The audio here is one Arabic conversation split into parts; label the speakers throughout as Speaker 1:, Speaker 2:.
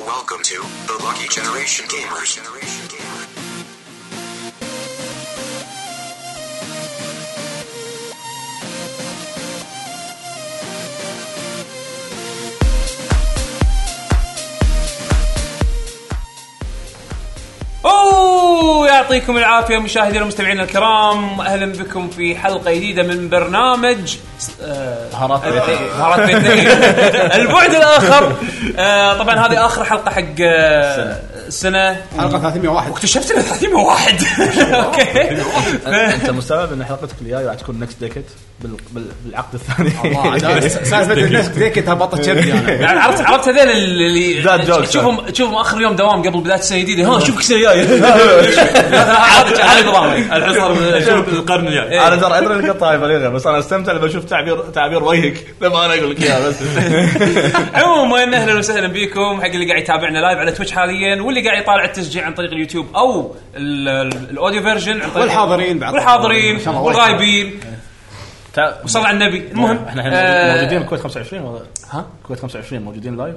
Speaker 1: Welcome to the Lucky Generation Gamers. Generation Gamer.
Speaker 2: اوه يعطيكم العافيه مشاهدينا ومستمعينا الكرام اهلا بكم في حلقه جديده من برنامج آه،
Speaker 3: بهارات بيتية.
Speaker 2: بهارات بيتية. البعد الاخر آه، طبعا هذه اخر حلقه حق آه، السنه
Speaker 4: حلقه 301
Speaker 2: اكتشفت ان 301 اوكي
Speaker 3: انت مستوعب ان حلقتك الجايه راح تكون نكست ديكت بالعقد الثاني
Speaker 4: سالفه الناس ذيك هبطت كذي انا
Speaker 2: يعني عرفت عرفت هذول اللي
Speaker 3: ذات جوك.
Speaker 2: تشوفهم تشوفهم اخر يوم دوام قبل بدايه السنه الجديده ها شوفك السنه الجايه هذا هذا نظامي
Speaker 5: الحصار شوف القرن الجاي
Speaker 3: انا ترى ادري ان القطعه بليغه بس انا استمتع لما اشوف تعبير تعبير وجهك لما انا اقول لك اياها بس
Speaker 2: عموما اهلا وسهلا بكم حق اللي قاعد يتابعنا لايف على تويتش حاليا واللي قاعد يطالع التسجيل عن طريق اليوتيوب او ال- ال- الاوديو فيرجن عن طريق
Speaker 4: والحاضرين بعد.
Speaker 2: والحاضرين
Speaker 4: إن شاء الله إيه. وايد.
Speaker 2: والغايبين وصلى على النبي المهم
Speaker 3: احنا
Speaker 2: آه،
Speaker 3: الحين موجودين الكويت 25 ولا ها؟ الكويت 25 موجودين لايف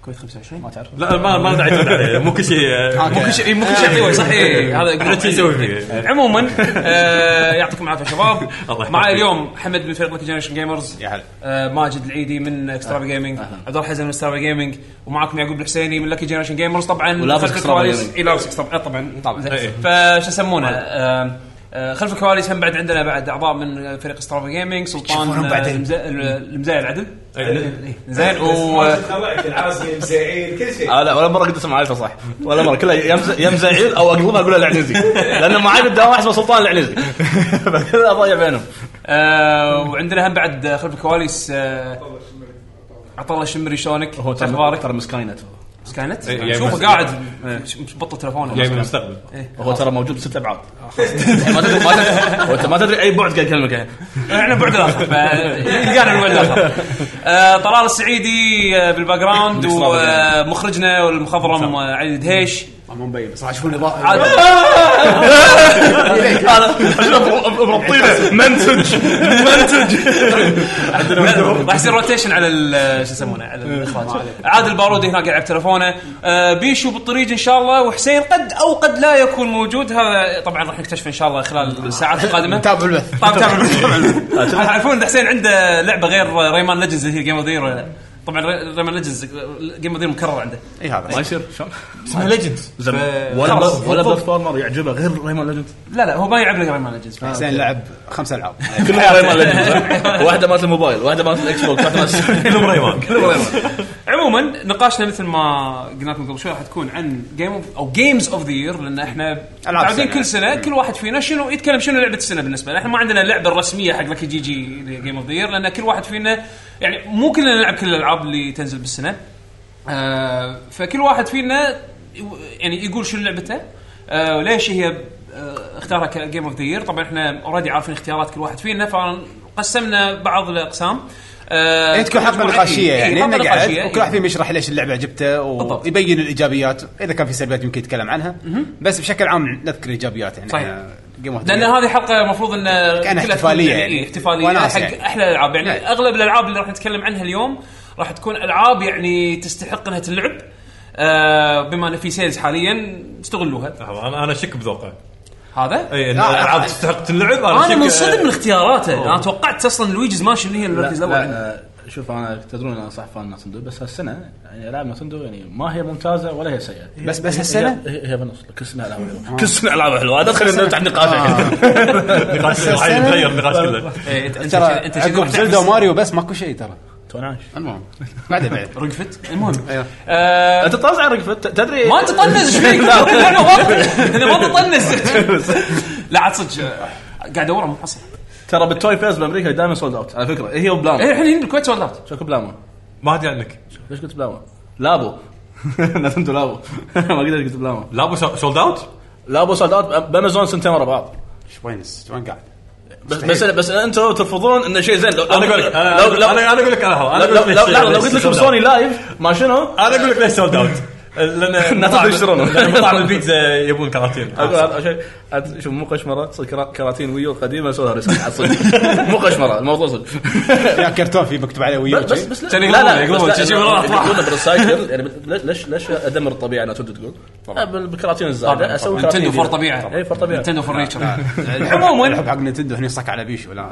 Speaker 3: الكويت 25 ما تعرف
Speaker 5: لا ما ما داعي تزعل عليه، مو كل شيء
Speaker 2: آه، مو كل شيء إيه، مو كل شيء حيوي صحيح هذا
Speaker 5: عرفت شو يسوي إيه. فيه.
Speaker 2: عموما آه، يعطيكم العافيه شباب
Speaker 5: الله يحفظك.
Speaker 2: معي اليوم حمد من فريق جنريشن جيمرز
Speaker 4: يا هلا.
Speaker 2: آه، ماجد العيدي من اكسترا جيمنج عبد الله حزم من اكسترا جيمنج ومعاكم يعقوب الحسيني من لكي جنريشن جيمرز طبعا
Speaker 3: ولابس
Speaker 2: خلف
Speaker 3: Extrava
Speaker 2: الكواليس
Speaker 3: Gaming.
Speaker 2: اي لابس Extrava- آه، طبعا طبعا
Speaker 5: إيه.
Speaker 2: فشو يسمونه آه، آه، خلف الكواليس هم بعد عندنا بعد اعضاء من فريق استرافا جيمنج سلطان
Speaker 4: يشوفونهم
Speaker 2: آه،
Speaker 4: بعدين.
Speaker 2: المزا- العدل عدل
Speaker 5: إيه.
Speaker 2: زين و
Speaker 6: العازم زعيم كل شيء
Speaker 3: آه لا ولا مره قلت اسم عائلته صح ولا مره كلها يمزع يمزع عيد او اقلبها اقولها العنزي لان معاي بالدوام واحد اسمه سلطان العنزي فكذا اضيع بينهم
Speaker 2: آه، وعندنا هم بعد آه، خلف الكواليس آه، عطا الله شمري شلونك؟ شو اخبارك؟
Speaker 3: ترى مسكاين نت هو.
Speaker 2: سكاينت؟
Speaker 5: إيه، يعني
Speaker 2: شوفه
Speaker 5: بس-
Speaker 2: قاعد مش- مش بطل إيه.
Speaker 5: جاي من
Speaker 2: تليفونه
Speaker 5: المستقبل
Speaker 3: وهو يعني ترى موجود بست ابعاد ما تدري ما تدري وأنت ما تدري اي بعد قاعد يكلمك يعني. الحين.
Speaker 2: احنا بعد الاخر فلقانا البعد الاخر آه، طلال السعيدي آه، بالباك جراوند ومخرجنا والمخضرم آه، علي دهيش
Speaker 4: مو مبين بس راح يشوفون اضاءه
Speaker 2: عاد
Speaker 3: هذا مربطينه منسج منسج
Speaker 2: راح يصير روتيشن على ال- شو يسمونه على الاخراج عادل البارودي هناك يلعب تلفونه آه، بيشو بالطريق ان شاء الله وحسين قد او قد لا يكون موجود هذا طبعا راح نكتشف ان شاء الله خلال الساعات القادمه
Speaker 4: تابعوا البث
Speaker 2: طبعا طبعا تعرفون ان حسين عنده لعبه غير ريمان ليجندز اللي هي جيم اوف ولا طبعا ري- ريمان ليجندز جيم اوف مكرر عنده
Speaker 4: اي هذا
Speaker 3: ما يصير شلون؟
Speaker 2: اسمها ليجندز
Speaker 3: زين، ولا
Speaker 2: خلاص.
Speaker 3: ولا بلاتفورمر يعجبه غير ريمان ليجند
Speaker 2: لا لا هو ما يلعب لك ريمان ليجندز
Speaker 4: حسين لعب خمس العاب
Speaker 3: كلها ريمان ليجند واحده مالت الموبايل واحده مالت الاكس بوكس واحده مالت
Speaker 5: كلهم ريمان
Speaker 3: كلهم ريمان
Speaker 2: عموما نقاشنا مثل ما قلنا لكم قبل شوي راح تكون عن جيم او جيمز اوف ذا يير لان احنا متعودين
Speaker 4: السنة.
Speaker 2: كل سنه كل واحد فينا شنو يتكلم شنو لعبه السنه بالنسبه لنا احنا ما عندنا اللعبه الرسميه حق لك جي جي جيم اوف ذا يير لان كل واحد فينا يعني مو كلنا نلعب كل الالعاب اللي تنزل بالسنه آه فكل واحد فينا يو- يعني يقول شنو لعبته آه ليش هي آه اختارها كجيم اوف ذا يير طبعا احنا اوريدي عارفين اختيارات كل واحد فينا فقسمنا بعض الاقسام آه
Speaker 4: هي يعني تكون حلقه
Speaker 2: مجموعة-
Speaker 4: نقاشيه
Speaker 2: إيه،
Speaker 4: يعني
Speaker 2: حلقة
Speaker 4: نقعد
Speaker 2: نقاشية،
Speaker 4: وكل واحد فيهم يشرح ليش اللعبه جبته
Speaker 2: بالضبط.
Speaker 4: ويبين الايجابيات اذا كان في سلبيات يمكن يتكلم عنها بس بشكل عام نذكر الايجابيات يعني
Speaker 2: صحيح.
Speaker 4: أنا Game of the
Speaker 2: لان
Speaker 4: Year.
Speaker 2: هذه حلقه المفروض ان كلها تكون
Speaker 4: احتفالية
Speaker 2: يعني
Speaker 4: يعني.
Speaker 2: إيه، احتفاليه
Speaker 4: وناس
Speaker 2: حق
Speaker 4: يعني.
Speaker 2: احلى الالعاب يعني
Speaker 4: نعم.
Speaker 2: اغلب الالعاب اللي راح نتكلم عنها اليوم راح تكون العاب يعني تستحق انها تلعب آه بما ان في سيلز حاليا استغلوها
Speaker 5: لحظة، انا انا اشك بذوقه
Speaker 2: هذا
Speaker 5: اي ان
Speaker 4: لا،
Speaker 5: الالعاب إيه، تستحق تلعب
Speaker 2: انا
Speaker 5: أشك-
Speaker 2: منصدم من اختياراته انا توقعت اصلا لويجيز ماشي اللي هي المركز الاول عندي.
Speaker 3: آه، شوف انا تدرون انا صح فان ناسندو بس هالسنه يعني العاب ناسندو يعني ما هي ممتازه ولا هي سيئه
Speaker 4: بس- بس هالسنة؟ آه.
Speaker 3: هي- هي, هي بالنص كل سنه العاب حلوه كل سنه العاب حلوه هذا خلينا نرجع نقاش
Speaker 5: نقاش راح يتغير النقاش كله
Speaker 2: إيه، أنت- أنت-
Speaker 4: ترى
Speaker 2: أنت شكلك
Speaker 4: عقب زلدا وماريو بس ماكو شيء ترى المهم بعدين بعد
Speaker 2: رقفت المهم
Speaker 4: أيوه.
Speaker 2: آه،
Speaker 3: انت طازع رقفه تدري
Speaker 2: ما تطنز ايش فيك؟ انا ما- أنا ما تطنز لا عاد صدق آه، قاعد ادور مو حصل
Speaker 3: ترى بالتوي فيرز بامريكا دائما سولد اوت على فكره هي
Speaker 2: إيه،
Speaker 3: وبلامو
Speaker 2: الحين هنا بالكويت سولد اوت
Speaker 3: شكو بلامو
Speaker 5: ما ادري عنك
Speaker 3: ليش قلت بلامو؟ لابو ناسندو لابو ما قدرت قلت بلامو
Speaker 5: لابو سولد اوت
Speaker 3: لابو سولد اوت بامازون سنتين ورا بعض
Speaker 4: ايش وين إيش وين قاعد
Speaker 3: بس بس بس انتم ترفضون انه شيء زين لو
Speaker 5: انا اقول لك
Speaker 3: لو لو
Speaker 5: انا انا اقول لك انا
Speaker 3: لو لو- لو- لو قلت لكم سوني لايف ما شنو
Speaker 5: انا اقول لك ليش سولد اوت لان
Speaker 3: الناس
Speaker 5: مطاعم-
Speaker 3: يشترونه.
Speaker 5: لأن مطاعم البيتزا يبون كراتين
Speaker 3: اقول هذا شيء عاد شوف مو قشمره صدق كرا- كراتين ويو القديمه سوها رسالة عاد صدق مو قشمره الموضوع صدق
Speaker 4: يا كرتون في مكتوب عليه ويو
Speaker 3: بس بس
Speaker 4: شي.
Speaker 3: بس
Speaker 2: كان
Speaker 3: لا
Speaker 2: يقلبون-
Speaker 3: لا
Speaker 2: يقلبون،
Speaker 3: بس لا،
Speaker 2: شي- شي وراء أطراف.
Speaker 3: يقولون بالريسايكل يعني بال- ليش ليش ليش ادمر الطبيعه نتندو تقول؟ آه، بال- بالكراتين الزايده اسوي كراتين إيه،
Speaker 2: نتندو فور
Speaker 3: جديدة.
Speaker 2: طبيعه
Speaker 3: اي فور طبيعه
Speaker 2: نتندو فور نيتشر
Speaker 4: عموما الحب حق نتندو هني صك على بيشو لا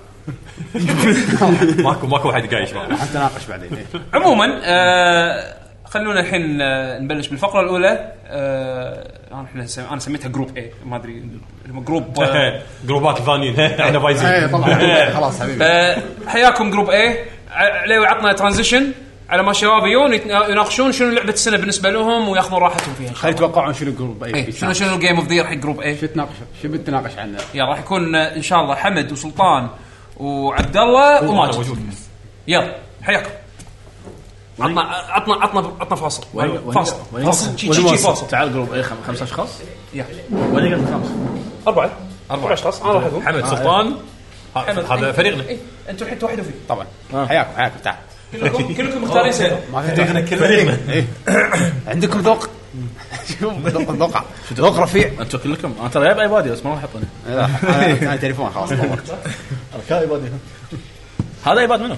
Speaker 5: ماكو ماكو واحد قايش معه
Speaker 4: حنتناقش بعدين إيه.
Speaker 2: عموما آه خلونا الحين آه نبلش بالفقره الاولى آه أنا- احنا سم... انا سميتها جروب اي ما ادري جروب آه
Speaker 5: جروبات الفانيين احنا
Speaker 7: ايه
Speaker 5: فايزين
Speaker 7: طبعا خلاص حبيبي
Speaker 2: آه، فحياكم جروب اي عليوي عطنا ترانزيشن على ما الشباب يجون يتنا- يناقشون شنو لعبه السنه بالنسبه لهم وياخذون راحتهم فيها إن شاء
Speaker 4: خلي يتوقعون شنو جروب
Speaker 2: الله.
Speaker 4: اي
Speaker 2: إيه، شنو شنو الجيم اوف ذا يير حق جروب اي
Speaker 4: شو تناقش شو بتناقش عنه
Speaker 2: يلا راح يكون آه، ان شاء الله حمد وسلطان وعبد الله وماجد
Speaker 5: موجود.
Speaker 2: يلا حياكم عطنا عطنا عطنا عطنا فاصل فاصل فاصل شي- شي- شي فاصل
Speaker 3: تعال جروب اي خم- خمس اشخاص
Speaker 2: يلا
Speaker 3: ولا قلت خمس
Speaker 2: أربعة أربعة أشخاص أنا وحدهم
Speaker 4: آه،
Speaker 5: حمد سلطان ه- هذا
Speaker 4: إيه،
Speaker 5: فريقنا
Speaker 2: أنتم الحين واحد وفي
Speaker 4: طبعا
Speaker 7: آه.
Speaker 4: حياكم حياكم تعال
Speaker 2: كلكم كلكم مختارين سنة
Speaker 4: ما في فريقنا كله عندكم ذوق شوف ذوق ذوق ذوق رفيع
Speaker 3: انتم كلكم انا ترى جايب ايبادي بس ما راح احطه هنا.
Speaker 4: لا، أنا- انا تليفون خلاص طورت
Speaker 2: إيه.
Speaker 3: هذا ايباد منه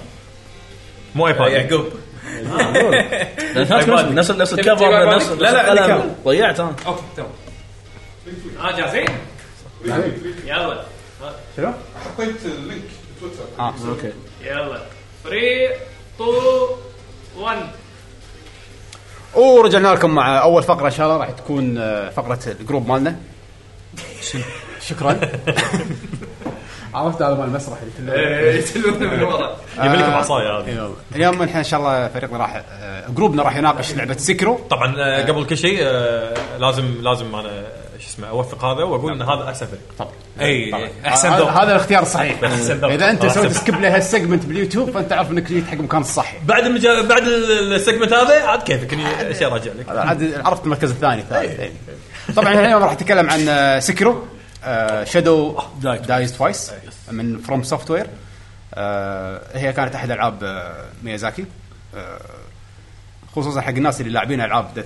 Speaker 5: مو ايباد يعقوب
Speaker 3: نفس آه، نفس- نفس نفس
Speaker 2: تبي
Speaker 3: الكفر نفس
Speaker 2: iPad؟ لا، لا،
Speaker 3: نفس القلم.
Speaker 2: الكفر.
Speaker 3: ضيعت انا
Speaker 2: أوكي تمام ها آه، جاهزين؟ يلا
Speaker 3: اوكي
Speaker 2: يلا 3 2 1
Speaker 4: ورجعنا لكم مع اول فقره ان شاء الله راح تكون آه، فقره الجروب مالنا شكرا
Speaker 7: عرفت هذا مال المسرح اللي كله
Speaker 2: يتلونه من ورا
Speaker 4: آه.
Speaker 5: يبي لكم عصايه هذه
Speaker 4: يلا. إيه اليوم احنا ان شاء الله فريقنا راح آه، جروبنا راح يناقش لعبه سكرو
Speaker 5: طبعا آه، قبل كل شيء آه، لازم لازم انا آه، شو اسمه اوثق هذا واقول ان هذا احسن فريق
Speaker 4: طبعا
Speaker 5: اي احسن
Speaker 7: هذا
Speaker 5: آه، ذوق
Speaker 7: هذا الاختيار الصحيح
Speaker 5: أحسن ذوق. آه،
Speaker 7: اذا انت
Speaker 5: أحسن
Speaker 7: سويت
Speaker 5: ذوق.
Speaker 7: سكيب لهالسيجمنت باليوتيوب فانت عارف انك جيت حق مكان الصح
Speaker 5: بعد المجا... بعد ال- السيجمنت هذا عاد كيفك اني اشياء راجع لك
Speaker 4: عاد عرفت المركز الثاني الثالث يعني. طبعا احنا اليوم راح نتكلم عن آه، سكرو شادو دايز توايس من فروم سوفت وير هي كانت احد العاب آه، ميازاكي آه، خصوصا حق الناس اللي لاعبين العاب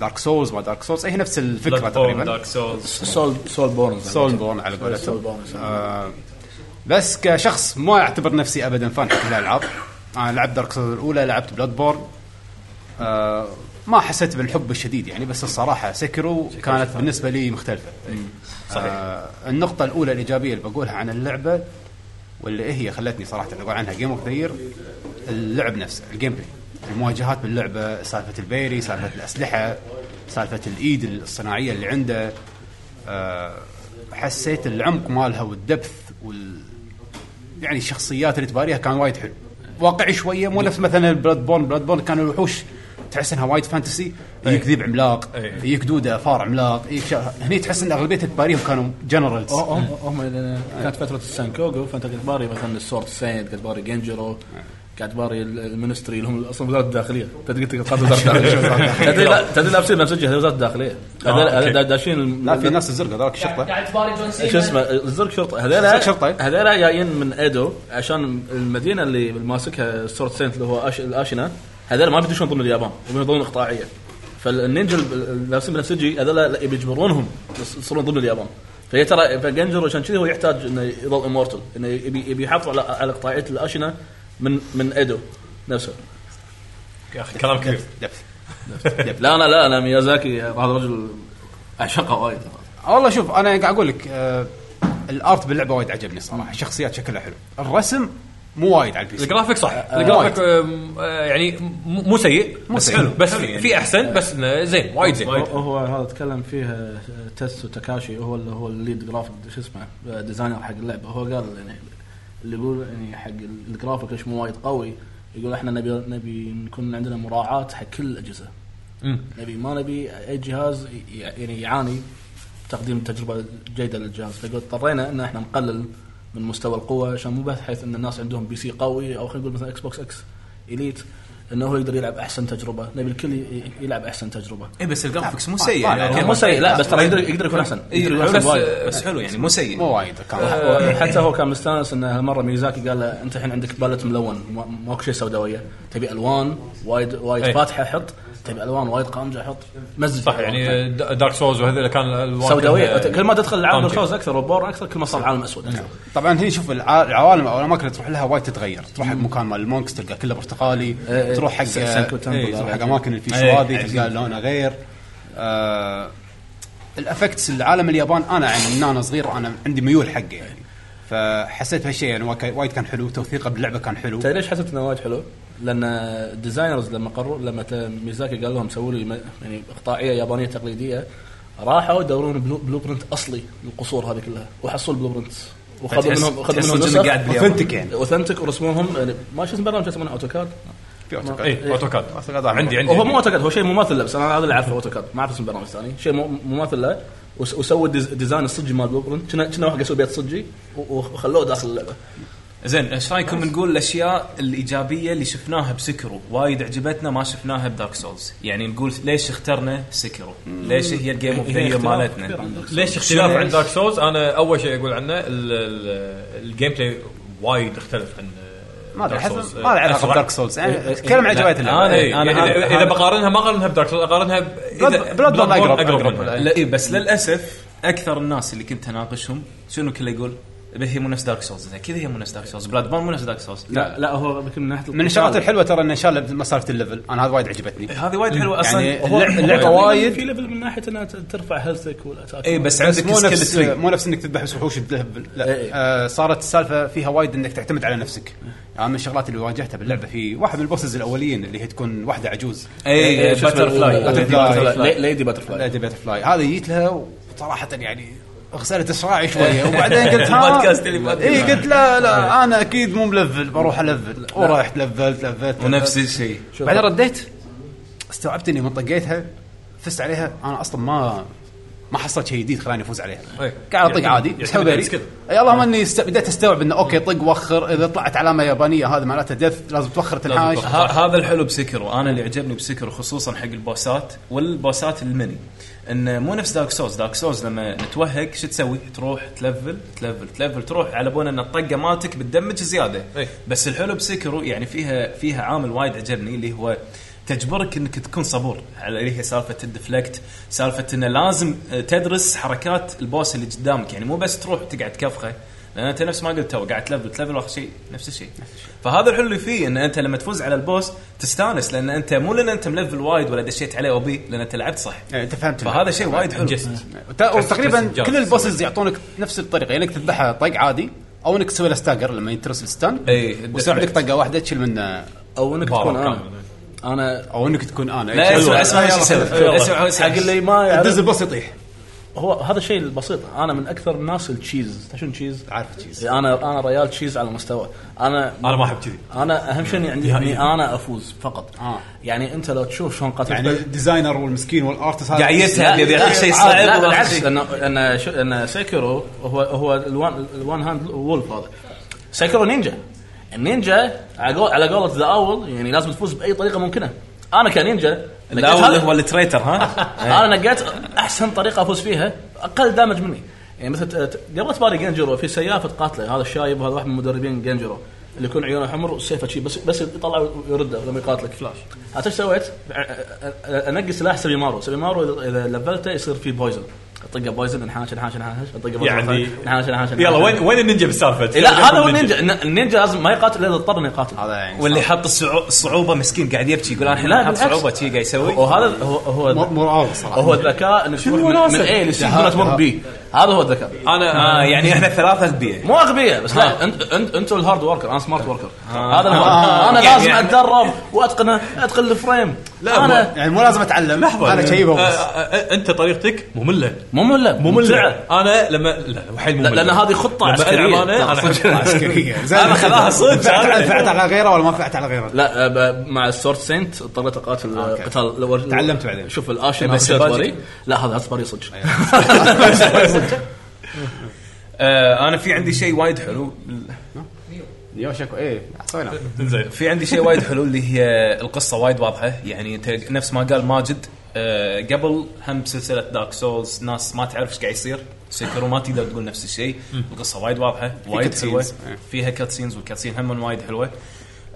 Speaker 4: دارك سولز ما دارك سولز هي نفس الفكره تقريبا
Speaker 5: دارك سولز
Speaker 3: سول سول بورنز
Speaker 4: سول بورن على
Speaker 3: سول
Speaker 4: قولتهم
Speaker 3: بورن.
Speaker 4: آه، بس كشخص ما اعتبر نفسي ابدا فان حق الالعاب انا لعبت دارك سولز الاولى لعبت بلاد بورن آه، ما حسيت بالحب الشديد يعني بس الصراحه سكرو كانت بالنسبه لي آه، مختلفه صحيح النقطه الاولى الايجابيه اللي بقولها عن اللعبه واللي إيه هي خلتني صراحه اقول عنها جيم اوف ذا اللعب نفسه الجيم بلاي المواجهات باللعبه سالفه البيري سالفه الاسلحه سالفه الايد الصناعيه اللي عنده آه، حسيت العمق مالها والدبث وال يعني الشخصيات اللي تباريها كان وايد حلو واقعي شويه مو نفس مثلا بلاد بورن بلاد بورن كان الوحوش تحس انها وايد
Speaker 5: إيه.
Speaker 4: فانتسي يجيك ذيب عملاق يجيك دوده فار عملاق يجيك شا... هني تحس ان اغلبيه اللي تباريهم كانوا إيه. جنرالز
Speaker 3: هم هم لأن كانت فتره السانكوغو فانت قاعد باري مثلا السورد سايد قاعد باري جنجرو قاعد باري ال- المنستري اللي هم اصلا وزاره الداخليه تدري قلت قاعد وزاره الداخليه تدري لا تدري لابسين بنفسجي هذه وزاره الداخليه هذول-
Speaker 5: أوكي.
Speaker 3: هذول داشين
Speaker 4: لا في ناس الزرقاء ذاك الشرطه
Speaker 2: قاعد تباري جون سينا
Speaker 3: شو اسمه الزرق شرطه هذول
Speaker 4: زرق شرطة.
Speaker 3: هذول جايين من ايدو عشان المدينه اللي ماسكها سورت سينت اللي هو أش... الاشنا هذول ما بيدشون ضمن اليابان يبون ضمن اقطاعيه فالنينجا الب- لابسين بنفسجي هذول يبي يجبرونهم يص- يصيرون ضمن اليابان فهي ترى فجنجر عشان كذي هو يحتاج انه يظل امورتل انه يبي يبي يحافظ على على اقطاعيه الاشنا من من ايدو نفسه
Speaker 5: يا اخي كلام كبير
Speaker 4: دبث
Speaker 3: لا انا لا انا ميازاكي هذا الرجل اعشقه وايد
Speaker 4: والله شوف انا قاعد اقول لك آه الارت باللعبه وايد عجبني صراحه الشخصيات شكلها حلو الرسم مو وايد على البي سي آه،
Speaker 5: الجرافيك صح الجرافيك آم، آه، يعني م- مو سيء بس
Speaker 4: سيء.
Speaker 5: حلو بس
Speaker 3: يعني.
Speaker 5: في احسن بس إنه زين وايد زين
Speaker 3: هو هذا تكلم فيها تسو تاكاشي هو اللي هو الليد جرافيك شو اسمه ديزاينر حق اللعبه هو قال يعني اللي يقول يعني حق الجرافيك ليش مو وايد قوي يقول احنا نبي نبي نكون عندنا مراعاه حق كل الاجهزه نبي ما نبي اي جهاز ي- يعني يعاني تقديم تجربه جيده للجهاز فيقول اضطرينا ان احنا نقلل من مستوى القوه عشان مو بس حيث ان الناس عندهم بي سي قوي او خلينا نقول مثلا اكس بوكس اكس اليت انه هو يقدر يلعب احسن تجربه نبي الكل ي- يلعب احسن تجربه
Speaker 8: اي إيه، بس الجرافكس مو سيء يعني
Speaker 3: هو
Speaker 8: أوكي.
Speaker 3: مو سيء لا بس ترى يقدر يقدر يكون احسن
Speaker 8: إي،
Speaker 3: يقدر يكون
Speaker 8: بس
Speaker 3: احسن وايد أه،
Speaker 8: بس حلو يعني مو سيء
Speaker 4: مو وايد كان
Speaker 3: حتى هو كان مستانس انه مره ميزاكي قال له انت الحين عندك بالت ملون ما- ماكو شيء سوداويه تبي الوان وايد وايد
Speaker 5: إيه.
Speaker 3: فاتحه حط تبي الوان وايد قامجه حط مزج
Speaker 5: صح يعني دا- دارك سوز وهذول كان الألوان
Speaker 3: سوداويه
Speaker 5: كلها-
Speaker 3: كل ما تدخل العاب
Speaker 5: طنجة.
Speaker 3: الفوز اكثر وبور اكثر كل ما صار العالم اسود اكثر
Speaker 4: طبعا نعم. هي شوف الع- العوالم او الاماكن اللي تروح لها وايد تتغير تروح حق مكان مال المونكس تلقى كله برتقالي
Speaker 3: إيه.
Speaker 4: تروح حق
Speaker 3: س- سانكو تمبل
Speaker 4: إيه، تروح
Speaker 3: هذا.
Speaker 4: حق اماكن اللي فيها
Speaker 8: إيه،
Speaker 4: شوادي
Speaker 8: عجيب.
Speaker 4: تلقى لونه غير آه، الافكتس العالم اليابان انا يعني من انا صغير انا عندي ميول حقه يعني فحسيت بهالشيء يعني وك- وايد كان حلو توثيقه باللعبه كان حلو
Speaker 3: تدري ليش حسيت انه وايد حلو؟ لان الديزاينرز لما قرروا لما ت- ميزاكي قال لهم سووا لي م- يعني اقطاعيه يابانيه تقليديه راحوا يدورون بلو, بلو برنت اصلي للقصور هذه كلها وحصلوا البلو برنت وخذوا
Speaker 8: فتحس-
Speaker 3: منهم
Speaker 8: تحس
Speaker 3: خذوا منهم
Speaker 8: إنك
Speaker 3: نسخ
Speaker 8: قاعد باليابان.
Speaker 4: اوثنتك يعني
Speaker 3: اوثنتك ورسموهم يعني ما شو اسم برنامج يسمونه اوتوكاد
Speaker 4: في أوتوكاد.
Speaker 5: اي اوتوكاد
Speaker 4: أوتوكاد أحمر.
Speaker 5: عندي عندي
Speaker 3: إيه. هو مو اوتوكاد هو شيء مماثل له بس انا هذا اللي اعرفه اوتوكاد ما اعرف اسم البرنامج الثاني شيء مو- مماثل له وس- وسووا الديز- الديزاين الصجي مال البلو برنت كنا كنا واحد يسوي بيت صجي و- وخلوه داخل اللعبه
Speaker 8: زين ايش رايكم نقول الاشياء الايجابيه اللي شفناها بسكرو وايد عجبتنا ما شفناها بدارك سولز يعني نقول ليش اخترنا سكرو ليش هي الجيم اوف
Speaker 3: هي
Speaker 8: ذا
Speaker 3: اختلاف كبير
Speaker 8: مالتنا
Speaker 3: عن
Speaker 5: ليش اختلاف
Speaker 8: شنو-
Speaker 5: عن دارك سولز انا اول شيء اقول عنه ال- ال- الجيم بلاي وايد اختلف عن آه،
Speaker 4: ما ادري
Speaker 5: Dark
Speaker 4: احس
Speaker 5: Souls.
Speaker 4: ما له علاقه
Speaker 5: أسرع.
Speaker 4: بدارك سولز يعني اتكلم عن عجبات اللعبه
Speaker 8: أنا-
Speaker 5: إيه، يعني
Speaker 8: هذا-
Speaker 5: اذا
Speaker 8: هذا-
Speaker 5: إذا بقارنها ما اقارنها بدارك سولز اقارنها ب- إذا-
Speaker 4: Blood- Bloodborne
Speaker 5: Bloodborne
Speaker 4: أقرب- أقرب.
Speaker 5: منها.
Speaker 8: لا إيه بس للاسف اكثر الناس اللي كنت اناقشهم شنو كله يقول "إيه هي مو نفس دارك سولز زين، كذا هي مو نفس دارك سولز بلاد بون مو نفس دارك سولز
Speaker 3: لا لا هو يمكن من ناحيه
Speaker 4: من الشغلات الحلوه ترى ان شاء الله مسافه الليفل انا هذا وايد عجبتني
Speaker 3: إيه،
Speaker 8: هذه وايد حلوه اصلا
Speaker 4: يعني اللعبة-
Speaker 3: يعني
Speaker 4: اللعبه
Speaker 3: في
Speaker 4: وايد إيه،
Speaker 3: ليفل من ناحيه انها ت- ترفع هيلثك والاتاك
Speaker 8: اي بس
Speaker 4: بس
Speaker 8: عندك
Speaker 4: مو
Speaker 8: سكيل
Speaker 4: نفس
Speaker 8: تري
Speaker 4: مو نفس انك تذبح بس وحوش بلهب لا
Speaker 3: إيه.
Speaker 4: آه صارت السالفه فيها وايد انك تعتمد على نفسك يعني من الشغلات اللي واجهتها باللعبه في واحد من البوسز الاوليين اللي هي تكون واحده عجوز
Speaker 8: اي باتر فلاي
Speaker 4: Butterfly.
Speaker 3: فلاي ليدي باتر فلاي
Speaker 4: ليدي فلاي هذه جيت لها وصراحه يعني غسلت الشراعي شويه وبعدين قلت ها
Speaker 8: البودكاست اللي بعده.
Speaker 4: اي قلت لا لا انا اكيد مو ملفل بروح الفل ورحت لفلت لفلت
Speaker 8: ونفس الشيء
Speaker 4: بعدين رديت استوعبت اني من طقيتها فزت عليها انا اصلا ما ما حصلت شيء جديد خلاني افوز عليها
Speaker 5: إيه.
Speaker 4: قاعد اطق
Speaker 5: يعتمد-
Speaker 8: يعني
Speaker 4: عادي اسحب
Speaker 5: يعتمد
Speaker 4: بالي
Speaker 5: السكيل.
Speaker 4: اي اللهم اني است- بديت استوعب انه اوكي طق وخر اذا طلعت علامه يابانيه هذا معناته دث لازم توخر تنحاش
Speaker 8: ه- هذا الحلو بسكرو انا اللي عجبني بسكرو خصوصا حق البوسات والبوسات المني انه مو نفس دارك سوز دارك سوز لما نتوهق شو تسوي تروح تلفل تلفل تلفل تروح على بون ان الطقه مالتك بتدمج زياده
Speaker 5: إيه.
Speaker 8: بس الحلو بسكرو يعني فيها فيها عامل وايد عجبني اللي هو تجبرك انك تكون صبور على اللي هي سالفه الدفلكت سالفه انه لازم آه، تدرس حركات البوس اللي قدامك يعني مو بس تروح تقعد كفخه لان انت نفس ما قلت تو قاعد تلفل تلفل واخر شيء نفس الشيء فهذا الحلو اللي فيه ان انت لما تفوز على البوس تستانس لان انت مو لان انت ملفل وايد ولا دشيت عليه او بي لان انت لعبت صح
Speaker 3: إيه،
Speaker 4: يعني انت فهمت
Speaker 8: فهذا شيء وايد حلو
Speaker 4: نعم.
Speaker 5: جست
Speaker 4: تقريبا
Speaker 5: تحس-
Speaker 4: كل البوسز يعطونك نفس الطريقه يعني انك تذبحها طق عادي او انك تسوي له ستاجر لما ينترس الستان
Speaker 8: إيه،
Speaker 4: ويصير عندك
Speaker 8: الدفلكت.
Speaker 4: طقه واحده تشيل منه
Speaker 3: او انك
Speaker 5: بارو
Speaker 3: تكون
Speaker 5: كامل.
Speaker 3: انا انا
Speaker 4: او انك تكون انا
Speaker 8: لا
Speaker 4: إيه.
Speaker 8: اسمع اسمع ايش يسوي
Speaker 5: يلا.
Speaker 8: اسمع ايش
Speaker 3: حق اللي ما
Speaker 4: دز
Speaker 3: يعرف
Speaker 4: البوس يطيح
Speaker 3: هو هذا الشيء البسيط انا من اكثر الناس التشيز شنو تشيز؟
Speaker 4: عارف تشيز.
Speaker 3: انا انا ريال تشيز على مستوى انا
Speaker 5: انا ما احب كذي
Speaker 3: انا اهم شيء يعني إني عندي اني انا افوز فقط
Speaker 4: آه.
Speaker 3: يعني انت لو تشوف شلون قاتلت
Speaker 4: يعني الديزاينر والمسكين والارتست هذا
Speaker 8: قعيتها اللي يعطيك شيء
Speaker 3: لا، إيه.
Speaker 8: صعب ولا
Speaker 3: بالعكس
Speaker 8: شيء.
Speaker 3: لان لان شو- لان سيكرو هو هو الوان الوان هاند وولف هذا سيكرو نينجا النينجا على قول- على قولة ذا اول يعني لازم تفوز باي طريقه ممكنه انا كنينجا نقيت
Speaker 8: لا
Speaker 3: هذا-
Speaker 8: هو- هو التريتر ها إيه.
Speaker 3: انا نقيت احسن طريقه افوز فيها اقل دامج مني يعني مثل ت- ت- قبل تباري جنجرو في سيافه قاتله هذا الشايب هذا واحد من مدربين جنجرو اللي يكون عيونه حمر وسيفه شي بس بس يطلع ويرده لما يقاتلك فلاش عرفت ايش سويت؟ أ- أ- أ- انقي سلاح سبيمارو سبيمارو إذا- اذا لفلته يصير فيه بويزن اطقه بويزن انحاش انحاش انحاش اطقه بويزن
Speaker 5: يعني-
Speaker 3: انحاش انحاش انحاش
Speaker 5: يلا
Speaker 3: انحاش.
Speaker 5: وين وين النينجا بالسالفه؟
Speaker 3: لا هذا هو النينجا الن- النينجا لازم ما يقاتل الا اذا اضطر انه يقاتل
Speaker 4: هذا يعني
Speaker 8: واللي حط الصعو- الصعوبه مسكين قاعد يبكي يقول انا الحين
Speaker 3: لا،
Speaker 8: حاط
Speaker 3: بالعكس.
Speaker 8: صعوبه شي قاعد يسوي
Speaker 3: وهذا هو هو
Speaker 4: مو- مو عارف صراحه
Speaker 3: هو الذكاء انك تروح من- من اي لسي بدون ما تمر بي هذا هو الذكاء
Speaker 8: انا آه يعني احنا ثلاثه اغبياء
Speaker 3: مو اغبياء بس لا انت انت انتوا الهارد وركر انا سمارت وركر هذا الهارد.
Speaker 4: آه.
Speaker 3: انا
Speaker 8: يعني-
Speaker 3: لازم
Speaker 8: يعني-
Speaker 3: اتدرب واتقنه اتقن الفريم
Speaker 5: لا،
Speaker 3: انا
Speaker 4: يعني مو لازم اتعلم لحظه انا شيبه
Speaker 3: أه،
Speaker 5: آه،
Speaker 4: بس
Speaker 5: آه، آه، انت طريقتك ممله
Speaker 3: ممله ممتعه
Speaker 5: ممله انا لما لا لا، حيل ممله
Speaker 3: لا، لان هذه خطه
Speaker 5: لما العب
Speaker 3: عسكريه
Speaker 5: انا انا أحب-
Speaker 4: عسكريه زين
Speaker 8: انا خلاها صدق أنا-
Speaker 4: فعلت فعلت على غيره ولا ما فعلت على غيره
Speaker 3: لا آه، ب- مع السورت سينت اضطريت اقاتل آه،
Speaker 4: أوكي.
Speaker 3: قتال لو- لو-
Speaker 4: تعلمت بعدين. أيوه.
Speaker 3: شوف الاشن
Speaker 8: بس
Speaker 3: أخذ
Speaker 8: باجي.
Speaker 3: أسباري. لا هذا اصبري صدق
Speaker 8: آه، انا في عندي شيء وايد حلو
Speaker 4: يوشكو ايه سوينا
Speaker 5: زين
Speaker 8: في عندي شيء وايد حلو اللي هي القصه وايد واضحه يعني انت نفس ما قال ماجد آه، قبل هم سلسله دارك سولز ناس ما تعرف ايش قاعد يصير سيكرو ما تقدر تقول نفس الشيء القصه وايد واضحه وايد
Speaker 4: cutscenes.
Speaker 8: حلوه
Speaker 4: إيه.
Speaker 8: فيها كات سينز والكات سين هم وايد حلوه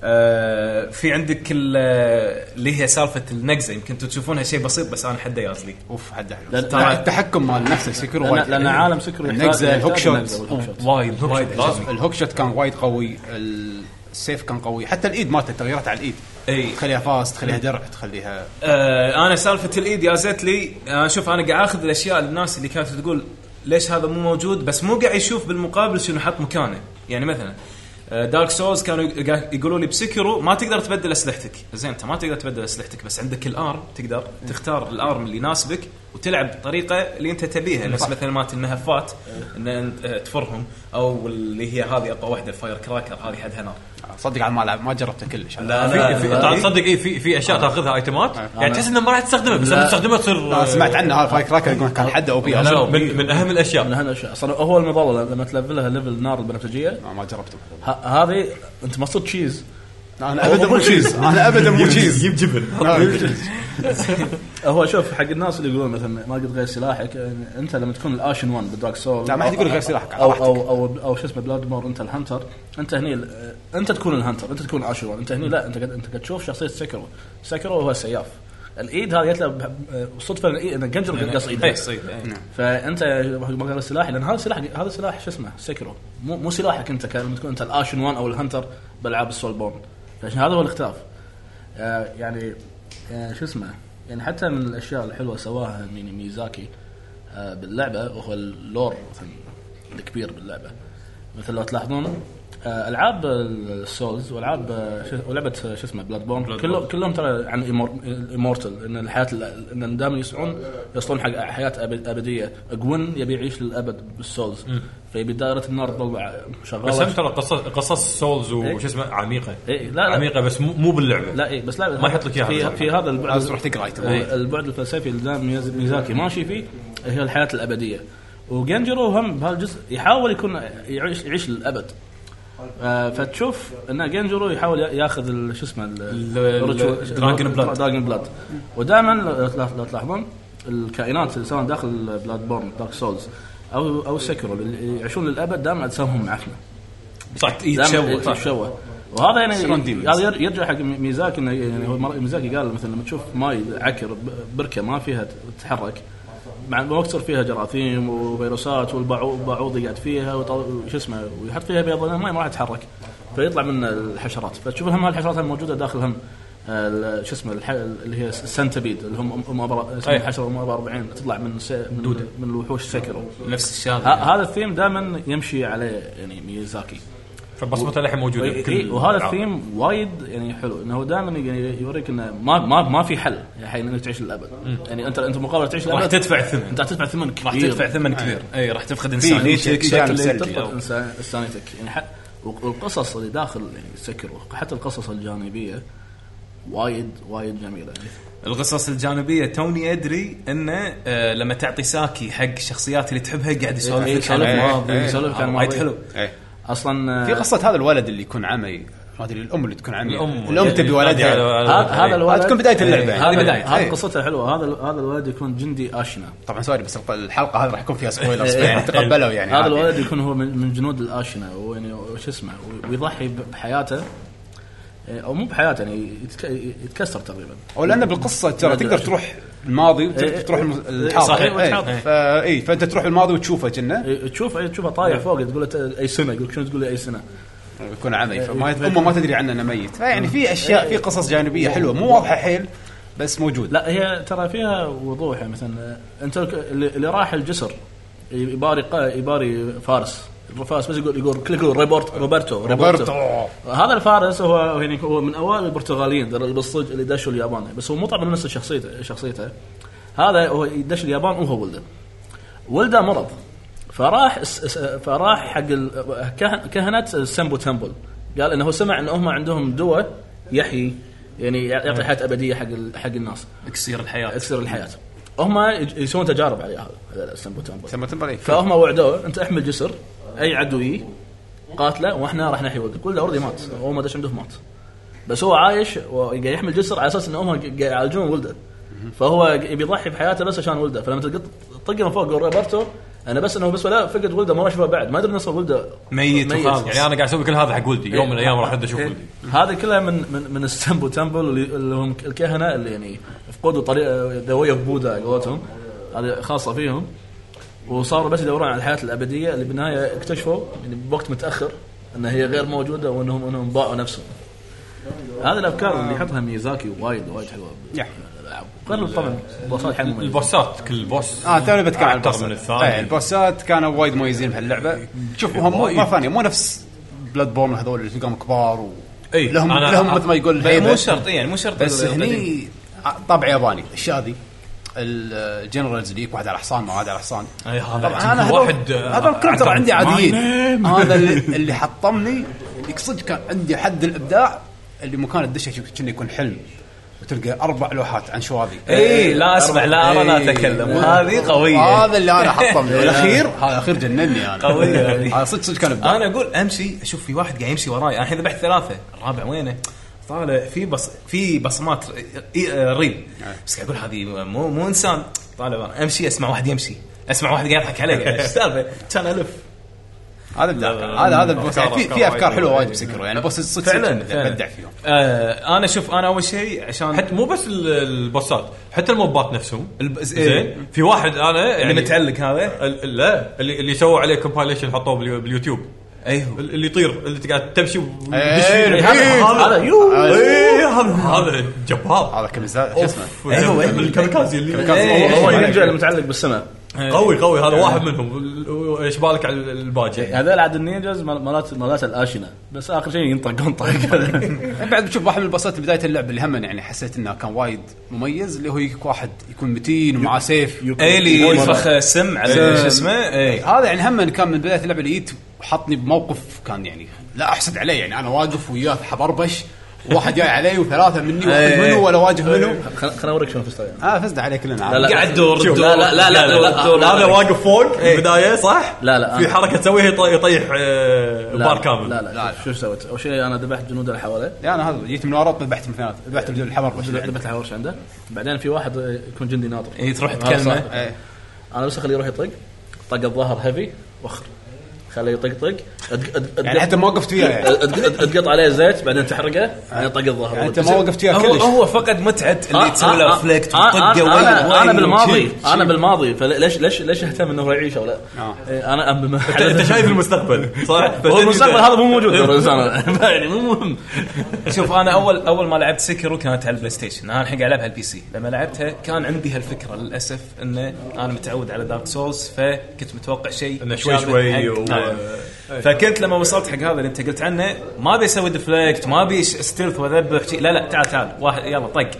Speaker 8: آه، في عندك ال- آه، اللي هي سالفه النقزه يمكن انتم تشوفونها شيء بسيط بس انا حده يازلي
Speaker 4: اوف حد حلو
Speaker 3: لأن-
Speaker 4: ترى التحكم مال نفس السكر
Speaker 3: لان,
Speaker 4: وايد
Speaker 3: لأن عالم سكر يحتاج-
Speaker 4: النقزه الهوك
Speaker 3: يحتاج النقزة
Speaker 4: شوت
Speaker 3: والهوك شوت.
Speaker 8: وايد وايد
Speaker 4: لازم الهوك شوت كان وايد قوي السيف كان قوي حتى الايد مالته تغيرت على الايد
Speaker 8: اي
Speaker 4: تخليها فاست تخليها درع تخليها
Speaker 8: آه انا سالفه الايد يا زيت لي آه شوف انا قاعد اخذ الاشياء الناس اللي كانت تقول ليش هذا مو موجود بس مو قاعد يشوف بالمقابل شنو حط مكانه يعني مثلا دارك سولز كانوا يق- يقولوا لي بسكرو ما تقدر تبدل اسلحتك زين انت ما تقدر تبدل اسلحتك بس عندك الارم تقدر تختار الارم اللي يناسبك وتلعب بالطريقه اللي انت تبيها نفس مثلا مالت المهفات ان أنت، آه، تفرهم او اللي هي هذه اقوى واحده الفاير كراكر هذه حدها نار
Speaker 4: صدق على ما لعب ما جربته كلش
Speaker 5: في في
Speaker 8: لا.
Speaker 5: طبعا تصدق اي في في
Speaker 3: آه.
Speaker 5: اشياء تاخذها ايتمات يعني تحس انه ما راح تستخدمها بس لما تستخدمها تصير
Speaker 4: أنا آه. سمعت عنه هذا فاير كراكر يقول كان حده او بي
Speaker 5: لا، لا، آه، من من اهم
Speaker 3: من
Speaker 5: الاشياء
Speaker 3: هالاشياء اصلا هو المظله لما تلفلها ليفل نار البنفسجيه
Speaker 4: آه، ما جربته
Speaker 3: ه- هذه انت مصدر تشيز
Speaker 4: انا ابدا مو تشيز انا ابدا مو آه، تشيز
Speaker 5: يجيب جبن
Speaker 3: هو شوف حق الناس اللي يقولون مثلا ما قد غير سلاحك يعني انت لما تكون الاشن 1 بدارك سول
Speaker 4: لا، ما حد يقول غير سلاحك، على
Speaker 3: او
Speaker 4: راحتك.
Speaker 3: او او, أو شو اسمه بلاد مور انت الهنتر انت هني ال- انت تكون الهنتر انت تكون الاشن 1 انت هني لا انت قاعد انت قاعد تشوف شخصيه سكرو سكرو هو السياف الايد هذه جت له بح- صدفه الايد ان جنجر قص
Speaker 8: اي
Speaker 3: ايده
Speaker 8: يعني صيد إي.
Speaker 3: فانت ما غير سلاح لان هذا سلاح هذا سلاح شو اسمه سكرو مو مو سلاحك انت كان لما تكون انت الاشن 1 او الهنتر بالعاب السول بورن فعشان هذا هو الاختلاف آه يعني آه شو اسمه يعني حتى من الاشياء الحلوه سواها ميني ميزاكي آه باللعبه وهو اللور مثلا الكبير باللعبه مثل لو تلاحظون آه العاب السولز والعاب آه، شو- ولعبه آه، شو اسمه بلاد بورن كلهم كلهم ترى عن الامورتل ان الحياه ال- ان دائما يسعون يصلون حق حياه أب- ابديه جوين يبي يعيش للابد بالسولز فيبي دائره النار تظل شغاله
Speaker 5: بس هم ترى قصص قصص سولز وش اسمه عميقه
Speaker 3: إيه، لا، لا.
Speaker 5: عميقه بس مو مو باللعبه
Speaker 3: لا اي بس لا
Speaker 5: ما يحط لك إياها
Speaker 3: في,
Speaker 5: بالضبط.
Speaker 3: في هذا البعد
Speaker 4: لازم تروح تقرا يتم.
Speaker 3: إيه، البعد الفلسفي اللي دائما ميز- ميزاكي ماشي فيه هي الحياه الابديه وجنجرو هم بهالجزء يحاول يكون يعيش يعيش للابد آه فتشوف ان جنجرو يحاول يا- ياخذ ال- شو اسمه
Speaker 8: ال- دراجون بلاد.
Speaker 3: دراجون بلاد ودائما لو تلاح- لو تلاحظون الكائنات اللي سواء داخل بلاد بورن دارك سولز او او سكرو اللي يعيشون للابد دائما اجسامهم معفنه
Speaker 8: صح
Speaker 3: دائما
Speaker 8: يتشوه صح.
Speaker 3: يتشوه وهذا يعني
Speaker 4: يصيرون demons.
Speaker 3: هذا ير- يرجع حق مي- ميزاكي انه يعني هو مر- ميزاكي قال مثلا لما تشوف ماي عكر ب- بركه ما فيها تتحرك مع الوقت تصير فيها جراثيم وفيروسات والبعوض يقعد فيها وط- وش اسمه ويحط فيها بيض لأن الماي ما راح تتحرك فيطلع من الحشرات فتشوف هم هالحشرات هم موجوده داخل هم آه، ال- شو اسمه الح- اللي هي السنتبيد اللي هم ام أبرا- اسمها حشره ام 40 تطلع من س- من, من الوحوش سكرو
Speaker 8: نفس الشاذ يعني.
Speaker 3: ه- هذا الثيم دائما يمشي عليه يعني ميزاكي
Speaker 5: فبصمته للحين موجوده
Speaker 3: إي-
Speaker 5: بكل
Speaker 3: إي، إيه، وهذا
Speaker 5: الألعاب.
Speaker 3: الثيم وايد يعني حلو انه دائما يعني يوريك انه ما ما ما في حل الحين انك تعيش للابد يعني انت انت مقابل تعيش
Speaker 8: راح
Speaker 3: للابد
Speaker 8: تدفع ثمن
Speaker 3: انت راح تدفع ثمن كبير آه.
Speaker 8: راح تدفع ثمن كبير اي راح تفقد
Speaker 4: في- في-
Speaker 8: انسانيتك
Speaker 4: في جانب
Speaker 8: شكلك
Speaker 4: سلبي.
Speaker 8: تفقد
Speaker 3: تفقد إنسان- انسانيتك يعني ح- والقصص اللي داخل يعني سكرو حتى القصص الجانبيه وايد وايد جميله
Speaker 8: القصص الجانبيه توني ادري انه آه، لما تعطي ساكي حق الشخصيات اللي تحبها قاعد يسولف
Speaker 3: إيه،
Speaker 8: لك عن
Speaker 3: يسولف
Speaker 8: الماضي،
Speaker 4: إيه،
Speaker 8: يسولف
Speaker 3: إيه.
Speaker 8: عن وايد حلو
Speaker 4: إيه.
Speaker 3: اصلا
Speaker 4: في
Speaker 3: آه،
Speaker 4: قصه هذا الولد اللي يكون عمي ما ادري الام اللي تكون عمي
Speaker 5: الام
Speaker 4: الام تبي ولدها
Speaker 8: يعني.
Speaker 3: هذا هذا
Speaker 5: الولد
Speaker 3: الولد
Speaker 4: تكون بداية اللعبة.
Speaker 3: إيه،
Speaker 4: هذه
Speaker 3: هذا-
Speaker 4: بداية.
Speaker 3: هذا
Speaker 4: إيه.
Speaker 3: قصته حلوه هذا هذا الولد يكون جندي اشنا
Speaker 4: طبعا سوري بس الق- الحلقه هذه راح يكون فيها سبويلرز
Speaker 8: إيه.
Speaker 4: يعني تقبلوا يعني
Speaker 3: إيه. هذا
Speaker 4: عادي.
Speaker 3: الولد يكون هو من من جنود الاشنا ويعني وش اسمه وي- ويضحي ب- بحياته إيه، او مو بحياته يعني يتك- يتكسر تقريبا
Speaker 4: او لان بالقصه ترى تقدر تروح الماضي
Speaker 3: إيه،
Speaker 4: وتقدر تروح الم- الحاضر
Speaker 8: صحيح.
Speaker 4: إيه. فا إيه، فانت تروح الماضي وتشوفه كنا
Speaker 3: إيه، تشوف إيه، تشوفه طايح فوق تقول له ت- اي سنه يقول لك شنو تقول لي إيه، اي سنه
Speaker 4: يكون عمي فما امه ما تدري عنه انه ميت فيعني
Speaker 3: إيه.
Speaker 4: في اشياء في قصص جانبيه حلوه مو واضحه حيل بس موجود
Speaker 3: لا هي ترى فيها وضوح يعني مثلا آه، انت الك- اللي اللي راح الجسر يباري قا- يباري فارس الفارس بس يقول يقول كل يقول ريبورت روبرتو
Speaker 4: روبرتو
Speaker 3: هذا الفارس هو يعني هو من اوائل البرتغاليين ترى اللي بالصج اللي داشوا اليابان بس هو مو طبعا نفس شخصيته شخصيته هذا هو دش اليابان وهو ولده ولده مرض فراح اس- اس- فراح حق ال- كهن- كهنه السمبو تمبل قال انه هو سمع ان هم عندهم دواء يحيي يعني يعطي حياه ابديه حق ال- حق الناس
Speaker 8: اكسير الحياه
Speaker 3: يكسر الحياه هم يج- يسوون تجارب عليه هذا هذا السمبو تمبل
Speaker 4: سمو تمبر إيه.
Speaker 3: فهم وعدوه انت احمل جسر اي عدو يجي قاتله واحنا راح نحيي ولده كله اوريدي مات هو ما ادري إيش عنده مات بس هو عايش وقاعد يحمل جسر على اساس ان امه قاعد يعالجون ولده فهو يبي يضحي بحياته بس عشان ولده فلما تلقط طق من فوق روبرتو انا بس انه بس ولا فقد ولده ما راح اشوفه بعد ما ادري نص ولده
Speaker 5: ميت وخلاص يعني انا قاعد اسوي كل هذا حق ولدي يوم من الايام راح ارد اشوف
Speaker 3: إيه.
Speaker 5: ولدي
Speaker 3: هذه كلها من من من السمبو تمبل اللي اللي هم الكهنه اللي يعني فقدوا طريقه دويه بوذا قولتهم هذه خاصه فيهم وصاروا بس يدورون على الحياه الابديه اللي بالنهايه اكتشفوا يعني بوقت متاخر انها هي غير موجوده وانهم انهم باعوا نفسهم. هذه الافكار اللي يحطها ميزاكي وايد وايد حلوه
Speaker 4: Yeah.
Speaker 3: بالألعاب. غير طبعا البوسات حلوه مميزة.
Speaker 5: البوسات كل بوس
Speaker 4: اه توني بتكلم عن
Speaker 5: أعتقد
Speaker 4: البوسات.
Speaker 5: من الثاني.
Speaker 4: إيه، البوسات كانوا وايد مميزين بهاللعبه شوف هم مو- مره ثانيه مو نفس بلاد بورن هذول اللي تلقاهم كبار و
Speaker 5: إي،
Speaker 4: لهم
Speaker 5: أنا-
Speaker 4: لهم مثل ما يقول
Speaker 8: إيه، بس مو
Speaker 4: هيبة.
Speaker 8: شرط يعني مو شرط
Speaker 4: بس
Speaker 8: القديم.
Speaker 4: هني طابع ياباني الاشياء ذي الجنرالز ليك واحد على حصان ما واحد على حصان
Speaker 5: أي إيه، هذا
Speaker 4: طبعا انا
Speaker 5: واحد،
Speaker 4: هذول
Speaker 5: آه،
Speaker 4: هذول كلهم ترى
Speaker 5: أعتقد.
Speaker 4: عندي عاديين
Speaker 5: My name.
Speaker 4: هذا اللي, اللي حطمني يقصد كان عندي حد الابداع اللي مكان الدشه كأنه يكون حلم وتلقى اربع لوحات عن شواذي إيه.
Speaker 8: اي إيه، لا اسمع لا ارى لا اتكلم هذه قويه
Speaker 4: هذا اللي انا حطمني والاخير هذا الاخير جنني انا
Speaker 8: قوية هذه.
Speaker 4: هذا صدق صدق كان ابداع
Speaker 8: انا اقول امشي اشوف في واحد قاعد يمشي وراي انا الحين ذبحت ثلاثه الرابع وينه؟ طالع في بص في بصمات ر- إي- آه، ريل
Speaker 4: نعم.
Speaker 8: بس قاعد اقول هذه مو مو انسان طالع برا امشي اسمع واحد يمشي اسمع واحد قاعد يضحك علي قاعد، ايش السالفه؟ كان الف
Speaker 4: هذا ابداع هذا هذا البوس يعني في في افكار حلوه وايد بسكرو يعني بوس صدق
Speaker 8: فعلا
Speaker 4: صدق
Speaker 8: فعلا.
Speaker 4: ابدع فيهم
Speaker 8: آه، انا شوف انا اول شيء عشان
Speaker 5: حتى مو بس ال- البوسات حتى الموبات نفسهم
Speaker 8: الب- إيه.
Speaker 5: زين في واحد انا يعني
Speaker 8: اللي متعلق هذا
Speaker 5: ال- لا اللي اللي سووا عليه كومبايليشن حطوه باليو- باليوتيوب
Speaker 8: ايوه
Speaker 5: ال- اللي يطير اللي قاعد تمشي و-
Speaker 4: إيه،
Speaker 5: وتدش فيه.
Speaker 4: إيه.
Speaker 5: هذا-
Speaker 3: هذا
Speaker 5: هذا
Speaker 3: يو
Speaker 5: إيه، هذا هذا جبار
Speaker 4: هذا كمزا شو اسمه
Speaker 5: ايوه الكاميكازي اللي
Speaker 3: هو
Speaker 5: إيه.
Speaker 3: النينجا المتعلق بالسماء
Speaker 5: قوي قوي هذا واحد منهم ايش بالك على الباجي
Speaker 3: هذول عاد النينجاز مال- مالات مالات الاشنه بس اخر شيء ينطقون طق
Speaker 4: بعد بشوف واحد من الباصات بدايه اللعب اللي هم يعني حسيت انه كان وايد مميز اللي هو يجيك واحد يكون متين ومعاه سيف
Speaker 8: اي اللي
Speaker 4: يكون-
Speaker 8: ينفخ سم على شو اسمه اي
Speaker 4: هذا يعني هم كان من بدايه اللعبه اللي جيت وحطني بموقف كان يعني لا احسد عليه يعني انا واقف وياه حبربش واحد جاي علي وثلاثه مني واحد
Speaker 8: إيه.
Speaker 4: منه ولا واجه منه
Speaker 3: خليني اوريك شلون فزت
Speaker 4: اه فزنا عليه كلنا
Speaker 3: لا، لا.
Speaker 8: قاعد دور
Speaker 5: شوف.
Speaker 8: دور،
Speaker 3: لا، لا، لا،
Speaker 8: قاعد
Speaker 3: لا، لا.
Speaker 8: دور،
Speaker 5: هذا
Speaker 8: دور.
Speaker 5: واقف فوق البدايه صح؟
Speaker 3: إيه. لا، لا،
Speaker 5: في
Speaker 3: أنا-
Speaker 5: حركه تسويها يطي- يطيح آه،
Speaker 3: لا
Speaker 5: بار كامل
Speaker 3: لا لا, لا شو سويت؟ اول شيء انا ذبحت جنود اللي حواليه
Speaker 4: لا انا هذا جيت من ورا ذبحت من ثلاث ذبحت الرجل الحمر
Speaker 3: ذبحت اللي حواليه عنده بعدين في واحد آه، يكون جندي ناطر
Speaker 8: اي تروح
Speaker 3: هذا صح.
Speaker 8: تكلمه
Speaker 4: إيه.
Speaker 3: انا بس اخليه يروح يطق طق الظهر هيفي وخر خليه يطق طق أدق- أدق-
Speaker 4: يعني
Speaker 3: أدق-
Speaker 4: حتى ما وقفت وياه يعني.
Speaker 3: أدق- أدق- تقط عليه زيت بعدين تحرقه بعدين طق الظهر
Speaker 4: يعني انت ما وقفت وياه
Speaker 8: هو
Speaker 4: كلش
Speaker 8: هو فقد متعه اللي
Speaker 3: آه،
Speaker 8: تسوي
Speaker 3: آه،
Speaker 8: له
Speaker 3: آه،
Speaker 8: فليكت
Speaker 3: آه،
Speaker 8: وطقه
Speaker 3: آه،
Speaker 8: وين
Speaker 3: أنا-
Speaker 8: وين
Speaker 3: انا بالماضي
Speaker 8: وشي.
Speaker 3: انا بالماضي فليش ليش ليش اهتم انه هو يعيش او لا؟
Speaker 4: آه.
Speaker 3: إيه، انا أم-
Speaker 5: انت شايف المستقبل صح؟
Speaker 3: هو المستقبل هذا مو موجود
Speaker 8: إيه.
Speaker 3: ترى، بس أنا- يعني مو مهم
Speaker 8: شوف انا اول اول ما لعبت سكرو كانت على البلاي ستيشن انا الحين قاعد العبها على البي سي لما لعبتها كان عندي هالفكره للاسف انه انا متعود على دارك سولز فكنت متوقع شيء
Speaker 5: إنه شوي
Speaker 8: مشابه
Speaker 5: شوي
Speaker 8: حق-
Speaker 5: و-
Speaker 8: نعم. فكنت لما وصلت حق هذا اللي انت قلت عنه ما ابي اسوي ديفليكت ما ابي ش- ستيلث واذبح شيء لا لا تعال تعال واحد يلا طق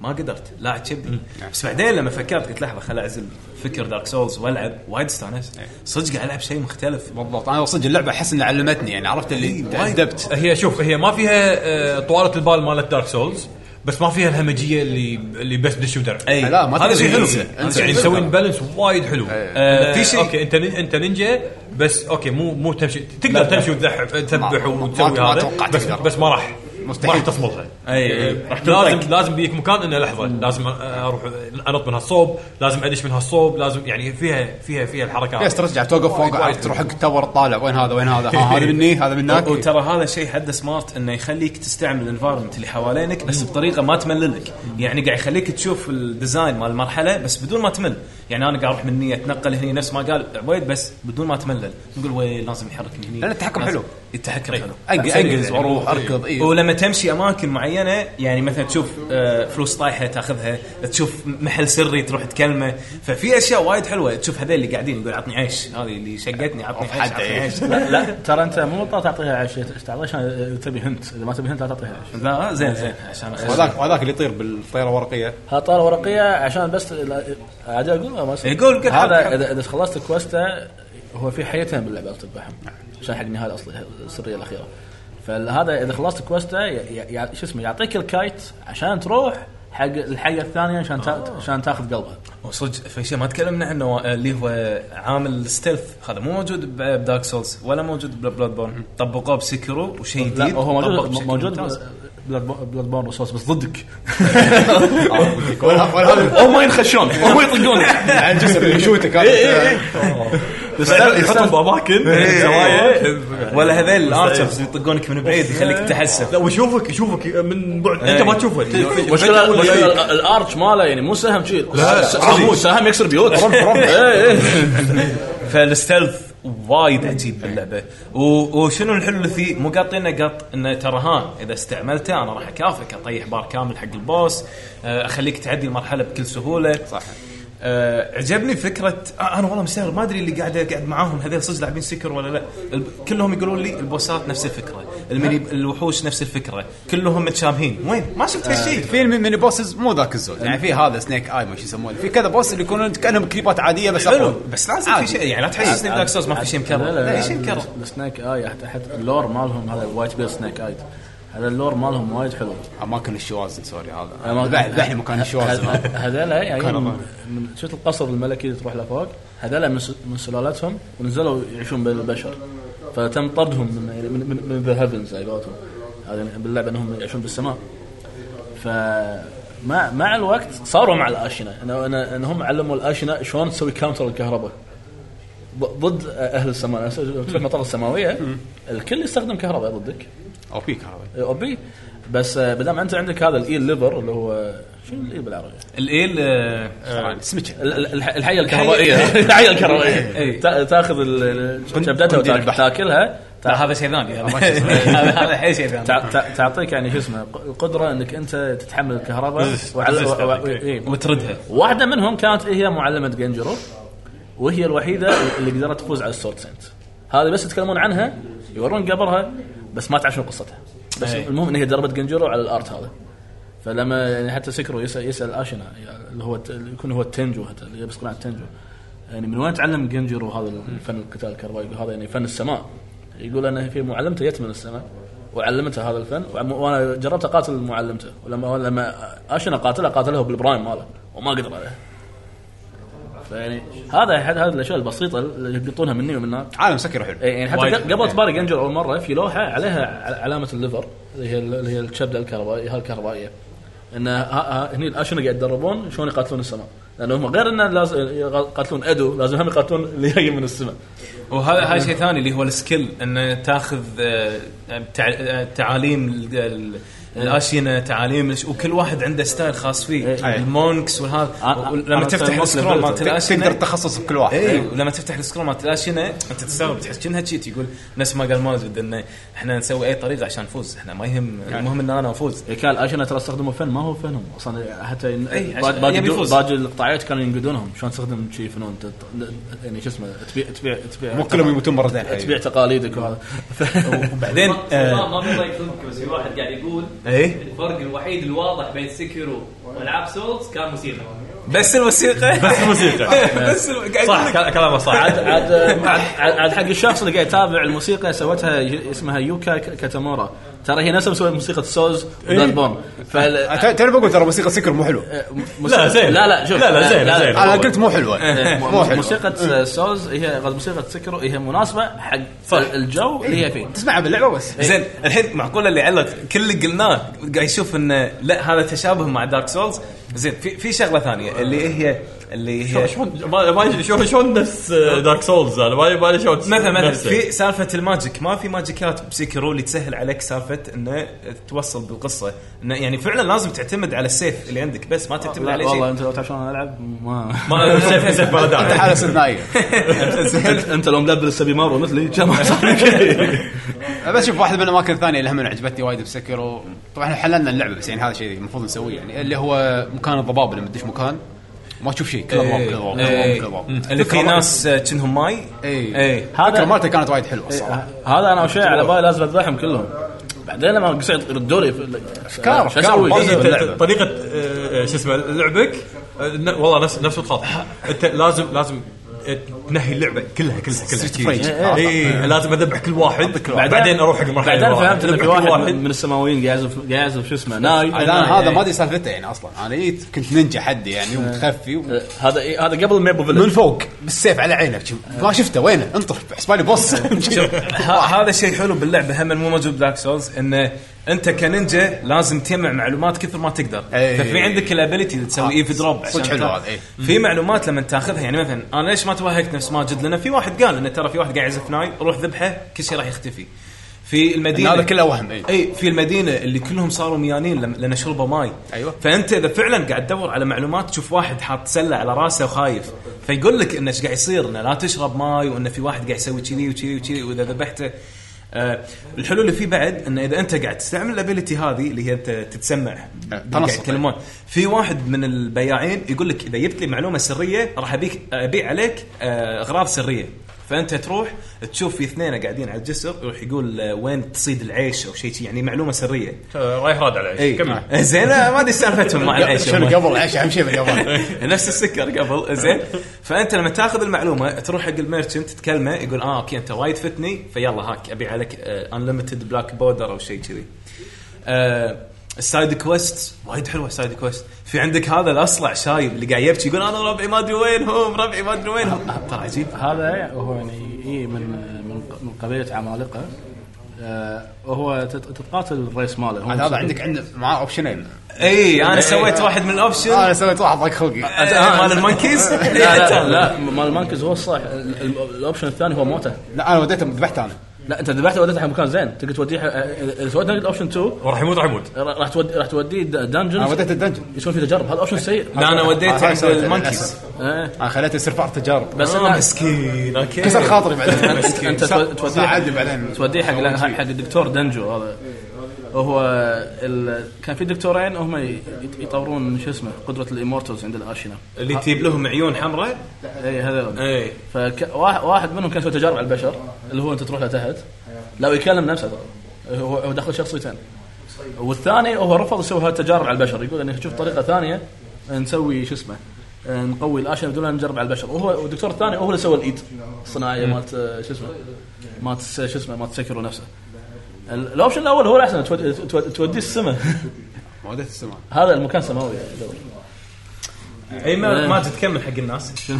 Speaker 8: ما قدرت لا كذي بس بعدين لما فكرت قلت لحظه خل اعزل فكر دارك سولز والعب وايد استانست صدق قاعد العب شيء مختلف
Speaker 4: بالضبط انا صدق اللعبه احس انها علمتني يعني عرفت اللي تأدبت
Speaker 5: إيه، هي شوف هي ما فيها آه، طواله البال مالت دارك سولز بس ما فيها الهمجيه اللي اللي بس دش ودرع
Speaker 8: اي
Speaker 4: لا، ما
Speaker 5: هذا شيء حلو
Speaker 4: انسى، انسى.
Speaker 5: يعني مسوين بالانس وايد حلو آه،
Speaker 8: في شيء-
Speaker 5: اوكي انت نين- انت نينجا بس اوكي مو مو تمشي تقدر تمشي وتذبح تذبح
Speaker 4: ما- ما-
Speaker 5: وتسوي
Speaker 4: ما
Speaker 5: هذا
Speaker 4: أتوقع
Speaker 5: بس
Speaker 4: تقدر.
Speaker 5: بس ما راح
Speaker 4: مستحيل. إيه.
Speaker 5: ما راح تصمدها إيه.
Speaker 8: اي
Speaker 5: لازم لازم بيك مكان انه لحظه لازم اروح انط من هالصوب لازم ادش من هالصوب لازم يعني فيها فيها فيها
Speaker 4: بس
Speaker 5: الحركات
Speaker 4: ترجع توقف فوق عرفت تروح حق التور تطالع وين هذا وين هذا ها هذا مني هذا من هناك
Speaker 8: وترى هذا شيء حد سمارت انه يخليك تستعمل الانفايرمنت اللي حوالينك بس بطريقه ما تمللك يعني قاعد يخليك تشوف الديزاين مال المرحله بس بدون ما تمل يعني انا قاعد اروح من هني اتنقل هني نفس ما قال عبيد بس بدون ما تملل نقول ويل لازم يحرك من هني
Speaker 4: لأن التحكم
Speaker 8: لازم-
Speaker 4: حلو. إيه.
Speaker 8: التحكم حلو إيه.
Speaker 4: انقز انقز واروح اركض اي
Speaker 8: ولما تمشي اماكن معينه يعني مثلا تشوف آه، فلوس طايحه تاخذها تشوف محل سري تروح تكلمه ففي اشياء وايد حلوه تشوف هذول اللي قاعدين يقول عطني عيش هذه اللي شقتني عطني عيش
Speaker 4: حد
Speaker 8: عطني
Speaker 4: إيه.
Speaker 8: عيش
Speaker 3: لا لا ترى انت مو مضطر تعطيها عيش تعطيها عشان تبي هنت اذا ما تبي هنت لا تعطيها إيه، عيش
Speaker 8: لا زين زين عشان أخلص.
Speaker 4: وهذاك وهذاك اللي يطير بالطياره الورقيه
Speaker 3: ها طاره ورقيه عشان بس لا- عادي اقول ولا ما أصير؟
Speaker 8: إيه، قول- قول حالك.
Speaker 3: هذا اذا اذا خلصت كوستا هو في حيتين باللعبه لو تذبحهم عشان حق النهايه الاصليه السريه الاخيره فهذا اذا خلصت كوستا ي- ي- ي- شو اسمه يعطيك الكايت عشان تروح حق الحيه الثانيه عشان تا- عشان تاخذ قلبها
Speaker 8: وصدق في شيء ما تكلمنا عنه آه، اللي هو عامل الستيلث هذا مو موجود ب- بدارك سولز ولا موجود ببلاد بورن طبقوه بسكرو وشيء جديد
Speaker 3: لا هو
Speaker 8: طبق
Speaker 3: موجود
Speaker 8: بشكل
Speaker 3: موجود
Speaker 8: ممتاز.
Speaker 3: بلاد بورن ريسورس بس ضدك
Speaker 4: ولا ولا
Speaker 8: هم ما ينخشون هم يطقون
Speaker 4: على الجسم اللي يشوتك
Speaker 3: إيه،
Speaker 5: إيه،
Speaker 4: هذا.
Speaker 5: يحطهم باماكن زوايا
Speaker 8: إيه، ولا هذيل الارشرز يطقونك من بعيد يخليك تتحسف إيه.
Speaker 5: لا ويشوفك يشوفك من بعد انت ما تشوفه
Speaker 3: المشكله المشكله الارش ماله يعني مو سهم شيء
Speaker 5: لا،
Speaker 3: س-
Speaker 5: عادي.
Speaker 3: سمو سهم يكسر بيوت إيه، إيه.
Speaker 8: فالستلث وايد عجيب باللعبه و- وشنو الحلو فيه مو قاطينه قط انه ترى ها اذا استعملته انا راح اكافئك اطيح بار كامل حق البوس آه، اخليك تعدي المرحله بكل سهوله صح آه عجبني فكره آه انا والله مستغرب ما ادري اللي قاعد قاعد معاهم هذول صدق لاعبين سكر ولا لا الب... كلهم يقولون لي البوسات نفس الفكره المني الوحوش نفس الفكره كلهم متشابهين وين ما شفت هالشيء
Speaker 4: آه، في الم- ميني بوسز مو ذاك الزود يعني في هذا سنيك اي ما شو يسمونه في كذا بوس اللي يكونون كانهم كريبات عاديه بس
Speaker 8: حلو
Speaker 4: أقوى.
Speaker 8: بس لازم في
Speaker 4: عادي.
Speaker 8: شيء يعني لا تحسسني بدارك سوز ما في شيء مكرر
Speaker 3: لا لا
Speaker 8: لا
Speaker 3: لا
Speaker 8: في شيء مكرر
Speaker 3: السناك اي حتى حتى اللور مالهم هذا وايت بير سناك اي هذا اللور مالهم وايد حلو
Speaker 4: اماكن الشواذ سوري هذا
Speaker 3: أماكن-
Speaker 4: ذبح-
Speaker 8: يعني
Speaker 4: ذبحني مكان الشواذ
Speaker 3: هذ- هذولا
Speaker 4: كان
Speaker 3: يعني
Speaker 4: الله.
Speaker 3: من- شفت القصر الملكي اللي تروح له فوق هذولا من س- من سلالتهم ونزلوا يعيشون بين البشر فتم طردهم من من من- من ذا هيفنز على قولتهم هذا باللعبه انهم يعيشون بالسماء فمع مع الوقت صاروا مع الاشنه إنه- إنه- انهم علموا الاشنه شلون تسوي كاونتر الكهرباء ضد اهل السماء تروح المطار السماويه الكل يستخدم كهرباء ضدك
Speaker 4: او في كهرباء
Speaker 3: او بي بس آه، بدام انت عندك هذا الاي ليفر اللي هو شنو الاي بالعربي؟
Speaker 8: الايل آه،
Speaker 4: سمك
Speaker 3: ال- ال- الح- الحيه الكهربائيه الحيه
Speaker 8: إيه.
Speaker 3: الكهربائيه تا- تاخذ ال- ال- شبدتها
Speaker 4: قنديل
Speaker 3: وتاك-
Speaker 4: البحر.
Speaker 3: تاكلها
Speaker 8: لا هذا شيء ثاني هذا هذا حي شيء ثاني
Speaker 3: تع- تع- تعطيك يعني شو اسمه ق- القدره انك انت تتحمل الكهرباء
Speaker 5: عزيز
Speaker 3: وعلى- وع-
Speaker 5: تعطيك،
Speaker 3: إيه.
Speaker 8: وتردها
Speaker 3: واحده منهم كانت هي معلمه جنجرو وهي الوحيده اللي قدرت تفوز على السورد سنت هذه بس يتكلمون عنها يورون قبرها بس ما تعرف شنو قصتها بس
Speaker 5: إيه.
Speaker 8: أي.
Speaker 3: المهم ان هي دربت جنجرو على الارت هذا فلما يعني حتى سكرو يسال يسال اشنا يعني اللي هو الت- اللي يكون هو التنجو حتى اللي يلبس قناع التنجو يعني من وين تعلم جنجرو هذا الفن القتال الكهربائي يقول هذا يعني فن السماء يقول انا في معلمته جت من السماء وعلمته هذا الفن وعم- وانا جربت اقاتل معلمته ولما لما اشنا قاتله قاتله بالبرايم ماله وما قدر عليه فيعني هذا احد هذه الاشياء البسيطه اللي يقطونها مني ومنها
Speaker 4: عالم سكر حلو
Speaker 3: إيه، يعني حتى
Speaker 8: وايد.
Speaker 3: قبل- قبل تبارك انجل اول مره في لوحه عليها ع- علامه الليفر اللي هي اللي هي الشبده الكهربائيه هاي الكهربائيه ان ها- ها- هني الاشنا قاعد يتدربون شلون يقاتلون السماء لانه هم غير انه لازم يقاتلون ادو لازم هم يقاتلون اللي جاي من السماء
Speaker 8: وهذا هذا شيء ثاني اللي هو السكيل ان تاخذ آه، تع- آه، تعاليم ال- ال-
Speaker 4: إيه.
Speaker 8: الاشينه تعاليم الش- وكل واحد عنده ستايل خاص فيه
Speaker 4: أي.
Speaker 8: المونكس وهذا
Speaker 4: آه،
Speaker 3: أنا-
Speaker 8: لما
Speaker 3: أنا
Speaker 8: تفتح
Speaker 3: سويت
Speaker 8: السكرول مالت
Speaker 4: تقدر
Speaker 8: الاشينه
Speaker 4: تخصص بكل واحد إيه.
Speaker 8: اي ولما تفتح السكرول مالت الاشينه انت تستغرب تحس كأنها تشيت يقول نفس ما قال مازود انه احنا نسوي اي طريقه عشان نفوز احنا ما يهم
Speaker 4: يعني
Speaker 8: يعني المهم ان انا افوز
Speaker 3: إيه، كان الاشنا ترى استخدموا فن ما هو فنهم اصلا حتى ين-
Speaker 8: إيه، عشان-
Speaker 3: باقي- باقي
Speaker 8: يبي
Speaker 3: الدو-
Speaker 8: يفوز.
Speaker 3: باقي القطاعات كانوا ينقدونهم شلون تستخدم شي فنون ت- ت- يعني شو اسمه تبيع تبيع تبيع
Speaker 4: مو كلهم يموتون مرتين
Speaker 3: تبيع تقاليدك وهذا
Speaker 8: نعم. بعدين آه،
Speaker 9: ما ما بيضايق فمك بس في واحد قاعد يقول
Speaker 8: اي
Speaker 9: الفرق الوحيد الواضح بين سكيرو والعاب سولز كان موسيقى
Speaker 8: بس الوثيقه
Speaker 5: بس موسيقى
Speaker 8: بس ال- قاعد يقول
Speaker 5: صح
Speaker 8: لك-
Speaker 5: كل- كلامه صح آه،
Speaker 3: عاد عاد عاد عاد حق الشخص اللي قاعد يتابع الموسيقى سوتها ي- اسمها يوكا ك- كاتامورا ترى هي نفسها مسويه موسيقى سولز
Speaker 8: إيه.
Speaker 3: بلاد بورن فال
Speaker 4: أه، تعرف بقول ترى موسيقى سكر مو حلو
Speaker 5: لا، زين.
Speaker 3: لا لا شوف
Speaker 5: لا، لا، زين، زين.
Speaker 4: انا قلت مو حلوه مو حلو
Speaker 3: موسيقى سولز هي غاز- موسيقى سكرو هي مناسبه حق الجو اللي هي فيه
Speaker 4: إيه.
Speaker 3: إيه.
Speaker 4: تسمعها باللعبه بس
Speaker 8: زين الحين معقوله اللي علق كل اللي قلناه قاعد يشوف انه لا هذا تشابه مع دارك سولز زين في في شغله ثانيه اللي هي اللي هي
Speaker 5: شلون ما ما شلون شلون نفس آه، دارك سولز انا يعني ما ما شلون
Speaker 8: مثلا مثلا
Speaker 5: نفسه.
Speaker 8: في سالفه الماجيك ما في ماجيكات بسيكرو اللي تسهل عليك سالفه انه توصل بالقصه انه يعني فعلا لازم تعتمد على السيف اللي عندك بس ما تعتمد
Speaker 3: لا
Speaker 8: على شيء
Speaker 3: والله انت لو تعرف شلون العب ما
Speaker 5: ما سيف سيف ما له داعي
Speaker 4: على سنايه
Speaker 3: انت انت لو ملبل السبي مارو مثلي كان ما صار لك شيء.
Speaker 4: بس شوف واحد من الاماكن الثانيه اللي هم عجبتني وايد بسكرو طبعا احنا حللنا اللعبه بس يعني هذا الشيء المفروض نسويه يعني اللي هو مكان الضباب لما تدش مكان ما تشوف شيء كله ضباب كله ضباب،
Speaker 8: إيه.
Speaker 4: كله ضباب
Speaker 8: مم.
Speaker 4: كله
Speaker 8: اللي في
Speaker 4: ضباب.
Speaker 8: ناس آه، كأنهم ماي
Speaker 4: اي
Speaker 8: إيه.
Speaker 4: الفكره مالته كانت وايد حلوه الصراحه
Speaker 3: هذا انا اول شيء على بالي لازم اذبحهم كلهم بعدين لما قصيت ردوا لي
Speaker 4: كارف،
Speaker 3: شو
Speaker 4: كارف،
Speaker 3: اسوي؟
Speaker 4: برضه
Speaker 8: إيه،
Speaker 5: أنت-
Speaker 4: باللعبة.
Speaker 5: طريقه آه، آه، شو اسمه لعبك آه، ن- والله نفس نفس الخاطر انت لازم لازم تنهي اللعبه كلها كلها كلها
Speaker 4: Street Fighter.
Speaker 5: إيه، إيه، لازم اذبح كل واحد بعدين اروح حق المرحله
Speaker 3: بعدين
Speaker 5: اللي وراها.
Speaker 3: فهمت ان
Speaker 5: أذبح
Speaker 3: في
Speaker 5: كل
Speaker 3: واحد من السماويين قاعد يعزف قاعد يعزف شو اسمه ناي
Speaker 4: عاد انا هذا ما ادري سالفته يعني اصلا انا جيت كنت نينجا حدي يعني ومتخفي و-
Speaker 3: هذا إيه، هذا قبل ميبو
Speaker 4: من
Speaker 3: فيلج
Speaker 4: فوق بالسيف على عينك شو- ما شفته وينه انطر حسبالي بوس
Speaker 8: ه- هذا شيء حلو باللعبه هم مو موجود بلاك سولز انه انت كنينجا لازم تجمع معلومات كثر ما تقدر
Speaker 4: أي.
Speaker 8: ففي عندك الابيلتي اللي تسوي
Speaker 4: آه،
Speaker 8: ايف دروب
Speaker 4: صدق حلو هذا، أي.
Speaker 8: في معلومات لما تاخذها يعني مثلا انا ليش ما توهقت نفس ماجد لان في واحد قال انه ترى في واحد قاعد يعزف ناي روح ذبحه كل شيء راح يختفي في المدينه
Speaker 4: هذا كله وهم، إيه. أي.
Speaker 8: اي في المدينه اللي كلهم صاروا ميانين لم- لان شربوا ماي
Speaker 4: أيوة.
Speaker 8: فانت اذا فعلا قاعد تدور على معلومات تشوف واحد حاط سله على راسه وخايف فيقول لك انه ايش قاعد يصير انه لا تشرب ماي وانه في واحد قاعد يسوي كذي وكذي وكذي واذا ذبحته آه الحلو اللي فيه بعد انه اذا انت قاعد تستعمل الابيلتي هذه اللي هي انت تتسمع قاعد
Speaker 4: آه، تنصت.
Speaker 8: يتكلمون في واحد من البياعين يقول لك اذا جبت لي معلومه سريه راح ابيك ابيع عليك آه، اغراض سريه فانت تروح تشوف في اثنين قاعدين على الجسر يروح يقول آه، وين تصيد العيش او شيء شي، يعني معلومه سريه
Speaker 5: آه، رايح راد على
Speaker 8: اي
Speaker 5: العيش كمل
Speaker 8: زين آه، ما ادري سالفتهم مع العيش
Speaker 4: شنو قبل العيش اهم شيء باليابان
Speaker 8: نفس السكر قبل زين فانت لما تاخذ المعلومه تروح حق الميرشنت تتكلمه يقول اه اوكي انت وايد فتني فيلا هاك ابيع عليك آه، انليمتد بلاك بودر او شيء كذي آه، السايد كويست وايد حلوه السايد كويست في عندك هذا الاصلع شايب اللي قاعد يبكي يقول انا ربعي ما ادري وينهم ربعي ما ادري وينهم ترى عجيب
Speaker 3: هذا هو يعني اي من من من قبيله عمالقه آه، وهو تت- تتقاتل الرئيس ماله هو
Speaker 4: عاد هذا
Speaker 3: مسؤول.
Speaker 4: عندك إيه، آه، عندنا معاه اوبشنين
Speaker 8: اي انا إيه، سويت واحد من الاوبشن
Speaker 4: انا سويت واحد ضاق خلقي
Speaker 8: آه، مال إيه، المونكيز
Speaker 3: لا لا لا مال المانكز هو الصح ال- ال- الاوبشن الثاني هو موته
Speaker 4: لا انا وديته ذبحته انا
Speaker 3: لا انت ذبحته وديته حق مكان زين تقدر توديه حق- اذا سويت نقد اوبشن 2
Speaker 5: وراح يموت راح يموت
Speaker 3: را- راح تودي راح توديه دنجن
Speaker 4: انا وديته الدنجن
Speaker 3: يسوون فيه تجارب هذا اوبشن سيء
Speaker 8: لا انا وديته
Speaker 4: هاي
Speaker 8: عند
Speaker 4: سويته
Speaker 8: المونكيز
Speaker 4: للأسف.
Speaker 3: إيه.
Speaker 4: انا خليته يصير فار تجارب
Speaker 3: بس
Speaker 8: آه،
Speaker 3: إنه-
Speaker 5: مسكين اوكي
Speaker 4: كسر خاطري بعدين
Speaker 3: انت تو- توديه
Speaker 4: ساعدني
Speaker 3: حق-
Speaker 4: بعدين
Speaker 3: توديه حق لا، حق الدكتور دنجو هذا هو ال... كان في دكتورين هم ي- يط- يطورون شو اسمه قدره الايمورتلز عند إيه، الاشنا
Speaker 8: اللي تجيب لهم عيون حمراء إيه.
Speaker 3: اي هذا
Speaker 8: اي
Speaker 3: فواحد منهم كان يسوي تجارب على البشر اللي هو انت تروح له تحت لو يكلم نفسه ترى هو هو داخل شخصيتين والثاني هو رفض يسوي هالتجارب على البشر يقول اني شوف طريقه ثانيه نسوي شو اسمه نقوي الاشياء بدون لا نجرب على البشر وهو والدكتور الثاني هو اللي سوى الايد الصناعيه مالت شو اسمه مالت شو اسمه مالت سكرو نفسه ال- الاوبشن الاول هو الاحسن تود- تود- توديه السماء
Speaker 4: ما وديته السماء
Speaker 3: هذا المكان سماوي يعني.
Speaker 8: اي إيه، ما ما تتكمل حق الناس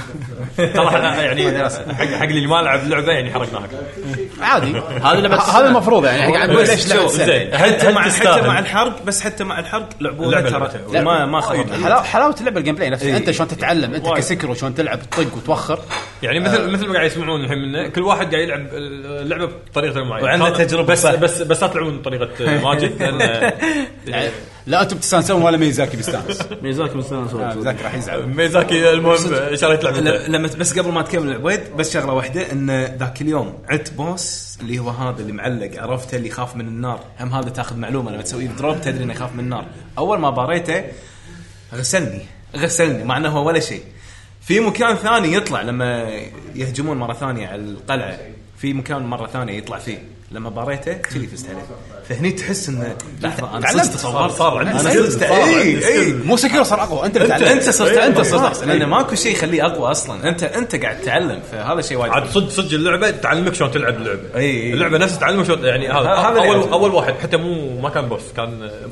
Speaker 5: إيه. ترى إحنا يعني حق حق اللي ما لعب اللعبه يعني حرقناها
Speaker 4: عادي
Speaker 3: هذا لعبه
Speaker 4: هذا المفروض يعني قاعد اقول ليش لعبة
Speaker 5: شوف، زين.
Speaker 4: سنة.
Speaker 8: حتى مع حتى
Speaker 5: تستاهل.
Speaker 8: مع الحرق بس حتى مع الحرق لعبوه
Speaker 5: اللعبة
Speaker 8: ترى
Speaker 5: لعبتها.
Speaker 8: ما ما خربنا
Speaker 4: حلاوة- حلاوه اللعبه الجيم بلاي نفسها
Speaker 8: إيه.
Speaker 4: انت شلون تتعلم انت
Speaker 5: وايد.
Speaker 4: كسكر وشلون تلعب تطق وتوخر
Speaker 5: يعني مثل
Speaker 8: آه.
Speaker 5: مثل ما قاعد يسمعون الحين منا كل واحد قاعد يلعب آه، اللعبه بطريقته المعينه
Speaker 8: وعنده
Speaker 5: خلاص.
Speaker 8: تجربة
Speaker 5: بس
Speaker 8: صح.
Speaker 5: بس بس لا تلعبون آه، بطريقه ماجد لان
Speaker 4: يعني لا انتم بتستانسون ولا ميزاكي بيستانس
Speaker 3: ميزاك من السنه
Speaker 4: آه، ميزاكي راح يزعل
Speaker 5: ميزاكي المهم شريت لعبته
Speaker 8: ل- لما بس قبل ما تكمل عبيد بس شغله واحده ان ذاك اليوم عدت بوس اللي هو هذا اللي معلق عرفته اللي يخاف من النار هم هذا تاخذ معلومه لما تسوي دروب تدري انه يخاف من النار اول ما باريته غسلني غسلني مع انه هو ولا شيء في مكان ثاني يطلع لما يهجمون مره ثانيه على القلعه في مكان مره ثانيه يطلع فيه لما باريته كذي فزت عليه فهني تحس انه لحظه انا صدق
Speaker 4: تعلمت.
Speaker 8: تصورت صار
Speaker 4: عندي
Speaker 8: انا
Speaker 4: سكيل،
Speaker 8: صدق إيه،
Speaker 4: صار عندي
Speaker 8: اي اي
Speaker 4: سكيل. إيه. مو سكر صار اقوى انت اللي
Speaker 8: انت ايه،
Speaker 4: تعلمت إيه.
Speaker 8: انت صرت انت صرت
Speaker 4: صح.
Speaker 8: لان ماكو شيء يخليه اقوى اصلا انت انت قاعد تتعلم فهذا شيء وايد
Speaker 5: عاد
Speaker 8: حلو.
Speaker 5: صدق صدق اللعبه تعلمك شلون تلعب اللعبه
Speaker 8: إي، إي.
Speaker 5: اللعبه نفسها تعلمك شلون يعني هذا
Speaker 8: هذا اللي
Speaker 5: اول
Speaker 8: عجبني.
Speaker 5: اول واحد حتى مو ما كان بوس كان آه،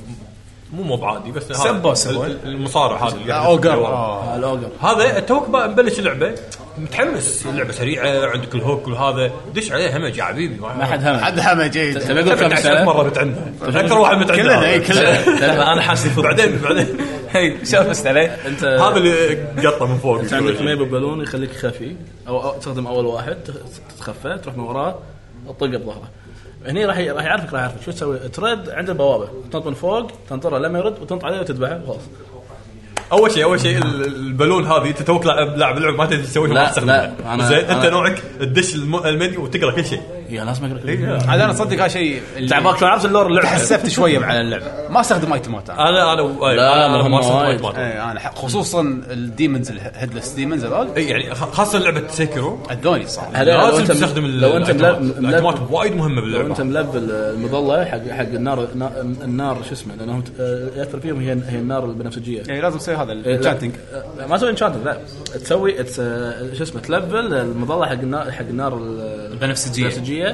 Speaker 5: مو موب عادي بس هذا
Speaker 8: سب boss
Speaker 5: ال-
Speaker 8: هو.
Speaker 5: ال- المصارع هذا اللي
Speaker 4: لا،
Speaker 5: قاعد
Speaker 4: اوجر
Speaker 5: يدور.
Speaker 4: آه.
Speaker 3: الاوجر
Speaker 5: هذا توك بقى مبلش اللعبه متحمس اللعبه سريعه عندك الهوك وهذا دش عليه همج يا حبيبي
Speaker 3: ما حد إيه. هم
Speaker 4: عندها مجيد
Speaker 3: تبي اقول كم
Speaker 5: 17
Speaker 3: سنه؟
Speaker 5: مره متعنى اكثر واحد متعنى
Speaker 4: كلنا
Speaker 3: إيه،
Speaker 4: اي
Speaker 5: هذا.
Speaker 4: كلنا
Speaker 8: لا، انا حاسس فيه.
Speaker 5: بعدين بعدين
Speaker 8: هي شوف بس عليه انت
Speaker 3: آه،
Speaker 5: هذا اللي قطه من فوق
Speaker 3: انت عندك ميبو بالون يخليك خفي او أو تستخدم اول واحد تخ- تتخفى تروح من وراه تطقه بظهره هني راح ي- راح يعرفك راح يعرفك شو تسوي ترد عند البوابه تنط من فوق تنطره لما يرد وتنط عليه وتذبحه وخلاص
Speaker 5: اول شيء اول شيء ال- البالون هذه انت توك لاعب لاعب لعب ما تدري تسوي شيء، ما
Speaker 3: لا،
Speaker 5: تستخدمه
Speaker 3: لا، أنا-
Speaker 5: زين انت
Speaker 3: أنا-
Speaker 5: نوعك تدش الم- المنيو وتقرا كل شيء إيه.
Speaker 3: يا لازم اقرا
Speaker 4: عاد انا اصدق هذا شيء اللي
Speaker 8: تعباك شلون عرفت اللور اللعبه
Speaker 4: حسفت شويه مع اللعبه ما استخدم ايتمات
Speaker 5: انا
Speaker 4: انا
Speaker 5: انا
Speaker 3: لا،
Speaker 5: انا
Speaker 3: مهمة
Speaker 5: ما استخدم
Speaker 3: وايد.
Speaker 5: ايتمات
Speaker 4: إيه، انا ح- خصوصا الديمونز الهيدلس ديمونز هذول
Speaker 5: إي، يعني خ- خاصه لعبه سيكرو
Speaker 4: اذوني صح
Speaker 5: لازم تستخدم ال-
Speaker 3: لو انت
Speaker 5: الايتمات
Speaker 3: ملب- ملب-
Speaker 5: الايتمات وايد مهمه
Speaker 3: لو انت
Speaker 5: باللعبه
Speaker 3: ملبل المظله حق حق النار نا- النار شو اسمه لانهم ت- آه، ياثر فيهم هي هي النار البنفسجيه
Speaker 4: اي لازم تسوي هذا
Speaker 3: إيه، لا.
Speaker 4: الشاتنج
Speaker 3: آه، ما تسوي انشانتنج لا تسوي تس- آه، شو اسمه تلبل المظله حق النار حق النار ال-
Speaker 8: البنفسجية.
Speaker 3: البنفسجيه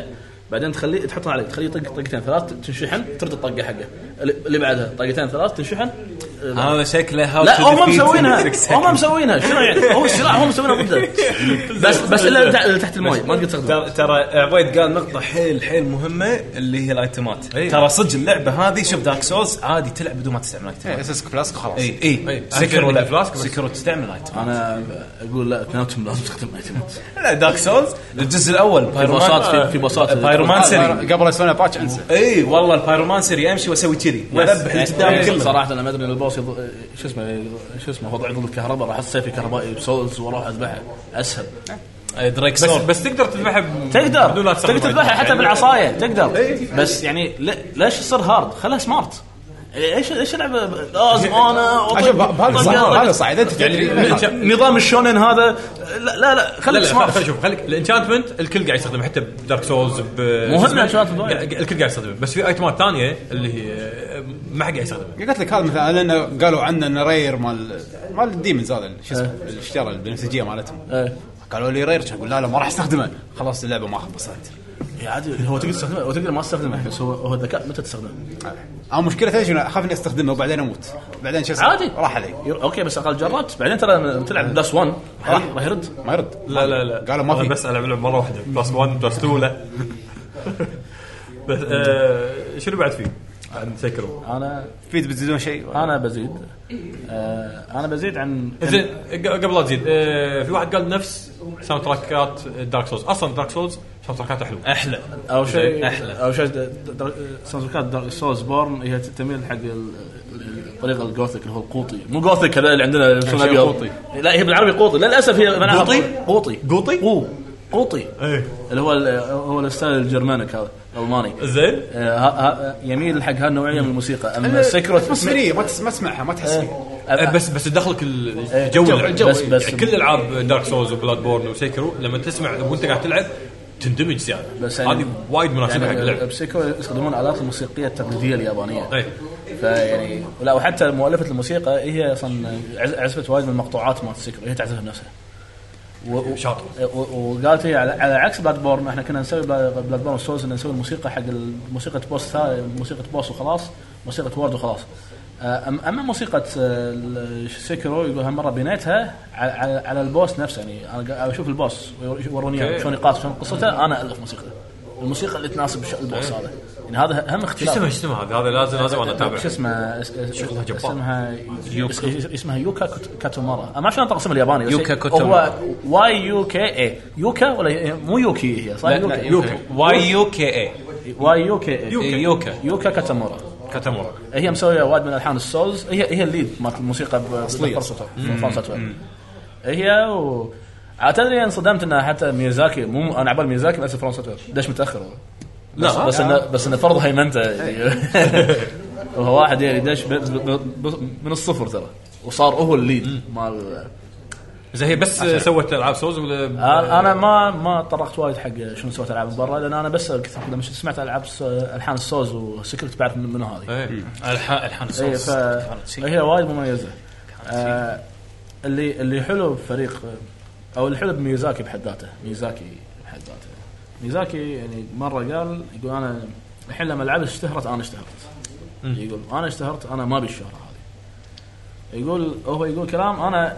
Speaker 3: بعدين تخليه تحطها عليك تخليه يطق طقتين ثلاث تنشحن ترد الطقه حقه اللي اللي بعدها طقتين ثلاث تنشحن آه،
Speaker 8: هذا شكله how
Speaker 3: لا
Speaker 8: to
Speaker 3: هم
Speaker 8: defeat
Speaker 3: مسوينها
Speaker 8: in six seconds.
Speaker 3: هم مسوينها شنو يعني هو السلاح هم مسوينها ضده بس بس الا اللي تحت- اللي تحت الماي ما تقدر تستخدمه
Speaker 8: ترى ترى عبيد قال نقطة حيل حيل مهمة اللي هي الايتمات
Speaker 5: أي.
Speaker 8: ترى صدق اللعبة هذه شوف دارك سولز عادي تلعب بدون ما تستعمل إيه، ايتمات
Speaker 4: اساسك فلاسك خلاص
Speaker 8: اي اي
Speaker 5: أنا
Speaker 8: سكروا
Speaker 5: كنت
Speaker 8: لا
Speaker 5: بالفلاسك بس.
Speaker 8: سكروا تستعمل ايتمات
Speaker 3: انا اقول لا اثنيناتهم لازم تستخدم ايتمات
Speaker 8: لا دارك سولز الجزء الاول
Speaker 3: باصات- في- في باصات.
Speaker 8: بايرومانسري
Speaker 4: قبل اسوي باتش انسى
Speaker 8: اي آه، والله البايرومانسري امشي واسوي كذي واذبح اللي قدامي
Speaker 3: يعني
Speaker 8: كله
Speaker 3: صراحه انا ما ادري إن البوس يض... إيه، شو اسمه شو اسمه وضع يضرب الكهرباء راح اصير في كهربائي بسولز واروح اذبحه اسهل
Speaker 8: أي، دريك
Speaker 5: بس
Speaker 8: سول
Speaker 5: بس تقدر تذبحها ب-
Speaker 3: إيه، تقدر
Speaker 5: بدون لا
Speaker 3: تقدر
Speaker 5: تستخدم
Speaker 3: تذبحه
Speaker 5: أيتمات.
Speaker 3: حتى
Speaker 5: يعني
Speaker 3: بالعصايه تقدر بس يعني ل- ليش تصير هارد خلها سمارت ايش ايش اللعبه لازم انا أطق-
Speaker 4: شوف بهذا
Speaker 3: أطق-
Speaker 4: صعب
Speaker 3: أطق.
Speaker 4: هذا صعب انت
Speaker 3: يعني
Speaker 4: تدري
Speaker 3: نظام الشونن هذا لا لا, لا
Speaker 5: لا
Speaker 3: خليك
Speaker 5: لا خل- خل
Speaker 3: سمارت
Speaker 5: شوف خليك الانشانتمنت الكل قاعد يستخدمه حتى بدارك سولز ب
Speaker 3: مهم
Speaker 5: اسمه؟
Speaker 3: الانشانتمنت وايد.
Speaker 5: قاعد- الكل قاعد يستخدمه بس في ايتمات ثانيه اللي هي ما حد قاعد يستخدمها
Speaker 4: قلت لك هذا مثلا لان قالوا عنا انه رير مال مال الديمونز هذا اللي شو اسمه اللي اشترى البنفسجيه مالتهم
Speaker 3: إيه.
Speaker 4: قالوا لي رير اقول لا لا ما راح استخدمه خلاص اللعبه ما خلصت
Speaker 3: يا عادي هو تقدر تستخدمه وتقدر ما تستخدمه يعني، بس هو هو ذكاء متى تستخدمه
Speaker 4: انا مشكلة ايش أنا اخاف اني استخدمه وبعدين اموت بعدين شو اسمه؟
Speaker 3: عادي
Speaker 4: راح علي
Speaker 3: ير- اوكي بس اقل جربت بعدين ترى لما تلعب بلس 1
Speaker 4: آه.
Speaker 3: راح راح يرد
Speaker 4: ما يرد
Speaker 5: لا لا لا
Speaker 4: قالوا ما
Speaker 5: أنا
Speaker 4: في.
Speaker 5: بس العب لعبه مره واحده بلس 1 بلس 2 لا بس آه، شنو بعد فيه؟ عن سكرو
Speaker 3: انا
Speaker 4: في بتزيدون شيء
Speaker 3: انا بزيد آه انا بزيد عن
Speaker 5: زين ق- قبل لا تزيد آه، في واحد قال نفس ساوند تراكات دارك سولز اصلا دارك سولز ساوند تراكاتها حلوه
Speaker 8: احلى
Speaker 3: اول شيء
Speaker 8: أحلى.
Speaker 3: اول شيء سانسكات دارك سولز بورن هي تميل حق ال- الطريقه الجوثيك اللي هو القوطي مو جوثيك هذا اللي عندنا يلبسون
Speaker 4: شيء
Speaker 3: أبيض.
Speaker 4: قوطي.
Speaker 3: لا هي بالعربي قوطي للاسف هي معناها
Speaker 5: قوطي؟
Speaker 3: قوطي
Speaker 5: قوطي؟
Speaker 3: قو قوطي
Speaker 5: إيه.
Speaker 3: اللي هو ال- هو الستايل الجرمانيك هذا الالماني
Speaker 5: زين
Speaker 3: آه، ها- ها- يميل حق هالنوعيه من الموسيقى اما سكرت
Speaker 4: اتموسفيرية ما تس- ما تسمعها ما تحس فيها
Speaker 3: أه.
Speaker 4: إيه،
Speaker 5: آه، بس بس تدخلك الجو
Speaker 3: الجو-
Speaker 5: اللعب.
Speaker 3: بس- بس-
Speaker 5: يعني كل العاب دارك سولز وبلاد بورن وسيكرو لما تسمع وانت قاعد تلعب تندمج زياده
Speaker 3: بس يعني-
Speaker 5: هذه وايد مناسبه حق
Speaker 3: يعني
Speaker 5: اللعب طيب.
Speaker 3: بسيكو يستخدمون الالات الموسيقيه التقليديه اليابانيه
Speaker 5: أي.
Speaker 3: فيعني يعني لا وحتى مؤلفه الموسيقى هي اصلا عز- عزفت وايد من المقطوعات مالت سيكرو هي تعزفها بنفسها و- و-
Speaker 5: شاطر.
Speaker 3: و- وقالت هي على على عكس بلاد بورن احنا كنا نسوي بلاد بلاد بورن سولز إن نسوي الموسيقى حق ال- موسيقى بوس ثا- موسيقى بوس وخلاص موسيقى وورد وخلاص آه، أم- اما موسيقى آه، ال- سيكرو يقول هالمره بنيتها على- على على البوس نفسه يعني انا قا- اشوف البوس ويوروني إياه، شلون يقاتل شلون قصته انا الف موسيقته الموسيقى اللي تناسب الش- البوس هذا يعني هذا هم
Speaker 5: شو
Speaker 3: اختلاف
Speaker 5: اسمه شو اسمه هذا هذا لازم لازم انا اتابع
Speaker 3: شو اسمه اس- اس-
Speaker 5: شغلها جبار.
Speaker 3: اسمها يوكا اسمها يوكا كوت- كاتومارا انا ما شلون ترسم الياباني بس
Speaker 8: يوكا
Speaker 3: هي-
Speaker 8: كوتومارا.
Speaker 3: هو واي يو كي اي يوكا ولا هي- مو يوكي هي صح يوكا يوكا
Speaker 8: واي يو كي اي
Speaker 3: واي يو كي اي
Speaker 8: إي، يوكا
Speaker 3: يوكا كاتامورا
Speaker 5: كاتامورا
Speaker 3: هي مسويه وايد من الحان السولز هي هي الليد مالت الموسيقى فرصته هي و عاد تدري انصدمت انها حتى ميازاكي مو انا عبال ميازاكي بس فرنسا توير. ليش متاخر هو؟ بس
Speaker 5: لا
Speaker 3: بس انه بس انه فرض هيمنته يعني. وهو واحد يعني دش ب- ب- ب- من الصفر ترى وصار هو الليد مال
Speaker 5: زين هي بس سوت العاب سولز ولا
Speaker 3: انا أنا ما ما طرقت وايد حق شنو سويت العاب برا لان انا بس كنت لما سمعت العاب س- الحان السوز وسكرت بعرف من منو هذه
Speaker 5: إيه.
Speaker 8: الحان الحان
Speaker 3: اي
Speaker 8: صوص.
Speaker 3: إيه، ف هي وايد مميزه آه اللي اللي حلو بفريق او اللي حلو بميزاكي بحد ذاته ميزاكي بحد ذاته ميزاكي يعني مره قال يقول انا الحين لما العبت اشتهرت انا اشتهرت يقول انا اشتهرت انا ما ابي الشهره هذه يقول هو يقول كلام انا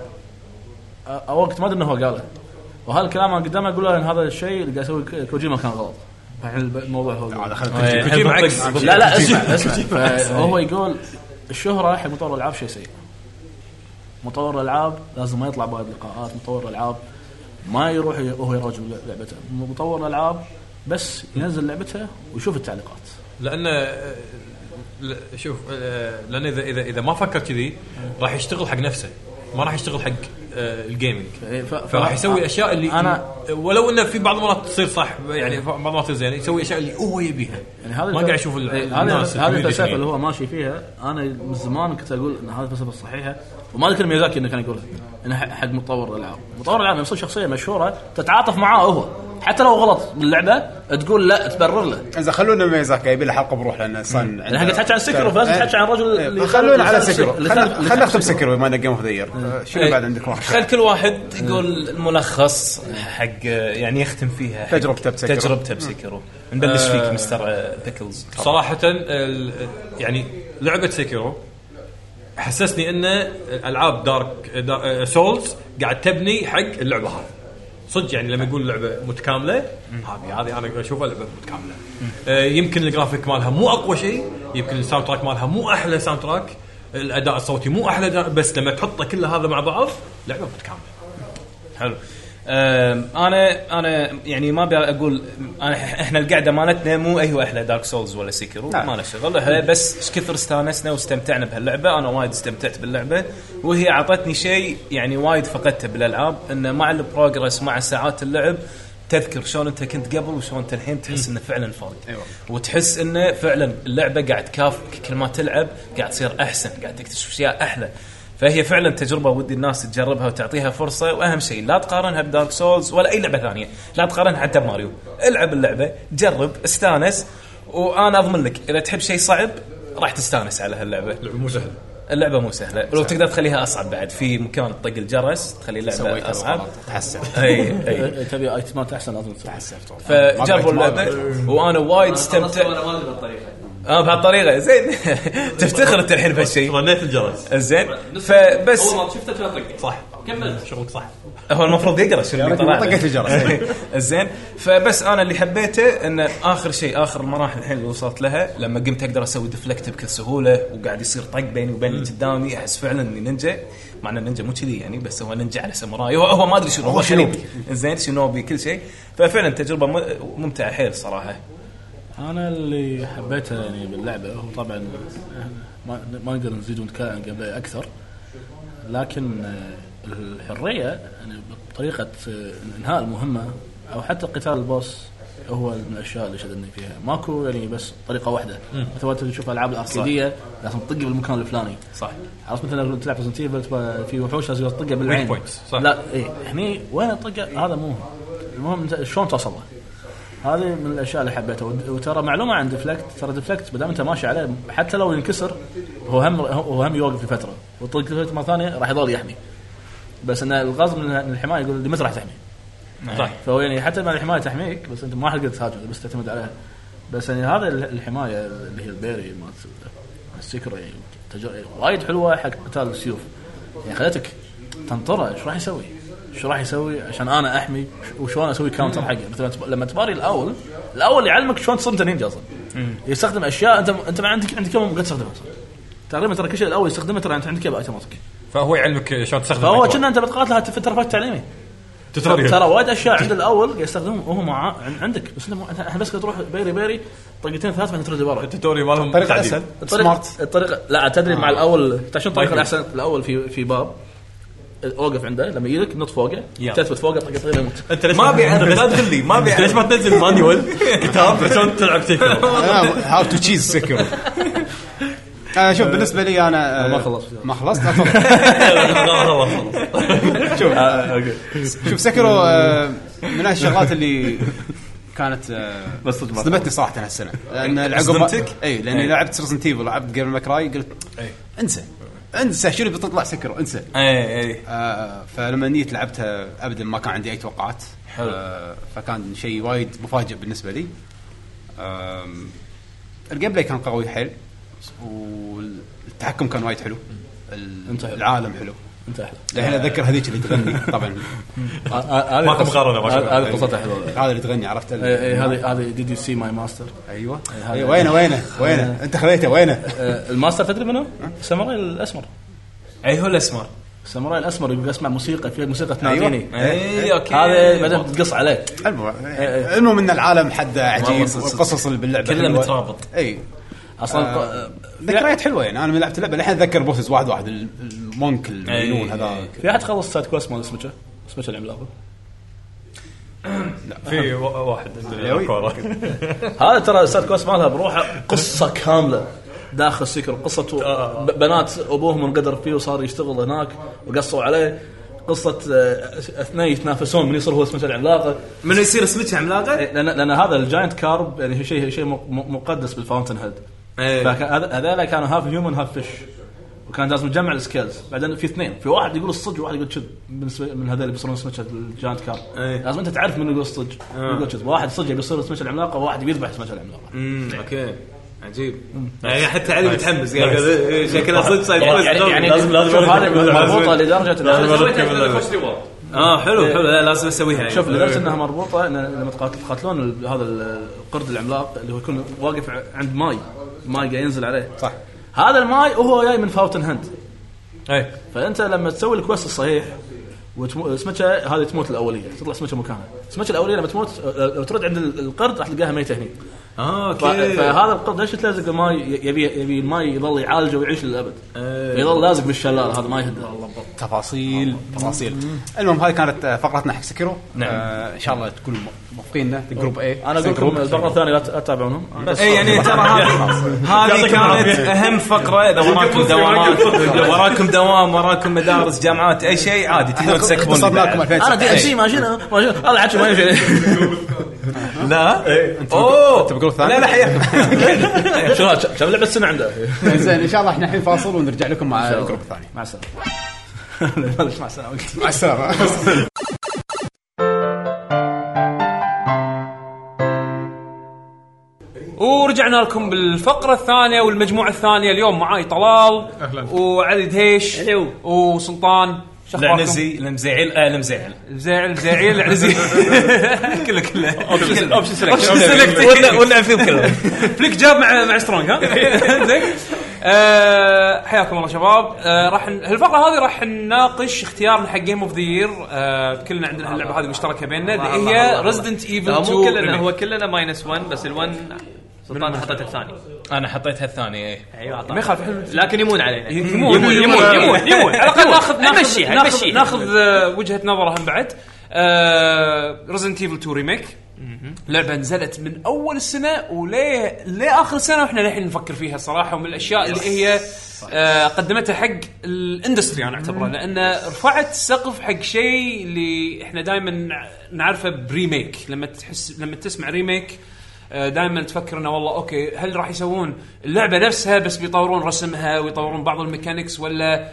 Speaker 3: أ- وقت ما ادري انه هو قاله وهالكلام انا قدامه اقول له ان هذا الشيء اللي قاعد يسوي ك- كوجيما كان غلط الحين الب- الموضوع هو
Speaker 4: هذا
Speaker 8: إيه،
Speaker 4: خلت
Speaker 5: كوجيما
Speaker 8: الحين
Speaker 5: عكس.
Speaker 8: بنطق-
Speaker 3: لا لا اسمع اسمع هو يقول الشهره حق مطور الالعاب شيء سيء مطور الالعاب لازم ما يطلع بعد لقاءات مطور الالعاب ما يروح ي- وهو يراجع لعبته مطور الالعاب بس ينزل لعبته ويشوف التعليقات
Speaker 5: لان آه، ل- شوف آه، لان اذا اذا اذا ما فكر كذي راح يشتغل حق نفسه ما راح يشتغل حق آه، الجيمنج
Speaker 3: إيه، ف-
Speaker 5: فراح يسوي اشياء اللي
Speaker 3: أنا- إيه.
Speaker 5: ولو انه في بعض المرات تصير صح يعني بعض المرات تصير زينه يسوي اشياء اللي هو يبيها
Speaker 3: يعني هذا
Speaker 5: ما قاعد اشوف ال-
Speaker 3: إيه،
Speaker 5: الناس
Speaker 3: هذا هذه
Speaker 5: الكوميونتي
Speaker 3: الفلسفه
Speaker 5: شنو
Speaker 3: اللي هو ماشي فيها انا من زمان كنت اقول ان هذه الفلسفه الصحيحه وما ذكر ميازاكي انه كان يقولها انه ح- حق مطور الالعاب مطور الالعاب يمسك شخصيه مشهوره تتعاطف معاه هو حتى لو غلط باللعبه تقول لا تبرر له
Speaker 4: زين خلونا ميزاك يبي له حلقه بروح لان صن
Speaker 3: يعني احنا قاعد نحكي عن سكرو فلازم نحكي عن الرجل اللي
Speaker 4: إيه. خلونا على
Speaker 3: اللي ساب-
Speaker 4: سكرو
Speaker 3: اللي
Speaker 4: خلنا
Speaker 3: ساب- اللي ساب
Speaker 4: خلنا نختم سكرو بما انه جيم اوف ذا يير شنو
Speaker 3: إيه.
Speaker 4: بعد عندك واحد
Speaker 8: خل كل واحد يقول الملخص حق يعني يختم فيها حق
Speaker 4: تجربته بسكرو.
Speaker 8: تجربته بسكرو نبلش فيك مستر آه، بيكلز
Speaker 5: صراحة ال- يعني لعبة سيكيرو حسسني ان الالعاب دارك دا- آه، سولز قاعد تبني حق اللعبة هذه صدق يعني لما يقول لعبة متكاملة هذه هذه انا اشوفها لعبة متكاملة آه، يمكن الجرافيك مالها مو اقوى شيء يمكن الساوند تراك مالها مو احلى ساوند تراك الاداء الصوتي مو احلى أداء، بس لما تحطه كل هذا مع بعض لعبة متكاملة
Speaker 8: حلو أم، انا انا يعني ما ابي اقول انا احنا القعده مالتنا مو ايوه احلى دارك سولز ولا سيكرو
Speaker 4: نعم.
Speaker 8: ما له شغل إحنا بس ايش كثر استانسنا واستمتعنا بهاللعبه انا وايد استمتعت باللعبه وهي اعطتني شيء يعني وايد فقدته بالالعاب انه مع البروجرس مع ساعات اللعب تذكر شلون انت كنت قبل وشلون انت الحين تحس انه فعلا فرق
Speaker 4: أيوة.
Speaker 8: وتحس انه فعلا اللعبه قاعد تكافئك كل ما تلعب قاعد تصير احسن قاعد تكتشف اشياء احلى فهي فعلا تجربه ودي الناس تجربها وتعطيها فرصه واهم شيء لا تقارنها بدارك سولز ولا اي لعبه ثانيه لا تقارنها حتى بماريو العب اللعبه جرب استانس وانا اضمن لك اذا تحب شيء صعب راح تستانس على هاللعبه
Speaker 5: لعبة مو سهلة
Speaker 8: اللعبه مو سهله ولو تقدر تخليها اصعب بعد في مكان تطق الجرس تخلي اللعبه اصعب
Speaker 4: تحسن
Speaker 8: اي اي
Speaker 3: إيه، تبي ايتمات احسن لازم تسوي.
Speaker 8: فجربوا اللعبه وانا وايد استمتعت
Speaker 9: انا ما ادري بالطريقه
Speaker 8: اه بهالطريقه زين تفتخر انت الحين بهالشيء
Speaker 5: رنيت الجرس
Speaker 8: زين فبس
Speaker 9: اول ما شفته كان طقت
Speaker 5: صح
Speaker 9: كمل
Speaker 5: شغلك صح
Speaker 8: هو المفروض يقرا شنو اللي طلع
Speaker 4: طقيت الجرس.
Speaker 8: زين فبس انا اللي حبيته ان اخر شيء اخر المراحل الحين اللي وصلت لها لما قمت اقدر اسوي ديفلكت بكل سهوله وقاعد يصير طق بيني وبين اللي قدامي احس فعلا اني نينجا مع ان النينجا مو كذي يعني بس هو نينجا على ساموراي هو, هو ما ادري شنو هو شنوبي زين شنوبي كل شيء ففعلا تجربه م- ممتعه حيل صراحه
Speaker 3: انا اللي حبيته يعني باللعبه هو طبعا ما, ما نقدر نزيد ونتكلم عن قبل اكثر لكن آه، الحريه يعني بطريقه آه، انهاء المهمه او حتى قتال البوس هو من الاشياء اللي شدني فيها ماكو يعني بس طريقه واحده مثل ما تشوف العاب الاركيديه لازم تطق بالمكان الفلاني
Speaker 8: صح
Speaker 3: عرفت مثلا لو تلعب Resident Evil تبا- في وحوش لازم تطقه بالعين
Speaker 5: Weak points، صح.
Speaker 3: لا اي هني وين الطقه هذا مو مهم. المهم أنت شلون توصل له. هذه من الاشياء اللي حبيتها ود- وترى معلومه عن ديفلكت ترى ديفلكت ما دام انت ماشي عليه حتى لو ينكسر هو هم هو هم يوقف لفتره وتطق ديفلكت مره ثانيه راح يظل يحمي بس ان الغاز من من الحمايه يقول لمتى راح تحمي
Speaker 8: نعم.
Speaker 5: صح
Speaker 3: فهو يعني حتى مع الحمايه تحميك بس انت ما راح تقدر تهاجم بس تعتمد عليها بس يعني هذا ال- الحمايه اللي هي البيري مالت السكر يعني تج- وايد حلوه حق قتال السيوف يعني خلتك تنطره ايش راح يسوي؟ شو راح يسوي عشان انا احمي وش- وشلون اسوي كاونتر حقه مثلا تب- لما تباري الاول الاول يعلمك شلون تصير انت نينجا اصلا يستخدم اشياء انت انت ما عندك عندك يوم قد تستخدمها اصلا تقريبا ترى كل شيء الاول يستخدمه ترى انت عندك إياه باوتوماتيك
Speaker 5: فهو يعلمك شلون تستخدم
Speaker 3: فهو
Speaker 5: الأكواد.
Speaker 3: كنا انت بتقاتله في ترفيه تعليمي
Speaker 5: تتريق.
Speaker 3: ترى وايد اشياء عند الاول قاعد يستخدمون وهو مع عن- عندك بس إنه مو- احنا بس تروح بيري بيري طقتين ثلاث بعدين ترد ورا
Speaker 5: التوتوريال مالهم
Speaker 4: طريقه
Speaker 5: تعديل. آه.
Speaker 4: اسهل
Speaker 3: الطريقه
Speaker 4: سمارت
Speaker 3: الطريقه لا تدري مع الاول تعرف شنو الطريقه
Speaker 5: طيب.
Speaker 3: الاحسن الاول في في باب اوقف عنده لما يجيك نط فوقه
Speaker 8: يلا.
Speaker 3: تثبت فوقه طقه طقه يموت
Speaker 5: انت ليش
Speaker 8: ما ابي اعرف لا تقول لي ما ابي
Speaker 5: انت ليش
Speaker 8: اعرف
Speaker 5: ما تنزل مانيوال كتاب عشان تلعب تكنو
Speaker 4: هاو تو تشيز سكرو انا شوف بالنسبه لي انا آه،
Speaker 3: ما خلصت.
Speaker 4: ما خلصت لا، تفضل.
Speaker 8: آه،
Speaker 4: شوف
Speaker 3: آه،
Speaker 4: شوف سكرو آه، من الشغلات اللي كانت آه، صدمتني صراحه هالسنه لان العقب
Speaker 8: إيه. صدمتك؟ إيه.
Speaker 4: اي لاني لعبت ريزنت ايفل لعبت جيم ماكراي قلت انسى انسى شنو بتطلع سكرو انسى
Speaker 8: اي اي
Speaker 4: آه، فلما جيت لعبتها ابدا ما كان عندي اي توقعات
Speaker 8: حلو.
Speaker 4: آه، فكان شيء وايد مفاجئ بالنسبه لي آم، الجيم بلاي كان قوي حيل والتحكم كان وايد حلو ال-
Speaker 3: أنت حلو.
Speaker 4: العالم حلو
Speaker 3: انت احلى
Speaker 4: الحين اتذكر هذيك اللي تغني طبعا
Speaker 5: ماكو مقارنه ما شاء الله.
Speaker 3: هذه قصتها حلوه
Speaker 4: هذا اللي تغني عرفت ال-
Speaker 3: إيه، إيه، هذه هذه ديد يو سي ماي ماستر
Speaker 4: ايوه
Speaker 3: هذا-
Speaker 4: أيوة، وينه وينه وينه انت خذيته وينه
Speaker 3: إيه. الماستر تدري منو؟ الساموراي الاسمر
Speaker 8: اي هو الاسمر
Speaker 3: الساموراي الاسمر يقول اسمع موسيقى فيها موسيقى
Speaker 4: أيوة.
Speaker 3: تناديني
Speaker 4: إيه،
Speaker 8: اي اوكي
Speaker 3: أيوة. إيه، هذا بعدين تقص إيه، عليه
Speaker 4: المهم المهم ان إيه، العالم حد عجيب
Speaker 8: والله صدق- صدق.
Speaker 4: والقصص اللي باللعبه
Speaker 8: كله
Speaker 4: حلوة.
Speaker 8: مترابط.
Speaker 4: اي
Speaker 3: اصلا
Speaker 4: آه،
Speaker 3: ق-
Speaker 4: ذكريات حلوه يعني انا لما لعبت اللعبه الحين اتذكر بوسز واحد واحد ال- المونك المجنون
Speaker 8: أي.
Speaker 4: هذا
Speaker 3: في احد خلص سايد كويست مال سمكه سمكه العملاق
Speaker 5: في وا- واحد عنده كوره
Speaker 3: هذا ترى سايد كويست مالها بروحه قصه كامله داخل سكر قصة
Speaker 8: آه،
Speaker 3: ب- بنات ابوهم انقدر فيه وصار يشتغل هناك وقصوا عليه قصة آه، اثنين يتنافسون من يصير هو سمكة العملاقة
Speaker 8: من يصير سمكه عملاقه؟
Speaker 3: إيه، لان لان هذا الجاينت كارب يعني شيء شيء م- م- مقدس بالفاونتن هيد
Speaker 8: إيه.
Speaker 3: فهذول كانوا هاف هيومن هاف فيش وكان لازم تجمع السكيلز بعدين في اثنين في واحد يقول الصج وواحد يقول كذب بالنسبه من هذول اللي بيصيرون سمكه الجاينت كارب
Speaker 8: إيه.
Speaker 3: لازم انت تعرف من يقول الصج يقول كذب واحد صج يبي يصير سمكه العملاقه وواحد يذبح سمكه العملاقه
Speaker 8: امم اوكي عجيب يعني حتى علي متحمس قاعد شكله صدق سايد
Speaker 3: يعني-
Speaker 8: كويست
Speaker 3: يعني
Speaker 8: لازم لازم
Speaker 3: شوف هذه
Speaker 8: لازم-
Speaker 3: مربوطه لدرجه
Speaker 8: لازم
Speaker 3: إنها-
Speaker 8: أجرب
Speaker 9: سويتها
Speaker 8: كم
Speaker 9: عشان
Speaker 8: لعبة.
Speaker 9: اخش ريورد
Speaker 8: اه حلو حلو لا لازم اسويها يعني.
Speaker 3: إيه. شوف لدرجه انها مربوطه ان لما تقاتل- تقاتلون ال- هذا ال- القرد العملاق اللي هو يكون واقف ع- عند ماي ماي قاعد ينزل عليه
Speaker 4: صح.
Speaker 3: هذا الماي وهو جاي من فاوتن هند
Speaker 5: اي
Speaker 3: فانت لما تسوي الكويست الصحيح وتمو... سمكه هذه تموت الاوليه تطلع سمكه مكانها السمكه الاوليه لما تموت أه، لو ترد عند ال- القرد راح تلقاها ميته هني
Speaker 8: اه
Speaker 3: ف...
Speaker 8: اوكي
Speaker 3: فهذا القرد ليش تلازق الماي ي- يبي يبي الماي يظل يعالجه ويعيش للابد
Speaker 8: إيه.
Speaker 3: يظل لازق بالشلال هذا ما يهد
Speaker 4: تفاصيل تفاصيل المهم هذه كانت آه، فقرتنا حق سكرو نعم ان شاء الله تكونوا موافقيننا جروب اي
Speaker 3: انا اقول لكم مره ثانيه لا ت- لا تتابعونهم بس
Speaker 8: اي يعني ترى هذه هذه كانت اهم فقره اذا وراكم دوامات وراكم دوام وراكم مدارس جامعات اي شيء عادي تقدرون تسكبون
Speaker 4: اختصرنا لكم
Speaker 3: انا دي
Speaker 8: إيه.
Speaker 2: إيه.
Speaker 4: 2009
Speaker 3: ام سي ما جينا ما جينا هذا عاد شو ما يجي
Speaker 8: لا
Speaker 2: إيه.
Speaker 8: اوه
Speaker 4: أنت بجروب ثاني؟
Speaker 8: لا إيه. لا حياك
Speaker 3: شو هذا كم لعبه سنه عنده
Speaker 4: زين ان شاء الله احنا الحين فاصل ونرجع لكم مع الجروب الثاني
Speaker 3: مع السلامه معلش مع السلامه
Speaker 4: مع السلامه
Speaker 2: ورجعنا لكم بالفقره الثانيه والمجموعه الثانيه اليوم معاي طلال وعلي دهيش وسلطان شو أخباركم؟
Speaker 8: العنزي المزعل آه، المزعل
Speaker 2: زعل زعيل العنزي كله كله اوبشن
Speaker 8: Option select.
Speaker 2: سلكت ونلعب فيهم كلهم فليك جاب مع مع سترونج ها زين آه، حياكم الله شباب آه، راح ن- الفقره هذه راح نناقش اختيارنا حق جيم اوف ذا يير كلنا عندنا اللعبه هذه مشتركه بيننا اللي هي ريزدنت ايفل
Speaker 9: لا
Speaker 2: 2
Speaker 9: مو كلنا
Speaker 2: remake.
Speaker 9: هو كلنا ماينس 1 بس ال1 سلطان حطيت الثاني
Speaker 8: انا حطيتها الثانية ايه
Speaker 9: ايوه
Speaker 2: ما
Speaker 9: أعطاه.
Speaker 2: يخالف احنا
Speaker 9: لكن يمون علينا
Speaker 2: يمون يمون يمون يمون يمون على الاقل ناخذ ناخذ
Speaker 9: نمشيها،
Speaker 2: ناخذ
Speaker 9: نمشيها.
Speaker 2: ناخذ آه، وجهه نظره هم بعد آه، ريزنت ايفل 2 ريميك لعبه نزلت من اول السنه وليه لاخر السنه واحنا للحين نفكر فيها صراحه ومن الاشياء اللي هي آه، قدمتها حق الاندستري انا اعتبره لان رفعت السقف حق شيء اللي احنا دائما نعرفه بريميك لما تحس لما تسمع ريميك دائما تفكر انه والله اوكي هل راح يسوون اللعبه نفسها بس بيطورون رسمها ويطورون بعض الميكانكس ولا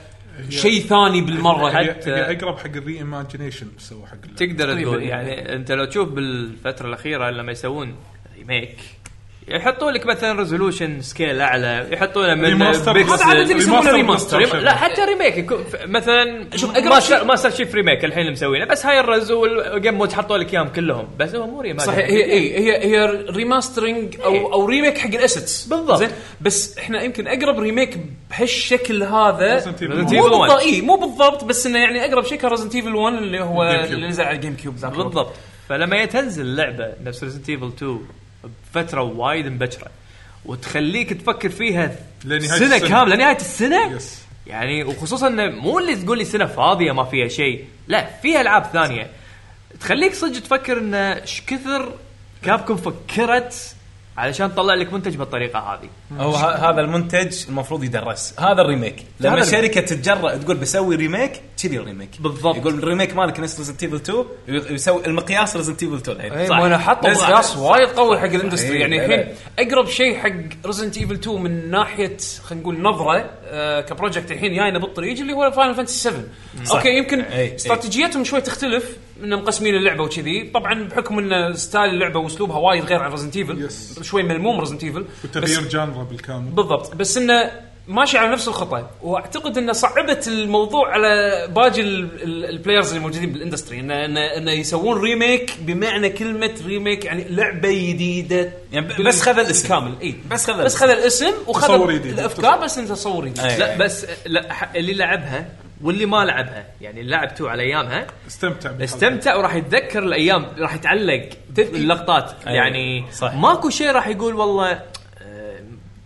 Speaker 2: شيء ثاني بالمره
Speaker 9: هي-
Speaker 2: حتى
Speaker 9: هي-
Speaker 7: هي اقرب حق الري ايماجينيشن سوى حق ال-
Speaker 9: تقدر
Speaker 2: تقريباً
Speaker 9: تقول
Speaker 2: يعني.
Speaker 9: يعني انت لو تشوف بالفتره الاخيره لما يسوون ريميك يحطوا لك مثلا ريزولوشن سكيل اعلى يحطوا له من
Speaker 7: ريماستر.
Speaker 9: بيكسل.
Speaker 2: هذا عادة يسمونه
Speaker 7: ريماستر
Speaker 2: ريماستر
Speaker 7: بالستور.
Speaker 9: ريم- لا حتى ريميك يكون- ف- مثلا
Speaker 2: شوف،
Speaker 9: شوف
Speaker 2: أقرب
Speaker 9: ماستر
Speaker 2: شيء-
Speaker 9: ماستر شيف ريميك الحين اللي مسوينه بس هاي الرز والجيم مود حطوا لك اياهم كلهم بس هو مو ريميك
Speaker 2: صحيح هي هي هي, هي ريماسترنج
Speaker 7: إيه.
Speaker 2: او او ريميك حق الاسيتس
Speaker 9: بالضبط.
Speaker 2: زين بس احنا يمكن اقرب ريميك بهالشكل هذا
Speaker 7: Resident Evil
Speaker 2: مو
Speaker 9: 1.
Speaker 2: بالضبط اي مو بالضبط بس انه يعني اقرب شيء كان ريزنت ايفل 1 اللي هو
Speaker 7: Game Cube.
Speaker 2: اللي نزل على الجيم كيوب ذاك الوقت.
Speaker 9: بالضبط فلما تنزل لعبه نفس ريزنت ايفل 2 بفتره وايد مبكره وتخليك تفكر فيها
Speaker 7: لنهاية
Speaker 9: سنه
Speaker 7: السنة.
Speaker 9: كامله نهايه السنه
Speaker 7: يس.
Speaker 9: يعني وخصوصا إنه مو اللي تقول لي سنه فاضيه ما فيها شيء لا فيها العاب ثانيه تخليك صدق تفكر ان ايش كثر كابكم فكرت علشان تطلع لك منتج بالطريقه هذه
Speaker 8: هو ه- هذا المنتج المفروض يدرس هذا الريميك لما
Speaker 9: هذا الريميك.
Speaker 8: شركه تتجرأ تقول بسوي ريميك كذي الريميك
Speaker 9: بالضبط.
Speaker 8: يقول الريميك مالك نفس ريزنت ايفل 2 وي- ويسوي المقياس ريزنت ايفل 2 الحين
Speaker 2: اي إيه، ما انا حاطه
Speaker 8: لازم-
Speaker 2: مقياس
Speaker 8: صح.
Speaker 2: وايد قوي حق الاندستري
Speaker 8: إيه،
Speaker 2: يعني
Speaker 8: لا،
Speaker 2: الحين اقرب شيء حق ريزنت ايفل 2 من ناحيه خلينا نقول نظره آه كبروجكت الحين جاينا بالطريق اللي هو فاينل فانتسي 7 اوكي يمكن
Speaker 8: إيه،
Speaker 2: استراتيجيتهم شوي تختلف انهم مقسمين اللعبه وكذي طبعا بحكم ان ستايل اللعبه واسلوبها وايد غير عن ريزنت ايفل
Speaker 7: Yes.
Speaker 2: شوي ملموم ريزنت ايفل
Speaker 7: وتغيير جانرا بالكامل
Speaker 2: بالضبط بس انه ماشي على نفس الخطه واعتقد انه صعبت الموضوع على باقي ال- ال- البلايرز اللي موجودين بالاندستري انه انه انه يسوون ريميك بمعنى كلمه ريميك يعني لعبه جديده
Speaker 8: يعني ب-
Speaker 2: بال-
Speaker 8: بس خذ الاسم.
Speaker 2: كامل اي
Speaker 8: بس خذ
Speaker 2: بس
Speaker 8: الاسم.
Speaker 2: خذ الاسم وخذ
Speaker 7: تصور جديد.
Speaker 2: الافكار بس انت تصور جديد
Speaker 8: أي.
Speaker 9: لا بس لا ح- اللي لعبها واللي ما لعبها يعني اللي لعب 2 على ايامها
Speaker 7: استمتع بالحلقة.
Speaker 9: استمتع وراح يتذكر الايام راح يتعلق اللقطات
Speaker 8: أيوة.
Speaker 9: يعني
Speaker 8: صح.
Speaker 9: صح. ماكو شيء راح يقول والله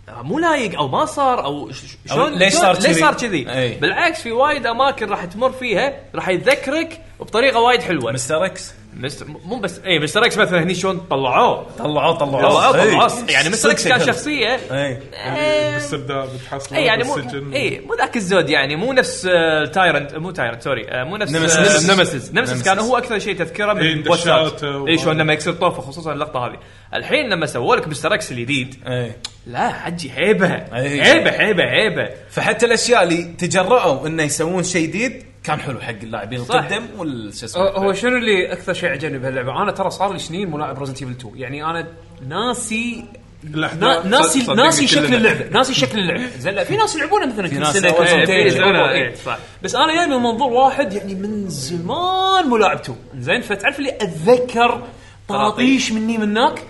Speaker 9: آه، مو لايق او ما صار او ش- ش-
Speaker 8: أو
Speaker 9: شلون
Speaker 8: ليش
Speaker 9: شلون-
Speaker 8: صار
Speaker 9: ليش
Speaker 8: كذي؟
Speaker 9: صار كذي
Speaker 8: أي.
Speaker 9: بالعكس في وايد اماكن راح تمر فيها راح يتذكرك بطريقه وايد حلوه
Speaker 8: مستر اكس
Speaker 9: مست... مو بس اي مستر اكس مثلا هني شلون طلعوه
Speaker 8: طلعوه
Speaker 9: طلعوه
Speaker 8: إي.
Speaker 9: طلعوه يعني مستر اكس كان
Speaker 8: إيه. صدق. إيه.
Speaker 9: شخصيه
Speaker 8: اي
Speaker 9: آه،
Speaker 10: بالسرداب بتحصل
Speaker 9: اي يعني مو
Speaker 10: بالسجن.
Speaker 9: اي مو ذاك الزود يعني مو نفس آه، تايرنت مو تايرنت سوري آه، مو نفس
Speaker 8: نمسيس.
Speaker 9: نمسيس
Speaker 8: نمسيس.
Speaker 9: نمسيس, نمسيس كان
Speaker 8: نمسيس.
Speaker 9: هو اكثر شيء تذكره
Speaker 10: إي،
Speaker 9: من
Speaker 10: دشاته و-
Speaker 9: اي شلون لما يكسر طوفه خصوصا اللقطه هذه الحين لما سووا لك مستر اكس الجديد
Speaker 8: اي
Speaker 9: لا حجي هيبه
Speaker 8: أي.
Speaker 9: هيبه هيبه هيبه
Speaker 8: فحتى الاشياء اللي تجرؤوا انه يسوون شيء جديد كان حلو حق اللاعبين
Speaker 2: صح.
Speaker 8: القدم وال شو اسمه
Speaker 2: أه، هو هو شنو اللي اكثر شيء عجبني بهاللعبه؟ انا ترى صار لي سنين ملاعب ريزنت ايفل 2 يعني انا ناسي نا-
Speaker 10: الأحداث
Speaker 2: ناسي
Speaker 10: صدقني
Speaker 2: ناسي
Speaker 10: كلنا.
Speaker 2: شكل اللعبه ناسي شكل اللعبه زين لا في ناس يلعبونها مثلا كل
Speaker 8: ناس
Speaker 2: سنه
Speaker 8: أول
Speaker 2: كل
Speaker 8: سنتين
Speaker 2: سنتين
Speaker 9: يلعبونها،
Speaker 2: يلعبونها،
Speaker 9: إيه،
Speaker 2: إيه.
Speaker 9: صح.
Speaker 2: بس انا جاي من منظور واحد يعني من زمان ملاعب 2 زين فتعرف اللي اتذكر طراطيش مني من هناك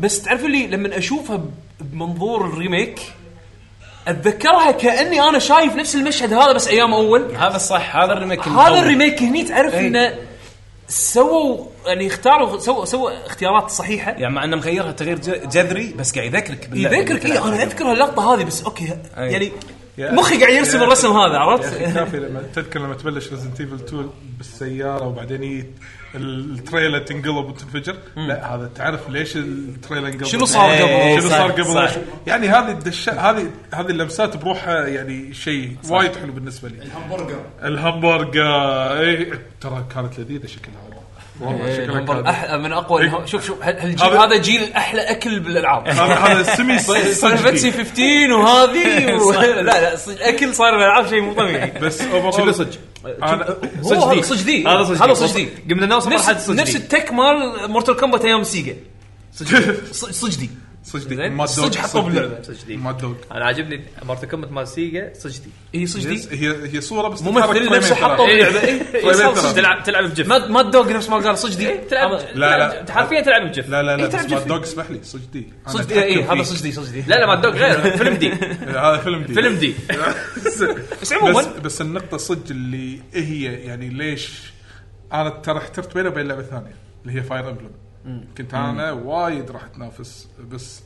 Speaker 2: بس تعرف اللي لما اشوفها ب- بمنظور الريميك اتذكرها كاني انا شايف نفس المشهد هذا بس ايام اول
Speaker 8: هذا الصح هذا الريميك إيه.
Speaker 2: هذا الريميك هني تعرف انه سووا يعني اختاروا سووا سووا اختيارات صحيحه
Speaker 8: يعني مع انه مغيرها تغيير ج- جذري بس قاعد يذكرك باللعبة
Speaker 2: يذكرك إيه،
Speaker 8: اللي
Speaker 2: اي
Speaker 8: تلعبها.
Speaker 2: انا اذكر اللقطه هذه بس اوكي
Speaker 8: أي.
Speaker 2: يعني
Speaker 10: يا
Speaker 2: مخي قاعد يرسم
Speaker 10: يا
Speaker 2: الرسم هذا
Speaker 10: يا
Speaker 2: عرفت؟
Speaker 10: اخي كافي لما تذكر لما تبلش ريزنت ايفل 2 بالسياره وبعدين يجي التريلا تنقلب وتنفجر لا هذا تعرف ليش التريلا انقلب
Speaker 2: شنو صار
Speaker 8: إيه، إيه،
Speaker 2: قبل؟
Speaker 10: شنو
Speaker 8: صح،
Speaker 10: صار قبل
Speaker 8: صح.
Speaker 10: لا- يعني هذه الدشة هذه هذه اللمسات بروحها يعني شيء وايد حلو بالنسبه لي الهمبرجر الهمبرجر اي ترى كانت لذيذه شكلها هذا
Speaker 2: إيه،
Speaker 10: والله شكلها
Speaker 2: منظر
Speaker 10: كانت-
Speaker 2: أحلى من اقوى الهو- شوف شوف هل- هالجيل
Speaker 10: هذا-
Speaker 2: هذا جيل احلى اكل بالالعاب
Speaker 10: هذا هذا سمي
Speaker 2: صار فانسي 15 وهذه و... لا لا صج- اكل صار بالالعاب شيء مو طبيعي
Speaker 10: بس اوفر صدق
Speaker 2: هو هذا صجدي هذا صجدي هذا صجدي
Speaker 9: قمنا نوصل مرحله
Speaker 2: نفس نفس
Speaker 9: صدق
Speaker 2: التك مال مورتال كومبات ايام سيجا صج- صجدي
Speaker 10: صدق
Speaker 2: زين؟
Speaker 10: ما
Speaker 2: صدق حطوه باللعبة.
Speaker 10: ما دوق
Speaker 9: انا عاجبني مارتن كومبات مال سيجا صجدي
Speaker 2: اي صجدي
Speaker 10: هي هي صوره بس تتحرك
Speaker 2: ممثل نفسه
Speaker 10: فريمين ترى.
Speaker 2: حطه باللعبه
Speaker 9: إيه،
Speaker 10: طيب،
Speaker 2: اي
Speaker 10: ترى.
Speaker 9: تلعب تلعب بجف إيه،
Speaker 2: ما ما الدوق نفس ما قال صجدي
Speaker 9: تلعب
Speaker 10: لا، لا.
Speaker 9: تلعب- حرفيا تلعب بجف إيه،
Speaker 10: لا لا لا
Speaker 2: إيه،
Speaker 10: بس
Speaker 2: تعرف
Speaker 10: ما
Speaker 2: جيف.
Speaker 10: دوق اسمح لي صجدي أنا
Speaker 2: صجدي اي
Speaker 10: أتحكم
Speaker 2: هذا
Speaker 10: فيه.
Speaker 2: صجدي صجدي
Speaker 9: لا لا ما تدوق غير فيلم دي
Speaker 10: هذا فيلم دي
Speaker 9: فيلم دي
Speaker 10: بس
Speaker 2: عموماً.
Speaker 10: بس, بس النقطه صدق اللي إيه هي يعني ليش انا ترى احترت بينها وبين لعبه ثانيه اللي هي فاير امبلم كنت انا وايد راح تنافس بس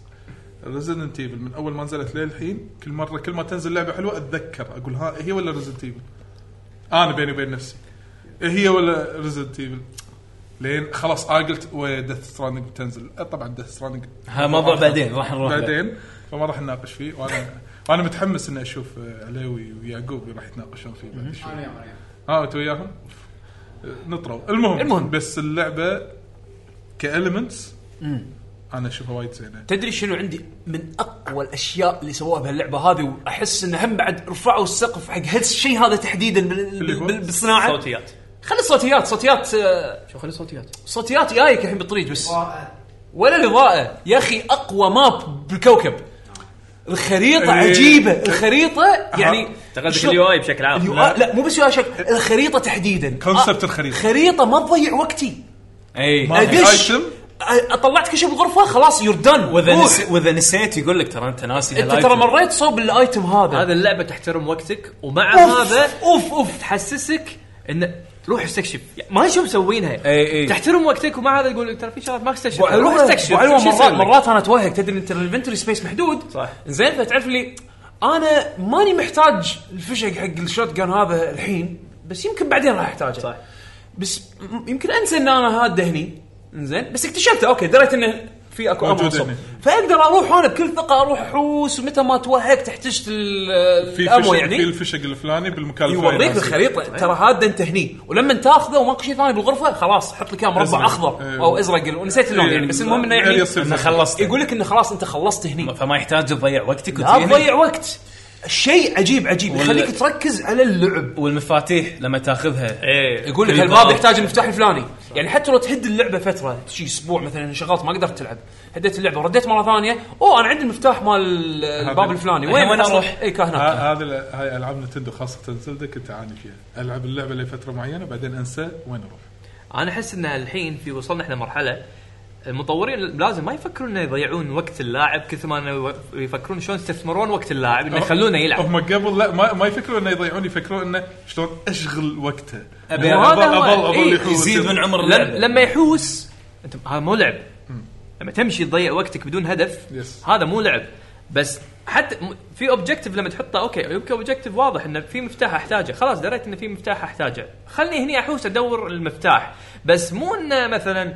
Speaker 10: ريزدنت ايفل من اول ما نزلت للحين كل مره كل ما تنزل لعبه حلوه اتذكر اقول ها هي ولا ريزدنت ايفل انا بيني وبين نفسي إيه هي ولا ريزدنت ايفل لين خلاص انا قلت وديث ستراندنج بتنزل طبعا ديث ستراندنج
Speaker 8: ها موضوع بعدين راح نروح له.
Speaker 10: بعدين فما راح نناقش فيه وانا وانا متحمس اني اشوف آه، علوي ويعقوب راح يتناقشون فيه بعد شوي اه انت وياهم آه، نطروا المهم
Speaker 2: المهم.
Speaker 10: بس اللعبه كاليمنتس انا اشوفها وايد زينه
Speaker 2: تدري شنو عندي من اقوى الاشياء اللي سووها بهاللعبه هذه واحس انه هم بعد رفعوا السقف حق هالشيء هذا تحديدا بال-
Speaker 10: اللي هو؟
Speaker 2: بال- بالصناعه
Speaker 9: صوتيات
Speaker 2: خلي الصوتيات صوتياك آه،
Speaker 9: شو خلي صوتيات
Speaker 2: صوتيات جايك الحين بالطريق بس ولا الاضاءه يا اخي اقوى ماب بالكوكب الخريطه
Speaker 10: إيه.
Speaker 2: عجيبه الخريطه يعني
Speaker 9: تغلبك
Speaker 2: شلون-
Speaker 9: اليو اي بشكل عام
Speaker 2: اليو آي- لا مو بس يا شك الخريطه تحديدا
Speaker 10: كونسبت
Speaker 2: آه،
Speaker 10: الخريطة.
Speaker 2: خريطه ما تضيع وقتي
Speaker 8: اي
Speaker 10: ما في
Speaker 2: أدش.
Speaker 10: ايتم
Speaker 2: أ- طلعت كل شيء بالغرفه خلاص يور دن
Speaker 8: واذا نس... واذا نسيت يقول لك ترى انت ناسي
Speaker 2: انت ترى مريت صوب الايتم هذا
Speaker 9: هذا اللعبه تحترم وقتك ومع
Speaker 2: أوف،
Speaker 9: هذا اوف اوف تحسسك ان روح استكشف يعني ما شو مسوينها
Speaker 8: إي إي.
Speaker 9: تحترم وقتك ومع هذا يقول لك ترى في شغلات ما استكشفتها روح
Speaker 2: وعلوة
Speaker 9: استكشف
Speaker 2: وعلوة
Speaker 9: شو يصير
Speaker 2: مرات
Speaker 9: لك؟
Speaker 2: مرات انا اتوهق تدري انت الانفنتوري سبيس محدود
Speaker 9: صح.
Speaker 2: زين فتعرف لي انا ماني محتاج الفشق حق الشوت جان هذا الحين بس يمكن بعدين راح احتاجه
Speaker 9: صح.
Speaker 2: بس م- يمكن انسى ان انا هذا هني زين بس اكتشفته اوكي دريت انه في اكو
Speaker 10: موجود
Speaker 2: أمر
Speaker 10: هني.
Speaker 2: فاقدر اروح وانا بكل ثقه اروح احوس ومتى ما توهقت احتجت ال-
Speaker 10: في أيوة.
Speaker 2: الامو
Speaker 10: فشق
Speaker 2: يعني
Speaker 10: في الفشق الفلاني بالمكان الفلاني
Speaker 2: يوريك الخريطه ترى هذا انت هني ولما تاخذه وماكو شيء ثاني بالغرفه خلاص حط لك اياه
Speaker 10: أزرق.
Speaker 2: مربع اخضر
Speaker 10: إيه.
Speaker 2: او ازرق ونسيت اللون يعني بس المهم انه يعني
Speaker 8: انه خلصت
Speaker 2: يقول لك انه خلاص انت خلصت هني
Speaker 8: فما يحتاج تضيع وقتك
Speaker 2: لا
Speaker 8: وتجيني.
Speaker 2: تضيع وقت شيء عجيب عجيب
Speaker 8: يعني. وال-
Speaker 2: يخليك تركز على اللعب
Speaker 8: والمفاتيح لما تاخذها
Speaker 10: إيه.
Speaker 9: ايه
Speaker 2: يقول لك
Speaker 8: اللي
Speaker 2: الباب
Speaker 8: ضاع.
Speaker 2: يحتاج المفتاح الفلاني يعني حتى لو تهد اللعبه فتره شي اسبوع مثلا انشغلت ما قدرت تلعب هديت اللعبه ورديت مره ثانيه اوه انا عندي المفتاح مال الباب
Speaker 10: هذا.
Speaker 2: الفلاني
Speaker 8: الحين
Speaker 2: وين إيه،
Speaker 8: وين
Speaker 2: أصلاً؟
Speaker 8: أروح؟ آه،
Speaker 2: اي كان هناك
Speaker 10: هذه ال- هاي العاب نتندو خاصه زلدا كنت اعاني فيها العب اللعبه لفتره معينه بعدين انسى وين اروح
Speaker 9: انا احس ان الحين في وصلنا احنا مرحله المطورين لازم ما يفكرون انه يضيعون وقت اللاعب كثر ما انه يو- يفكرون شلون يستثمرون وقت اللاعب انه يخلونه يلعب
Speaker 10: هم قبل لا ما, ما يفكرون انه يضيعون يفكرون انه شلون اشغل وقته يعني
Speaker 8: أبي
Speaker 10: هو
Speaker 9: هذا هو.
Speaker 10: اظل
Speaker 9: إيه،
Speaker 10: اظل يحوس.
Speaker 8: يزيد من عمر
Speaker 9: لم
Speaker 8: اللعبه
Speaker 9: لما يحوس انت هذا مو لعب لما تمشي تضيع وقتك بدون هدف
Speaker 10: Yes.
Speaker 9: هذا مو لعب بس حتى م- في اوبجكتيف لما تحطه اوكي يمكن اوبجكتيف واضح انه في مفتاح احتاجه خلاص دريت انه في مفتاح احتاجه خلني هني احوس ادور المفتاح بس مو انه مثلا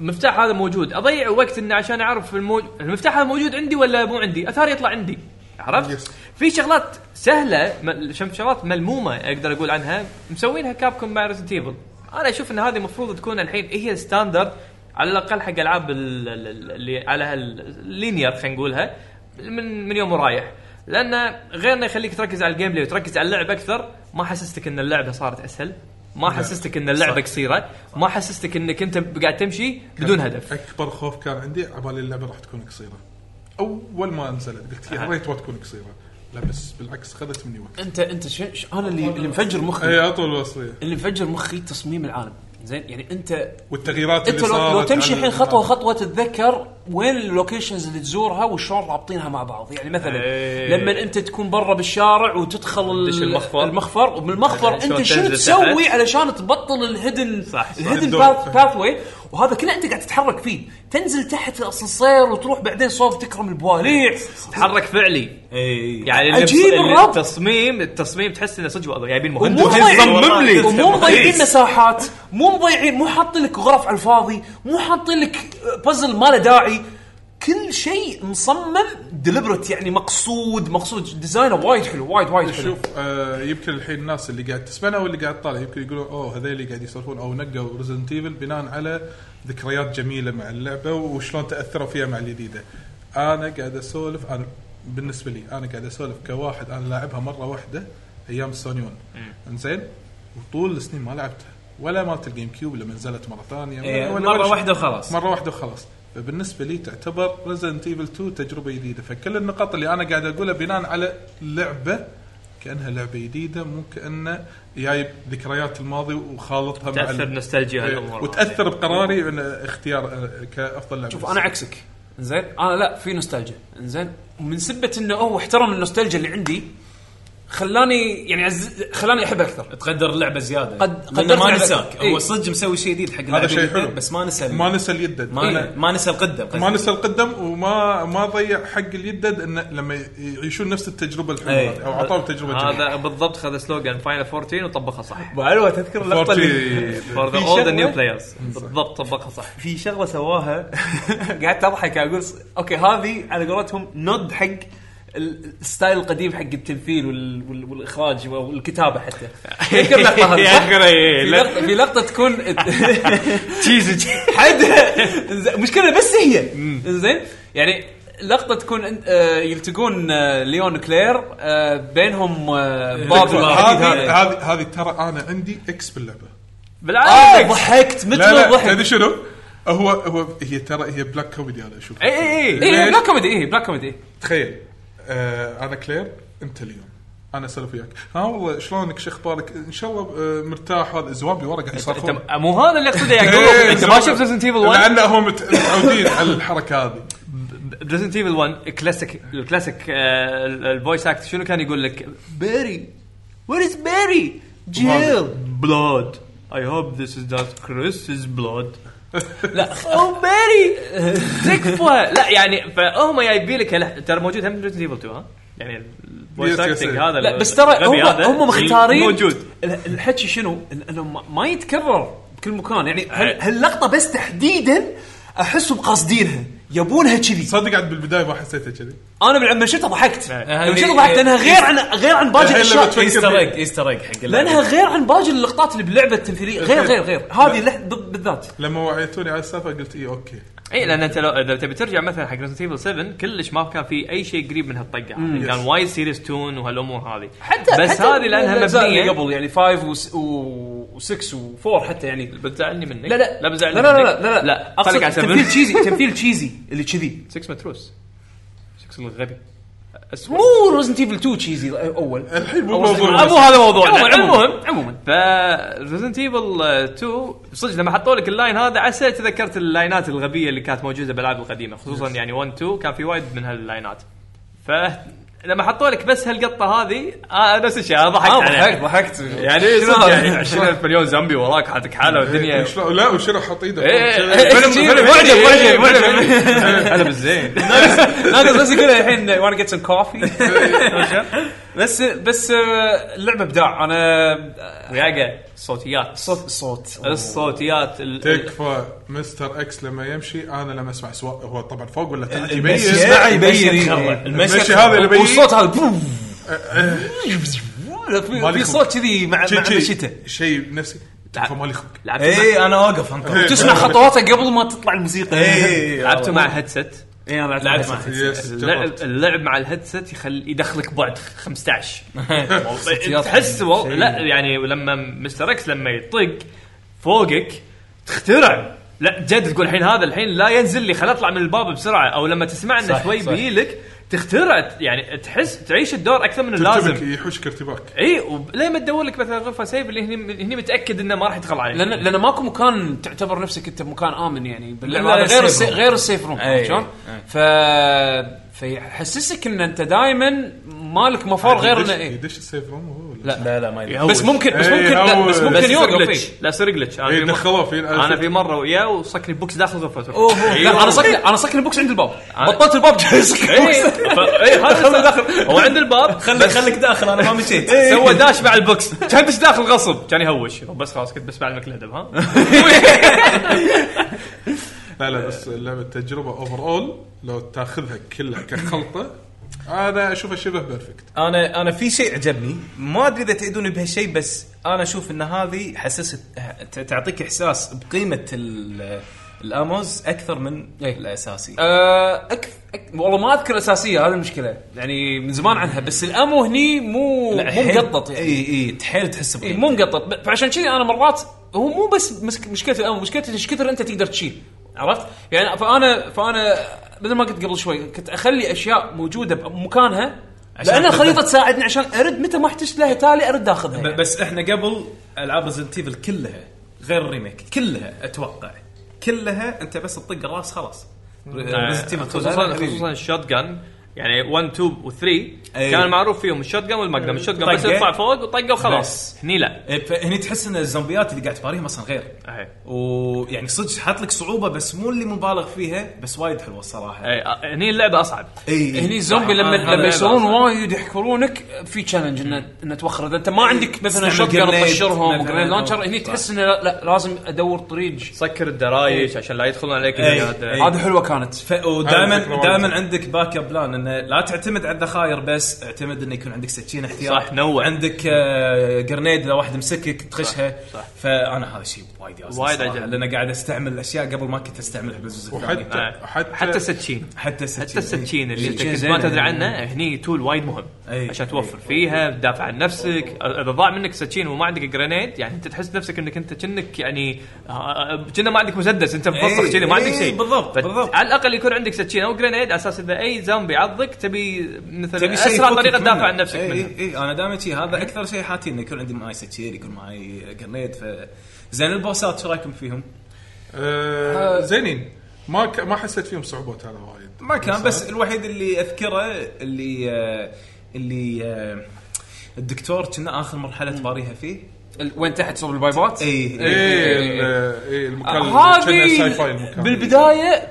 Speaker 9: مفتاح هذا موجود اضيع وقت انه عشان اعرف المو... المفتاح هذا موجود عندي ولا مو عندي اثار يطلع عندي عرفت في شغلات سهله م- شم- شغلات ملمومه اقدر اقول عنها مسوينها كابكم مع ريزنت ايفل انا اشوف ان هذه المفروض تكون الحين هي ستاندرد على الاقل حق العاب ال- ال- ال- اللي على اللينير خلينا نقولها من من يوم ورايح لان غير انه يخليك تركز على الجيم بلاي وتركز على اللعب اكثر ما حسستك ان اللعبه صارت اسهل ما حسستك ان اللعبه قصيره ما حسستك انك انت قاعد تمشي بدون هدف
Speaker 10: اكبر خوف كان عندي عبالي اللعبه راح تكون قصيره اول ما نزلت قلت يا
Speaker 2: أها.
Speaker 10: ريت ما تكون قصيره لا بس بالعكس خذت مني وقت
Speaker 2: انت انت ش... ش... انا اللي اللي مفجر مخي
Speaker 10: اي اطول الوصفيه
Speaker 2: اللي مفجر مخي تصميم العالم زين يعني انت
Speaker 10: والتغييرات
Speaker 2: انت
Speaker 10: اللي
Speaker 2: لو, لو
Speaker 10: صارت
Speaker 2: تمشي
Speaker 10: على-
Speaker 2: الحين خطوه خطوه تتذكر وين اللوكيشنز اللي تزورها وشلون رابطينها مع بعض يعني مثلا
Speaker 9: إيه.
Speaker 2: لما انت تكون برا بالشارع وتدخل
Speaker 9: تدش المخفر.
Speaker 2: المخفر ومن المخفر
Speaker 9: بعدين شلون
Speaker 2: انت شنو
Speaker 9: تنزل
Speaker 2: تسوي
Speaker 9: تحت.
Speaker 2: علشان تبطل الهدن
Speaker 9: صح، صح.
Speaker 2: الهدن
Speaker 9: الدور.
Speaker 2: باث واي وهذا كله انت قاعد تتحرك فيه تنزل تحت الاسانسير وتروح بعدين صوب تكرم البواليع
Speaker 9: تحرك فعلي
Speaker 8: اي
Speaker 9: يعني اللي
Speaker 2: عجيب
Speaker 9: اللي
Speaker 2: الربط.
Speaker 9: التصميم التصميم تحس انه صدق والله يعني جايبين
Speaker 2: ومو
Speaker 9: مهندس
Speaker 2: مضيعين
Speaker 9: والله.
Speaker 2: ومو مضيعين
Speaker 9: مهندس.
Speaker 2: مساحات مو مضيعين مو حاطين لك غرف على الفاضي مو حاطين لك بازل ما له داعي كل شيء مصمم ديليبرت يعني مقصود مقصود ديزاينه وايد حلو وايد وايد حلو
Speaker 10: شوف آه يمكن الحين الناس اللي قاعد تسمعنا واللي قاعد تطالع يمكن يقولون اوه هذول اللي قاعد يسولفون او نقوا ريزنت ايفل بناء على ذكريات جميله مع اللعبه وشلون تاثروا فيها مع الجديده. انا قاعد اسولف انا بالنسبه لي انا قاعد اسولف كواحد انا لاعبها مره واحده ايام السونيون انزين وطول السنين ما لعبتها ولا مالت الجيم كيوب لما نزلت مره ثانيه ولا-
Speaker 8: إيه،
Speaker 10: ولا-
Speaker 8: مرة
Speaker 10: ولا شيء.
Speaker 8: واحدة وخلاص.
Speaker 10: مره واحده وخلاص فبالنسبه لي تعتبر ريزنت ايفل 2 تجربه جديده فكل النقاط اللي انا قاعد اقولها بناء على لعبه كانها لعبه جديده مو كانه جايب ذكريات الماضي وخالطها مع
Speaker 9: تأثر
Speaker 10: ال-
Speaker 9: نوستالجيا
Speaker 10: إيه،
Speaker 9: هالأمور.
Speaker 10: وتاثر بقراري ان اختيار آه، كافضل لعبه
Speaker 2: شوف انا عكسك زين انا لا في نوستالجيا زين ومن سبه انه هو احترم النوستالجيا اللي عندي خلاني يعني عز... خلاني احب اكثر
Speaker 8: تقدر اللعبه زياده
Speaker 2: قد-
Speaker 8: لأنه
Speaker 2: قدرت
Speaker 8: ما
Speaker 2: لعبة.
Speaker 8: نساك
Speaker 2: إيه.
Speaker 8: هو صدق مسوي شيء جديد حق
Speaker 10: هذا
Speaker 8: اللعبة
Speaker 10: شيء
Speaker 8: جديد،
Speaker 10: حلو
Speaker 8: بس ما نسى ال-
Speaker 10: ما نسى اليدد
Speaker 8: ما
Speaker 10: أنا-
Speaker 8: ما نسى القده قصدي.
Speaker 10: ما نسى القدم وما ما ضيع حق اليدد انه لما يعيشون نفس التجربه الحلوه
Speaker 8: إيه.
Speaker 10: هذه، او اعطاهم تجربه جديده
Speaker 9: هذا بالضبط خذ سلوجان فاينل 14 وطبقها صح
Speaker 8: ابو علوه تذكر اللقطه اللي
Speaker 10: 40.
Speaker 9: فور ذا
Speaker 8: في
Speaker 9: اولد
Speaker 8: شغلة-
Speaker 9: نيو بلايرز بالضبط طبقها صح
Speaker 8: في شغله سواها قعدت اضحك اقول ص- اوكي هذه على قولتهم نود حق ال- الستايل القديم حق التمثيل وال- وال- والاخراج والكتابه حتى تذكر اللقطه هذه
Speaker 9: يا
Speaker 8: صح؟
Speaker 9: أخي، إيه،
Speaker 8: في
Speaker 9: لا.
Speaker 8: لقطة- في لقطه تكون
Speaker 9: تشيز
Speaker 8: حدها إنزين، مشكله بس هي
Speaker 2: زين يعني لقطه تكون أنت- آه، يلتقون آه، ليون وكلير آه، بينهم آه،
Speaker 9: إيه.
Speaker 2: باب
Speaker 10: هذه
Speaker 2: حديد.
Speaker 10: هذه هذه ترى انا عندي اكس باللعبه
Speaker 2: آه،
Speaker 9: بالعكس يعني
Speaker 2: ضحكت مثل
Speaker 10: لا لا
Speaker 2: الضحك
Speaker 10: تدري شنو؟ هو هو هي ترى هي بلاك كوميدي انا اشوف
Speaker 9: اي اي اي
Speaker 2: اي
Speaker 10: ليش؟
Speaker 2: بلاك كوميدي
Speaker 9: إيه،
Speaker 2: اي بلاك كوميدي
Speaker 10: تخيل آه انا كلير انت اليوم انا اسولف وياك ها والله شلونك شو اخبارك ان شاء الله آه مرتاح هذا الزوامبي ورا قاعد يصرخون
Speaker 9: أنت- مو هذا اللي اقصده يا
Speaker 10: إيه،
Speaker 9: يعقوب انت ما
Speaker 10: زوامبي.
Speaker 9: شفت ريزنت ايفل 1
Speaker 10: لان هم مت- متعودين على الحركه هذه
Speaker 9: بريزنت ايفل 1 كلاسيك الكلاسيك آه، ال- الفويس اكت شنو كان يقول لك بيري وير از بيري جيل بلود اي هوب ذيس از نوت كريس's بلود لا
Speaker 2: Oh,
Speaker 9: او بيري تكفى لا يعني فهم جايبين لك هلا- ترى موجود هم بريزنت ايفل 2 ها يعني الفويس
Speaker 10: Yes, yes,
Speaker 9: اكتنج
Speaker 10: yes.
Speaker 9: هذا
Speaker 2: لا بس ترى
Speaker 9: الغبي
Speaker 2: هم
Speaker 9: هذا
Speaker 2: هم مختارين
Speaker 9: موجود
Speaker 2: ال- الحكي شنو؟ إن- انه ما- ما يتكرر بكل مكان يعني هال- هاللقطه بس تحديدا احسهم قاصدينها يبونها كذي
Speaker 10: صدق عاد بالبدايه ما حسيتها كذي
Speaker 2: انا من لما شفتها ضحكت لما
Speaker 8: هذه-
Speaker 2: شفتها ضحكت لانها غير عن غير عن باقي
Speaker 10: الحين لما
Speaker 2: الاشياء
Speaker 10: تفكر
Speaker 8: ايستر
Speaker 10: فيها.
Speaker 8: ايج ايستر ايج حق اللعبة.
Speaker 2: لانها غير عن باقي اللقطات اللي باللعبه التمثيليه غير غير غير هذه اللح- ب- بالذات
Speaker 10: لما وعيتوني على السالفه قلت إيه، اي اوكي
Speaker 9: اي لان انت إيه، لو لو تبي ترجع مثلا حق ريزنت ايفل 7 كلش ما كان في اي شيء قريب من
Speaker 10: Mm.
Speaker 9: هالطقه هذه كان وايد سيريس تون وهالامور هذه
Speaker 2: حتى
Speaker 9: بس
Speaker 2: حتى
Speaker 9: هذه لانها
Speaker 2: الأجزاء اللي
Speaker 9: مبنيه قبل
Speaker 2: قبل يعني 5 و6 و4 حتى يعني
Speaker 9: بتزعلني منك
Speaker 2: لا لا
Speaker 9: لا بزعلني
Speaker 2: لا لا
Speaker 9: منك.
Speaker 2: لا لا لا,
Speaker 9: لا
Speaker 2: أقصد
Speaker 9: خليك على
Speaker 2: تمثيل
Speaker 9: 7
Speaker 2: تشيزي تمثيل تشيزي اللي كذي
Speaker 9: 6 متروس 6 الغبي اسود
Speaker 2: مو رزنت ايفل 2 تشيزي اول
Speaker 10: الحين مو
Speaker 2: أول
Speaker 10: موضوع
Speaker 2: Resident Evil.
Speaker 9: مو هذا موضوعنا
Speaker 2: عموما
Speaker 9: المهم
Speaker 2: عموما عموما
Speaker 9: ف ريزنت ايفل 2 صدق لما حطوا لك اللاين هذا عسى تذكرت اللاينات الغبيه اللي كانت موجوده بالالعاب القديمه خصوصا يعني 1 2 كان في وايد من هاللاينات ف لما حطوا لك بس هالقطه هذه آه نفس الشيء انا ضحكت
Speaker 10: آه،
Speaker 9: عليها.
Speaker 10: ضحكت- ضحكت.
Speaker 9: يعني
Speaker 10: شنو
Speaker 9: صدق
Speaker 10: هذا؟
Speaker 9: يعني 20000 مليون زومبي وراك حالك حاله والدنيا
Speaker 10: شلون- لا وشنو حط ايده
Speaker 9: إيه،
Speaker 10: فوق.
Speaker 9: إيه،
Speaker 10: فيلم-
Speaker 9: إيه،
Speaker 10: فيلم-
Speaker 9: معجب،
Speaker 10: إيه،
Speaker 9: معجب،
Speaker 10: فيلم-
Speaker 9: معجب.
Speaker 10: إيه.
Speaker 9: هلا بالزين.
Speaker 2: ناقص بس يقول الحين وانا جيت سم كوفي بس بس آه، اللعبه ابداع انا
Speaker 9: وياقه صوتيات
Speaker 2: آه، صوت صوت
Speaker 9: الصوتيات ال-
Speaker 10: تكفى مستر اكس لما يمشي انا لما اسمع سواء هو طبعا فوق ولا تحت يبين
Speaker 5: المشي يسمع يبين. المشي
Speaker 10: المشي
Speaker 5: يخرع.
Speaker 10: هذا اللي يبين
Speaker 5: والصوت هذا بوف.
Speaker 10: مالي
Speaker 2: في
Speaker 10: خلق.
Speaker 2: صوت كذي مع
Speaker 10: شي-
Speaker 2: مع
Speaker 10: شي-
Speaker 2: مشيته
Speaker 10: شيء نفسي تكفى مالي خلق
Speaker 9: لعبت
Speaker 2: إيه،
Speaker 10: إيه،
Speaker 8: اي انا واقف انطر
Speaker 2: تسمع خطواته قبل ما تطلع الموسيقى
Speaker 10: إيه،
Speaker 2: إيه،
Speaker 8: اي
Speaker 9: لعبت مع هيدسет
Speaker 2: اي انا لعبت
Speaker 9: لعبت
Speaker 2: مع
Speaker 9: مع
Speaker 2: هيدسيت.
Speaker 10: يس،
Speaker 9: هيدسيت اللعب,
Speaker 10: جربت.
Speaker 9: اللعب مع الهيدسيت يخلي يدخلك بعد 15 تحس و... لا يعني لما مستر اكس لما يطق فوقك تخترع لا جد تقول الحين هذا الحين لا ينزل لي خل اطلع من الباب بسرعه او لما تسمع انه
Speaker 8: صح،
Speaker 9: شوي
Speaker 8: صح.
Speaker 9: بيجيلك تخترع يعني تحس تعيش الدور اكثر من اللازم
Speaker 10: لازم يحوشك ارتباك
Speaker 9: اي وليه ما تدور لك مثلا غرفه سيف اللي هني هني متاكد انه ما راح يدخل عليك
Speaker 2: لان لان ماكو مكان تعتبر نفسك انت بمكان امن يعني باللعبه
Speaker 8: إلا
Speaker 2: هذا غير
Speaker 8: السيف
Speaker 2: السي...
Speaker 8: روم.
Speaker 2: غير السيف روم
Speaker 8: أي.
Speaker 2: عرفت شلون؟ ف فيحسسك ان انت دائما مالك مفر غير
Speaker 10: يدش-
Speaker 2: انه إيه.
Speaker 10: يدش السيف روم هو ولا-
Speaker 8: لا لا ما يدري
Speaker 2: بس ممكن بس
Speaker 10: إيه،
Speaker 2: ممكن لا بس
Speaker 10: هو-
Speaker 2: ممكن
Speaker 9: بس يصير
Speaker 2: يوقف
Speaker 9: جلتش
Speaker 2: فيه.
Speaker 9: لا يصير جلتش انا
Speaker 10: إيه،
Speaker 9: في مرة-
Speaker 10: دخلوه في
Speaker 9: انا في مره وياه وصكني بوكس داخل غرفته
Speaker 2: اوه
Speaker 10: أيوه.
Speaker 2: لا انا صكني انا صكني بوكس عند الباب بطلت الباب جالس
Speaker 9: اي إيه. هذا داخل هو عند الباب
Speaker 8: خليك خليك داخل انا ما مشيت
Speaker 9: سوى داش مع البوكس كان دش داخل غصب كان يهوش بس خلاص كنت بسمع المكلدب ها
Speaker 10: لا لا بس اللعبه تجربه اوفر اول لو تاخذها كلها كخلطه انا اشوفها شبه بيرفكت
Speaker 8: انا انا في شيء عجبني ما ادري اذا تعيدوني بهالشيء بس انا اشوف ان هذه حسست ت- تعطيك احساس بقيمه ال- الاموز اكثر من
Speaker 2: إيه.
Speaker 8: الاساسي
Speaker 2: آه، أكف... أك... والله ما اذكر اساسيه هذه المشكله يعني من زمان عنها بس الامو هني مو مو مقطط يعني
Speaker 8: اي اي حيل تحس
Speaker 2: إيه،
Speaker 8: بقيمه
Speaker 2: مو مقطط ب- فعشان كذي انا مرات هو مو بس مسك- مشكله الامو مشكله ايش كثر انت تقدر تشيل عرفت؟ يعني فانا فانا مثل ما قلت قبل شوي كنت اخلي اشياء موجوده بمكانها
Speaker 8: عشان
Speaker 2: لان
Speaker 8: تقدر-
Speaker 2: الخريطه تساعدني عشان ارد متى ما احتجت لها تالي ارد اخذها
Speaker 8: ب-
Speaker 2: يعني.
Speaker 8: بس احنا قبل العاب ريزنت ايفل كلها غير الريميك كلها اتوقع كلها انت بس تطق الراس خلاص
Speaker 10: آه، نعم.
Speaker 8: ريزنت
Speaker 9: آه،
Speaker 8: ايفل
Speaker 9: خصوصا خصوصا الشوت جن يعني 1 2 و3
Speaker 10: إيه.
Speaker 9: كان معروف فيهم الشوت جن والماجنم الشوت جن بس
Speaker 8: طقة. إيه،
Speaker 9: يطلع فوق وطقه وخلاص هني لا
Speaker 8: هني تحس ان الزومبيات اللي قاعد تباريهم اصلا غير
Speaker 9: إيه.
Speaker 8: ويعني صدق حاط لك صعوبه بس مو اللي مبالغ فيها بس وايد إيه. حلوه الصراحه
Speaker 9: إيه، آه، هني اللعبه اصعب
Speaker 8: اي
Speaker 2: هني الزومبي لما
Speaker 8: آه.
Speaker 9: هذا-
Speaker 2: لما
Speaker 9: هذا
Speaker 2: يصيرون
Speaker 9: لازم.
Speaker 2: وايد يحكرونك في تشالنج انه انه توخر اذا انت ما عندك مثلا
Speaker 8: تستعمل
Speaker 2: شوت جن
Speaker 8: grenade
Speaker 2: تطشرهم
Speaker 8: مثلاً
Speaker 2: وجريد
Speaker 8: أو-
Speaker 2: لانشر هني تحس انه لا, لا لازم ادور طريق
Speaker 9: سكر الدرايش عشان لا يدخلون عليك
Speaker 8: إيه.
Speaker 9: الزيادة.
Speaker 8: إيه.
Speaker 2: هذه حلوه كانت
Speaker 8: ف...
Speaker 10: هذا فكرة
Speaker 8: ودائما
Speaker 10: وايد
Speaker 8: دائما
Speaker 10: حلوة.
Speaker 8: عندك باك اب بلان انه لا تعتمد على الذخاير بس اعتمد انه يكون عندك سكين احتياط
Speaker 9: صح، نوع.
Speaker 8: عندك آه، جرنيد اذا واحد مسكك تخشها
Speaker 9: صح.
Speaker 8: فانا هذا الشيء وايد ياسر
Speaker 9: وايد
Speaker 8: صراحة،
Speaker 9: عجبني.
Speaker 8: لان قاعد استعمل الاشياء قبل ما كنت استعملها بالجزء الثاني
Speaker 10: وحتى
Speaker 9: آه.
Speaker 10: حتى
Speaker 9: حتى السكين
Speaker 8: حتى السكين إيه،
Speaker 9: حتى السكين اللي انت
Speaker 8: السكين
Speaker 9: كنت ما
Speaker 8: زينة.
Speaker 9: تدري عنه هني تول وايد مهم
Speaker 8: أي.
Speaker 9: عشان توفر فيها تدافع عن نفسك اذا ضاع منك سكين وما عندك جرينيد يعني انت تحس نفسك انك انت كأنك يعني آه، كأنه ما عندك مسدس انت مفصل
Speaker 8: أي.
Speaker 9: كذي ما
Speaker 8: أي،
Speaker 9: عندك شيء
Speaker 8: بالضبط،
Speaker 9: فت-
Speaker 8: بالضبط.
Speaker 9: على الاقل يكون عندك سكين او جرينيد على اساس اذا اي زومبي عضك تبي مثلا
Speaker 8: تبي شيء
Speaker 9: اسرع
Speaker 8: يفكك
Speaker 9: طريقه تدافع
Speaker 8: منه. إيه،
Speaker 9: عن نفسك إيه.
Speaker 8: اي
Speaker 9: منها
Speaker 8: اي اي انا دائما شي هذا اكثر شيء حاتي انه يكون عندي معي سكين يكون معي جرنيد ف زين البوسات شو رايكم فيهم؟
Speaker 10: آه، زينين ما ك... ما حسيت فيهم صعوبات انا وايد
Speaker 8: ما كان بس الوحيد اللي اذكره اللي آه، اللي آه، الدكتور كنا اخر مرحله تباريها فيه إيه.
Speaker 2: ال- وين تحت صوب البايبات؟ إيه،
Speaker 8: اي
Speaker 10: ايه ال- إيه،
Speaker 8: آه،
Speaker 10: المكان اللي كنا
Speaker 2: هذه
Speaker 10: ساي فاي المكان
Speaker 2: بالبدايه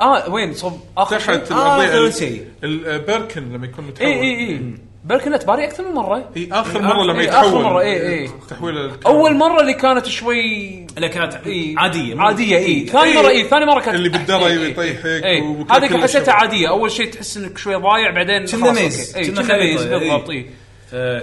Speaker 2: اه وين صوب اخر شيء؟ آه، إيه.
Speaker 10: تحت إيه، الارضيه
Speaker 8: آخر
Speaker 10: ال-
Speaker 8: شيء. إيه،
Speaker 10: البركن لما يكون متحول
Speaker 2: اي اي اي إيه، بلكن اتباري اكثر من مره
Speaker 10: اي اخر مره إيه، لما
Speaker 8: إيه،
Speaker 2: إي،
Speaker 10: يتحول
Speaker 2: آخر مرة، إيه، إي، إي.
Speaker 10: تحويل الكاميرا.
Speaker 2: اول مره اللي كانت شوي
Speaker 8: لا كانت
Speaker 2: إي.
Speaker 8: عاديه
Speaker 2: عاديه اي إيه. ثاني
Speaker 10: إي.
Speaker 2: مره اي ثاني مره كانت
Speaker 10: إيه.
Speaker 2: إيه،
Speaker 10: اللي بالدرة
Speaker 2: أحسن، إي، إي.
Speaker 10: يطيحك
Speaker 2: إي.
Speaker 10: وكل-
Speaker 2: هذيك
Speaker 10: كل
Speaker 2: حسيتها
Speaker 10: الشباب.
Speaker 2: عاديه اول شيء تحس انك شوي ضايع بعدين
Speaker 8: كنا
Speaker 2: خلاص،
Speaker 8: ميز،
Speaker 2: أوكي. إي،
Speaker 8: كنا
Speaker 2: كنا ميز
Speaker 8: خريطة، إي.
Speaker 2: بالضبط إيه. اي
Speaker 8: آه،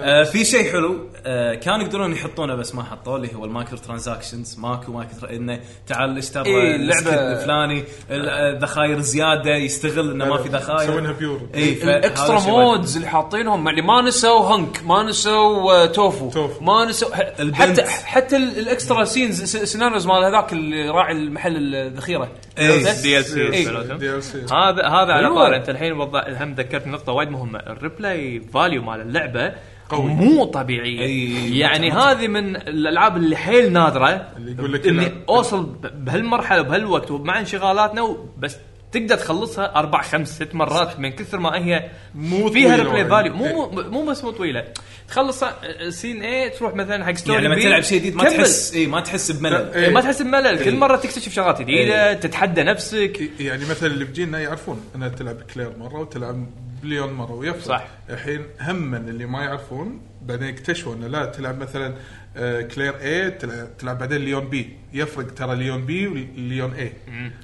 Speaker 8: آه، في شيء حلو آه، كانوا يقدرون يحطونه بس ما حطوه اللي هو المايكرو ترانزاكشنز ماكو مايكرو انه تعال اشترى
Speaker 2: إيه،
Speaker 8: السكن
Speaker 2: اللعبة-
Speaker 8: الفلاني ال- آه، الذخاير زياده يستغل انه ما في ذخاير
Speaker 10: يسوونها بيور.
Speaker 8: اي فهذا
Speaker 2: الاكسترا
Speaker 8: شيء وايد-
Speaker 2: مودز اللي حاطينهم يعني ما نسوا هنك ما نسوا آه، توفو,
Speaker 10: توفو.
Speaker 2: ما نسوا ح-
Speaker 8: البنت.
Speaker 2: حتى حتى ال- الاكسترا سينز سيناريوز مال هذاك اللي راعي المحل الذخيره
Speaker 8: إيه.
Speaker 2: عرفت؟
Speaker 9: DLC
Speaker 2: إيه.
Speaker 9: مالتهم.
Speaker 10: دي ال سي
Speaker 9: هذا هذا على
Speaker 2: أيوة.
Speaker 9: طار انت الحين وضع الحين ذكرت نقطه وايد مهمه الريبلاي فاليو مال اللعبه
Speaker 10: قوي.
Speaker 9: مو طبيعيه
Speaker 8: أي،
Speaker 9: يعني هذه من الالعاب اللي حيل نادره
Speaker 10: اللي يقول لك
Speaker 9: اللي
Speaker 10: لا.
Speaker 9: اوصل ب- بهالمرحله وبهالوقت ومع انشغالاتنا بس تقدر تخلصها اربع خمس ست مرات من كثر ما هي
Speaker 10: مو
Speaker 9: فيها
Speaker 10: طويلة
Speaker 9: ريبلاي
Speaker 10: يعني.
Speaker 9: فاليو مو مو- مو بس مو طويله تخلص سين اي تروح مثلا حق ستوري
Speaker 8: يعني لما
Speaker 9: B،
Speaker 8: تلعب شيء جديد ما
Speaker 9: كمل.
Speaker 8: تحس إيه. اي ما تحس بملل
Speaker 9: إيه، ما تحس بملل كل
Speaker 8: إيه.
Speaker 9: مره تكتشف شغلات جديده
Speaker 8: إيه.
Speaker 9: تتحدى نفسك
Speaker 10: يعني مثلا اللي بجينا يعرفون انها تلعب كلير مره وتلعب بليون مره ويفصل
Speaker 9: صح.
Speaker 10: الحين هم اللي ما يعرفون بعدين يكتشفوا انه لا تلعب مثلا آه، كلير اي تلعب, تلعب بعدين ليون بي يفرق ترى ليون بي وليون اي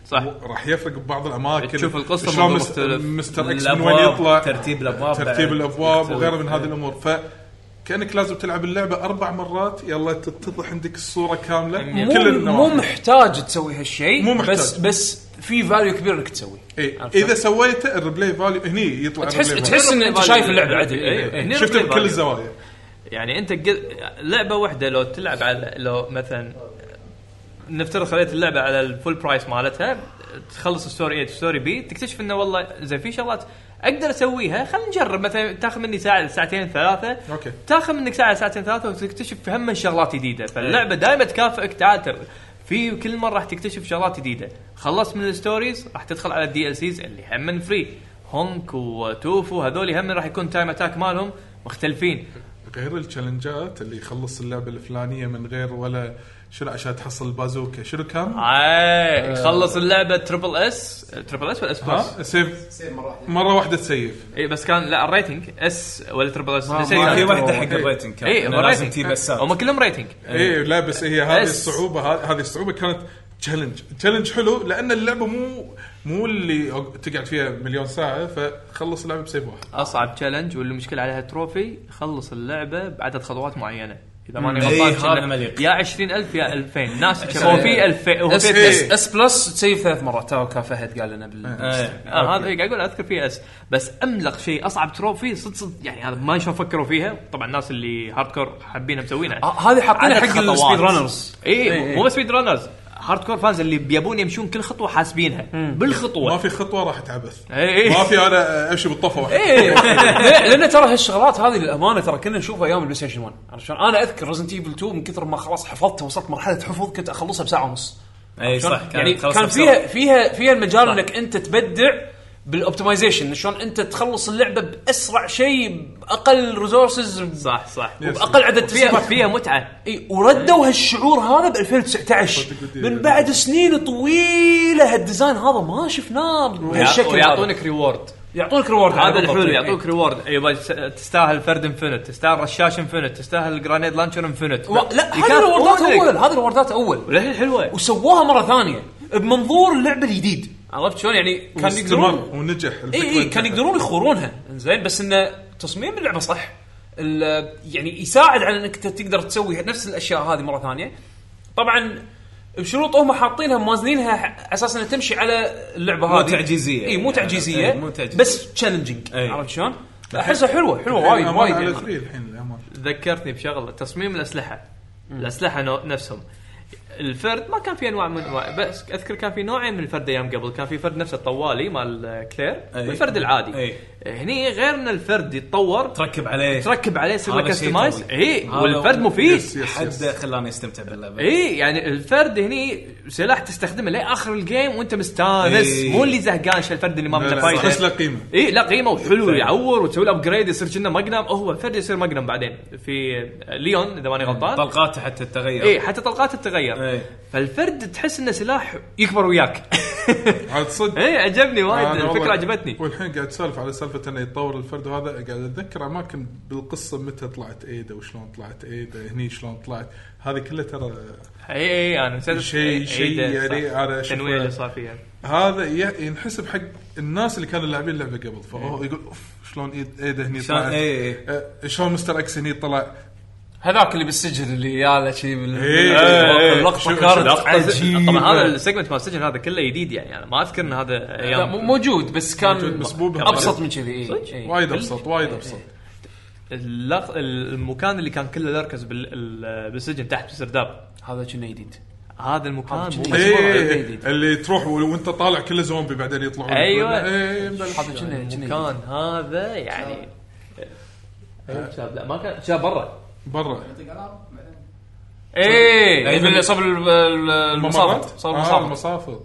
Speaker 9: صح
Speaker 10: راح يفرق ببعض الاماكن
Speaker 9: تشوف القصة
Speaker 10: شلون
Speaker 9: منظور
Speaker 10: مست-
Speaker 9: مختلف.
Speaker 10: مستر اكس من
Speaker 8: الأبواب،
Speaker 10: وين يطلع
Speaker 8: ترتيب الأبواب إيه.
Speaker 10: ترتيب
Speaker 8: بعد
Speaker 10: الابواب
Speaker 8: مختلف.
Speaker 10: وغيره من هذه الامور ف كانك لازم تلعب اللعبه اربع مرات يلا تتضح عندك الصوره كامله
Speaker 2: مو
Speaker 10: كل
Speaker 2: مو
Speaker 10: النواحي
Speaker 2: محتاج تسوي هالشيء
Speaker 10: مو محتاج.
Speaker 2: بس بس في فاليو كبير انك تسويه
Speaker 10: إيه.
Speaker 2: عرفت؟
Speaker 10: اذا سويته الريبلاي فاليو هني يطلع
Speaker 2: تحس
Speaker 10: الريبلاي
Speaker 2: تحس ان انت
Speaker 9: Replay
Speaker 2: شايف
Speaker 9: value.
Speaker 2: اللعبه عدل
Speaker 9: إيه، إيه.
Speaker 2: إيه.
Speaker 9: هني
Speaker 10: شفته
Speaker 9: replay
Speaker 10: بكل
Speaker 9: value.
Speaker 10: الزوايا
Speaker 9: يعني انت قل... لعبه واحده لو تلعب على لو مثلا نفترض خليت اللعبه على الفول برايس مالتها تخلص ستوري 8 ستوري بي تكتشف انه والله زين في شغلات اقدر اسويها خلينا نجرب مثلا تاخذ مني ساعه ساعتين ثلاثه
Speaker 10: أوكي.
Speaker 9: تاخذ منك ساعه ساعتين ثلاثه وتكتشف هم شغلات جديده فاللعبه
Speaker 10: إيه.
Speaker 9: دائما تكافئك تعال تر- في كل مره راح تكتشف شغلات جديده خلصت من الستوريز راح تدخل على الدي ال سيز اللي هم فري هونك وتوفو هذول هم راح يكون تايم اتاك مالهم مختلفين
Speaker 10: غير التشالنجات اللي يخلص اللعبه الفلانيه من غير ولا شنو عشان تحصل البازوكا شنو كان؟
Speaker 9: اي
Speaker 2: آه.
Speaker 9: خلص اللعبه تربل اس تربل اس ولا اس بلس؟
Speaker 10: آه. ها؟ سيف مره واحده تسيف
Speaker 9: اي بس كان لا الريتنج اس ولا تربل اس
Speaker 4: ما-
Speaker 9: نسيت.
Speaker 4: ما
Speaker 8: في واحده
Speaker 4: إيه.
Speaker 8: حق الريتنج كان
Speaker 9: اي
Speaker 8: إنه
Speaker 9: هو
Speaker 8: لازم
Speaker 9: ريتنج.
Speaker 8: تجيب
Speaker 9: هم
Speaker 8: بسات
Speaker 9: كلهم ريتنج إيه.
Speaker 10: ايه لا بس هي هذه
Speaker 9: بس.
Speaker 10: الصعوبه ه- هذه الصعوبه كانت تشالنج تشالنج حلو لان اللعبه مو مو اللي تقعد فيها مليون ساعه فخلص اللعبه بسيف واحد
Speaker 9: اصعب تشالنج والمشكله عليها تروفي خلص اللعبه بعدد خطوات معينه اذا ماني
Speaker 8: إي،
Speaker 9: غلطان
Speaker 8: إيه، هذا
Speaker 9: كنا-
Speaker 8: مليق.
Speaker 9: يا 20000 يا 2000
Speaker 8: إيه.
Speaker 9: ناس هو في 2000 هو
Speaker 2: اس
Speaker 9: في
Speaker 10: إيه.
Speaker 2: اس اس بلس تسيف ثلاث مرات تو كان فهد قال لنا بال
Speaker 8: إيه.
Speaker 9: آه هذا قاعد اقول اذكر فيه اس بس املق شيء اصعب تروفي صدق صدق يعني هذا ما شلون فكروا فيها طبعا الناس اللي هارد كور حابين مسوينها
Speaker 2: آه، هذه
Speaker 9: عدد
Speaker 2: حاطينها حق إيه،
Speaker 9: خطوات.
Speaker 2: السبيد رانرز
Speaker 9: اي مو بس سبيد رانرز هارد كور فانز اللي بيبون يمشون كل خطوه حاسبينها
Speaker 10: ما
Speaker 9: بالخطوه
Speaker 10: في خطوه راح تعبث
Speaker 9: إيه، إيه.
Speaker 10: ما في انا امشي بالطفه واحد
Speaker 2: إيه. لان ترى هالشغلات هذه للامانه ترى كنا نشوفها ايام البلاي ستيشن 1 عرفت شلون؟ انا اذكر ريزنت ايفل 2 من كثر ما خلاص حفظتها وصلت مرحله حفظ كنت اخلصها بساعه ونص
Speaker 8: اي
Speaker 2: شلون؟
Speaker 8: صح كان
Speaker 2: يعني
Speaker 8: خلص
Speaker 2: كان
Speaker 8: بسرعة.
Speaker 2: فيها فيها فيها المجال انك انت تبدع بالاوبتمايزيشن شلون انت تخلص اللعبه باسرع شيء باقل ريسورسز
Speaker 9: صح صح
Speaker 2: وباقل عدد
Speaker 9: فيها
Speaker 2: فيها
Speaker 9: فيها متعه
Speaker 2: اي وردوا هالشعور هذا ب 2019 من بعد سنين طويله هالديزاين هذا ما شفناه بهالشكل هذا.
Speaker 9: ويعطونك ريورد
Speaker 2: يعطونك ريورد
Speaker 9: هذا
Speaker 2: طيب.
Speaker 9: الحلو يعطوك ريورد ايوه تستاهل فرد انفنت تستاهل رشاش انفنت تستاهل جرانيد لانشر انفنت
Speaker 2: لا هذه الوردات اول هذه الوردات اول
Speaker 9: وللحين حلوه
Speaker 2: وسووها مره ثانيه بمنظور اللعبه الجديد عرفت شلون يعني كان
Speaker 10: واستمر
Speaker 2: يقدرون
Speaker 10: ونجح الفكرة
Speaker 2: اي اي كان
Speaker 10: نجحت.
Speaker 2: يقدرون يخورونها زين بس انه تصميم اللعبه صح ال- يعني يساعد على انك ت- تقدر تسوي نفس الاشياء هذه مره ثانيه طبعا بشروط هم حاطينها موازنينها ح- على اساس انها تمشي على اللعبه
Speaker 8: مو
Speaker 2: هذه
Speaker 8: تعجيزية.
Speaker 2: اي مو
Speaker 8: يعني
Speaker 2: تعجيزيه
Speaker 8: إي، مو تعجيزية.
Speaker 2: بس تشالنجينج
Speaker 8: إي.
Speaker 2: عرفت شلون؟ احسها حلوه حلوه وايد
Speaker 10: الأمان
Speaker 2: وايد
Speaker 10: على
Speaker 2: يعني.
Speaker 10: ثري الحين الامان
Speaker 9: ذكرتني بشغله تصميم الاسلحه الاسلحه نو- نفسهم الفرد ما كان في انواع من انواع بس اذكر كان في نوعين من الفرد ايام قبل كان في فرد نفسه الطوالي مال آه، كلير
Speaker 8: أي.
Speaker 9: والفرد العادي
Speaker 8: أي.
Speaker 9: هني غير ان الفرد يتطور
Speaker 8: تركب عليه
Speaker 9: تركب عليه يصير له
Speaker 8: هذا شيء
Speaker 9: كستمايز
Speaker 8: قوي.
Speaker 9: اي
Speaker 8: هذا
Speaker 9: والفرد
Speaker 8: هو-
Speaker 9: مفيد
Speaker 8: حد خلاني استمتع باللعبه
Speaker 9: اي يعني الفرد هني سلاح تستخدمه لاخر الجيم وانت مستانس
Speaker 8: إي.
Speaker 9: مو اللي زهقان شو الفرد اللي ما
Speaker 10: لا، لا،
Speaker 9: متفايد
Speaker 10: بس له قيمه
Speaker 9: اي لا قيمه وحلو يعور وتسوي له ابجريد يصير كنا مقنم هو الفرد يصير مقنم بعدين في ليون اذا ماني
Speaker 10: إيه،
Speaker 9: غلطان
Speaker 8: طلقاته حتى تتغير
Speaker 9: اي حتى طلقاته تتغير
Speaker 8: إي.
Speaker 9: فالفرد تحس انه سلاح يكبر وياك
Speaker 10: عاد صدق
Speaker 9: اي عجبني وايد
Speaker 10: أنا والله-
Speaker 9: الفكره عجبتني
Speaker 10: والحين قاعد تسولف على سالفه انه يتطور الفرد وهذا قاعد اتذكر اماكن بالقصه متى طلعت ايدا وشلون طلعت ايدا هني شلون طلعت هذه كلها ترى
Speaker 9: اي اي انا نسيت
Speaker 10: شيء- شيء يعني أنا أشوفه-
Speaker 9: التنويع اللي صار فيها
Speaker 10: هذا ي- ينحسب حق الناس اللي كانوا لاعبين اللعبه قبل فهو يقول اوف شلون إيد- ايدا هني
Speaker 8: شلون-
Speaker 10: طلعت
Speaker 8: إي إي.
Speaker 10: آه، شلون مستر اكس هني طلع
Speaker 2: هذاك اللي بالسجن اللي ياله شي بال-
Speaker 10: إيه.
Speaker 2: بال-
Speaker 10: شو-
Speaker 2: اللقطه
Speaker 10: شو-
Speaker 2: كانت
Speaker 10: لقطة-
Speaker 2: عجيبة.
Speaker 9: طبعا هذا السيجمنت مال السجن هذا كله جديد يعني انا ما اذكر ان هذا
Speaker 2: لا،
Speaker 9: ايام
Speaker 2: مو- موجود بس كان
Speaker 10: موجود، بس مو بالقدر.
Speaker 2: ابسط من كذي إيه، إي.
Speaker 9: صدق؟ إيه،
Speaker 2: إي.
Speaker 10: وايد ابسط وايد ابسط
Speaker 9: اللق... المكان اللي كان كله لركز بال... ال- بالسجن تحت بسرداب
Speaker 2: هذا كنا جديد
Speaker 9: هذا المكان آه، مو
Speaker 2: جديد.
Speaker 9: مسموع.
Speaker 10: إي إي
Speaker 2: إيه.
Speaker 10: إي. اللي تروح و- وانت طالع كله زومبي بعدين يطلعون إيه،
Speaker 9: أيوة.
Speaker 10: اي بلى.
Speaker 2: هذا كنا آه. كنا
Speaker 9: المكان هذا يعني أيوة، شاب لا ما كان شاب برا
Speaker 10: برا
Speaker 2: ايه
Speaker 8: أي
Speaker 9: إيه.
Speaker 2: اللي صاب ال- ال- المصابط
Speaker 10: الممرات
Speaker 2: صاب
Speaker 10: آه
Speaker 2: المصابط
Speaker 10: المصافط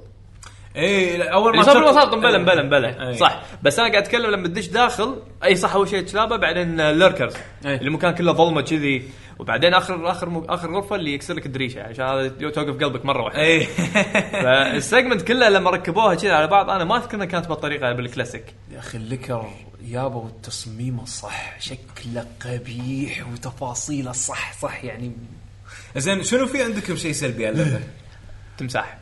Speaker 2: إيه،
Speaker 8: اي اول
Speaker 9: ما
Speaker 8: ما
Speaker 9: صار
Speaker 8: شفت-
Speaker 9: بالمصاب بلا بلا بلا
Speaker 8: إي.
Speaker 9: صح بس انا قاعد اتكلم لما تدش داخل اي صح اول شيء كلابه بعدين ليركرز
Speaker 2: إيه.
Speaker 9: المكان كله ظلمه كذي وبعدين اخر اخر م- اخر غرفه اللي يكسر لك الدريشه عشان هذا توقف قلبك مره واحده
Speaker 2: إيه.
Speaker 8: اي
Speaker 9: فالسيجمنت كله لما ركبوها كذا على بعض انا ما اذكر انها كانت بالطريقه بالكلاسيك
Speaker 8: يا اخي اللكر يابا تصميمه صح شكله قبيح وتفاصيله صح صح يعني زين شنو في عندكم شيء سلبي على اللعبه؟
Speaker 9: تمساح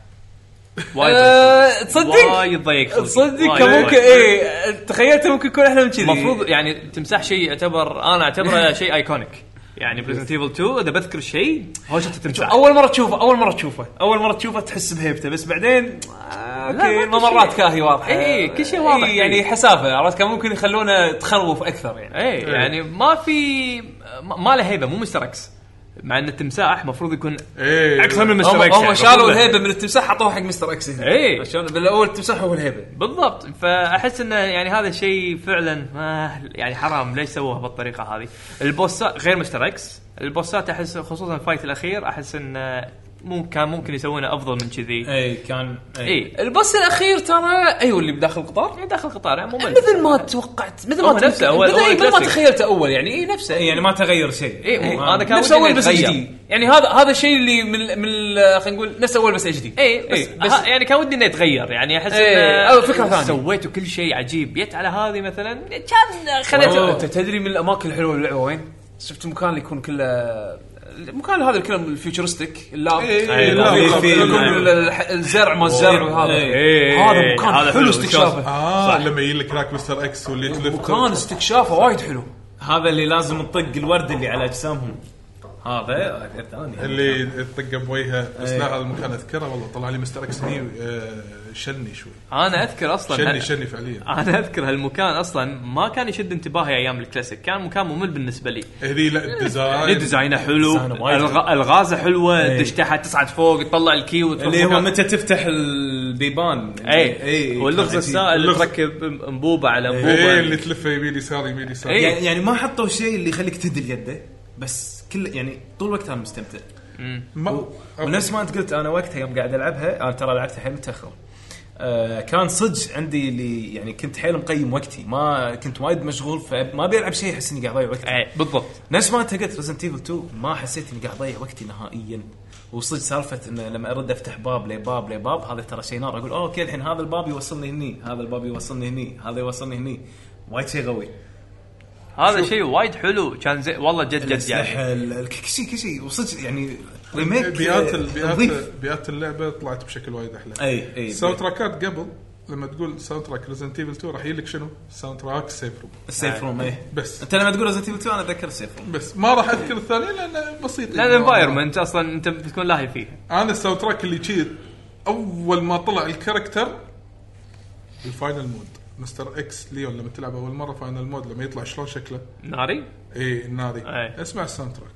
Speaker 2: آه، تصدق؟
Speaker 9: وايد ضيق خلقي.
Speaker 2: تصدق
Speaker 9: وايد
Speaker 2: كان ممكن إيه.
Speaker 9: ضيق.
Speaker 2: اي تخيلته ممكن يكون احلى من كذي
Speaker 9: المفروض يعني تمساح شيء يعتبر انا اعتبره شيء ايكونيك يعني بريزنت ايفل 2 اذا بذكر شيء هوشه التمساح
Speaker 2: اول مره تشوفه اول مره تشوفه اول مره تشوفه تحس بهيبته بس بعدين آه، اوكي
Speaker 9: ما كل
Speaker 2: مرات
Speaker 9: شيء.
Speaker 2: كاهي واضحه
Speaker 9: إي، كل شيء واضح.
Speaker 2: إي، يعني حسافه عرفت كان ممكن يخلونه تخروف اكثر يعني
Speaker 9: اي يعني ما في ما ما له هيبه مو مستر اكس مع ان التمساح المفروض يكون
Speaker 2: إيه.
Speaker 10: ايه
Speaker 9: اكثر من
Speaker 2: هم
Speaker 9: مستر اكس
Speaker 2: هم
Speaker 9: يعني.
Speaker 2: شالوا
Speaker 9: المفروض-
Speaker 2: الهيبه من التمساح حطوها حق مستر اكس هنا
Speaker 9: إي.
Speaker 2: عشان بالاول التمساح هو الهيبه
Speaker 9: بالضبط فاحس انه يعني هذا الشيء فعلا ما يعني حرام ليش سووها بالطريقه هذه البوسات غير مستر اكس البوسات احس خصوصا الفايت الاخير احس انه ممكن كان ممكن يسوونه افضل من كذي إيه.
Speaker 8: اي
Speaker 2: إيه،
Speaker 8: كان
Speaker 9: اي
Speaker 2: البص الاخير ترى ايوه اللي بداخل القطار
Speaker 9: داخل القطار يعني ممل
Speaker 2: مثل ما توقعت مثل ما
Speaker 9: هو نفسه، هو-
Speaker 2: مثل-
Speaker 9: هو
Speaker 8: إيه،
Speaker 2: إي، مثل ما
Speaker 9: الكلاسيك.
Speaker 2: تخيلته اول يعني اي نفسه
Speaker 8: يعني ما تغير شيء
Speaker 9: اي مو- هذا كان
Speaker 2: نفس
Speaker 9: ودي إنه
Speaker 2: اول بس اتش
Speaker 9: يتغير.
Speaker 2: دي يعني هذا هذا الشيء اللي من ال- من ال- خلينا نقول نفس اول بس اتش دي
Speaker 9: اي بس,
Speaker 2: إي، إيه، بس
Speaker 9: ها- يعني كان ودي انه يتغير يعني احس
Speaker 2: إي،
Speaker 9: انه
Speaker 2: أو فكرة ثانية.
Speaker 9: سويتوا كل شيء عجيب جيت على هذه مثلا كان خليته
Speaker 2: انت تدري من الاماكن الحلوه باللعبه وين؟ شفت مكان اللي يكون كله المكان هذا كله الفيوتشرستيك اللاب
Speaker 10: إيه،
Speaker 2: اللاب،
Speaker 10: اللاب،
Speaker 2: اللاب،
Speaker 10: في-
Speaker 2: يكون
Speaker 10: نعم.
Speaker 2: ال- ال- الزرع ما الزرع وهذا
Speaker 9: إيه،
Speaker 2: هذا مكان آه،
Speaker 9: هذا
Speaker 2: حلو
Speaker 9: حلو
Speaker 2: استكشافه
Speaker 10: اه لما يجي لك هناك مستر اكس واللي تلف
Speaker 2: مكان استكشافه وايد حلو
Speaker 8: هذا اللي لازم نطق الورد اللي على اجسامهم هذا آه، الثاني
Speaker 10: اللي تطق بوجهه بس لا هذا المكان اذكره والله طلع لي مستر اكس هني آه، شلني شوي
Speaker 9: انا اذكر اصلا
Speaker 10: شلني شلني فعليا
Speaker 9: انا اذكر هالمكان اصلا ما كان يشد انتباهي ايام الكلاسيك كان مكان ممل بالنسبه لي
Speaker 10: هني لا الديزاين
Speaker 9: ديزاينه حلو
Speaker 8: ديزاينه وايد إيه.
Speaker 9: الغ- الغازه حلوه تدش تحت تصعد فوق تطلع الكي وتروح
Speaker 8: اللي هو
Speaker 9: مكان.
Speaker 8: متى تفتح البيبان إيه،
Speaker 9: اي واللغز
Speaker 8: كان عجيب. إيه.
Speaker 9: السائل تركب انبوبه على
Speaker 10: ايه اللي
Speaker 9: انبوبه
Speaker 10: تلفه يمين يسار يمين يسار
Speaker 9: إيه.
Speaker 8: يعني يعني ما حطوا شيء اللي يخليك تدل يده بس كل يعني طول الوقت انا مستمتع
Speaker 10: ما-
Speaker 8: ونفس ما انت قلت انا وقتها يوم قاعد العبها انا ترى لعبتها حيل متاخر آه كان صدق عندي اللي يعني كنت حيل مقيم وقتي ما كنت وايد مشغول فما بيلعب شيء احس اني قاعد اضيع وقتي
Speaker 9: اي إيه، بالضبط
Speaker 8: نفس ما انت قلت ريزنت ايفل 2 ما حسيت اني قاعد اضيع وقتي نهائيا وصدق سالفه انه لما ارد افتح باب لباب لباب هذا ترى شيء نار اقول "أوه، اوكي الحين هذا الباب يوصلني هني هذا الباب يوصلني هني هذا يوصلني هني وايد شيء قوي
Speaker 9: هذا شيء وايد حلو كان زي والله جد جد يعني
Speaker 8: الأسلحة، ال- ال- كل شيء كل شيء وصدق يعني ريميك
Speaker 10: بيئات
Speaker 8: آه،
Speaker 10: ال- بيئات
Speaker 8: نظيف.
Speaker 10: بيئات اللعبه طلعت بشكل وايد احلى
Speaker 8: اي اي
Speaker 10: الساوند تراكات قبل لما تقول ساوند تراك ريزنت ايفل 2 راح يجيلك شنو؟ ساوند تراك سيف روم
Speaker 8: السيف روم اي
Speaker 10: بس
Speaker 8: انت لما تقول ريزنت ايفل 2 انا اتذكر السيف روم
Speaker 10: بس ما راح اذكر الثاني لانه بسيط
Speaker 9: لا الانفايرمنت اصلا انت بتكون لاهي فيه
Speaker 10: انا الساوند تراك اللي جيت اول ما طلع الكاركتر الفاينل مود مستر اكس ليون لما تلعب اول مره فاينل مود لما يطلع شلون شكله
Speaker 9: ناري
Speaker 10: اي الناري
Speaker 9: إيه.
Speaker 10: اسمع الساوند تراك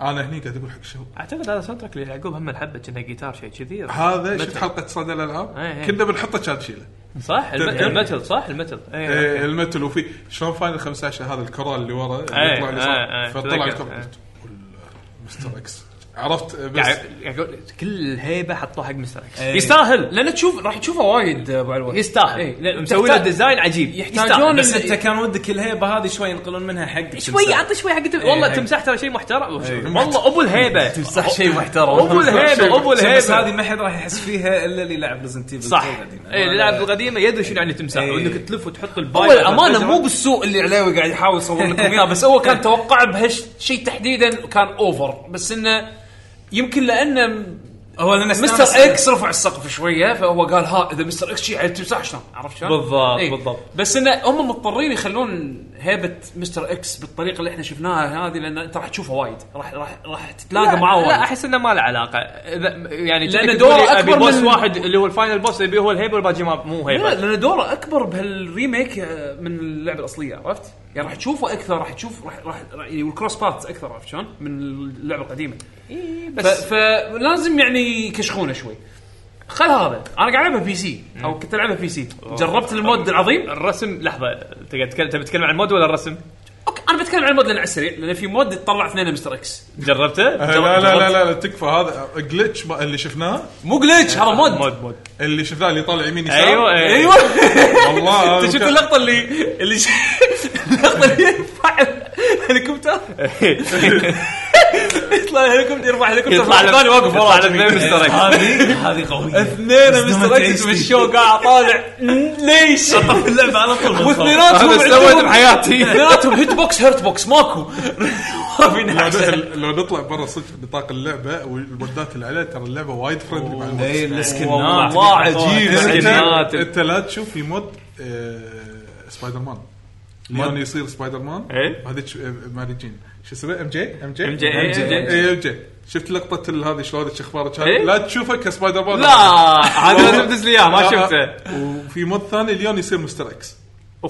Speaker 10: انا هني قاعد اقول حق شو
Speaker 9: اعتقد هذا ساوند تراك اللي يعقوب هم الحبه كنا جيتار شيء كذي
Speaker 10: هذا شفت حلقه صدى الالعاب
Speaker 9: إيه، إيه.
Speaker 10: كنا بنحطه كان تشيله
Speaker 9: صح الم-
Speaker 10: تذكر؟
Speaker 9: المتل صح المتل اي
Speaker 10: إيه، المتل وفي شلون فاينل 15 هذا الكرال اللي ورا اللي
Speaker 9: إيه،
Speaker 10: يطلع لي
Speaker 9: إيه،
Speaker 10: صار
Speaker 9: إيه،
Speaker 10: فطلع
Speaker 9: تذكر،
Speaker 10: الكرة
Speaker 9: إيه.
Speaker 10: قلت، ولا مستر اكس عرفت بس إيه.
Speaker 9: قاعد قاعد يقول كل الهيبه حطوه حق مستر اكس
Speaker 2: يستاهل لان تشوف راح تشوفه وايد ابو علوه إي،
Speaker 9: يستاهل
Speaker 2: لأن
Speaker 9: مسوي له
Speaker 2: تحتاج-
Speaker 9: ديزاين عجيب
Speaker 2: يحتاجون
Speaker 8: بس
Speaker 2: ال-
Speaker 8: انت كان ودك الهيبه هذه شوي ينقلون منها حق إيه،
Speaker 9: شوي اعطي شوي حق التم- والله
Speaker 10: إيه،
Speaker 8: إي.
Speaker 9: تمساح ترى شيء محترم
Speaker 8: إيه.
Speaker 9: والله ابو الهيبه
Speaker 2: صح شيء محترم
Speaker 9: ابو الهيبه ابو
Speaker 8: بس
Speaker 9: الهيبه
Speaker 8: هذه ما حد راح يحس فيها الا اللي لعب ريزنت ايفل
Speaker 9: صح إيه، اي اللاعب القديمه يدري شنو يعني تمساح
Speaker 10: إيه.
Speaker 8: إي.
Speaker 9: وانك تلف وتحط
Speaker 2: هو
Speaker 9: الباير
Speaker 2: الامانه مو بالسوء اللي علاوي قاعد يحاول يصور لكم اياه بس هو كان توقعه بهالشيء تحديدا كان اوفر بس انه يمكن لانه
Speaker 8: هو لان
Speaker 2: مستر اكس رفع السقف شويه فهو قال ها اذا مستر اكس شيء على التمساح شلون عرفت شلون؟ إيه.
Speaker 9: بالضبط،
Speaker 10: إيه.
Speaker 9: بالضبط.
Speaker 2: بس انه هم مضطرين يخلون هيبه مستر اكس بالطريقه اللي احنا شفناها هذه لان انت راح تشوفه وايد راح راح راح تتلاقى معاه وايد
Speaker 9: لا احس انه ما له علاقه إذا- يعني
Speaker 2: لأن
Speaker 9: كأنك
Speaker 2: دوره
Speaker 9: تقول لي
Speaker 2: أكبر
Speaker 9: أبي بوس
Speaker 2: من-
Speaker 9: واحد اللي هو الفاينل بوس اللي هو الهيبه والباقي ما مو
Speaker 2: لا
Speaker 9: هيبه
Speaker 2: لان دوره اكبر بهالريميك آه، من اللعبه الاصليه عرفت؟ يعني راح تشوفه اكثر راح تشوف راح راح راح- يعني والكروس بارتس اكثر عرفت شلون؟ من اللعبه القديمه. اي بس فلازم يعني يكشخونه شوي. خل هذا انا قاعد العبها بي سي او كنت العبها بي سي جربت المود العظيم
Speaker 9: الرسم لحظه انت قاعد تتكلم- تبي تتكلم عن المود ولا الرسم؟
Speaker 2: اوكي انا بتكلم عن المود لان على السريع لان في مود تطلع اثنين مستر اكس
Speaker 5: جربته؟
Speaker 10: إيه، أه، لا لا لا لا تكفى هذا جلتش اللي شفناه آه،
Speaker 2: مو جلتش هذا مود مود
Speaker 5: مود
Speaker 10: اللي شفناه اللي يطلع يمين يسار
Speaker 2: ايوه ايوه
Speaker 10: ايوه والله
Speaker 2: انت شفت
Speaker 10: كان-
Speaker 2: اللقطه اللي اللي ش- اللقطه اللي يرفع الهليكوبتر يطلع الهليكوبتر يرفع الهليكوبتر
Speaker 9: يطلع
Speaker 2: واحد
Speaker 9: له-
Speaker 2: ثاني واقف
Speaker 9: يطلع
Speaker 2: وراه
Speaker 9: له اثنين مستر إكس.
Speaker 8: هذه هذه قويه
Speaker 2: اثنين مستر اكس في الشو قاعد طالع ليش؟
Speaker 8: في اللعبه على طول
Speaker 2: واثنيناتهم
Speaker 4: هذا
Speaker 2: عندهم-
Speaker 4: سويت بحياتي.
Speaker 2: اثنيناتهم هيت بوكس هيرت بوكس ماكو ما في
Speaker 10: لو
Speaker 2: نحس.
Speaker 10: ن- لو نطلع برا صدق نطاق اللعبه والمودات اللي عليها ترى اللعبه وايد فريندلي مع الوقت.
Speaker 8: اي السكنات
Speaker 2: إيه، والله عجيب
Speaker 10: انت
Speaker 2: السكنات.
Speaker 10: انت لا تشوف في مود آه، سبايدر مان ليون يصير سبايدر مان
Speaker 2: إيه.
Speaker 10: وهذيك ماريجين شو اسمه ام جي ام جي
Speaker 2: MJ. إيه، MJ.
Speaker 10: اي ام جي شفت لقطه ال- هذه شلون اخبارك
Speaker 2: إيه.
Speaker 10: لا تشوفه كسبايدر مان
Speaker 2: لا عاد لازم تدز لي اياه ما
Speaker 10: لا،
Speaker 2: شفته
Speaker 10: وفي مود ثاني ليون يصير مستر اكس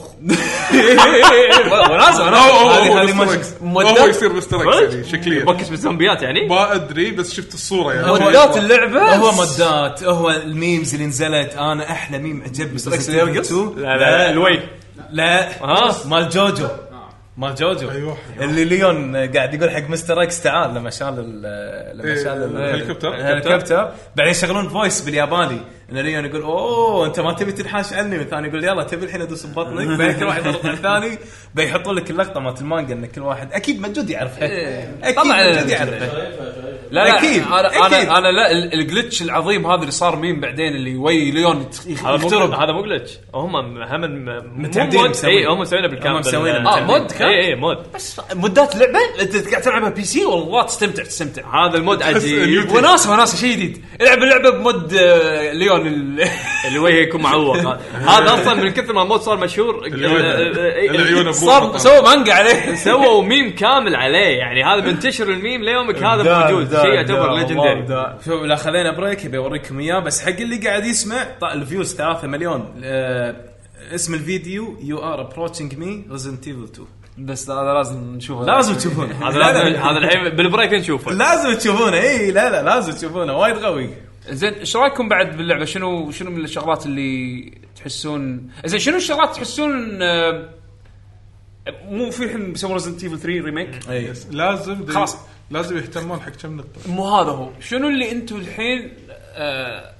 Speaker 2: وناسه
Speaker 10: هو
Speaker 2: وناسه
Speaker 10: مستر إكس. هو
Speaker 2: مودات
Speaker 10: يصير مستر اكس يعني شكليا
Speaker 9: بوكس بالزومبيات يعني
Speaker 10: ما ادري بس شفت الصوره يعني
Speaker 2: مودات اللعبه
Speaker 8: هو مدات هو الميمز اللي نزلت انا احلى ميم عجبني بس يرقص
Speaker 9: لا لا الوي
Speaker 8: لا
Speaker 9: ها؟
Speaker 8: مال جوجو مال جوجو
Speaker 9: أيوه.
Speaker 10: أيوة.
Speaker 8: اللي ليون قاعد يقول حق مستر اكس تعال لما شال ال- لما
Speaker 10: إيه،
Speaker 8: شال ال-
Speaker 10: الهليكوبتر.
Speaker 8: الهليكوبتر بعدين يشغلون فويس بالياباني ان ليون يقول اوه انت ما تبي تنحاش عني والثاني يقول يلا تبي الحين ادوس ببطنك بعدين كل واحد يضرب على الثاني بيحطوا لك اللقطه مالت المانجا ان كل واحد اكيد مجود يعرفها
Speaker 9: إيه.
Speaker 8: اكيد
Speaker 2: طبعاً
Speaker 8: مجود
Speaker 2: مجود
Speaker 8: يعرفها
Speaker 2: لا لا
Speaker 8: يعني. أكيد،
Speaker 2: انا
Speaker 8: أكيد.
Speaker 2: انا انا لا ال- الجلتش العظيم هذا اللي صار مين بعدين اللي وي ليون يت- يخ-
Speaker 9: هذا مو
Speaker 2: يخترب
Speaker 9: هذا مو جلتش هم هم م-
Speaker 8: متعمدين
Speaker 9: مو مود
Speaker 8: مسوين.
Speaker 9: اي هم مسوينه بالكامل
Speaker 8: هم مسوينه
Speaker 9: بال-
Speaker 8: متعمدين.
Speaker 9: اه مود كان
Speaker 2: إيه،
Speaker 9: اي اي مود
Speaker 2: بس مدات لعبه انت قاعد تلعبها بي سي والله تستمتع تستمتع
Speaker 9: هذا المود عجيب
Speaker 2: وناسه وناسه شيء جديد العب اللعبه بمود آه، ليون ال-
Speaker 9: اللي وجهه يكون معوق هذا اصلا من كثر ما المود صار مشهور
Speaker 10: اللي وجهه.
Speaker 9: إيه،
Speaker 10: اللي عيونه
Speaker 2: صار سوى مانجا عليه
Speaker 9: سووا ميم كامل عليه يعني هذا منتشر الميم ليومك هذا موجود شيء يعتبر ليجندري
Speaker 8: شوف لا خلينا بريك ابي اوريكم اياه بس حق اللي قاعد يسمع طا الفيوز 3 مليون آه، اسم الفيديو يو ار ابروتشنج مي ريزنت ايفل 2
Speaker 2: بس هذا لازم نشوفه
Speaker 8: لازم تشوفونه
Speaker 9: هذا
Speaker 8: لا،
Speaker 9: لازم-
Speaker 8: لا،
Speaker 9: هذا الحين بالبريك نشوفه
Speaker 8: لازم تشوفونه اي لا لا لازم تشوفونه وايد قوي
Speaker 2: زين ايش رايكم بعد باللعبه شنو شنو من الشغلات اللي تحسون زين شنو الشغلات تحسون آه، مو في الحين بيسوون ريزنت ايفل 3 ريميك
Speaker 8: اي
Speaker 10: لازم دي-
Speaker 2: خلاص.
Speaker 10: لازم يهتمون حق كم نقطه
Speaker 2: مو هذا هو شنو اللي انتم الحين آه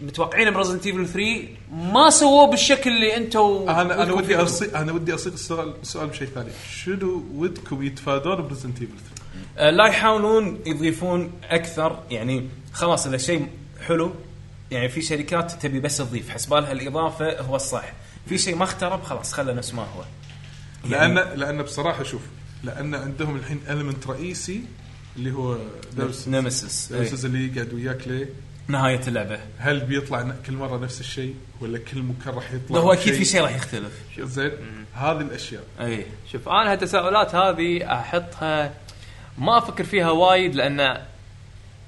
Speaker 2: متوقعينه من ريزنت ايفل 3 ما سووه بالشكل اللي انتم
Speaker 10: انا انا ودي اصيغ انا ودي اصيغ السؤال السؤال بشيء ثاني شنو ودكم يتفادون بريزنت ايفل
Speaker 2: أه،
Speaker 8: آه، لا يحاولون يضيفون اكثر يعني خلاص اذا شيء حلو يعني في شركات تبي بس تضيف حسبالها الاضافه هو الصح في شيء ما اخترب خلاص خله نفس ما هو
Speaker 10: 3؟ لان لان بصراحه شوف لان عندهم الحين المنت رئيسي اللي هو نفسز
Speaker 8: نمسس إي.
Speaker 10: نفسز اللي قاعد وياك ليه؟
Speaker 8: نهايه اللعبه
Speaker 10: هل بيطلع ن- كل مره نفس الشيء ولا كل مكان راح يطلع
Speaker 8: لا هو اكيد في شيء راح يختلف
Speaker 10: زين هذه الاشياء
Speaker 8: اي
Speaker 9: شوف انا هالتساؤلات هذه احطها ما افكر فيها وايد لان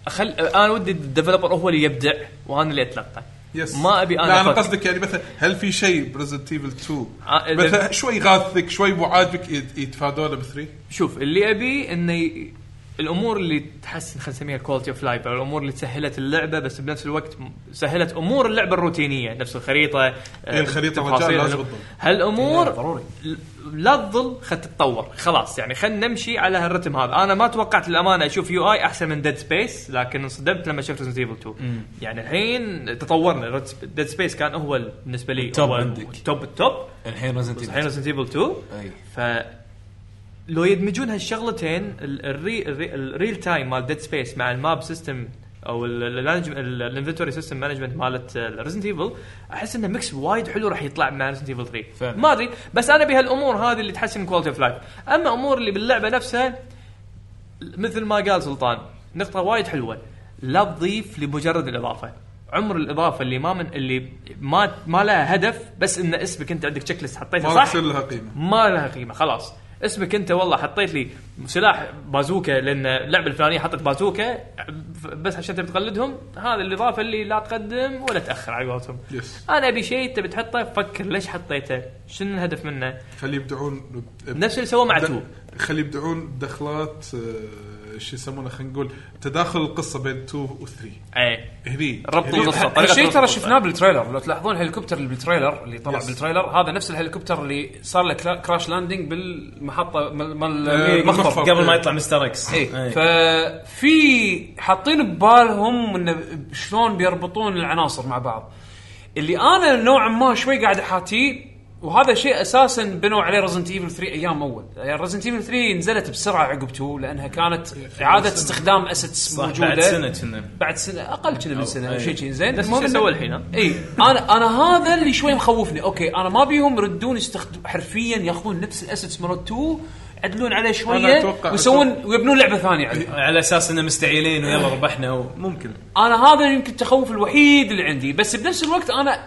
Speaker 9: اخل انا ودي الديفلوبر هو اللي يبدع وانا اللي اتلقى
Speaker 10: يس
Speaker 9: ما ابي انا
Speaker 10: لا انا
Speaker 9: أفكر.
Speaker 10: قصدك يعني مثلا هل في شيء بريزنت ايفل 2
Speaker 9: آه، إذا-
Speaker 10: مثلا شوي غاثك شوي مو عاجبك يت- يتفادونه ب 3
Speaker 9: شوف اللي ابي انه ي... الامور اللي تحسن خلينا نسميها كواليتي اوف لايف الامور اللي سهلت اللعبه بس بنفس الوقت م- سهلت امور اللعبه الروتينيه نفس الخريطه آه،
Speaker 10: الخريطة
Speaker 9: تفاصيل
Speaker 10: رجال لازم
Speaker 9: هال-
Speaker 10: تظل.
Speaker 9: هالامور ضروري لا تظل خل تتطور خلاص يعني خلينا نمشي على هالرتم هذا انا ما توقعت للامانه اشوف يو اي احسن من ديد سبيس لكن انصدمت لما شفت ريزنت ايفل 2 يعني الحين تطورنا ديد سبيس كان هو ال- بالنسبه لي
Speaker 8: التوب
Speaker 9: هو
Speaker 8: عندك.
Speaker 9: التوب التوب
Speaker 8: الحين ريزنت
Speaker 9: الحين ريزنت ايفل 2
Speaker 8: اي
Speaker 9: ف لو يدمجون هالشغلتين ال- الري الري الريل تايم مال ديد سبيس مع الماب سيستم او ال- ال- الانج- ال- الانفنتوري سيستم مانجمنت مالت آه، ريزنت ايفل احس انه ميكس وايد حلو راح يطلع مع ريزنت ايفل 3
Speaker 8: فعلا.
Speaker 9: ما ادري بس انا بهالامور هذه اللي تحسن كواليتي اوف لايف اما امور اللي باللعبه نفسها مثل ما قال سلطان نقطة وايد حلوة لا تضيف لمجرد الإضافة عمر الإضافة اللي ما من اللي ما ما لها هدف بس إن اسمك أنت عندك تشيك ليست حطيته
Speaker 10: ما
Speaker 9: صح
Speaker 10: راح يصير لها قيمه
Speaker 9: ما لها قيمه خلاص اسمك انت والله حطيت لي سلاح بازوكا لان اللعبه الفلانيه حطت بازوكا ف- بس عشان تبي تقلدهم هذا الاضافه اللي لا تقدم ولا تاخر على قولتهم
Speaker 10: يس
Speaker 9: انا ابي شيء تبي تحطه فكر ليش حطيته شنو الهدف منه
Speaker 10: خلي يبدعون ب- ب-
Speaker 9: نفس اللي سووه مع
Speaker 10: د-
Speaker 9: تو
Speaker 10: خلي يبدعون بدخلات آه، شو يسمونه خلينا نقول تداخل القصه بين 2 و 3
Speaker 9: اي
Speaker 10: هني
Speaker 9: إيه. ربط
Speaker 10: هني-
Speaker 9: القصة، طريقة
Speaker 2: هالشيء
Speaker 9: ربط
Speaker 2: إيه. ترى
Speaker 9: القصة.
Speaker 2: شفناه بالتريلر لو تلاحظون الهليكوبتر اللي بالتريلر اللي طلع
Speaker 10: Yes.
Speaker 2: بالتريلر هذا نفس الهليكوبتر اللي صار له كلا- كراش لاندنج بالمحطه مال مال
Speaker 10: إيه،
Speaker 2: المخفر.
Speaker 10: المخفر.
Speaker 8: قبل ما يطلع مستر إيه. اكس
Speaker 2: اي ففي حاطين ببالهم انه شلون بيربطون العناصر مع بعض اللي انا نوعا ما شوي قاعد احاتيه وهذا شيء اساسا بنوا عليه ريزنت ايفل 3 ايام اول يعني ريزنت ايفل 3 نزلت بسرعه عقب 2 لانها كانت اعاده
Speaker 10: سنة.
Speaker 2: استخدام اسيتس
Speaker 8: صح
Speaker 2: موجوده
Speaker 8: بعد سنه كنا
Speaker 2: بعد سنه اقل كنا من سنه او شيء شيء زين
Speaker 9: نفس
Speaker 2: المهم
Speaker 9: الشيء
Speaker 2: إنه-
Speaker 9: سوى الحين، ها؟
Speaker 2: اي انا انا هذا اللي شوي مخوفني اوكي انا ما بيهم يردون يستخدم حرفيا ياخذون نفس الاسيتس مال 2 يعدلون عليه
Speaker 10: أنا
Speaker 2: شويه
Speaker 10: أتوقع-
Speaker 2: ويسوون ويبنون لعبه ثانيه عليه
Speaker 8: على اساس انه مستعيلين ويلا ربحنا ممكن
Speaker 2: انا هذا يمكن التخوف الوحيد اللي عندي بس بنفس الوقت انا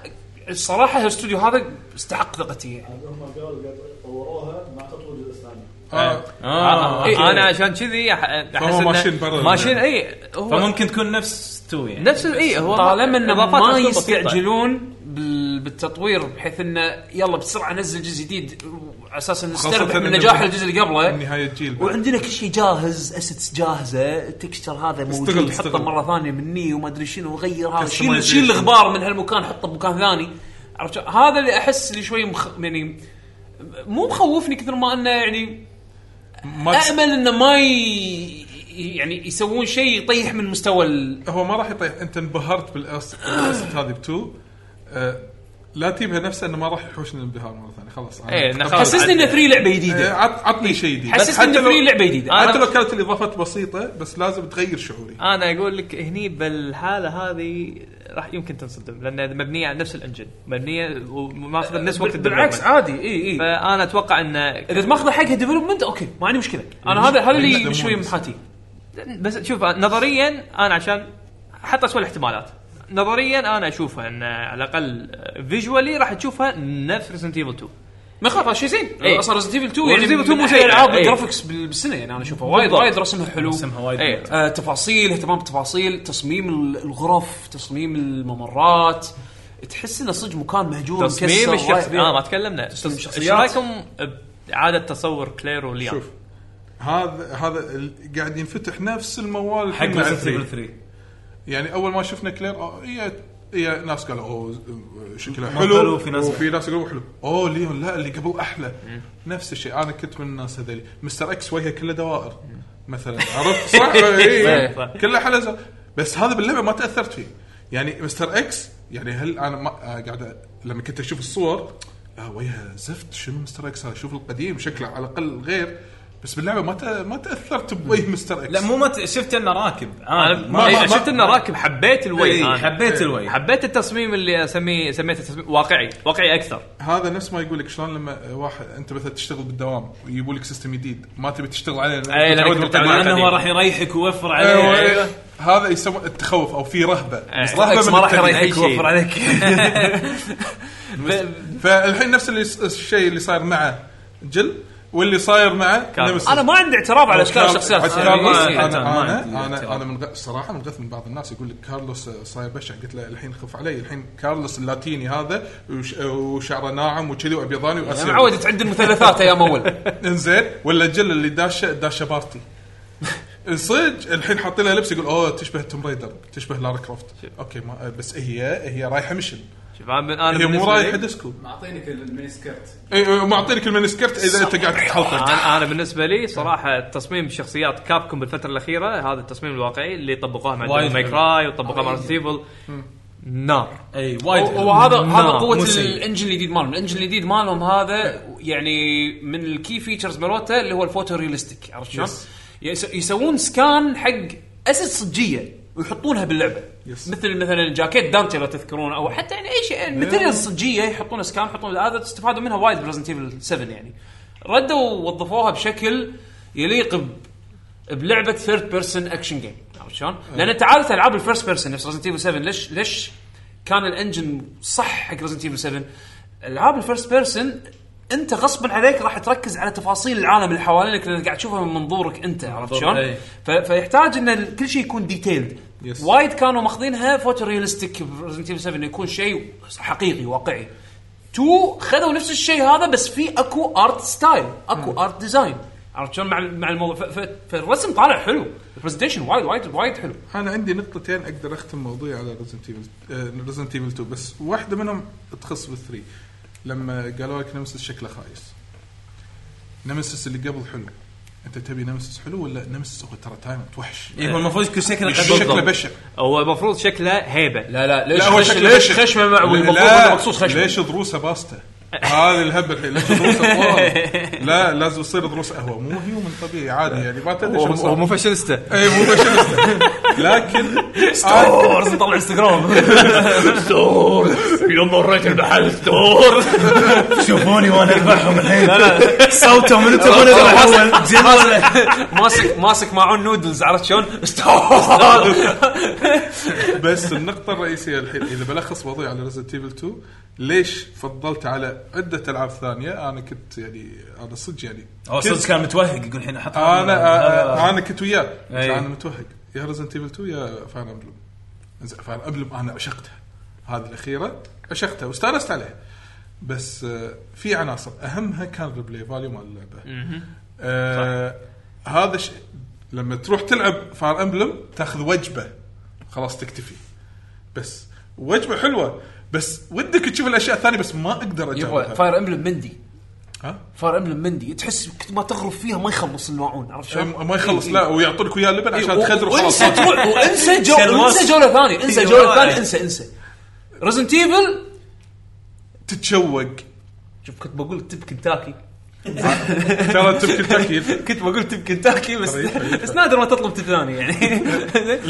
Speaker 2: الصراحه الاستوديو هذا استحق ثقتي يعني
Speaker 11: هم قالوا قد طوروها مع تطوير الجزء الثاني
Speaker 10: آه.
Speaker 8: اه
Speaker 9: إيه،
Speaker 8: أوكي.
Speaker 9: انا عشان كذي أح- احس
Speaker 10: فهم
Speaker 9: إنه-
Speaker 10: ماشيين برا
Speaker 9: ماشيين اي هو
Speaker 8: فممكن تكون نفس تو يعني
Speaker 9: نفس
Speaker 2: إيه،
Speaker 9: اي هو
Speaker 2: طالما انه
Speaker 9: إضافات
Speaker 2: ما
Speaker 9: أسلوب بسيطة.
Speaker 2: يستعجلون بال- بالتطوير بحيث انه يلا بسرعه ننزل جزء جديد على اساس إن نستربح
Speaker 10: خاصة
Speaker 2: من
Speaker 10: إن
Speaker 2: نجاح
Speaker 10: بال-
Speaker 2: الجزء اللي قبله
Speaker 10: نهايه جيل بعد.
Speaker 2: وعندنا كل شيء جاهز اسيتس جاهزه التكستشر هذا موجود
Speaker 10: استغل-
Speaker 2: حطه
Speaker 10: استغل.
Speaker 2: مره ثانيه مني وما ادري شنو غير هذا آه، شيل
Speaker 10: Customization.
Speaker 2: شيل الغبار من هالمكان حطه بمكان ثاني عرفت شو- هذا اللي احس اللي شوي مخ... يعني مو مخوفني كثر ما انه يعني
Speaker 10: ما تس-
Speaker 2: امل انه ما ي... يعني يسوون شيء يطيح من مستوى ال...
Speaker 10: هو ما راح يطيح انت انبهرت بالأس- بالاسيت هذه بتو آه، لا تجيبها نفسها انه ما راح يحوشنا الانبهار مره ثانيه خلاص أنا-
Speaker 9: إيه، إنه خلاص.
Speaker 2: حسسني انه
Speaker 9: عدل.
Speaker 2: ثري لعبه
Speaker 10: آه،
Speaker 2: جديده
Speaker 10: عط- عطني شيء جديد
Speaker 2: حسسني
Speaker 10: حتى
Speaker 2: إن
Speaker 10: لو-
Speaker 2: في لعبة جديده. أنا-
Speaker 10: حتى لو كانت الاضافات بسيطه بس لازم تغير شعوري
Speaker 9: انا اقول لك هني بالحاله هذه راح يمكن تنصدم لان مبنيه على نفس الانجن مبنيه وماخذ نفس وقت
Speaker 2: بالعكس
Speaker 9: الديفلوبمنت.
Speaker 2: عادي اي اي
Speaker 9: فانا اتوقع انه
Speaker 2: اذا ماخذه حقها ديفلوبمنت اوكي ما عندي مشكله انا هذا هذا اللي
Speaker 9: إيه.
Speaker 2: شوي محاتي
Speaker 9: بس شوف نظريا انا عشان حط اسوء الاحتمالات نظريا انا اشوفها ان على الاقل فيجوالي راح تشوفها نفس ريزنت ايفل 2
Speaker 2: ما يخاف هذا شيء زين
Speaker 9: إيه.
Speaker 2: اصلا ريزنت ايفل 2
Speaker 9: Resident
Speaker 2: يعني
Speaker 9: Evil 2 مو
Speaker 2: مو
Speaker 9: شيء.
Speaker 2: شيء العاب
Speaker 9: إيه.
Speaker 2: الجرافكس بالسنه يعني انا اشوفها وايد
Speaker 9: بالضبط.
Speaker 2: وايد رسمها حلو
Speaker 8: رسمها وايد
Speaker 9: إيه.
Speaker 8: ممتاز.
Speaker 2: آه تفاصيل اهتمام بالتفاصيل تصميم ال- الغرف تصميم الممرات تحس انه صدق مكان مهجور
Speaker 9: تصميم
Speaker 2: مكسر،
Speaker 9: الشخص
Speaker 2: وايد-
Speaker 8: آه،
Speaker 9: اه ما تكلمنا
Speaker 2: تصميم
Speaker 9: ايش
Speaker 2: الشخصيات.
Speaker 9: رايكم بعاده تصور كلير وليان
Speaker 10: شوف هذا هذا ال- قاعد ينفتح نفس الموال
Speaker 8: حق
Speaker 10: الحين مع
Speaker 8: Resident
Speaker 10: الفريق.
Speaker 8: Evil 3
Speaker 10: يعني اول ما شفنا كلير أو- هي هي ناس قالوا اوه ز- شكله
Speaker 8: نزلوا
Speaker 10: حلو
Speaker 8: وفي ناس-
Speaker 10: وفي ناس قالوا حلو اوه ليون لا اللي قبل احلى نفس الشيء انا كنت من الناس هذيل مستر اكس وجهه كله دوائر مثلا عرفت إيه، صح إي،
Speaker 9: صح.
Speaker 10: كله حلزه بس هذا باللعبه ما تاثرت فيه يعني مستر اكس يعني هل انا ما آه، قاعد أ- لما كنت اشوف الصور آه وجهه زفت شنو مستر اكس هذا شوف القديم شكله على الاقل غير بس باللعبه ما تأ- ما تاثرت بوجه مستر اكس
Speaker 8: لا مو ما ت- شفت انه راكب إيه، عادي. ما-
Speaker 9: انا ما
Speaker 10: ما- ما-
Speaker 9: شفت انه راكب حبيت الوي
Speaker 8: إيه،
Speaker 9: أنا.
Speaker 8: حبيت الوي.
Speaker 9: حبيت التصميم اللي اسميه سميته تصميم واقعي واقعي اكثر
Speaker 10: هذا نفس ما يقول لك شلون لما واحد انت مثلا تشتغل بالدوام ويجيبوا لك سيستم جديد ما تبي تشتغل عليه لأنك
Speaker 9: أي، لأنك
Speaker 10: متعود
Speaker 9: متعود
Speaker 10: بالقديم.
Speaker 8: مع انه هو
Speaker 9: قديم.
Speaker 8: راح يريحك ويوفر
Speaker 10: أيوة،
Speaker 8: عليه
Speaker 10: أيوة. هذا يسمى التخوف او في رهبه
Speaker 2: رهبة
Speaker 10: من
Speaker 2: ما راح
Speaker 10: التغيير.
Speaker 2: يريحك
Speaker 9: أي شيء.
Speaker 2: يوفر عليك
Speaker 10: فالحين نفس اللي الشيء اللي صاير مع جل واللي صاير مع
Speaker 9: كان.
Speaker 10: نمسيس.
Speaker 2: انا ما عندي اعتراض على اشكال
Speaker 10: كان-
Speaker 2: الشخصيات
Speaker 10: حتى
Speaker 2: يعني
Speaker 10: أنا-
Speaker 2: إيه، إيه.
Speaker 10: انا
Speaker 8: ما
Speaker 10: انا
Speaker 8: عندي
Speaker 10: انا,
Speaker 8: اعتراض.
Speaker 10: أنا من غ... الصراحه منغث من بعض الناس يقول لك كارلوس آه، صاير بشع قلت له الحين خف علي الحين كارلوس اللاتيني هذا وش... وشعره ناعم وكذي وابيضاني
Speaker 9: يعني
Speaker 2: أنا
Speaker 10: واسود
Speaker 2: معود تعد المثلثات ايام اول
Speaker 10: انزين ولا الجله اللي داشه داشه بارتي صدق الحين حاطين لها لبس يقول اوه تشبه توم رايدر تشبه لارا كروفت اوكي ما بس هي هي رايحه ميشن
Speaker 9: شوف انا أنا
Speaker 10: هي مو
Speaker 9: بالنسبة لي-
Speaker 10: رايحه ديسكو
Speaker 7: معطينك الميني سكيرت
Speaker 10: اي
Speaker 4: إيه،
Speaker 10: أي، معطينك المنسكرت اذا انت قاعد تحلطه
Speaker 4: آه،
Speaker 9: انا انا بالنسبه لي صراحه تصميم شخصيات كابكم بالفتره الاخيره هذا التصميم الواقعي اللي طبقوه مع
Speaker 8: وايد
Speaker 9: ماي كراي وطبقوه مع سيفل نار
Speaker 8: اي وايد
Speaker 2: وهذا هذا
Speaker 9: نعم،
Speaker 2: قوه
Speaker 8: مو سيء.
Speaker 2: الانجن الجديد مالهم، الانجن الجديد مالهم هذا يعني من الكي فيتشرز مالته اللي هو الفوتو ريالستيك عرفت شلون؟ يس- يسوون سكان حق اسد صجيه ويحطونها باللعبه
Speaker 10: يس.
Speaker 2: مثل مثلا جاكيت دانتي لو تذكرون او حتى يعني اي شيء مثل صجيه يحطون سكان يحطون هذا استفادوا منها وايد بريزنت ايفل 7 يعني ردوا ووظفوها بشكل يليق ب- بلعبه ثيرد بيرسون اكشن جيم عرفت شلون؟ لان تعالت العاب الفيرست بيرسون نفس ريزنت ايفل 7 ليش ليش كان الانجن صح حق ريزنت ايفل 7 العاب الفيرست بيرسون انت غصبا عليك راح تركز على تفاصيل العالم اللي حوالينك لان قاعد تشوفها من منظورك انت عرفت
Speaker 8: بالضبط،
Speaker 2: شلون؟
Speaker 8: أي.
Speaker 2: ف- فيحتاج ان ال- كل شيء يكون ديتيلد
Speaker 10: Yes.
Speaker 2: وايد كانوا ماخذينها فوتو ريالستيك بريزنت ايفل 7 إنه يكون شيء حقيقي واقعي تو خذوا نفس الشيء هذا بس في اكو ارت ستايل اكو ارت ديزاين عرفت شلون مع مع الموضوع ف- ف- فالرسم طالع حلو البرزنتيشن وايد وايد وايد حلو
Speaker 10: انا عندي نقطتين اقدر اختم موضوعي على آه، ريزنت ايفل ريزنت ايفل 2 بس واحده منهم تخص بالثري لما قالوا لك نمسس شكله خايس نمسس اللي قبل حلو انت تبي نمسس حلو ولا نمسس هو ترى تايم توحش
Speaker 9: إيه، هو المفروض يكون شكله
Speaker 10: مش
Speaker 9: قبل.
Speaker 10: شكله بشع
Speaker 9: هو المفروض شكله هيبه لا
Speaker 10: لا هو
Speaker 9: خش
Speaker 10: شكله
Speaker 9: ليش
Speaker 10: بشع.
Speaker 9: خشمه معوي
Speaker 10: لا،
Speaker 9: المفروض
Speaker 10: لا،
Speaker 9: انه مقصوص خشمه
Speaker 10: ليش ضروسه باستا هذه الهبه الحين ليش ضروسه طوال؟ لا لازم تصير ضروس قهوه مو هيومن طبيعي عادي يعني ما تدري شو صار.
Speaker 5: فاشلستا
Speaker 10: اي مو فاشلستا لكن
Speaker 5: ستورز طلع انستغرام
Speaker 10: ستورز
Speaker 5: يوم مريت المحل ستورز
Speaker 8: شوفوني وانا اذبحهم الحين صوتهم من تبون
Speaker 2: ماسك-
Speaker 8: اذبحهم جن
Speaker 2: ماسك- ماسك ماسك معون نودلز عرفت شلون؟
Speaker 10: بس النقطة الرئيسية الحين إذا بلخص وضعي على ريزنت ايفل 2 ليش فضلت على عدة ألعاب ثانية أنا كنت يعني أنا صدق يعني
Speaker 8: هو
Speaker 10: كنت-
Speaker 8: صدق كان متوهق يقول الحين احط
Speaker 10: أنا أنا,
Speaker 8: آه.
Speaker 10: أنا كنت وياه
Speaker 8: أي.
Speaker 10: أنا متوهق يا ريزنت ايفل 2 يا فاير امبلم زين فاير امبلم أنا عشقتها هذه الأخيرة عشقتها واستانست عليها بس آه، في عناصر أهمها كان ريبلاي فاليو مال اللعبة
Speaker 5: مهم.
Speaker 10: آه، هذا الشيء لما تروح تلعب فاير امبلم تاخذ وجبه خلاص تكتفي بس وجبه حلوه بس ودك تشوف الاشياء الثانيه بس ما اقدر
Speaker 2: يبغى
Speaker 10: اجاوبها
Speaker 2: فاير امبلم مندي
Speaker 10: ها؟
Speaker 2: فاير امبلم مندي تحس كنت ما تغرب فيها ما يخلص الماعون عرفت
Speaker 10: إيه، ما يخلص، لا، ويعطونك وياه لبن عشان تخدر وخلاص.
Speaker 2: وخلاص إيه، وانسى تروح وانسى جو انسى جوله ثانيه انسى جوله ثانيه انسى انسى ريزنت ايفل
Speaker 10: تتشوق
Speaker 2: شوف كنت بقول تب كنتاكي
Speaker 10: ترى تب كنتاكي.
Speaker 2: كنت بقول تب كنتاكي بس
Speaker 10: طيب، طيب.
Speaker 2: بس نادر ما تطلب تب ثاني يعني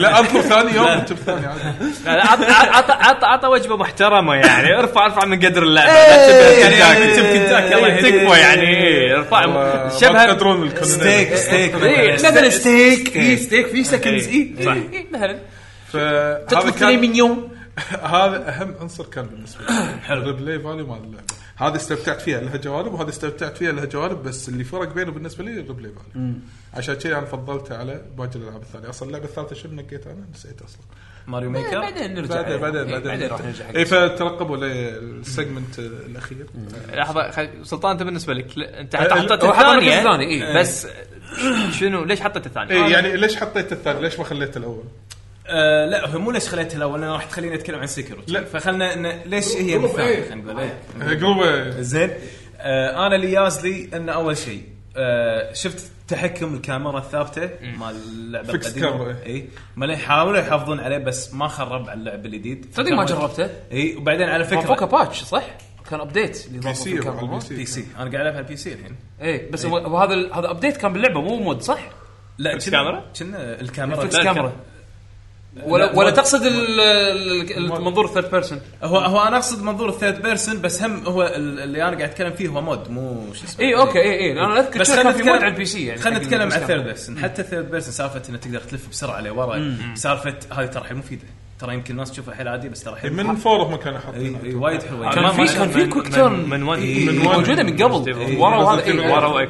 Speaker 10: لا اطلب ثاني يوم
Speaker 9: لا.
Speaker 10: تب ثاني عادي
Speaker 9: لا، لا، عط- عط- عط- عط- عطى وجبه محترمه يعني ارفع ارفع من قدر اللعبه لا
Speaker 2: إيه، يعني-
Speaker 9: تبكي تبكي تاكي الله
Speaker 2: إيه.
Speaker 9: يهديك. تكفى يعني إيه، ارفع
Speaker 2: والله،
Speaker 9: شبه
Speaker 2: ما تقدرون الكلنا. ستيك، ستيك. إيه، مثلاً ستيك. إيه، ستيك، في seconds، إيه.
Speaker 10: صح
Speaker 2: إيه، مثلا
Speaker 10: فهذا
Speaker 2: تطلب
Speaker 10: كان-
Speaker 2: فيليه من يوم.
Speaker 10: هذا اهم عنصر كان بالنسبه لي حلو الريبلاي فاليو مال اللعبه هذه استمتعت فيها لها جوانب وهذه استمتعت فيها لها جوانب بس اللي فرق بينه بالنسبه لي الريبلاي فاليو
Speaker 8: مم.
Speaker 10: عشان كذا انا فضلته على باقي الالعاب الثانيه اصلا اللعبه الثالثه شنو نقيت انا نسيت اصلا
Speaker 8: ماريو ميكر؟ بعدين نرجع
Speaker 10: بعدين
Speaker 8: عليها.
Speaker 10: بعدين
Speaker 8: إيه،
Speaker 10: بعدين
Speaker 8: بعدين راح نرجع حق
Speaker 10: اي فترقبوا للسيجمنت الاخير
Speaker 9: لحظه خل- سلطان انت بالنسبه لك لا، انت
Speaker 10: أه،
Speaker 9: حطيت
Speaker 10: هو حط
Speaker 9: الثانيه
Speaker 10: المركز الثاني، إيه.
Speaker 9: بس شنو ليش حطيت الثانيه؟
Speaker 10: اي يعني ليش حطيت الثاني ليش ما خليت الاول؟
Speaker 8: آه، لا هو مو ليش خليتها الاول انا راح تخليني اتكلم عن سكر
Speaker 10: لا.
Speaker 8: لا فخلنا إن ليش هي
Speaker 10: جروب
Speaker 8: مثال
Speaker 10: إيه.
Speaker 8: خلينا نقول إيه.
Speaker 10: إيه، جروب إيه.
Speaker 8: زين آه، انا اللي ياز لي ان اول شيء آه، شفت تحكم الكاميرا الثابته مال اللعبه
Speaker 2: Fixed camera،
Speaker 8: القديمه اي ما يحاولوا يحافظون عليه بس ما خرب على اللعب الجديد
Speaker 2: تصدق ما جربته؟
Speaker 8: اي وبعدين على فكره
Speaker 2: فوق باتش صح؟ كان ابديت اللي ضافوا فيه كان بالمود.
Speaker 8: بي سي انا قاعد العب على البي سي الحين
Speaker 2: اي بس
Speaker 8: إيه.
Speaker 2: هو- هو هذا ال- هذا ابديت كان باللعبه مو مود صح؟
Speaker 8: لا
Speaker 2: فيكس
Speaker 8: كنا-
Speaker 2: كاميرا؟
Speaker 8: كنا الكاميرا
Speaker 2: فيكس
Speaker 8: لا،
Speaker 2: كاميرا.
Speaker 8: الكام-
Speaker 2: ولا
Speaker 8: لا،
Speaker 2: ولا
Speaker 8: مود.
Speaker 2: تقصد ال- ال- المنظور الثيرد بيرسون
Speaker 8: هو هو انا اقصد منظور الثيرد بيرسون بس هم هو ال- اللي انا قاعد اتكلم فيه هو مود مو شو اسمه
Speaker 2: إي، إيه، أوكي، إي، إي، أنا أذكر
Speaker 8: بس
Speaker 2: كان
Speaker 8: خلينا
Speaker 2: في
Speaker 8: نتكلم-
Speaker 2: مود على البي سي يعني
Speaker 8: خلينا
Speaker 2: حق
Speaker 8: نتكلم
Speaker 2: البس
Speaker 8: على الثيرد
Speaker 2: كاميرا.
Speaker 8: بيرسون حتى الثيرد بيرسون سالفه انه تقدر تلف بسرعه لورا
Speaker 10: مم.
Speaker 8: سالفه هذه ترى حيل مفيده ترى يمكن الناس تشوفها حيل عادي بس ترى حيل
Speaker 10: من فورهم كانوا
Speaker 8: حاطين اي إيه، وايد حلوه
Speaker 2: كان في كان في كويك تيرن
Speaker 8: من وان
Speaker 2: إي، موجوده من قبل ورا وهذا إي.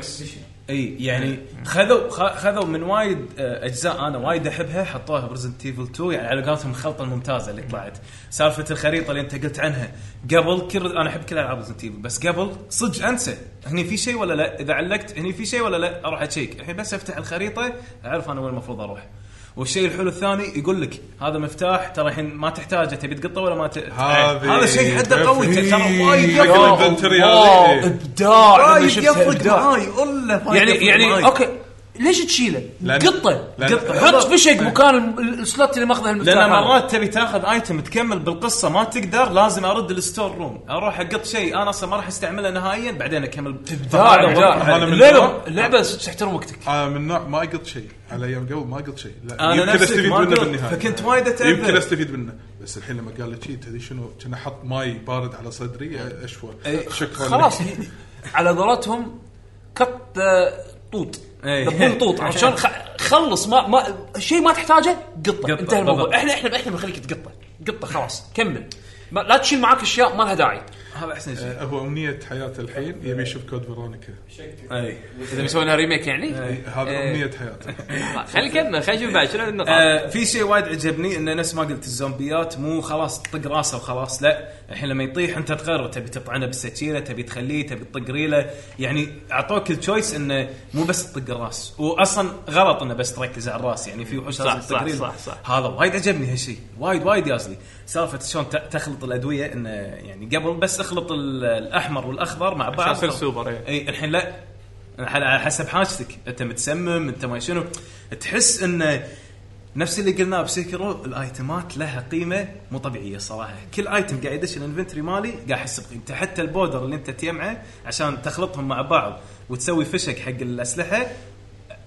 Speaker 8: اي يعني خذوا خ- خذوا من وايد آه، اجزاء انا وايد احبها حطوها بريزنت ايفل 2 يعني على قولتهم الخلطه الممتازه اللي طلعت سالفه الخريطه اللي انت قلت عنها قبل كل انا احب كل العاب ريزنت ايفل بس قبل صدق انسى هني في شيء ولا لا اذا علقت هني في شيء ولا لا اروح اتشيك الحين بس افتح الخريطه اعرف انا وين المفروض اروح والشيء الحلو الثاني يقول لك هذا مفتاح ترى الحين ما تحتاجه تبي تقطه ولا ما ت...
Speaker 10: هذه
Speaker 8: هذا شيء حده قوي ترى وايد
Speaker 10: يا الله، إبداع لما
Speaker 8: وايد
Speaker 10: شفتها،
Speaker 8: يفرق
Speaker 10: إبداع.
Speaker 8: معاي والله وايد
Speaker 2: يعني
Speaker 8: يفرق معاي.
Speaker 2: يعني اوكي ليش تشيله؟
Speaker 8: لأن-
Speaker 2: قطه
Speaker 8: لأن- إيه،
Speaker 2: قطه حط فشق مكان ال- ال- السلوت اللي ماخذه المفتاح
Speaker 8: لان
Speaker 2: هذا.
Speaker 8: مرات تبي تاخذ ايتم تكمل بالقصه ما تقدر لازم ارد الستور روم اروح اقط شيء انا اصلا ما راح استعمله نهائيا بعدين اكمل فهذا
Speaker 10: أنا-
Speaker 8: وضع حل.
Speaker 10: أنا من نوع-
Speaker 2: اللعبه تحترم وقتك
Speaker 10: انا من نوع ما قلت شيء على ايام قبل ما قلت شيء لا
Speaker 8: أنا
Speaker 10: يمكن
Speaker 8: نفسك
Speaker 10: استفيد
Speaker 8: ما
Speaker 10: منه
Speaker 8: قلت،
Speaker 10: بالنهايه
Speaker 8: فكنت وايد أتأذى.
Speaker 10: يمكن استفيد منه بس الحين لما قال لي شيء تدري شنو كان احط ماي بارد على صدري اشوى شكرا لك.
Speaker 2: خلاص على قولتهم كت آه، طوط
Speaker 8: إي.
Speaker 2: دبون طوط عرفت شلون خ- خلص ما ما شيء ما تحتاجه قطه انتهى
Speaker 8: بالضبط.
Speaker 2: الموضوع احنا احنا احنا بنخليك تقطه قطه خلاص كمل ما- لا تشيل معاك اشياء ما لها داعي
Speaker 8: هذا احسن شيء.
Speaker 10: آه، هو امنيه حياته الحين يبي يشوف كود فيرونيكا
Speaker 8: اي
Speaker 2: إذا بيسوونها ريميك يعني؟
Speaker 10: إي، هذا
Speaker 2: إيه.
Speaker 10: امنيه حياته
Speaker 9: خلي كمل خلي نشوف بعد شنو النقاط
Speaker 8: آه في شيء وايد عجبني انه نفس ما قلت الزومبيات مو خلاص طق راسه وخلاص لا الحين لما يطيح انت تقرر تبي تطعنه بالسكينه تبي تخليه تبي تطق ريله يعني اعطوك التشويس انه مو بس تطق الراس واصلا غلط انه بس تركز على الراس يعني في وحوش
Speaker 9: صح،
Speaker 8: لازم تطق
Speaker 9: صح،
Speaker 8: ريلة.
Speaker 9: صح، صح.
Speaker 8: هذا وايد عجبني هالشيء وايد وايد يازلي سالفه شلون ت- تخلط الادويه انه يعني قبل بس اخلط ال- الاحمر والاخضر مع بعض
Speaker 5: عشان يصير سوبر، إيه.
Speaker 8: اي الحين لا على على حسب حاجتك انت متسمم انت ما شنو تحس انه نفس اللي قلناه بسكرو الايتمات لها قيمه مو طبيعيه صراحه كل ايتم قاعد يدش الانفنتري مالي قاعد احس بقيمته حتى البودر اللي انت تجمعه عشان تخلطهم مع بعض وتسوي فشك حق الاسلحه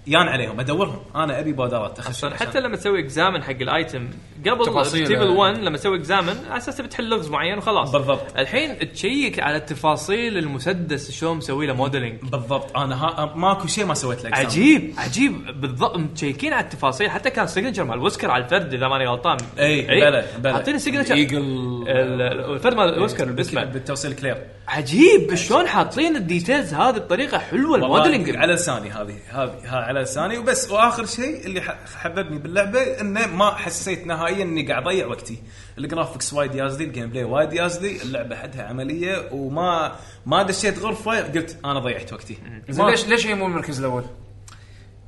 Speaker 8: يان عليهم ادورهم انا ابي بودرات اخش
Speaker 9: حتى لما تسوي اكزامن حق الايتم قبل
Speaker 8: تفاصيل. يعني.
Speaker 9: تيبل 1 لما تسوي اكزامن على اساس بتحل لغز معين وخلاص
Speaker 8: بالضبط
Speaker 9: الحين تشيك على تفاصيل المسدس شلون مسوي له موديلنج
Speaker 8: بالضبط انا ها ماكو شيء ما سويت له
Speaker 9: عجيب عجيب بالضبط متشيكين على التفاصيل حتى كان سيجنتشر مال وسكر على الفرد اذا ماني غلطان
Speaker 8: اي بلى بلى
Speaker 9: حاطين السيجنتشر
Speaker 8: الايجل
Speaker 9: ال- ال- الفرد مال وسكر باسمه
Speaker 8: بالتوصيل كلير
Speaker 9: عجيب شلون حاطين الديتيلز هذه بطريقه حلوه
Speaker 8: والله
Speaker 9: الموديلنج
Speaker 8: على لساني هذه هذه ها على لساني وبس واخر شيء اللي ح- حببني باللعبه انه ما حسيت نهائيا اني قاعد اضيع وقتي الجرافكس وايد يازلي الجيم بلاي وايد يازلي اللعبه حدها عمليه وما ما دشيت غرفه قلت انا ضيعت وقتي
Speaker 2: زين
Speaker 8: ما-
Speaker 2: ليش ليش هي مو المركز الاول؟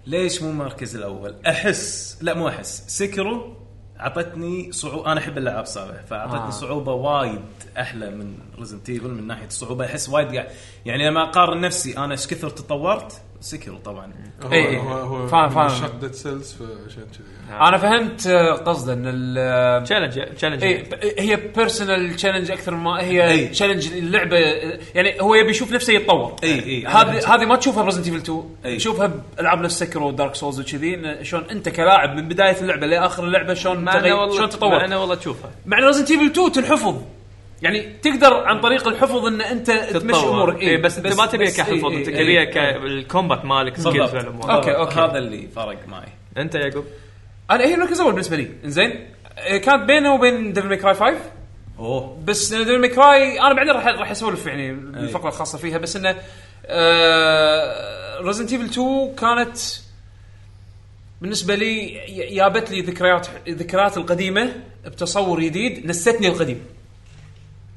Speaker 8: ليش مو المركز الاول؟ احس لا مو احس سكرو اعطتني صعوبه انا احب الالعاب صعبه فاعطتني
Speaker 5: آه.
Speaker 8: آه. صعوبه وايد احلى من ريزنت ايفل من ناحيه الصعوبه احس وايد قاعد يعني لما اقارن نفسي انا ايش كثر تطورت إيه. سكرو طبعا
Speaker 10: هو
Speaker 2: إي، إي.
Speaker 10: هو, هو
Speaker 2: فاهم-
Speaker 10: من
Speaker 2: فاهم.
Speaker 10: عشاق ديد سيلز فعشان كذي
Speaker 2: انا فهمت آه، قصده ان ال
Speaker 9: تشالنج تشالنج
Speaker 2: اي ب- هي بيرسونال تشالنج اكثر ما هي
Speaker 8: إي.
Speaker 2: تشالنج اللعبه آه، يعني هو يبي يشوف نفسه يتطور
Speaker 8: اي اي
Speaker 2: هذه هذه ما تشوفها برزنت ايفل 2
Speaker 8: إي.
Speaker 2: تشوفها بالعاب نفس سكر ودارك سولز وكذي إن شلون انت كلاعب من بدايه اللعبه لاخر اللعبه شلون تغي- شلون تطور
Speaker 9: انا والله تشوفها
Speaker 2: مع ريزنت ايفل 2 تنحفظ يعني تقدر عن طريق الحفظ ان انت تمشي امورك
Speaker 9: اي إيه، بس انت ما تبيها
Speaker 2: إيه، بس- إيه،
Speaker 9: كحفظ
Speaker 2: إي،
Speaker 9: انت
Speaker 2: إي،
Speaker 9: تبيها
Speaker 2: إي.
Speaker 9: كالكومبات مالك سكيلز
Speaker 8: بالضبط
Speaker 9: والامور
Speaker 2: أوكي، أوكي.
Speaker 8: هذا اللي فرق معي
Speaker 9: انت يا يعقوب
Speaker 2: انا هي المركز الاول بالنسبه لي انزين آه، كانت بينه وبين ديفل ماي كراي 5
Speaker 8: اوه
Speaker 2: بس ديفل ماي كراي انا بعدين راح راح اسولف يعني بالفقره الخاصه فيها بس انه آه ريزنت ايفل 2 كانت بالنسبه لي ي- جابت لي ذكريات ذكريات القديمه بتصور جديد نستني القديم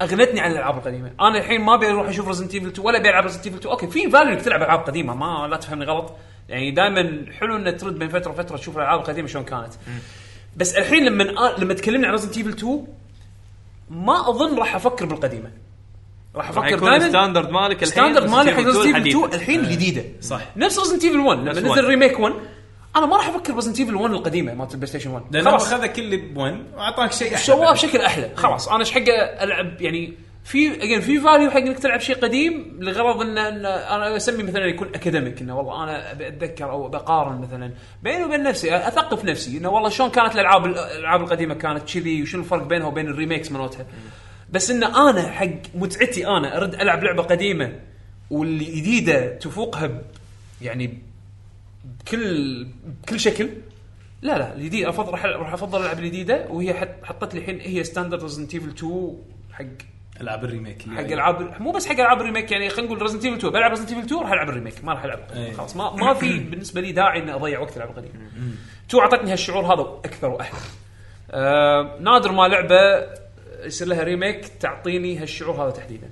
Speaker 2: اغنتني عن الالعاب القديمه، انا الحين ما ابي اروح اشوف ريزنت ايفل 2 ولا ابي العب ريزنت ايفل 2، اوكي في فاليو انك تلعب العاب قديمه ما لا تفهمني غلط، يعني دائما حلو انك ترد بين فتره وفتره تشوف الالعاب القديمه شلون كانت. بس الحين لما أ- لما تكلمنا عن ريزنت ايفل 2 ما اظن راح افكر بالقديمه. راح
Speaker 9: راح
Speaker 2: افكر
Speaker 9: يكون
Speaker 2: دائما
Speaker 9: الستاندرد مالك الحين
Speaker 2: ستاندرد مالي حق
Speaker 9: Resident Evil 2
Speaker 2: ريزنت ايفل
Speaker 9: الحديث.
Speaker 2: 2 الحين الجديده
Speaker 8: صح
Speaker 2: نفس ريزنت ايفل 1 لما
Speaker 8: نفس
Speaker 2: نزل
Speaker 8: 1.
Speaker 2: ريميك 1 انا ما راح افكر بريزنت ايفل 1 القديمه مالت البلاي ستيشن 1
Speaker 8: لانه
Speaker 2: خلاص
Speaker 8: اخذ كل بوين واعطاك شيء احلى
Speaker 2: سواه
Speaker 8: بعد.
Speaker 2: بشكل احلى خلاص انا ايش حق العب يعني في اجين في فاليو حق انك تلعب شيء قديم لغرض ان, إن انا اسمي مثلا يكون اكاديميك انه والله انا أبي اتذكر او بقارن مثلا بيني وبين نفسي اثقف نفسي انه والله شلون كانت الالعاب الالعاب القديمه كانت كذي وشنو الفرق بينها وبين الريميكس مالتها بس ان انا حق متعتي انا ارد العب لعبه قديمه والجديده تفوقها ب- يعني بكل بكل شكل لا لا الجديد افضل راح راح افضل العب الجديده وهي حط- حطت لي الحين هي ستاندرد ريزنت ايفل 2 حق
Speaker 8: العاب الريميك اللي
Speaker 2: حق
Speaker 8: يعني.
Speaker 2: العاب مو بس حق العاب الريميك يعني خلينا نقول ريزنت ايفل 2 بلعب ريزنت ايفل 2 راح العب الريميك ما راح العب
Speaker 8: أي.
Speaker 2: خلاص ما ما في بالنسبه لي داعي اني اضيع وقت العب القديم 2 اعطتني هالشعور هذا اكثر واحلى آه نادر ما لعبه يصير لها ريميك تعطيني هالشعور هذا تحديدا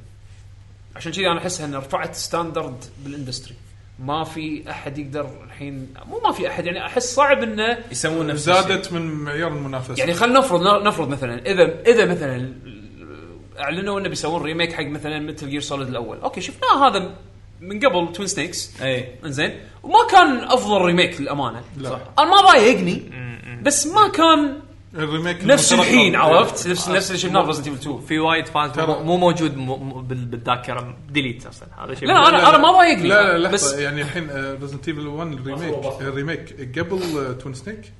Speaker 2: عشان كذي انا احس ان رفعت ستاندرد بالاندستري ما في احد يقدر الحين مو ما في احد يعني احس صعب انه
Speaker 8: يسوون نفس الشيء
Speaker 10: زادت من معيار المنافسه
Speaker 2: يعني خلينا نفرض نفرض مثلا اذا اذا مثلا اعلنوا انه بيسوون ريميك حق مثلا مثل جير سوليد الاول، اوكي شفناه هذا من قبل توين سنيكس
Speaker 8: اي
Speaker 2: انزين وما كان افضل ريميك للامانه
Speaker 10: لا. إيه. صح.
Speaker 2: انا ما ضايقني بس ما كان
Speaker 10: الريميك
Speaker 2: نفس
Speaker 10: المترقب.
Speaker 2: الحين عرفت نفس نفس اللي شفناه برزنت ايفل 2
Speaker 9: في وايد فانز
Speaker 10: ترى-
Speaker 9: مو مو موجود مو- مو- بال- بالذاكره ديليت اصلا هذا شيء
Speaker 2: لا انا انا ما ضايقني
Speaker 10: لا لا
Speaker 2: بس
Speaker 10: لحظه يعني الحين ريزنت ايفل 1 الريميك الريميك آه، قبل آه، توين سنيك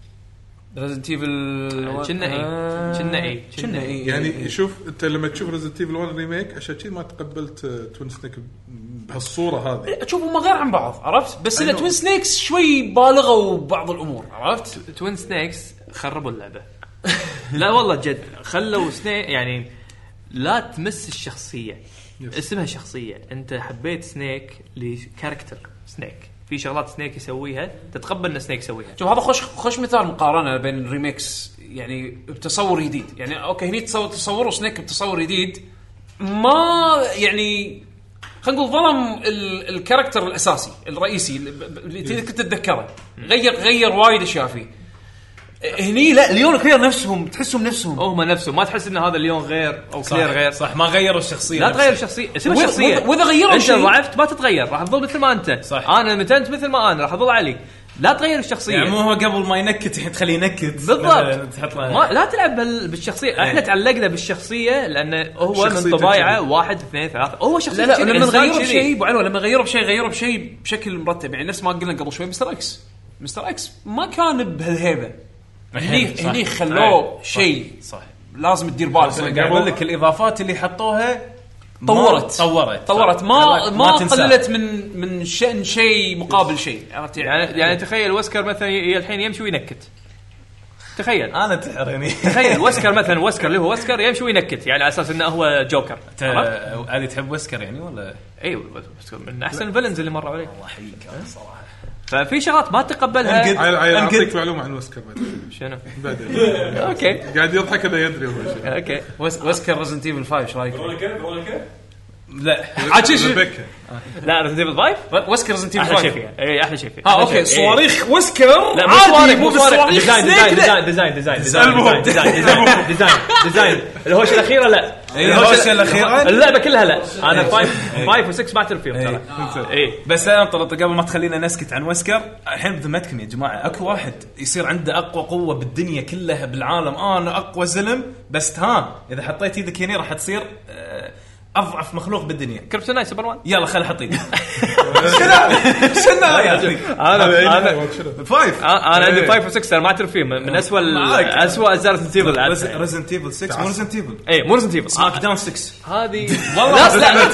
Speaker 2: ريزنت ايفل
Speaker 9: كنا اي كنا اي
Speaker 2: آه، إيه؟ كنا إيه؟ اي
Speaker 10: يعني شوف انت لما تشوف ريزنت ايفل 1 ريميك عشان كذي ما تقبلت آه، توين سنيك بهالصوره هذه
Speaker 2: اشوف إيه، هم غير عن بعض عرفت بس ان
Speaker 10: أيوه.
Speaker 2: توين سنيكس شوي بالغوا ببعض الامور عرفت
Speaker 9: توين سنيكس خربوا اللعبه لا والله جد خلوا سنيك يعني لا تمس الشخصيه اسمها شخصيه انت حبيت سنيك لكاركتر سنيك في شغلات سنيك يسويها تتقبل ان سنيك يسويها
Speaker 2: شوف هذا خوش خوش مثال مقارنه بين الريميكس يعني بتصور جديد يعني اوكي هني تصور تصور سنيك بتصور جديد ما يعني خلينا نقول ظلم ال- الكاركتر الاساسي الرئيسي اللي ب- ب- اللي كنت تتذكره غير غير وايد اشياء فيه هني لا ليون كلير نفسهم تحسهم نفسهم
Speaker 9: هم نفسهم ما تحس ان هذا اليوم غير او
Speaker 8: صح،
Speaker 9: كلير غير
Speaker 8: صح، ما غيروا الشخصية
Speaker 9: لا
Speaker 8: نفسها.
Speaker 9: تغير الشخصيه اسمها
Speaker 8: وإذا-
Speaker 9: الشخصيه
Speaker 8: وإذا- وإذا غيروا
Speaker 9: انت
Speaker 8: شيء-
Speaker 9: ضعفت ما تتغير راح تظل مثل ما انت صح انا متى انت مثل ما انا راح اظل علي لا تغير الشخصيه
Speaker 8: يعني مو هو قبل ما ينكت الحين تخليه ينكت مثلاً
Speaker 9: بالضبط
Speaker 8: تحط له إيه.
Speaker 9: ما لا تلعب بال- بالشخصيه احنا تعلقنا بالشخصيه لانه هو من
Speaker 2: شخصيته
Speaker 9: طبايعه
Speaker 2: كذي.
Speaker 9: واحد اثنين ثلاثه هو شخصيه
Speaker 2: لا لا
Speaker 9: كذي،
Speaker 2: لما
Speaker 9: إنسان
Speaker 2: غيروا
Speaker 9: كذي.
Speaker 2: بشيء ابو علو لما غيروا بشيء غيروا بشيء بشكل مرتب يعني نفس ما قلنا قبل شوي مستر اكس مستر اكس ما كان بهالهيبه هني
Speaker 8: صح.
Speaker 2: هني خلوه
Speaker 8: صح.
Speaker 2: شيء
Speaker 8: صح
Speaker 2: لازم تدير بالك يعني
Speaker 8: قاعد اقول لك الاضافات اللي حطوها ما-
Speaker 2: طورت
Speaker 8: طورت
Speaker 2: طورت ما
Speaker 8: خلاك
Speaker 2: ما
Speaker 8: تنسى.
Speaker 2: قللت من من شان شيء مقابل شيء عرفت
Speaker 9: يعني يعني تخيل وسكر مثلا ي- الحين يمشي وينكت تخيل
Speaker 8: انا تحرني
Speaker 9: تخيل وسكر مثلا وسكر اللي هو وسكر يمشي وينكت يعني على اساس انه هو جوكر
Speaker 8: ت-
Speaker 9: عرفت؟
Speaker 8: علي تحب وسكر يعني ولا
Speaker 9: اي وسكر من احسن الفيلنز اللي مروا إيه؟ عليك
Speaker 8: الله يحييك صراحه
Speaker 9: ففي شغلات ما
Speaker 10: عيل-
Speaker 9: تتقبلها
Speaker 10: عيل، اعطيك معلومه عن وسكر بعدين
Speaker 9: شنو؟
Speaker 10: بعدين
Speaker 9: اوكي
Speaker 10: قاعد يضحك انه يدري هو شيء
Speaker 9: اوكي
Speaker 2: وسكر ريزنت ايفل 5 ايش رايك؟
Speaker 8: لا
Speaker 2: عاد شي- شي-
Speaker 10: ريبيكا.
Speaker 8: آه.
Speaker 9: لا ريزنت ايفل 5
Speaker 2: وسكر ريزنت ايفل
Speaker 9: احلى شيء
Speaker 2: 5
Speaker 9: فيها اي احلى شيء فيها
Speaker 2: ها
Speaker 9: أحلى شيء.
Speaker 2: اوكي
Speaker 9: إي.
Speaker 2: آه، صواريخ وسكر
Speaker 9: إيه. لا مو
Speaker 2: عادي
Speaker 9: صواريخ
Speaker 2: مو
Speaker 9: مو صواريخ
Speaker 2: صواريخ
Speaker 9: ديزاين
Speaker 2: سنيك،
Speaker 9: ديزاين
Speaker 2: لا.
Speaker 9: ديزاين ديزاين ديزاين
Speaker 10: المهم.
Speaker 9: ديزاين ديزاين ديزاين ديزاين الهوشه الاخيره لا
Speaker 2: إيه،
Speaker 8: إي، الهوشة الأخيرة؟
Speaker 9: اللعبه كلها لا
Speaker 8: إيه.
Speaker 9: انا فايف فايف وسكس ما اعترف فيهم ترى إيه. اي
Speaker 8: بس انا طلعت قبل ما تخلينا نسكت عن وسكر الحين بذمتكم يا جماعه اكو واحد يصير عنده اقوى قوه بالدنيا كلها بالعالم آه انا اقوى زلم بس ها اذا حطيت ايدك هنا راح تصير آه، اضعف مخلوق بالدنيا
Speaker 9: كريبتونايت سوبر مان
Speaker 8: يلا خل احط ايدي شنو شنو
Speaker 9: انا انا
Speaker 8: فايف
Speaker 9: انا آه،
Speaker 8: إيه.
Speaker 9: عندي فايف وسكس انا ما اعترف فيهم من اسوء ال-
Speaker 8: معاك.
Speaker 9: اسوء اجزاء ريزنت ايفل
Speaker 8: ريزنت ايفل 6 مو ريزنت ايفل
Speaker 9: اي إيه، مو ريزنت ايفل
Speaker 8: سماك داون 6
Speaker 9: هذه
Speaker 8: والله
Speaker 9: لا لا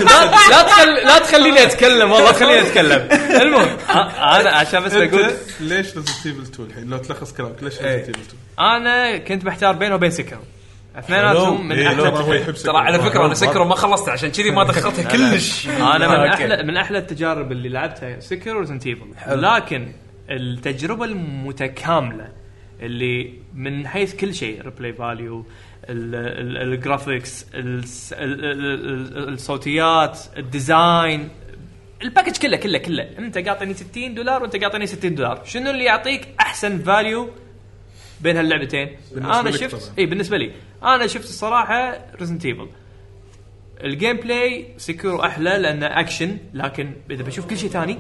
Speaker 9: لا تخل... لا تخليني اتكلم والله خليني اتكلم المهم آه، انا عشان بس بقول
Speaker 10: انت ليش ريزنت ايفل 2 الحين لو تلخص كلامك ليش ريزنت ايفل 2
Speaker 9: انا كنت محتار بينه وبين سكر اثنيناتهم من
Speaker 10: إيه،
Speaker 9: احلى
Speaker 10: ترى هو يحب سكر.
Speaker 2: ترى على فكره انا سكر ما خلصت عشان كذي ما دخلتها كلش
Speaker 9: انا من
Speaker 8: أوكي.
Speaker 9: احلى من احلى التجارب اللي لعبتها سكر وريزنت ايفل لكن التجربه المتكامله اللي من حيث كل شيء ريبلاي فاليو الجرافيكس الصوتيات الديزاين الباكج كله كله كله انت قاطعني 60 دولار وانت قاطعني 60 دولار شنو اللي يعطيك احسن فاليو بين هاللعبتين
Speaker 10: بالنسبة
Speaker 9: انا
Speaker 10: لك
Speaker 9: شفت
Speaker 10: طبعاً.
Speaker 9: اي بالنسبه لي انا شفت الصراحه ريزنت ايفل الجيم بلاي سكيور احلى لانه اكشن لكن اذا بشوف كل شيء ثاني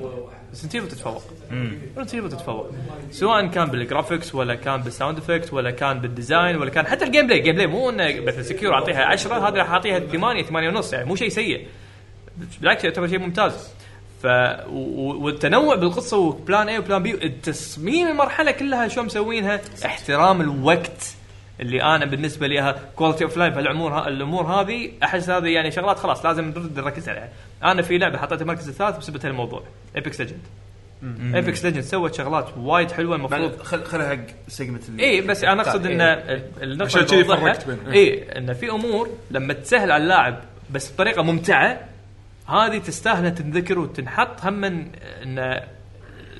Speaker 9: ريزنت ايفل تتفوق ريزنت ايفل تتفوق سواء كان بالجرافكس ولا كان بالساوند افكت ولا كان بالديزاين ولا كان حتى الجيم بلاي الجيم بلاي مو انه مثلا سكيور اعطيها 10 هذا راح اعطيها 8 8 ونص يعني مو شيء سيء بالعكس يعتبر شيء ممتاز ف و- و- والتنوع بالقصه وبلان اي وبلان بي التصميم المرحله كلها شو مسوينها احترام الوقت اللي انا بالنسبه لي كواليتي اوف لايف هالامور ها الامور هذه احس هذه يعني شغلات خلاص لازم نرد نركز عليها انا في لعبه حطيتها المركز الثالث بسبب هالموضوع ايبكس ليجند ايبكس ليجند سوت شغلات وايد حلوه المفروض
Speaker 12: خل خلها حق سيجمنت اللي
Speaker 9: اي إيه، بس انا
Speaker 2: طيب،
Speaker 9: اقصد
Speaker 2: إيه.
Speaker 9: ان النقطه
Speaker 10: عشان
Speaker 9: اللي
Speaker 10: كذي
Speaker 9: بوضحها
Speaker 10: فرقت بينهم.
Speaker 9: اي ان في امور لما تسهل على اللاعب بس بطريقه ممتعه هذه تستاهل إنها تنذكر وتنحط هم ان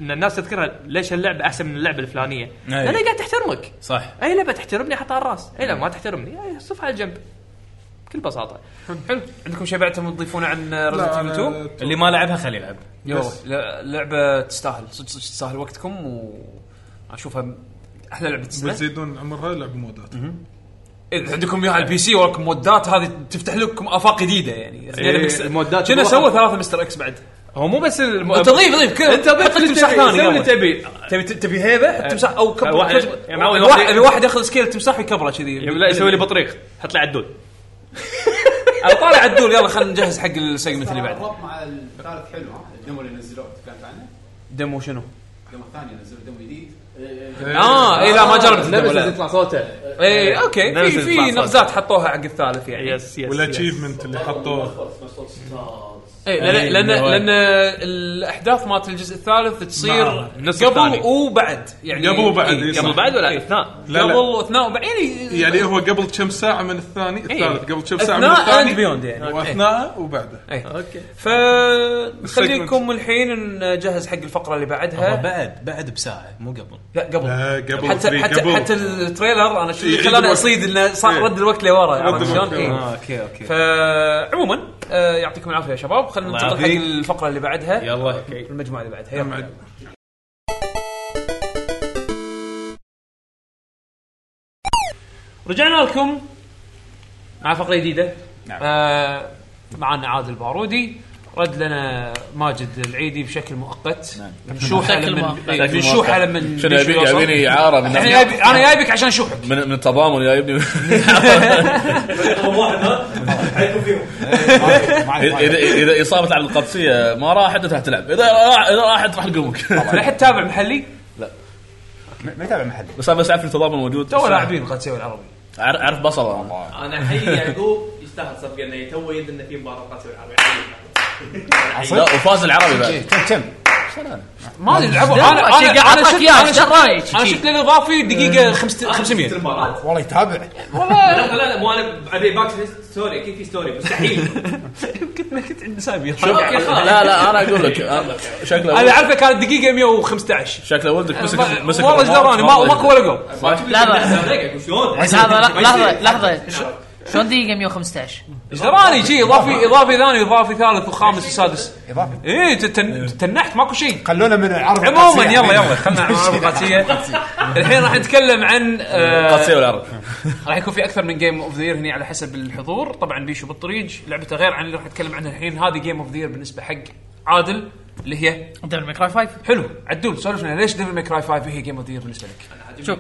Speaker 9: ان الناس تذكرها ليش هاللعبه احسن من اللعبه الفلانيه؟ لان هي قاعد تحترمك
Speaker 8: صح
Speaker 9: اي لعبه تحترمني احطها على الراس، اي لعبه ما تحترمني أي صفها على الجنب بكل بساطه.
Speaker 2: حلو عندكم شيء بعد تبون تضيفونه عن ريزنت
Speaker 10: لا،
Speaker 2: ايفل 2
Speaker 10: أنا-
Speaker 8: اللي ما لعبها خليه يلعب
Speaker 2: يلا لا- لعبه تستاهل صدق صدق تستاهل وقتكم واشوفها احلى لعبه السنه
Speaker 10: بتزيدون عمرها لعب مودات يعني.
Speaker 2: اذا عندكم اياها على البي سي وراكم مودات هذه تفتح لكم افاق جديده يعني
Speaker 9: إيه، المودات
Speaker 2: كنا
Speaker 9: الواحد-
Speaker 2: سووا ثلاثه مستر اكس بعد
Speaker 9: هو مو بس الم...
Speaker 2: انت ضيف ضيف كذا
Speaker 9: انت ضيف اللي
Speaker 2: تمساح
Speaker 9: تبي، سوي اللي
Speaker 2: ثاني
Speaker 9: تبي إيه.
Speaker 2: تبي تبي هيبه تمساح او كبر
Speaker 9: واحد-
Speaker 2: كبر-
Speaker 9: يعني واحد-
Speaker 2: الواحد الواحد ياخذ سكيل التمساح ويكبره كذي
Speaker 9: لا يسوي لي بطريق حط لي عدول
Speaker 2: على طالع عدول يلا خلينا نجهز حق السيجمنت اللي بعده
Speaker 12: الربط مع الثالث حلو ها الدمو اللي نزلوه تكلمت عنه
Speaker 2: ديمو شنو؟
Speaker 12: الدمو الثاني نزلوا دمو جديد
Speaker 4: آه،
Speaker 2: اه
Speaker 4: إيه،
Speaker 2: اي لا ما جربت الديمو
Speaker 7: نبس
Speaker 2: لا
Speaker 7: يطلع صوته
Speaker 2: اي اوكي
Speaker 9: نفس
Speaker 2: في في
Speaker 9: البلاصات.
Speaker 2: نقزات حطوها حق الثالث يعني
Speaker 9: يس يس يس.
Speaker 10: والاتشيفمنت اللي حطوه
Speaker 2: اي
Speaker 9: إيه،
Speaker 2: لان لان, إيه، لأن الاحداث مالت الجزء الثالث تصير
Speaker 9: مع النص
Speaker 2: قبل
Speaker 9: الثاني.
Speaker 2: وبعد يعني
Speaker 10: قبل وبعد،
Speaker 2: إي،
Speaker 10: إي، إيه، صح.
Speaker 2: قبل بعد ولا
Speaker 10: إي.
Speaker 2: اثناء
Speaker 10: لا،
Speaker 2: قبل
Speaker 10: لا.
Speaker 2: واثناء وبعدين
Speaker 10: يعني هو قبل كم ساعه من الثاني الثالث قبل كم ساعه من
Speaker 2: إيه. أثناء
Speaker 10: الثاني
Speaker 2: and beyond يعني. أوكي.
Speaker 10: واثناء وبعده
Speaker 2: اوكي فخليكم الحين نجهز حق الفقره اللي بعدها
Speaker 8: هو بعد بعد بساعه مو قبل
Speaker 2: لا قبل
Speaker 10: لا، قبل
Speaker 2: حتى
Speaker 10: فري،
Speaker 2: حتى
Speaker 10: قبل.
Speaker 2: حتى التريلر انا شو اللي
Speaker 10: إيه،
Speaker 2: خلاني
Speaker 10: الوقت.
Speaker 2: اصيد انه صار
Speaker 10: إيه.
Speaker 2: رد الوقت لورا
Speaker 10: رد
Speaker 2: عرفت
Speaker 10: الوقت
Speaker 2: شلون؟ إيه.
Speaker 10: لورا. آه،
Speaker 8: اوكي اوكي
Speaker 2: فعموما آه، يعطيكم العافيه يا شباب خلينا
Speaker 8: الله
Speaker 2: ننتقل حق
Speaker 8: يعافيك.
Speaker 2: الفقره اللي بعدها
Speaker 8: يلا.
Speaker 2: أوكي. المجموعه اللي بعدها يلا. رجعنا لكم مع فقره جديده نعم. آه معنا عادل بارودي رد لنا ماجد العيدي بشكل مؤقت نعم. نشوح
Speaker 13: بشكل
Speaker 2: لما
Speaker 13: مؤقت.
Speaker 2: إيه،
Speaker 13: بشكل
Speaker 2: نشوح
Speaker 13: مؤقت.
Speaker 2: لما
Speaker 13: شنو يبي- يبيني إعارة من-
Speaker 2: انا جايب- أنا جايبك عشان شوحك
Speaker 13: من من التضامن جايبني اذا اذا اصابه على القبسيه ما راحت انت راح تلعب اذا راح اذا راحت راح تقومك
Speaker 2: الحين تتابع محلي؟
Speaker 13: لا
Speaker 4: ما تابع محلي
Speaker 13: بس انا بس اعرف التضامن موجود
Speaker 2: تو لاعبين قد سوي العربي
Speaker 13: أعرف- اعرف بصره أنا.
Speaker 14: انا احيي يعقوب يستاهل صدق انه تو يد انه في مباراه قاسيه العربيه
Speaker 13: لا وفاز العربي
Speaker 2: إيه،
Speaker 13: بعد
Speaker 4: كم كم
Speaker 2: ما ادري لعبوا
Speaker 14: إيش
Speaker 2: انا
Speaker 14: درايك؟
Speaker 2: انا
Speaker 14: أعطاك
Speaker 2: انا شفت
Speaker 14: إياه،
Speaker 2: انا
Speaker 14: إيش
Speaker 2: شفت
Speaker 14: درايك؟
Speaker 2: انا شفت الاضافي دقيقه 500
Speaker 4: والله يتابع
Speaker 2: والله
Speaker 14: لا لا لا مو انا ابي باكس ستوري اكيد في ستوري مستحيل
Speaker 2: يمكن ما كنت عندي سابي
Speaker 13: شوف لا لا انا اقول لك أنا- شكله
Speaker 2: انا عارفه كانت دقيقه 115
Speaker 13: شكله ولدك مسك
Speaker 2: ما-
Speaker 13: مسك
Speaker 2: والله
Speaker 13: الرماد.
Speaker 2: جدراني ما ماكو ولا جول
Speaker 14: لحظة،
Speaker 15: لحظه لحظه لحظه شلون دقيقه 115
Speaker 2: ايش دراني شي
Speaker 15: آه،
Speaker 2: اضافي اضافي ثاني اضافي ثالث وخامس وسادس اضافي اي تنحت ماكو شيء
Speaker 4: إيه. خلونا من العرض
Speaker 2: عموما يلا يلا خلنا عن العرب القادسيه الحين راح نتكلم عن آه،
Speaker 13: القادسيه والعرب
Speaker 2: راح يكون في اكثر من جيم اوف ذا يير هنا على حسب الحضور طبعا بيشو بالطريق لعبته غير عن اللي راح نتكلم عنها الحين هذه جيم اوف ذا يير بالنسبه حق عادل اللي هي
Speaker 15: ديفل ماي كراي 5
Speaker 2: حلو عدول سولف لنا ليش ديفل ماي كراي 5 هي جيم اوف ذا يير بالنسبه لك
Speaker 15: شوف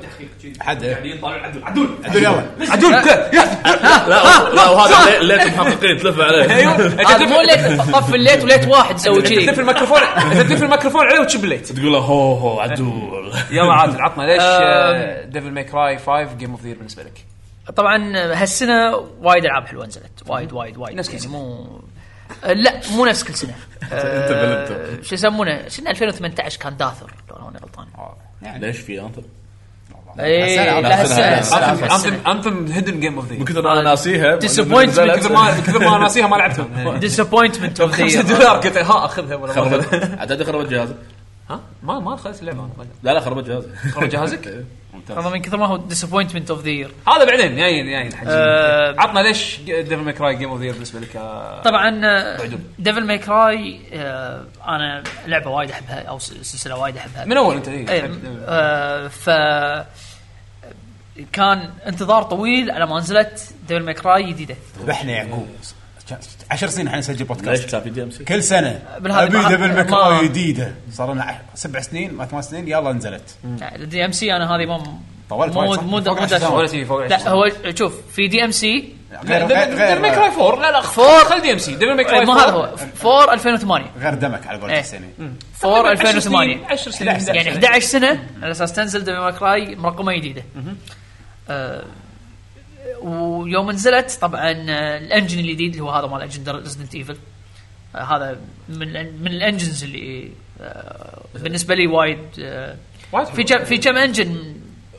Speaker 4: حد
Speaker 14: يعني يطالع عدول عدول
Speaker 4: عدول يلا
Speaker 2: عدول
Speaker 13: لا لا لا وهذا اللي- الليت محققين تلف عليه
Speaker 15: هذا مو ليت طف الليت وليت واحد يسوي كذي
Speaker 2: تلف الميكروفون انت تلف الميكروفون عليه وتشب الليت
Speaker 13: تقول له هو هو عدول
Speaker 2: يلا عادل عطنا
Speaker 15: آه،
Speaker 2: ليش ديفل ماي كراي 5 جيم اوف ذا يير بالنسبه لك
Speaker 15: طبعا هالسنه وايد العاب حلوه نزلت وايد وايد وايد نفس كل سنه مو آه، لا مو نفس كل سنه
Speaker 13: أنت
Speaker 15: آه،
Speaker 13: بلبتر.
Speaker 15: شو يسمونه سنه 2018 كان داثر لو انا ماني غلطان
Speaker 3: يعني.
Speaker 13: ليش في انثم؟
Speaker 2: إيه،
Speaker 15: اي
Speaker 13: لا، هالسنة، هالسنة.
Speaker 2: انثم انثم انثم هيدن جيم اوف ذا
Speaker 13: من كثر ما انا ناسيها
Speaker 2: ديسابوينتمنت كثر Uh, ما كثر ما أنا ناسيها ما لعبتها
Speaker 15: ديسابوينتمنت اوف
Speaker 2: 5 دولار قلت ها اخذها ولا ما أخذها.
Speaker 13: عدد خربت جهازي
Speaker 2: ها ما ما دخلت اللعبه انا ما أدري.
Speaker 13: لا لا خربت جهازي
Speaker 2: خرب جهازك؟
Speaker 13: إيه، ممتاز
Speaker 15: والله من كثر ما هو ديسابوينتمنت اوف ذا يير
Speaker 2: هذا بعدين جايين جايين حجي.
Speaker 15: آه،
Speaker 2: عطنا ليش ديفل ماي كراي جيم اوف ذا يير بالنسبه لك آه،
Speaker 15: طبعا
Speaker 2: عدول.
Speaker 15: ديفل ماي كراي انا لعبه آه، وايد احبها او س- سلسله وايد احبها
Speaker 2: من أول أنت، إيه.
Speaker 15: إيه، آه، ف كان انتظار طويل على ما نزلت ديفل ماي كراي جديده
Speaker 4: ذبحنا يعقوب عشر سنين احنا نسجل
Speaker 13: ليش
Speaker 4: بودكاست
Speaker 13: تسافي دي ام سي؟
Speaker 4: كل سنه
Speaker 15: بالهذا
Speaker 4: ابي
Speaker 15: ما-
Speaker 4: دبل
Speaker 15: ما-
Speaker 4: ماكراي جديده صار لنا عش- سبع سنين ما ثمان سنين يلا نزلت
Speaker 15: الدي ام سي انا هذه ما
Speaker 4: طولت
Speaker 15: مو
Speaker 4: وايد، صح؟
Speaker 15: مو
Speaker 4: فوق العشر سنوات. ولا شي، فوق العشر
Speaker 15: لا هو شوف في دي ام سي
Speaker 4: غير- غير- غير-
Speaker 2: ديفل ماي كراي 4 لا لا
Speaker 15: فور
Speaker 2: خل دي ام سي ديفل ماي كراي
Speaker 15: ما هذا هو
Speaker 2: 4
Speaker 15: 4 2008
Speaker 4: غير دمك على قولة
Speaker 15: إيه.
Speaker 4: حسيني
Speaker 15: فور
Speaker 2: تقريباً
Speaker 15: 2008
Speaker 2: 10 سنين، 11 سنة.
Speaker 15: يعني 11 سنه على اساس تنزل ديفل ماي كراي مرقمه جديده آه، ويوم نزلت طبعا آه، الانجن الجديد اللي هو هذا مال انجن ريزدنت ايفل آه، هذا من من الانجنز اللي آه، بالنسبه لي وايد آه، في كم في كم انجن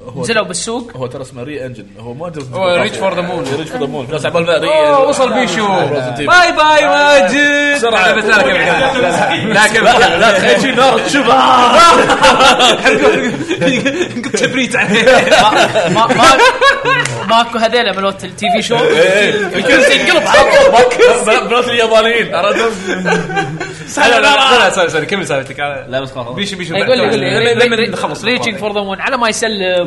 Speaker 13: هو-
Speaker 15: نزلوا بالسوق
Speaker 13: هو ترى اسمه ري انجن هو ما جرب
Speaker 2: هو ريتش فور ذا مون
Speaker 13: ريتش فور ذا مون بس على بال ما ري
Speaker 2: أوه، وصل بيشو باي باي ماجد
Speaker 13: بسرعة.
Speaker 2: لا، بس لا، كمل، كمل. لا كمل.
Speaker 13: لا لا تخيل شي نار
Speaker 2: نقط تبريد عليه
Speaker 15: ما ما ماكو هذيلا ملوت التي في
Speaker 3: إيه،
Speaker 15: شو الكرسي ينقلب
Speaker 13: بنات اليابانيين
Speaker 2: لا سوري سوري كمل سالفتك
Speaker 13: لا بس خلاص
Speaker 2: بيشو بيشو
Speaker 15: يقول إيه، لي يقول لي
Speaker 2: لما نخلص
Speaker 15: ريتشنج فور ذا مون على ما يسلم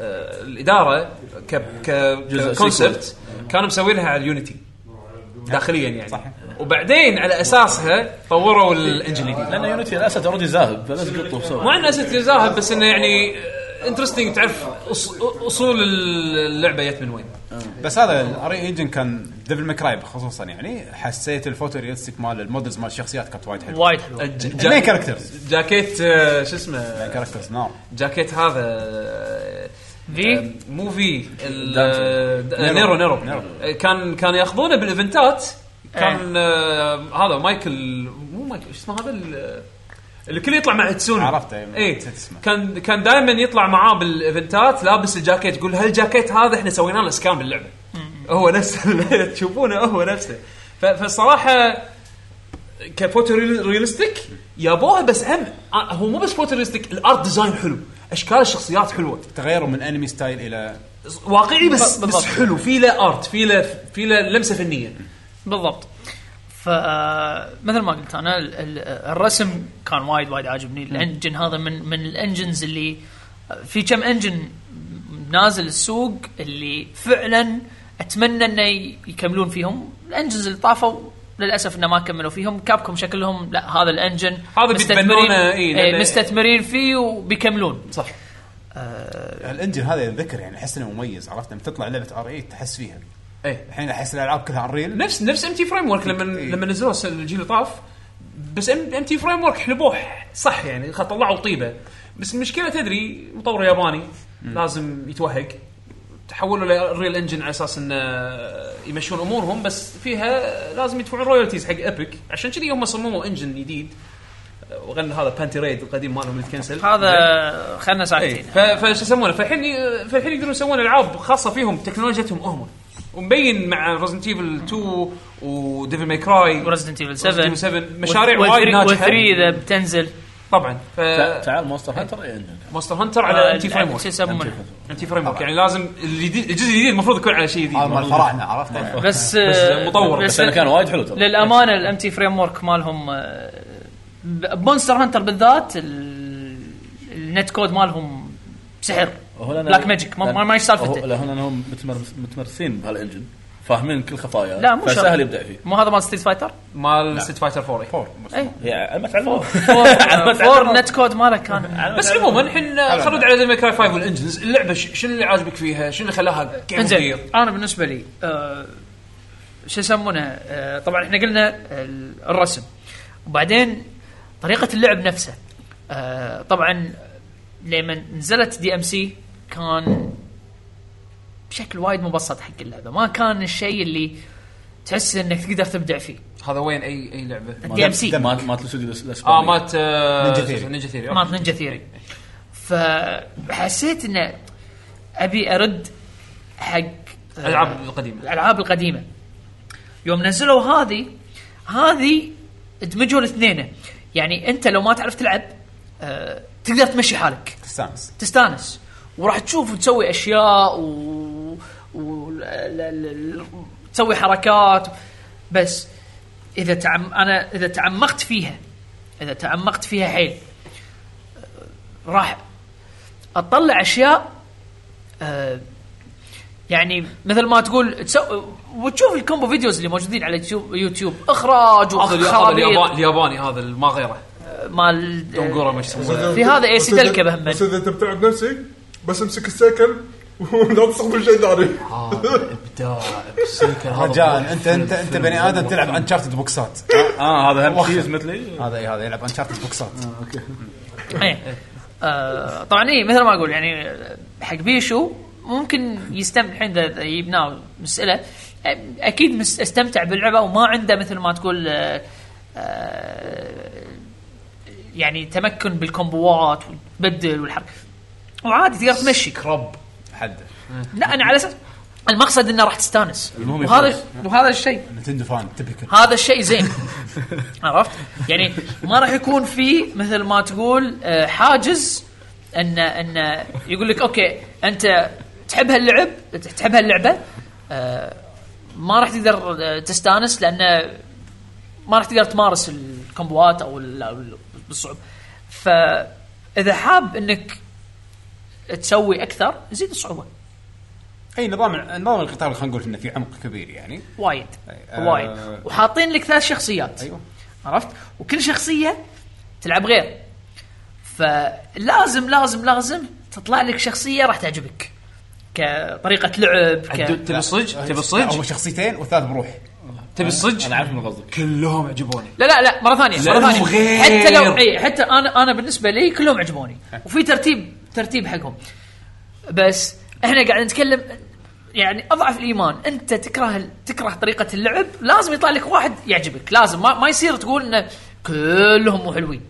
Speaker 2: آه، الاداره ك ك
Speaker 13: جزء
Speaker 2: كونسبت كانوا مسوينها على اليونيتي داخليا يعني صح وبعدين على اساسها طوروا الانجن الجديد
Speaker 13: لان يونيتي الاسد اوريدي ذاهب فلازم يقطوا بسرعه
Speaker 2: مو عن اساس ذاهب بس انه يعني انترستنج تعرف أص- اصول اللعبه جت من وين
Speaker 4: بس هذا الاري ايجن كان ديفل ماكراي خصوصا يعني حسيت الفوتو ريالستيك مال المودلز مال الشخصيات كانت وايد حلوه
Speaker 15: وايد حلوه
Speaker 4: المين كاركترز
Speaker 2: أه، جاكيت آه، شو اسمه
Speaker 4: كاركترز نعم
Speaker 2: جاكيت هذا آه،
Speaker 15: في؟
Speaker 2: آه، مو في ال-
Speaker 4: دانتو.
Speaker 2: آه، د- آه،
Speaker 4: نيرو.
Speaker 2: نيرو نيرو
Speaker 4: نيرو.
Speaker 2: آه، كان كان ياخذونه بالايفنتات كان آه، هذا مايكل مو مايكل شو اسمه هذا ال- اللي كله يطلع مع تسوني
Speaker 4: عرفته،
Speaker 2: اي كان كان دائما يطلع معاه بالايفنتات لابس الجاكيت يقول هالجاكيت هذا احنا سوينا له سكان باللعبه هو نفسه اللي تشوفونه هو نفسه ف- فالصراحه كفوتو ريل- ريالستيك يابوها بس هم آه، هو مو بس فوتو ريالستيك الارت ديزاين حلو اشكال الشخصيات حلوه
Speaker 4: تغيروا من انمي ستايل الى
Speaker 2: واقعي بس
Speaker 15: بالضبط.
Speaker 2: بس حلو في له ارت في له في له لمسه فنيه
Speaker 15: بالضبط فمثل ما قلت انا ال- ال- الرسم كان وايد وايد عاجبني
Speaker 2: نعم.
Speaker 15: الانجن هذا من من الانجنز اللي في كم انجن نازل السوق اللي فعلا اتمنى انه ي- يكملون فيهم الانجنز اللي طافوا للاسف انه ما كملوا فيهم كابكم شكلهم لا هذا الانجن
Speaker 2: هذا
Speaker 15: مستثمرين إيه،
Speaker 2: بيتبنونه، إي، لأن-
Speaker 15: إي، مستثمرين فيه وبيكملون
Speaker 2: صح آه.
Speaker 4: الانجن هذا يتذكر يعني احس انه مميز عرفت لما تطلع لعبه ار 8 تحس فيها
Speaker 2: ايه
Speaker 4: الحين احس الالعاب كلها انريل
Speaker 2: نفس نفس ام تي فريم ورك لما لما نزلوه السنة- الجيل اللي طاف بس ام تي فريم ورك حلبوه صح يعني خ- طلعوا طيبه بس المشكله تدري مطور ياباني لازم يتوهق تحولوا للريل انجن على اساس انه يمشون امورهم بس فيها لازم يدفعون رويالتيز حق ابيك عشان كذي هم صمموا انجن جديد وغن هذا بانتي ريد القديم مالهم اللي تكنسل
Speaker 15: هذا خلنا ساكتين
Speaker 2: ف- فشو يسمونه فالحين ي- فالحين يقدرون يسوون العاب خاصه فيهم تكنولوجيتهم هم ومبين مع ريزنت ايفل 2 وديفل ماي كراي
Speaker 15: وريزدنت ايفل 7
Speaker 2: مشاريع وايد ناجحه
Speaker 15: و3 اذا بتنزل
Speaker 2: طبعا ف...
Speaker 13: تعال مونستر هانتر إيه.
Speaker 2: مونستر هانتر على
Speaker 15: آه،
Speaker 2: انتي فريم
Speaker 15: شو
Speaker 2: ورك
Speaker 15: يسمونه؟
Speaker 2: انتي فريم ورك يعني لازم الجديد الجزء الجديد المفروض يكون على شيء جديد
Speaker 4: هذا مال فراعنة، عرفت؟
Speaker 15: بس آه،
Speaker 2: مطور
Speaker 15: للامانه الام تي فريم ورك مالهم آه، ب- بمونستر هانتر بالذات ال- النت كود مالهم سحر بلاك ماجيك ما- ما ما ايش سالفته
Speaker 13: لا هنا هم متمر- متمرسين بهالانجن فاهمين كل خفايا
Speaker 15: لا مو شرط.
Speaker 13: فسهل يبدع فيه
Speaker 15: مو هذا مال إيه. ستريت فايتر؟
Speaker 2: مال ستريت فايتر 4
Speaker 15: اي
Speaker 13: يعني ما تعلموا
Speaker 15: فور النت كود ماله كان
Speaker 2: بس عموما الحين خلود على ديفل ماي كراي 5 والانجنز اللعبه ش- شنو اللي عاجبك فيها؟ شنو اللي خلاها جيم
Speaker 15: انزين
Speaker 2: اوف
Speaker 15: انا بالنسبه لي آه، شو يسمونه آه، طبعا احنا قلنا ال- الرسم وبعدين طريقه اللعب نفسها آه، طبعا لما نزلت دي ام سي كان بشكل وايد مبسط حق اللعبه ما كان الشيء اللي تحس انك تقدر تبدع فيه
Speaker 2: هذا وين اي اي لعبه؟
Speaker 15: دي ام سي
Speaker 13: مات مات الاستوديو الاسباني
Speaker 2: اه مات آه،
Speaker 13: نينجا
Speaker 2: شو
Speaker 13: ثيري.
Speaker 2: اسمه، نينجا ثيري
Speaker 15: مات نينجا ثيري فحسيت انه ابي ارد حق
Speaker 2: الألعاب القديمة.
Speaker 15: الالعاب القديمه يوم نزلوا هذه هذه ادمجوا الاثنين يعني انت لو ما تعرف تلعب آه، تقدر تمشي حالك
Speaker 4: تستانس
Speaker 15: تستانس وراح تشوف وتسوي اشياء و... و... ال- ال- ال- تسوي حركات بس اذا تعم... انا اذا تعمقت فيها اذا تعمقت فيها حيل آه، راح اطلع اشياء آه، يعني مثل ما تقول تسو... وتشوف الكومبو فيديوز اللي موجودين على يوتيوب, يوتيوب اخراج
Speaker 2: هذا اليا- هذا الياباني-
Speaker 15: وخرابيط آه،
Speaker 2: الياباني هذا ما غيره
Speaker 15: مال آه،
Speaker 2: دونجورا ما يسمونه
Speaker 15: في هذا اي سي دلكه بهم
Speaker 16: بس اذا انت بتلعب نفسك بس امسك السيكل ولا تستخدم شيء ثاني
Speaker 2: آه،
Speaker 4: رجاء انت انت انت بني ادم تلعب انشارتد بوكسات
Speaker 2: آه،
Speaker 13: اه هذا
Speaker 4: وخر.
Speaker 13: هالشيز مثلي
Speaker 4: هذا إيه، هذا يلعب انشارتد بوكسات اوكي
Speaker 15: إيه. آه، طبعا اي مثل ما اقول يعني حق بيشو ممكن يستمتع الحين إذا- إذا جبناه نساله اكيد مس- استمتع باللعبه وما عنده مثل ما تقول آه، آه، يعني تمكن بالكومبوات وتبدل والحركه وعادي تقدر تمشي
Speaker 2: كرب
Speaker 4: حده
Speaker 2: آه.
Speaker 15: لا انا على اساس المقصد انه راح تستانس
Speaker 4: المهم
Speaker 15: وهذا
Speaker 4: يفوز.
Speaker 15: وهذا الشيء
Speaker 4: نتندو فان تبكر
Speaker 15: هذا الشيء زين عرفت؟ يعني ما راح يكون في مثل ما تقول آه، حاجز ان ان يقول لك اوكي انت تحب هاللعب تحب هاللعبه آه، ما راح تقدر آه، تستانس لان ما راح تقدر تمارس الكومبوات او ال- أو ال- بالصعب فاذا حاب انك تسوي اكثر زيد الصعوبه
Speaker 4: اي نظام نظام القتال خلينا نقول انه في عمق كبير يعني
Speaker 15: وايد
Speaker 4: آه.
Speaker 15: وايد وحاطين لك ثلاث شخصيات
Speaker 4: ايوه
Speaker 15: عرفت وكل شخصيه تلعب غير فلازم لازم لازم تطلع لك شخصيه راح تعجبك كطريقه لعب ك...
Speaker 2: تبي الصج تبي الصج
Speaker 4: هم شخصيتين والثالث بروح
Speaker 2: تبي الصج
Speaker 13: انا عارف من قصدك
Speaker 4: كلهم عجبوني
Speaker 15: لا لا لا مره ثانيه مره
Speaker 4: لأنهم
Speaker 15: ثانيه
Speaker 4: غير.
Speaker 15: حتى لو اي حتى انا انا بالنسبه لي كلهم عجبوني وفي ترتيب ترتيب حقهم بس احنا قاعد نتكلم يعني اضعف الايمان انت تكره ال- تكره طريقه اللعب لازم يطلع لك واحد يعجبك لازم ما, ما يصير تقول انه كلهم مو حلوين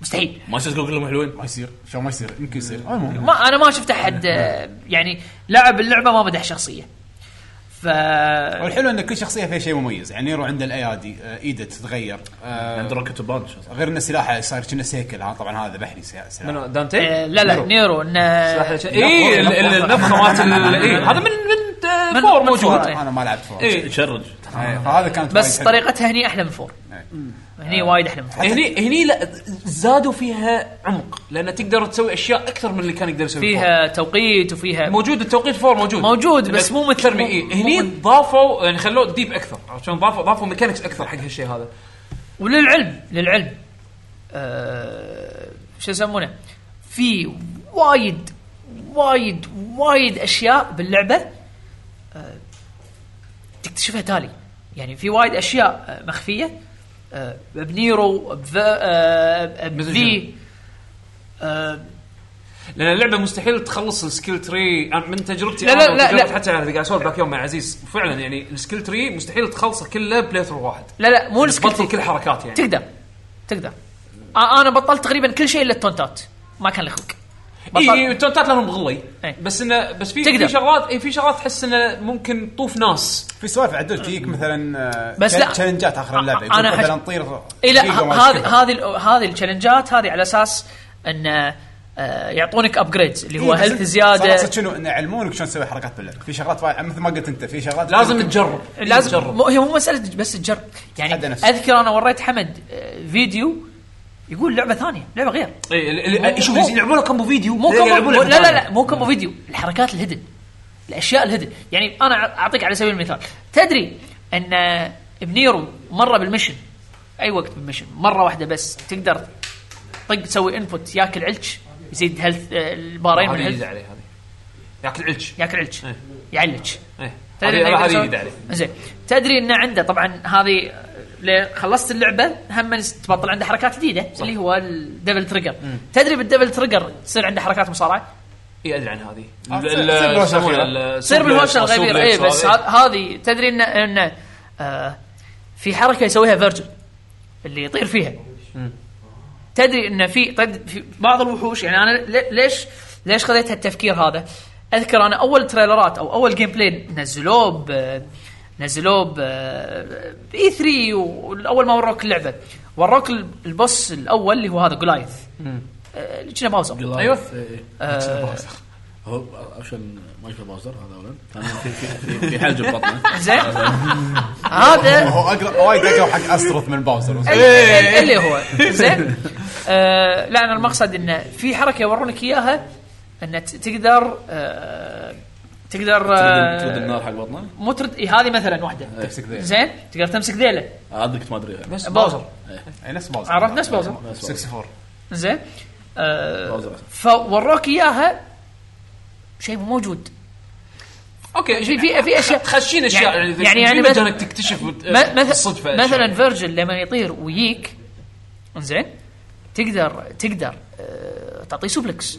Speaker 15: مستحيل
Speaker 13: ما يصير تقول كلهم حلوين
Speaker 4: ما يصير شو ما يصير يمكن يصير المهم
Speaker 15: ما انا ما شفت احد آه، يعني لعب اللعبه ما مدح شخصيه ف
Speaker 4: والحلو ان كل شخصيه فيها شيء مميز يعني نيرو عنده الايادي آه، ايده تتغير عنده روكت بانش غير انه سلاحه صار كنا سيكل ها، طبعا هذا بحري سي- سلاح
Speaker 2: منو دانتي؟
Speaker 15: آه، لا لا نيرو انه
Speaker 4: إيه،
Speaker 15: إيه،
Speaker 2: اي ال- ال- النفخه مالت ال- إي، هذا من من فور موجود
Speaker 4: انا ما لعبت فور
Speaker 2: إيه.
Speaker 13: شرج
Speaker 4: فهذا كانت
Speaker 15: بس
Speaker 4: وايد حلوة.
Speaker 15: طريقتها هني احلى من فور هني وايد احلى من فور
Speaker 2: آه. هني هني لا زادوا فيها عمق لان تقدر تسوي اشياء اكثر من اللي كان يقدر يسوي
Speaker 15: فيها توقيت وفيها
Speaker 2: موجود التوقيت فور موجود
Speaker 15: موجود بس مو مثل
Speaker 2: اكثر من إيه. هني ضافوا يعني خلوه ديب اكثر عشان ضافوا ضافوا ميكانكس اكثر حق هالشيء هذا
Speaker 15: وللعلم للعلم آه شو يسمونه في وايد وايد وايد اشياء باللعبه آه تكتشفها تالي يعني في وايد اشياء آه، مخفيه آه بنيرو بف- آه، بذي آه
Speaker 2: لان اللعبه مستحيل تخلص السكيل تري أنا من تجربتي
Speaker 15: لا،
Speaker 2: أنا
Speaker 15: لا، لا،
Speaker 2: وتجربة
Speaker 15: لا.
Speaker 2: حتى انا قاعد اسولف ذاك يوم مع عزيز فعلا يعني السكيل تري مستحيل تخلصه كله بلاي ثرو واحد
Speaker 15: لا لا مو السكيل
Speaker 2: تبطل كل حركات يعني
Speaker 15: تقدر تقدر آه، انا بطلت تقريبا كل شيء الا التونتات ما كان لي خلق
Speaker 2: اي
Speaker 15: بطل-
Speaker 2: اي التونتات لهم غلي بس انه بس في
Speaker 15: إيه. تقدر.
Speaker 2: في شغلات اي في شغلات تحس انه ممكن طوف ناس
Speaker 4: في سوالف عدل تجيك مثلا
Speaker 15: بس لا.
Speaker 4: تشالنجات اخر اللعبه
Speaker 15: أنا
Speaker 4: يقول
Speaker 15: حش-
Speaker 4: مثلا طير
Speaker 15: اي لا
Speaker 4: دقيقة
Speaker 15: ه-
Speaker 4: وما
Speaker 15: هذه
Speaker 4: تشوفه.
Speaker 15: هذه هذه التشالنجات هذه على اساس ان آه، يعطونك ابجريدز اللي هو
Speaker 4: إيه، بس
Speaker 15: هيلث
Speaker 4: أنت
Speaker 15: زياده
Speaker 4: صراحة شنو انه يعلمونك شلون تسوي حركات باللعب في شغلات وايد- مثل ما قلت انت في شغلات
Speaker 2: لازم تجرب
Speaker 4: إيه،
Speaker 15: لازم مو هي مو مساله بس تجرب يعني اذكر انا وريت حمد آه، فيديو يقول لعبه ثانيه لعبه غير
Speaker 2: اي إيه، ال-
Speaker 15: مو-
Speaker 2: ال- شوف
Speaker 15: مو-
Speaker 2: يلعبونه كومبو فيديو إيه،
Speaker 15: مو
Speaker 2: يلعبون
Speaker 15: كومبو مو-
Speaker 2: لعبة
Speaker 15: لا لا
Speaker 2: ثانية.
Speaker 15: لا مو كومبو فيديو الحركات الهدن الاشياء الهدن يعني انا أع- اعطيك على سبيل المثال تدري ان آه، بنيرو مره بالمشن اي وقت بالمشن مره واحده بس تقدر طق تسوي انبوت ياكل علش يزيد هيلث البارين
Speaker 2: آه، هذه
Speaker 15: من
Speaker 2: يزعل
Speaker 15: الهيلث
Speaker 2: عليه هذه ياكل علش
Speaker 15: ياكل علش يعلج
Speaker 2: إيه.
Speaker 15: تدري
Speaker 2: هذه-
Speaker 15: إنه يقدر
Speaker 2: هذه
Speaker 15: يسوي-
Speaker 2: يدري عليه.
Speaker 15: زين تدري انه عنده طبعا هذه ل- خلصت اللعبه هم تبطل عنده حركات جديده اللي هو الدبل تريجر تدري بالدبل تريجر تصير عنده حركات مصارعه
Speaker 2: اي ادري عن إيه، هذه
Speaker 15: آه،
Speaker 2: ال-
Speaker 15: تصير-
Speaker 2: ال-
Speaker 15: تصير بالهوشة الأخيرة.
Speaker 2: يسمونه
Speaker 15: تصير
Speaker 2: ال-
Speaker 15: بالهوشه
Speaker 2: سوبلكس أو
Speaker 15: الغبيره
Speaker 2: سوبلكس
Speaker 15: اي إيه، بس
Speaker 2: هذه.
Speaker 15: هذ- هذه تدري ان ان آه، في حركه يسويها فيرجن اللي يطير فيها تدري ان في تد- في بعض الوحوش يعني انا لي- ليش ليش خذيت هالتفكير هذا؟ اذكر انا اول تريلرات او اول جيم بلاي نزلوه ب نزلوه ب اي 3 واول ما وروك اللعبه وروك ال- البوس الاول اللي هو هذا جولايث آه، اللي كنا باوزر
Speaker 3: ايوه
Speaker 15: آه،
Speaker 3: هو عشان ما يشوف باوزر هذا اولا ثانياً في في- في- في حلج ببطنه
Speaker 15: زين. هذا-
Speaker 4: هو اقرب وايد اقرب حق استرث من إيه. باوزر
Speaker 15: ال- ال- اللي هو زين آه لا انا المقصد انه في حركه يورونك اياها ان ت- تقدر آه تقدر آه،
Speaker 13: ترد النار حق بطنه
Speaker 15: مو ترد إيه، هذه مثلا واحده
Speaker 13: تمسك ذيله.
Speaker 15: زين تقدر تمسك ذيله
Speaker 3: آه،
Speaker 13: هذا كنت ما ادري يعني.
Speaker 15: بس باوزر
Speaker 3: إيه.
Speaker 4: اي نفس باوزر
Speaker 15: عرفت نفس باوزر
Speaker 4: 64
Speaker 15: زين
Speaker 4: باوزر.
Speaker 15: آه فوروك اياها شيء مو موجود
Speaker 2: اوكي
Speaker 15: في في في اشياء
Speaker 2: خشين اشياء يعني
Speaker 15: يعني يعني
Speaker 2: في
Speaker 15: مثل-
Speaker 2: مجالك تكتشف وت-
Speaker 15: م- مثل
Speaker 2: الصدفه
Speaker 15: مثلا فيرجن لما يطير ويجيك زين تقدر تقدر آه، تعطيه سوبلكس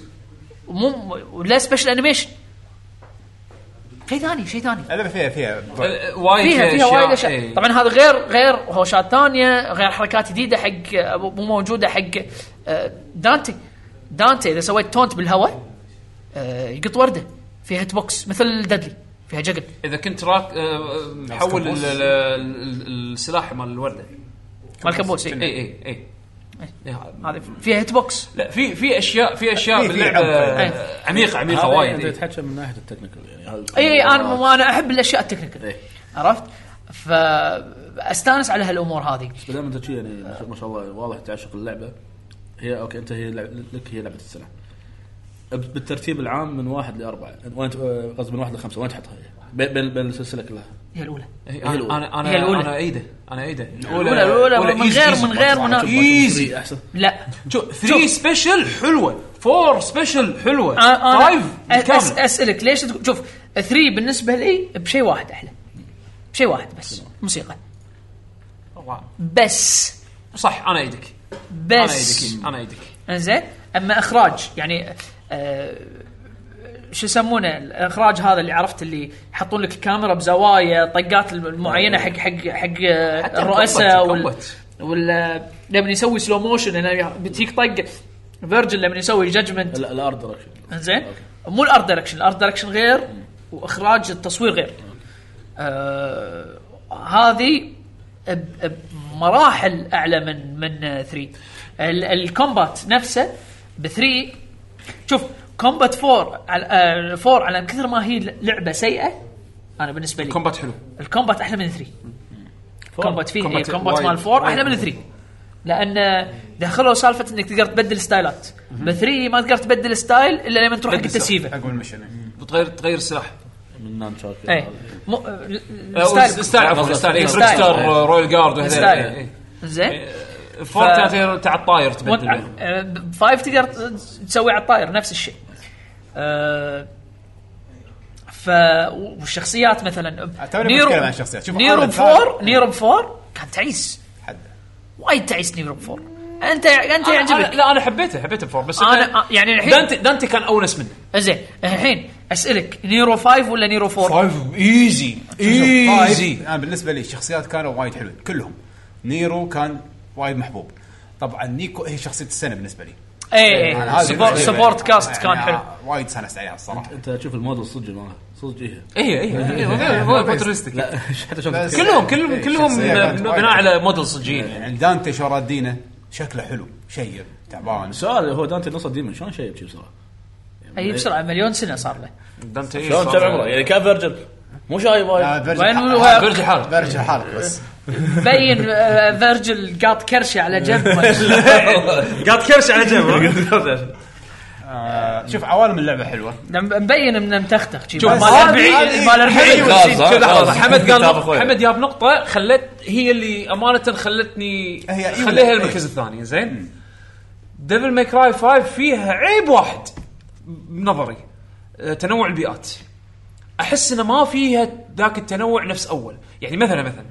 Speaker 15: ومو ولا سبيشل انيميشن شيء ثاني شيء ثاني
Speaker 4: اللعبه فيها فيها
Speaker 15: فيها إيه. فيها وايد اشياء طبعا هذا غير غير هوشات ثانيه غير حركات جديده حق آه، مو موجوده حق آه، دانتي دانتي اذا سويت تونت بالهواء آه، يقط ورده فيها هيت بوكس مثل دادلي فيها جقل
Speaker 2: اذا كنت راك آه، حول ال- ال- ال- السلاح مال إيه، الورده
Speaker 15: مال الكابوس، إيه.
Speaker 2: اي
Speaker 15: إي.
Speaker 2: اي اي
Speaker 15: هذا فيها هيت بوكس
Speaker 2: لا في في اشياء في اشياء
Speaker 3: في- في
Speaker 2: باللعبه
Speaker 3: عمق.
Speaker 15: أيوه.
Speaker 2: آه، عميقه عميقه
Speaker 3: هذا
Speaker 2: وايد
Speaker 3: انت
Speaker 2: إي.
Speaker 3: تحكي من ناحيه التكنيكال يعني هل-
Speaker 15: اي انا مو انا احب الاشياء التكنيكال عرفت؟ فاستانس على هالامور هذه
Speaker 3: بس دام انت شي يعني ما شاء- ما شاء الله واضح تعشق اللعبه هي اوكي انت هي لع- لك هي لعبه السنه بالترتيب العام من واحد لاربعه وانت آه، قصدي من واحد لخمسه وين تحطها هي؟ بين بين بين السلسله كلها
Speaker 15: هي الاولى
Speaker 2: هي انا
Speaker 15: هي
Speaker 2: انا
Speaker 15: الأولى.
Speaker 2: انا ايده انا ايده
Speaker 15: الأولى- الأولى من غير- من غير منا-
Speaker 2: ايزي
Speaker 3: احسن
Speaker 15: لا
Speaker 2: شوف 3 سبيشل حلوه 4 سبيشل حلوه
Speaker 15: آه،
Speaker 2: 5
Speaker 15: انا أس- أس- اسالك ليش تقول شوف 3 بالنسبه لي بشيء واحد احلى بشيء واحد بس موسيقى بس
Speaker 2: صح انا ايدك
Speaker 15: بس
Speaker 2: انا ايدك انا ايدك
Speaker 15: انزين اما اخراج يعني آه شو يسمونه الاخراج هذا اللي عرفت اللي يحطون لك كاميرا بزوايا طقات المعينه حق حق حق آه،
Speaker 2: حتى
Speaker 15: الرؤساء
Speaker 2: الكومبات-
Speaker 15: وال
Speaker 2: الكومبات.
Speaker 15: ولا لما يسوي سلو موشن هنا بتيك طق فيرجن لما يسوي جادجمنت
Speaker 3: لا الارت دايركشن
Speaker 15: زين مو الارت دايركشن الارت دايركشن غير واخراج التصوير غير آه هذه ب- بمراحل اعلى من من 3 الكومبات نفسه ب 3 شوف كومبات 4 على آه، 4 على كثر ما هي لعبه سيئه انا بالنسبه لي
Speaker 2: كومبات حلو
Speaker 15: الكومبات احلى من 3 كومبات فيه
Speaker 2: كومبات
Speaker 15: إيه، كومبات
Speaker 2: وايد-
Speaker 15: مال 4 احلى
Speaker 2: وايد.
Speaker 15: من 3 لان دخلوا سالفه انك تقدر تبدل ستايلات ب 3 ما تقدر تبدل ستايل الا لما تروح حق التسييفه
Speaker 2: عقب المشن بتغير تغير السلاح
Speaker 3: من نان شارك
Speaker 15: اي إيه. مو آه،
Speaker 2: آه، ستايل عفوا ستايل ستار رويال جارد وهذول. إيه،
Speaker 15: ستايل
Speaker 2: إيه.
Speaker 15: زين
Speaker 2: فور
Speaker 15: ف-
Speaker 2: كانت هي تاع الطاير
Speaker 15: وانت-
Speaker 2: تبدل
Speaker 15: آه، فايف تقدر تسوي على الطاير نفس الشيء آه، ف والشخصيات مثلا
Speaker 4: آه، توني بتكلم عن الشخصيات. شوف،
Speaker 15: نيرو
Speaker 4: أول
Speaker 15: فور نيرو فور كان تعيس وايد تعيس نيرو فور انت انت يعجبك
Speaker 2: لا انا حبيته حبيته فور بس
Speaker 15: انا آه، يعني الحين
Speaker 2: دانتي دانتي كان اونس منه
Speaker 15: زين الحين اسالك نيرو 5 ولا نيرو 4
Speaker 4: 5 ايزي
Speaker 15: ايزي.
Speaker 4: انا بالنسبه لي الشخصيات كانوا وايد حلوين كلهم نيرو كان وايد محبوب طبعا نيكو هي شخصيه السنه بالنسبه لي
Speaker 15: اي
Speaker 4: أنا
Speaker 15: اي
Speaker 4: هذه
Speaker 15: سبورت
Speaker 4: بالنسبة لي.
Speaker 15: سبورت كاست كان
Speaker 4: يعني
Speaker 15: حلو
Speaker 4: وايد استانست عليها الصراحه
Speaker 3: انت تشوف الموديل صدق مالها صدق ايه
Speaker 2: إيه، إيه، إيه، هو- هو futuristic.
Speaker 3: لا، حتى شلون
Speaker 4: بس-
Speaker 2: كلهم- كلهم-
Speaker 4: إيه،
Speaker 2: كلهم
Speaker 4: شخصية كانت
Speaker 2: بناء
Speaker 4: وايد
Speaker 2: على
Speaker 4: حلوة.
Speaker 2: موديل صجين.
Speaker 4: يعني دانتي شرادينا شكله حلو شيب تعبان
Speaker 3: سؤال هو دانتي نص ديمن شلون شيب شي بسرعه؟
Speaker 15: اي بسرعه مليون سنه صار له
Speaker 2: دانتي
Speaker 4: إيه؟
Speaker 13: شلون كم عمره؟ يعني كان فيرجل مو شايب وايد
Speaker 15: وين هو- فيرجل
Speaker 2: حالك
Speaker 4: فيرجل حالك بس
Speaker 15: بين آه، فيرجل قاط كرشه على جنبه
Speaker 5: قاعد كرش على
Speaker 4: آه، شوف عوالم اللعبه حلوه
Speaker 15: لما مبين انه متختخ شي،
Speaker 2: شوف،
Speaker 15: مال
Speaker 2: هذه-
Speaker 15: 40
Speaker 2: هذه-
Speaker 15: مال 40
Speaker 2: حلوة شي.
Speaker 15: وشي.
Speaker 2: شوف، لحظة،
Speaker 15: خلاص.
Speaker 2: حمد قال
Speaker 15: كتاب
Speaker 2: نقطة-
Speaker 15: أخوي.
Speaker 2: حمد جاب نقطة خلت هي اللي أمانة خلتني
Speaker 4: أيوة.
Speaker 2: خليها المركز الثاني زين ديفل ماي كراي 5 فيها عيب واحد بنظري أه، تنوع البيئات احس انه ما فيها ذاك التنوع نفس اول يعني آه، مثلا مثلا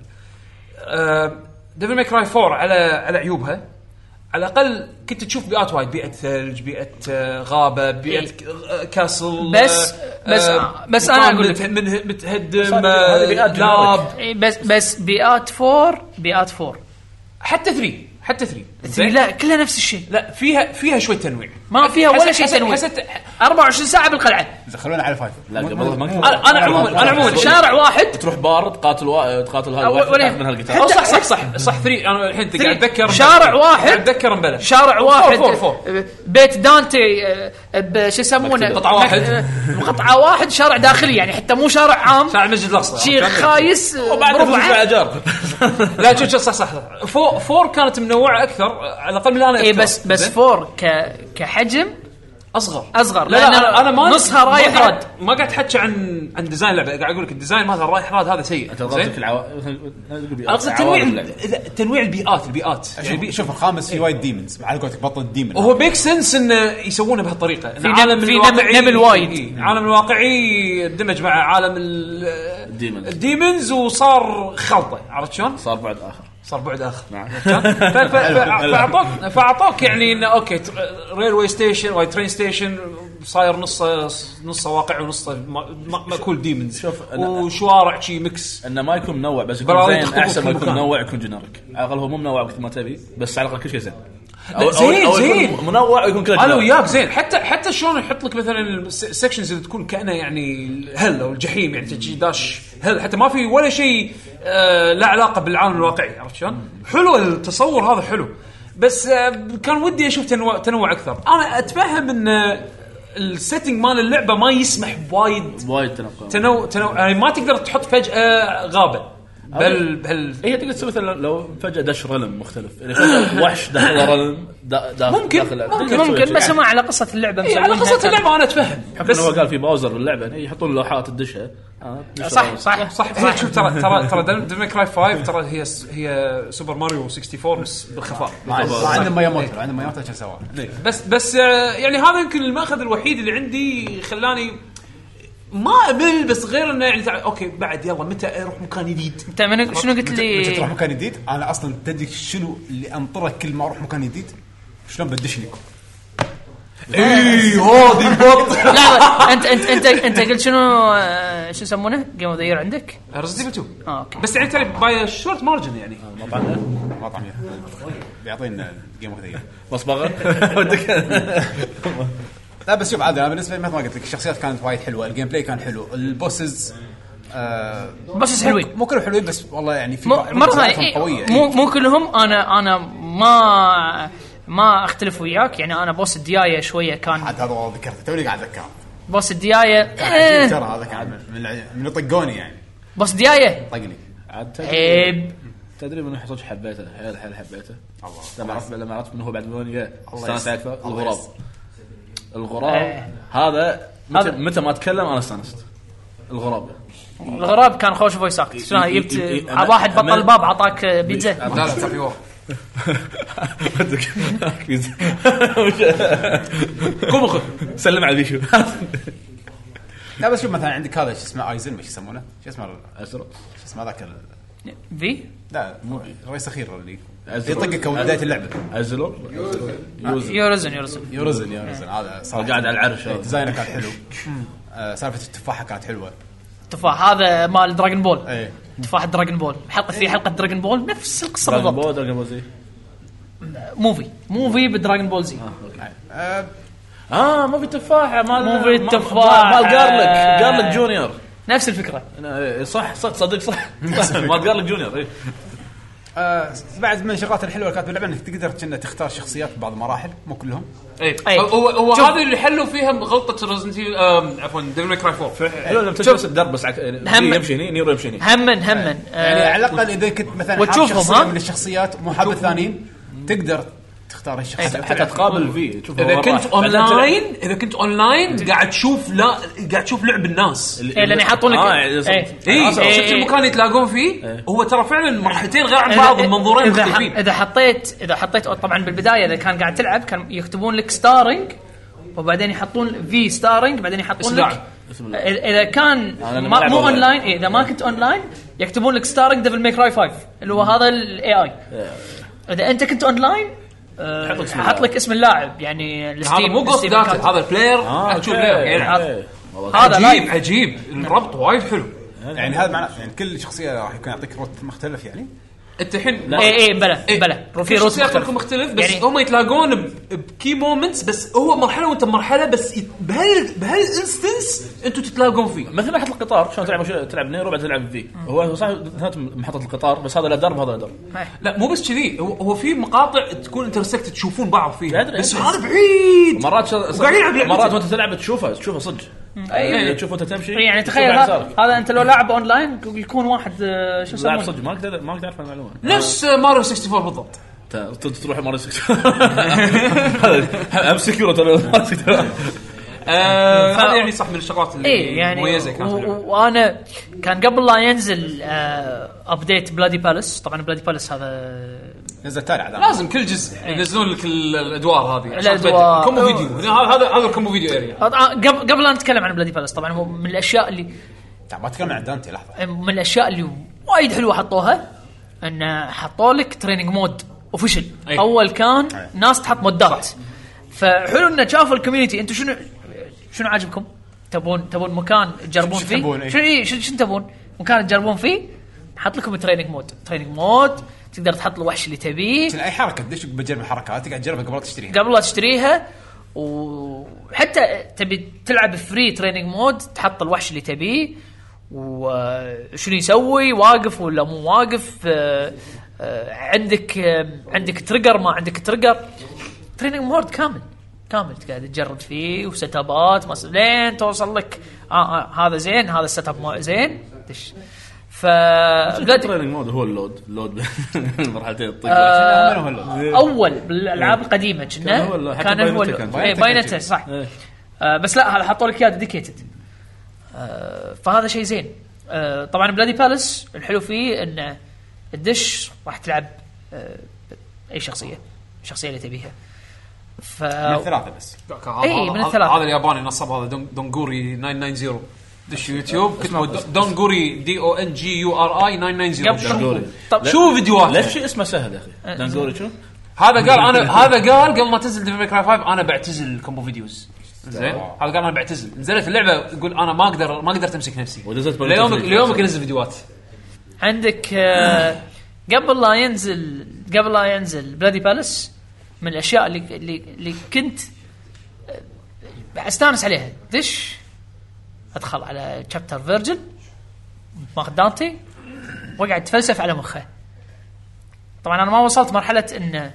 Speaker 2: ديفل ماي كراي 4 على على عيوبها على الاقل كنت تشوف بيئات وايد بيئه ثلج بيئه آه، غابه بيئه ك- آه، كاسل
Speaker 15: إيه. بس-
Speaker 2: آه،
Speaker 15: بس-
Speaker 2: آه،
Speaker 15: بس أنا
Speaker 2: مكان
Speaker 15: أقول لك.
Speaker 2: مت- من- متهدم
Speaker 15: صار-
Speaker 2: آه،
Speaker 15: هذه بيئات
Speaker 2: لاب
Speaker 15: generic. إي، إيه، بس بس بيئات 4 بيئات 4
Speaker 2: حتى 3 حتى 3
Speaker 15: 3 لا كلها نفس الشيء
Speaker 2: لا فيها فيها شوي تنويع
Speaker 15: ما فيها ولا شيء
Speaker 2: حسيت-
Speaker 15: تنويع
Speaker 2: حسيت-
Speaker 15: 24 ساعه بالقلعه
Speaker 4: زين، خلونا على فايف
Speaker 13: لا قبل ما
Speaker 2: أنا- أنا عموماً- أنا عموماً شارع
Speaker 15: واحد
Speaker 13: تروح بار تقاتل وا- تقاتل هذا
Speaker 2: أو- ولا-
Speaker 13: من هالقتال
Speaker 2: أو صح صح صح صح 3 انا الحين قاعد اتذكر
Speaker 15: شارع واحد.
Speaker 2: قاعد اتذكر مبلى
Speaker 15: شارع واحد آه،
Speaker 2: فور فور
Speaker 15: بيت دانتي آه، ب- شو يسمونه
Speaker 2: مكتبة. قطعة واحد.
Speaker 15: مك- قطعه واحد شارع داخلي يعني حتى مو شارع عام
Speaker 2: شارع المسجد الاقصى
Speaker 15: شي خايس آه،
Speaker 2: وبعد
Speaker 15: مربع.
Speaker 13: اجار
Speaker 2: لا شوف شوف صح صح صح فور فور كانت منوعه اكثر على الاقل من اللي انا
Speaker 15: اي
Speaker 2: أذكره.
Speaker 15: إيه، بس بس
Speaker 2: زين؟
Speaker 15: فور ك كحجم
Speaker 2: اصغر
Speaker 15: اصغر
Speaker 2: لا
Speaker 15: لأن
Speaker 2: لا انا ما
Speaker 15: نصها
Speaker 2: ما
Speaker 15: رايح
Speaker 2: قاعد-
Speaker 15: رد
Speaker 2: ما قاعد احكي عن عن ديزاين اللعبه قاعد اقول لك الديزاين مالها رايح راد هذا سيء
Speaker 3: انت
Speaker 2: زين؟
Speaker 3: قصدك العوا- مثلاً-
Speaker 2: اقصد تنويع ال-
Speaker 3: عوالم اللعبة.
Speaker 2: تنويع البيئات البيئات يعني
Speaker 4: شوف,
Speaker 2: بي-
Speaker 4: شوف الخامس في وايد ديمونز على قولتك بطل الديمون
Speaker 2: هو ميك سنس انه يسوونه بهالطريقه
Speaker 15: في
Speaker 2: إن عالم
Speaker 15: نب- في
Speaker 2: الواقعي-
Speaker 15: نب- نبل وايد.
Speaker 2: إي، عالم الواقعي دمج مع عالم ال-
Speaker 13: الديمونز
Speaker 2: الديمونز وصار خلطه عرفت شلون؟
Speaker 13: صار بعد نعم. اخر
Speaker 2: صار بعد اخر ف- ف- ف- فاعطوك فاعطوك يعني انه اوكي ريلوي ستيشن واي ترين ستيشن صاير نصه نصه واقع ونصه م- م- ماكول ديمونز شوف وشوارع شي ميكس
Speaker 13: انه ما يكون منوع بس
Speaker 2: براوي
Speaker 13: يكون زين
Speaker 2: تخطبوا
Speaker 13: احسن
Speaker 2: في
Speaker 13: ما يكون
Speaker 2: مكان.
Speaker 13: منوع يكون جنريك على الاقل هو مو منوع مثل ما تبي بس على الاقل كل شيء زين
Speaker 2: لا، زين، زين.
Speaker 13: يكون منوع ويكون كله
Speaker 2: انا
Speaker 13: generic.
Speaker 2: وياك زين حتى حتى شلون يحط لك مثلا السكشنز اللي تكون كانها يعني الهل او الجحيم يعني تجي داش هل حتى ما في ولا شيء آه لا علاقه بالعالم الواقعي عرفت شلون؟ حلو التصور هذا حلو بس آه كان ودي اشوف تنوع تنوع اكثر انا اتفهم ان آه، السيتنج مال اللعبه ما يسمح بوايد
Speaker 3: وايد تنقل
Speaker 2: تنوع تنوع يعني ما تقدر تحط فجاه غابه بل بل
Speaker 3: هي تقدر تسوي مثلا لو فجاه دش رلم مختلف يعني فجاه وحش دخل رلم دا داخل
Speaker 15: ممكن
Speaker 3: داخل
Speaker 15: ممكن, ممكن بس هم على قصه اللعبه
Speaker 2: إيه، على
Speaker 15: مسوينها
Speaker 2: قصة اللعبة أنا أتفهم.
Speaker 3: بس هو قال في باوزر باللعبه يعني يحطون لوحات تدشها آه،
Speaker 2: صح صح صح هي شوف ترى ترى ترى ديفل كراي 5 ترى هي هي سوبر ماريو 64 بس بالخفاء
Speaker 4: مع مع عندنا ماياموتو
Speaker 2: إيه.
Speaker 4: عندنا ماياموتو عشان سواه
Speaker 2: بس بس آه، يعني هذا يمكن الماخذ الوحيد اللي عندي خلاني ما امل بس غير انه يعني تع- اوكي بعد يلا متى اروح مكان جديد
Speaker 15: انت من شنو قلت
Speaker 4: متى- متى تروح
Speaker 15: لي
Speaker 4: مكان جديد انا اصلا تدري شنو اللي انطره كل ما اروح مكان جديد شلون بدش لكم
Speaker 2: إيه،
Speaker 4: اي هذه البط
Speaker 15: لا لا، انت انت انت انت قلت شنو آه، شو يسمونه؟ جيم اوف ذا عندك؟
Speaker 2: ريزنت ايفل
Speaker 15: اه اوكي
Speaker 2: 2 بس يعني ترى باي شورت مارجن يعني
Speaker 3: آه،
Speaker 4: مطعم مطعم بيعطينا جيم اوف ذا
Speaker 3: مصبغه
Speaker 4: لا بس شوف عادي انا بالنسبه لي مثل ما قلت لك الشخصيات كانت وايد حلوه الجيم بلاي كان حلو البوسز آه
Speaker 15: بوسز حلوين.
Speaker 4: مو كلهم حلوين بس والله يعني في بعض-
Speaker 15: مو- مره
Speaker 4: بعضهم
Speaker 15: ثانيه
Speaker 4: قويه
Speaker 15: إيه، مو مو كلهم انا انا ما ما اختلف وياك يعني انا بوس الديايه شويه كان
Speaker 4: عاد هذا والله ذكرته توني قاعد اتذكر
Speaker 15: بوس الديايه
Speaker 4: كان عجيب
Speaker 15: إيه،
Speaker 4: ترى هذا كان من الع- من طقوني يعني
Speaker 15: بوس الديايه
Speaker 4: طقني
Speaker 3: عاد
Speaker 15: عيب.
Speaker 3: تدري تدري من حصج حبيته حيل حيل حبيته لما عرفت لما عرفت من هو بعد مليون يا استانست
Speaker 4: يسلمك.
Speaker 3: اكثر
Speaker 4: الله
Speaker 3: الغراب
Speaker 4: يسلمك.
Speaker 3: الغراب
Speaker 15: إيه.
Speaker 3: هذا متى متى ما اتكلم انا استانست الغراب
Speaker 15: الغراب كان خوش فويس اكت شلون
Speaker 3: إي- إي-
Speaker 15: جبت
Speaker 3: إي- إي-
Speaker 15: آه، واحد بطل
Speaker 3: أمل-
Speaker 15: الباب اعطاك آه، بيتزا
Speaker 3: لا، لا،
Speaker 2: تبي
Speaker 3: ودك كويز. قوم خذ سلم على بيشو
Speaker 4: لا بس شوف مثلا عندك هذا شو اسمه ايزن وش يسمونه؟ شو اسمه ازرق شو اسمه ذاك ال-
Speaker 15: في
Speaker 4: لا مو الرئيس الاخير اللي يطقك اول بدايه اللعبه
Speaker 3: ازلو
Speaker 15: يورزن يورزن
Speaker 4: يورزن يورزن
Speaker 15: إيه.
Speaker 4: هذا صار
Speaker 3: قاعد على العرش هذا.
Speaker 4: ديزاينه كان حلو آه، سالفه التفاحه كانت حلوه
Speaker 15: تفاح هذا مال دراجون بول
Speaker 4: ايه
Speaker 15: تفاح دراجون بول حلقه
Speaker 4: إيه.
Speaker 15: في حلقه دراجون بول نفس القصه
Speaker 3: دراجون
Speaker 15: بالضبط
Speaker 3: بول دراجون بول زي
Speaker 15: موفي موفي بدراجون بول زي
Speaker 4: آه،
Speaker 3: اه موفي تفاحه مال
Speaker 15: موفي
Speaker 3: مال-
Speaker 15: التفاحة.
Speaker 3: مال جارلك جارلك جونيور
Speaker 15: آه. نفس الفكره
Speaker 3: أنا- إيه، صح صح صدق صح صح، مال جارلك جونيور إيه.
Speaker 4: آه، بعد من الشغلات الحلوه اللي كانت باللعبه انك تقدر كنا تختار شخصيات ببعض المراحل مو كلهم
Speaker 15: إيه.
Speaker 2: اي إيه. هو هو هذه اللي حلوا فيها غلطه ريزنت عفوا ديفل كراي 4
Speaker 3: حلو لما تجلس الدرب بس عك-
Speaker 2: هم-
Speaker 3: يمشي هني نيرو يمشي هني
Speaker 15: همن همن آه،
Speaker 4: يعني على الاقل اذا كنت مثلا
Speaker 15: وتشوفهم،
Speaker 4: حاب شخصية
Speaker 15: ها؟
Speaker 4: من الشخصيات مو حاب الثانيين تقدر تختار الشخصيات
Speaker 3: حتى تقابل فيه تشوف
Speaker 2: اذا كنت اونلاين اذا كنت اونلاين قاعد تشوف لا قاعد تشوف لعب الناس
Speaker 15: إيه، لأن يحطونك- آه، إيه، صدق. إيه.
Speaker 2: اي
Speaker 15: إيه.
Speaker 2: شفت المكان يتلاقون فيه هو ترى فعلا مرحلتين غير عن
Speaker 15: إذا-
Speaker 2: بعض المنظورين
Speaker 15: اذا
Speaker 2: مختلفين
Speaker 15: اذا حطيت اذا حطيت أو طبعا بالبدايه اذا كان قاعد تلعب كان يكتبون لك ستارنج وبعدين يحطون في ستارنج بعدين
Speaker 2: اسم
Speaker 15: يحطون
Speaker 2: لاعب.
Speaker 15: لك إذا- اذا كان
Speaker 2: أنا لما
Speaker 15: ما
Speaker 2: ألعب
Speaker 15: مو
Speaker 2: أونلاين.
Speaker 15: اون لاين اذا ما كنت اون لاين يكتبون لك ستارنج ديفل ميك راي 5 اللي هو هذا الاي اي اذا انت كنت اون لاين
Speaker 2: حط لك اسم
Speaker 15: حط لك اسم اللاعب يعني
Speaker 2: هذا
Speaker 15: الستيم-
Speaker 2: مو جوست
Speaker 15: الستيم
Speaker 2: داتا
Speaker 15: أكاونت.
Speaker 2: هذا البلاير
Speaker 15: آه،
Speaker 2: تشوف
Speaker 15: أوكي.
Speaker 2: بلاير يعني
Speaker 15: أوكي.
Speaker 2: هذا
Speaker 15: هذا
Speaker 2: عجيب
Speaker 15: لايف.
Speaker 2: عجيب الربط وايد حلو
Speaker 4: يعني هذا معناته يعني كل شخصيه راح يكون يعطيك روت مختلف يعني
Speaker 2: انت الحين
Speaker 15: لا. إيه، إيه، بلى، بلى. في
Speaker 2: في
Speaker 15: روت
Speaker 2: شخصيات
Speaker 15: مختلف.
Speaker 2: لكم مختلف بس
Speaker 15: يعني-
Speaker 2: هم يتلاقون ب- بكي مومنتس بس هو مرحله وانت مرحله بس يت- بهال بهالانستنس انتم تتلاقون فيه
Speaker 3: مثل ما حط القطار شلون تلعب شلون تلعب نيرو بعد تلعب في هو صح ثلاث محطه القطار بس هذا له درب هذا له درب
Speaker 2: لا مو بس كذي هو, هو في مقاطع تكون انترسكت تشوفون بعض فيها
Speaker 3: أدري،
Speaker 2: بس
Speaker 3: أدري.
Speaker 2: هذا بعيد
Speaker 3: مرات شل...
Speaker 2: وقاعد يلعب لعبته.
Speaker 3: مرات وانت تلعب تشوفه تشوفه صدق
Speaker 15: أي.
Speaker 3: تشوفه انت تمشي
Speaker 15: يعني
Speaker 3: تشوفه
Speaker 15: تخيل
Speaker 3: على
Speaker 15: هذا
Speaker 3: يسارك.
Speaker 15: هذا انت لو لاعب اون لاين يكون واحد آه، شو
Speaker 3: لاعب
Speaker 15: يسمونه
Speaker 3: صدق ما اقدر ما اقدر اعرف المعلومه
Speaker 2: نفس ماريو 64 بالضبط
Speaker 3: ت- ت- تروح مره امسك يورو ترى
Speaker 2: آه،
Speaker 15: ف-
Speaker 2: هذا يعني صح من الشغلات اللي
Speaker 15: اي يعني
Speaker 2: مميزه كانت
Speaker 15: و-
Speaker 2: باللعبة.
Speaker 15: و- وانا كان قبل لا ينزل آه، ابديت بلادي بالاس طبعا بلادي بالاس هذا
Speaker 4: نزل تالي عاد
Speaker 2: لازم كل جزء ينزلون لك ال- الادوار هذه عشان
Speaker 15: الأدوار.
Speaker 2: تبدل. كومبو فيديو هنا هذا هذا هذا الكومبو فيديو اريا
Speaker 15: آه، قبل قبل لا نتكلم عن بلادي بالاس طبعا هو من الاشياء اللي
Speaker 4: ما تكلمنا عن دانتي لحظه
Speaker 15: من الاشياء اللي وايد حلوه حطوها ان حطوا لك تريننج مود اوفشل
Speaker 2: أي.
Speaker 15: اول كان ناس تحط مودات فحلو انه شافوا الكوميونتي انتم شنو شنو عاجبكم؟ تبون تبون مكان تجربون
Speaker 4: شو
Speaker 15: فيه؟
Speaker 4: تبون، أي.
Speaker 15: شنو إيه، شنو شنو تبون؟ مكان تجربون فيه؟ حط لكم تريننج مود، تريننج مود تقدر تحط الوحش اللي تبيه
Speaker 4: اي حركه تدش بجرب الحركات تقعد تجربها قبل لا تشتريها
Speaker 15: قبل لا تشتريها وحتى تبي تلعب فري تريننج مود تحط الوحش اللي تبيه وشنو يسوي واقف ولا مو واقف آه، آه، عندك آه، عندك تريجر ما عندك تريجر تريننج مود كامل كامل قاعد تجرب فيه وست ابات ما س- لين توصل لك آه آه هذا زين هذا السيت اب مو زين دش ف
Speaker 3: التريننج مود هو اللود اللود مرحلتين طيب. الطق
Speaker 15: آه،
Speaker 3: هو اللود.
Speaker 15: اول بالالعاب القديمه كنا
Speaker 3: إيه. كان هو اللود، حتى
Speaker 15: كان هو
Speaker 3: بايونيتا كان. إيه.
Speaker 15: اي
Speaker 3: بايونيتا
Speaker 15: باينتا
Speaker 3: كان.
Speaker 15: صح آه، بس لا هذا حطوا لك اياه ديديكيتد فهذا شيء زين آه، طبعا بلادي بالاس الحلو فيه انه الدش راح تلعب آه، اي شخصيه الشخصيه اللي تبيها ف
Speaker 2: آه، بس إيه،
Speaker 15: إي، من الثلاثة.
Speaker 2: هذا الياباني نصب هذا دون- دونجوري 990 دش يوتيوب كتبوا د- دونجوري دي او ان جي يو ار اي 990
Speaker 3: قبل شهر.
Speaker 2: طب شوف فيديوهات
Speaker 3: ليش شيء اسمه سهل يا اخي
Speaker 2: أه.
Speaker 3: دانجوري شو؟
Speaker 2: هذا قال انا هذا قال قبل ما تنزل ديفل كراي 5 انا بعتزل الكومبو فيديوز زين هذا قال انا بعتزل نزلت اللعبه يقول انا ما اقدر ما قدرت امسك نفسي
Speaker 3: ونزلت بلوتوث
Speaker 2: ليومك
Speaker 3: فيديو.
Speaker 2: ليومك ينزل فيديوهات
Speaker 15: عندك آه، قبل لا ينزل قبل لا ينزل بلادي بالاس من الاشياء اللي اللي, اللي كنت آه، استانس عليها دش ادخل على شابتر فيرجن ماخذ دانتي واقعد اتفلسف على مخه طبعا انا ما وصلت مرحله ان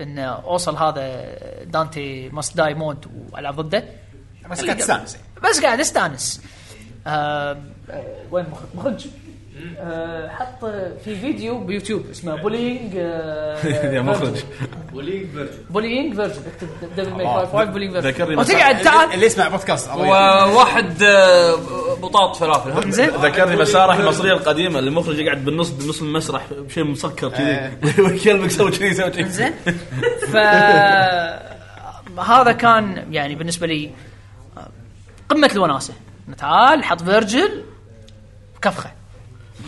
Speaker 15: ان اوصل هذا دانتي ماست داي مود والعب ضده إيه.
Speaker 4: بس قاعد تستانس.
Speaker 15: بس قاعد استانس آه، آه، وين مخ- مخرج آه، حط في فيديو بيوتيوب اسمه آه، بولينج
Speaker 3: يا مخرج
Speaker 17: وليك فيرجن
Speaker 15: بولينج فيرجن اكتب دبل ميك
Speaker 3: آه،
Speaker 15: 5 بولينج
Speaker 3: ذكرني
Speaker 15: فيرجن
Speaker 3: مساعد.
Speaker 15: وتقعد تعال
Speaker 4: اللي يسمع بودكاست الله يعافيه.
Speaker 2: وواحد آه، بطاط فلافل
Speaker 3: ذكرني مسارح المصريه القديمه اللي المخرج يقعد بالنص بنص المسرح بشيء مسكر كذي وكلمك سوي كذي سوي كذي
Speaker 15: إيه. زين ف هذا كان يعني بالنسبه لي آه، قمه الوناسه تعال حط فيرجل كفخه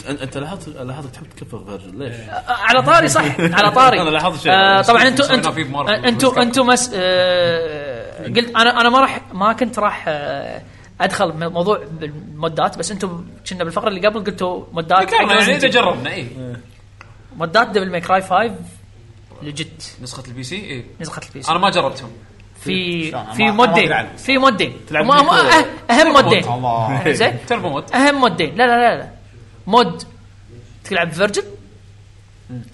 Speaker 3: انت لاحظت لاحظت تحب تكفر فيرجن ليش؟
Speaker 15: آه، على طاري صح على طاري
Speaker 3: أنا لاحظت شيء.
Speaker 15: آه طبعا
Speaker 3: سوينا
Speaker 15: انتم انتم
Speaker 3: فيه بمرة.
Speaker 15: انتم انتم مس... آه قلت انا انا ما راح ما كنت راح آه ادخل م- موضوع بالمودات بس انتم كنا بالفقره اللي قبل قلتوا مودات
Speaker 2: ذكرنا يعني اذا جربنا
Speaker 3: إيه. آه.
Speaker 2: اي
Speaker 15: مودات دبل ماي كراي 5 لجت
Speaker 2: نسخه البي سي اي
Speaker 15: نسخه البي سي
Speaker 2: انا إيه. ما جربتهم
Speaker 15: في
Speaker 2: شلون؟ أنا
Speaker 15: في
Speaker 2: إيه، ما- أنا ما أدري
Speaker 15: مودين
Speaker 2: عنه.
Speaker 15: في مودين
Speaker 2: تلعب
Speaker 15: وما-
Speaker 2: بميكرو.
Speaker 15: أه- اهم
Speaker 2: تلعب
Speaker 15: مودين
Speaker 2: بمود. الله.
Speaker 15: زين
Speaker 2: تربو مود
Speaker 15: اهم مودين لا لا لا لا مود تلعب فيرجن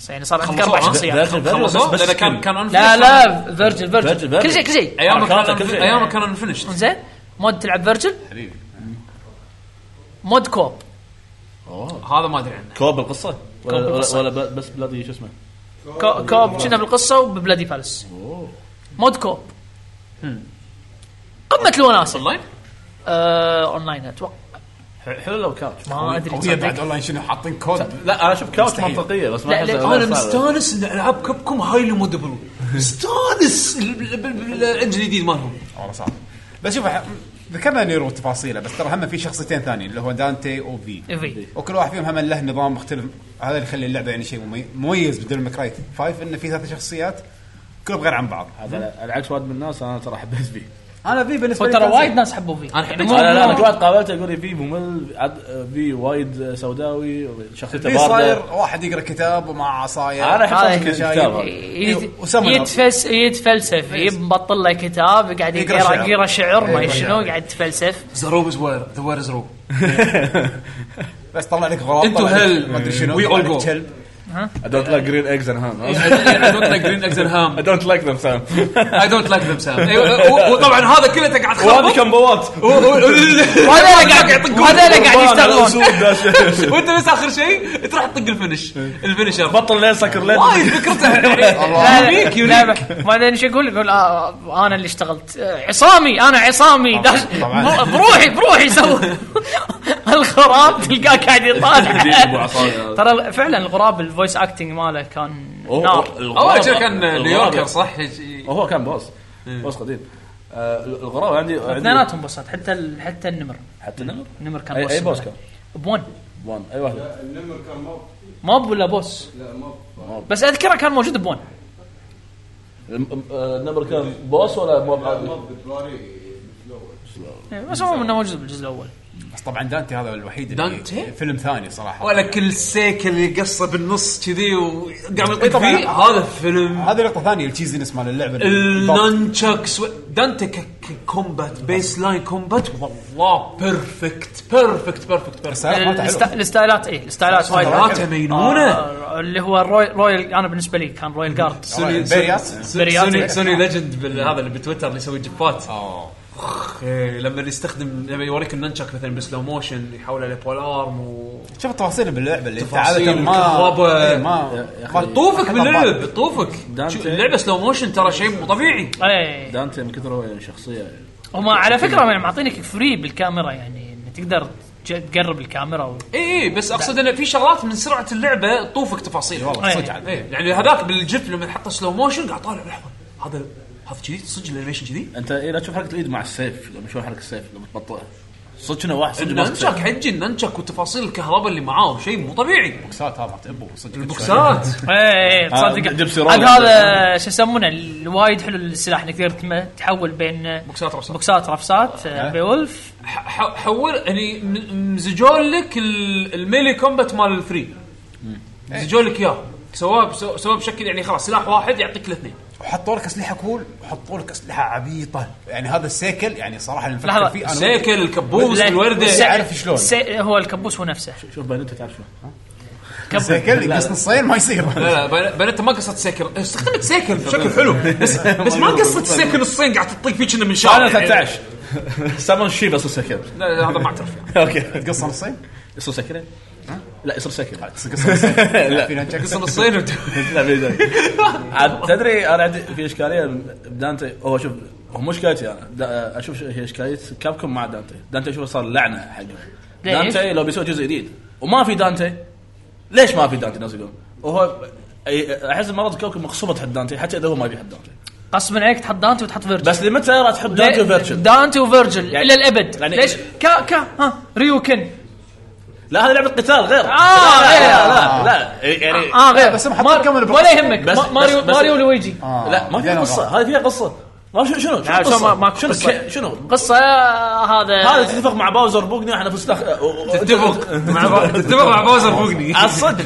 Speaker 15: يعني صار عندك اربع شخصيات
Speaker 2: خلصوه لان كان كان
Speaker 15: لا لا فيرجن فيرجن
Speaker 2: Virgin.
Speaker 15: كل شيء كل شيء
Speaker 2: أيامه كان Unfinished. أيامه كان انفنشت
Speaker 15: زين مود تلعب فيرجن
Speaker 2: حبيبي
Speaker 15: مود كوب
Speaker 2: هذا ما ادري عنه
Speaker 3: كوب القصه ولا
Speaker 15: كوب
Speaker 3: ولا,
Speaker 15: القصة.
Speaker 3: ولا ب- بس بلادي شو اسمه؟ آه.
Speaker 15: كو- كوب كنا بالقصه وببلادي فالس مود كوب قمه الوناسه اونلاين؟ اونلاين اتوقع
Speaker 3: حلو لو كاوتش
Speaker 15: آه، ما ادري
Speaker 4: قوية
Speaker 15: تصدق.
Speaker 4: بعد اونلاين شنو حاطين كود
Speaker 3: لا انا اشوف كاوتش منطقيه بس ما أحس- ما
Speaker 2: انا
Speaker 3: أحس-
Speaker 2: مستانس ان العاب كوم هايلي مودبل مستانس الانجن الجديد مالهم
Speaker 4: والله صعب بس شوف ح- ذكرنا نيرو تفاصيله بس ترى هم في شخصيتين ثانيين اللي هو دانتي وفي
Speaker 15: في.
Speaker 4: وكل واحد فيهم هم له نظام مختلف هذا اللي يخلي اللعبه يعني شيء ممي- مميز بدون مكرايت فايف انه في ثلاث شخصيات كلهم غير عن بعض
Speaker 18: هذا العكس وايد من الناس انا ترى حبيت فيه
Speaker 4: انا في بالنسبه لي
Speaker 15: وترى
Speaker 4: كان
Speaker 15: وايد
Speaker 4: زين.
Speaker 15: ناس حبوا فيه
Speaker 3: انا لا انا واحد قابلته يقول لي في ممل عد- في وايد سوداوي شخصيته
Speaker 4: في صاير
Speaker 3: بارده
Speaker 4: واحد يقرا كتاب ومع عصايه
Speaker 3: أنا أحب
Speaker 15: هذا
Speaker 3: صوت الكتاب هذا. أيوه،
Speaker 15: يت-
Speaker 4: وسمنر.
Speaker 15: يتفلس يتفلسف يبطل له كتاب قاعد
Speaker 4: يقرأ
Speaker 15: يقرا
Speaker 4: شعر.
Speaker 15: يقرا شعر ما
Speaker 3: أيوه،
Speaker 4: إيه.
Speaker 15: شنو قاعد يتفلسف
Speaker 2: ذا روب از وير ذا وير از روب
Speaker 4: بس طلع لك غلط
Speaker 2: انتو هل
Speaker 4: ما ادري شنو
Speaker 2: وي
Speaker 4: طلع
Speaker 2: اول
Speaker 4: لك
Speaker 2: جو
Speaker 4: كلب
Speaker 3: I don't like green eggs and ham
Speaker 2: I don't like green eggs and ham.
Speaker 3: I don't like them Sam
Speaker 2: اي دونت لايك ذيم سام وطبعا أيوة، oh, هذا كله أنت قاعد Oh,
Speaker 3: وهذه
Speaker 2: تخربط
Speaker 3: كمبوات
Speaker 2: وهذا
Speaker 15: هذول قاعد يشتغلون.
Speaker 2: وانت بس اخر شيء تروح تطق الفنش الفنشر
Speaker 3: بطل لين سكر لين
Speaker 2: وايد فكرته
Speaker 15: لا، لا،
Speaker 2: يونيك
Speaker 15: لا،
Speaker 2: يونيك
Speaker 15: ما ادري ايش اقول يقول آه، انا اللي اشتغلت آه، عصامي انا عصامي داش
Speaker 3: طبعاً.
Speaker 15: بر- بروحي بروحي سوي الغراب تلقاه قاعد يطالع
Speaker 3: دي أبو عصاية.
Speaker 15: ترى فعلا الغراب الفويس اكتنج ماله كان
Speaker 3: هو-
Speaker 15: نار
Speaker 3: الغراب-
Speaker 2: أول شيء كان
Speaker 3: الغراب-
Speaker 2: نيويوركر، صح؟
Speaker 3: oh,
Speaker 2: إيه.
Speaker 3: هو كان بوس بوس قديم آه، الغراب عندي عندي-
Speaker 15: اثنيناتهم بصات حتى ال- حتى النمر
Speaker 3: حتى النمر؟
Speaker 15: النمر كان
Speaker 3: أي-
Speaker 15: بوس
Speaker 3: أي بوس كان؟
Speaker 15: بون
Speaker 3: وان اي واحد
Speaker 19: النمر كان موب
Speaker 15: موب ولا بوس؟
Speaker 19: لا موب
Speaker 15: بس اذكره كان موجود بون
Speaker 3: آه، الم- آه، النمر كان بوس ولا موب عادي؟
Speaker 19: موب بتراري الاول
Speaker 15: إيه، بس هو انه موجود بالجزء الاول
Speaker 4: بس طبعا دانتي هذا الوحيد اللي
Speaker 2: دانتي؟
Speaker 4: فيلم ثاني صراحه
Speaker 2: ولا كل سيك اللي قصه بالنص كذي وقام
Speaker 4: إيه
Speaker 2: يطق
Speaker 4: طبعاً.
Speaker 2: فيه هذا فيلم
Speaker 4: هذه نقطه ثانيه التشيزنس مال اللعبه
Speaker 2: النانشاكس دانتي ك- ك- كومبات بيس لاين كومبات والله بيرفكت بيرفكت بيرفكت
Speaker 15: الست-
Speaker 2: بيرفكت
Speaker 15: الستايلات ايه الستايلات وايد
Speaker 2: ستايلاته مجنونة.
Speaker 15: آه، اللي هو الروي- رويال انا بالنسبه لي كان رويال جارد
Speaker 2: سوني
Speaker 15: بريات
Speaker 4: آه.
Speaker 2: سوني سوني ليجند بال- هذا اللي بتويتر اللي يسوي جبات أخ، إيه، لما يستخدم لما يوريك الننشك مثلا بالسلو موشن يحوله لبولارم و
Speaker 4: شوف تفاصيل باللعبه اللي
Speaker 2: تفاصيل
Speaker 4: عادة ما-
Speaker 2: الكهرباء
Speaker 4: إيه، ما
Speaker 2: ما تطوفك باللعب تطوفك
Speaker 3: دانتي.
Speaker 2: شوف، اللعبه سلو موشن ترى شيء مو طبيعي
Speaker 3: دانتي من كثر هو شخصيه
Speaker 15: هما على فكره يعني معطينك فري بالكاميرا يعني إن تقدر تج- تقرب الكاميرا و...
Speaker 3: إيه.
Speaker 2: اي اي إيه، بس اقصد انه في شغلات من سرعه اللعبه تطوفك تفاصيل
Speaker 15: والله، صدق
Speaker 2: إيه. إيه، يعني هذاك بالجف لما حطه سلو موشن قاعد طالع لحظه هذا هذا كذي صدق الانيميشن كذي
Speaker 3: انت اي إيه، لا تشوف حركه الايد مع السيف لما شلون حركه السيف لما تبطئها صدق انه واحد صدق ماسك
Speaker 2: الننشك
Speaker 3: سيف.
Speaker 2: حجي الننشك وتفاصيل الكهرباء اللي معاه شيء مو طبيعي
Speaker 4: البوكسات هذا ابو صدق آه،
Speaker 2: البوكسات
Speaker 15: اي
Speaker 3: آه،
Speaker 15: اي إيه، تصدق عاد هذا شو يسمونه ال- وايد حلو السلاح انك تقدر تم- تحول بين بوكسات رفسات بوكسات رفسات آه، بيولف
Speaker 2: ح- حول يعني م- مزجوا لك ال- الميلي كومبات مال الفري مزجوا لك اياه سواه بس- سواه بشكل يعني خلاص سلاح واحد يعطيك الاثنين
Speaker 4: وحطوا لك اسلحه كول وحطوا لك اسلحه عبيطه يعني هذا السيكل يعني صراحه اللي
Speaker 15: لحظة.
Speaker 4: نفكر فيه
Speaker 2: السيكل، الكبوس،
Speaker 4: لا،
Speaker 2: الوردة.
Speaker 4: بس عارف شلون
Speaker 15: السي- هو الكبوس هو نفسه
Speaker 3: شوف بيانيتا تعرف شلون
Speaker 4: السيكل يقص نصين ما يصير
Speaker 2: لا لا بنت ما قصت سيكل استخدمت سيكل بشكل حلو بس بس ما قصت سيكل الصين قاعد تطيق فيك إنه من شارع
Speaker 13: انا
Speaker 2: يعني.
Speaker 13: 13 سامون شيب اصلا سكر
Speaker 2: لا لا، هذا ما يعني. اعترف
Speaker 13: اوكي
Speaker 4: تقص نصين
Speaker 13: يصير سكر لا يصير سكر
Speaker 4: في نجاح.
Speaker 2: قصر الصين وت-
Speaker 13: لا بيداي.
Speaker 3: عاد تدري انا عندي في اشكاليه بدانتي هو شوف هو مو اشكاليتي انا دا- اشوف ش- هي اشكاليه كابكم مع دانتي دانتي شوف صار لعنه حقه
Speaker 15: ليش؟
Speaker 3: دانتي لو بيسوي جزء جديد وما في دانتي ليش ما في دانتي الناس يقولون وهو أي- احس مرات كوكب مغصوبه تحط دانتي حتى اذا هو ما بيحط دانتي
Speaker 15: قصبا عليك تحط دانتي وتحط فيرجل
Speaker 3: بس لمتى راح تحط دانتي وفيرجل
Speaker 15: دانتي وفيرجل
Speaker 3: يعني-
Speaker 15: الى الابد
Speaker 3: يعني-
Speaker 15: ليش كا كا ها ريوكن
Speaker 3: لا هذه لعبه قتال غير
Speaker 15: آه،
Speaker 3: لا
Speaker 15: غير.
Speaker 3: لا لا, لا, يعني
Speaker 15: اه غير
Speaker 3: بس
Speaker 15: مار- ولا يهمك
Speaker 3: بس-
Speaker 15: ما- ماريو
Speaker 3: بس- بس-
Speaker 15: ماريو لويجي
Speaker 2: آه،
Speaker 3: لا
Speaker 9: آه،
Speaker 3: ما فيها قصه هذه فيها قصه ما شنو شنو شنو
Speaker 15: لا، شو ما-
Speaker 3: القصة؟
Speaker 15: ماكو
Speaker 3: شنو
Speaker 15: قصة.
Speaker 3: الك- شنو
Speaker 15: قصه هذا
Speaker 3: هذا تتفق مع باوزر بوقني احنا فستخ
Speaker 2: تتفق مع با- تتفق مع باوزر بوقني.
Speaker 3: على الصدق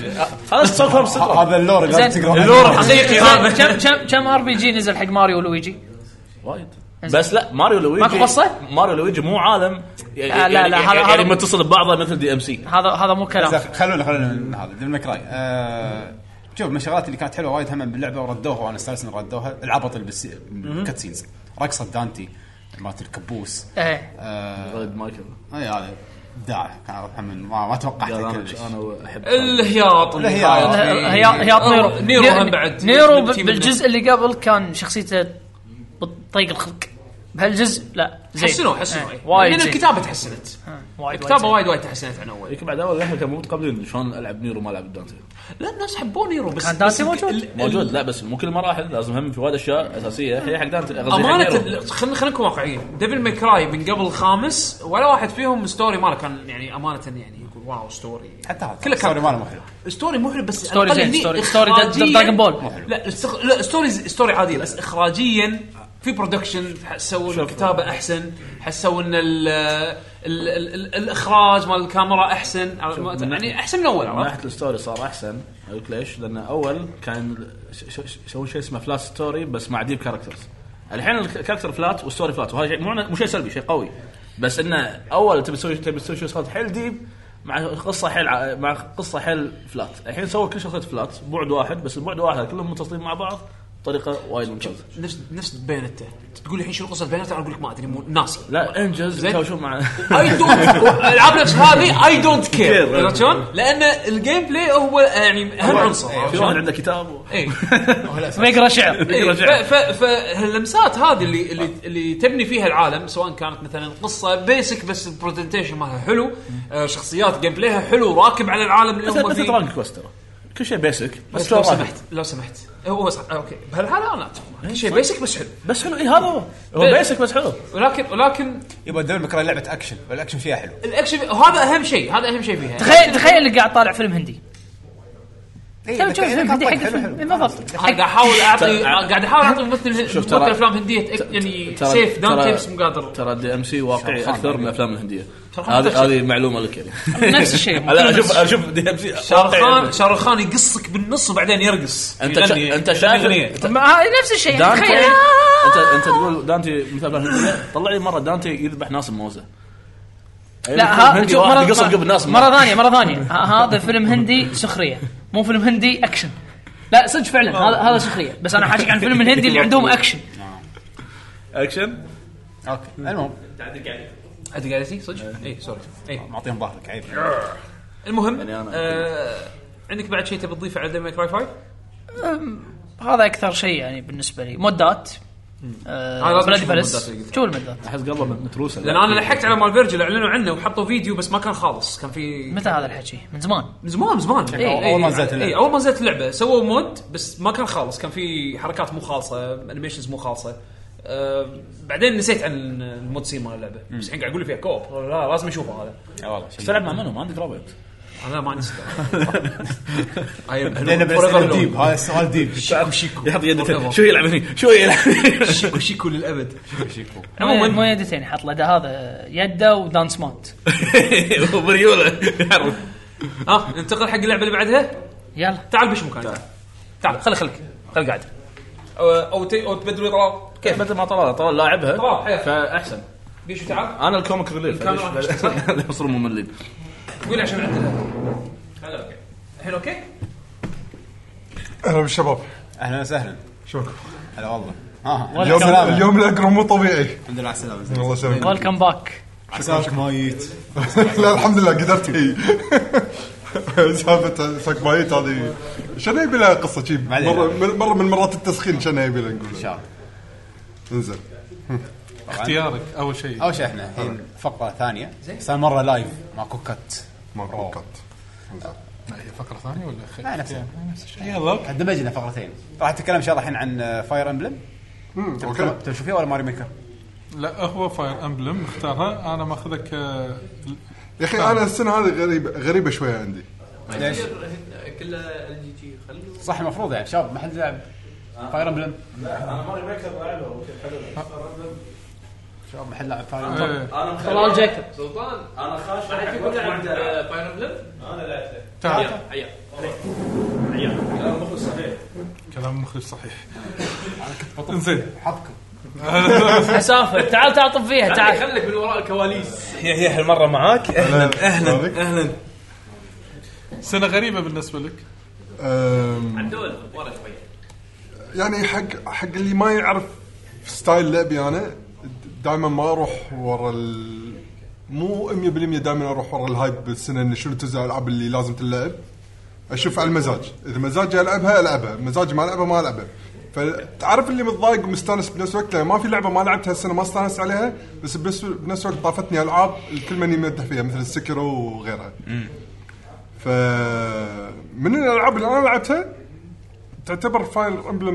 Speaker 3: خلاص تصفهم صدق
Speaker 4: هذا اللور
Speaker 15: زين.
Speaker 2: اللور الحقيقي
Speaker 4: آه.
Speaker 2: هذا.
Speaker 15: كم كم كم ار بي جي نزل حق ماريو لويجي؟
Speaker 3: وايد بس لا ماريو لويجي
Speaker 15: ماكو قصة؟ آه،
Speaker 3: ماريو لويجي مو عالم
Speaker 15: لا، لا، لا، هذا-
Speaker 3: يعني, يعني
Speaker 15: هذا-
Speaker 3: متصل ببعضه مثل دي ام سي
Speaker 15: هذا هذا مو كلام
Speaker 4: بس خلونا خلونا هذا ديفل ماكراي آه شوف من الشغلات اللي كانت حلوه وايد هم باللعبه وردوها وانا استانس ان ردوها العبط اللي بالسي- بالكاتسينز رقصه دانتي مالت الكبوس
Speaker 15: ايه
Speaker 4: ريد مايكل اي هذا ابداع كان واضح من- ما ما توقعته كلش انا
Speaker 3: احب
Speaker 2: الهياط اللي
Speaker 4: الهياط.
Speaker 2: كان-
Speaker 15: هي هي نيرو
Speaker 2: آه، نيرو هم بعد
Speaker 15: نيرو
Speaker 2: من-
Speaker 15: ب-
Speaker 2: من-
Speaker 15: بالجزء اللي قبل كان شخصيته بطيق الخلق بهالجزء لا زين
Speaker 2: حسنوا حسنوا
Speaker 15: إيه،
Speaker 2: إيه.
Speaker 15: وايد
Speaker 2: لان
Speaker 15: زين. آه،
Speaker 2: الكتابه تحسنت
Speaker 15: وايد
Speaker 2: الكتابه
Speaker 15: زين.
Speaker 2: وايد وايد تحسنت عن اول
Speaker 3: يمكن بعد اول احنا كان مو متقبلين شلون العب نيرو ما العب دانتي
Speaker 2: لا الناس حبوا نيرو بس
Speaker 15: كان دانتي
Speaker 2: بس
Speaker 15: موجود؟
Speaker 2: ال- ال-
Speaker 3: موجود لا بس مو كل المراحل لازم هم في وايد اشياء اساسيه هي حق دانتي قصدي يعني حق
Speaker 2: امانه
Speaker 3: نيرو.
Speaker 2: ال- خلينا خلينا نكون واقعيين ديفل ماي كراي من قبل الخامس ولا واحد فيهم ستوري ماله كان يعني امانه يعني يقول واو ستوري
Speaker 4: حتى هذا
Speaker 2: كله كان-
Speaker 4: ستوري ماله مو حلو
Speaker 2: ستوري مو حلو بس
Speaker 15: ستوري
Speaker 2: على الأقل
Speaker 15: زين،
Speaker 2: هني
Speaker 15: ستوري- ستوري دا- دا- دراغون
Speaker 2: إخراجياً-
Speaker 15: بول.
Speaker 2: لا استخ... لا ستوري ز- ستوري عاديه بس اخراجيا في برودكشن حسوا الكتابه احسن حسوا ان ال... ال... ال... ال... الاخراج مال الكاميرا احسن يعني احسن من اول
Speaker 3: من
Speaker 2: عرفت؟
Speaker 3: ناحيه الستوري صار احسن اقول لك ليش؟ لان اول كان ش- ش- يسوون شيء اسمه فلات ستوري بس مع ديب كاركترز. الحين الكاركتر فلات والستوري فلات وهذا شيء مو مو شيء سلبي شيء قوي بس انه اول تبي تسوي تبي تسوي شخصيات حيل ديب مع قصه حيل ع- مع قصه حيل فلات، الحين سووا كل شخصيه فلات بعد واحد بس البعد واحد كلهم متصلين مع بعض بطريقه وايد ممتازه.
Speaker 2: نفس نفس بيانتا تقول لي الحين شنو قصه بيانتا انا اقول لك ما ادري مو ناسي
Speaker 3: لا انجز
Speaker 2: زين.
Speaker 3: شو مع
Speaker 2: اي دونت العاب نفس هذه اي دونت كير عرفت شلون؟ لان الجيم بلاي هو يعني اهم عنصر
Speaker 3: في واحد عنده كتاب
Speaker 2: اي
Speaker 15: ويقرا شعر
Speaker 2: إيه، ف- ف- فاللمسات هذه اللي اللي اللي تبني فيها العالم سواء كانت مثلا قصه بيسك بس البرزنتيشن مالها حلو آه، شخصيات جيم بلايها حلو راكب على العالم اللي
Speaker 3: مثل
Speaker 2: هم
Speaker 3: مثل
Speaker 2: فيه
Speaker 3: دراجون كويست ترى. كل شيء بيسك
Speaker 2: بس لو
Speaker 3: راح. إيه،
Speaker 2: سمحت لو سمحت هو صح آه، اوكي بهالحاله انا اتفق معك. شيء بيسك بس حلو
Speaker 3: بس حلو اي هذا هو هو
Speaker 2: بي-
Speaker 3: بيسك بس حلو
Speaker 2: ولكن ولكن
Speaker 4: يبغى ديفل ماكراي لعبه اكشن والاكشن فيها حلو
Speaker 2: الاكشن هذا اهم شيء هذا اهم شيء فيها
Speaker 15: تخيل تخيل انك قاعد طالع فيلم هندي شوف شوف
Speaker 4: إيه، تخيل
Speaker 15: فيلم هندي حق
Speaker 4: طق حلو
Speaker 15: الفيلم بالضبط
Speaker 2: قاعد احاول
Speaker 15: طيب،
Speaker 2: اعطي
Speaker 3: ترى-
Speaker 2: قاعد احاول اعطي ممثل
Speaker 3: شوف،
Speaker 2: ممثل
Speaker 3: ترى-
Speaker 2: افلام هنديه أك- يعني
Speaker 3: ترى-
Speaker 2: سيف دان
Speaker 3: ترى-
Speaker 2: تيبس مقادر
Speaker 3: ترى دي ام سي واقعي
Speaker 2: شرخان
Speaker 3: اكثر من
Speaker 2: يعني.
Speaker 3: الافلام الهنديه
Speaker 2: شرخان
Speaker 3: هذه
Speaker 2: أكثر.
Speaker 3: هذه معلومه لك يعني
Speaker 15: نفس الشيء.
Speaker 3: لا اشوف اشوف دي ام سي
Speaker 2: شارخان شارخان يقصك بالنص وبعدين يرقص
Speaker 3: انت
Speaker 2: يغني-
Speaker 3: طيب. شا- انت شايف
Speaker 2: يغني.
Speaker 3: انت
Speaker 15: ما- هاي نفس الشيء يعني
Speaker 3: دانتي
Speaker 15: تخيل
Speaker 3: انت انت تقول دانتي مثل الافلام الهنديه طلع لي مره دانتي يذبح ناس أيوة، بموزه
Speaker 15: لا ها شوف
Speaker 3: مره
Speaker 15: مرة,
Speaker 3: يقص قلب الناس
Speaker 15: مرة ثانية مرة ثانية ها- هذا فيلم هندي سخرية مو فيلم هندي اكشن لا صدق فعلا هذا هذا سخرية بس انا حاجيك عن فيلم الهندي اللي عندهم اكشن
Speaker 3: اكشن
Speaker 4: اوكي المهم
Speaker 14: تعدل قاعد
Speaker 2: انت قاعد تسي صدق؟ إيه، اي سوري اي
Speaker 4: معطيهم ظهرك عيب
Speaker 2: المهم
Speaker 4: يعني أنا-
Speaker 2: آه، عندك بعد شيء تبي تضيفه على ديمي كراي 5؟
Speaker 15: أم، هذا اكثر شيء يعني بالنسبه لي مودات
Speaker 2: هذا لازم
Speaker 15: بلاد
Speaker 2: نشوف المودات
Speaker 15: فلس
Speaker 2: اللي قلتها.
Speaker 15: شو المودات؟
Speaker 3: احس قبل متروسه
Speaker 2: لان انا لحقت على مال فيرجل اعلنوا عنه وحطوا فيديو بس ما كان خالص كان في
Speaker 15: متى هذا الحكي؟ من زمان
Speaker 2: من زمان من زمان إيه،
Speaker 15: إي.
Speaker 2: إي، إي.
Speaker 15: أول ما نزلت اللعبة.
Speaker 2: إي، اول ما نزلت اللعبه سووا مود بس ما كان خالص كان في حركات مو خالصه انيميشنز مو خالصه أه بعدين نسيت عن المود سين مال اللعبه بس الحين قاعد اقول لي فيها كوب لا لازم اشوفه هذا
Speaker 4: اي
Speaker 15: آه،
Speaker 4: والله
Speaker 2: بس ألعب مع منو؟
Speaker 4: ما عندك رابط
Speaker 2: انا ما عندي
Speaker 4: بدينا بالاسئله ديب هذا السؤال ديب شيكو شيكو
Speaker 13: يحط يده شو يلعب هني شو يلعب
Speaker 2: شيكو شيكو للابد
Speaker 4: شيكو
Speaker 15: مو مو يدتين حط له ده هذا يده ودانس مات
Speaker 13: بريوله يعرف
Speaker 2: اه ننتقل حق اللعبه اللي بعدها
Speaker 15: يلا
Speaker 2: تعال بش مكان تعال تعال خلي خليك خلي قاعد او او, تي- أو تبدلوا طلال
Speaker 13: كيف مثل ما طلال طلال
Speaker 2: طلال،
Speaker 13: لاعبها
Speaker 2: حياك.
Speaker 13: فاحسن
Speaker 2: بيشو تعال
Speaker 13: انا الكوميك ريليف
Speaker 2: الكاميرا مش- صح؟
Speaker 13: اللي يصير مملين
Speaker 2: قول عشان عندنا اوكي الحين اوكي
Speaker 16: اهلا بالشباب
Speaker 4: اهلا وسهلا
Speaker 16: شلونكم؟
Speaker 4: هلا والله آه.
Speaker 16: اليوم اليوم الاقرم مو طبيعي
Speaker 4: الحمد لله على السلامه
Speaker 16: الله يسلمك.
Speaker 4: طيب.
Speaker 15: ويلكم باك
Speaker 4: عساك ميت
Speaker 16: لا الحمد لله قدرت هي سالفه ساك بايت هذه شنو يبي لها قصه شي مره من- مره من مرات التسخين شنو يبي لها نقول ان شاء الله انزين
Speaker 10: اختيارك اول شيء
Speaker 4: اول شيء احنا
Speaker 16: طيب.
Speaker 4: الحين فقره ثانيه بس مره لايف ماكو كت
Speaker 16: ماكو كت
Speaker 10: هي فقره ثانيه ولا خ...
Speaker 4: لا، نفس الشيء.
Speaker 10: نفس الشيء يلا
Speaker 4: قد دمجنا فقرتين راح نتكلم ان شاء الله الحين عن فاير امبلم
Speaker 16: أوكي.
Speaker 4: تبي تشوف فيها ولا ماري ميكر؟
Speaker 10: لا هو فاير امبلم اختارها آه، انا ماخذها ك
Speaker 16: يا اخي انا السنه هذه غريبه غريبه شويه عندي
Speaker 4: ليش؟
Speaker 14: كله ال جي جي خلوه
Speaker 4: صح المفروض يعني شباب ما حد لعب فاير امبلم
Speaker 11: انا ماري ميكر العبها وكيف حلوه
Speaker 4: شباب ما حد لعب فاير
Speaker 16: آه.
Speaker 10: إيه.
Speaker 4: امبلم
Speaker 15: طلال جاكب.
Speaker 14: سلطان
Speaker 11: انا خاش
Speaker 14: ما حد يقول لعب
Speaker 15: آه،
Speaker 14: فاير امبلم
Speaker 11: انا لعبته
Speaker 10: تعال.
Speaker 14: عيال عيال
Speaker 11: انا مخلص صحيح
Speaker 10: كلام مخرج صحيح انزين
Speaker 4: حبكم
Speaker 15: مسافه تعال تعال طب فيها
Speaker 14: تعال
Speaker 15: تعال
Speaker 14: خليك من وراء الكواليس
Speaker 13: هي هي هالمره معاك اهلا
Speaker 10: أهلاً،
Speaker 13: اهلا اهلا
Speaker 10: سنه غريبه بالنسبه لك
Speaker 16: أم،
Speaker 14: عدول ورا شويه
Speaker 16: يعني حق حق اللي ما يعرف ستايل لعبي انا دائما ما اروح ورا ال... مو 100% دائما اروح ورا الهايب بالسنه انه شنو تنزل الالعاب اللي لازم تلعب اشوف على المزاج اذا مزاجي العبها العبها مزاجي ما العبها ما العبها فتعرف اللي متضايق ومستانس بنفس الوقت لأن ما في لعبه ما لعبتها السنه ما استانست عليها بس بنفس بنفس الوقت طافتني العاب الكل ماني مدح فيها مثل السكرو وغيرها ف من الالعاب اللي انا لعبتها تعتبر آه، فاير امبلم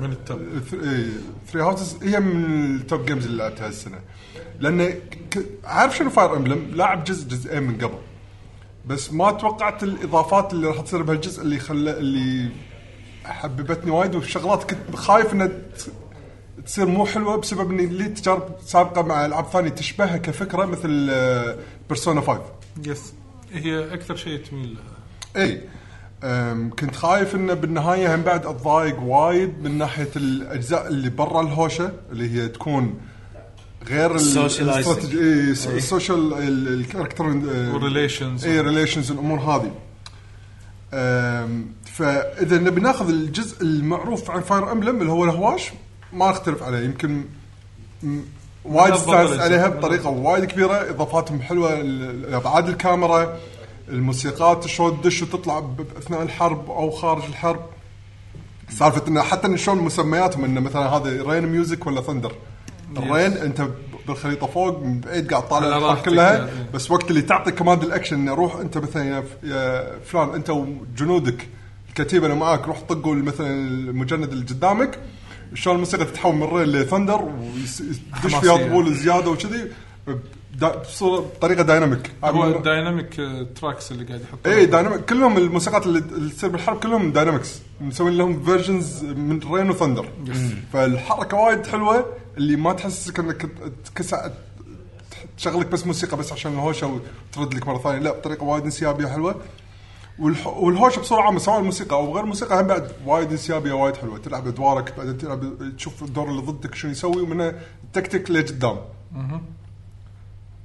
Speaker 10: من التوب
Speaker 16: ثري هاوسز إيه، هي من التوب جيمز اللي لعبتها السنه لان ك- عارف شنو فاير امبلم لاعب جزء جزئين من قبل بس ما توقعت الاضافات اللي راح تصير بهالجزء اللي خلى اللي حببتني وايد وشغلات كنت خايف انها ت- تصير مو حلوه بسبب اني لي تجارب سابقه مع العاب ثانيه تشبهها كفكره مثل آه، بيرسونا 5
Speaker 10: يس هي اكثر شيء تميل لها
Speaker 16: اي أم، كنت خايف انه بالنهايه هم بعد اتضايق وايد من ناحيه الاجزاء اللي برا الهوشه اللي هي تكون غير ال-
Speaker 13: Socializing.
Speaker 16: الاستراتيجي اي السوشيال ال- الكاركتر
Speaker 10: والrelations.
Speaker 16: اي ريليشنز الامور هذه أم، فاذا نبي ناخذ الجزء المعروف عن فاير امبلم اللي هو الهواش ما نختلف عليه يمكن م- وايد
Speaker 10: منظم
Speaker 16: استانس
Speaker 10: الأجزاء.
Speaker 16: عليها بطريقه وايد كبيره اضافاتهم حلوه ال- ابعاد الكاميرا الموسيقات شلون تدش وتطلع ب- اثناء الحرب او خارج الحرب سالفه انه حتى إن شلون مسمياتهم انه مثلا هذا رين ميوزك ولا ثندر الرين انت ب- بالخريطه فوق من بعيد قاعد
Speaker 10: على
Speaker 16: طالع الحرب
Speaker 10: راحتك
Speaker 16: كلها
Speaker 10: يعني.
Speaker 16: بس وقت اللي تعطي كماند الاكشن انه روح انت مثلا يا ف- يا فلان انت وجنودك الكتيبه اللي معاك روح طقوا مثلا المجند اللي قدامك شلون الموسيقى تتحول من رين لثندر ويدش فيها
Speaker 10: حماسية.
Speaker 16: طبول زياده وكذي بدا- بصورة- بطريقه دايناميك
Speaker 10: هو الدايناميك تراكس اللي قاعد يحطها
Speaker 16: اي إيه، دايناميك كلهم الموسيقات اللي اللي تصير بالحرب كلهم داينامكس مسوين لهم فيرجنز من رين وثندر فالحركه وايد حلوه اللي ما تحسسك انك تكسع تشغلك بس موسيقى بس عشان الهوشه وترد لك مره ثانيه لا بطريقه وايد انسيابيه حلوه والح... والهوشه بصوره عامه سواء الموسيقى او غير الموسيقى هم بعد وايد انسيابيه وايد حلوه تلعب ادوارك بعدين تلعب تشوف الدور اللي ضدك شنو يسوي ومنها التكتيك لقدام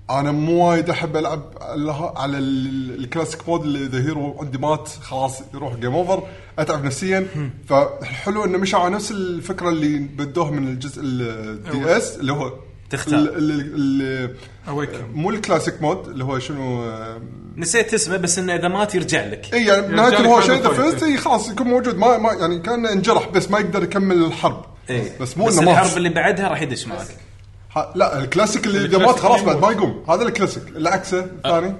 Speaker 16: انا مو وايد احب العب على- على ال- الكلاسيك مود اللي اذا هيرو عندي مات خلاص يروح جيم اوفر اتعب نفسيا فحلو انه مشى على نفس الفكره اللي بدوها من الجزء الدي
Speaker 10: أول.
Speaker 16: اس اللي هو
Speaker 10: تختار.
Speaker 16: ال- ال- ال- مو الكلاسيك مود اللي هو شنو
Speaker 8: نسيت اسمه بس انه اذا مات يرجع لك
Speaker 16: اي يعني بنهايه اللي هو شيء اذا فزت إي إيه، خلاص يكون موجود ما, ما يعني كان انجرح بس ما يقدر يكمل الحرب
Speaker 8: إيه.
Speaker 16: بس مو
Speaker 8: بس
Speaker 16: انه مات
Speaker 8: الحرب اللي بعدها راح يدش معك
Speaker 16: ها- لا الكلاسيك اللي اذا
Speaker 8: الكلاسيك
Speaker 16: مات خلاص
Speaker 8: اللي
Speaker 16: بعد ما يقوم هذا الكلاسيك اللي عكسه الثاني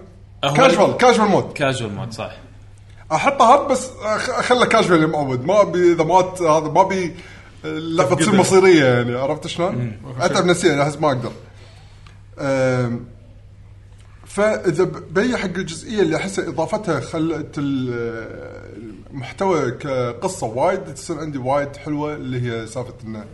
Speaker 8: أه،
Speaker 16: كاجوال كاجوال مود
Speaker 8: كاجوال مود صح
Speaker 16: احطه هارد بس أخ- اخله كاجوال يا معود ما ابي اذا مات هذا ما ابي اللعبه تصير
Speaker 10: تفقده.
Speaker 16: مصيريه يعني عرفت شلون؟
Speaker 10: مم.
Speaker 16: اتعب نفسيا احس ما اقدر. أم، فاذا ب- بي حق الجزئيه اللي احسها اضافتها خلت ال- المحتوى كقصه وايد تصير عندي وايد حلوه اللي هي سالفه انه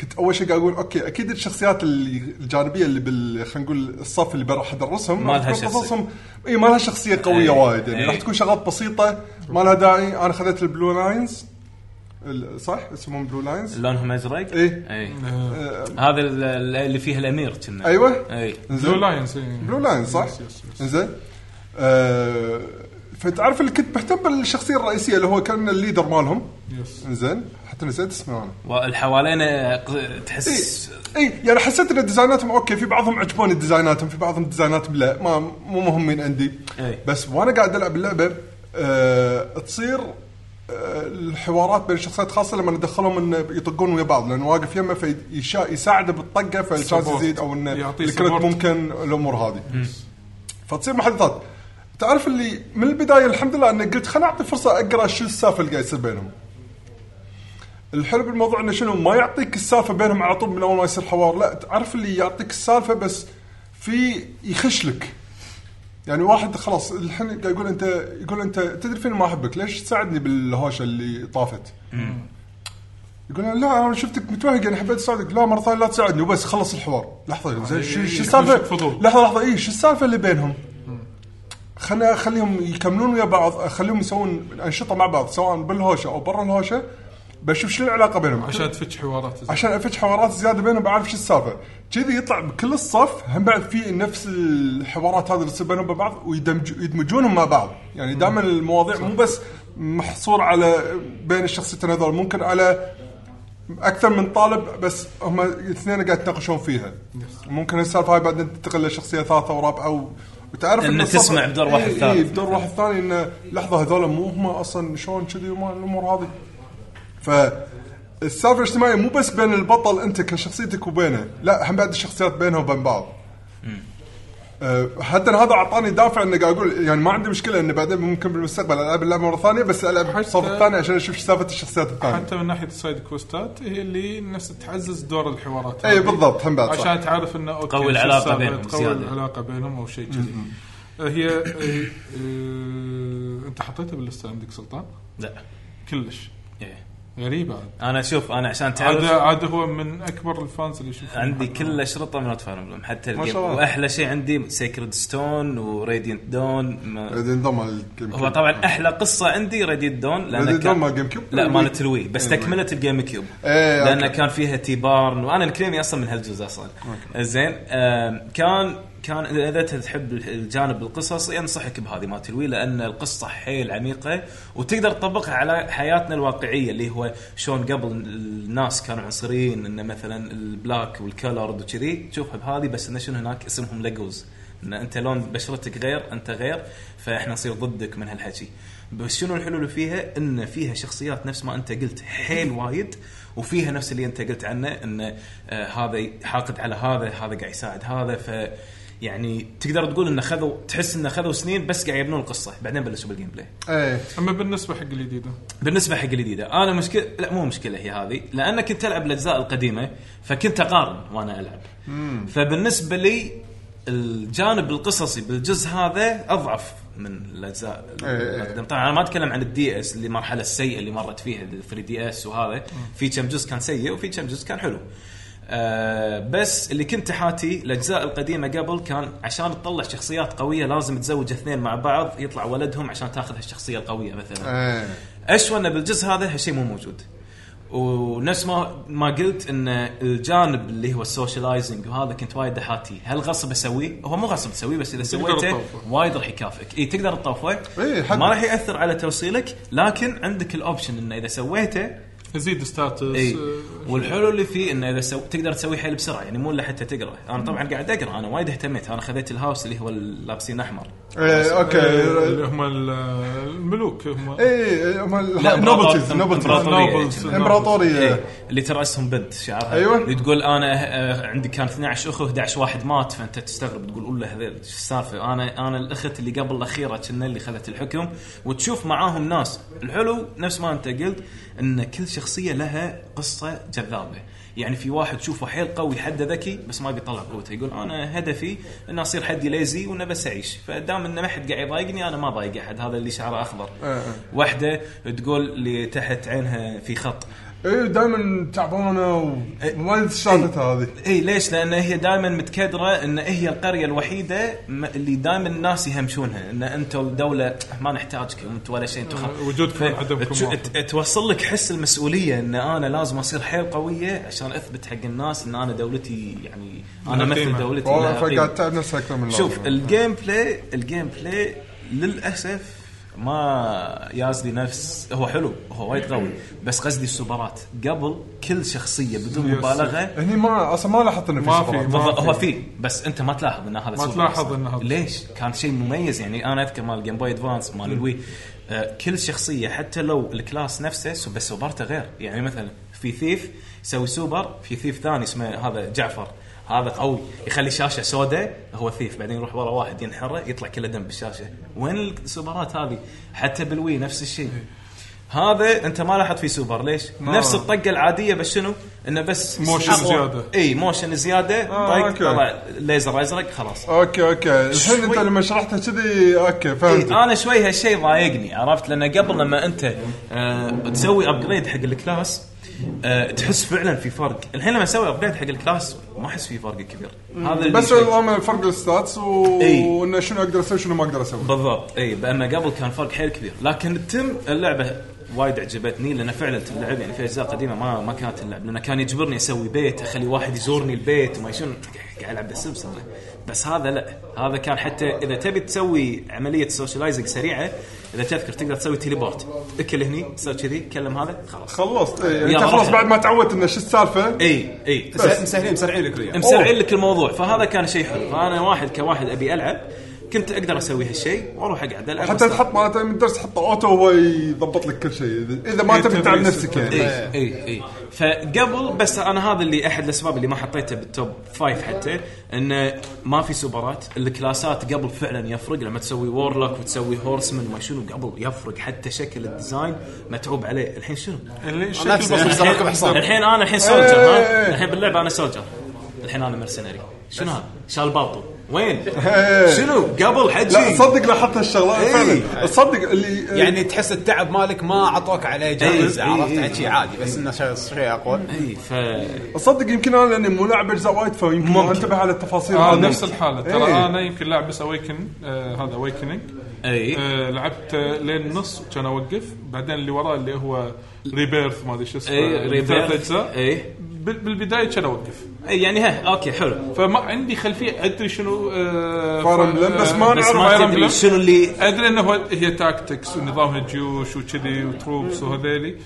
Speaker 16: كنت اول شيء قاعد اقول اوكي اكيد الشخصيات اللي الجانبيه اللي بال خلينا نقول الصف اللي راح ادرسهم
Speaker 8: ما لها
Speaker 16: راح تكون
Speaker 8: شخصية.
Speaker 16: قصصهم اي ما لها شخصيه قويه
Speaker 8: إيه.
Speaker 16: وايد يعني
Speaker 8: إيه.
Speaker 16: راح تكون شغلات بسيطه ما لها داعي انا خذيت البلو لاينز ال- صح اسمهم بلو لاينز
Speaker 8: لونهم ازرق
Speaker 10: إيه.
Speaker 16: ايه
Speaker 8: هذا ال- ال- اللي فيه الامير كنا
Speaker 10: أيوة.
Speaker 8: إيه.
Speaker 16: ايوه
Speaker 8: اي
Speaker 16: إنزين.
Speaker 10: إيه.
Speaker 16: بلو لاينز صح انزين آه، فتعرف اللي كنت مهتم بالشخصيه الرئيسيه اللي هو كان الليدر مالهم
Speaker 10: يس.
Speaker 16: انزين حتى نسيت اسمه انا
Speaker 8: والحوالين ق- تحس
Speaker 10: إيه.
Speaker 16: اي يعني حسيت ان ديزايناتهم اوكي في بعضهم عجبوني ديزايناتهم في بعضهم ديزايناتهم لا ما مو مهمين عندي
Speaker 8: أي.
Speaker 16: بس وانا قاعد العب اللعبه أه تصير أه الحوارات بين الشخصيات خاصه لما ندخلهم انه يطقون ويا بعض لان واقف يمه فيساعده بالطقه فالشانس
Speaker 10: Support.
Speaker 16: يزيد او انه
Speaker 10: يعطيه
Speaker 16: الكريت
Speaker 10: support.
Speaker 16: ممكن الامور هذه فتصير محادثات تعرف اللي من البدايه الحمد لله اني قلت خليني اعطي فرصه اقرا شو السالفه اللي قاعد يصير بينهم الحلو بالموضوع انه شنو ما يعطيك السالفه بينهم على طول من اول ما يصير حوار لا تعرف اللي يعطيك السالفه بس في يخش لك يعني واحد خلاص الحين قاعد يقول انت يقول انت تدري فين ما احبك ليش تساعدني بالهوشه اللي طافت؟ يقول أنا لا انا شفتك متوهق انا حبيت اساعدك لا مره ثانيه لا تساعدني وبس خلص الحوار لحظه زين شو شو السالفه؟ لحظه لحظه اي إيه، شو السالفه اللي بينهم؟ خلنا اخليهم يكملون ويا بعض اخليهم يسوون انشطه مع بعض سواء بالهوشه او برا الهوشه بشوف شنو العلاقه بينهم
Speaker 10: عشان تفتش حوارات
Speaker 16: عشان افتش حوارات زياده بينهم بعرف شو السالفه كذي يطلع بكل الصف هم بعد في نفس الحوارات هذه اللي تصير بينهم ببعض ويدمجونهم مع بعض يعني دائما المواضيع مو بس محصور على بين الشخصيتين هذول ممكن على اكثر من طالب بس هم الاثنين قاعد يتناقشون فيها ممكن السالفه هاي بعدين تنتقل لشخصيه ثالثه ورابعه و... وتعرف
Speaker 8: إن
Speaker 16: الصف-
Speaker 8: تسمع بدور واحد
Speaker 16: إي- إي،
Speaker 8: ثالث.
Speaker 16: إيه، بدور واحد ثاني انه لحظه هذول مو هم اصلا شلون كذي وما الامور هذه فالسالفه الاجتماعيه مو بس بين البطل انت كشخصيتك وبينه لا هم بعد الشخصيات بينها وبين بعض أه، حتى هذا اعطاني دافع اني قاعد اقول يعني ما عندي مشكله انه بعدين ممكن بالمستقبل العب اللعبه مره ثانيه بس العب الصف الثاني عشان اشوف إيش سالفه الشخصيات الثانيه
Speaker 10: حتى من ناحيه السايد كوستات هي اللي نفس تعزز دور الحوارات
Speaker 16: إي
Speaker 10: هذه.
Speaker 16: إيه، بالضبط، هم بعد صح.
Speaker 10: عشان تعرف انه اوكي
Speaker 8: تقوي
Speaker 10: شو
Speaker 8: العلاقة
Speaker 10: السالفة،
Speaker 8: بينهم
Speaker 10: تقوي
Speaker 8: زيادة.
Speaker 10: العلاقه بينهم او شيء كذي
Speaker 8: م-م.
Speaker 10: آه، هي آه، آه، انت حطيتها باللسته عندك سلطان؟
Speaker 8: لا
Speaker 10: كلش
Speaker 8: إيه.
Speaker 10: غريبه عاد.
Speaker 8: انا اشوف انا عشان تعرف
Speaker 10: عاد عاد هو من اكبر الفانز اللي يشوفون
Speaker 8: عندي كل اشرطه من فاير امبلم حتى
Speaker 10: ما
Speaker 8: الجيم
Speaker 10: شاء الله.
Speaker 8: واحلى شيء عندي سيكرد ستون وراديانت دون
Speaker 16: راديانت دون مال الجيم
Speaker 8: هو طبعا احلى قصه عندي راديانت دون لأن
Speaker 16: راديانت
Speaker 8: كان-
Speaker 16: دون مال جيم كيوب؟
Speaker 8: لا مالت الوي بس
Speaker 16: إيه،
Speaker 8: تكملت الجيم كيوب
Speaker 16: إيه،
Speaker 8: لان
Speaker 16: أوكي.
Speaker 8: كان فيها تي بارن وانا الكليمي اصلا من هالجزء اصلا زين آم، كان كان اذا إذا أنت تحب الجانب القصصي انصحك بهذه مالت الوي لان القصه حيل عميقه وتقدر تطبقها على حياتنا الواقعيه اللي هو شلون قبل الناس كانوا عنصريين انه مثلا البلاك والكلرد وكذي تشوفها بهذه بس انه شنو هناك اسمهم ليجوز ان انت لون بشرتك غير انت غير فاحنا نصير ضدك من هالحكي بس شنو الحلو اللي فيها ان فيها شخصيات نفس ما انت قلت حيل وايد وفيها نفس اللي انت قلت عنه ان آه هذا حاقد على هذا هذا قاعد يساعد هذا ف يعني تقدر تقول انه خذوا تحس انه خذوا سنين بس قاعد يبنون القصه بعدين بلشوا بالجيم بلاي
Speaker 16: ايه
Speaker 10: اما بالنسبه حق الجديده
Speaker 8: بالنسبه حق الجديده انا مشكله لا مو مشكله هي هذه لان كنت العب الاجزاء القديمه فكنت اقارن وانا العب فبالنسبه لي الجانب القصصي بالجزء هذا اضعف من الاجزاء
Speaker 16: إيه.
Speaker 8: المقدمة. طبعا انا ما اتكلم عن الدي اس اللي المرحله السيئه اللي مرت فيها 3 دي اس وهذا في كم جزء كان سيء وفي كم جزء كان حلو آه بس اللي كنت حاتي الاجزاء القديمه قبل كان عشان تطلع شخصيات قويه لازم تزوج اثنين مع بعض يطلع ولدهم عشان تاخذ هالشخصيه القويه مثلا
Speaker 16: إيه.
Speaker 8: اشوى انه بالجزء هذا هالشيء مو موجود ونفس ما ما قلت ان الجانب اللي هو السوشيالايزنج وهذا كنت وايد احاتي هل غصب اسويه؟ هو مو غصب تسويه بس اذا
Speaker 16: تقدر
Speaker 8: سويته
Speaker 16: تطوفه.
Speaker 8: وايد راح يكافئك اي تقدر تطوفه
Speaker 16: إي، حق-
Speaker 8: ما راح ياثر على توصيلك لكن عندك الاوبشن انه اذا سويته
Speaker 11: يزيد ستاتس
Speaker 8: اي والحلو اللي فيه انه اذا سو... تقدر تسوي حيل بسرعه يعني مو الا حتى تقرا انا طبعا قاعد اقرا انا وايد اهتميت انا خذيت الهاوس اللي هو لابسين احمر
Speaker 16: إيه، أوكي.
Speaker 10: اللي هم ال- الملوك هم
Speaker 16: اي إيه، هم ال-
Speaker 8: لا إيه.
Speaker 16: نوبلتيز
Speaker 8: نوبلتيز
Speaker 16: نوبلتيز امبراطوريه
Speaker 8: اللي ترى اسهم بنت شعرها
Speaker 16: أيوة.
Speaker 8: اللي تقول انا آه، عندي كان 12 اخو 11 واحد مات فانت تستغرب تقول اولا هذول شو السالفه انا انا الاخت اللي قبل الاخيره كنا اللي خذت الحكم وتشوف معاهم ناس الحلو نفس ما انت قلت ان كل شخصيه لها قصه جذابه يعني في واحد تشوفه حيل قوي حده ذكي بس ما بيطلع قوته يقول انا هدفي ان اصير حدي ليزي وانه بس اعيش فدام انه ما حد قاعد يضايقني انا ما ضايق احد هذا اللي شعره اخضر
Speaker 16: إيه.
Speaker 8: واحده تقول اللي تحت عينها في خط
Speaker 16: اي دائما تعبانه وما سالفتها هذه
Speaker 8: اي إيه، ليش؟ لان هي دائما متكدره ان هي القريه الوحيده م- اللي دائما الناس يهمشونها ان انتم الدوله ما نحتاجكم انتم ولا شيء انتم خلاص.
Speaker 10: وجودكم
Speaker 8: ف-
Speaker 10: وعدمكم
Speaker 8: تش-
Speaker 10: واحد.
Speaker 8: ت- توصل لك حس المسؤوليه ان انا لازم اصير حيل قويه عشان اثبت حق الناس ان انا دولتي يعني انا
Speaker 16: لها
Speaker 8: امثل
Speaker 16: قيمة.
Speaker 8: دولتي
Speaker 16: والله
Speaker 8: لها
Speaker 16: فقاعد
Speaker 8: قيمة.
Speaker 16: تتعب نفسك أكثر من اللازم.
Speaker 8: شوف الجيم بلاي الجيم بلاي للاسف ما يازلي نفس هو حلو هو وايد قوي بس قصدي السوبرات قبل كل شخصيه بدون مبالغه
Speaker 16: هني ما اصلا ما لاحظت انه في
Speaker 8: ما
Speaker 16: سفرات.
Speaker 8: في بالضبط هو في بس انت ما تلاحظ ان هذا
Speaker 16: ما
Speaker 8: سوبر
Speaker 16: تلاحظ
Speaker 8: أصلاً.
Speaker 16: إن هذا
Speaker 8: ليش؟ كان شيء مميز يعني انا اذكر مال جيم بوي ادفانس مال الوي آه كل شخصيه حتى لو الكلاس نفسه سو- بس سوبرته غير يعني مثلا في ثيف يسوي سوبر في ثيف ثاني اسمه هذا جعفر هذا قوي يخلي شاشه سوداء هو ثيف بعدين يروح ورا واحد ينحره يطلع كله دم بالشاشه وين السوبرات هذه حتى بالوي نفس الشيء هذا انت ما لاحظت فيه سوبر ليش؟
Speaker 10: ما-
Speaker 8: نفس الطقه العاديه بس شنو؟ انه بس
Speaker 10: موشن
Speaker 8: أقوى.
Speaker 10: زيادة.
Speaker 8: اي موشن زياده
Speaker 16: آه،
Speaker 8: طق
Speaker 16: أوكي.
Speaker 8: طلع ليزر ازرق خلاص
Speaker 16: اوكي اوكي الحين انت
Speaker 8: شوي.
Speaker 16: لما شرحتها كذي اوكي فهمت
Speaker 8: إيه، انا شوي هالشيء ضايقني عرفت لان قبل لما انت آه تسوي ابجريد حق الكلاس آه تحس فعلا في فرق الحين لما اسوي ابجريد حق الكلاس ما احس في فرق كبير إيه، هذا اللي
Speaker 16: بس
Speaker 8: شوي- إيه.
Speaker 16: الامر فرق الستاتس و-
Speaker 8: إي.
Speaker 16: وانه شنو اقدر اسوي شنو ما اقدر اسوي
Speaker 8: بالضبط اي بأما قبل كان فرق حيل كبير لكن التم اللعبه وايد عجبتني لان فعلا تلعب يعني في اجزاء قديمه ما ما كانت اللعب لان كان يجبرني اسوي بيت اخلي واحد يزورني البيت وما شنو قاعد العب بالسبس انا بس هذا لا هذا كان حتى اذا تبي تسوي عمليه سوشيالايزنج سريعه اذا تذكر تقدر تسوي تيليبورت اكل هني سوي كذي كلم هذا خلاص
Speaker 16: خلصت إيه،
Speaker 8: يلا
Speaker 16: انت خلاص
Speaker 8: روح.
Speaker 16: بعد ما تعودت انه شو السالفه
Speaker 8: اي اي
Speaker 16: بس. مسهلين- مسرعين لك الوضع.
Speaker 8: مسرعين لك الموضوع فهذا كان شيء حلو فانا واحد كواحد ابي العب كنت اقدر اسوي هالشيء واروح اقعد العب
Speaker 16: حتى
Speaker 8: وأستانس.
Speaker 16: تحط معناته من درس تحط اوتو وهو يضبط لك كل شيء اذا
Speaker 8: إيه،
Speaker 16: ما تبي تتعب نفسك
Speaker 8: اي
Speaker 16: يعني
Speaker 8: اي اي إيه، فقبل بس انا هذا اللي احد الاسباب اللي ما حطيته بالتوب فايف حتى انه ما في سوبرات الكلاسات قبل فعلا يفرق لما تسوي وورلوك وتسوي هورسمان وما شنو قبل يفرق حتى شكل الديزاين متعوب عليه الحين شنو؟
Speaker 10: اللي
Speaker 8: نفس-
Speaker 10: شكل بسيط.
Speaker 8: الحين الحين انا الحين سولجر
Speaker 16: إيه،
Speaker 8: ها؟ الحين باللعبه انا سولجر الحين انا مرسنري شنو هذا؟ شال باطو وين؟ شنو؟ قبل حجي
Speaker 16: إيه.
Speaker 8: إيه.
Speaker 16: لا صدق لاحظت هالشغله
Speaker 8: إي.
Speaker 16: فعلا صدق اللي إيه،
Speaker 4: يعني تحس التعب مالك ما عطوك عليه جائزه
Speaker 16: إي، إي،
Speaker 4: عرفت
Speaker 16: إي.
Speaker 4: يعني شيء عادي بس انه شيء إيه، شيء اقوى
Speaker 16: إيه،
Speaker 8: اي ف
Speaker 16: صدق يمكن انا لاني مو لاعب اجزاء وايد فيمكن ما انتبه على التفاصيل
Speaker 10: آه
Speaker 16: هذه.
Speaker 10: نفس الحاله ترى
Speaker 16: إيه.
Speaker 10: انا يمكن لاعب بس اويكن آه هذا اويكننج
Speaker 8: اي
Speaker 10: آه لعبت آه، لين النص كان اوقف بعدين اللي وراه اللي هو ريبيرث ما ادري شو اسمه
Speaker 8: إي،
Speaker 10: ثلاث
Speaker 8: إيه، Rebirth.
Speaker 10: اجزاء
Speaker 8: اي
Speaker 10: بال- بالبدايه كان اوقف
Speaker 8: اي يعني ها اوكي حلو
Speaker 10: فما عندي خلفيه ادري شنو آه،
Speaker 16: Fire
Speaker 10: ف-
Speaker 16: Emblem، بس
Speaker 10: آه،
Speaker 16: ما نعرف Fire Emblem.
Speaker 8: شنو اللي
Speaker 10: ادري انه هو- هي تاكتكس ونظامها جيوش وكذي وتروبس وهذيلي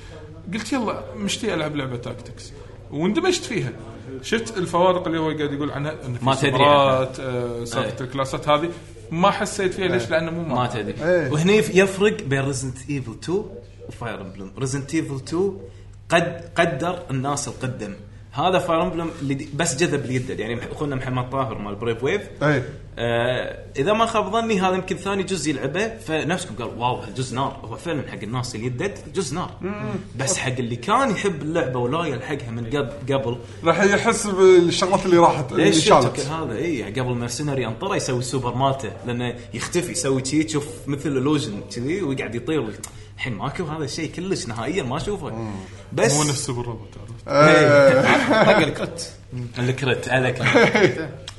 Speaker 10: قلت يلا مشتي العب لعبه تاكتكس واندمجت فيها شفت الفوارق اللي هو قاعد يقول عنها انه في
Speaker 8: ما تدري
Speaker 10: سفرات
Speaker 8: عنها.
Speaker 10: آه،
Speaker 8: أي.
Speaker 10: سالفه الكلاسات هذه ما حسيت فيها ليش لانه مو
Speaker 8: إيه. ما تدري
Speaker 16: إيه.
Speaker 10: إيه.
Speaker 8: وهني يفرق بين ريزنت ايفل 2 وفاير امبلم ريزنت ايفل 2 قد قدر الناس القدم هذا فاير امبلم اللي دي- بس جذب اليد يعني مح- اخونا محمد طاهر مال بريف ويف
Speaker 16: إي.
Speaker 8: آه اذا ما خاب ظني هذا يمكن ثاني جزء يلعبه فنفسكم قال واو هالجزء نار هو فعلا حق الناس اللي يدد جزء نار بس حق اللي كان يحب اللعبه ولايل حقها من قبل قبل
Speaker 16: راح يحس بالشغلات اللي راحت اللي
Speaker 8: ليش
Speaker 16: شالت
Speaker 8: شفتك هذا إيه. اي قبل مرسنري انطره يسوي السوبر مالته لانه يختفي يسوي شي تشوف مثل الوجن كذي ويقعد يطير ويط- الحين ماكو هذا الشيء كلش نهائيا ما اشوفه بس
Speaker 10: مو نفس الروبوت عرفت
Speaker 8: إيه.
Speaker 16: آه.
Speaker 8: طق الكرت الكرت عليك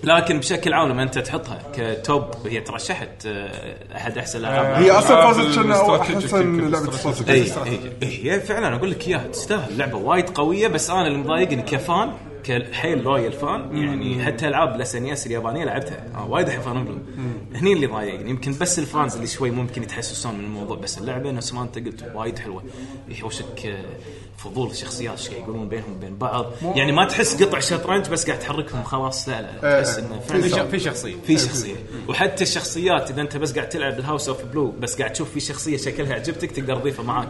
Speaker 8: لكن بشكل عام لما انت تحطها كتوب هي ترشحت آه، احد احسن الالعاب
Speaker 16: هي أصلاً فازت شنو أو أحسن لعبة استراتيجية.
Speaker 8: اي اي إيه، هي فعلا اقول لك اياها تستاهل لعبه وايد قويه بس انا اللي مضايقني كفان كحيل لويال فان يعني حتى العاب الاس ان اس اليابانيه لعبتها آه وايد احب فان امبلم هني اللي ضايقني يمكن بس الفانز اللي شوي ممكن يتحسسون من الموضوع بس اللعبه نفس ما انت قلت وايد حلوه يحوشك آه، فضول الشخصيات ايش قاعد يقولون بينهم وبين بعض يعني ما تحس قطع شطرنج بس قاعد تحركهم خلاص لا لا تحس انه
Speaker 4: آه، في
Speaker 8: فعلاً-
Speaker 4: ش- في شخصيه.
Speaker 8: في شخصيه وحتى الشخصيات اذا انت بس قاعد تلعب الهاوس اوف بلو بس قاعد تشوف في شخصيه شكلها عجبتك تقدر تضيفها معاك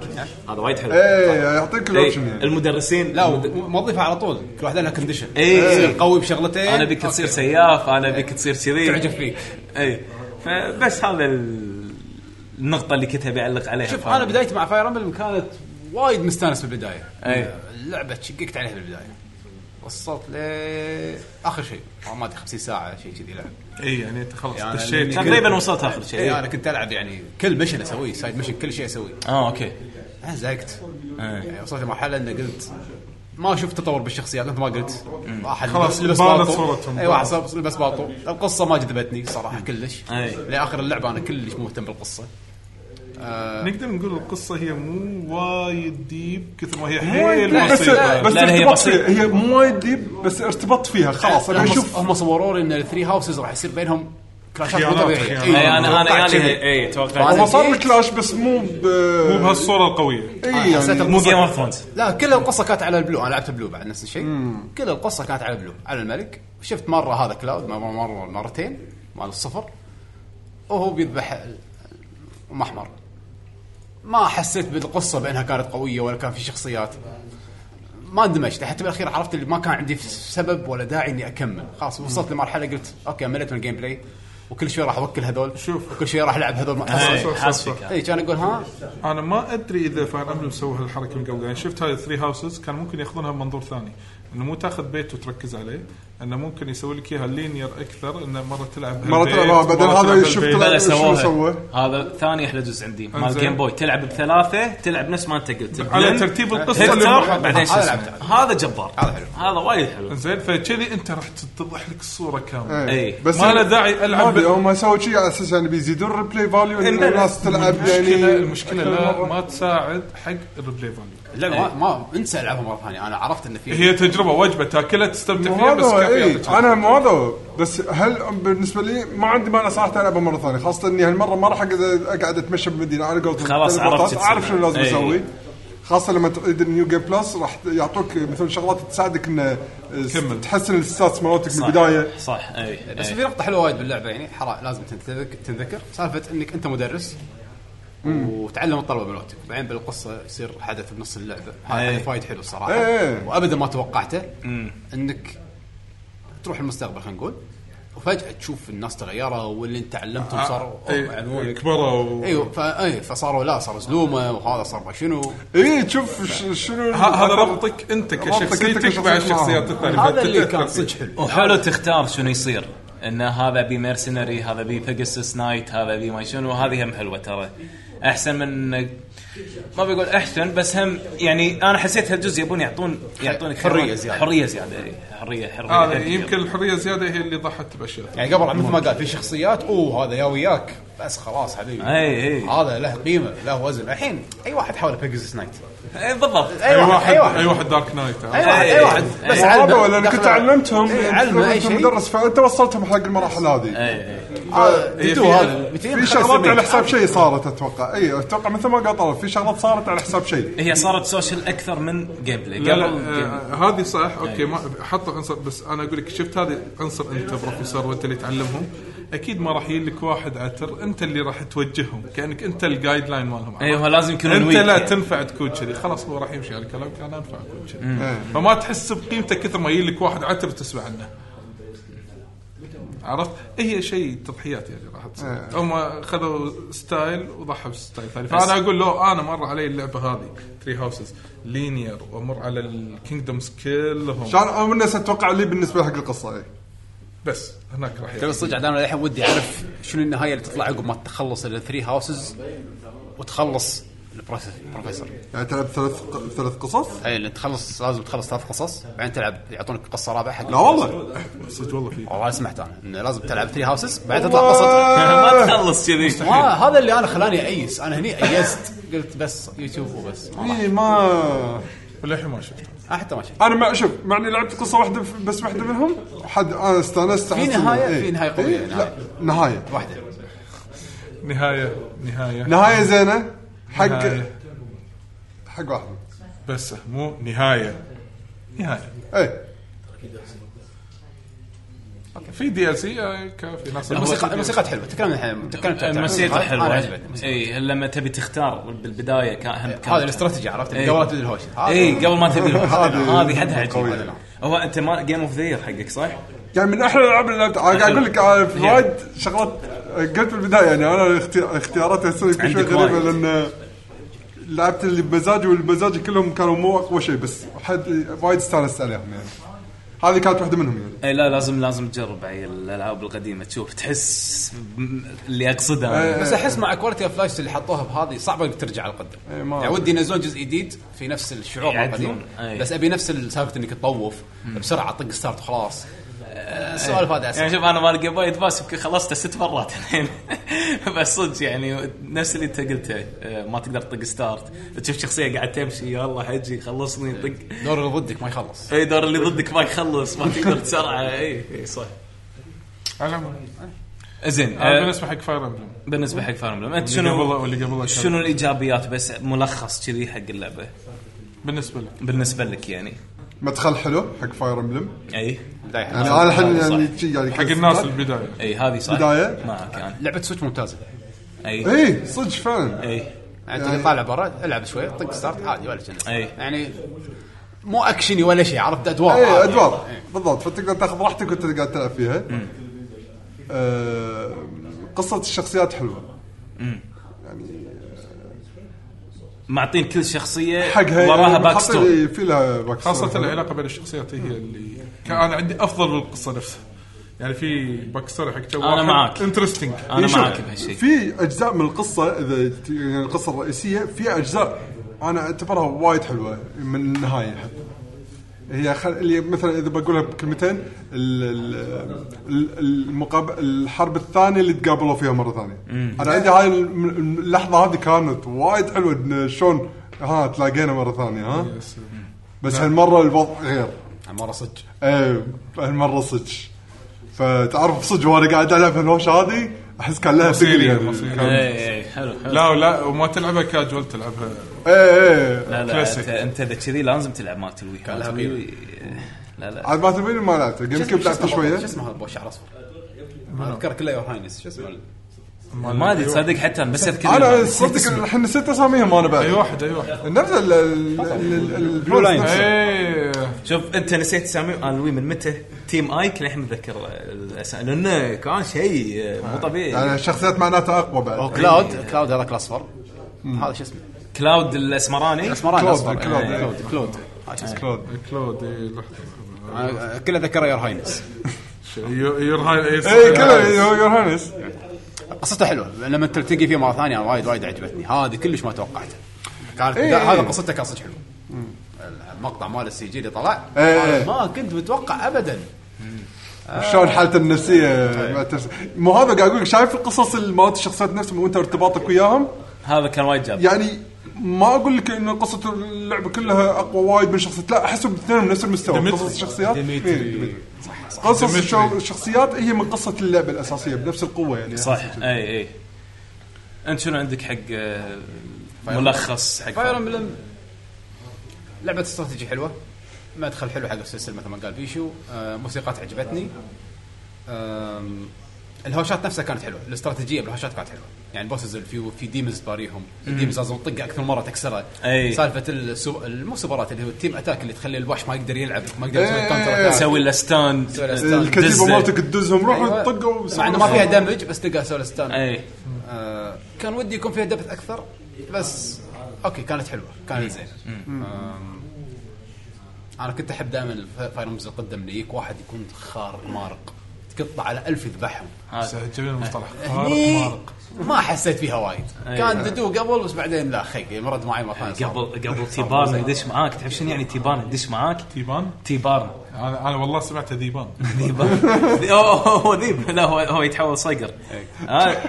Speaker 8: هذا وايد
Speaker 4: طيب.
Speaker 8: حلو طيب.
Speaker 16: إيه، يعطيك الأوبشن يعني.
Speaker 8: المدرسين
Speaker 4: لا موظفها على طول كل واحده لها إيه. كونديشن
Speaker 16: إيه،
Speaker 8: اي
Speaker 4: قوي بشغلتين إيه.
Speaker 8: انا إيه، بيك تصير سياف انا بيك تصير كذي تعجب فيك اي فبس هذا ال- النقطه اللي كنت ابي اعلق عليها
Speaker 4: شوف انا بدايتي مع فاير امبلم كانت وايد مستانس بالبدايه
Speaker 16: إيه.
Speaker 8: أي.
Speaker 4: اللعبه تشققت عليها بالبدايه وصلت ل اخر شيء والله ما ادري 50 ساعه شيء كذي لعب
Speaker 10: اي يعني انت خلاص
Speaker 4: يعني
Speaker 10: دشيت
Speaker 4: أنا-
Speaker 8: تقريباً وصلت آخر شيء.
Speaker 4: اي انا كنت العب يعني كل مشن اسويه سايد مشن كل شيء اسويه
Speaker 8: اه اوكي
Speaker 4: انا زهقت يعني وصلت لمرحله اني قلت ما شفت تطور بالشخصيات مثل ما قلت واحد
Speaker 10: خلاص،
Speaker 4: لبس
Speaker 10: بانت
Speaker 4: باطو.
Speaker 10: صورتهم.
Speaker 4: اي إيه، واحد صار- لبس باطو القصه ما جذبتني صراحه كلش
Speaker 8: أي.
Speaker 4: لاخر اللعبه انا كلش مو مهتم بالقصه آه،
Speaker 10: نقدر نقول القصه هي مو وايد ديب كثر ما هي
Speaker 16: مو وايد
Speaker 10: حيل
Speaker 16: ديب، بس بس
Speaker 10: بسيطه
Speaker 16: ارتبط فيها هي مو وايد ديب بس ارتبط فيها خلاص
Speaker 4: لا،
Speaker 16: ابي
Speaker 4: هم-
Speaker 16: اشوف
Speaker 4: يعني هم صوروا لي ان الثري هاوسز راح يصير بينهم كلاشات مو
Speaker 10: خيانات،
Speaker 4: طبيعيه
Speaker 10: خيانات.
Speaker 4: إي،
Speaker 8: إيه،
Speaker 10: أي، أنا-
Speaker 4: توقعت
Speaker 8: يعني
Speaker 10: أنا- أنا-
Speaker 4: كذي.
Speaker 10: إي، توقعت.
Speaker 4: فأنا
Speaker 10: هو صار
Speaker 4: زهقت.
Speaker 16: كلاش بس مو ب
Speaker 10: مو بهالصوره القويه
Speaker 16: إيه،
Speaker 4: أنا
Speaker 16: يعني
Speaker 4: حسيت القصة-
Speaker 8: of Thrones.
Speaker 4: لا كل القصه كانت على البلو انا لعبت بلو بعد نفس الشيء كل القصه كانت على البلو على الملك شفت مره هذا كلاود مره مره مرتين مال الصفر وهو بيذبح ال- المحمر ما حسيت بالقصه بانها كانت قويه ولا كان في شخصيات ما اندمجت حتى بالاخير عرفت اللي ما كان عندي سبب ولا داعي اني اكمل خلاص وصلت لمرحله قلت اوكي مليت من الجيم بلاي وكل شوي راح اوكل هذول شوف وكل شوي راح العب هذول ما اي إيه، كان اقول ها
Speaker 10: انا ما ادري اذا فاير امبلم سووا هالحركه من قبل يعني شفت هاي الثري هاوسز كان ممكن ياخذونها بمنظور ثاني انه مو تاخذ بيت وتركز عليه انه ممكن يسوي لك اياها لينير اكثر انه مره تلعب آه،
Speaker 16: مرة
Speaker 10: هالبيت،
Speaker 16: تلعب- بعدين
Speaker 10: مرة
Speaker 16: هذا
Speaker 10: تلعب
Speaker 16: يشوف
Speaker 10: هالبيت.
Speaker 16: تلعب-
Speaker 8: بلا
Speaker 16: شنو
Speaker 8: سووها
Speaker 16: سوى؟
Speaker 8: هذا ثاني احلى جزء عندي مال
Speaker 10: إنزين.
Speaker 8: جيم بوي تلعب بثلاثه تلعب نفس ما انت قلت
Speaker 10: على
Speaker 8: بلند،
Speaker 10: ترتيب القصة
Speaker 8: هكتر،
Speaker 10: اللي مرحبا.
Speaker 8: بعدين شو
Speaker 10: هذا
Speaker 8: اسمه.
Speaker 10: لعبته.
Speaker 8: هذا جبار
Speaker 4: هذا حلو
Speaker 8: هذا وايد حلو
Speaker 10: زين فكذي انت راح تتضح لك الصوره
Speaker 16: إيه.
Speaker 10: كامله
Speaker 8: إي.
Speaker 4: إيه.
Speaker 10: بس ما له داعي العب
Speaker 16: ما هم سووا شيء على اساس يعني بيزيدون الريبلاي فاليو ان
Speaker 10: إن-
Speaker 16: الناس تلعب يعني
Speaker 10: المشكلة- المشكله
Speaker 16: أكثر
Speaker 10: لا
Speaker 16: مرة.
Speaker 10: ما تساعد حق الريبلاي فاليو
Speaker 4: لا ما, ما انسى العبها مره ثانيه انا عرفت ان في
Speaker 10: هي تجربه وجبه تاكلها تستمتع فيها بس
Speaker 16: مو هذا، إيه.
Speaker 10: كافيه
Speaker 16: انا مو هذا بس هل بالنسبه لي ما عندي مانع صراحه العبها مره ثانيه خاصه اني هالمره ما راح أقعد- اقعد اتمشى بالمدينه على قولتهم
Speaker 8: خلاص
Speaker 16: بالتليفونات،
Speaker 8: عرفت شو تسوي.
Speaker 16: اعرف شنو لازم
Speaker 8: إيه.
Speaker 16: اسوي خاصه لما تعيد النيو جيم بلس راح يعطوك مثل شغلات تساعدك ان تحسن الستاتس مالتك من البدايه
Speaker 8: صح اي
Speaker 4: بس في نقطه حلوه وايد باللعبه يعني حرام لازم تنتذك- تنذكر سالفه انك انت مدرس وتعلم الطلبه ملوتك بعدين بالقصه يصير حدث بنص اللعبه هذا
Speaker 8: إيه.
Speaker 4: حدث وايد حلو صراحه
Speaker 16: إيه.
Speaker 4: وابدا ما توقعته
Speaker 8: مم.
Speaker 4: انك تروح المستقبل خلينا نقول وفجاه تشوف الناس تغيروا واللي انت علمتهم
Speaker 10: آه.
Speaker 4: صاروا
Speaker 10: إيه.
Speaker 4: معلومونك.
Speaker 10: كبروا.
Speaker 4: ايوه فا- إيه، فصاروا لا صاروا زلومه وهذا صار ما شنو
Speaker 16: اي إيه، تشوف ش- شنو
Speaker 10: ه- هذا ربطك
Speaker 16: ربطك أنت
Speaker 10: انت كشخصيتك
Speaker 16: كشخصية
Speaker 10: مع الشخصيات
Speaker 16: معهم.
Speaker 10: الثانيه
Speaker 4: هذا اللي كان صدق حلو
Speaker 8: وحلو تختار شنو يصير ان هذا بي ميرسنري هذا بي بيجاسس نايت هذا بي ما شنو هذه هم حلوه ترى احسن من ما بقول احسن بس هم يعني انا حسيت هالجزء يبون يعطون يعطونك
Speaker 4: حرية
Speaker 8: خيارات-
Speaker 4: زيادة. إيه.
Speaker 8: حريه زياده إي. حريه حريه
Speaker 10: هذا
Speaker 8: حرية.
Speaker 10: يمكن الحريه زياده هي اللي ضحت باشياء
Speaker 4: يعني قبل مثل ما قال في شخصيات اوه هذا يا وياك بس خلاص حبيبي
Speaker 10: إيه،
Speaker 8: إي، إي.
Speaker 4: هذا له قيمه له وزن الحين اي واحد حاول بيجز نايت
Speaker 10: إيه،
Speaker 8: إي، بالضبط
Speaker 4: أي واحد- أي واحد.
Speaker 10: اي واحد دارك نايت
Speaker 4: اي واحد
Speaker 8: إيه.
Speaker 4: اي واحد بس علمه إيه،
Speaker 16: ولا لأن كنت علمتهم
Speaker 4: علمه اي
Speaker 16: علمت
Speaker 4: شيء إيه.
Speaker 16: المدرس فانت وصلتهم حق المراحل هذه
Speaker 4: آه،
Speaker 10: إيه،
Speaker 16: هي
Speaker 4: تتو
Speaker 16: في-
Speaker 4: هذا.
Speaker 16: في شغلات على حساب شيء صارت اتوقع اي اتوقع مثل ما قال طلب في شغلات صارت على حساب شيء
Speaker 8: هي صارت سوشيال اكثر من جيم بلاي
Speaker 10: لا لا
Speaker 8: قبل جيم-
Speaker 10: آه، هذه صح اوكي ما حطوا عنصر بس انا اقول لك شفت هذه عنصر انت بروفيسور وانت اللي تعلمهم اكيد ما راح يجي لك واحد عتر انت اللي راح توجههم كانك انت الجايد لاين مالهم
Speaker 8: أيوة، لازم يكونون
Speaker 10: انت
Speaker 8: weak
Speaker 10: لا
Speaker 8: يعني.
Speaker 10: تنفع تكون كذي خلاص هو راح يمشي على كلامك انا انفع اكون كذي
Speaker 16: مم.
Speaker 10: فما تحس بقيمته كثر ما يجي لك واحد عتر تسمع عنه عرفت؟ هي شيء تضحيات يعني راح تصير
Speaker 16: إيه.
Speaker 10: هم خذوا ستايل وضحوا بستايل ثاني فانا اقول لو انا مر علي اللعبه هذه ثري هاوسز لينير وامر على الكينجدومز كلهم
Speaker 16: عشان اول الناس اتوقع اللي بالنسبه حق القصه اي
Speaker 10: بس هناك راح
Speaker 4: تبي صدق عاد انا للحين ودي اعرف شنو النهايه اللي تطلع عقب ما تخلص الثري هاوسز وتخلص البروفيسور- البروفيسور
Speaker 16: يعني تلعب ثلاث ثلاث قصص؟
Speaker 4: اي اللي إيه، تخلص لازم تخلص ثلاث قصص بعدين تلعب يعطونك قصه رابعه حق
Speaker 16: لا والله. صدق والله في
Speaker 4: والله سمعت انا انه لازم تلعب ثري هاوسز بعدين تطلع
Speaker 16: والله.
Speaker 4: قصه
Speaker 16: ما تخلص
Speaker 4: كذي هذا اللي انا خلاني ايس انا هني ايست قلت بس يوتيوب وبس
Speaker 16: اي إيه، ما
Speaker 10: للحين ما شفته
Speaker 4: حتى ما شفته
Speaker 16: انا ما شوف مع اني لعبت قصه واحده بس واحده منهم حد انا استانست
Speaker 4: في
Speaker 16: أحس إنه-
Speaker 4: نهاية؟
Speaker 16: إيه.
Speaker 4: في نهاية قوية،
Speaker 16: إيه، لا
Speaker 4: نهاية.
Speaker 16: نهايه
Speaker 4: واحده
Speaker 10: نهايه نهايه
Speaker 16: نهايه زينه حق
Speaker 10: نهاية.
Speaker 16: حق واحد
Speaker 10: بس مو نهايه نهايه
Speaker 16: اي إيه.
Speaker 10: في دي ال سي آه، كافي ناس
Speaker 4: الموسيقى الموسيقى حلوه تكلمنا الحين
Speaker 10: أه،
Speaker 4: تكلمنا
Speaker 8: الموسيقى
Speaker 4: انا
Speaker 8: حلوه
Speaker 4: عجبتني
Speaker 8: اي لما تبي تختار بالبدايه إيه، كان اهم كان
Speaker 4: هذا الاستراتيجي عرفت
Speaker 8: إي.
Speaker 4: قبل لا تبدي الهوش
Speaker 8: اي قبل ما تبدي الهوش
Speaker 16: هذه-
Speaker 8: هذه حدها
Speaker 16: قوية.
Speaker 8: عجيبه هو انت ما جيم اوف ذا حقك صح؟
Speaker 16: يعني من احلى الالعاب اللي لعبتها أنا قاعد اقول لك أنا في وايد شغلات قلت في البدايه يعني انا اختي- اختياراتي تصير كل شوي
Speaker 8: عندك
Speaker 16: غريبه
Speaker 8: وايد.
Speaker 16: لان لعبت اللي بمزاجي والمزاج كلهم كانوا مو اقوى شيء بس حد وايد استانست عليهم يعني هذه كانت واحده منهم يعني
Speaker 8: اي إيه، لا لازم لازم تجرب هاي الالعاب القديمه تشوف تحس م- اللي
Speaker 16: إيه.
Speaker 8: اقصده
Speaker 4: بس احس مع كواليتي اوف لايف اللي حطوها بهذه صعبه انك ترجع على القدم
Speaker 16: إي، إيه، ما-
Speaker 4: يعني ودي ينزلون جزء جديد في نفس الشعور مال
Speaker 8: يعدلون. إيه.
Speaker 4: القديم
Speaker 8: إي.
Speaker 4: بس ابي نفس السالفه انك تطوف بسرعه طق ستارت وخلاص آه، السؤال هذا
Speaker 8: يعني
Speaker 4: اسهل
Speaker 8: شوف انا مال جيم بوي ادفانس يمكن خلصته ست مرات الحين بس صدق يعني نفس اللي انت قلته آه، ما تقدر تطق ستارت تشوف شخصيه قاعد تمشي يلا حجي خلصني طق
Speaker 4: دور اللي ضدك ما يخلص
Speaker 8: اي دور اللي ضدك ما يخلص ما تقدر تسرعه اي اي صح زين
Speaker 10: آه،
Speaker 8: آه،
Speaker 10: بالنسبة حق Fire Emblem.
Speaker 8: بالنسبه حق فاير امبلم انت
Speaker 10: اللي
Speaker 8: شنو
Speaker 10: قبله- واللي قبله كان.
Speaker 8: شنو الايجابيات بس ملخص كذي حق اللعبه
Speaker 10: بالنسبه لك
Speaker 8: بالنسبه لك يعني
Speaker 16: مدخل حلو حق فاير امبلم
Speaker 8: اي
Speaker 16: يعني انا الحين يعني شي قاعد يكسر.
Speaker 8: اي
Speaker 4: إيه،
Speaker 8: هذه صح
Speaker 16: بدايه
Speaker 8: معك انا
Speaker 4: لعبه سويتش ممتازه
Speaker 8: اي
Speaker 16: اي إيه، صدق فعلا
Speaker 8: اي
Speaker 4: يعني
Speaker 16: يعني-
Speaker 4: تقعد طالع برا العب شوي طق ستارت عادي ولا شنو
Speaker 8: اي
Speaker 4: يعني مو اكشني ولا شيء عرفت إيه. ادوار
Speaker 16: اي
Speaker 4: عادي.
Speaker 16: ادوار بالضبط فتقدر تاخذ راحتك وانت قاعد تلعب فيها آه، قصه الشخصيات حلوه
Speaker 8: معطين كل شخصيه
Speaker 16: حقها
Speaker 8: وراها
Speaker 16: يعني
Speaker 8: باك
Speaker 16: حاطين-
Speaker 8: ستوري
Speaker 16: إي، في لها باك
Speaker 10: خاصة
Speaker 16: ستوري.
Speaker 10: العلاقة بين الشخصيات هي اللي كان أنا عندي أفضل من القصة نفسها يعني في باك ستوري حق جو
Speaker 8: أنا معك.
Speaker 10: انترستنج
Speaker 8: أنا معك بهالشيء.
Speaker 16: في اجزاء من القصه اذا ت- يعني القصه الرئيسيه في اجزاء انا اعتبرها وايد حلوه من النهايه حتى هي خل... اللي مثلا اذا بقولها بكلمتين ال... ال... ال- المقاب... الحرب الثانيه اللي تقابلوا فيها مره ثانيه
Speaker 8: مم.
Speaker 16: انا عندي هاي الم- الم- اللحظه هذه كانت وايد حلوه إن شلون ها تلاقينا مره ثانيه ها بس هالمره الوضع غير
Speaker 4: هالمره صدق
Speaker 16: ايه هالمره صدق فتعرف صدق وانا قاعد العب هالهوشه هذه احس كان لها ثقل
Speaker 10: مصيرية
Speaker 16: يعني. كان-
Speaker 8: اي اي إيه، حلو حلو
Speaker 10: لا لا وما تلعبها كاجوال تلعبها
Speaker 16: ايه
Speaker 8: لا لا انت انت اذا كذي لازم تلعب مالت الويك
Speaker 4: كان لها
Speaker 8: مالت الويك- لا لا
Speaker 16: عاد ما تبين ما لعبته قبل
Speaker 4: شو اسمه-
Speaker 16: كنت
Speaker 4: شو
Speaker 16: لعبت
Speaker 4: اسمه
Speaker 16: شويه
Speaker 4: هذا- شو اسمه هذا ابو شعر اصفر ما اذكر كله يور هاينس شو اسمه
Speaker 8: ما ادري تصدق حتى أنا بس اذكر
Speaker 16: انا
Speaker 8: إنه-
Speaker 16: أيوه.
Speaker 8: أيوة
Speaker 16: صدق الحين نسيت اساميهم انا بعد
Speaker 10: أي واحد أي واحد
Speaker 16: نفس ال- ال- ال- البلو لاين
Speaker 8: إيه. شوف انت نسيت اسامي انا الوي من متى تيم ايك للحين متذكر الاسامي لانه كان شيء مو
Speaker 16: يعني
Speaker 8: طبيعي
Speaker 16: الشخصيات معناتها اقوى بعد إيه.
Speaker 4: او كلاود كلاود هذاك الاصفر هذا شو اسمه
Speaker 8: كلاود الاسمراني
Speaker 4: الاسمراني
Speaker 16: كلاود،
Speaker 4: الاصفر
Speaker 16: كلاود،
Speaker 4: إيه،
Speaker 16: إيه.
Speaker 4: كلاود كلاود هذا شو اسمه؟
Speaker 16: كلاود
Speaker 10: كلاود
Speaker 8: إيه،
Speaker 10: إي، لحظة.
Speaker 4: آه، كله ذكره يور هاينس
Speaker 10: يو- يور
Speaker 8: إيه،
Speaker 10: هاينس
Speaker 16: اي إيه، كله يور هانس
Speaker 4: قصته حلوه لما انت تلتقي فيه مره ثانيه انا وايد وايد عجبتني هذه كلش ما توقعتها كانت
Speaker 16: إيه.
Speaker 4: هذا قصته كان صدق حلو المقطع مال السي جي اللي طلع
Speaker 16: إيه.
Speaker 4: أنا ما كنت متوقع آه. ابدا
Speaker 16: شلون حالته النفسيه
Speaker 4: طيب.
Speaker 16: مع تفس- مو هذا قاعد اقول لك شايف القصص اللي مالت الشخصيات نفسهم وانت ارتباطك وياهم
Speaker 8: هذا كان وايد جاب
Speaker 16: يعني ما اقول لك ان قصه اللعبه كلها اقوى وايد من شخصيه لا احسهم الاثنين بنفس المستوى
Speaker 10: ديمتري.
Speaker 16: قصص الشخصيات
Speaker 10: ديمتري.
Speaker 16: إيه، ديمتري. قصص
Speaker 10: ديمتري.
Speaker 16: الشو- الشخصيات هي من قصه اللعبه الاساسيه بنفس القوه يعني
Speaker 8: صح اي اي انت إيه، شنو عندك حق آه، ملخص حق
Speaker 4: فاير امبلم لعبه استراتيجي حلوه مدخل حلو حق السلسله مثل ما قال بيشو آه، موسيقات عجبتني آم، الهوشات نفسها كانت حلوه الاستراتيجيه بالهوشات كانت حلوه يعني بوسز في في ديمز تباريهم
Speaker 8: مم.
Speaker 4: الديمز لازم تطق اكثر مره تكسرها
Speaker 8: أي.
Speaker 4: سالفه السو... مو سوبرات اللي هو التيم اتاك اللي تخلي الوحش ما يقدر يلعب ما يقدر يسوي
Speaker 16: إيه.
Speaker 4: كونتر أتاك.
Speaker 8: يسوي له ستاند
Speaker 4: يسوي له ستاند.
Speaker 16: الكتيبه
Speaker 8: دزة.
Speaker 16: مالتك تدزهم روح
Speaker 4: أيوة.
Speaker 16: طقوا
Speaker 4: مع انه ما فيها دمج بس تلقى سوي له ستان
Speaker 8: اي
Speaker 4: آه، كان ودي يكون فيها دبث اكثر بس اوكي كانت حلوه كانت زينه آم، انا كنت احب دائما الفاير امبلمز القدم اللي يجيك واحد يكون خار مارق تقطع على ألف يذبحهم آه،
Speaker 10: بس عجبني المصطلح
Speaker 4: هني
Speaker 10: خارق
Speaker 4: ما حسيت فيها وايد
Speaker 10: أي.
Speaker 4: كان ددو قبل بس بعدين لا خي مرد معي مره ثانيه
Speaker 8: أيوة. قبل قبل تيبارنا يدش معاك تعرف شنو يعني تيبارنا يدش معاك
Speaker 10: تيبان
Speaker 8: تيبارنا
Speaker 10: انا انا والله سمعته ذيبان
Speaker 8: ذيبان أوه، هو ذيب لا هو هو يتحول صقر
Speaker 4: إيه.
Speaker 8: آه.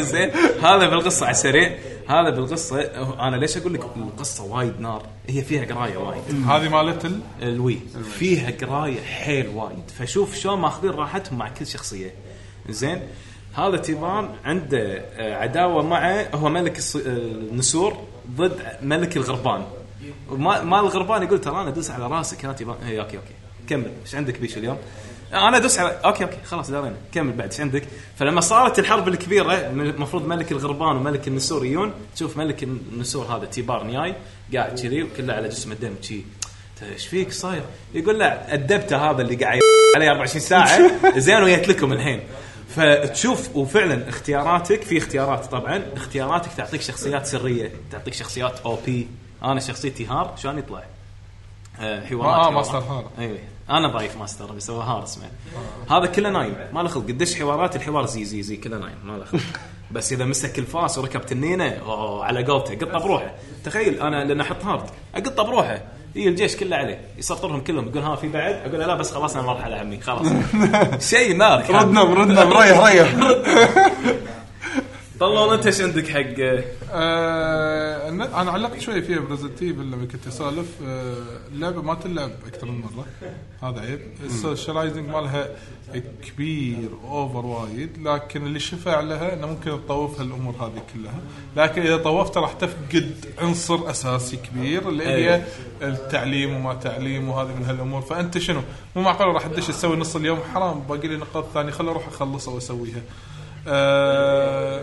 Speaker 8: زين هذا بالقصه على السريع هذا بالقصه انا ليش اقول لك القصه وايد نار هي فيها قرايه وايد
Speaker 10: هذه مالت ال-
Speaker 8: الوي فيها قرايه حيل وايد فشوف شلون ماخذين راحتهم مع كل شخصيه زين هذا تيبان عنده آه، عداوه مع هو ملك الص- آه، النسور ضد ملك الغربان ما ما الغربان يقول ترى انا ادوس على راسك يا تيبان إيه، اوكي اوكي كمل ايش عندك بيش اليوم؟ انا ادوس على اوكي اوكي خلاص دارينا كمل بعد ايش عندك؟ فلما صارت الحرب الكبيره المفروض ملك الغربان وملك النسور يجون تشوف ملك النسور هذا تيبار نياي قاعد كذي وكله على جسمه دم كذي ايش فيك صاير؟ يقول لا الدبته هذا اللي قاعد ي- عليه 24 ساعه زين ويت لكم الحين فتشوف وفعلا اختياراتك في اختيارات طبعا اختياراتك تعطيك شخصيات سريه تعطيك شخصيات او بي انا شخصيتي هار شلون يطلع؟ آه، حوارات
Speaker 10: آه،
Speaker 8: حوارات.
Speaker 10: ماستر هار.
Speaker 8: ايوه انا ضعيف ماستر بس هو هار اسمه هذا كله نايم ما له خلق قديش حوارات الحوار زي زي زي كله نايم ما له خلق بس اذا مسك الفاس وركب تنينه أوه، على قولته قطه بروحه تخيل انا لان احط هارد اقطه بروحه يجي الجيش كله عليه يسطرهم كلهم يقول ها في بعد اقول له لا بس خلصنا المرحله عمي خلاص شيء نار كان.
Speaker 16: ردنا ردنا مريح ريح
Speaker 8: طلعون انت ايش عندك حق
Speaker 10: آه انا علقت شوي فيها بريزنت ايفل لما كنت اسولف آه اللعبه ما تلعب اكثر من مره هذا عيب السوشيالايزنج مالها كبير اوفر وايد لكن اللي شفع لها انه ممكن تطوف هالامور هذه كلها لكن اذا طوفتها راح تفقد عنصر اساسي كبير اللي هي
Speaker 16: أي.
Speaker 10: إيه، التعليم وما تعليم وهذه من هالامور فانت شنو مو معقول راح تدش تسوي نص اليوم حرام باقي لي نقاط ثانيه خل اروح اخلصها واسويها آه،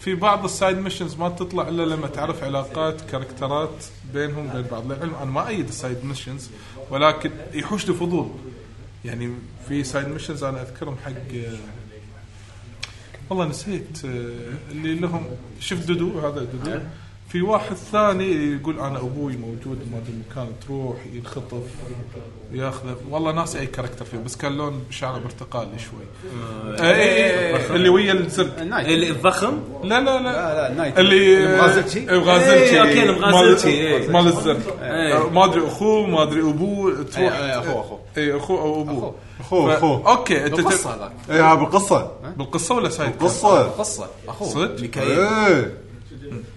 Speaker 10: في بعض السايد ميشنز ما تطلع الا لما تعرف علاقات كاركترات بينهم وبين بعض للعلم انا ما ايد السايد ميشنز ولكن يحوش لي فضول يعني في سايد ميشنز انا اذكرهم حق آه، والله نسيت آه، اللي لهم شفت دودو هذا دودو
Speaker 8: نعم.
Speaker 10: في واحد ثاني يقول انا ابوي موجود ما ادري مكان تروح ينخطف ياخذه والله ناسي اي كاركتر فيه بس كان لون شعره برتقالي شوي آه، إي-
Speaker 8: إيه،
Speaker 10: إي- إي، اللي ويا الزرق
Speaker 8: اللي الضخم
Speaker 10: لا لا
Speaker 4: لا لا النايت
Speaker 10: اللي
Speaker 4: المغازلتشي
Speaker 10: المغازلتشي
Speaker 8: إيه، أوكي، المغازلتشي، إيه.
Speaker 10: مال الزرق
Speaker 8: إيه.
Speaker 10: آه، ما ادري اخوه ما ادري ابوه تروح
Speaker 4: إيه، إيه، أخوه، أخوه.
Speaker 10: اي اخوه او ابوه
Speaker 16: أخوه،
Speaker 10: ف-
Speaker 16: أخوه.
Speaker 10: اوكي انت
Speaker 4: بالقصة هذاك.
Speaker 16: إيه، ها، بالقصة.
Speaker 10: بالقصه ولا سايد
Speaker 16: بالقصة.
Speaker 4: بالقصة. أخوه،
Speaker 10: صدق
Speaker 4: ميكائيل.
Speaker 16: إيه.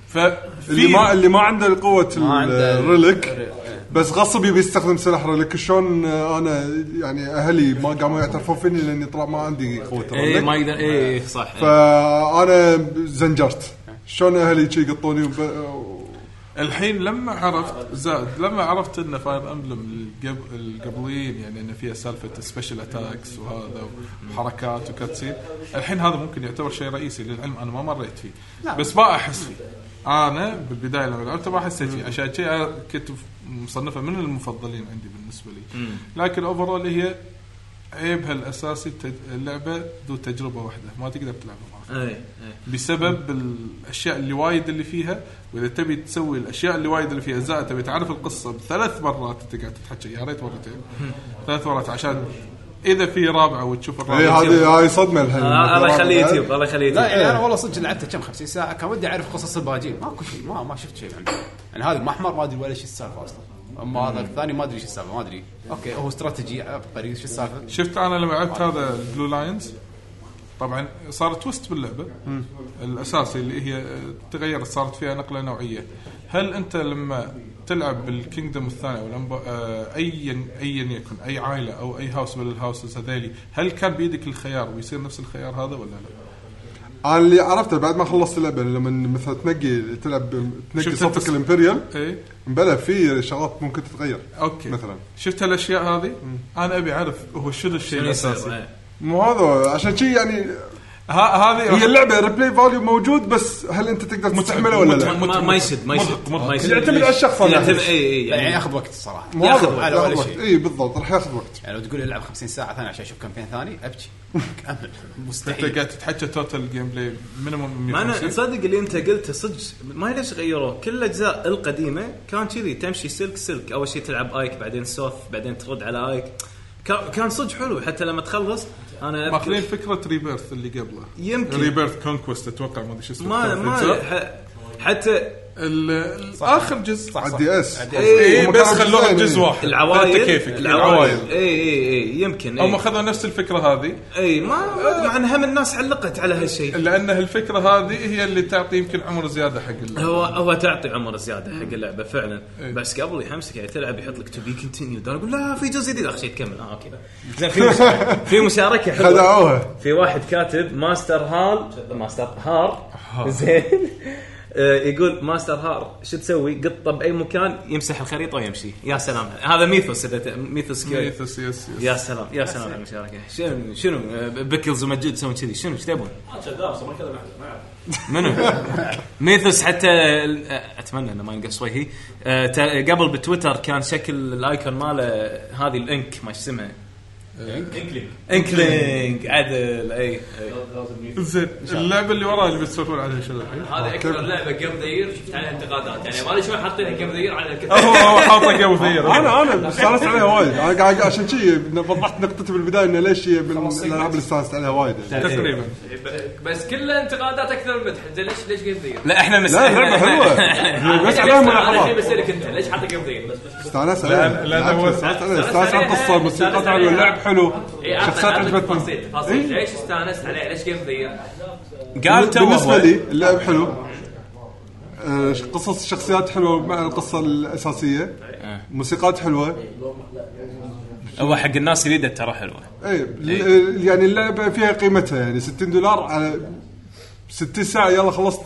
Speaker 10: ففي-
Speaker 16: اللي ما اللي ما عنده قوه
Speaker 4: ما عنده
Speaker 16: الريلك بس غصب يبي يستخدم سلاح ريلك شلون انا يعني اهلي ما قاموا يعترفون فيني لاني طلع ما عندي
Speaker 10: إيه،
Speaker 16: قوه
Speaker 8: اي
Speaker 16: الريلك
Speaker 8: إيه، ما يقدر اي صح
Speaker 16: فانا زنجرت شلون اهلي شي يقطوني وب-
Speaker 10: الحين لما عرفت زاد لما عرفت ان فاير امبلم القب- القبليين يعني ان فيها سالفه سبيشل اتاكس وهذا وحركات وكاتسين الحين هذا ممكن يعتبر شيء رئيسي للعلم انا ما مريت فيه
Speaker 16: لا.
Speaker 10: بس ما احس فيه انا بالبدايه لما لعبته ما حسيت فيه عشان شيء أنا كنت مصنفه من المفضلين عندي بالنسبه لي
Speaker 16: مم.
Speaker 10: لكن اوفرول هي عيبها الاساسي تج- اللعبه ذو تجربه واحده ما تقدر تلعبها مع
Speaker 8: أي، أي.
Speaker 10: بسبب الاشياء اللي وايد اللي فيها واذا تبي تسوي الاشياء اللي وايد اللي فيها زائد تبي تعرف القصه بثلاث مرات انت قاعد تتحكى يا ريت مرتين ثلاث مرات عشان اذا في رابعه وتشوف
Speaker 16: إيه،
Speaker 10: الرابعه
Speaker 16: هذه هاي صدمه الحين
Speaker 4: آه، لا يعني انا والله صدق لعبته كم 50 ساعه كان ودي اعرف قصص الباجين ماكو شيء ما ما شفت شيء عنده يعني هذا الاحمر ما ادري ولا شو السالفه اصلا اما هذا الثاني ما ادري شو السالفه ما ادري اوكي هو استراتيجي عبقري شو السالفه
Speaker 10: شفت انا لما لعبت هذا البلو لاينز طبعا صار تويست باللعبه
Speaker 4: مم.
Speaker 10: الاساسي اللي هي آه، تغيرت صارت فيها نقله نوعيه هل انت لما تلعب بالكينجدم الثاني او الأنبا- آه، ايا ايا يكن اي عائله او اي هاوس من الهاوسز هذيلي هل كان بايدك الخيار ويصير نفس الخيار هذا ولا لا؟
Speaker 16: انا اللي عرفته بعد ما خلصت اللعبه لما مثلا تنقي تلعب تنقي
Speaker 10: شفت
Speaker 16: صفك
Speaker 10: التص-
Speaker 16: الامبريال
Speaker 10: اي
Speaker 16: بلى في شغلات ممكن تتغير
Speaker 10: اوكي
Speaker 16: مثلا
Speaker 10: شفت هالاشياء هذه؟ انا ابي اعرف هو شنو الشيء
Speaker 16: شنو يصير،
Speaker 10: الاساسي
Speaker 16: إيه. مو هذا عشان شي يعني
Speaker 10: هذه
Speaker 16: هي اللعبه ريبلاي فاليو موجود بس هل انت تقدر تستحمله ولا لا؟
Speaker 8: ما- ما يسد ما يسد ما يسد
Speaker 16: يعتمد على الشخص أنا
Speaker 8: يعتمد
Speaker 16: أحس.
Speaker 8: اي اي
Speaker 4: يعني ياخذ وقت الصراحه
Speaker 16: مو هذا،
Speaker 4: على
Speaker 16: ياخذ
Speaker 4: ولا
Speaker 16: وقت.
Speaker 4: شيء.
Speaker 16: اي بالضبط راح ياخذ وقت
Speaker 4: يعني لو تقول لي العب 50 ساعه ثانيه عشان اشوف كامبين ثاني ابكي أمل.
Speaker 10: انت
Speaker 4: مستحيل
Speaker 10: قاعد تتحكى توتال جيم بلاي مينيموم
Speaker 8: ما انا
Speaker 10: 150
Speaker 8: تصدق اللي انت قلته صدق ما أدري ليش غيروه كل الاجزاء القديمه كان كذي تمشي سلك سلك اول شيء تلعب ايك بعدين سوث بعدين ترد على ايك كا- كان صدق حلو حتى لما تخلص انا أذكر-
Speaker 10: ماخذين فكره ريبيرث اللي قبله
Speaker 8: يمكن.
Speaker 10: ريبيرث كونكوست اتوقع ما ادري شو اسمه
Speaker 8: ما-
Speaker 10: كان
Speaker 8: ما-
Speaker 10: فيتزر.
Speaker 8: حتى
Speaker 10: اخر جزء
Speaker 16: على الDS.
Speaker 10: اي
Speaker 16: هم
Speaker 10: بس
Speaker 16: كانوا
Speaker 10: خلوها
Speaker 16: جزئين،
Speaker 10: بجزء
Speaker 16: إيه.
Speaker 10: واحد
Speaker 8: العوائل
Speaker 10: فأنت كيفك يعني
Speaker 8: العوائل اي اي اي إيه، يمكن
Speaker 10: هم
Speaker 8: إي.
Speaker 10: اخذوا نفس الفكره هذه
Speaker 8: اي إيه، ما مع ان هم الناس علقت على هالشيء
Speaker 10: لان هالفكره هذه هي اللي تعطي يمكن عمر زياده حق ال-
Speaker 8: هو هو تعطي عمر زياده حق اللعبه فعلا
Speaker 10: إيه.
Speaker 8: بس قبل يحمسك يعني تلعب يحط لك تو بي كونتينيو اقول لا في جزء جديد اخر شيء تكمل اه اوكي زين في مش- في مشاركه حلوه
Speaker 16: خدعوها.
Speaker 8: في واحد كاتب ماستر هال ماستر هار زين آه، يقول ماستر هار شو تسوي؟ قطه باي مكان يمسح الخريطه ويمشي يا سلام هذا ميثوس إذا ت- ميثوس كي-
Speaker 10: ميثوس، يس، يس.
Speaker 8: يا سلام يا سلام على المشاركه شنو شنو آه، بكلز ومجد يسوون كذي شنو ايش تبون؟
Speaker 3: ما شداف ما كذا ما يعرف
Speaker 8: منو؟ ميثوس حتى اتمنى انه ما ينقص وجهي أه، تا- قبل بتويتر كان شكل الايكون ماله هذه الانك ما اسمها
Speaker 3: انكلينج
Speaker 8: انكلينج عدل اي
Speaker 10: زين اللعبه اللي وراها اللي بتسولفون عليها شنو الحين؟
Speaker 2: هذه اكثر لعبه جيم ذا يير شفت عليها انتقادات يعني ما ادري شلون حاطينها جيم ذا يير على كثر
Speaker 10: هو هو حاطه قبل ثير
Speaker 16: انا انا استانست عليها وايد انا قاعد عشان شي وضحت نقطتي بالبدايه انه ليش هي من الالعاب اللي استانست عليها وايد يعني.
Speaker 2: بس كلها انتقادات اكثر من مدح انت ليش ليش جيم ذا يير؟
Speaker 8: لا احنا نس-
Speaker 16: لا، لعبة حلوة. بس عليها ملاحظات.
Speaker 2: انا الحين بسالك انت ليش حاطه جيم ذا يير؟
Speaker 16: استانست عليها
Speaker 10: لا، لا، هو
Speaker 16: استانست عليها استانست على القصه الموسيقى حلوه اللعب حلو
Speaker 2: إيه،
Speaker 16: شخصيات إيه؟ عجبتني
Speaker 2: تفاصيل تفاصيل ليش استانست عليه ليش جيم ذا يير؟
Speaker 8: قال تو
Speaker 16: بالنسبه
Speaker 8: هو.
Speaker 16: لي اللعب حلو آه، قصص الشخصيات حلوه مع القصه الاساسيه
Speaker 10: إيه.
Speaker 16: موسيقات حلوه
Speaker 8: هو حق الناس اللي يده ترى حلوه
Speaker 10: إيه.
Speaker 16: اي ال- إيه، يعني اللعبه فيها قيمتها يعني 60 دولار على 60 ساعه يلا خلصت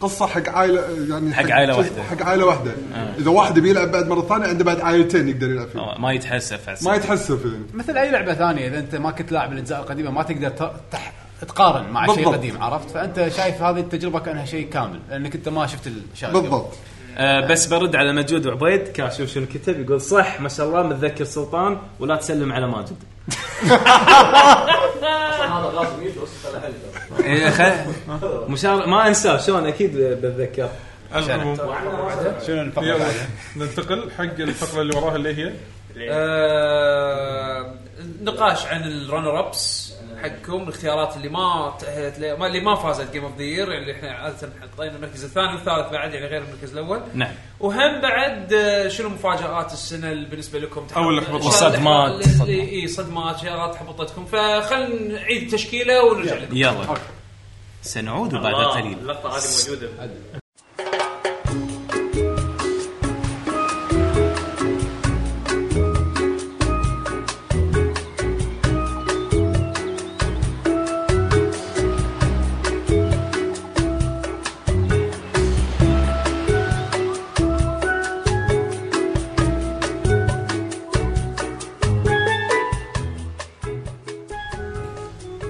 Speaker 16: قصه حق عائله يعني
Speaker 8: حق عائلة
Speaker 16: جزء-
Speaker 8: واحدة.
Speaker 16: حق عائله واحده
Speaker 10: إيه.
Speaker 8: آه.
Speaker 16: اذا واحد بيلعب بعد مره ثانيه عنده بعد عائلتين يقدر يلعب فيه
Speaker 8: ما يتحسف على
Speaker 16: ما يتحسف يعني
Speaker 4: مثل اي لعبه ثانيه اذا انت ما كنت لاعب الاجزاء القديمه ما تقدر ت- تح... تقارن مع شيء
Speaker 16: بالضبط.
Speaker 4: قديم عرفت فانت شايف هذه التجربه كانها شيء كامل لانك انت ما شفت الاشياء اللي قبل.
Speaker 8: آه بس برد على مجود وعبيد كان شوف شنو كتب يقول صح ما شاء الله متذكر سلطان ولا تسلم على ماجد
Speaker 3: عشان هذا غاصب يفلس خله
Speaker 8: إيه، خل- مشار ما انساه شلون اكيد بتذكر
Speaker 10: شنو الفقره ننتقل حق الفقره اللي وراها اللي هي
Speaker 2: آه، نقاش عن الرانر ابس حقكم الاختيارات اللي ما تاهلت لي- ما- اللي ما فازت جيم اوف ذا يير يعني اللي احنا عاده حاطين المركز الثاني والثالث بعد يعني غير المركز الاول
Speaker 8: نعم.
Speaker 2: وهم بعد آه، شنو مفاجات السنه اللي بالنسبه لكم
Speaker 8: أو الإحباطات. والصدمات.
Speaker 2: اي صدمات شغلات حبطتكم فخلنا نعيد التشكيله ونرجع لكم
Speaker 8: يلا سنعود بعد
Speaker 2: الله،
Speaker 8: قليل
Speaker 2: اللقطه هذه موجوده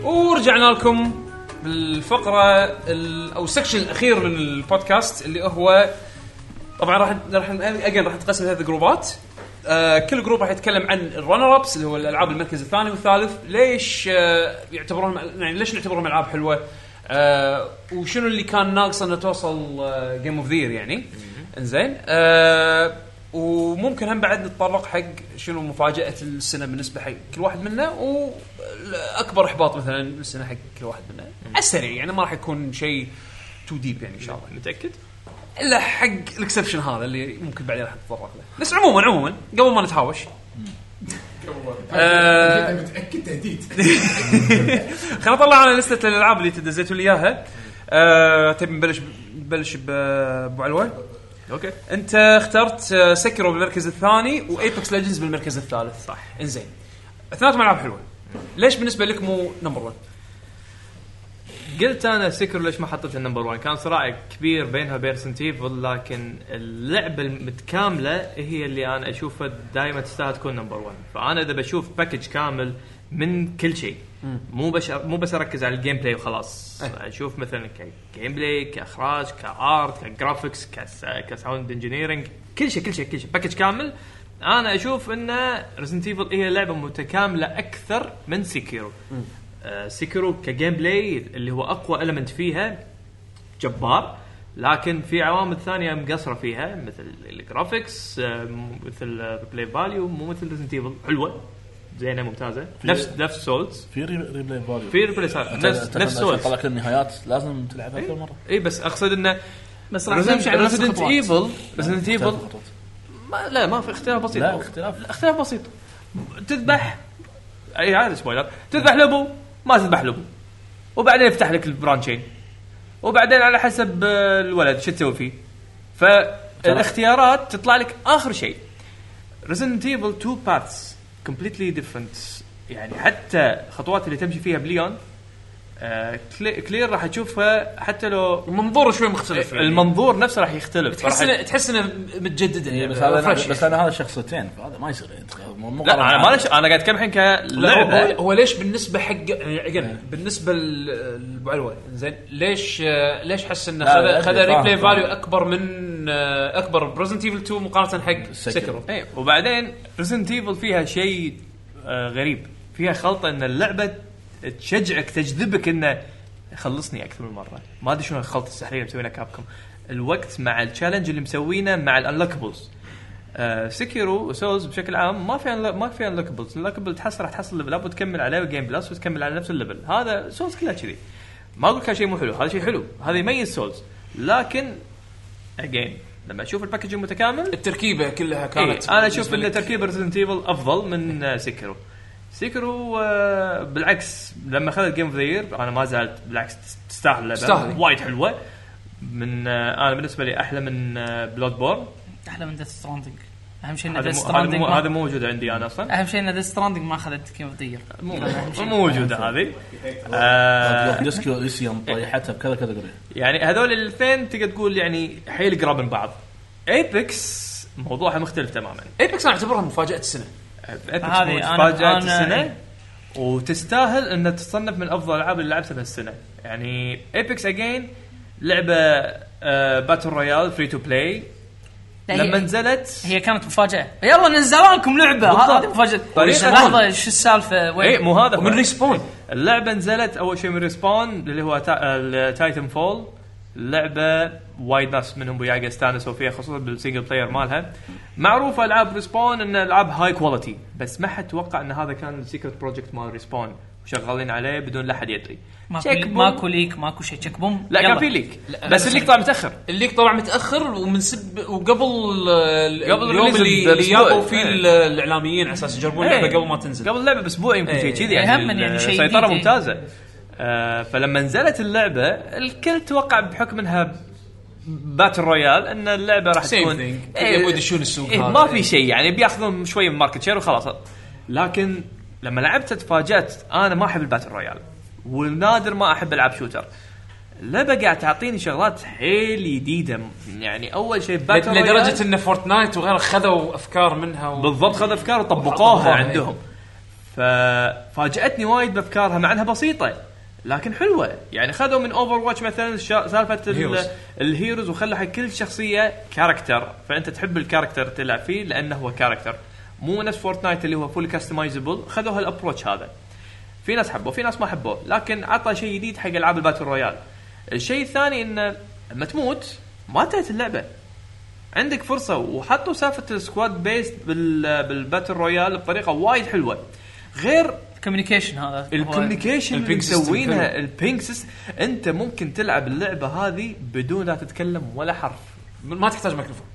Speaker 2: ورجعنا لكم بالفقره ال- او السكشن الاخير من البودكاست اللي هو طبعا راح راح اجين راح نتقسم ثلاث جروبات آه كل جروب راح يتكلم عن الرنر ابس اللي هو الالعاب المركز الثاني والثالث ليش آه يعتبرون يعني ليش نعتبرهم العاب حلوه آه وشنو اللي كان ناقص انه توصل جيم اوف ذير يعني انزين آه وممكن هم بعد نتطرق حق شنو مفاجاه السنه بالنسبه حق كل واحد منا واكبر احباط مثلا السنه حق كل واحد منا على السريع يعني ما راح يكون شيء تو ديب يعني ان شاء الله متاكد الا حق الاكسبشن هذا اللي ممكن بعدين راح نتطرق له بس عموما عموما قبل ما نتهاوش آه.
Speaker 5: أنت متاكد تهديد
Speaker 2: خلينا نطلع على لسته الالعاب اللي تدزيتوا لي اياها آه، تبي نبلش نبلش بابو علوه اوكي انت اخترت آه، سكرو بالمركز الثاني وايبكس ليجندز بالمركز الثالث صح انزين اثنيناتهم العاب حلوه ليش بالنسبه لك مو نمبر 1
Speaker 9: قلت انا سكر ليش ما حطيتها النمبر 1 كان صراع كبير بينها وبين ريسنت ايفل لكن اللعبه المتكامله هي اللي انا اشوفها دائما تستاهل تكون نمبر 1 فانا اذا بشوف باكج كامل من كل شيء
Speaker 2: مم.
Speaker 9: مو بش مو بس اركز على الجيم بلاي وخلاص اشوف مثلا كجيم بلاي كاخراج كارت كجرافكس كس... كساوند انجينيرنج كل شيء كل شيء كل شيء باكج كامل انا اشوف ان ريزنت ايفل هي لعبه متكامله اكثر من سيكيرو آه، سيكرو كجيم بلاي اللي هو اقوى المنت فيها جبار لكن في عوامل ثانيه مقصره فيها مثل الجرافكس آه، م- مثل البلاي فاليو مو مثل ريزنت ايفل حلوه زينه ممتازه نفس نفس سولز
Speaker 3: في ريبلاي فاليو
Speaker 9: في replay value. نفس- نفس إيه. سولز.
Speaker 3: طلع كل النهايات لازم تلعب اكثر مره
Speaker 9: اي بس اقصد انه
Speaker 15: بس
Speaker 9: بس
Speaker 15: راح نمشي على نفس
Speaker 9: ريزدنت
Speaker 15: الخطوات.
Speaker 9: ايفل
Speaker 15: يعني
Speaker 9: ريزدنت
Speaker 15: مختلف
Speaker 9: ايفل
Speaker 15: الخطوات.
Speaker 9: ما لا ما في اختلاف بسيط
Speaker 15: لا،
Speaker 9: اختلاف اختلاف بسيط تذبح اي إيه، هذا سبويلر تذبح لبو ما تذبح لبو وبعدين يفتح لك البرانشين وبعدين على حسب آه، الولد شو تسوي فيه فالاختيارات تطلع لك اخر شيء ريزنت ايفل 2 باثس كومبليتلي ديفرنت يعني حتى الخطوات اللي تمشي فيها بليون آه، كلي- كلير راح تشوفها حتى لو
Speaker 2: المنظور شوي مختلف يعني.
Speaker 9: المنظور نفسه راح يختلف
Speaker 2: تحس
Speaker 9: راح-
Speaker 2: إنه- تحس انه متجددا يعني
Speaker 3: بس هذا
Speaker 2: فريش
Speaker 3: بس
Speaker 2: يعني.
Speaker 3: انا هذا شخصيتين فهذا ما يصير يعني مو- مو
Speaker 9: لا
Speaker 3: قرار
Speaker 9: انا
Speaker 3: عام.
Speaker 9: ما ليش انا قاعد اتكلم الحين
Speaker 2: لا هو-
Speaker 9: كلعبه
Speaker 2: هو, هو ليش بالنسبه حق يعني
Speaker 9: إيه.
Speaker 2: again، بالنسبه ل- لابو علوه زين ليش آه، ليش حس انه
Speaker 3: لا،
Speaker 2: خذ
Speaker 3: لا،
Speaker 2: خذ
Speaker 3: أدري، فاهم،
Speaker 2: ريبلاي
Speaker 3: فاهم.
Speaker 2: فاليو اكبر من آه، اكبر بريزنت ايفل 2 مقارنه حق سكرو
Speaker 9: اي إيه، وبعدين ريزنت ايفل فيها شيء آه، غريب فيها خلطه ان اللعبه تشجعك تجذبك انه خلصني اكثر من مره ما ادري شنو الخلطه السحريه اللي مسوينها كابكم الوقت مع التشالنج اللي مسوينه مع الانلوكبلز سكيرو وسولز بشكل عام ما في unlock- ما في انلوكبلز اللوكبل تحصل راح تحصل ليفل اب وتكمل عليه جيم بلس وتكمل على نفس الليفل هذا سولز كلها كذي ما اقول لك هذا شيء مو حلو هذا شيء حلو هذا يميز سولز لكن اجين لما اشوف الباكج المتكامل
Speaker 2: التركيبه كلها كانت
Speaker 9: إيه انا اشوف
Speaker 2: بالنسبة
Speaker 9: ان
Speaker 2: لك.
Speaker 9: تركيب ريزنت ايفل افضل من آه، سيكرو سيكرو آه، بالعكس لما اخذت جيم اوف ذا يير انا ما زعلت بالعكس تس- تستاهل اللعبه
Speaker 2: تستاهل.
Speaker 9: وايد حلوه من آه، انا بالنسبه لي احلى من آه، بلود بورن
Speaker 15: احلى من ديث ستراندنج اهم شيء ان
Speaker 9: هذا
Speaker 15: ديث
Speaker 9: مو- هذا
Speaker 15: ستراندنج
Speaker 9: مو هذا مو موجود عندي انا اصلا
Speaker 15: اهم شيء ان ديث ستراندنج ما اخذت كيم اوف ذا
Speaker 9: مو مو موجوده هذه
Speaker 3: هذا
Speaker 9: آه،
Speaker 3: ديسكو اليسيوم طيحتها بكذا كذا قريب
Speaker 9: يعني هذول الاثنين تقدر تقول يعني حيل قراب من بعض ايبكس موضوعها مختلف تماما
Speaker 2: ايبكس انا اعتبرها مفاجاه السنه
Speaker 9: هذه
Speaker 2: هذه أنا-
Speaker 9: مفاجأة
Speaker 2: أنا-
Speaker 9: السنة وتستاهل ان تتصنف من افضل الالعاب اللي لعبتها بهالسنه يعني ايبكس اجين لعبه آه باتل رويال فري تو بلاي لما نزل نزلت
Speaker 15: هي كانت مفاجاه يلا نزلوا لكم لعبه
Speaker 9: بالضبط.
Speaker 15: هذه مفاجاه
Speaker 9: طريقة-
Speaker 15: لحظه شو السالفه وين
Speaker 9: اي إيه، مو هذا
Speaker 15: ومن ريس-
Speaker 9: ريسبون اللعبه نزلت اول شيء من ريسبون اللي هو تايتن فول لعبه وايد ناس منهم وياقة استانسوا فيها خصوصا بالسنجل بلاير مالها معروفه العاب ريسبون ان العاب هاي كواليتي بس ما حد توقع ان هذا كان السيكرت بروجكت مال ريسبون وشغالين عليه بدون لا احد يدري
Speaker 15: ماكو
Speaker 9: شيك
Speaker 15: ليك-
Speaker 9: بوم.
Speaker 15: ماكو ليك ماكو شيء تشيك بوم
Speaker 9: لا
Speaker 15: يلا.
Speaker 9: كان في ليك بس الليك طلع متاخر
Speaker 2: الليك طلع متاخر ومن سب وقبل ال-
Speaker 9: قبل
Speaker 2: اليوم
Speaker 9: الريليز
Speaker 2: اللي,
Speaker 9: بأسبوع.
Speaker 2: اللي جابوا فيه
Speaker 9: إيه.
Speaker 2: ال- الاعلاميين على اساس يجربون اللعبه
Speaker 9: إيه.
Speaker 2: قبل ما تنزل
Speaker 9: قبل اللعبه باسبوع يمكن
Speaker 2: إيه.
Speaker 9: شيء كذي
Speaker 2: يهمن
Speaker 9: يعني,
Speaker 2: يعني شيء
Speaker 9: السيطره
Speaker 2: جديد.
Speaker 9: ممتازه آه فلما نزلت اللعبه الكل توقع بحكم انها باتل رويال ان اللعبه راح
Speaker 2: Same
Speaker 9: تكون
Speaker 2: thing.
Speaker 9: إيه،
Speaker 2: يبون يدشون السوق
Speaker 9: إيه
Speaker 2: هذا.
Speaker 9: ما في شيء يعني بياخذون شويه من ماركت شير وخلاص لكن لما لعبت تفاجات انا ما احب الباتل رويال ونادر ما احب العب شوتر اللعبه قاعد تعطيني شغلات حيل جديده يعني اول شيء Battle Royale-
Speaker 2: لدرجه ان فورتنايت وغيره خذوا افكار منها و...
Speaker 9: بالضبط خذ افكار وطبقوها
Speaker 2: وطبقوها، إيه.
Speaker 9: عندهم ففاجاتني وايد بافكارها مع انها بسيطه لكن حلوه يعني خذوا من اوفر واتش مثلا الشا- سالفه ال-
Speaker 2: Heroes.
Speaker 9: الهيروز وخلوا حق كل شخصيه كاركتر فانت تحب الكاركتر تلعب فيه لانه هو كاركتر مو نفس فورتنايت اللي هو فول كاستمايزبل خذوا هالابروتش هذا في ناس حبوه في ناس ما حبوه لكن عطى شيء جديد حق العاب الباتل رويال الشيء الثاني انه لما تموت ما انتهت اللعبه عندك فرصه وحطوا سالفه السكواد بيست بال بالباتل رويال بطريقه وايد حلوه غير
Speaker 15: الكوميونيكيشن هذا
Speaker 9: الكوميونيكيشن اللي مسوينها البينك سيست انت ممكن تلعب اللعبه هذه بدون لا تتكلم ولا حرف
Speaker 2: ما تحتاج ميكروفون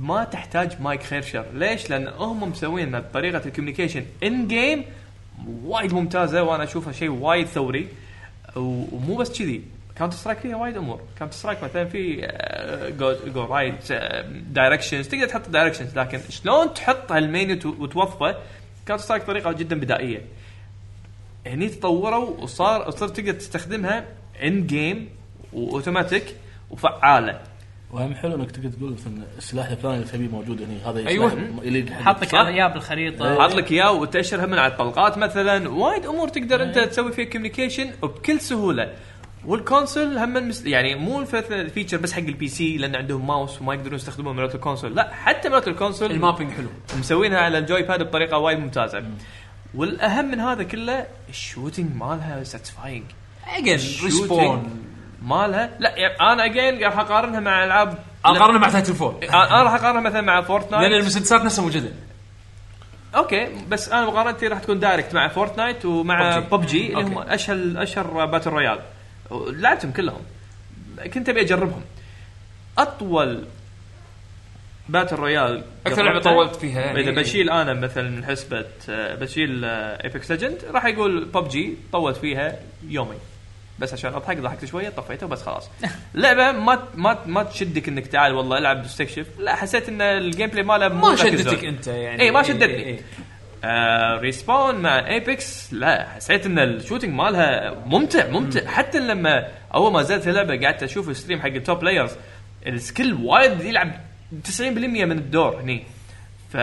Speaker 9: ما تحتاج مايك خير شر ليش لان هم مسوين إن طريقه الكوميونيكيشن ان جيم وايد ممتازه وانا اشوفها شيء وايد ثوري و- ومو بس كذي كاونتر سترايك فيها وايد امور كاونتر سترايك مثلا في آه، جو رايت دايركشنز آه، تقدر تحط دايركشنز لكن شلون تحط هالمنيو تو- وتوظفه كاونتر سترايك طريقه جدا بدائيه هني تطوروا وصار صرت تقدر تستخدمها ان جيم واوتوماتيك وفعاله
Speaker 3: واهم حلو انك تقدر تقول مثلا السلاح الفلاني اللي تبيه موجود هنا هذا
Speaker 9: أيوة.
Speaker 3: يسلاح يليق حق-
Speaker 15: حط لك
Speaker 9: صح؟
Speaker 15: اياه بالخريطه
Speaker 9: حاط لك اياه وتاشرها من على الطلقات مثلا وايد امور تقدر
Speaker 2: إيه.
Speaker 9: انت تسوي فيها كوميونيكيشن بكل سهوله والكونسول هم مس... يعني مو الفيتشر بس حق البي سي لان عندهم ماوس وما يقدرون يستخدمون مالت الكونسول لا حتى مالت الكونسول
Speaker 2: المابينج حلو
Speaker 9: مسوينها على الجوي باد بطريقه وايد ممتازه والاهم من هذا كله الشوتنج مالها ساتسفاينج
Speaker 2: Again، respawn.
Speaker 9: مالها لا يعني انا اجين راح اقارنها مع العاب
Speaker 2: أقارنها مع تايتن فول.
Speaker 9: انا راح اقارنها مثلا مع فورتنايت
Speaker 2: لان المسدسات نفسها موجوده
Speaker 9: اوكي بس انا مقارنتي راح تكون دايركت مع فورتنايت ومع ببجي اللي هم اشهر اشهر باتل رويال لعبتهم كلهم كنت ابي اجربهم اطول باتل رويال
Speaker 2: أكثر لعبة
Speaker 9: جربتها،
Speaker 2: طولت فيها يعني.
Speaker 9: اذا بشيل انا مثلا من حسبه آه، بشيل ايبكس ليجند راح يقول ببجي طولت فيها يومين بس عشان اضحك ضحكت شويه طفيته بس خلاص لعبه ما ما ما تشدك انك تعال والله العب استكشف لا حسيت ان الجيم بلاي ماله مو
Speaker 2: ما
Speaker 9: ذاك
Speaker 2: شدتك
Speaker 9: الزود.
Speaker 2: أنت يعني.
Speaker 15: إيه،
Speaker 9: اي ما
Speaker 2: إي-
Speaker 9: شدتني
Speaker 2: إي- إي.
Speaker 9: إيه. آه ريسبون مع ايبكس لا حسيت ان الشوتنج مالها ممتع ممتع حتى لما اول ما نزلت اللعبه قعدت اشوف ستريم حق التوب بلايرز السكيل وايد يلعب 90% من الدور هني ف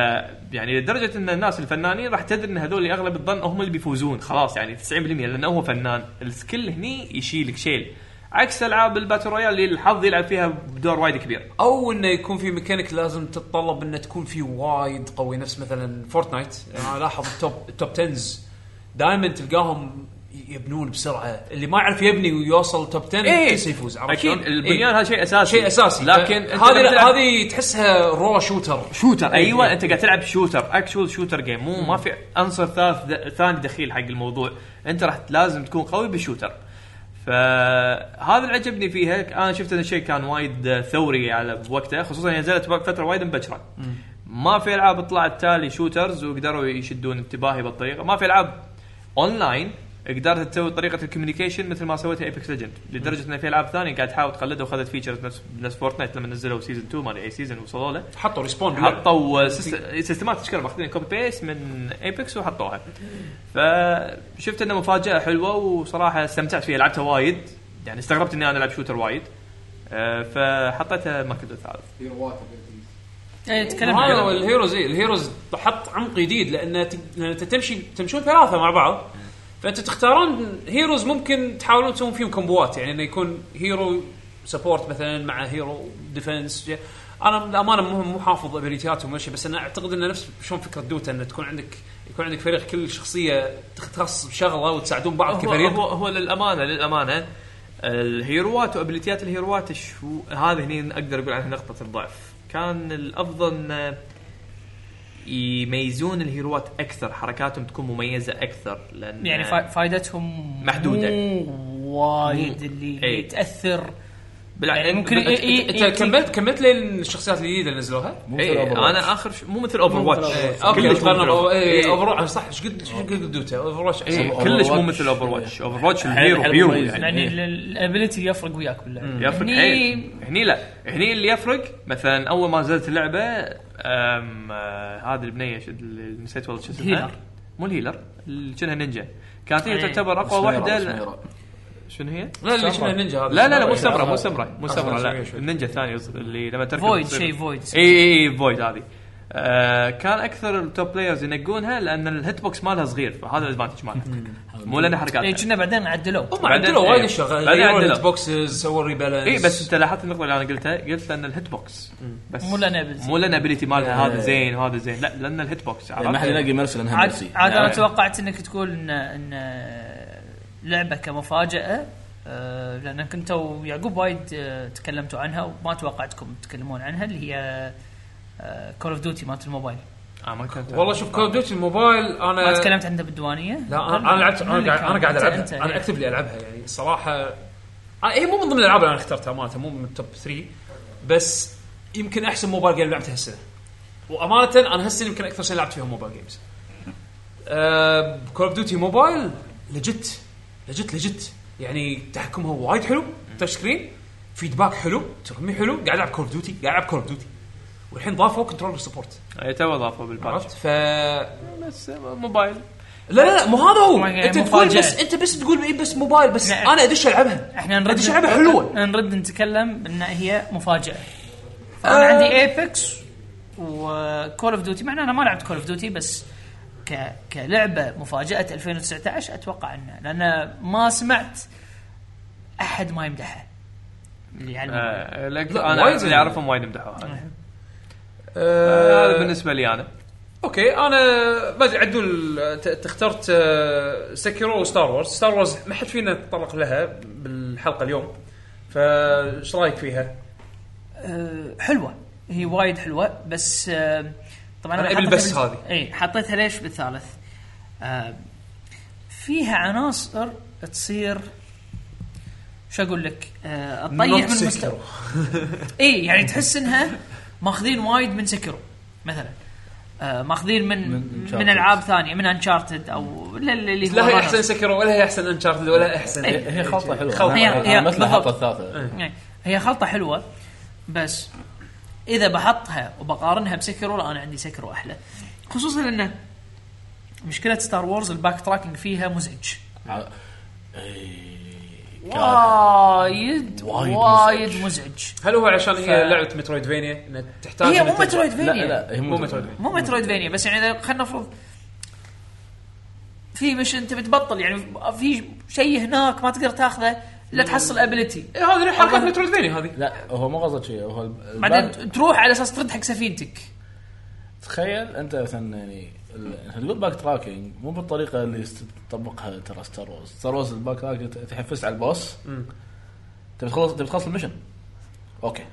Speaker 9: يعني لدرجه ان الناس الفنانين راح تدري ان هذول اغلب الظن هم اللي بيفوزون خلاص يعني 90% لانه هو فنان السكيل هني يشيلك شيل عكس العاب الباتل رويال اللي الحظ يلعب فيها بدور وايد كبير
Speaker 2: او انه يكون في ميكانيك لازم تتطلب انه تكون في وايد قوي نفس مثلا فورتنايت انا الاحظ التوب التوب 10 دائما تلقاهم يبنون بسرعه اللي ما يعرف يبني ويوصل توب 10
Speaker 9: إيه.
Speaker 2: كيف يفوز عرفت
Speaker 9: أكيد.
Speaker 2: شلون؟
Speaker 9: البنيان
Speaker 2: إيه.
Speaker 9: هذا شيء أساسي.
Speaker 2: شيء اساسي
Speaker 9: لكن
Speaker 2: لكن
Speaker 9: أنت لما
Speaker 2: هذه
Speaker 9: تلعب-
Speaker 2: هذه تحسها رو شوتر
Speaker 9: شوتر
Speaker 2: إيه.
Speaker 9: ايوه انت قاعد تلعب شوتر اكشوال شوتر جيم مو ما في عنصر ثالث د- ثاني دخيل حق الموضوع انت راح لازم تكون قوي بالشوتر فهذا اللي عجبني فيها انا شفت ان الشيء كان وايد ثوري على وقته خصوصا إن نزلت وقت- فتره وايد مبكره ما في العاب طلعت تالي شوترز وقدروا يشدون انتباهي بالطريقه ما في العاب اونلاين قدرت تسوي طريقه الكوميونيكيشن مثل ما سويتها ايبكس ليجند لدرجه ان في العاب ثانيه قاعد تحاول تقلدها وخذت فيتشرز نفس نفس فورتنايت لما نزلوا سيزون 2 ما ادري اي سيزون وصلوا له حطوا ريسبون باللعبة.
Speaker 2: حطوا
Speaker 9: سيست- سيستمات تشكر ماخذين كوبي بيست من ايبكس وحطوها فشفت انه مفاجاه حلوه وصراحه استمتعت فيها لعبتها وايد يعني استغربت اني انا العب شوتر وايد آه، فحطيتها المركز الثالث
Speaker 15: اي
Speaker 9: إيه،
Speaker 15: تكلم
Speaker 2: هذا هو
Speaker 15: عن
Speaker 2: الهيروز إيه، الهيروز حط عمق جديد لان ت- لأن انت تمشي تمشون ثلاثه مع بعض فانت تختارون هيروز ممكن تحاولون تسوون فيهم كومبوات يعني انه يكون هيرو سبورت مثلا مع هيرو ديفنس انا للامانه مو مو حافظ ابيليتياتهم ولا شيء بس انا اعتقد انه نفس شلون فكره دوتا انه تكون عندك يكون عندك فريق كل شخصيه تختص بشغله وتساعدون بعض
Speaker 9: هو,
Speaker 2: كفريق
Speaker 9: هو هو للامانه للامانه الهيروات وابيليتيات الهيروات شو هذا هني اقدر اقول عنها نقطه الضعف كان الافضل ان يميزون الهيروات اكثر حركاتهم تكون مميزه اكثر لان
Speaker 15: يعني فا- فائدتهم
Speaker 9: محدودة.
Speaker 15: مو وايد اللي
Speaker 9: إيه.
Speaker 15: تاثر
Speaker 9: بالع-
Speaker 15: يعني ممكن
Speaker 9: انت-
Speaker 15: إي- إي-
Speaker 9: انت
Speaker 15: إي-
Speaker 9: كملت
Speaker 2: كملت لين الشخصيات الجديده اللي نزلوها؟ إيه،
Speaker 9: اي انا اخر إيه، ش... مو مثل اوفر واتش
Speaker 2: اوكي
Speaker 9: كلش مو مثل
Speaker 2: تقارن
Speaker 9: إيه.
Speaker 2: اوفر واتش صح ايش قد ايش قد دوتا اوفر واتش
Speaker 9: إيه، كلش مو مثل اوفر واتش اوفر واتش الهيرو هيرو
Speaker 15: يعني,
Speaker 9: يعني
Speaker 15: يعني الابيلتي يفرق وياك يعني باللعب
Speaker 9: يفرق إيه. حيل هني لا هني اللي يفرق مثلا اول ما نزلت اللعبه أم، آه، هذه البنيه ش- اللي نسيت والله شو اسمها
Speaker 15: الهيلر.
Speaker 9: مو الهيلر اللي شنها نينجا كانت هي
Speaker 2: إيه.
Speaker 9: تعتبر اقوى
Speaker 2: سميرة،
Speaker 9: واحده ل-
Speaker 2: سميرة.
Speaker 9: شنو هي؟
Speaker 2: لا، اللي شنها نينجا هذا.
Speaker 9: لا لا لا مو
Speaker 2: سميرة.
Speaker 9: سمره مو سمره مو
Speaker 2: آه،
Speaker 9: سمره لا
Speaker 2: شوي، شوي.
Speaker 9: النينجا الثانيه اللي لما تركب
Speaker 15: فويد،
Speaker 9: تصير-
Speaker 15: شيء فويد.
Speaker 9: اي اي اي فويد هذه آه، كان اكثر التوب بلايرز ينقونها لان الهيت بوكس مالها صغير فهذا الادفانتج مالها مو لانها حركات يعني.
Speaker 15: اي إيه، كنا بعدين عدلوه
Speaker 2: هم عدلوا وايد الشغل
Speaker 9: بعدين عدلوا.
Speaker 2: إيه، بعدين بوكسز سووا ريبالانس
Speaker 9: اي بس انت لاحظت النقطه اللي انا قلتها قلت لان الهيت بوكس بس
Speaker 15: مو لان ability.
Speaker 9: مو لان ابيلتي مالها
Speaker 2: إيه.
Speaker 9: هذا زين وهذا زين لا لان الهيت بوكس
Speaker 3: يعني ما حد يلاقي مرسل انها
Speaker 15: عاد
Speaker 3: مرسي
Speaker 15: عاد انا
Speaker 9: نعم.
Speaker 15: توقعت انك تقول ان ان لعبه كمفاجاه آه، لان كنتوا ويعقوب وايد آه، تكلمتوا عنها وما توقعتكم تتكلمون عنها اللي هي آه، كول اوف ديوتي مالت الموبايل
Speaker 9: آه، ما كنت
Speaker 2: والله شوف كول اوف ديوتي الموبايل انا
Speaker 15: ما تكلمت عنها بالديوانيه
Speaker 2: لا أنا- انا لعبت
Speaker 15: من اللي
Speaker 2: انا قاعد انا قاعد
Speaker 15: كان؟
Speaker 2: العبها
Speaker 15: أنت-
Speaker 2: انا
Speaker 15: أنت.
Speaker 2: اكتب لي العبها يعني الصراحه هي مو من ضمن الالعاب اللي انا اخترتها امانه مو من التوب 3 بس يمكن احسن موبايل جيم لعبته هالسنه وامانه انا هالسنه يمكن اكثر شيء لعبت فيها آه، موبايل جيمز كول اوف ديوتي موبايل لجت لجت لجت يعني تحكمها وايد حلو تاتش سكرين فيدباك حلو ترمي حلو قاعد العب كول اوف ديوتي قاعد العب كول اوف ديوتي والحين ضافوا كنترولر سبورت
Speaker 9: اي إيه، تو اضافه بالباتش
Speaker 2: عرفت ف
Speaker 9: بس موبايل
Speaker 2: لا لا لا مو هذا هو
Speaker 15: يعني
Speaker 2: انت تقول
Speaker 15: مفاجأة.
Speaker 2: بس انت بس تقول إيه بس موبايل بس
Speaker 15: نعم.
Speaker 2: انا ادش العبها
Speaker 15: احنا نرد أه،
Speaker 2: ادش العبها حلوه
Speaker 15: نرد نتكلم ان هي مفاجاه فانا
Speaker 2: آه.
Speaker 15: عندي ايبكس وكول اوف ديوتي مع ان انا ما لعبت كول اوف ديوتي بس ك... كلعبه مفاجاه 2019 اتوقع انه لان ما سمعت احد ما يمدحها اللي على الموبايل.
Speaker 9: آه، لك-
Speaker 2: لا،
Speaker 9: انا
Speaker 2: وايد
Speaker 9: اللي
Speaker 2: زين.
Speaker 9: اعرفهم وايد مدحوها
Speaker 2: آه،
Speaker 9: هذا بالنسبه لي انا
Speaker 2: اوكي انا ما ادري عدول ت- ت- اخترت آه، سكيرو وستار وورز ستار وورز ما حد فينا تطرق لها بالحلقه اليوم فايش رايك فيها؟
Speaker 15: أه، آه، حلوه هي وايد حلوه بس آه، طبعا
Speaker 14: أنا أبي
Speaker 15: حطيتها
Speaker 14: البس
Speaker 15: بال-
Speaker 14: هذه.
Speaker 15: اي حطيتها ليش بالثالث آه فيها عناصر تصير شو اقول لك آه تطيح من
Speaker 14: Not
Speaker 15: المستوى اي يعني تحس انها ماخذين وايد من سكرو مثلا آه ماخذين من من,
Speaker 14: Uncharted.
Speaker 15: من العاب ثانيه من انشارتد او اللي- اللي هو
Speaker 14: لا هي
Speaker 15: الرنر.
Speaker 14: احسن سكرو ولا هي احسن انشارتد ولا احسن
Speaker 15: إيه. هي خلطة حلوة.
Speaker 14: خلطة
Speaker 15: هي- هي- بالضبط.
Speaker 14: إيه.
Speaker 15: يعني هي خلطه حلوه بس اذا بحطها وبقارنها بسكرو لا انا عندي سكرو احلى خصوصا انه مشكله ستار وورز الباك تراكنج فيها مزعج وايد
Speaker 14: وايد
Speaker 15: وايد مزعج
Speaker 14: هل هو عشان
Speaker 15: ف-
Speaker 14: هي لعبه مترويدفينيا انها تحتاج
Speaker 15: هي
Speaker 14: إنك
Speaker 15: مو
Speaker 14: تلعب-
Speaker 15: مترويدفينيا
Speaker 14: مو مترويدفينيا
Speaker 15: مو مترويدفينيا بس يعني إذا خلينا نفرض في مش انت بتبطل يعني في شيء هناك ما تقدر تاخذه لا تحصل ابيلتي
Speaker 14: إيه، هذه حركات مترويدفينيا هذه
Speaker 3: أيوة. لا هو مو قصد شيء هو الب- الباك-
Speaker 15: بعدين تروح على اساس ترد حق سفينتك
Speaker 3: تخيل انت مثلا يعني ال- تقول باك تراكنج مو بالطريقه اللي است- تطبقها ترى ستار وورز، ستار وورز الباك تراكنج ت- تحفز على البوس تبي تخلص تبي تخلص المشن اوكي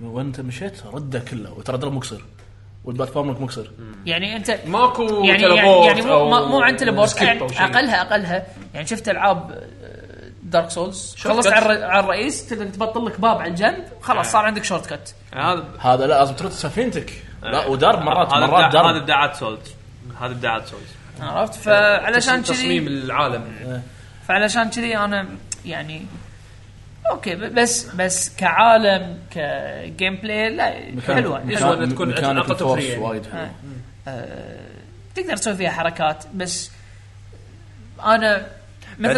Speaker 3: وانت مشيت رده كله وترى درب مقصر والبلاتفورمك مقصر
Speaker 15: يعني انت
Speaker 14: ماكو
Speaker 15: يعني يعني,
Speaker 14: تلبورت
Speaker 15: يعني مو
Speaker 14: أو
Speaker 15: ما- مو عن تلبورت
Speaker 14: سكيب
Speaker 15: يعني
Speaker 14: أو شيء.
Speaker 15: اقلها اقلها يعني شفت العاب دارك سولز خلصت
Speaker 14: كات.
Speaker 15: على الر- على الرئيس تقدر تبطل لك باب على الجنب خلاص صار عندك شورت كت
Speaker 14: هذا
Speaker 3: هذا لا لازم ترد سفينتك
Speaker 15: آه.
Speaker 3: لا
Speaker 9: آه،
Speaker 3: ودرب مرات مرات
Speaker 13: هذا
Speaker 3: درب
Speaker 13: ابداعات سولز هذا ابداعات سولز
Speaker 15: عرفت
Speaker 13: تصميم-
Speaker 15: فعلشان كذي
Speaker 13: تصميم
Speaker 3: إيه.
Speaker 14: العالم
Speaker 15: فعلشان كذي انا يعني اوكي ب- بس بس كعالم كجيم بلاي لا
Speaker 3: مكان-
Speaker 15: حلوه
Speaker 3: مكان-
Speaker 15: حلوة.
Speaker 3: مكان- تكون مكان علاقة الفورس طفلية. وايد حلوة.
Speaker 15: آه. آه، تقدر تسوي فيها حركات بس انا
Speaker 9: فأنت,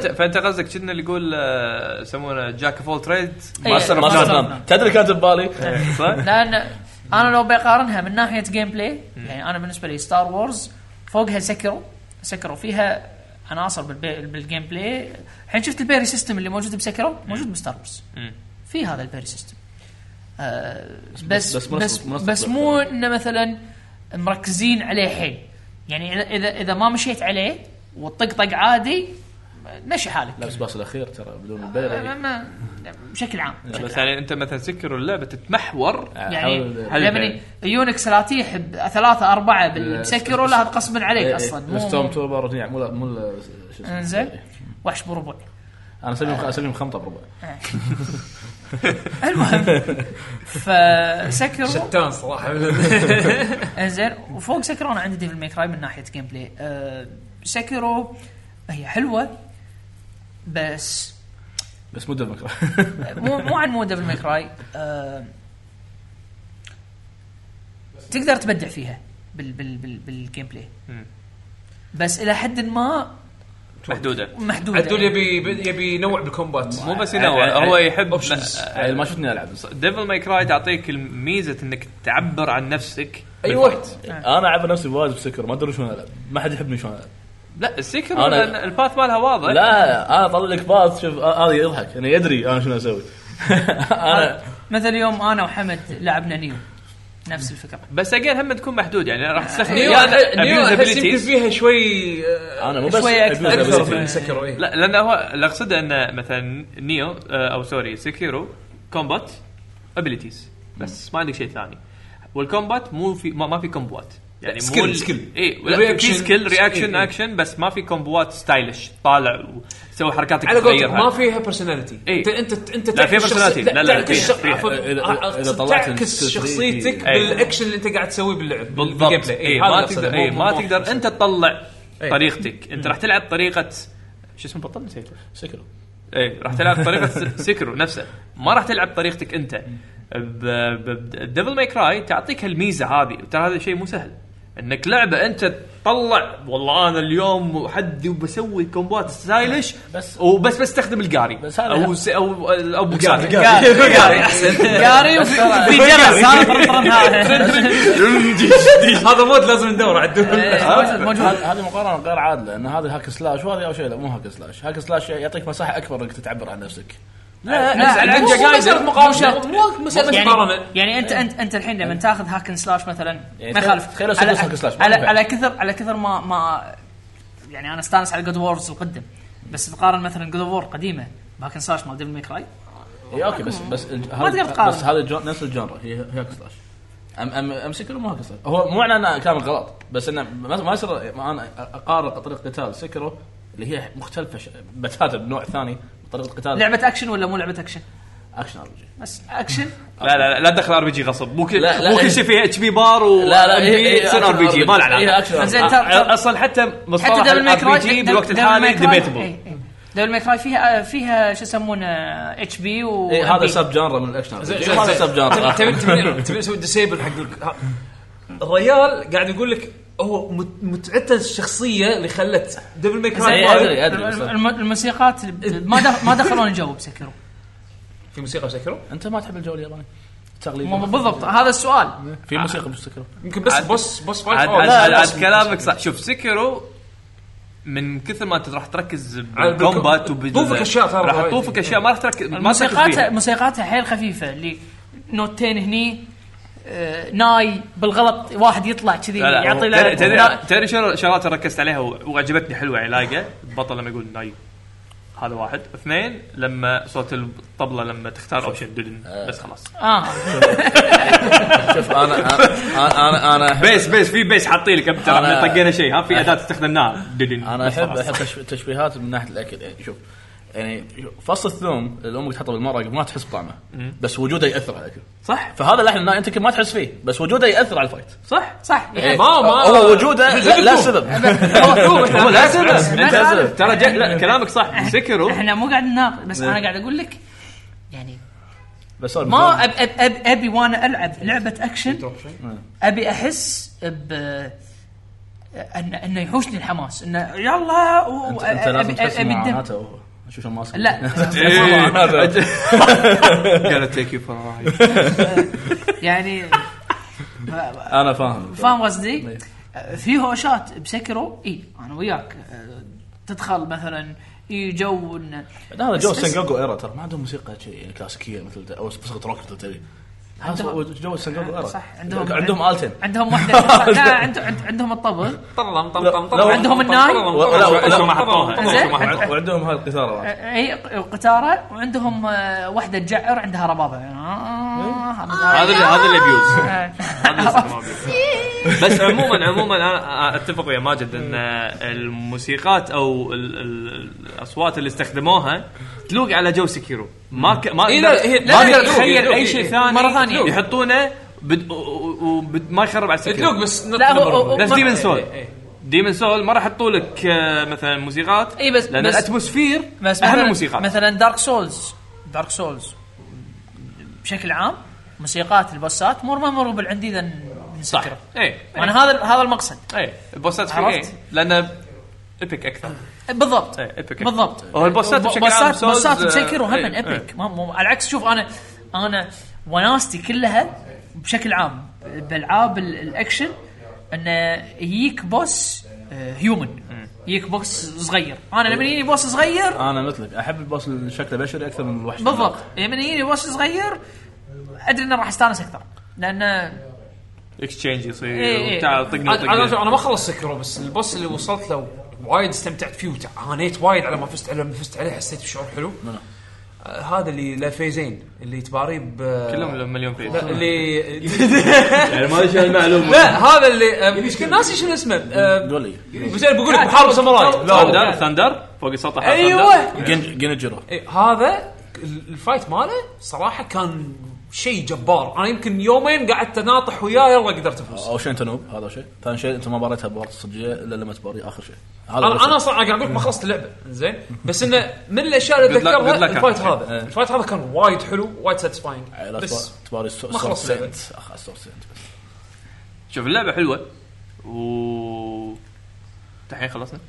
Speaker 15: مثل
Speaker 9: فانت قصدك كنا اللي يقول آه، يسمونه جاك فول تريد
Speaker 15: إيه، Master of Master of none. none. إيه.
Speaker 9: تدري كانت ببالي صح؟
Speaker 15: لان انا لو بقارنها من ناحيه جيم بلاي يعني انا بالنسبه لي ستار وورز فوقها سكرو سكرو فيها عناصر بالبي... بالجيم بلاي الحين شفت البيري سيستم اللي موجود بسكرو موجود بستار وورز في هذا البيري سيستم آه بس
Speaker 3: بس
Speaker 15: بس
Speaker 3: منسق-
Speaker 15: بس,
Speaker 3: منسق
Speaker 15: بس مو انه مثلا مركزين عليه حيل يعني إذا- اذا اذا ما مشيت عليه وطقطق عادي مشي حالك
Speaker 3: لا بس باس الاخير ترى بدون البيري
Speaker 15: آه. ما- ما- بشكل عام
Speaker 9: بس يعني انت مثلا سكر اللعبه تتمحور
Speaker 15: يعني
Speaker 9: حل
Speaker 15: يعني يونك سلاتيح ثلاثة أربعة بالسكر ولا هذا قصبا عليك
Speaker 3: إيه،
Speaker 15: أصلا مو-
Speaker 3: ستورم توبر يعني مو مو شو اسمه.
Speaker 15: انزين وحش بربع
Speaker 3: انا اسميهم اسميهم خمطه بربع
Speaker 15: المهم فسكر
Speaker 14: شتان صراحة.
Speaker 15: انزين وفوق سكر انا عندي ديفل ميك راي من ناحيه جيم بلاي أه سكرو هي حلوه بس
Speaker 3: بس مو دمك
Speaker 15: مو مو عن مو ديفل ميك راي أه تقدر تبدع فيها بال بال بال بالجيم بلاي بس الى حد ما
Speaker 14: محدوده
Speaker 15: محدودة.
Speaker 14: عدول يبي يبي ينوع بالكومبات
Speaker 9: مو بس ينوع هو يحب آه،
Speaker 14: اوبشنز
Speaker 3: يعني ما شفتني العب
Speaker 9: ديفل ماي كراي تعطيك ميزه انك تعبر عن نفسك
Speaker 15: إيه.
Speaker 3: انا اعب نفسي وايد بسكر ما ادري شلون العب ما حد يحبني شلون العب
Speaker 9: لا السكر
Speaker 3: أنا-
Speaker 9: لأن الباث مالها
Speaker 15: طيب.
Speaker 9: واضح
Speaker 3: لا انا اطلع لك باص شوف آه، هذا يضحك انا يدري انا شنو اسوي انا
Speaker 15: مثل يوم انا وحمد لعبنا نيو نفس الفكره
Speaker 9: بس اجين هم تكون محدود يعني راح تستخدم
Speaker 14: نيو
Speaker 9: يا
Speaker 14: أح- نيو
Speaker 9: abuse
Speaker 14: أحس
Speaker 9: abilities.
Speaker 14: يمكن فيها شوي
Speaker 3: انا
Speaker 9: شوية
Speaker 14: اكثر من سكرو إيه.
Speaker 9: لا لان هو اللي اقصده انه مثلا نيو آه، او سوري سكيرو كومبات ابيلتيز بس ما عندك شيء ثاني والكومبات مو في ما, ما في كومبوات يعني مو
Speaker 14: سكيل-
Speaker 9: ال-
Speaker 14: سكيل.
Speaker 9: اي
Speaker 14: Reaction.
Speaker 9: لا، في سكيل رياكشن
Speaker 14: إيه، إيه.
Speaker 9: اكشن بس ما في كومبوات ستايلش طالع وسوي حركاتك
Speaker 14: على قولتك
Speaker 9: تغيرها.
Speaker 14: ما فيها personality.
Speaker 9: إيه.
Speaker 14: أنت- أنت- أنت
Speaker 9: لا فيها
Speaker 14: تعكس
Speaker 9: personality.
Speaker 14: شخصي-
Speaker 9: لا لا
Speaker 14: تعكس
Speaker 9: فيها- إيه،
Speaker 14: شخ-
Speaker 9: فيها.
Speaker 14: عفوا، أقصد تعكس شخصيتك
Speaker 9: إيه.
Speaker 14: بالاكشن اللي انت قاعد تسويه باللعب بالجيم
Speaker 9: بالضبط
Speaker 14: بلاي.
Speaker 9: اي
Speaker 14: إيه، هذا
Speaker 9: ما
Speaker 14: اللي
Speaker 9: تقدر
Speaker 14: أقصده.
Speaker 9: اي
Speaker 14: مو-
Speaker 9: ما
Speaker 14: مو-
Speaker 9: تقدر انت تطلع
Speaker 14: إيه.
Speaker 9: طريقتك انت
Speaker 14: مم.
Speaker 9: راح تلعب طريقه شو اسمه بطل نسيته
Speaker 3: سكرو
Speaker 9: اي إيه، راح تلعب طريقه س- سكرو نفسه ما راح تلعب طريقتك انت ديفل ماي كراي تعطيك هالميزه هذه ترى هذا شيء مو سهل انك لعبه انت تطلع والله انا اليوم حدي وبسوي كومبات ستايلش
Speaker 3: بس
Speaker 9: وبس بستخدم القاري بس
Speaker 3: هذا-
Speaker 9: او س- او او
Speaker 3: القاري.
Speaker 9: بقاري
Speaker 3: قاري.
Speaker 9: قاري احسن
Speaker 15: قاري وفي- في جرس، ها، طرطرن هذا.
Speaker 9: هذا مود لازم ندور على
Speaker 15: إيه،
Speaker 9: آه.
Speaker 3: هذا- هذا- هذه مقارنه غير عادله ان هذا هاك سلاش وهذه او شيء لا مو هاك سلاش هاك سلاش يعطيك مساحه اكبر انك تعبر عن نفسك
Speaker 15: لا
Speaker 3: نفس-
Speaker 15: آه، لا
Speaker 3: عندك
Speaker 15: مو- مو
Speaker 3: جايزة.
Speaker 15: مسألة
Speaker 3: مو شرط.
Speaker 15: مقارنه مو مسألة
Speaker 3: يعني-
Speaker 15: مقارنه يعني انت انت انت الحين لما تاخذ هاكن سلاش مثلا
Speaker 3: يعني
Speaker 15: ما
Speaker 3: تخيل-
Speaker 15: يخالف
Speaker 3: تخيل لو
Speaker 15: على-
Speaker 3: سويت hack and slash، ما
Speaker 15: على
Speaker 3: ينفع.
Speaker 15: على كثر على كثر ما ما يعني انا استانس على جود وورز القدم بس تقارن مثلا جود وور قديمه بهاكن سلاش مال ديفل ميك راي
Speaker 3: اي اوكي إيه، بس بس الج-
Speaker 15: ما
Speaker 3: هذا-
Speaker 15: تقدر تقارن.
Speaker 3: بس هذا الجو- نفس الجنرا هي هي هاك سلاش أم أم امسك ما كسر هو مو معنى انه كان غلط بس انه ما ما يصير إيه، ما انا اقارن طريقه قتال سكرو اللي هي مختلفه ش- بتاتا بنوع ثاني طريقه قتال
Speaker 15: لعبه اكشن ولا مو لعبه اكشن؟
Speaker 3: اكشن ار بي جي
Speaker 15: بس اكشن
Speaker 9: لا لا لا تدخل ار بي جي غصب مو كل
Speaker 3: لا، لا،
Speaker 9: مو
Speaker 3: إيه.
Speaker 9: كل شيء فيه اتش بي بار و
Speaker 3: لا، لا، إيه، إيه،
Speaker 9: تصير ار
Speaker 3: أكشن
Speaker 9: بي جي ما له
Speaker 3: إيه،
Speaker 9: علاقه
Speaker 3: أكشن. زين، ترى-
Speaker 9: أ- اصلا حتى مصطلح
Speaker 15: دبل ماي
Speaker 9: الار
Speaker 15: كراي-
Speaker 9: بي جي
Speaker 15: دب-
Speaker 9: بالوقت
Speaker 15: دبل ماي
Speaker 9: الحالي
Speaker 15: كراي-
Speaker 2: إيه.
Speaker 9: ديبيتبل
Speaker 15: إي، إي. دبل ماي كراي فيها فيها شو يسمونه اتش بي و
Speaker 3: إيه، هذا
Speaker 15: MP.
Speaker 3: سب جانرا من الاكشن
Speaker 15: زين،
Speaker 3: RPG. هذا سب جانرا
Speaker 2: تبي تبي- تبي تسوي ديسيبل حق ال- ها. الريال قاعد يقول لك هو مت- متعته الشخصيه اللي خلت دبل ميك
Speaker 15: زين، الم- الم- الموسيقات ال- ما دخ- ما دخلون الجو بسكرو
Speaker 2: في موسيقى بسكرو؟
Speaker 3: انت ما تحب الجو الياباني
Speaker 15: مو- بالضبط هذا السؤال
Speaker 3: في موسيقى بسكرو
Speaker 2: يمكن بس بوس بوس فايت
Speaker 9: عاد,
Speaker 2: أو-
Speaker 9: عاد,
Speaker 2: لا،
Speaker 9: عاد,
Speaker 2: لا،
Speaker 9: عاد
Speaker 2: بس-
Speaker 9: كلامك صح شوف سكرو من كثر ما انت راح تركز
Speaker 2: على بالكم-
Speaker 9: بالكومبات وبال-
Speaker 2: طوفك أشياء ترى
Speaker 9: راح
Speaker 2: وايد.
Speaker 9: تطوفك اشياء ما راح تركز ما تركز
Speaker 15: موسيقاتها
Speaker 9: فيها
Speaker 15: موسيقاتها حيل خفيفه اللي نوتين هني آه، ناي بالغلط واحد يطلع كذي
Speaker 9: لا لا
Speaker 15: يعطي
Speaker 9: تدري-
Speaker 15: له
Speaker 9: تدري تدري شنو شغلات ركزت عليها و- وعجبتني حلوه علاقه البطل لما يقول ناي هذا واحد اثنين لما صوت الطبله لما تختار اوبشن ددن بس خلاص
Speaker 15: اه
Speaker 3: شوف انا انا انا انا أحب-
Speaker 9: بيس بيس في بيس حاطين لك أنت
Speaker 3: أنا-
Speaker 9: احنا طقينا شيء ها في اداه استخدمناها ددن
Speaker 3: انا
Speaker 9: بس
Speaker 3: احب
Speaker 9: خلاص.
Speaker 3: احب تشب- تشبيهات من ناحيه الاكل يعني شوف يعني شوف، فص الثوم اللي امك تحطه بالمرق ما تحس بطعمه
Speaker 9: مم.
Speaker 3: بس وجوده ياثر على الاكل
Speaker 9: صح
Speaker 3: فهذا اللحم الناي انت يمكن ما تحس فيه بس وجوده ياثر على الفايت
Speaker 9: صح
Speaker 15: صح
Speaker 3: يعني هو وجوده لا, لا سبب
Speaker 9: هو لا سبب
Speaker 15: ما
Speaker 9: أنت
Speaker 15: تعرف.
Speaker 9: ترى جد- لا كلامك صح سكروا
Speaker 15: احنا مو قاعد نناقش بس
Speaker 9: إيه.
Speaker 15: انا قاعد اقول لك
Speaker 3: بس
Speaker 15: ما أب
Speaker 3: طيب.
Speaker 15: أب أب ابي وانا العب لعبه اكشن ابي احس ب ان انه يحوشني الحماس انه يلا و-
Speaker 3: انت, انت لازم
Speaker 15: أبي-
Speaker 3: تحس
Speaker 15: أبي الدم.
Speaker 3: معاناته هو شو شو ماسك
Speaker 15: لا.
Speaker 9: إيه.
Speaker 3: إيه،
Speaker 9: قال تيك يو فور
Speaker 15: يعني
Speaker 3: انا فاهم
Speaker 15: فاهم قصدي؟
Speaker 3: إيه.
Speaker 15: في هوشات بسكرو اي انا وياك آه، تدخل مثلا اي جو إن-
Speaker 3: لا، هذا جو
Speaker 15: بس- بس-
Speaker 3: سنجوكو ايرا ترى ما عندهم موسيقى شيء يعني كلاسيكيه مثل ده، او موسيقى روك مثل تبي هذا هو جو سنجوكو ايرا
Speaker 15: صح عندهم
Speaker 3: عندهم التن
Speaker 15: عندهم واحده لا عند- عند- عندهم الطبل
Speaker 2: طلم
Speaker 3: لا،
Speaker 2: طلم
Speaker 3: لو-
Speaker 2: طلم
Speaker 15: عندهم الناي؟
Speaker 3: لا، لا، لا، ما حطوها.
Speaker 15: زين.
Speaker 3: وعندهم هاي القيثاره
Speaker 15: اي قتاره وعندهم آه، واحده تجعر عندها ربابه آه.
Speaker 9: هذا اللي- هذا اللي abuse. بس
Speaker 15: بس
Speaker 9: عموما عموما انا اتفق ويا ماجد ان الموسيقات او ال- ال- الاصوات اللي استخدموها تلوق على جو سكيرو ما ك... ما
Speaker 2: إيه، لا، هي-
Speaker 9: اقدر
Speaker 2: لا،
Speaker 9: ما
Speaker 2: هي
Speaker 9: اقدر
Speaker 2: تلوق، هي
Speaker 9: اتخيل
Speaker 2: تلوق،
Speaker 9: اي
Speaker 2: إيه.
Speaker 9: شيء ثاني
Speaker 2: مرة ثانية. تلوق.
Speaker 9: يحطونه بد... وما يخرب على سكيرو
Speaker 2: تلوق، بس لا، نط- هو- نمر هو- واحد.
Speaker 9: نفس
Speaker 2: ما-
Speaker 9: ديمن سول
Speaker 2: إيه، إيه.
Speaker 9: ديمن سول ما راح يحطوا لك آه، مثلا موسيقات
Speaker 2: إيه،
Speaker 15: اي بس
Speaker 9: لان
Speaker 15: بس-
Speaker 9: الاتموسفير
Speaker 15: بس
Speaker 9: اهم
Speaker 15: مثلاً-
Speaker 9: الموسيقات
Speaker 15: مثلا دارك سولز دارك سولز بشكل عام موسيقات البوسات مو ممربل عندي اذا
Speaker 9: صح إيه.
Speaker 15: نسكره
Speaker 9: اي
Speaker 15: انا هذا هذا المقصد
Speaker 9: اي البوسات في
Speaker 15: عرفت؟
Speaker 9: ايه لانه ايبك اكثر
Speaker 15: بالضبط
Speaker 9: ايه ايبك
Speaker 15: بالضبط
Speaker 9: هو البوسات بشكل عام
Speaker 15: بوسات بوسات
Speaker 9: سولز-
Speaker 15: مسكر وهم
Speaker 9: ايه،
Speaker 15: من
Speaker 9: ايه.
Speaker 15: ايبك ما مو على العكس شوف انا انا وناستي كلها بشكل عام بالعاب ال- الاكشن انه يجيك بوس آه، هيومن يجيك بوس صغير انا لما يجيني بوس صغير
Speaker 3: انا مثلك احب البوس اللي شكله بشري اكثر من الوحش
Speaker 15: بالضبط لما يجيني بوس صغير ادري انه راح استانس اكثر لانه
Speaker 9: اكسشينج
Speaker 15: إيه،
Speaker 9: يصير
Speaker 15: إيه.
Speaker 9: وتعال طقنا
Speaker 2: عاد- عاد
Speaker 9: وطقنا
Speaker 2: انا ما خلصت سكرو بس البوس اللي وصلت له وايد استمتعت فيه وتعانيت وايد على ما فزت على ما فزت عليه حسيت بشعور حلو آه، هذا اللي له فيزين اللي تباري ب
Speaker 9: كلهم لهم مليون فيز.
Speaker 2: لا، اللي
Speaker 9: يعني ما أدري شنو المعلومة.
Speaker 2: لا هذا اللي آه، مش كل ناسي شنو اسمه آه،
Speaker 3: قولي
Speaker 2: بس أنا بقول لك محارب ساموراي
Speaker 9: ثاندر ثاندر فوق السطح
Speaker 2: أيوة.
Speaker 3: جنجرو
Speaker 2: إيه، هذا ال- الفايت ماله صراحه كان شيء جبار انا يمكن يومين قعدت اناطح وياه يلا قدرت افوز
Speaker 3: اول شيء انت نوب هذا شيء ثاني شيء انت ما باريتها بورط الصجيه الا لما تباري اخر شيء هذا
Speaker 2: انا انا صراحه قاعد اقول لك ما خلصت اللعبه زين بس انه من الاشياء اللي
Speaker 3: Good luck-
Speaker 2: اتذكرها
Speaker 3: good luck إيه.
Speaker 2: الفايت
Speaker 3: على
Speaker 2: هذا
Speaker 3: الشيء.
Speaker 2: الفايت هذا كان وايد حلو وايد ساتيسفاينج
Speaker 3: بس
Speaker 2: بس
Speaker 3: تباري
Speaker 2: ما
Speaker 3: السور
Speaker 2: خلصت اللعبه
Speaker 3: سنت اخ السور سنت
Speaker 9: شوف اللعبه حلوه و الحين خلصنا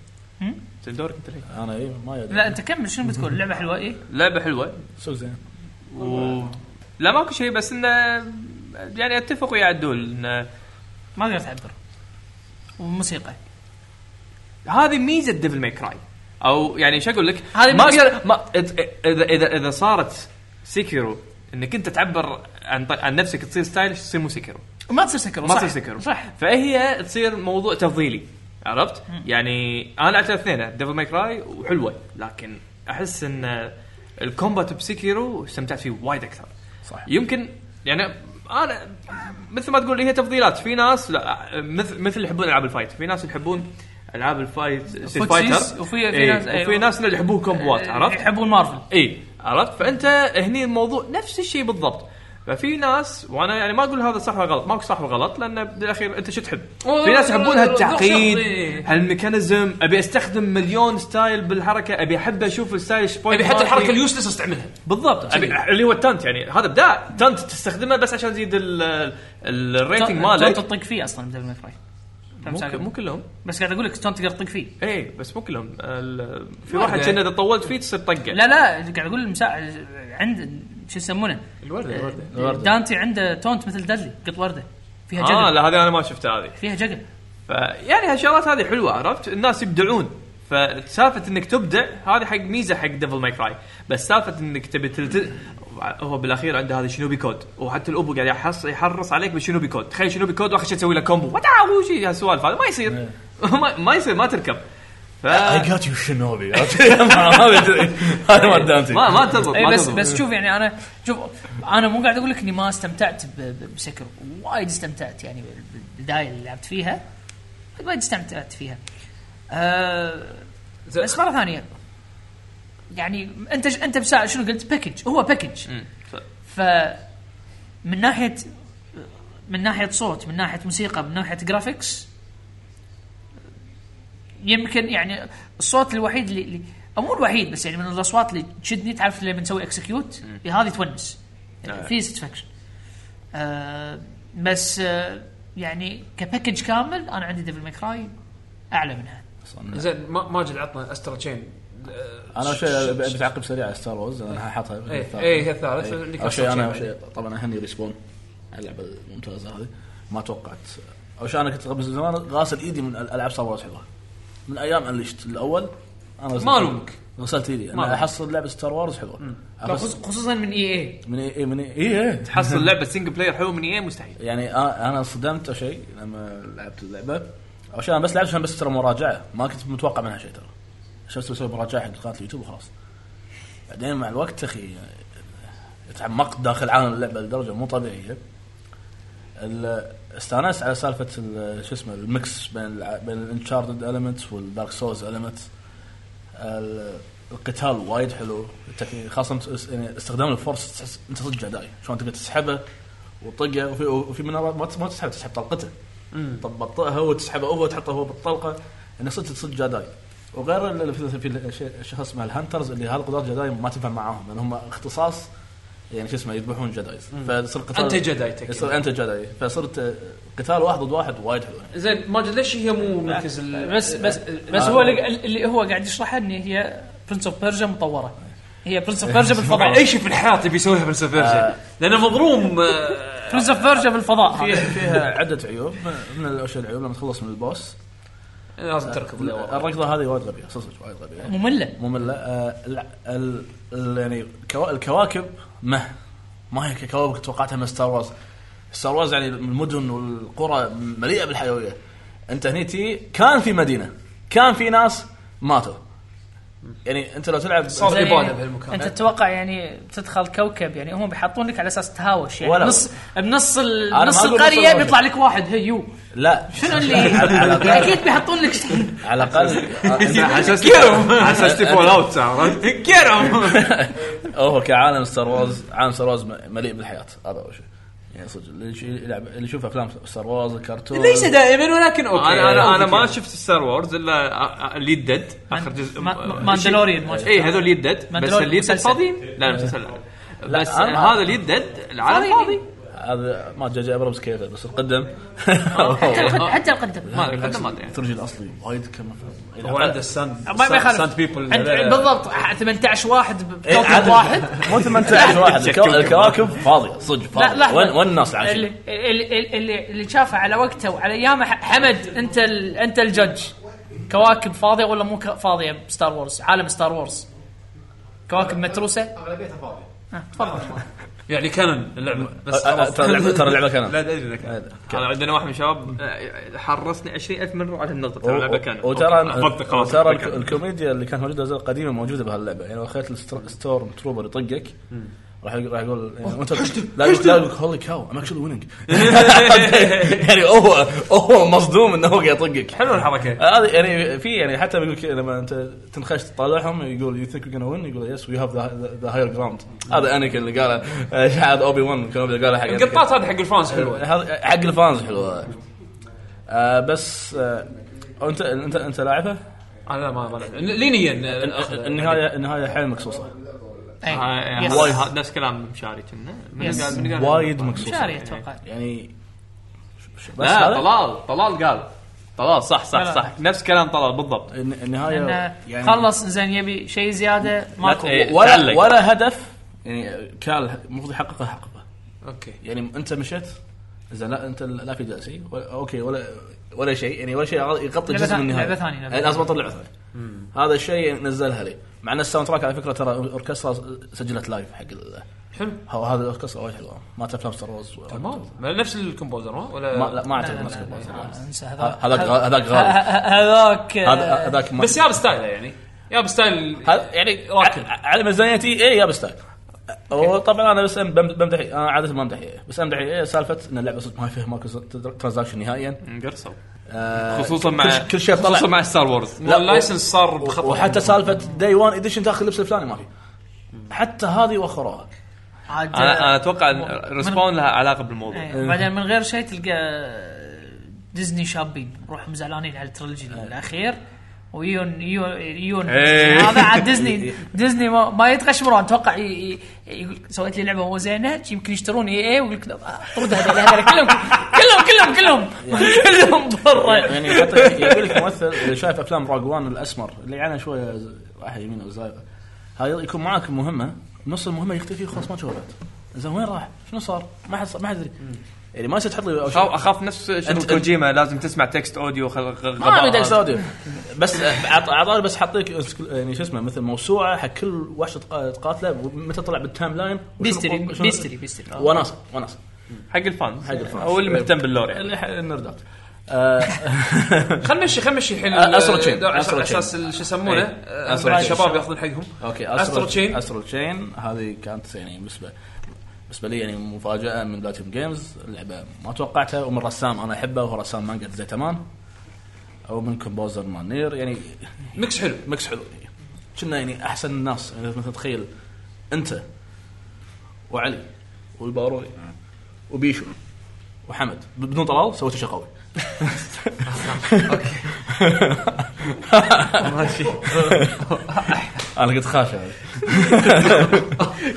Speaker 15: هم؟
Speaker 9: زين دورك انت الحين
Speaker 3: انا اي إيه، ما يدري إيه.
Speaker 15: لا انت كمل شنو بتقول اللعبه حلوه ايه
Speaker 9: لعبه حلوه
Speaker 3: سوق زين
Speaker 9: و... لا ماكو شيء بس انه يعني اتفق ويا عدول انه
Speaker 15: ما اقدر تعبر والموسيقى
Speaker 9: هذه ميزه ديفل ماي كراي او يعني شو اقول لك
Speaker 15: هذه
Speaker 9: ما
Speaker 15: ميزة-
Speaker 9: اقدر ما إذا- اذا اذا اذا صارت سيكيرو انك انت تعبر عن ط- عن نفسك تصير ستايلش تصير مو سيكيرو
Speaker 15: ما تصير سكر
Speaker 9: ما تصير سكر
Speaker 15: صح
Speaker 9: فهي تصير موضوع تفضيلي عرفت؟ يعني انا لعبت الاثنين ديفل ماي كراي وحلوه لكن احس ان الكومبات بسكيرو استمتعت فيه وايد اكثر
Speaker 3: صح
Speaker 9: يمكن يعني انا مثل ما تقول هي تفضيلات في ناس لا مثل مثل يحبون العاب الفايت في ناس يحبون العاب الفايت ستريت فايتر
Speaker 15: وفي- في
Speaker 9: إيه،
Speaker 15: ناس-
Speaker 9: وفي
Speaker 15: أيوة.
Speaker 9: ناس اللي يحبون كومبوات
Speaker 15: إيه،
Speaker 9: عرفت
Speaker 15: يحبون مارفل
Speaker 9: اي عرفت فانت هني الموضوع نفس الشيء بالضبط ففي ناس وانا يعني ما اقول هذا صح ولا غلط ماكو صح وغلط لان بالاخير انت شو تحب؟
Speaker 20: والله
Speaker 9: في ناس يحبون
Speaker 20: ذوق
Speaker 9: هالتعقيد
Speaker 20: شخصي.
Speaker 9: هالميكانيزم ابي استخدم مليون ستايل بالحركه ابي احب اشوف الستايل سبويل
Speaker 20: ابي حتى الحركه
Speaker 9: مالتي.
Speaker 20: اليوسلس استعملها
Speaker 9: بالضبط أبي اللي هو التانت يعني هذا ابداع تانت تستخدمه بس عشان تزيد ال- ال- الريتنج
Speaker 15: تون
Speaker 9: مالك
Speaker 15: تطق فيه اصلا بدل ما تفاي
Speaker 9: مو ك- مو كلهم
Speaker 15: بس قاعد اقول لك تون تقدر تطق فيه
Speaker 9: ايه بس مو كلهم ال- في
Speaker 15: ما
Speaker 9: واحد
Speaker 15: أدري.
Speaker 9: كان اذا طولت فيه تصير طقه
Speaker 15: لا لا قاعد اقول المسا... عند شو يسمونه؟
Speaker 9: الورده الورده
Speaker 15: الورده دانتي عنده تونت مثل دادلي قط ورده فيها جقل
Speaker 9: اه لا هذه انا ما شفتها هذه
Speaker 15: فيها جقل
Speaker 9: فيعني هالشغلات هذه حلوه عرفت الناس يبدعون فسالفه انك تبدع هذه حق ميزه حق ديفل ماي كراي بس سالفه انك تبي تلت... هو بالاخير عنده هذا شنوبي كود وحتى الابو قاعد يحص يحرص عليك بالشنوبي كود تخيل شنوبي كود واخر شيء تسوي له كومبو وتعاو شيء هالسوالف هذا ما يصير ما, ما يصير ما تركب ف...
Speaker 21: إيه. I got you shinobi هذا ما دانتي
Speaker 9: ما ما تضبط
Speaker 15: اي
Speaker 9: ما
Speaker 15: بس
Speaker 9: تضبط.
Speaker 15: بس شوف يعني انا شوف انا مو قاعد اقول لك اني ما استمتعت ب- ب- بسكر وايد استمتعت يعني بال- بالبدايه اللي لعبت فيها وايد استمتعت فيها آه بس مره ثانيه يعني انت انت بسا شنو قلت باكج هو باكج ف من ناحيه من ناحيه صوت من ناحيه موسيقى من ناحيه جرافيكس يمكن يعني الصوت الوحيد اللي, اللي او مو الوحيد بس يعني من الاصوات اللي تشدني تعرف لما نسوي اكسكيوت هذه تونس
Speaker 9: آه.
Speaker 15: في ساتسفكشن آه بس آه يعني كباكج كامل انا عندي ديفل ماكراي اعلى منها
Speaker 2: زين ما- ماجد عطنا استرا تشين
Speaker 3: انا شيء بتعقب سريع على ستار وورز انا حاطها
Speaker 2: إيه، إيه، هي الثالث، عندك
Speaker 3: اول شيء
Speaker 2: أكثر
Speaker 3: انا أول
Speaker 2: شيء.
Speaker 3: شيء طبعا اهني ريسبون على اللعبه الممتازه هذه ما توقعت اول شيء انا كنت قبل زمان غاسل ايدي من الالعاب ستار وورز حلوه من ايام انلشت الاول انا غسلت-
Speaker 2: ما ألومك.
Speaker 3: غسلت ايدي
Speaker 2: ما
Speaker 3: انا
Speaker 2: ألومك.
Speaker 3: احصل لعبه ستار وورز حلوه
Speaker 2: لا،
Speaker 3: أغسل-
Speaker 2: خص- خصوصا من اي
Speaker 15: E
Speaker 2: اي
Speaker 3: من اي من إيه؟
Speaker 9: إيه،
Speaker 3: اي
Speaker 21: إيه.
Speaker 3: إي.
Speaker 9: تحصل لعبه سنجل بلاير حلوه من ايه مستحيل
Speaker 3: يعني أ- انا انصدمت او شيء لما لعبت اللعبه او شيء انا بس لعبت عشان بس ترى مراجعه ما كنت متوقع منها شيء ترى عشان بس بسوي مراجعه حق قناه اليوتيوب وخلاص بعدين مع الوقت اخي تعمقت داخل عالم اللعبه لدرجه مو طبيعيه ال- استانست على سالفه ال- شو اسمه الميكس بين الع- بين الانشارتد المنتس والدارك سوز المنتس القتال وايد حلو التك- خاصه اس- يعني استخدام الفورس تحس انت صدق جداي شلون تقدر تسحبه وطقه وفي وفي منها ما تس- ما تسحب تسحب طلقته تبطئها وتسحبه هو وتحطه هو بالطلقه يعني صدق صدق جداي وغير ال- ال- في في شيء- شيء اسمه الهانترز اللي هالقدرات جداي ما تنفع معاهم لان هم اختصاص يعني شو اسمه يذبحون جدايز فصير قتال
Speaker 2: أنت جداي تكي.
Speaker 3: يصير انت جداي فصرت آه، قتال واحد ضد واحد وايد حلو
Speaker 2: زين ماجد ليش هي مو مركز ال-
Speaker 15: بس بس
Speaker 2: ال-
Speaker 15: بس
Speaker 3: طيب. آه.
Speaker 15: هو اللي, اللي هو قاعد يشرحها ان هي برنس اوف بيرجا مطوره هي
Speaker 3: آه.
Speaker 15: برنس اوف بيرجا بالفضاء آه.
Speaker 2: اي شيء في الحياه يبي يسويها فلسفه فيرجن لانه مضروم آه،
Speaker 15: برنس اوف بيرجا بالفضاء
Speaker 3: فيها,
Speaker 15: هذا.
Speaker 3: فيها عده عيوب من الاشياء العيوب لما تخلص من البوس
Speaker 2: لازم تركض له ورا.
Speaker 3: الركضه هذه وايد غبيه صدق وايد غبيه
Speaker 15: مملة.
Speaker 3: ممله آه ال- ال- ال- يعني كوا- الكواكب ما ما هي كواكب توقعتها من ستار وورز ستار وورز يعني المدن والقرى مليئه بالحيويه انت هني تي كان في مدينه كان في ناس ماتوا يعني انت لو تلعب
Speaker 2: صار
Speaker 15: زين،
Speaker 2: إبادة بهالمكان.
Speaker 15: انت تتوقع يعني تدخل كوكب يعني هم بيحطون لك على اساس تهاوش يعني
Speaker 3: ولا.
Speaker 15: نص بنص ال-
Speaker 3: أنا
Speaker 15: نص
Speaker 3: ما أقول نص
Speaker 15: القريه
Speaker 3: القرية.
Speaker 15: بيطلع لك واحد هيو
Speaker 3: لا
Speaker 15: شنو اللي
Speaker 3: على- على الأقل-
Speaker 15: اكيد بيحطون لك
Speaker 3: على الاقل
Speaker 8: حسستني فول اوت عرفت؟
Speaker 3: هو كعالم ستار وورز عالم ستار وورز مليء بالحياه هذا اول شيء يعني صدق اللي يش- يلعب اللي يشوف افلام ستار وورز الكرتون
Speaker 2: ليس دائما ولكن اوكي
Speaker 9: انا انا انا ما
Speaker 2: أوكي.
Speaker 9: شفت ستار وورز الا الليد ديد اخر جزء
Speaker 15: ما- ما- ماندلوريان ما شفته.
Speaker 9: اي هذول ليد ديد بس
Speaker 15: ماندلوريان
Speaker 9: الليد ديد
Speaker 15: مسلسل.
Speaker 9: فاضيين لا المسلسل لا
Speaker 3: لا،
Speaker 9: بس
Speaker 3: أنا-
Speaker 9: هذا ليد ديد العالم
Speaker 15: فاضي.
Speaker 9: فاضي
Speaker 3: هذا ما جاء جاء ابرمز كيفه بس القدم
Speaker 15: حتى القدم- حتى القدم
Speaker 9: ما القدم ما ادري يعني.
Speaker 3: الترجي الاصلي وايد كان
Speaker 8: هو عنده الساند
Speaker 15: ما ما يخالف
Speaker 8: ساند بيبل
Speaker 15: عند- عند- بالضبط 18 واحد
Speaker 3: إيه،
Speaker 15: بكوكب
Speaker 3: عدد.
Speaker 15: واحد
Speaker 3: مو 18 واحد الكو- الكواكب فاضيه صدق
Speaker 15: لا
Speaker 3: فاضيه
Speaker 15: لحظة.
Speaker 3: وين وين الناس اللي
Speaker 15: اللي
Speaker 3: عايشين
Speaker 15: اللي اللي, اللي شافه على وقته وعلى ايامه ح- حمد انت ال... انت الجج كواكب فاضيه ولا مو ك- فاضيه بستار وورز عالم ستار وورز كواكب متروسه
Speaker 22: اغلبيتها فاضيه
Speaker 15: آه، تفضل
Speaker 2: يعني كانن اللعبه بس
Speaker 3: أ- أ- ترى اللعبة- ترى اللعبة كانن.
Speaker 9: لا ادري ذاك انا عندنا واحد من الشباب آه، حرصني 20000 مره على النقطه ترى اللعبه كان
Speaker 3: و- وترى
Speaker 9: أوكي، خلاص
Speaker 3: وترى
Speaker 9: خلاص،
Speaker 3: الك- الكوميديا اللي كانت موجوده زي القديمه موجوده بهاللعبه يعني لو خليت الستر- ستورم تروبر يطقك راح يقول راح يقول يعني
Speaker 13: أوه،
Speaker 3: وأنت-
Speaker 13: حشته،
Speaker 3: لا يقول-
Speaker 13: حشته.
Speaker 3: لا يقول هولي كاو ام اكشلي ويننج يعني هو هو مصدوم انه هو قاعد يطقك
Speaker 2: حلو الحركه
Speaker 3: هذا يعني في يعني حتى بيقول كذا لما انت تنخش تطالعهم يقول يو ثينك وي وين يقول يس وي هاف ذا هاير جراوند هذا انيكن اللي قاله آه، شعر اوبي ون كانوا قاله حق
Speaker 2: القطات هذه حق الفانز حلوه.
Speaker 3: هذا حق الفانز حلوه آه، بس آه، انت انت انت لاعبها؟
Speaker 2: انا ما ما لينيا
Speaker 3: النهايه النهايه حيل مقصوصه
Speaker 15: إيه.
Speaker 23: آه،
Speaker 3: يس.
Speaker 23: وايد ه- نفس كلام مشاري كنا من
Speaker 3: يس.
Speaker 23: قال- من قال-
Speaker 3: وايد مقصوصة. مشاري
Speaker 15: اتوقع
Speaker 3: يعني بس
Speaker 23: لا
Speaker 3: هذا؟
Speaker 23: طلال طلال قال طلال صح
Speaker 15: لا، لا.
Speaker 23: صح صح نفس كلام طلال بالضبط
Speaker 3: النهايه
Speaker 15: لانه
Speaker 3: يعني
Speaker 15: خلص زين يبي شيء زياده ماكو
Speaker 3: أيوه، لا- ولا ولا هدف يعني كان المفروض يحققه حققه
Speaker 2: اوكي
Speaker 3: يعني انت مشيت زين لا انت لا في جالسي ولا اوكي ولا ولا شيء يعني ولا شيء
Speaker 15: لعبة
Speaker 3: يغطي جزء من
Speaker 15: ثانية-
Speaker 3: النهايه
Speaker 15: لعبة ثانية- لعبة
Speaker 3: يعني
Speaker 15: ثانية.
Speaker 3: لازم اطلع لعبه ثانيه هذا الشيء نزلها لي مع ان الساوند تراك على فكره ترى اوركسترا سجلت لايف حق ال-
Speaker 2: حلو.
Speaker 3: هو هذا الاوركسترا وايد حلوه ما تفلام روز
Speaker 2: تمام ما نفس الكومبوزر ما ولا
Speaker 3: ما لا ما اعتقد
Speaker 2: لا،
Speaker 3: نفس
Speaker 2: لا، لا،
Speaker 3: الكومبوزر.
Speaker 2: لا، لا،
Speaker 15: انسى
Speaker 3: ه- هذاك غ- هذاك غالي
Speaker 15: هذاك
Speaker 3: هذا- هذاك ما-
Speaker 2: بس ياب ستايله يعني ياب ستايل
Speaker 3: يعني راكب على ميزانيتي ايه يا بستاك وطبعا انا بس أم- بم- بمدح انا عاده ما امدح إيه. بس امدح ايه سالفه ان اللعبه صدق ما فيها ماكو ترانزاكشن نهائيا
Speaker 23: انقرصوا
Speaker 3: آه،
Speaker 23: خصوصا
Speaker 3: كل-
Speaker 23: مع-
Speaker 3: كل شيء طلع
Speaker 23: خصوصا مع Star Wars.
Speaker 3: لا،
Speaker 2: واللايسنس صار بخطر.
Speaker 3: وحتى سالفه داي 1 اديشن تاخذ اللبس الفلاني ما في حتى هذه وخروها
Speaker 15: عاد
Speaker 23: انا أنا اتوقع ريسبون لها علاقه بالموضوع
Speaker 15: إيه، بعدين من غير شيء تلقى ديزني شابين روحهم زعلانين على التريلوجي الاخير ويون يون يون
Speaker 23: إيه.
Speaker 15: هذا عاد ديزني ديزني ما, ما يتغش مران اتوقع ي- ي- يقول سويت لي لعبه مو زينه يمكن يشترون اي اي ويقول لك طرد هذول هذول كلهم كلهم كلهم كلهم كلهم برا
Speaker 3: يعني حتى يقول لك ممثل اللي شايف افلام راج وان الاسمر اللي يعني شويه ز- رايح يمين او زايغه هاي يكون معاك مهمه نص المهمه يختفي خلاص ما تشوفه زين وين راح؟ شنو صار؟ ما حد ما حد يدري يعني ما يصير تحط لي أول شيء.
Speaker 23: أخاف- اخاف نفس شنو
Speaker 3: أنت-
Speaker 23: كوجيما لازم تسمع تكست اوديو خل...
Speaker 3: ما ابي دكس اوديو بس عطاري بس حاطيك يعني شو اسمه مثل موسوعه حق كل وحش تق- تقاتله ومتى طلع بالتايم لاين وشنو-
Speaker 15: بيستري
Speaker 3: وشنو-
Speaker 15: بيستري بيستري
Speaker 3: وناس وناس
Speaker 23: حق الفانز
Speaker 3: حق الفانز إيه.
Speaker 23: او اللي مهتم باللور يعني
Speaker 3: اللي ح- النردات
Speaker 2: خلنا نمشي خلنا نمشي الحين
Speaker 3: آه، أسرو تشين.
Speaker 2: الدور عشان-
Speaker 3: أسرو
Speaker 2: عشان
Speaker 3: تشين.
Speaker 2: ال- شو يسمونه
Speaker 3: إيه.
Speaker 2: آه،
Speaker 3: أسرو
Speaker 2: بعد
Speaker 3: تشين.
Speaker 2: الشباب ياخذون حقهم
Speaker 3: اوكي
Speaker 2: أسرو تشين.
Speaker 3: استرو تشين هذه كانت يعني بالنسبه بالنسبه لي يعني مفاجاه من بلاتيوم جيمز لعبه ما توقعتها ومن رسام انا احبه وهو رسام مانجا زي تمام او من كومبوزر مان نير يعني
Speaker 2: ميكس حلو
Speaker 3: ميكس حلو كنا يعني احسن الناس يعني مثلا تخيل انت وعلي والباروي وبيشو وحمد بدون طلال سويت شيء قوي
Speaker 23: ماشي.
Speaker 3: انا كنت خاشع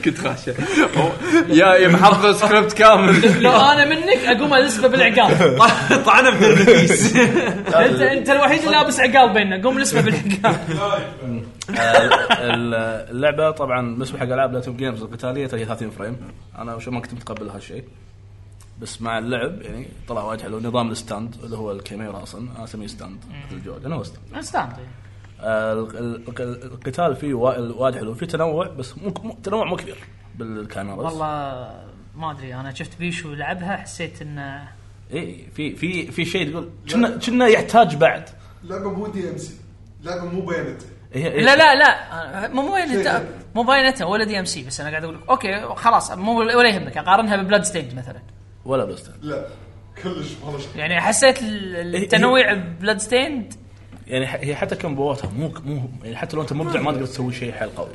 Speaker 23: كنت خاشع يا يا محضر سكريبت كامل
Speaker 15: لو انا منك اقوم الاسبه بالعقال
Speaker 23: طعنه من النفيس
Speaker 15: انت انت الوحيد اللي لابس عقال بيننا قوم الاسبه بالعقال
Speaker 10: إيه؟
Speaker 3: آه، ال- اللعبه طبعا بالنسبه حق العاب لاتوم جيمز القتاليه ترى هي 30 فريم انا شو ما كنت متقبل هالشيء بس مع اللعب يعني طلع وايد حلو نظام الستاند اللي هو الكاميرا اصلا انا اسميه ستاند مثل جوجن هو ستاند
Speaker 15: استانتي
Speaker 3: آه، ال- ال- ال- القتال فيه وا- وايد حلو فيه تنوع بس مو مو- تنوع مو كبير بالكاميرا
Speaker 15: والله ما ادري انا شفت بيشو لعبها حسيت انه
Speaker 3: اي إيه، في في في شيء تقول كنا كنا يحتاج بعد
Speaker 16: لعبه مو دي ام سي لعبه مو بيانات
Speaker 3: هي-
Speaker 15: لا لا لا مو باينتا مو باينتا ولا دي ام سي بس انا قاعد اقول لك اوكي خلاص مو ولا يهمك اقارنها ببلاد ستيند مثلا
Speaker 3: ولا بلاستيك
Speaker 16: لا كلش والله
Speaker 15: يعني حسيت ال- التنويع بلاد ستيند
Speaker 3: يعني ح- هي حتى كمبواتها مو مو يعني حتى لو انت مبدع ما تقدر تسوي شيء حيل قوي.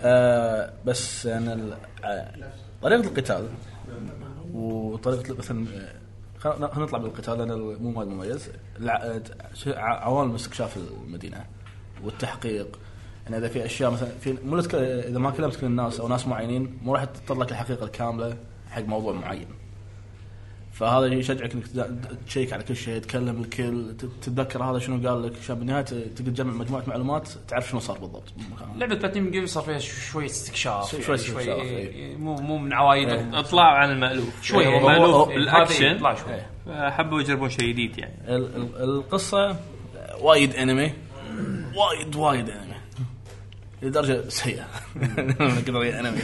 Speaker 3: آه بس انا ال- آه، طريقه القتال وطريقه مثلا آه، خل- خلينا نطلع بالقتال لان ال- مو وايد مميز الع- آه، ش- ع- عوالم استكشاف المدينه والتحقيق يعني اذا في اشياء مثلا في مو لك- اذا ما كلمت كل الناس او ناس معينين مو راح تطلع لك الحقيقه الكامله حق موضوع معين. فهذا يشجعك انك تدا- تشيك على كل شيء تكلم الكل ت- تتذكر هذا شنو قال لك عشان بالنهايه ت- تقدر تجمع مجموعه معلومات تعرف شنو صار بالضبط بالمكان.
Speaker 2: لعبه بلاتينيوم جيم صار فيها شو- شويه استكشاف
Speaker 3: شوية
Speaker 2: يعني
Speaker 3: استكشاف، إيه.
Speaker 2: مو مو من عوايد
Speaker 3: إيه.
Speaker 23: اطلع عن المالوف
Speaker 2: شوي.
Speaker 23: شوي
Speaker 2: هو-
Speaker 9: يعني
Speaker 23: هو
Speaker 2: هو-
Speaker 23: مالوف
Speaker 2: هو- هذا
Speaker 23: بالاكشن
Speaker 2: يطلع شوي.
Speaker 9: إيه.
Speaker 23: حبوا يجربون شيء جديد يعني
Speaker 3: ال- ال- القصه وايد انمي وايد وايد انمي لدرجه سيئه من كثر هي انمي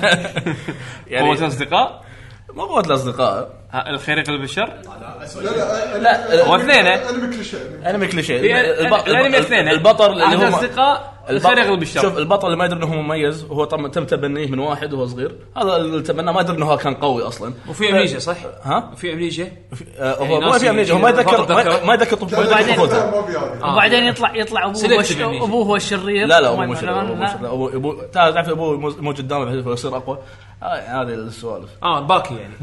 Speaker 23: قوة آه، الأصدقاء؟
Speaker 3: يعني مو قوة الاصدقاء
Speaker 23: الخيرق بالشر؟
Speaker 16: لا
Speaker 3: لا،
Speaker 23: واثنين
Speaker 2: إيه.
Speaker 16: انا مكل شيء
Speaker 3: انمي كل شيء
Speaker 23: هي- يعني الأنمي اثنين.
Speaker 3: البطل اللي
Speaker 23: أحد
Speaker 3: هو
Speaker 23: الأصدقاء
Speaker 3: البطل-
Speaker 9: الخير يغلب الشر
Speaker 3: شوف البطل اللي ما يدري انه هو مميز هو طبعا تم تبنيه من واحد وهو صغير هذا اللي تبناه ما يدري انه هو كان قوي اصلا
Speaker 2: وفي امنيجا صح؟
Speaker 3: ها؟
Speaker 2: في امنيجا
Speaker 3: آه،
Speaker 9: يعني
Speaker 3: هو ما في امنيجا هو ما يتذكر ما- ما يتذكر طفولته
Speaker 15: وبعدين
Speaker 3: طفولته.
Speaker 9: آه.
Speaker 15: وبعدين يطلع يطلع ابوه هو الش-
Speaker 3: Selective amnesia.
Speaker 15: ابوه هو الشرير
Speaker 3: لا لا
Speaker 15: وما-
Speaker 3: ابوه مش
Speaker 15: لا-
Speaker 3: ابوه
Speaker 15: لا.
Speaker 3: مش ابوه ابوه تعرف تعرف ابوه مو- موجود قدامه بحيث هو يصير اقوى آه، هذه السوالف
Speaker 2: اه باكي يعني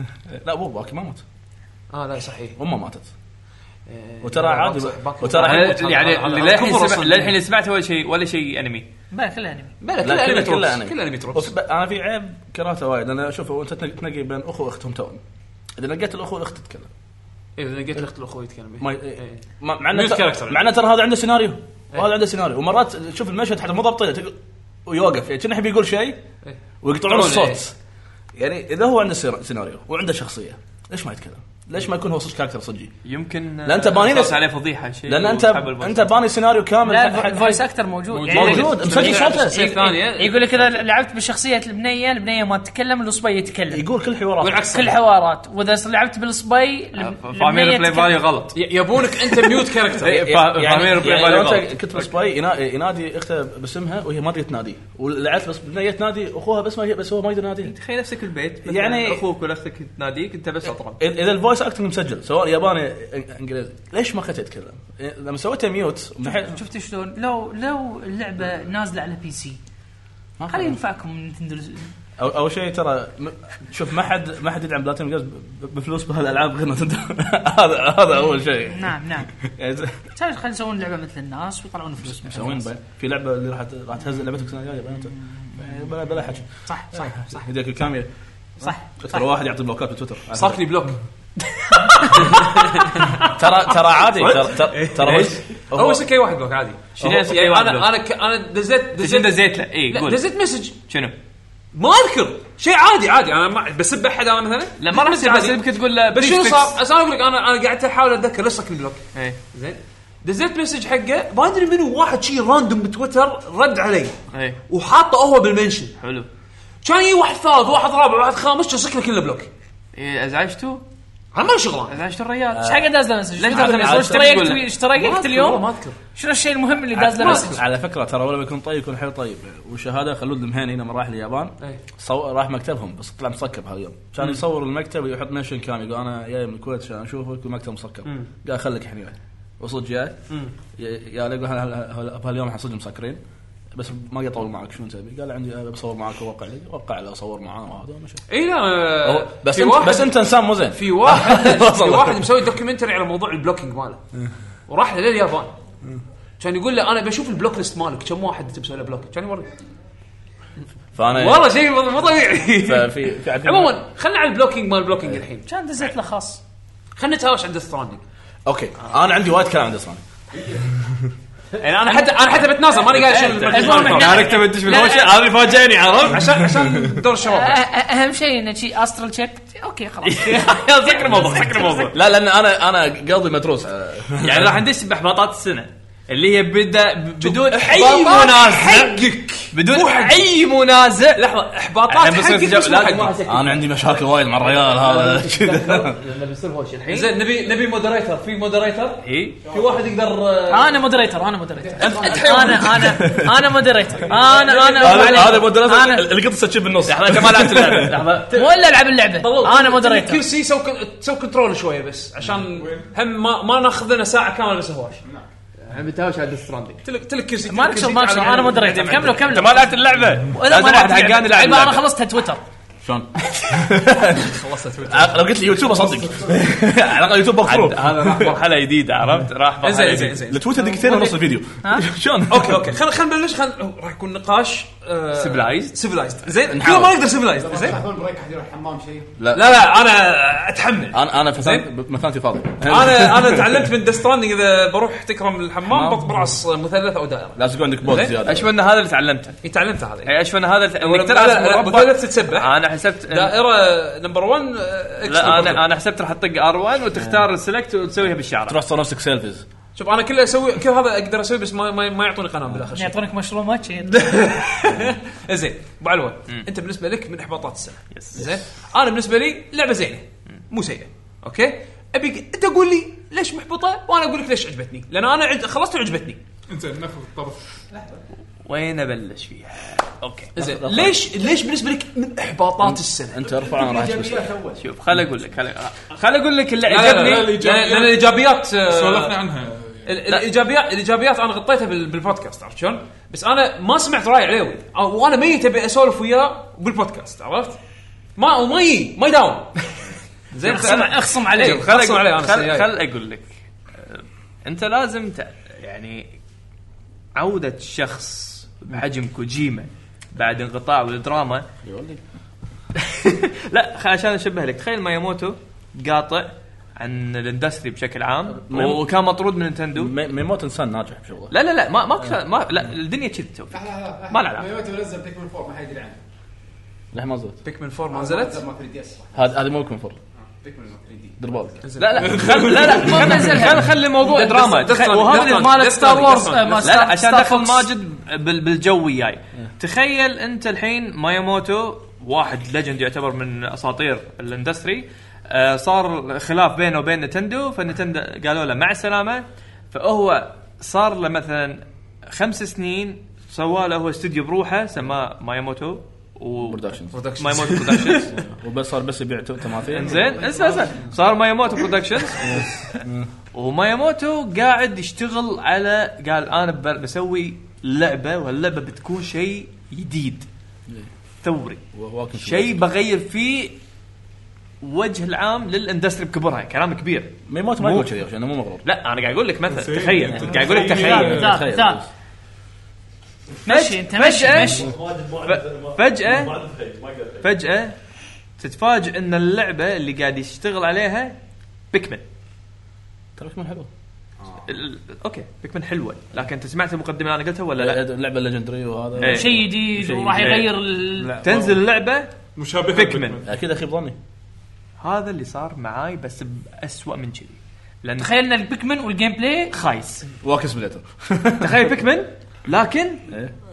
Speaker 3: لا ابوه باكي ما مات
Speaker 2: اه لا صحيح
Speaker 3: امه ماتت
Speaker 2: إيه،
Speaker 3: وترى عادي وترى
Speaker 9: يعني آه، يعني اللي للحين سمع- للحين سمعت ولا شيء ولا شيء انمي
Speaker 15: بلا كله انمي
Speaker 2: بلا
Speaker 3: لا،
Speaker 2: كله انمي
Speaker 3: كله
Speaker 2: تروبس
Speaker 3: أنمي.
Speaker 2: كله انمي تروبس
Speaker 3: وفي- ب- انا في عيب كرهته وايد انا شوف هو انت تنق- تنقي بين اخو واختهم توأم اذا نقيت الاخو والاخت تتكلم
Speaker 2: اذا لقيت الاخت الاخوي يتكلم
Speaker 3: ما-
Speaker 2: إيه.
Speaker 3: ما- مع انه
Speaker 2: Mute character. إيه.
Speaker 3: ترى- مع انه ترى هذا عنده سيناريو وهذا عنده سيناريو ومرات تشوف المشهد حتى مو ضابطينه تق- ويوقف يعني كأنه يحب يقول شيء ويقطعون
Speaker 2: إيه. يقطعون، إيه.
Speaker 3: الصوت يعني اذا هو عنده سير- سيناريو وعنده شخصيه ليش ما يتكلم؟ ليش ما يكون هو صدق كاركتر صجي؟
Speaker 9: يمكن
Speaker 3: لان انت باني
Speaker 9: خاص عليه فضيحه شيء
Speaker 3: لان انت
Speaker 9: وسحب الفويس.
Speaker 3: انت باني سيناريو كامل
Speaker 15: لا
Speaker 3: حق- حق-
Speaker 15: الفو- الفويس اكتر موجود يعني إيه،
Speaker 3: موجود.
Speaker 15: يقول-
Speaker 3: مسجل
Speaker 15: يقول-
Speaker 3: صوته. شخصية
Speaker 15: يقول-
Speaker 3: ثانية.
Speaker 15: يقول لك اذا لعبت بشخصيه البنيه البنيه ما تتكلم الصبي يتكلم
Speaker 3: يقول كل حوارات
Speaker 15: والعكس كل حوارات واذا لعبت بالصبي
Speaker 9: فاهمين البلاي فاليو غلط
Speaker 2: يبونك انت ميوت كاركتر
Speaker 3: يعني-
Speaker 9: فاهمين البلاي
Speaker 3: يعني
Speaker 9: فاليو
Speaker 3: لو
Speaker 9: غلط
Speaker 3: انت كنت بسباي ينا- ينادي اخته باسمها وهي ما تقدر تناديه ولعبت بس بنيه تنادي اخوها بس ما هي بس هو ما يقدر يناديها
Speaker 9: تخيل نفسك البيت
Speaker 3: يعني-
Speaker 9: يعني اخوك ولا اختك تناديك انت بس اطرب
Speaker 3: إذ- اذا الفويس اكتنج مسجل سواء ياباني إن- انجليزي ليش ما خليته يتكلم؟ إيه، لما سويته ميوت
Speaker 15: شفت- شفت شلون لو لو اللعبه نازله على بي سي خلي ينفعكم من نتندو
Speaker 3: أو- اول شيء ترى م- شوف ما حد ما حد يدعم بلاتينوم جيمز ب- بفلوس بهالالعاب غير نتندو. هذا هذا اول شيء
Speaker 15: نعم نعم
Speaker 3: يعني ز-
Speaker 15: تعال خلي يسوون لعبه مثل الناس ويطلعون فلوس مثل
Speaker 3: مسوين
Speaker 15: الناس.
Speaker 3: بين في لعبه اللي راح ت- راح تهز لعبتك السنه الجايه بين أنت. يعني بلا بلا حكي
Speaker 15: صح صح صح
Speaker 3: يديك الكاميرا
Speaker 15: صح
Speaker 3: ترى واحد يعطي بلوكات بتويتر
Speaker 2: صارك لي بلوك
Speaker 3: ترى ترى عادي ترى ترى- ترى
Speaker 2: ليش؟
Speaker 3: هو-
Speaker 2: اول إيه. شيء اي واحد بلوك عادي
Speaker 3: شنو
Speaker 2: هو-
Speaker 3: يصير أي واحد بلوك؟
Speaker 2: انا انا ك- انا دزيت
Speaker 9: شنو دزيت له؟
Speaker 3: إيه،
Speaker 9: إي،
Speaker 2: لا،
Speaker 9: قول.
Speaker 2: دزيت مسج
Speaker 9: إيه، شنو؟
Speaker 2: ما اذكر شيء عادي عادي انا ما بسب احد انا مثلا
Speaker 9: لا، ما راح
Speaker 2: مسج
Speaker 9: تسب، بس
Speaker 2: عادي.
Speaker 9: يمكن تقول له
Speaker 2: بس
Speaker 9: please
Speaker 2: شنو
Speaker 9: fix.
Speaker 2: صار؟ بس انا اقول لك انا انا قعدت احاول اتذكر لسه كل بلوك
Speaker 3: إيه.
Speaker 2: زين دزيت مسج حقه ما ادري منو واحد شي راندوم بتويتر رد علي
Speaker 9: اي
Speaker 3: إيه.
Speaker 2: وحاطه هو بالمنشن
Speaker 9: حلو
Speaker 2: كان يجي واحد ثالث واحد رابع واحد خامس كان شكله كله بلوك
Speaker 9: إيه، ازعجته
Speaker 2: انا ما آه. شغله
Speaker 9: ازعجته الرجال
Speaker 15: ايش حق داز مسج؟
Speaker 9: لا، تدري مسج.
Speaker 15: اشتريت
Speaker 9: تقول له.
Speaker 15: اشتريت
Speaker 2: ما
Speaker 15: اليوم
Speaker 2: اذكر
Speaker 15: شنو الشيء المهم اللي داز له
Speaker 3: على-
Speaker 15: مسج؟
Speaker 3: على فكره ترى ولا بيكون طيب يكون حلو طيب والشهاده خلود المهني لما راح اليابان
Speaker 15: إيه.
Speaker 3: صو... راح مكتبهم بس طلع مسكر بهاليوم كان
Speaker 2: مم.
Speaker 3: يصور المكتب ويحط منشن كامل يقول انا جاي من الكويت عشان اشوفك والمكتب مسكر
Speaker 2: مم.
Speaker 3: قال خليك الحين وياي وصدق جاي
Speaker 2: مم.
Speaker 3: ي- يا لقوا هال- هال- هال- بهاليوم احنا صدق مسكرين بس ما قطول معك شنو تبي؟ قال عندي أنا بصور معك ووقع لي وقع له صور معاه وهذا ومشى
Speaker 2: اي لا آه،
Speaker 3: بس
Speaker 2: في
Speaker 3: انت
Speaker 2: واحد-
Speaker 3: بس انت انسان مو زين
Speaker 2: في واحد في
Speaker 3: وصل.
Speaker 2: واحد مسوي دوكيومنتري على موضوع البلوكينج ماله وراح له لليابان كان يقول له انا بشوف البلوك ليست مالك كم واحد انت مسوي له بلوك كان يوري
Speaker 3: فانا
Speaker 2: والله شيء مو مو طبيعي
Speaker 3: ففي في عندنا-
Speaker 2: عموما خلينا على البلوكينج مال البلوكينج
Speaker 3: إيه.
Speaker 2: الحين
Speaker 15: كان دزيت له خاص
Speaker 2: خلينا نتهاوش عند ستراندنج
Speaker 3: اوكي انا عندي وايد كلام عند اسمه
Speaker 2: يعني انا حتى انا حتى بتنازل ماني قاعد اشوف
Speaker 15: المهم إحنا-
Speaker 2: البلوكينج
Speaker 9: كنت بدش بالهوشه هذه فاجئني عرفت
Speaker 2: عشان عشان دور الشباب
Speaker 15: أه- اهم شيء انه شي استرال تشيك اوكي خلاص
Speaker 9: سكر الموضوع سكر الموضوع
Speaker 3: لا لان انا انا قلبي متروس
Speaker 9: يعني راح ندش باحباطات السنه اللي هي بدا بدون اي
Speaker 2: إحباطات
Speaker 9: منازع
Speaker 2: حقك
Speaker 9: بدون اي منازع لحظه احباطات
Speaker 3: الحين بس
Speaker 9: حقك
Speaker 3: استجاب-
Speaker 9: بس مو
Speaker 3: لازم
Speaker 9: حقك
Speaker 3: انا عندي مشاكل وايد مع الرجال هذا كذا
Speaker 2: زين نبي نبي مودريتر في مودريتر
Speaker 9: اي
Speaker 3: إيه.
Speaker 2: في واحد يقدر
Speaker 15: انا مودريتر انا مودريتر انا انا انا مودريتر انا انا أبو علي.
Speaker 3: هذا هذا مدرسة
Speaker 15: أنا-
Speaker 3: القط تشب بالنص لحظه انت ما لعبت اللعبه لحظه
Speaker 15: ولا العب اللعبه انا مودريتر
Speaker 2: كل سي سو سو كنترول شويه بس عشان هم ما ما ناخذ لنا ساعه كامله بس هواش
Speaker 24: نعم.
Speaker 25: احنا بنتهاوش على ستراندنج
Speaker 2: تلك تلك كرسي
Speaker 15: ما نكسر ما نكسر انا مودريتر
Speaker 2: نعم.
Speaker 15: كملوا
Speaker 9: انت
Speaker 15: كملوا
Speaker 9: ما لعبت اللعبه
Speaker 15: ولا
Speaker 9: لازم
Speaker 15: ما
Speaker 9: واحد
Speaker 15: لعبت
Speaker 9: حقاني
Speaker 15: لعبة.
Speaker 9: يلعب
Speaker 15: عيب، انا
Speaker 9: اللعبة.
Speaker 15: خلصتها تويتر
Speaker 3: شلون؟
Speaker 9: خلصت
Speaker 3: لو قلت لي يوتيوب اصدق على الاقل يوتيوب مقفول
Speaker 9: هذا راح مرحله جديده عرفت راح مرحله
Speaker 2: زين زين
Speaker 9: جديده
Speaker 2: زين
Speaker 3: التويتر دقيقتين ونص الفيديو شلون؟
Speaker 2: اوكي اوكي خل خل نبلش خل راح يكون نقاش
Speaker 9: Civilized. نعم.
Speaker 2: سيفلايزد زين
Speaker 3: نحاول.
Speaker 2: كل ما نقدر سيفلايزد زين
Speaker 24: تاخذون بريك احد يروح الحمام شيء
Speaker 3: لا
Speaker 2: لا لا انا اتحمل
Speaker 3: انا انا فسان- مثانتي فاضي
Speaker 2: انا انا تعلمت من دستراندنج اذا بروح تكرم الحمام برعص مثلث او دائره
Speaker 3: لازم يكون عندك بود
Speaker 2: زين.
Speaker 3: زياده
Speaker 9: اشوف ان هذا اللي تعلمته
Speaker 2: إي، تعلمت هذا
Speaker 9: اي اشوف ان هذا اللي-
Speaker 2: ولا-
Speaker 9: انك تلعب
Speaker 2: لا، لا،
Speaker 9: مربع.
Speaker 2: مثلث تتسبح.
Speaker 9: انا حسبت
Speaker 2: دائره نمبر 1
Speaker 9: لا انا انا حسبت راح تطق ار 1 وتختار
Speaker 2: نعم.
Speaker 9: السلكت وتسويها بالشعر
Speaker 3: تروح تصور نفسك سيلفيز
Speaker 2: شوف انا كله اسوي كل هذا اقدر اسوي بس ما ما, ما يعطوني قناه بالاخر شيء
Speaker 15: يعطونك مشرومات شيء
Speaker 2: زين ابو علوان انت بالنسبه لك من احباطات السنه زين انا بالنسبه لي لعبه زينه مو سيئه اوكي ابيك انت قول لي ليش محبطه وانا اقول لك ليش عجبتني لان انا عج... خلصت وعجبتني
Speaker 26: انزين ناخذ الطرف
Speaker 9: وين ابلش فيها؟ اوكي
Speaker 2: زين ليش ليش بالنسبه لك من احباطات السنه؟
Speaker 3: انت ارفع انا راح أجلس.
Speaker 9: شوف خل اقول لك خل خل اقول لك اللي
Speaker 2: لا، لا، لا،
Speaker 9: عجبني
Speaker 2: الإيجابيات- لأن الإيجابيات، آه،
Speaker 10: سولفنا عنها
Speaker 2: ال- الايجابيات الايجابيات انا غطيتها بال- بالبودكاست عرفت شلون؟ بس انا ما سمعت راي عليوي أو- وانا ميت ابي اسولف وياه بالبودكاست عرفت؟ ما وما يجي ما يداوم زين
Speaker 9: اخصم اخصم علي
Speaker 2: خل اخصم عليه انا السنة
Speaker 9: خل,
Speaker 2: الجاية.
Speaker 9: خل اقول لك أه، انت لازم تع- يعني عوده شخص بحجم كوجيما بعد انقطاع والدراما لا خل- عشان اشبه لك تخيل مايموتو قاطع عن الاندستري بشكل عام
Speaker 3: ميمو-
Speaker 9: وكان مطرود من نينتندو
Speaker 3: ميموت انسان ناجح بشغله
Speaker 9: لا لا لا ما ما, كان- ما لا الدنيا كذي تو
Speaker 4: لا لا لا
Speaker 9: ما له علاقة.
Speaker 4: ميوتو نزل بيكمن 4 ما حد يدري عنه
Speaker 3: لا ما زلت
Speaker 2: بيكمن 4 ما
Speaker 4: ما 3 دي اس
Speaker 3: هذا هذا مو يكون فر
Speaker 4: بيكمن ما 3 دي
Speaker 3: دير بالك
Speaker 9: لا لا خل لا لا خل نزلها خل خلي موضوع
Speaker 3: Death
Speaker 9: دراما
Speaker 3: Stranding.
Speaker 9: تخ-
Speaker 3: Death
Speaker 9: وهذا
Speaker 3: Stranding.
Speaker 9: اللي مالت
Speaker 3: Death
Speaker 9: ستار
Speaker 3: Stranding.
Speaker 9: وورز
Speaker 3: Death Stranding.
Speaker 9: لا
Speaker 3: ما
Speaker 9: لا
Speaker 3: Star-
Speaker 9: عشان
Speaker 3: Star
Speaker 9: دخل
Speaker 3: Fox.
Speaker 9: ماجد بال- بالجو وياي تخيل انت الحين ماياموتو واحد ليجند يعتبر من اساطير الاندستري آه، صار خلاف بينه وبين نتندو فنتندو قالوا له مع السلامه فهو صار له مثلا خمس سنين سوى له هو استوديو بروحه سماه ماياموتو و برودكشنز ماياموتو برودكشنز
Speaker 3: وبس صار بس يبيع تماثيل
Speaker 9: انزين اسمع اسمع صار ماياموتو برودكشنز وماياموتو قاعد يشتغل على قال انا ب- بسوي لعبه وهاللعبه بتكون شيء جديد ثوري شيء بغير فيه وجه العام للاندستري بكبرها كلام كبير
Speaker 3: ميموت ما يقول كذي عشان مو مغرور
Speaker 9: لا انا قاعد اقول لك مثلا
Speaker 3: تخيل.
Speaker 9: تخيل
Speaker 3: أنت
Speaker 9: قاعد اقول لك تخيل
Speaker 3: مثال، مثال.
Speaker 15: مشي انت مشي
Speaker 9: فجأة-
Speaker 15: مشي
Speaker 9: ف- فجأة فجأة تتفاجئ ان اللعبة اللي قاعد يشتغل عليها بيكمن
Speaker 3: ترى بيكمن حلو
Speaker 9: ال- اوكي بيكمن حلوه لكن انت سمعت المقدمه اللي انا قلتها ولا لا؟
Speaker 3: اللعبه الليجندريه وهذا
Speaker 9: إيه.
Speaker 15: شيء جديد
Speaker 9: شيء
Speaker 15: وراح
Speaker 9: جديد.
Speaker 15: يغير
Speaker 9: إيه.
Speaker 15: ال-
Speaker 9: لا، تنزل اللعبه
Speaker 10: مشابهة
Speaker 9: بيكمن
Speaker 3: اكيد اخيب ظني
Speaker 9: هذا اللي صار معاي بس بأسوأ من كذي لان
Speaker 15: تخيل ان البيكمن والجيم بلاي
Speaker 9: خايس
Speaker 3: واكس بليتر
Speaker 9: تخيل بيكمن لكن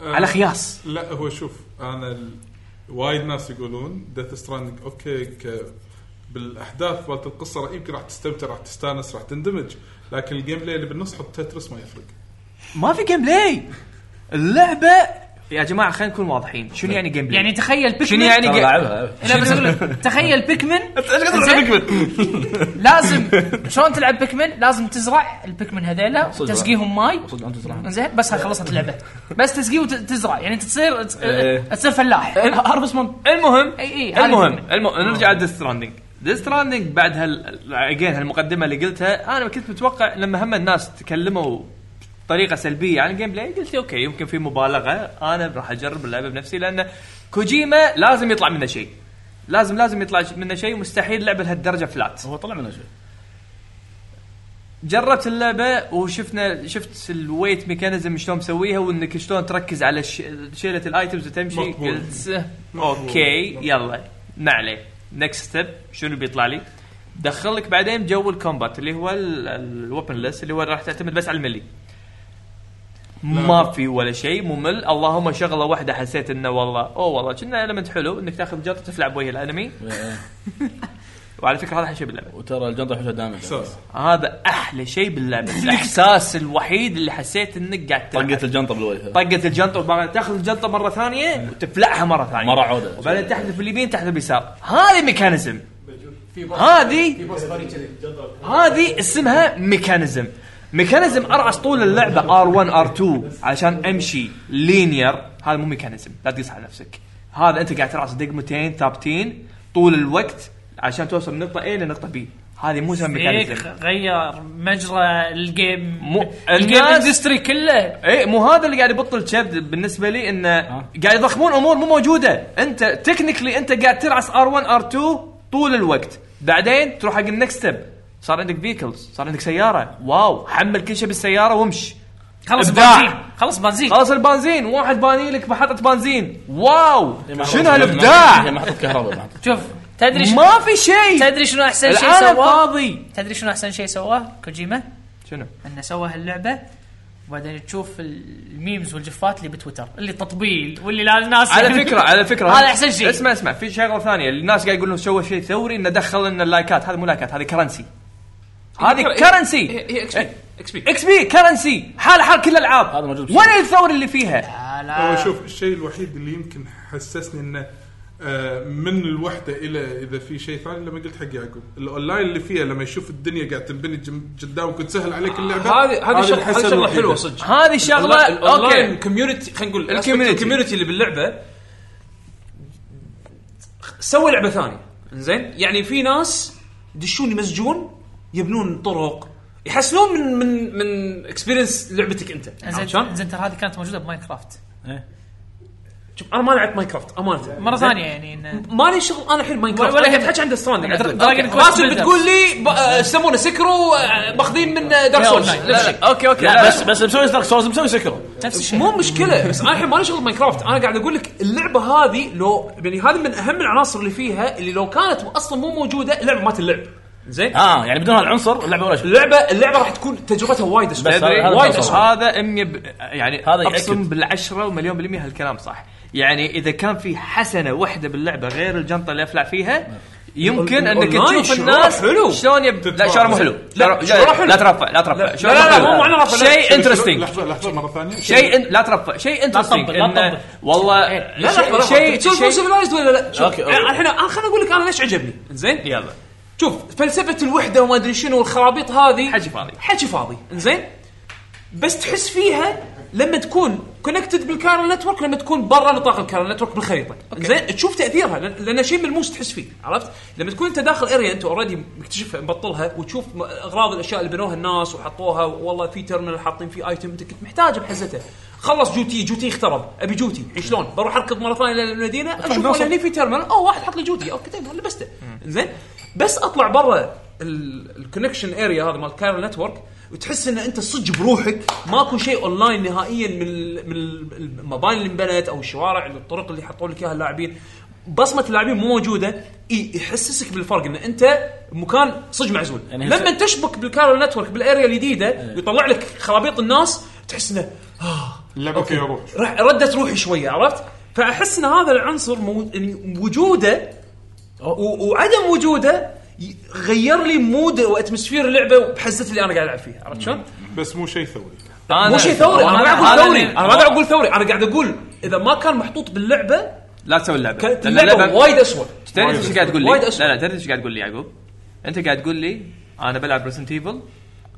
Speaker 9: على خياس
Speaker 10: إيه. لا هو شوف انا ال... وايد ناس يقولون ديث ستراندنج اوكي ك... بالاحداث مالت القصه راح- يمكن راح تستمتع راح تستانس راح تندمج لكن الجيم بلاي اللي بالنص حط تترس ما يفرق
Speaker 9: ما في جيم بلاي اللعبه يا جماعه خلينا نكون واضحين شنو يعني جيم بلاي؟
Speaker 15: يعني تخيل بيكمن
Speaker 9: شنو يعني
Speaker 15: ترى
Speaker 9: جيم-
Speaker 3: لاعبها.
Speaker 15: لا بس أقول لك، تخيل بيكمن
Speaker 9: زين؟
Speaker 15: لازم شلون تلعب بيكمن لازم تزرع البيكمن هذيلا
Speaker 3: صدق.
Speaker 15: تسقيهم ماي
Speaker 3: صدق انت تزرعها
Speaker 15: زين بس هاي خلصت اللعبه بس تسقي وتزرع يعني انت تصير ت-
Speaker 9: إيه.
Speaker 15: تصير فلاح هارفست مون
Speaker 9: المهم
Speaker 15: اي اي هذا
Speaker 9: المهم
Speaker 15: بيكمن.
Speaker 9: المهم نرجع على ستراندنج ديث ستراندنج بعد هال اجين هالمقدمه اللي قلتها انا كنت متوقع لما هم الناس تكلموا بطريقه سلبيه عن الجيم بلاي قلت اوكي يمكن في مبالغه انا راح اجرب اللعبه بنفسي لان كوجيما لازم يطلع منه شيء لازم لازم يطلع منه شيء ومستحيل لعبه لهالدرجه فلات
Speaker 3: هو طلع منها شيء
Speaker 9: جربت اللعبه وشفنا شفت الويت ميكانيزم شلون مسويها وانك شلون تركز على ش- شيله الايتمز وتمشي
Speaker 10: مقبول.
Speaker 9: قلت
Speaker 10: مقبول.
Speaker 9: اوكي يلا ما عليه نكست ستيب شنو بيطلع لي؟ دخلك بعدين جو الكومبات اللي هو الوبن ليس اللي هو راح تعتمد بس على الملي ما في ولا شيء ممل اللهم شغله واحده حسيت انه والله اوه والله كنا المنت حلو انك تاخذ جرة تفلع بوجه الانمي وعلى فكره هذا احلى شيء باللعبه
Speaker 3: إيه، وترى الجنطه حوشها دامج
Speaker 10: احساس
Speaker 9: هذا احلى شيء باللعبه الاحساس الوحيد اللي حسيت انك قاعد تلعب.
Speaker 3: طقت الجنطه بالوجه
Speaker 9: طقت الجنطه وبعدين تاخذ الجنطه مره ثانيه وتفلعها مره ثانيه
Speaker 3: مرة عودة.
Speaker 9: وبعدين تحذف اليمين تحذف اليسار هذه ميكانيزم هذه هذه اسمها ميكانيزم ميكانيزم ارعس طول اللعبه ار1 ار2 عشان امشي لينير هذا مو ميكانيزم لا تقيس على نفسك هذا انت قاعد ترعس دقمتين ثابتين طول الوقت عشان توصل من نقطه A لنقطه B هذه مو اسمها ميكانيزم
Speaker 15: إيه، غير مجرى الجيم
Speaker 9: مو-
Speaker 15: الجيم
Speaker 9: الناس-
Speaker 15: اندستري كله
Speaker 9: اي مو هذا اللي قاعد يبطل كذب بالنسبه لي انه
Speaker 15: آه.
Speaker 9: قاعد يضخمون امور مو موجوده انت تكنيكلي انت قاعد ترعس ار1 ار2 طول الوقت بعدين تروح حق النكست ستيب صار عندك فيكلز صار عندك سياره واو حمل كل شيء بالسياره وامش
Speaker 15: خلص
Speaker 9: إبداع.
Speaker 15: بنزين خلص بنزين
Speaker 9: خلاص البنزين واحد باني لك محطه بنزين واو شنو
Speaker 3: هي
Speaker 9: هالابداع
Speaker 3: محطه كهرباء محطة.
Speaker 15: شوف تدري شنو
Speaker 9: ما في شيء
Speaker 15: تدري شنو احسن شيء
Speaker 9: العالم
Speaker 15: سواه
Speaker 9: فاضي
Speaker 15: تدري شنو احسن شيء سواه كوجيما
Speaker 9: شنو
Speaker 15: انه سوى هاللعبه وبعدين تشوف الميمز والجفات اللي بتويتر اللي تطبيل واللي لا ناس
Speaker 9: على فكره على فكره
Speaker 15: هذا احسن شيء
Speaker 9: اسمع اسمع في شغله ثانيه الناس قاعد يقولون سوى شيء ثوري انه دخل ان اللايكات هذا مو لايكات هذه كرنسي هذه إيه. كرنسي
Speaker 2: هي اكس بي اكس بي
Speaker 9: اكس بي كرنسي حال حال كل الالعاب هذا موجود وين الثور اللي فيها؟
Speaker 10: هو شوف الشيء الوحيد اللي يمكن حسسني انه آه، من الوحده الى اذا في شيء ثاني لما قلت حق يعقوب الاونلاين اللي فيها لما يشوف الدنيا قاعد تنبني جم- قدامك وتسهل عليك اللعبه
Speaker 2: هذه هذه شغله هذه
Speaker 10: الحسة
Speaker 2: شغله
Speaker 10: الوحيدة.
Speaker 2: حلوه صدق
Speaker 9: هذه شغله
Speaker 2: اوكي
Speaker 9: اوكي
Speaker 2: الكوميونتي خلينا نقول
Speaker 9: الكوميونتي.
Speaker 2: الكوميونتي اللي باللعبه سوي لعبه ثانيه زين يعني في ناس يدشون يمزجون يبنون طرق يحسنون من من من اكسبيرينس لعبتك انت عرفت شلون؟
Speaker 15: زين زين ترى هذه كانت موجوده بماينكرافت
Speaker 2: شوف انا ما لعبت ماينكرافت امانه
Speaker 15: مره
Speaker 2: زين؟
Speaker 15: ثانيه يعني إنه-
Speaker 2: ماني شغل انا الحين ماينكرافت
Speaker 15: ولا
Speaker 2: ولا
Speaker 15: يهمك.
Speaker 2: تحكي عن ستراند
Speaker 15: دراجون كويست
Speaker 2: باسل
Speaker 15: بيلدرز.
Speaker 2: بتقول لي ب- آه، يسمونه سكرو آه، ماخذين من دارك سولز
Speaker 15: لا، لا،
Speaker 2: نفس الشيء.
Speaker 9: اوكي اوكي
Speaker 2: لا،
Speaker 9: لا،
Speaker 2: بس-
Speaker 9: بس بس مسوي دارك سولز مسوي سكر
Speaker 15: نفس الشيء
Speaker 2: مو مشكله بس انا الحين مالي شغل ماينكرافت انا قاعد اقول لك اللعبه هذه لو يعني هذه من اهم العناصر اللي فيها اللي لو كانت اصلا مو موجوده اللعبه ما تلعب زين
Speaker 9: آه،
Speaker 3: اه يعني بدون هالعنصر اللعبه ولا شيء
Speaker 2: اللعبه اللعبه راح تكون تجربتها وايد اسوء
Speaker 9: تدري
Speaker 2: وايد اسوء
Speaker 9: هذا 100 ب... يعني
Speaker 3: هذا
Speaker 9: هذا
Speaker 3: يأكد.
Speaker 9: اقسم بالعشره ومليون بالميه هالكلام صح يعني اذا كان في حسنه واحده باللعبه غير الجنطه اللي افلع فيها يمكن انك
Speaker 2: الأونلاين
Speaker 9: تشوف
Speaker 2: شعوره
Speaker 9: الناس
Speaker 2: حلو.
Speaker 9: شلون يب... لا شعور مو حلو لا
Speaker 2: شعوره حلو.
Speaker 9: لا ترفع لا ترفع
Speaker 2: لا،
Speaker 9: شعوره
Speaker 2: لا، لا،
Speaker 9: حلو.
Speaker 2: مو معناه رفع، لا.
Speaker 9: شيء انترستنج
Speaker 10: لحظه لحظه مره ثانيه
Speaker 9: شيء إن... لا ترفع شيء انترستنج
Speaker 15: لا تطبل، لا تطبل.
Speaker 9: والله
Speaker 2: لا لحظه
Speaker 9: شيء
Speaker 2: لحظه تشوف
Speaker 9: شيء
Speaker 2: سيفلايزد ولا لا شوف،
Speaker 9: أوكي، أوكي.
Speaker 2: أنا- الحين انا خليني اقول لك انا ليش عجبني زين
Speaker 9: يلا
Speaker 2: شوف فلسفه الوحده وما ادري شنو والخرابيط هذه
Speaker 9: حكي فاضي
Speaker 2: حكي فاضي زين بس تحس فيها لما تكون كونكتد بالكارل نتورك لما تكون برا نطاق الكارل نتورك بالخريطه زين تشوف تاثيرها لأن- لان شيء ملموس تحس فيه عرفت لما تكون انت داخل اريا انت اوريدي مكتشفها مبطلها وتشوف م- اغراض الاشياء اللي بنوها الناس وحطوها والله في ترمينال حاطين فيه ايتم انت كنت محتاجه بحزتها خلص جوتي جوتي اخترب ابي جوتي الحين شلون بروح اركض مره ثانيه للمدينه اشوف ولا هني في ترمينال او واحد حط لي جوتي اوكي تمام لبسته زين بس اطلع برا الكونكشن اريا هذا مال كارل نتورك وتحس ان انت صدق بروحك ماكو شيء اونلاين نهائيا من ال- من ال- المباني اللي انبنت او الشوارع الطرق اللي حطوا لك اياها اللاعبين بصمه اللاعبين مو موجوده إي يحسسك بالفرق ان انت مكان صدق معزول
Speaker 3: يعني
Speaker 2: لما تشبك بالكارل نتورك بالاريا الجديده ويطلع لك خرابيط الناس تحس آه، انه
Speaker 10: اللعبه فيها روح
Speaker 2: راح ردت روحي شويه عرفت؟ فاحس ان هذا العنصر مو... يعني وجوده و... وعدم وجوده ي- غير لي مود واتموسفير اللعبه بحزتي اللي انا قاعد العب فيها عرفت شلون؟
Speaker 10: بس مو شيء ثوري
Speaker 2: مو شيء ثوري انا ما قاعد
Speaker 9: هذا اللي-
Speaker 2: اقول ثوري انا ما قاعد اقول ثوري انا قاعد اقول اذا ما كان محطوط باللعبه
Speaker 9: لا تسوي اللعبه
Speaker 2: كانت
Speaker 9: لأن
Speaker 2: اللعبه وايد اسوء
Speaker 9: تدري انت ايش قاعد تقول لي؟
Speaker 2: وايد أسوأ.
Speaker 9: لا لا تدري ايش قاعد تقول لي يعقوب؟ انت قاعد تقول لي انا بلعب ريسنت ايفل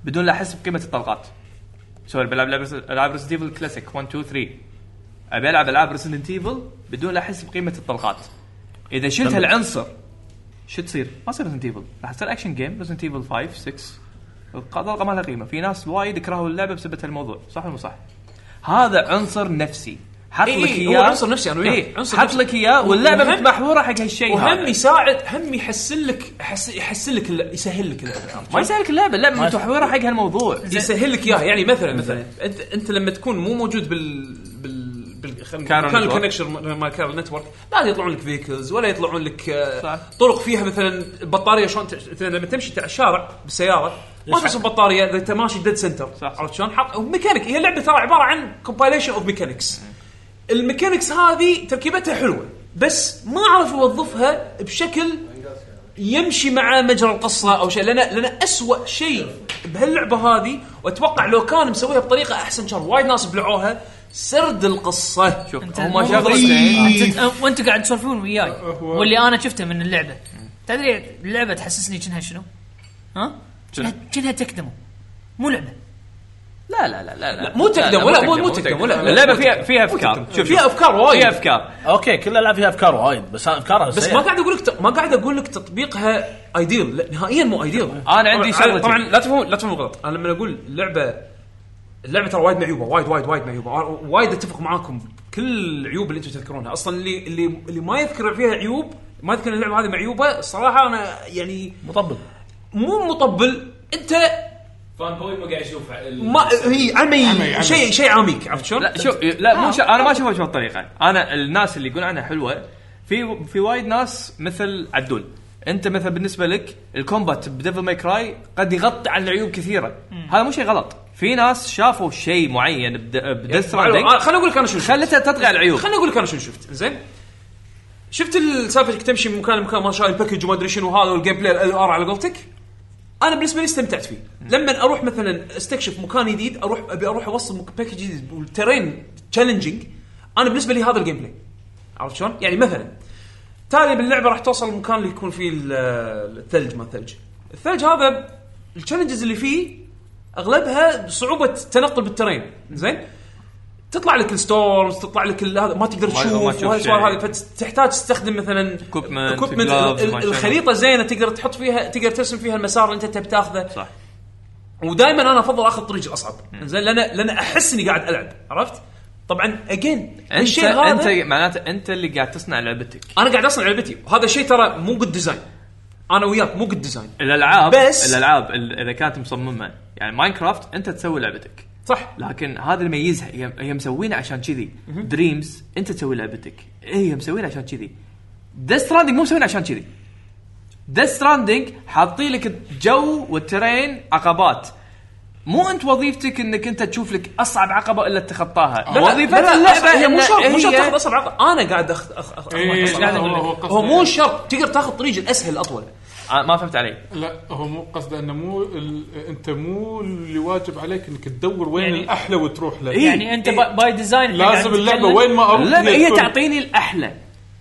Speaker 9: بدون لا احس بقيمه الطلقات. سوري بلعب لعب- العاب ريسنت ايفل كلاسيك 1 2 3 ابي العب العاب ريسنت ايفل بدون لا احس بقيمه الطلقات. اذا شلت هالعنصر شو تصير؟ ما تصير ريسنت ايفل راح تصير اكشن جيم ريسنت ايفل 5 6 الطلقه ما لها قيمه في ناس وايد كرهوا اللعبه بسبب هالموضوع صح ولا مو صح؟ هذا عنصر نفسي حط
Speaker 2: إي
Speaker 9: لك
Speaker 2: إي، إيه، هو
Speaker 9: اياه
Speaker 2: عنصر نفسي أنا وياك.
Speaker 9: إي،
Speaker 2: عنصر
Speaker 9: حط
Speaker 2: نفسي.
Speaker 9: لك اياه واللعبه
Speaker 2: وهم-
Speaker 9: محوره حق هالشيء هذا.
Speaker 2: وهم يساعد هم يحسن لك يحس- يحسن لك اللعبة- يسهل لك اللعبه عرفت
Speaker 9: ما
Speaker 2: شلون؟
Speaker 9: يسالك اللعبه اللعبه متحوره حق هالموضوع
Speaker 2: يسهل لك اياها يعني مثلا مثلا انت انت لما تكون مو موجود بال بال بال خلينا
Speaker 9: كارل
Speaker 2: نقول- كان
Speaker 9: نتورك.
Speaker 2: الكونكشن م- مال كارل نتورك لا يطلعون لك فيكلز ولا يطلعون لك آه،
Speaker 9: صح.
Speaker 2: طرق فيها مثلا بطاريه شلون تع- مثلا لما تمشي تع- الشارع بالسياره ما تحس ببطاريه اذا انت ماشي ديد سنتر عرفت شلون؟ حط ميكانيك هي اللعبه ترى عباره عن كومبايليشن اوف ميكانكس الميكانكس هذه تركيبتها حلوه بس ما عرف يوظفها بشكل يمشي مع مجرى القصه او شيء لان لان اسوء شيء بهاللعبه هذه واتوقع لو كان مسويها بطريقه احسن كان وايد ناس بلعوها سرد القصه شوف
Speaker 15: انت
Speaker 9: هما
Speaker 15: مو
Speaker 9: شغلتين.
Speaker 15: ضروري- أنت- وانتوا قاعد تسولفون
Speaker 4: أه،
Speaker 15: وياي واللي انا شفته من اللعبه تدري اللعبه تحسسني كأنها شنو؟ ها؟ كأنها- كأنها تكدمو مو لعبه
Speaker 9: لا لا لا لا, لا.
Speaker 2: مو تقدم
Speaker 9: لا،
Speaker 2: ولا- مو- مو تقدم ولا- لا،
Speaker 9: اللعبه
Speaker 2: مو
Speaker 9: فيها
Speaker 2: تقدم.
Speaker 9: فيها افكار شوف
Speaker 2: فيها
Speaker 9: شوف.
Speaker 2: افكار وايد
Speaker 9: فيها افكار
Speaker 3: اوكي كل الالعاب فيها افكار وايد بس افكارها
Speaker 2: بس
Speaker 3: سيئة.
Speaker 2: ما قاعد اقول لك ت- ما قاعد اقول لك تطبيقها ايديل لا نهائيا مو ايديل
Speaker 9: أنا عندي شغلتين.
Speaker 2: طبعا لا تفهمون لا تفهمون غلط انا لما اقول لعبه اللعبه ترى وايد معيوبه وايد وايد وايد معيوبه وايد اتفق معاكم كل العيوب اللي انتم تذكرونها اصلا اللي اللي اللي ما يذكر فيها عيوب ما يذكر إن اللعبه هذه معيوبه الصراحه انا يعني
Speaker 3: مطبل
Speaker 2: مو مطبل انت
Speaker 8: فان بوي ما قاعد يشوف ال-
Speaker 2: ما هي عمي شيء شيء عميق عرفت شلون؟ آه.
Speaker 9: لا شوف لا مو شا... انا ما اشوفها بهالطريقه انا الناس اللي يقول عنها حلوه في في وايد ناس مثل عدول انت مثلا بالنسبه لك الكومبات بديفل ماي كراي قد يغطي عن العيوب كثيره هذا مو شيء غلط في ناس شافوا شيء معين بديث
Speaker 2: آه، خليني اقول لك انا شو شفت
Speaker 9: خلتها تطغى على العيوب
Speaker 2: خليني اقول لك انا شنو شفت زين شفت السالفه انك تمشي من مكان لمكان ما شاء الله الباكج وما ادري شنو هذا والجيم بلاي ال ار على قولتك انا بالنسبه لي استمتعت فيه لما اروح مثلا استكشف مكان جديد اروح ابي اروح اوصل مك- باكج جديد والترين تشالنجينج انا بالنسبه لي هذا الجيم بلاي عرفت شلون؟ يعني مثلا تالي باللعبه راح توصل المكان اللي يكون فيه ال- الثلج ما ثلج الثلج هذا التشالنجز اللي فيه اغلبها صعوبه التنقل بالترين زين تطلع لك الستورمز تطلع لك ال- هذا ما تقدر
Speaker 9: ما- ما
Speaker 2: تشوف
Speaker 9: تشوف
Speaker 2: وهاي السوالف
Speaker 9: شيء.
Speaker 2: هذه فتحتاج تستخدم مثلا
Speaker 9: Equipment،
Speaker 2: equipment،
Speaker 9: gloves،
Speaker 2: ال-
Speaker 9: ما
Speaker 2: ال-
Speaker 9: شابه.
Speaker 2: الخريطه زينه تقدر تحط فيها تقدر ترسم فيها المسار اللي انت تبي تاخذه صح ودائما انا افضل اخذ الطريق الاصعب زين لان لان احس اني قاعد العب عرفت؟ طبعا اجين
Speaker 9: انت انت معناته انت اللي قاعد تصنع لعبتك
Speaker 2: انا قاعد اصنع لعبتي وهذا الشيء ترى مو قد ديزاين انا وياك مو قد
Speaker 9: طيب.
Speaker 2: ديزاين
Speaker 9: الالعاب
Speaker 2: بس-
Speaker 9: الالعاب ال- اذا كانت مصممه يعني ماينكرافت انت تسوي لعبتك
Speaker 2: صح
Speaker 9: لكن هذا اللي يميزها هي, هي مسوينه عشان كذي دريمز انت تسوي لعبتك إيه، هي مسوينه عشان كذي ديث ستراندنج مو مسوينه عشان كذي ديث ستراندنج حاطين لك الجو والترين عقبات مو انت وظيفتك انك انت تشوف لك اصعب عقبه الا تتخطاها
Speaker 2: لا، لا،
Speaker 9: وظيفه
Speaker 2: لا، لا،
Speaker 9: اللعبه
Speaker 2: هي مو
Speaker 9: إن
Speaker 2: شرط مو شرط
Speaker 9: هي-
Speaker 2: تاخذ اصعب عقد انا قاعد اخذ أخ- أخ-
Speaker 9: إيه،
Speaker 2: أخ-
Speaker 9: لا،
Speaker 2: أخ-
Speaker 9: هو- يعني. هو
Speaker 2: هو هو مو شرط تقدر تاخذ الطريق الاسهل الاطول
Speaker 9: آه، ما فهمت علي
Speaker 10: لا هو مو قصده انه مو ال... انت مو اللي واجب عليك انك تدور وين يعني الاحلى وتروح له
Speaker 9: يعني أنت با-
Speaker 15: باي ديزاين
Speaker 10: لازم اللعبه وين ما اروح
Speaker 9: اللعبه هي
Speaker 10: تكون-
Speaker 9: تعطيني الاحلى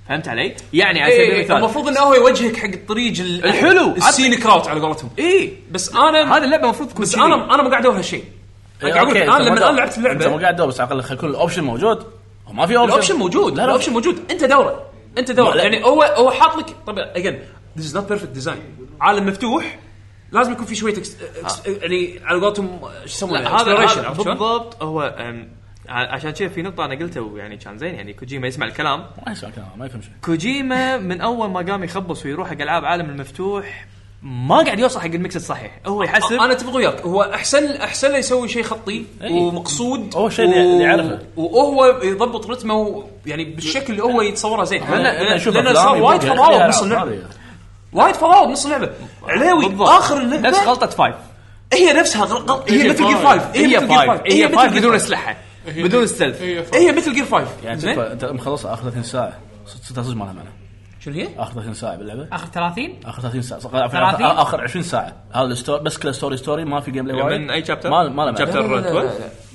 Speaker 9: فهمت علي؟ يعني على سبيل
Speaker 2: إيه،
Speaker 9: المثال
Speaker 2: المفروض انه هو يوجهك حق الطريق ال-
Speaker 9: الحلو.
Speaker 2: السينك راوت على قولتهم
Speaker 9: اي
Speaker 2: بس انا
Speaker 9: هذه اللعبه المفروض تكون
Speaker 2: بس
Speaker 9: كذي. إيه،
Speaker 2: انا انا مو قاعد ادور هالشيء أنا قاعد أقول لك، انا لما انا لعبت
Speaker 3: انت مو
Speaker 2: اللعبه
Speaker 3: قاعد تدور بس على الاقل خلي كل الاوبشن موجود وما في اوبشن
Speaker 2: الاوبشن موجود
Speaker 3: لا لا
Speaker 2: الاوبشن موجود انت دوره انت دوره
Speaker 3: لا.
Speaker 2: يعني هو هو حاط لك طبعا اجين ذيس از نوت بيرفكت ديزاين عالم مفتوح لازم يكون في شويه إكس- إكس- يعني على قولتهم شو يسمونه
Speaker 9: لا، هذا
Speaker 2: exploration،
Speaker 9: هذا
Speaker 2: عرفت شلون؟
Speaker 9: بالضبط هو أم، ع- عشان كذا في نقطه انا قلتها ويعني كان زين يعني كوجيما يسمع الكلام
Speaker 3: ما يسمع كلام ما يفهم شيء
Speaker 9: كوجيما من اول ما قام يخبص ويروح حق العاب عالم المفتوح ما قاعد يوصل حق الميكس الصحيح هو يحسب
Speaker 2: انا اتفق وياك هو احسن احسن له يسوي شيء خطي ومقصود
Speaker 3: إيه. هو شيء اللي يعرفه.
Speaker 2: وهو يضبط رتمه يعني بالشكل اللي
Speaker 3: إيه.
Speaker 2: هو يتصوره زين
Speaker 3: أنا أشوف
Speaker 2: لأن
Speaker 3: أفلام
Speaker 2: صار وايد
Speaker 3: يبقى-
Speaker 2: فضاوه
Speaker 3: يبقى
Speaker 2: بنص
Speaker 3: ألعاب
Speaker 2: اللعبه وايد فضاوه بنص اللعبه علاوي اخر اللعبه
Speaker 9: نفس غلطه فايف
Speaker 2: هي نفسها غل- غل- هي
Speaker 9: هي
Speaker 2: مثل جير
Speaker 9: فايف.
Speaker 2: 5
Speaker 9: هي فايف. هي فايف إيه، بدون
Speaker 2: اسلحه
Speaker 9: بدون ستلف
Speaker 2: هي مثل جير 5
Speaker 3: يعني
Speaker 2: زين؟
Speaker 3: تشوف انت مخلص اخر 30 ساعه صدق صدق صدق ما لها معنى
Speaker 2: شنو هي؟
Speaker 3: اخر 30 ساعه باللعبه
Speaker 15: اخر 30
Speaker 3: اخر 30 ساعه صق- عفوا،
Speaker 15: 30
Speaker 3: آخر- اخر 20 ساعه هذا الستوري بس كله ستوري ستوري ما في جيم بلاي وايد
Speaker 9: من أي chapter؟
Speaker 3: يعني ما ما له معنى.
Speaker 9: chapter
Speaker 2: لا لا لا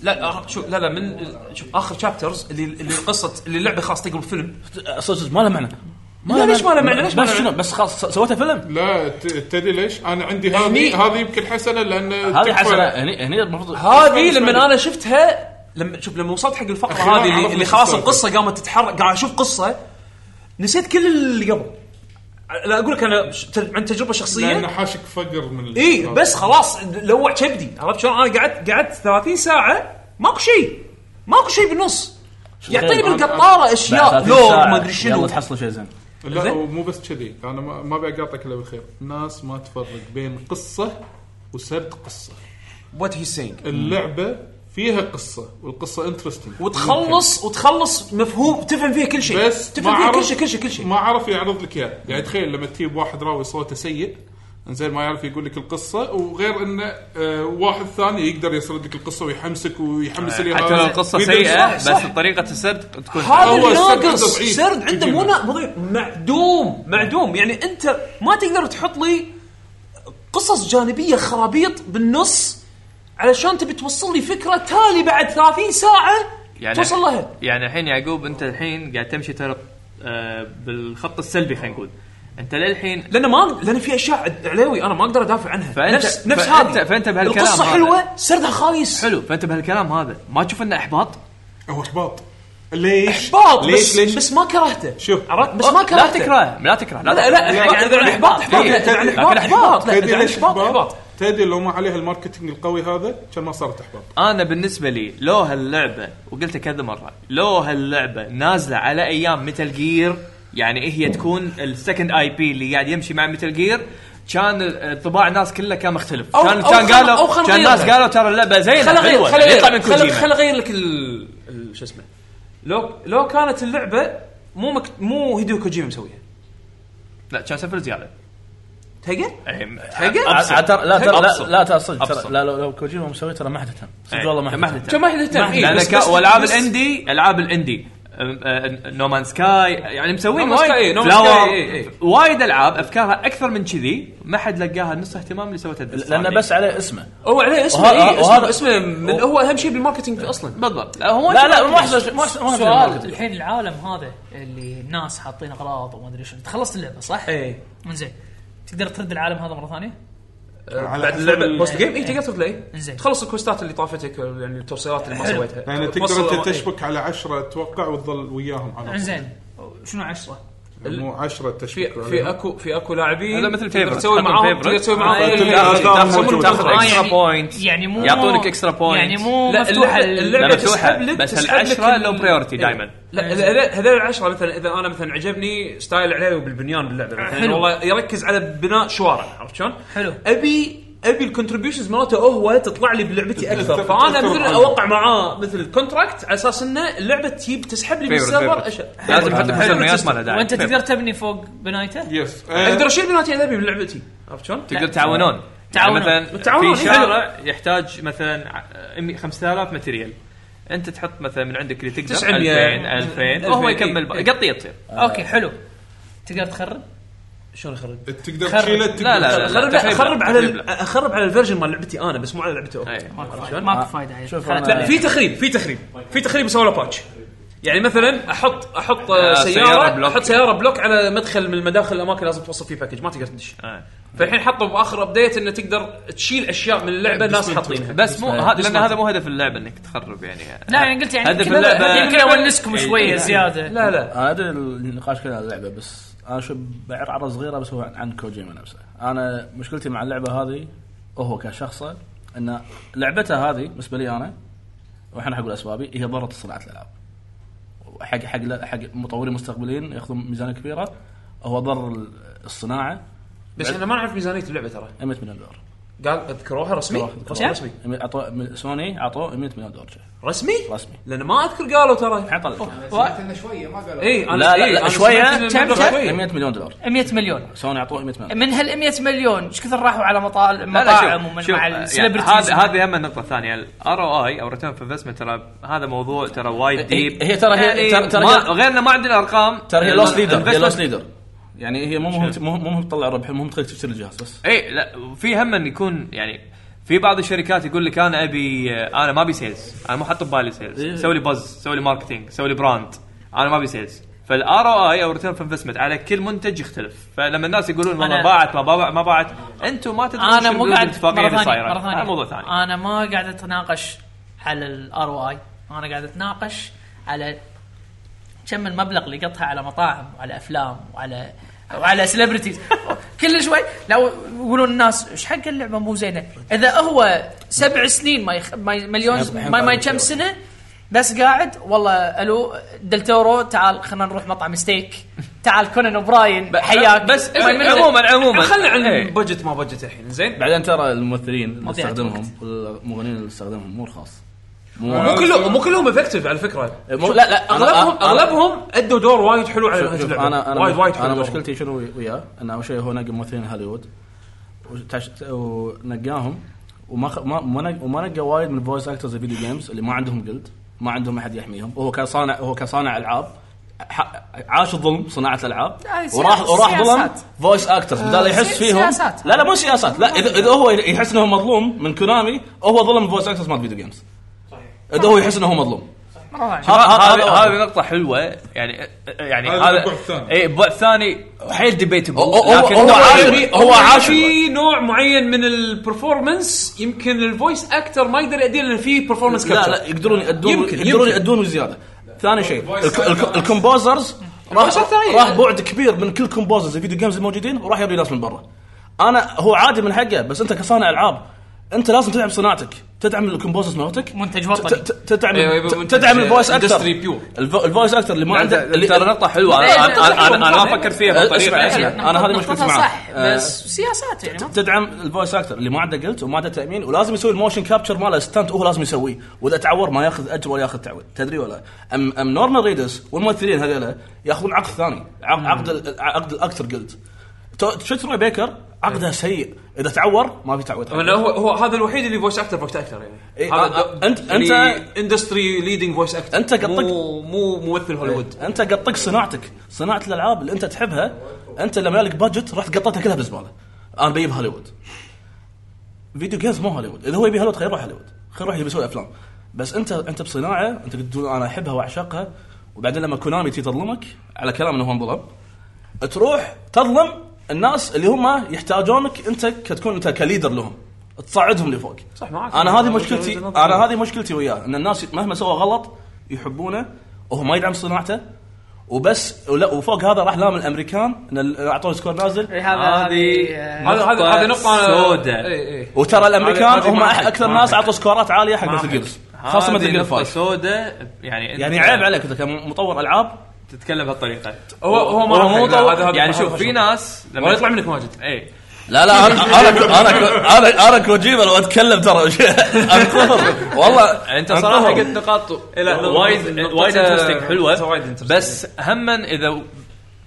Speaker 2: لا. لا آخر- شوف لا لا من شوف اخر شابترز اللي اللي قصه اللي اللعبه خلاص تقلب فيلم
Speaker 3: صدق صدق ما له معنى
Speaker 2: لا، ليش ما له معنى؟ ليش ما له
Speaker 3: بس شنو
Speaker 2: معنى؟
Speaker 3: بس خلاص سويته فيلم
Speaker 10: لا ت- تدري ليش؟ انا عندي
Speaker 2: هني-
Speaker 10: هذه هذه يمكن حسنه لان
Speaker 3: هذه
Speaker 10: تكفى.
Speaker 3: حسنه هني هني المفروض
Speaker 2: هذه لما انا شفتها لما شوف لما وصلت حق الفقره
Speaker 10: أخيراً
Speaker 2: هذه اللي,
Speaker 10: عرفنا
Speaker 2: اللي خلاص
Speaker 10: السالفة.
Speaker 2: القصه قامت تتحرك قاعد اشوف قصه نسيت كل اللي قبل لا اقول لك انا ش- تج- عن تجربه
Speaker 10: لان
Speaker 2: شخصيه
Speaker 10: حاشك فقر من ال-
Speaker 2: اي بس خلاص لوع كبدي عرفت شلون انا قعدت قعدت 30 ساعه ماكو شيء ماكو شيء بالنص يعطيني بالقطاره اشياء لوج ما ادري شنو
Speaker 3: يلا تحصل شيء زين
Speaker 10: لا مو بس كذي انا ما ما بقاطعك الا بالخير الناس ما تفرق بين قصه وسرد قصه
Speaker 2: وات هي سينج
Speaker 10: اللعبه فيها قصه والقصه انترستنج
Speaker 2: وتخلص وتخلص مفهوم تفهم فيه كل شيء
Speaker 10: بس
Speaker 2: تفهم
Speaker 10: ما
Speaker 2: فيه كل
Speaker 10: عرف-
Speaker 2: شيء كل شيء كل شيء
Speaker 10: ما عرف يعرض لك اياه يعني تخيل لما تجيب واحد راوي صوته سيء زين ما يعرف يقول لك القصه وغير انه آه واحد ثاني يقدر يسرد لك القصه ويحمسك
Speaker 3: آه،
Speaker 10: ويحمس اللي
Speaker 9: حتى لو
Speaker 10: هذا.
Speaker 9: القصه
Speaker 10: ويدرس-
Speaker 9: سيئه
Speaker 10: صح،
Speaker 9: بس
Speaker 10: صح.
Speaker 9: طريقه السرد تكون
Speaker 2: هذا
Speaker 10: هو
Speaker 2: اللي
Speaker 10: السرد عنده
Speaker 2: ناقص
Speaker 10: ضعيف.
Speaker 2: سرد عنده مو
Speaker 10: يجيبه.
Speaker 2: نا- مو ضعيف معدوم معدوم يعني انت ما تقدر تحط لي قصص جانبيه خرابيط بالنص علشان تبي توصل لي فكره تالي بعد 30 ساعه يعني توصل لها
Speaker 9: يعني الحين يعقوب انت الحين قاعد تمشي ترى آه، بالخط السلبي خلينا نقول انت للحين
Speaker 2: لان ما لان في اشياء علاوي انا ما اقدر ادافع عنها
Speaker 9: فأنت-
Speaker 2: نفس نفس
Speaker 9: فأنت-
Speaker 2: هذه
Speaker 9: فأنت بهالكلام
Speaker 2: القصه
Speaker 9: هذا.
Speaker 2: حلوه سردها خايس
Speaker 9: حلو فانت بهالكلام هذا ما تشوف انه احباط؟
Speaker 10: هو احباط ليش؟
Speaker 2: احباط
Speaker 10: ليش
Speaker 2: بس,
Speaker 10: ليش؟
Speaker 2: بس ما كرهته
Speaker 10: شوف.
Speaker 2: عرفت بس ما
Speaker 9: لا
Speaker 2: كرهته
Speaker 9: تكره لا تكره يعني إيه،
Speaker 2: لا لا لا احباط اذا عن احباط احباط لا، إذا عن احباط احباط لا،
Speaker 10: تدري
Speaker 2: إذا عن
Speaker 10: ليش
Speaker 2: احباط احباط
Speaker 10: احباط؟ تدري لو ما عليها الماركتينج القوي هذا كان ما صارت احباط
Speaker 9: انا بالنسبه لي لو هاللعبه وقلتها كذا مره لو هاللعبه نازله على ايام متل جير يعني إيه هي تكون السكند اي بي اللي قاعد يمشي مع متل جير كان طباع الناس كله كان مختلف
Speaker 2: أو-
Speaker 9: كان
Speaker 2: أو
Speaker 9: كان
Speaker 2: خل- أو
Speaker 9: قالوا
Speaker 2: خل
Speaker 9: كان الناس
Speaker 2: نغيرها.
Speaker 9: قالوا ترى اللعبه زينه
Speaker 2: خل اغير
Speaker 9: حلوه
Speaker 2: خل
Speaker 9: يطلع من
Speaker 2: اغير خل-
Speaker 9: كوجيما
Speaker 2: خل اغير لك ال- ال- شو اسمه لو لو كانت اللعبه مو مك... مو هيديو كوجيما مسويها
Speaker 9: لا كان سفر زياده
Speaker 2: تلقى
Speaker 9: حقه؟
Speaker 3: عاد- عاد ترى- لا ترى لا لا ترى صدق
Speaker 9: أبصر.
Speaker 3: ترى لا لو لو كوجيما مسوي ترى ما حد يهتم صدق
Speaker 9: إيه.
Speaker 3: والله ما
Speaker 9: ما
Speaker 3: حد
Speaker 9: حد
Speaker 3: يهتم
Speaker 9: يهتم.
Speaker 2: كان ما حد يهتم إيه،
Speaker 9: لان
Speaker 2: بس-
Speaker 9: كا-
Speaker 2: بس-
Speaker 9: والعاب
Speaker 2: بس-
Speaker 9: الاندي العاب الاندي آه، نومان سكاي يعني مسوين
Speaker 2: No Man's Sky،
Speaker 9: وايد
Speaker 2: No Man's Sky، إيه،
Speaker 9: Flower،
Speaker 2: إي، إي.
Speaker 9: وايد العاب افكارها اكثر من كذي ما حد لقاها نص اهتمام اللي سوته
Speaker 27: لانه بس عليه اسمه
Speaker 2: هو عليه اسمه
Speaker 27: وهذا-
Speaker 2: اي اسمه
Speaker 27: آه، وهذا-
Speaker 2: اسمه من هو اهم شيء بالماركتينج اصلا
Speaker 9: بالضبط هو
Speaker 27: لا، لا، مو أحسن- مو أحسن- مو أحسن
Speaker 15: سؤال
Speaker 27: الماركتينج.
Speaker 15: الحين العالم هذا اللي الناس حاطين اغراض وما ادري شنو أنت خلصت اللعبه صح؟
Speaker 9: إيه.
Speaker 2: إي.
Speaker 15: انزين تقدر ترد العالم هذا مره ثانيه؟
Speaker 2: آه،
Speaker 9: أه.
Speaker 2: بعد اللعبه بوست جيم اي
Speaker 15: إيه.
Speaker 2: تقدر تلاقي
Speaker 15: إنزين.
Speaker 2: تخلص الكوستات اللي طافتك يعني التوصيلات اللي ما
Speaker 15: حلو.
Speaker 2: سويتها
Speaker 10: يعني
Speaker 2: توصل
Speaker 10: تقدر انت
Speaker 2: أماكن.
Speaker 10: تشبك على 10 اتوقع وتظل وياهم على طول. يعني
Speaker 15: انزين شنو 10
Speaker 10: مو 10 تشبك
Speaker 2: في في اكو في اكو لاعبين
Speaker 9: هذا مثل
Speaker 2: تقدر
Speaker 9: favorites.
Speaker 2: تسوي
Speaker 9: حطهم
Speaker 2: معاهم
Speaker 9: favorites.
Speaker 2: تقدر تسوي معاهم
Speaker 9: تاخذ-
Speaker 2: إيه،
Speaker 9: تاخذ-
Speaker 2: إيه،
Speaker 9: تاخذ-
Speaker 2: تسوي-
Speaker 9: تاخذ
Speaker 2: تاخذ-
Speaker 9: extra
Speaker 2: يعني-
Speaker 9: points.
Speaker 15: يعني مو
Speaker 9: يعطونك extra points.
Speaker 15: يعني مو
Speaker 2: لا،
Speaker 15: مفتوحه
Speaker 2: اللعبة-
Speaker 15: ال-
Speaker 2: اللعبة
Speaker 9: مفتوحة،
Speaker 2: تسحب لك-
Speaker 9: بس
Speaker 2: تسحب لك
Speaker 9: العشرة
Speaker 2: ال-
Speaker 9: low priority
Speaker 2: إيه.
Speaker 9: دايماً.
Speaker 2: لا هذول- هذول العشرة مثلا اذا انا مثلا عجبني ستايل عليوي بالبنيان باللعبة مثلا
Speaker 15: حلو.
Speaker 2: والله يركز على بناء شوارع عرفت شلون؟
Speaker 15: حلو.
Speaker 2: ابي ابي الكونتربيوشنز مالته هو تطلع لي بلعبتي اكثر فانا مثل اوقع معاه مثل كونتراكت على اساس انه اللعبه تجيب تسحب لي من
Speaker 9: Favorite,
Speaker 2: السيرفر
Speaker 9: favorite.
Speaker 2: أشياء.
Speaker 9: لازم تحط
Speaker 2: حلو.
Speaker 9: حسابات ما لها داعي
Speaker 15: وانت تقدر تبني فوق بنايته؟
Speaker 10: يس
Speaker 9: آه.
Speaker 2: اقدر اشيل بناتي اذا ابي بلعبتي عرفت شلون؟
Speaker 9: تقدر تعاونون
Speaker 15: تعاونون.
Speaker 9: يعني مثلا
Speaker 2: تعاونون،
Speaker 9: في
Speaker 2: إيه، حلو.
Speaker 9: شارع يحتاج مثلا ع- مية- 5000 ماتريال انت تحط مثلا من عندك اللي تقدر
Speaker 2: 900.
Speaker 9: 2000 2000 وهو
Speaker 2: 2000.
Speaker 9: يكمل
Speaker 2: إيه.
Speaker 9: ب- قطيه تصير
Speaker 15: اوكي حلو تقدر تخرب؟
Speaker 2: شلون اخرب؟
Speaker 10: تقدر
Speaker 15: خرب.
Speaker 10: تشيله تقدر
Speaker 9: لا، لا، لا.
Speaker 2: اخرب
Speaker 9: تخريب لا،
Speaker 2: اخرب على
Speaker 9: تخريب
Speaker 2: ال- اخرب على الفيرجن مال لعبتي انا بس مو على لعبته
Speaker 9: أي.
Speaker 15: ماكو فايده ماكو فايده يعني.
Speaker 3: شوف
Speaker 15: خلاص.
Speaker 3: أنا-
Speaker 2: لا في تخريب في تخريب في تخريب يسوي له باتش يعني مثلا احط احط آه،
Speaker 9: آه،
Speaker 2: سياره,
Speaker 9: سيارة بلوك.
Speaker 2: احط سياره بلوك على مدخل من المداخل الاماكن لازم توصل فيه باكج ما تقدر تدش فالحين حطوا باخر ابديت انه تقدر تشيل اشياء من اللعبه الناس حاطينها
Speaker 9: بس مو هذا لان
Speaker 2: ديسمانتل.
Speaker 9: هذا مو هدف اللعبه انك تخرب يعني
Speaker 15: لا يعني قلت يعني
Speaker 9: هدف
Speaker 15: يمكن
Speaker 9: اللعبة-
Speaker 15: يمكن اونسكم شويه زياده
Speaker 2: لا لا
Speaker 3: انا ادري النقاش كله على اللعبه بس انا شو بعرعره صغيره بس هو عن كوجيما نفسه انا مشكلتي مع اللعبه هذه وهو كشخصه ان لعبته هذه بالنسبه لي انا والحين حقول اسبابي هي ضرت صناعه الالعاب حق حق حق مطورين مستقبليين ياخذون ميزانيه كبيره هو ضر الصناعه
Speaker 2: بس احنا ما نعرف ميزانيه اللعبه ترى
Speaker 3: 100 مليون دولار
Speaker 2: قال اذكروها رسمي رسمي رسمي
Speaker 3: عطوا سوني عطوه 100 مليون دولار
Speaker 2: رسمي
Speaker 3: رسمي
Speaker 2: لان ما اذكر قالوا ترى
Speaker 3: الحين طلع
Speaker 4: سمعت لنا شويه ما قالوا
Speaker 2: اي
Speaker 3: لا لا,
Speaker 2: إيه،
Speaker 3: لا
Speaker 2: أنا
Speaker 3: شويه
Speaker 2: سمعت إن المبلغ شوي.
Speaker 3: 100 مليون دولار
Speaker 15: 100 مليون
Speaker 3: سوني عطوه 100 مليون
Speaker 15: من هال 100 مليون ايش كثر راحوا على مطال
Speaker 9: لا لا
Speaker 15: مطاعم
Speaker 9: شوف
Speaker 15: ومن
Speaker 9: شوف
Speaker 15: مع
Speaker 9: يعني
Speaker 15: السليبرتيز
Speaker 9: هذا هذه هم النقطه الثانيه الار او اي او ريتيرن اوف انفستمنت ترى هذا موضوع ترى وايد ديب
Speaker 3: إيه، هي ترى هي ترى- ترى هي-
Speaker 9: غيرنا ما عندنا ارقام
Speaker 3: ترى هي لوس ليدر هي
Speaker 9: investment-
Speaker 3: لوس ليدر يعني هي مو مهم مو مو مهم تطلع ربح مهم تخليك تشتري الجهاز بس
Speaker 9: اي إيه، لا في هم ان يكون يعني في بعض الشركات يقول لك انا ابي انا ما ابي سيلز انا مو حاط ببالي
Speaker 3: إيه.
Speaker 9: سيلز سوي لي بز سوي لي ماركتينج سوي لي براند انا ما ابي سيلز فالار او اي او ريتيرن اوف انفستمنت على كل منتج يختلف فلما الناس يقولون والله
Speaker 15: أنا-
Speaker 9: باعت ما باعت ما باعت انتم ما تدرون
Speaker 15: انا مو قاعد
Speaker 9: الاتفاقيه اللي
Speaker 15: مره ثانيه
Speaker 9: صايره
Speaker 15: مره ثانيه
Speaker 9: هذا موضوع ثاني
Speaker 15: انا ما قاعد اتناقش على الار او اي انا قاعد اتناقش على كم المبلغ اللي قطها على مطاعم وعلى افلام وعلى وعلى سليبرتيز كل شوي لو يقولون الناس ايش حق اللعبه مو زينه اذا هو سبع سنين ما يخ... ما ي- مليون ما, ما ي- كم سنه بس قاعد والله الو دلتورو تعال خلينا نروح مطعم ستيك تعال كونان اوبراين حياك
Speaker 3: أه،
Speaker 9: بس
Speaker 15: ما يمل-
Speaker 9: عموما عموما
Speaker 2: خلنا عن
Speaker 9: إيه.
Speaker 2: بجت ما بجت الحين زين
Speaker 3: بعدين ترى الممثلين اللي
Speaker 15: مضيعة
Speaker 3: استخدمهم والمغنيين اللي استخدمهم مو رخاص مو إيه،
Speaker 2: مو كلهم مو كلهم افكتيف على فكره
Speaker 3: مو- لا لا أنا-
Speaker 2: اغلبهم
Speaker 3: أنا-
Speaker 2: اغلبهم ادوا دور وايد حلو على
Speaker 3: شوف-
Speaker 2: هذه
Speaker 3: شوف
Speaker 2: اللعبه
Speaker 3: انا انا
Speaker 2: وايد وايد حلو
Speaker 3: انا
Speaker 2: دورهم.
Speaker 3: مشكلتي شنو وي- وياه انه اول شيء هو نقى ممثلين هوليوود وتش- ونقاهم وما خ... ما ما نق... وما نقى وايد من فويس اكترز الفيديو جيمز اللي ما عندهم جلد ما عندهم احد يحميهم وهو كصانع هو كصانع العاب ح... عاش الظلم صناعه الالعاب
Speaker 15: لا، سيا-
Speaker 3: وراح وراح ظلم
Speaker 15: سياسات. آه،
Speaker 3: فويس اكترز بدال يحس
Speaker 15: سي-
Speaker 3: فيهم
Speaker 15: سياسات.
Speaker 3: لا لا مو سياسات لا اذا, إذا هو يحس انه مظلوم من كونامي هو ظلم فويس اكترز مال الفيديو جيمز اذا هو يحس انه هو مظلوم
Speaker 15: مره
Speaker 9: هذا- هذا
Speaker 3: هذا-
Speaker 9: هذه نقطة حلوة يعني يعني
Speaker 10: هذا
Speaker 9: هذا
Speaker 10: البعد الثاني.
Speaker 9: اي البعد الثاني حيل ديبيتبل
Speaker 3: هو- هو- هو عاشق. هو عاشق.
Speaker 2: في نوع معين من البرفورمنس يمكن الفويس اكتر ما يقدر يأدي لان في برفورمنس
Speaker 3: لا لا يقدرون يأدون
Speaker 2: يمكن-
Speaker 3: يقدرون
Speaker 2: يمكن.
Speaker 3: يأدون وزياده ثاني شيء
Speaker 2: Voice
Speaker 3: الك- الك-
Speaker 2: actors.
Speaker 3: الكومبوزرز راح
Speaker 2: Voice actor،
Speaker 3: راح بعد كبير من كل كومبوزرز الفيديو جيمز الموجودين وراح يبي ناس من برا انا هو عادي من حقه بس انت كصانع العاب انت لازم تدعم صناعتك تدعم الكومبوزرز مالتك
Speaker 15: منتج
Speaker 3: ت-
Speaker 15: وطني
Speaker 3: ت- تدعم
Speaker 2: أيوة، يبقى
Speaker 3: ت-
Speaker 2: منتج
Speaker 3: تدعم الفويس اكتر
Speaker 2: industry pure.
Speaker 3: الفويس اكتر اللي ما عنده اللي-
Speaker 9: ترى نقطة حلوة أنا-
Speaker 15: لا،
Speaker 9: أنا أنا- أنا أنا ما فكرت فيها
Speaker 3: اسمع
Speaker 9: بهالطريقة
Speaker 3: اسمع
Speaker 15: يعني.
Speaker 3: انا هذه مشكلتي معاه
Speaker 15: صح
Speaker 3: آه،
Speaker 15: بس سياسات يعني ما-
Speaker 3: تدعم الفويس اكتر اللي ما عنده جلد وما عنده تامين ولازم يسوي الموشن كابتشر ماله ستانت هو لازم يسويه واذا تعور ما ياخذ اجر ولا ياخذ تعويض تدري ولا ام ام نورمان ريدس والممثلين هذول ياخذون عقد ثاني عق- عقد ال- عقد الاكتر جلد شفت روي بيكر عقده سيء اذا تعور ما في تعويض
Speaker 2: طبعا هو هو هذا الوحيد اللي فويس اكتر فويس اكتر يعني
Speaker 3: إيه،
Speaker 2: هذا
Speaker 3: آه،
Speaker 2: د-
Speaker 3: أنت-
Speaker 2: يعني
Speaker 3: أنت-
Speaker 2: اندستري ليدنج فويس اكتر
Speaker 3: انت قطك
Speaker 2: مو مو ممثل هوليوود
Speaker 3: انت قطك إيه. صناعتك صناعه الالعاب اللي انت تحبها انت لما لك بادجت رحت قطيتها كلها بالزباله انا بجيب هوليوود فيديو جيمز مو هوليوود اذا هو يبي هوليوود خير يروح هوليوود خير يروح يسوي افلام بس انت انت بصناعه انت قد تقول انا احبها واعشقها وبعدين لما كونامي تي تظلمك على كلام انه هو انظلم تروح تظلم الناس اللي هم يحتاجونك انت كتكون انت كليدر لهم تصعدهم لفوق
Speaker 2: صح معك
Speaker 3: انا هذه مشكلتي انا هذه مشكلتي وياه ان الناس مهما سوى غلط يحبونه وهو ما يدعم صناعته وبس ولا وفوق هذا راح لام الامريكان ان ال- اعطوه سكور نازل
Speaker 2: هذا هذا هذا نقطه
Speaker 3: سوداء. وترى الامريكان هم أح- اكثر ناس اعطوا سكورات عاليه حق
Speaker 9: ما
Speaker 3: مثل
Speaker 9: حد.
Speaker 3: جيرز خاصه
Speaker 9: خاصه
Speaker 3: مثل جيرز
Speaker 9: نقطة
Speaker 3: 5
Speaker 9: سوداء يعني أنت-
Speaker 3: يعني عيب عليك اذا كان مطور العاب
Speaker 9: تتكلم بهالطريقه
Speaker 3: هو- هو ما راح- لا، هذا- هذا-
Speaker 9: يعني
Speaker 3: هذا
Speaker 9: شوف
Speaker 3: شوف.
Speaker 9: في ناس
Speaker 3: ولا يطلع
Speaker 9: منك ماجد اي
Speaker 3: لا لا انا انا انا انا, أنا كوجيما لو اتكلم ترى انقهر والله يعني
Speaker 9: انت صراحه
Speaker 3: انقهر.
Speaker 9: قلت نقاط
Speaker 2: لا،
Speaker 9: وايد
Speaker 2: نقطة-
Speaker 9: وايد
Speaker 2: نقطة-
Speaker 9: انترستنج
Speaker 2: نقطة وايد
Speaker 9: حلوه
Speaker 2: interesting.
Speaker 9: بس هما اذا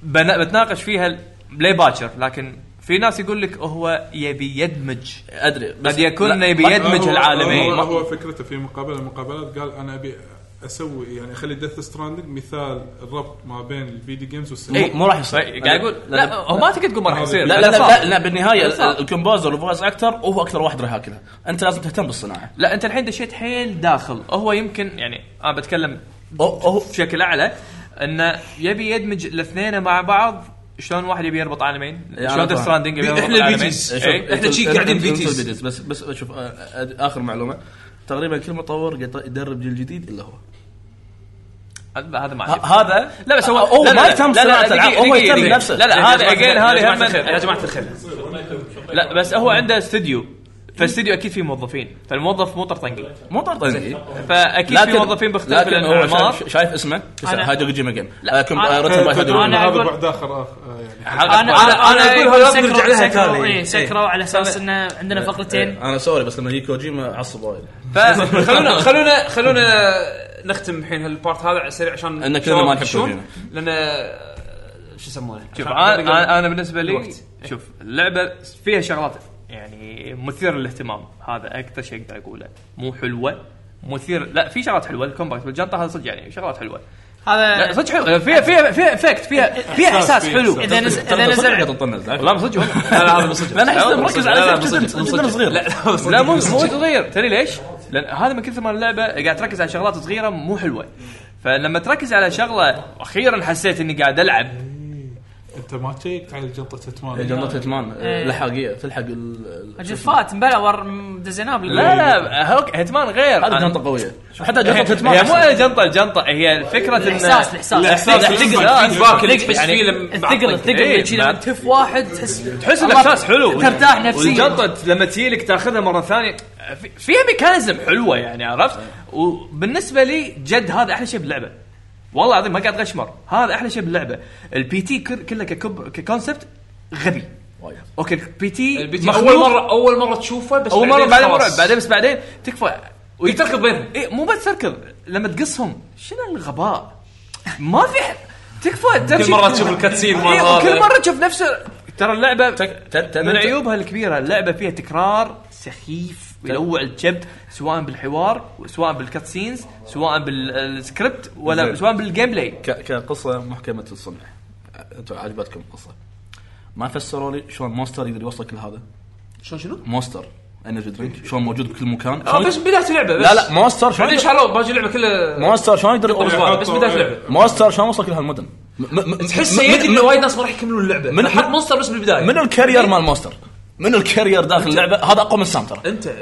Speaker 9: بنا- بتناقش فيها ليه باكر لكن في ناس يقول لك هو يبي يدمج
Speaker 3: ادري
Speaker 9: قد يكون
Speaker 10: لا،
Speaker 9: يبي
Speaker 10: لا،
Speaker 9: يدمج
Speaker 10: هو-
Speaker 9: العالمين
Speaker 10: هو, هو فكرته في مقابله من المقابلات قال انا ابي اسوي يعني اخلي ديث ستراندنج مثال الربط ما بين الفيديو جيمز والسينما يعني
Speaker 3: مو- مو راح يصير
Speaker 9: إيه. قاعد يقول لا هو ما تقدر تقول ما راح يصير
Speaker 3: لا لا
Speaker 9: بس صار.
Speaker 3: لا, لا بالنهايه
Speaker 9: بس صار.
Speaker 3: الكومبوزر والفويس اكتر هو اكثر واحد راح ياكلها انت لازم تهتم بالصناعه
Speaker 9: لا انت الحين دشيت حيل داخل هو يمكن يعني انا بتكلم بشكل اعلى انه يبي يدمج الاثنين مع بعض شلون واحد يبي يربط عالمين
Speaker 3: يعني
Speaker 9: شلون
Speaker 3: أنا
Speaker 9: ديث ستراندنج يبي
Speaker 3: فاهم.
Speaker 9: يربط العالمين إيه.
Speaker 3: شوف،
Speaker 9: شي
Speaker 3: انت- انت- انت بيتيز. بس بس شوف آه، آه، اخر معلومه تقريبا كل مطور يط- يدرب جيل جديد الا هو
Speaker 9: هذا ما
Speaker 3: ه- هذا
Speaker 9: لا بس هو
Speaker 3: هو
Speaker 9: لا، لا،
Speaker 3: ما
Speaker 9: لا،
Speaker 3: يهتم
Speaker 9: لا، لا،
Speaker 3: صناعه
Speaker 9: دقيقة،
Speaker 3: الالعاب هو
Speaker 9: دقيقة،
Speaker 3: يهتم
Speaker 9: دقيقة.
Speaker 3: بنفسه
Speaker 9: لا لا هذا اجين هذه هم
Speaker 2: يا جماعه الخير
Speaker 9: لا بس هو عنده استوديو فالاستوديو اكيد فيه موظفين فالموظف مو طرطنقي
Speaker 3: مو طرطنقي
Speaker 9: فاكيد في موظفين بيختلف
Speaker 3: لكن هو
Speaker 9: الاعمار
Speaker 3: شايف- شايف اسمه
Speaker 9: أنا-
Speaker 3: هايدو جيما جيم آه،
Speaker 9: لا،
Speaker 3: لكن
Speaker 9: أنا-
Speaker 3: رتم باي
Speaker 9: أنا
Speaker 3: هايدو
Speaker 10: هذا
Speaker 3: جيما.
Speaker 10: بعد اخر آخر، آه، يعني
Speaker 3: حلقة
Speaker 15: انا
Speaker 3: باي.
Speaker 15: انا انا
Speaker 2: أقول هذا بنرجع لها
Speaker 15: سكروا
Speaker 2: تالي.
Speaker 15: إيه، سكروا على اساس انه عندنا
Speaker 9: إيه.
Speaker 15: فقرتين
Speaker 3: انا آه، سوري بس لما يجي كوجيما عصب وايد
Speaker 2: فخلونا خلونا خلونا نختم الحين هالبارت هذا على السريع عشان
Speaker 3: إن كلنا ما نحب
Speaker 2: شلون؟
Speaker 3: كوجيما.
Speaker 2: لان شو يسمونه
Speaker 9: شوف
Speaker 2: عشان-
Speaker 9: انا أنا- انا بالنسبه لي
Speaker 2: الوقت.
Speaker 9: شوف اللعبه فيها شغلات يعني مثير للاهتمام هذا اكثر شيء اقدر اقوله مو حلوه مثير لا في شغلات حلوه الكومباكت بالجنطه هذا صدق يعني شغلات حلوه
Speaker 15: هذا
Speaker 9: لا صدق حلو فيها فيها فيها افكت فيها فيها احساس حلو
Speaker 15: اذا نزل اذا نزل
Speaker 9: لا مو صدق
Speaker 2: لا لا هذا مو صدق
Speaker 9: لا انا احس
Speaker 2: لا، مو
Speaker 9: مركز
Speaker 2: صدق. لا، لا،
Speaker 9: على
Speaker 2: مو صدق.
Speaker 9: جدا
Speaker 2: مو
Speaker 9: جداً
Speaker 2: صدق.
Speaker 9: صغير
Speaker 2: لا، لا، مو صدق.
Speaker 9: لا مو مو
Speaker 2: صدق.
Speaker 9: صغير تدري ليش؟ لان هذا من كثر ما اللعبه قاعد تركز على شغلات صغيره مو حلوه فلما تركز على شغله اخيرا حسيت اني قاعد العب
Speaker 10: انت ما تشيكت على جنطه اتمان
Speaker 3: جنطة اتمان
Speaker 15: إيه.
Speaker 3: لحاقيه تلحق ال- ال-
Speaker 15: جفات مبلى ور م- دزيناه بال-
Speaker 9: لا لا هوك هيتمان غير
Speaker 3: هذه
Speaker 9: أنا-
Speaker 3: جنطه قويه حتى جنطه
Speaker 9: هي-
Speaker 3: هيتمان
Speaker 9: هي مو أي جنطه الجنطه هي فكره ان
Speaker 15: الاحساس الاحساس
Speaker 9: الاحساس
Speaker 15: الثقل
Speaker 9: الفاكل آه، تحس
Speaker 2: يعني
Speaker 9: فيه لما
Speaker 15: الثقل الثقل اللي
Speaker 9: إيه،
Speaker 15: شي لما تف واحد تحس
Speaker 9: تحس
Speaker 15: الله،
Speaker 9: الاحساس حلو
Speaker 15: ترتاح نفسيا
Speaker 9: والجنطه لما تجيلك تاخذها مره ثانيه في- فيها ميكانيزم حلوه يعني عرفت وبالنسبه لي جد هذا احلى شيء باللعبه والله العظيم ما قاعد غشمر هذا احلى شيء باللعبه البي تي كله ككب ككونسبت غبي اوكي البي تي
Speaker 2: البي تي اول مره اول مره تشوفه بس
Speaker 9: اول مره بعدين مرعب
Speaker 2: خلاص.
Speaker 9: بعدين بس بعدين تكفى
Speaker 2: ويتركض بينهم.
Speaker 9: اي مو بس تركض لما تقصهم شنو الغباء ما في ح- تكفى تمشي-
Speaker 2: مرة تشوف الكاتسين مرة
Speaker 9: إيه، وكل
Speaker 2: هذا.
Speaker 9: مره تشوف نفسه ترى اللعبه من
Speaker 3: تك-
Speaker 9: عيوبها الكبيره اللعبه فيها تكرار سخيف يلوع الجب سواء بالحوار سواء بالكاتسينز سواء بالسكريبت ولا
Speaker 3: زين.
Speaker 9: سواء بالجيم بلاي
Speaker 3: ك- كقصه محكمه الصنع انتم عجبتكم القصه ما فسروا لي شلون مونستر يقدر يوصل كل هذا
Speaker 2: شلون شنو؟
Speaker 3: مونستر انرجي درينك شلون موجود بكل مكان
Speaker 2: آه، بس بدايه اللعبه بس
Speaker 3: لا لا مونستر شلون
Speaker 2: بعدين
Speaker 3: يقدر-
Speaker 2: شالوا باقي اللعبه كلها
Speaker 3: مونستر شلون يقدر
Speaker 2: أسبوع، بس بداية اللعبة.
Speaker 3: مونستر شلون وصل كل هالمدن م- م- م-
Speaker 2: تحس
Speaker 3: م-
Speaker 2: يدري
Speaker 3: م-
Speaker 2: ان وايد ناس ما راح يكملون اللعبه
Speaker 3: من-
Speaker 2: من حط مونستر بس إيه. بالبدايه
Speaker 3: من الكارير مال مونستر من الكارير داخل اللعبه هذا اقوى من سام ترى
Speaker 2: انت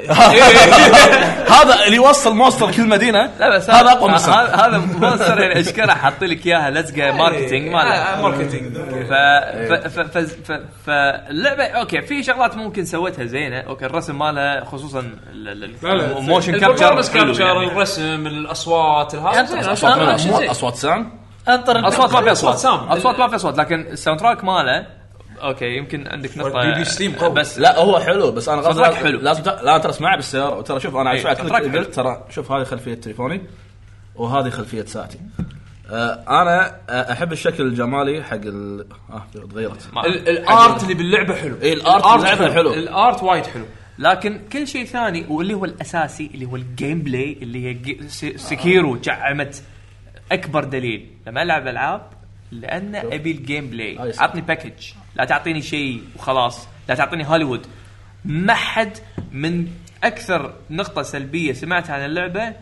Speaker 3: هذا اللي يوصل مونستر كل مدينه
Speaker 9: لا بس
Speaker 3: هذا اقوى من
Speaker 9: هذا
Speaker 3: سام
Speaker 9: هذا مونستر يعني اشكره حاط لك اياها لزقه
Speaker 3: إيه،
Speaker 9: ماركتينج ما
Speaker 2: آه، آه، ماركتينج.
Speaker 9: ف ف- ف- ف- ف- فاللعبه اوكي في شغلات ممكن سوتها زينه اوكي الرسم مالها خصوصا
Speaker 2: لا، لا،
Speaker 9: الموشن كابتشر
Speaker 2: البرفورمانس كابتشر
Speaker 9: يعني.
Speaker 2: الرسم الاصوات الهذا زين، أنا
Speaker 3: اصوات
Speaker 2: أشوف- أنا أشوف
Speaker 3: مو
Speaker 2: زين.
Speaker 3: اصوات سام
Speaker 15: انطر
Speaker 9: اصوات ما في اصوات
Speaker 2: سام.
Speaker 9: اصوات ما في اصوات لكن الساوند تراك ماله اوكي يمكن عندك نقطه
Speaker 2: بي بي ستيم قوي.
Speaker 9: بس
Speaker 3: لا هو حلو بس انا غصب
Speaker 9: صدرك
Speaker 3: لازم-
Speaker 9: حلو.
Speaker 3: لازم تع- لا ترى اسمعه بالسياره وترى شوف انا
Speaker 9: إيه،
Speaker 3: عشان
Speaker 9: صدرك
Speaker 3: قلت ترى شوف هذه خلفيه تليفوني وهذه خلفيه ساعتي آه، آه، انا آه، احب الشكل الجمالي حق ال... اه تغيرت
Speaker 9: ال- آه، الارت اللي باللعبه حلو
Speaker 3: اي الارت باللعبة حلو.
Speaker 9: الارت وايد حلو لكن كل شيء ثاني واللي هو الاساسي اللي هو الجيم بلاي اللي هي ج- س- سكيرو جعمت اكبر دليل لما العب العاب لان ابي الجيم
Speaker 3: آه،
Speaker 9: بلاي عطني باكج لا تعطيني شيء وخلاص لا تعطيني هوليوود ما حد من اكثر نقطه سلبيه سمعتها عن اللعبه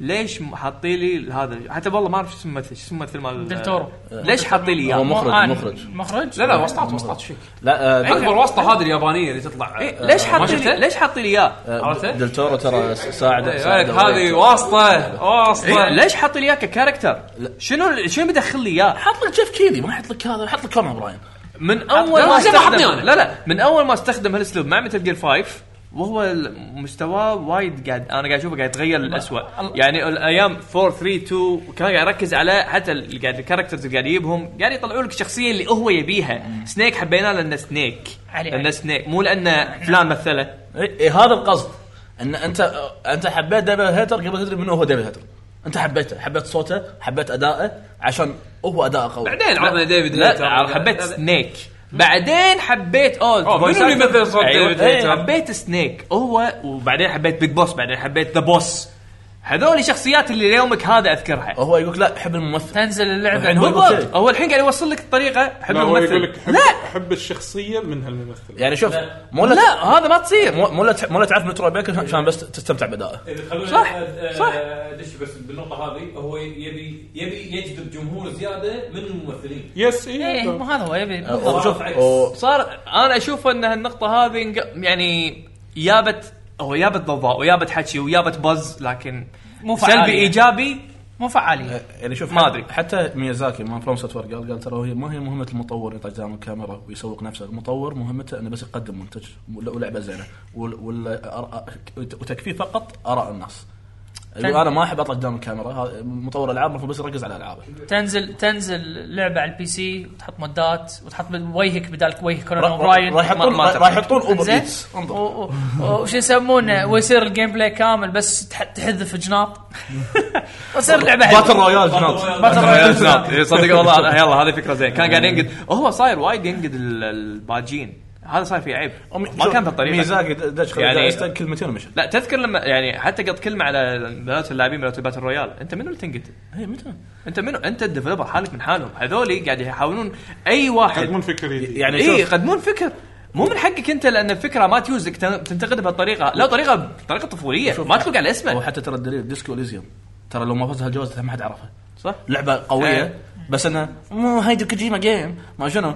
Speaker 9: ليش م- حاطين لي هذا حتى والله ما اعرف شو اسم الممثل شو اسم الممثل مال
Speaker 15: دلتورو.
Speaker 9: ليش حاطين لي اياه
Speaker 3: هو مخرج
Speaker 9: آه،
Speaker 3: مخرج
Speaker 15: مخرج
Speaker 9: لا لا وسطات وسطات شيك
Speaker 3: لا آه،
Speaker 9: أكبر
Speaker 2: واسطه هذه اليابانيه اللي تطلع آه،
Speaker 9: إيه، ليش
Speaker 2: ما
Speaker 9: حاطين
Speaker 2: شفته؟
Speaker 9: لي- ليش حاطين لي اياه؟
Speaker 3: آه، دلتورو ترى س- ساعد
Speaker 2: يقول لك إيه، هذه واسطه واسطه
Speaker 9: إيه، ليش حاطين لي اياه ككاركتر؟ شنو شنو بدخل لي اياه؟
Speaker 3: حط لك جيف كيلي ما حط لك هذا حط لك كونر براين
Speaker 9: من اول
Speaker 2: لا،
Speaker 9: ما
Speaker 2: زي ما
Speaker 9: استخدم
Speaker 2: حطني أنا.
Speaker 9: لا لا من اول ما استخدم هالاسلوب مع متل جير 5 وهو ال- مستواه وايد قاعد انا قاعد اشوفه قاعد يتغير للاسوء يعني الايام 4 3 2 كان قاعد يركز على حتى ال- قاعد الكاركترز اللي قاعد يجيبهم قاعد يطلعوا لك الشخصيه اللي هو يبيها سنيك حبيناه لانه سنيك
Speaker 15: علي،
Speaker 9: لانه
Speaker 15: علي.
Speaker 9: سنيك مو لانه فلان مثله
Speaker 3: إيه إيه، هذا القصد ان انت آه، انت حبيت ديفل هيتر قبل تدري منه هو ديفل هيتر انت حبيته حبيت صوته حبيت ادائه عشان هو اداء قوي
Speaker 9: بعدين عرضنا ديفيد
Speaker 3: لا،
Speaker 9: لا حبيت سنيك بعدين حبيت اولد
Speaker 2: أوه، منو اللي مثل صوت ديفيد هيتر؟
Speaker 9: أيوه، إيه، حبيت سنيك هو وبعدين حبيت بيج بوس بعدين حبيت ذا بوس هذول الشخصيات اللي ليومك هذا اذكرها
Speaker 3: هو يقول لا حب الممثل
Speaker 15: تنزل اللعبه
Speaker 3: الحين هو يقول
Speaker 9: بالضبط
Speaker 3: شيء.
Speaker 9: هو الحين قاعد يوصل لك الطريقه حب
Speaker 10: لا هو يقول
Speaker 9: الممثل
Speaker 10: لك حب,
Speaker 9: لا
Speaker 10: حب الشخصيه من هالممثل
Speaker 3: يعني شوف مو لا
Speaker 9: لا هذا ما تصير
Speaker 3: مو- مو لا تح- مو لا تعرف مترو بيكر عشان بس تستمتع بدائه
Speaker 9: صح، صح.
Speaker 5: آه، دش بس بالنقطه هذه هو يبي يبي يجذب جمهور زياده من الممثلين
Speaker 10: يس
Speaker 9: إيه،
Speaker 7: إيه،
Speaker 15: ايه مو هذا هو
Speaker 3: أه،
Speaker 15: يبي
Speaker 3: وشوف
Speaker 5: عكس.
Speaker 3: و-
Speaker 9: صار انا اشوف ان هالنقطه هذه انق- يعني يابت هو يابت ضوضاء ويابت حكي ويابت بز لكن
Speaker 15: مو فعالية.
Speaker 9: سلبي ايجابي
Speaker 15: مو فعاليه
Speaker 3: يعني شوف
Speaker 9: ما أدري.
Speaker 3: حتى ميازاكي ما فروم سوفت قال قال ترى هي ما هي مهمه المطور يطلع قدام الكاميرا ويسوق نفسه المطور مهمته انه بس يقدم منتج ول- ولعبه زينه وال- وال- أر- وتكفيه فقط اراء الناس
Speaker 15: فن-
Speaker 3: أيوة انا ما احب اطلع قدام الكاميرا هذا- مطور العاب المفروض بس يركز على العابه
Speaker 15: تنزل تنزل لعبه على البي سي وتحط مودات وتحط وجهك بدال وجه كونان
Speaker 3: راح
Speaker 15: اوبراين
Speaker 3: راح يحطون
Speaker 9: ما- ما
Speaker 3: راح يحطون اوبر
Speaker 15: زين
Speaker 3: ايتس
Speaker 15: و- و- و- وش يسمونه ويصير الجيم بلاي كامل بس تح- تحذف جناط وتصير لعبه حلوة.
Speaker 3: باتل رويال جناط
Speaker 15: باتل رويال جناط.
Speaker 9: إيه، صدق والله أنا- يلا هذه فكره زين كان قاعد ينقد هو صاير وايد ينقد ال- الباجين هذا صاير فيه عيب ما كان بالطريقه
Speaker 3: ميزاكي دش
Speaker 9: يعني-
Speaker 3: يعني كلمتين ومشى
Speaker 9: لا تذكر لما يعني حتى قط كلمه على بنات اللاعبين بنات باتل رويال انت منو اللي تنقد؟
Speaker 3: هي متى
Speaker 9: انت منو انت الديفلوبر حالك من حالهم هذول قاعد يحاولون اي واحد
Speaker 10: يقدمون فكر جديد
Speaker 3: يعني
Speaker 9: اي
Speaker 3: شوف
Speaker 9: يقدمون فكر مو من حقك انت لان الفكره ما تيوزك تن- تنتقدها بهالطريقه لا طريقه طريقه طفوليه ما تلوق على
Speaker 3: هو
Speaker 9: اسمه
Speaker 3: حتى ترى الدليل ديسكو اليزيوم ترى لو ما فاز هالجوائز ما حد عرفها
Speaker 9: صح
Speaker 3: لعبه قويه بس انها مو هيدي كوجيما جيم ما شنو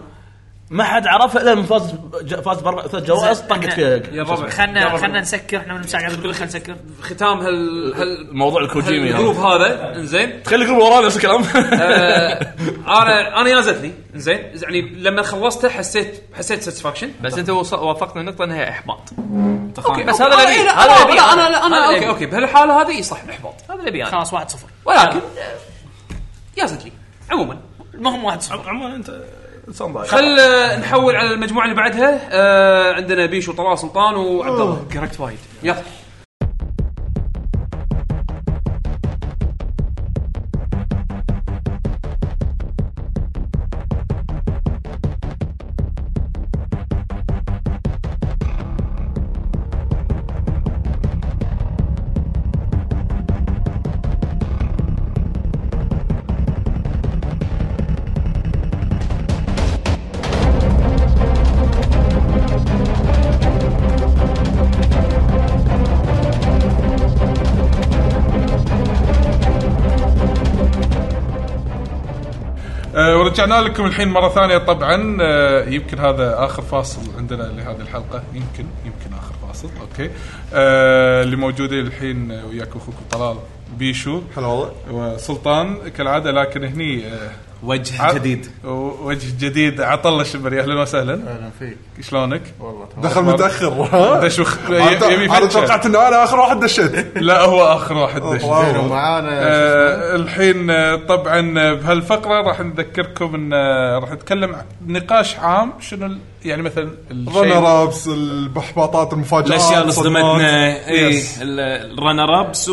Speaker 3: ما حد عرفها الا من فاز ج- فاز باربع ثلاث جوائز طقت فيها
Speaker 2: ربع
Speaker 15: خلنا خلنا نسكر احنا من المساعة قاعد نقول خلنا نسكر
Speaker 2: ختام هال هال
Speaker 3: موضوع الكوجيمي
Speaker 2: الجروب
Speaker 3: هذا.
Speaker 2: هذا انزين
Speaker 3: تخلي الجروب ورانا نفس الكلام
Speaker 2: آه، انا انا يازتني انزين يعني لما خلصته حسيت حسيت ساتسفاكشن
Speaker 9: بس انت وص- وافقنا النقطه انها احباط
Speaker 2: اوكي
Speaker 9: بس هذا
Speaker 2: آه،
Speaker 9: غريب.
Speaker 2: إيه، لا،
Speaker 9: هذا
Speaker 2: لا،
Speaker 9: غريب.
Speaker 2: لا، انا لا
Speaker 9: هذا
Speaker 2: انا
Speaker 9: غريب.
Speaker 2: اوكي اوكي بهالحاله هذه صح احباط
Speaker 9: هذا اللي ابي انا
Speaker 15: خلاص 1-0
Speaker 2: ولكن آه، يازتني عموما
Speaker 15: المهم 1-0
Speaker 3: عموما انت انسان ضايع
Speaker 2: خل آه، نحول على المجموعه اللي بعدها آه، عندنا بيشو طلال سلطان وعبد الله
Speaker 9: كركت وايد
Speaker 2: يلا
Speaker 10: آه ورجعنا لكم الحين مره ثانيه طبعا آه يمكن هذا اخر فاصل عندنا لهذه الحلقه يمكن يمكن اخر فاصل اوكي آه اللي موجودين الحين آه، وياكم اخوكم طلال بيشو
Speaker 16: هلا والله
Speaker 10: وسلطان كالعاده لكن هني آه
Speaker 8: وجه
Speaker 10: ع-
Speaker 8: جديد
Speaker 10: وجه جديد عطله الشبري اهلا وسهلا
Speaker 16: اهلا فيك
Speaker 10: شلونك؟
Speaker 16: والله دخل متاخر
Speaker 10: دش وخ-
Speaker 16: أنا
Speaker 10: يبي
Speaker 16: أنا
Speaker 10: فتشة.
Speaker 16: توقعت انه انا اخر واحد دشيت
Speaker 10: لا هو اخر واحد دش
Speaker 16: والله.
Speaker 10: آه الحين آه، طبعا آه، بهالفقره راح نذكركم ان آه، راح نتكلم عن نقاش عام شنو ال- يعني مثلا الشيء
Speaker 16: رنر ابس الاحباطات المفاجات
Speaker 8: الاشياء اللي إيه.
Speaker 10: إيه.
Speaker 16: الصدمات.
Speaker 8: صدمتنا
Speaker 10: يس.
Speaker 8: الرنر ابس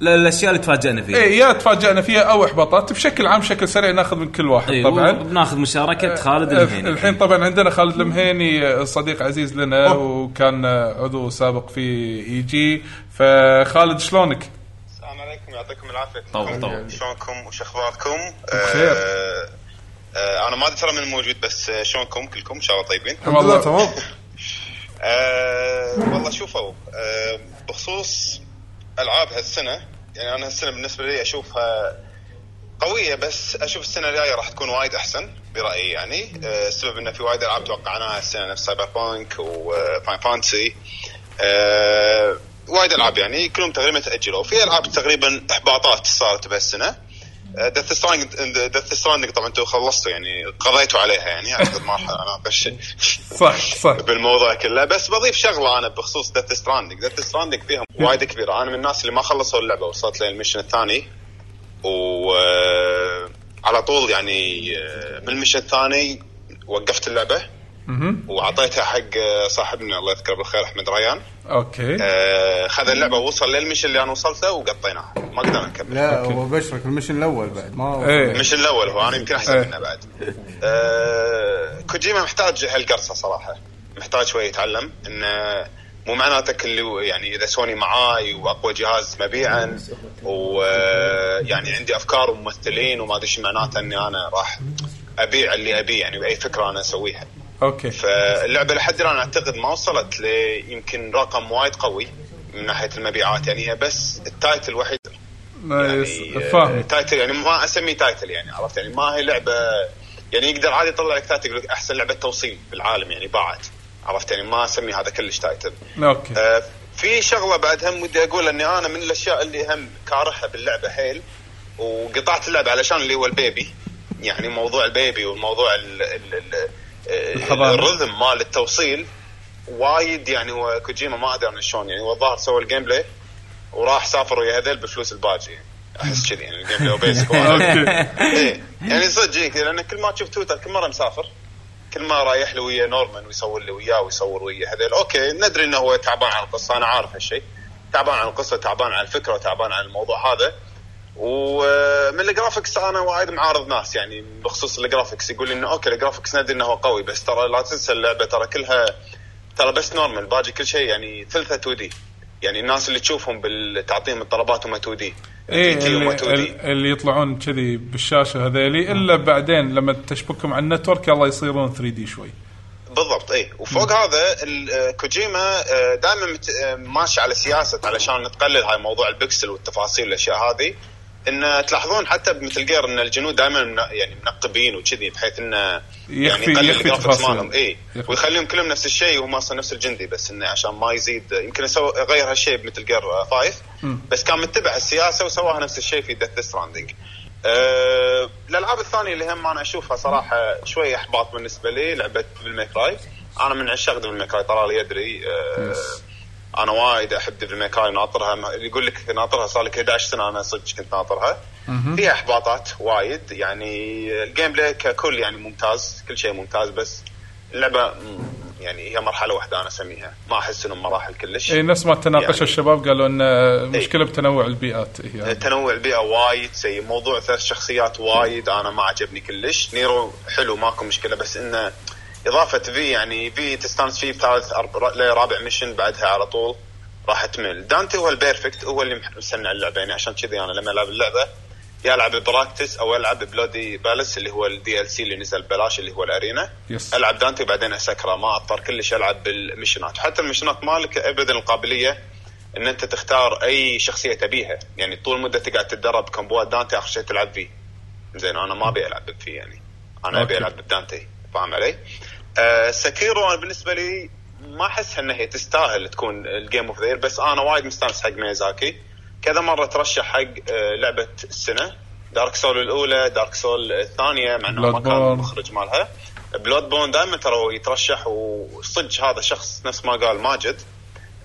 Speaker 8: لا الاشياء اللي تفاجئنا فيها
Speaker 3: إيه.
Speaker 7: اي إيه، يا تفاجئنا فيها او احباطات بشكل عام بشكل سريع ناخذ من كل واحد
Speaker 8: إيه،
Speaker 7: طبعا
Speaker 8: وبناخذ مشاركه خالد
Speaker 7: الحين
Speaker 8: الهيني
Speaker 7: الحين طبعا عندنا خالد المهيني آه، صديق عزيز لنا وكان آه، عضو سابق في اي جي فخالد شلونك؟
Speaker 28: يعطيكم العافيه
Speaker 7: طبعاً، طبعاً.
Speaker 28: شلونكم وش اخباركم؟
Speaker 7: بخير.
Speaker 28: آه، آه، انا ما ادري ترى من موجود بس آه، شلونكم كلكم ان شاء الله طيبين؟
Speaker 16: الحمد لله تمام
Speaker 28: آه، والله شوفوا آه، بخصوص العاب هالسنه يعني انا هالسنه بالنسبه لي اشوفها قويه بس اشوف السنه الجايه راح تكون وايد احسن برايي يعني آه، السبب انه في وايد العاب توقعناها السنه نفس سايبر بانك وفاين فانتسي آه، وايد العاب يعني كلهم تقريبا تاجلوا في العاب تقريبا احباطات صارت آه، بهالسنه دث ستراندنج دث ستراندنج طبعا انتم خلصتوا يعني قضيتوا عليها يعني اعتقد ما راح اناقش
Speaker 7: صح صح
Speaker 28: بالموضوع كله بس بضيف شغله انا بخصوص دث ستراندنج دث ستراندنج فيهم وايد كبيره انا من الناس اللي ما خلصوا اللعبه وصلت للمشن الثاني و آه، على طول يعني آه، من المشن الثاني وقفت اللعبه واعطيتها حق آه، صاحبنا الله يذكره بالخير احمد ريان
Speaker 7: اوكي
Speaker 28: آه، خذ اللعبه ووصل للمشن اللي انا وصلت له وقطيناها ما قدرنا نكمل
Speaker 19: لا هو بشرك المشن الاول بعد ما
Speaker 10: إيه.
Speaker 28: مش الاول هو انا يمكن احسن
Speaker 19: إيه.
Speaker 28: منه بعد آه كوجيما محتاج هالقرصه صراحه محتاج شوي يتعلم انه مو معناتك اللي يعني اذا سوني معاي واقوى جهاز مبيعا ويعني يعني عندي افكار وممثلين وما ادري شو معناته اني انا راح ابيع اللي ابيه يعني باي فكره انا اسويها
Speaker 7: اوكي
Speaker 28: فاللعبه لحد الان اعتقد ما وصلت ل يمكن رقم وايد قوي من ناحيه المبيعات يعني هي بس التايتل الوحيد
Speaker 7: نايس. فاهم
Speaker 28: تايتل يعني ما اسميه تايتل يعني عرفت يعني ما هي لعبه يعني يقدر عادي يطلع لك تايتل يقول لك احسن لعبه توصيل بالعالم يعني باعت عرفت يعني ما اسمي هذا كلش تايتل
Speaker 7: اوكي
Speaker 28: آه في شغله بعد هم ودي اقول اني انا من الاشياء اللي هم كارهها باللعبه حيل وقطعت اللعبه علشان اللي هو البيبي يعني موضوع البيبي والموضوع ال ال ال
Speaker 7: الحضانة.
Speaker 28: الرذم مال التوصيل وايد يعني هو كوجيما ما ادري عن شلون يعني هو الظاهر سوى الجيم بلاي وراح سافر ويا هذيل بفلوس الباجي يعني. احس كذي يعني الجيم بلاي وبيسك
Speaker 7: أوكي.
Speaker 28: إيه، يعني صدق هيك، لان كل ما تشوف تويتر كل مره مسافر كل ما رايح له ويا نورمان ويصور لي وياه ويصور ويا هذيل اوكي ندري انه هو تعبان عن القصه انا عارف هالشيء تعبان عن القصه تعبان عن الفكره وتعبان عن الموضوع هذا ومن الجرافكس انا وايد معارض ناس يعني بخصوص الجرافكس يقول لي انه اوكي الجرافكس ندري انه هو قوي بس ترى لا تنسى اللعبه ترى كلها ترى بس نورمال باقي كل شيء يعني ثلثه 2 دي يعني الناس اللي تشوفهم بال- تعطيهم الطلبات هم 2 دي
Speaker 10: إيه،
Speaker 7: ايه اللي, اللي- اللي يطلعون كذي بالشاشه هذيلي الا بعدين لما تشبكهم على النتورك يلا يصيرون 3 دي شوي
Speaker 28: بالضبط اي وفوق هذا ال- آه، كوجيما آه، دائما مت- آه، ماشي على سياسه علشان نقلل هاي موضوع البكسل والتفاصيل والاشياء هذه ان تلاحظون حتى بمثل جير ان الجنود دائما من- يعني منقبين وكذي بحيث انه
Speaker 7: يخفي-
Speaker 28: يعني يقلل
Speaker 7: يخفي
Speaker 28: الجرافكس
Speaker 7: تفاصيل.
Speaker 28: مالهم اي
Speaker 7: يخفي.
Speaker 28: ويخليهم كلهم نفس الشيء وهم اصلا نفس الجندي بس انه عشان ما يزيد يمكن اسوي غير آه، هالشيء بمثل جير 5 بس كان متبع السياسه وسواها نفس الشيء في ديث ستراندنج أه الالعاب الثانيه اللي هم انا اشوفها صراحه شوي احباط بالنسبه لي لعبه ديفل ميكراي انا من عشاق ديفل ميكراي طلال يدري أه انا وايد احب ديفل ميكراي ناطرها ما- اللي يقول لك ناطرها صار لك 11 سنه انا صدق كنت ناطرها فيها احباطات وايد يعني الجيم بلاي ككل يعني ممتاز كل شيء ممتاز بس اللعبه م- يعني هي مرحله واحده انا اسميها ما احس انهم مراحل كلش
Speaker 7: اي إيه، نفس ما تناقشوا
Speaker 28: يعني؟
Speaker 7: الشباب قالوا ان مشكله
Speaker 28: إيه.
Speaker 7: بتنوع البيئات إيه، يعني هي
Speaker 28: أه، تنوع البيئه وايد سيء موضوع ثلاث شخصيات وايد انا ما عجبني كلش نيرو حلو ماكو مشكله بس انه اضافه في يعني في تستانس فيه بثالث أرب- رابع ميشن بعدها على طول راح تمل دانتي هو البيرفكت هو اللي مح- مسنع اللعبه يعني عشان كذي انا لما العب اللعبه يا العب براكتس او العب بلودي بالاس اللي هو الدي ال سي اللي نزل ببلاش اللي هو الارينا
Speaker 7: يس
Speaker 28: العب دانتي بعدين اسكره ما اضطر كلش العب بالمشنات حتى المشنات مالك ابدا القابليه ان انت تختار اي شخصيه تبيها يعني طول مده قاعد تتدرب كمبوات دانتي اخر شيء تلعب فيه زين انا ما ابي العب فيه يعني انا ابي
Speaker 7: أوكي.
Speaker 28: العب بدانتي فاهم علي؟ آه سكيرو انا بالنسبه لي ما احس ان هي تستاهل تكون الجيم اوف ذير بس انا وايد مستانس حق ميازاكي كذا مره ترشح حق آه لعبه السنه دارك سول الاولى دارك سول الثانيه مع انه ما
Speaker 7: Bloodborne.
Speaker 28: كان المخرج مالها بلود بون دائما ترى هو يترشح وصدق هذا شخص نفس ما قال ماجد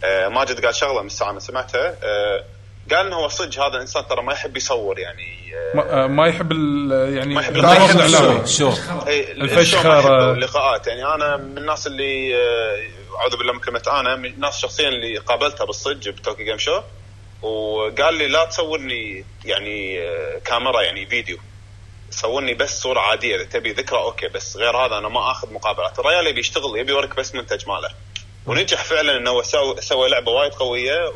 Speaker 28: آه ماجد قال شغله من الساعه ما سمعتها آه قال انه هو صدق هذا الانسان ترى ما يحب يصور يعني
Speaker 7: ما, آه، ما يحب ال- يعني
Speaker 28: ما يحب
Speaker 7: العرض
Speaker 28: الخير.
Speaker 7: الإعلامي.
Speaker 10: إيه،
Speaker 28: إي، الشو ما يحبه
Speaker 7: الفشخره
Speaker 28: واللقاءات يعني انا من الناس اللي آه، اعوذ بالله من كلمه انا من الناس شخصيا اللي قابلتها بالصدق بتوكي جيم شو وقال لي لا تصورني يعني آه، كاميرا يعني فيديو صورني بس صوره عاديه اذا تبي ذكرى اوكي بس غير هذا انا ما اخذ مقابلات الرجال يبي يشتغل يبي يوريك بس منتج ماله ونجح فعلا انه هو سوى, سوى لعبه وايد قويه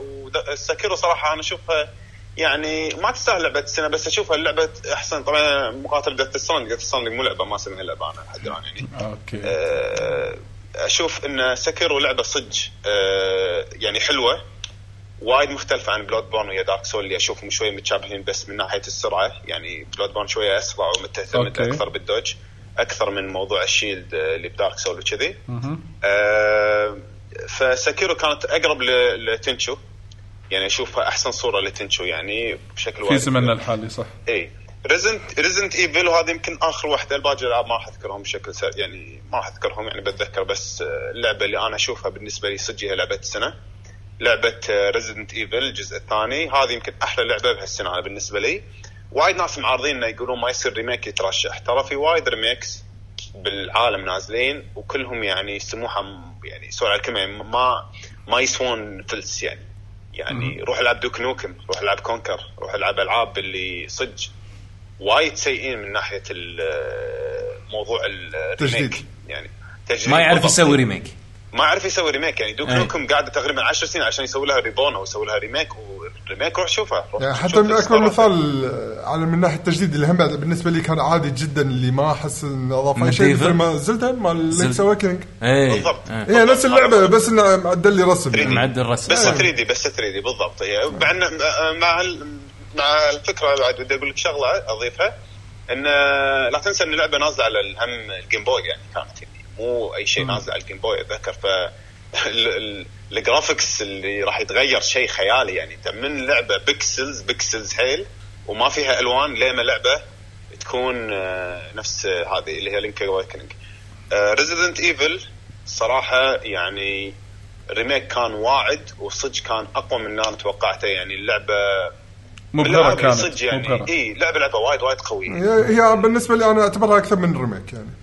Speaker 28: وسكيرو صراحه انا اشوفها يعني ما تستاهل لعبه السنه بس اشوفها لعبه احسن طبعا مقاتل ديث ستراند ديث ستراند مو لعبه ما اسمها لعبه انا لحد الان يعني
Speaker 7: اوكي
Speaker 28: آه، اشوف ان سكيرو لعبه صدق آه، يعني حلوه وايد مختلفه عن بلود بورن ويا دارك سول اللي اشوفهم شويه متشابهين بس من ناحيه السرعه يعني بلود بورن شويه اسرع ومتهتمت
Speaker 7: أوكي.
Speaker 28: اكثر بالدوج اكثر من موضوع الشيلد آه، اللي بدارك سول وكذي
Speaker 7: مهم.
Speaker 28: آه، فسكيرو كانت اقرب ل- لتنشو يعني اشوفها احسن صوره لتنشو يعني بشكل
Speaker 7: في
Speaker 28: وايد
Speaker 7: زمننا الحالي صح
Speaker 28: اي ريزنت ريزنت ايفل وهذا يمكن اخر واحده الباقي الالعاب ما راح اذكرهم بشكل سر يعني ما راح اذكرهم يعني بتذكر بس آه، اللعبه اللي انا اشوفها بالنسبه لي صدق هي لعبه السنه لعبه ريزنت ايفل آه، الجزء الثاني هذه يمكن احلى لعبه بهالسنه انا بالنسبه لي وايد ناس معارضين انه يقولون ما يصير ريميك يترشح ترى في وايد ريميكس بالعالم نازلين وكلهم يعني سموحه م- يعني سوري على الكلمه يعني ما ما يسوون فلس يعني يعني روح العب دوك نوكم روح العب كونكر روح العب العاب اللي صدق وايد سيئين من ناحيه ال- موضوع
Speaker 16: تجديد.
Speaker 28: الريميك يعني تجديد
Speaker 8: ما يعرف
Speaker 28: بالضبط.
Speaker 8: يسوي إيه. ريميك
Speaker 28: ما عرف يسوي ريميك يعني دوك
Speaker 8: أي.
Speaker 28: نوكم قاعده تقريبا 10 سنين عشان يسوي لها ريبون او يسوي لها ريميك وريميك روح شوفها روح
Speaker 16: يعني
Speaker 28: شوف
Speaker 16: حتى من
Speaker 28: القصة.
Speaker 16: اكبر مثال آه، على من ناحيه التجديد اللي هم بعد بالنسبه لي كان عادي جدا اللي ما احس انه اضاف
Speaker 8: من
Speaker 16: أي شيء مثل
Speaker 8: ديفل؟
Speaker 16: ما زلدا مال
Speaker 8: زلدة.
Speaker 16: لينكس اوكينج
Speaker 8: إيه. بالضبط.
Speaker 16: هي نفس اللعبه بس انه معدل لي رسم
Speaker 28: 3D.
Speaker 8: معدل الرسم
Speaker 28: بس 3 دي بس 3 دي بالضبط هي طيب. مع إن- مع ال- مع الفكره بعد بدي اقول لك شغله اضيفها ان لا تنسى ان اللعبه نازله على الهم الجيم بوي يعني كانت يعني مو اي شيء نازل على الجيم بوي اتذكر ف ال- ال- الجرافكس اللي راح يتغير شيء خيالي يعني انت من لعبه بيكسلز بيكسلز حيل وما فيها الوان لما لعبه تكون آه، نفس آه، هذه اللي هي آه، لينك اويكننج ريزيدنت ايفل صراحه يعني الريميك كان واعد وصدق كان اقوى من اللي انا توقعته يعني اللعبه
Speaker 7: مبهره
Speaker 28: اللعبة
Speaker 7: كانت
Speaker 28: صدق يعني
Speaker 7: مبهره
Speaker 28: اي لعبه لعبه وايد وايد قويه
Speaker 16: هي هي بالنسبه لي انا اعتبرها اكثر من ريميك يعني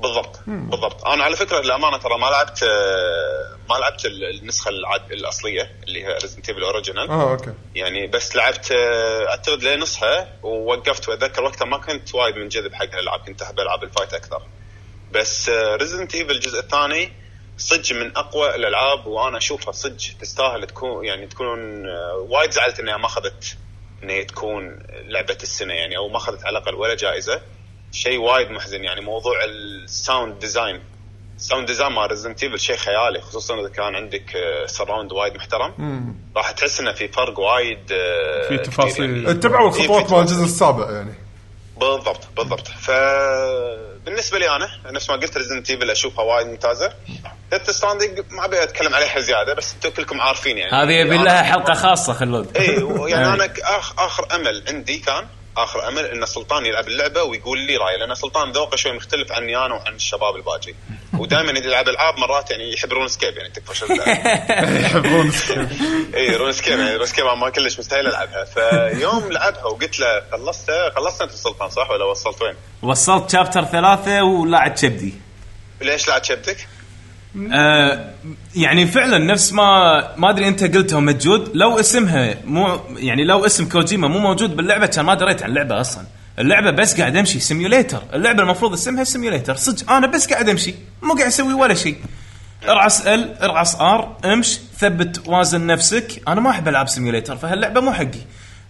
Speaker 28: بالضبط بالضبط انا على فكره للامانه ترى ما لعبت آه، ما لعبت ال- النسخه العاد- الاصليه اللي هي ريزنت ايفل اوريجينال
Speaker 16: اه اوكي
Speaker 28: يعني بس لعبت آه، اعتقد لنصها ووقفت واتذكر وقتها ما كنت وايد منجذب حق الالعاب كنت احب العاب الفايت اكثر بس ريزدنت ايفل الجزء الثاني صدق من اقوى الالعاب وانا اشوفها صدق تستاهل تكون يعني تكون آه، وايد زعلت انها ما اخذت ان هي تكون لعبه السنه يعني او ما اخذت على الاقل ولا جائزه شيء وايد محزن يعني موضوع الساوند ديزاين الساوند ديزاين مال ريزدنت ايفل شيء خيالي خصوصا اذا كان عندك سراوند وايد محترم راح تحس انه في فرق وايد آه،
Speaker 7: في
Speaker 28: كتير
Speaker 7: تفاصيل
Speaker 16: اتبعوا
Speaker 28: إيه، في
Speaker 16: الخطوات مال الجزء السابع يعني
Speaker 28: بالضبط بالضبط فبالنسبه لي انا نفس ما قلت ريزنت ايفل اشوفها وايد ممتازه ديث ستراندنج ما ابي اتكلم عليها زياده بس انتم كلكم عارفين يعني
Speaker 8: هذه يبي لها حلقه خاصه خلود
Speaker 28: اي
Speaker 8: إيه.
Speaker 3: إيه.
Speaker 28: يعني انا ك- آخ اخر امل عندي كان اخر امل ان سلطان يلعب اللعبه ويقول لي رايه لان سلطان ذوقه شوي مختلف عني انا وعن الشباب الباجي ودائما اذا يلعب العاب مرات يعني يحب رون سكيب يعني تكفى شو
Speaker 7: يحبون
Speaker 28: اي رون سكيب يعني رون سكيب ما كلش مستحيل العبها فيوم لعبها وقلت له خلصتها خلصت انت سلطان صح ولا وصلت وين؟
Speaker 8: وصلت شابتر ثلاثه ولاعب كبدي
Speaker 28: ليش لا شبتك؟
Speaker 8: آه يعني فعلا نفس ما ما ادري انت قلتها مجود لو اسمها مو يعني لو اسم كوجيما مو موجود باللعبه كان ما دريت عن اللعبه اصلا اللعبه بس قاعد امشي سيميوليتر اللعبه المفروض اسمها سيميوليتر صدق انا بس قاعد امشي مو قاعد اسوي ولا شيء ارعس ال ارعس ار امش ثبت وازن نفسك انا ما احب العاب سيميوليتر فهاللعبه مو حقي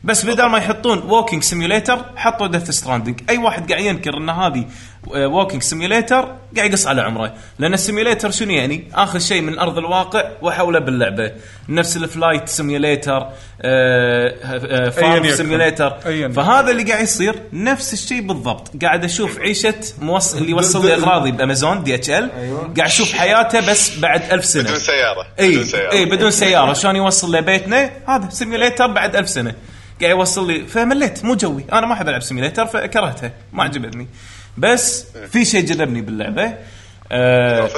Speaker 8: بس بدل ما يحطون ووكينج سيميوليتر حطوا ديث ستراندنج اي واحد قاعد ينكر ان هذه ووكينج سيميوليتر قاعد يقص على عمره لان السيميوليتر شنو يعني اخذ شيء من ارض الواقع واحوله باللعبه نفس آه، الفلايت سيميوليتر آه، فارم
Speaker 7: يكن.
Speaker 8: سيميوليتر فهذا اللي قاعد يصير نفس الشيء بالضبط قاعد اشوف عيشه موصل اللي يوصل لي اغراضي بامازون دي اتش ال قاعد اشوف حياته بس بعد ألف سنه
Speaker 28: بدون سياره
Speaker 8: اي اي بدون سياره شلون يوصل لبيتنا هذا سيميوليتر بعد ألف سنه قاعد يوصل لي فمليت مو جوي انا ما احب العب سيميوليتر فكرهته ما عجبتني بس في شيء جذبني باللعبه آه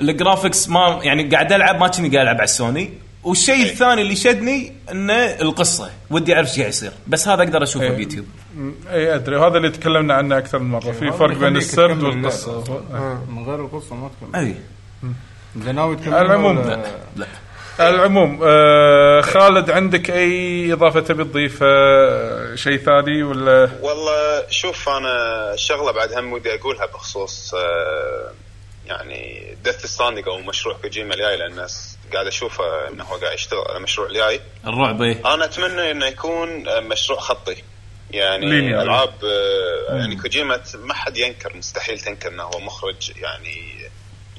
Speaker 8: الجرافكس ما يعني قاعد العب ما كني قاعد العب على السوني والشيء الثاني اللي شدني انه القصه ودي اعرف ايش قاعد يصير بس هذا اقدر اشوفه بيوتيوب
Speaker 7: اي ادري هذا إيه، اللي تكلمنا عنه اكثر من مره
Speaker 19: إيه،
Speaker 7: في فرق بين السرد آه. والقصه
Speaker 19: آه، من غير القصه ما تكمل
Speaker 8: اي
Speaker 19: انت ناوي تكمل
Speaker 7: على العموم
Speaker 19: ولا-
Speaker 7: على العموم آه خالد عندك اي اضافه تبي تضيفها آه، شيء ثاني ولا
Speaker 28: والله شوف انا شغله بعد هم ودي اقولها بخصوص آه، يعني دث ستاندينج او مشروع كوجيما الجاي لان الناس قاعد اشوفه انه هو قاعد يشتغل على مشروع الجاي
Speaker 8: الرعب إيه.
Speaker 28: انا اتمنى انه يكون آه، مشروع خطي يعني
Speaker 7: Linear.
Speaker 28: العاب آه،
Speaker 7: مم.
Speaker 28: يعني كوجيما ت- ما حد ينكر مستحيل تنكر انه هو مخرج يعني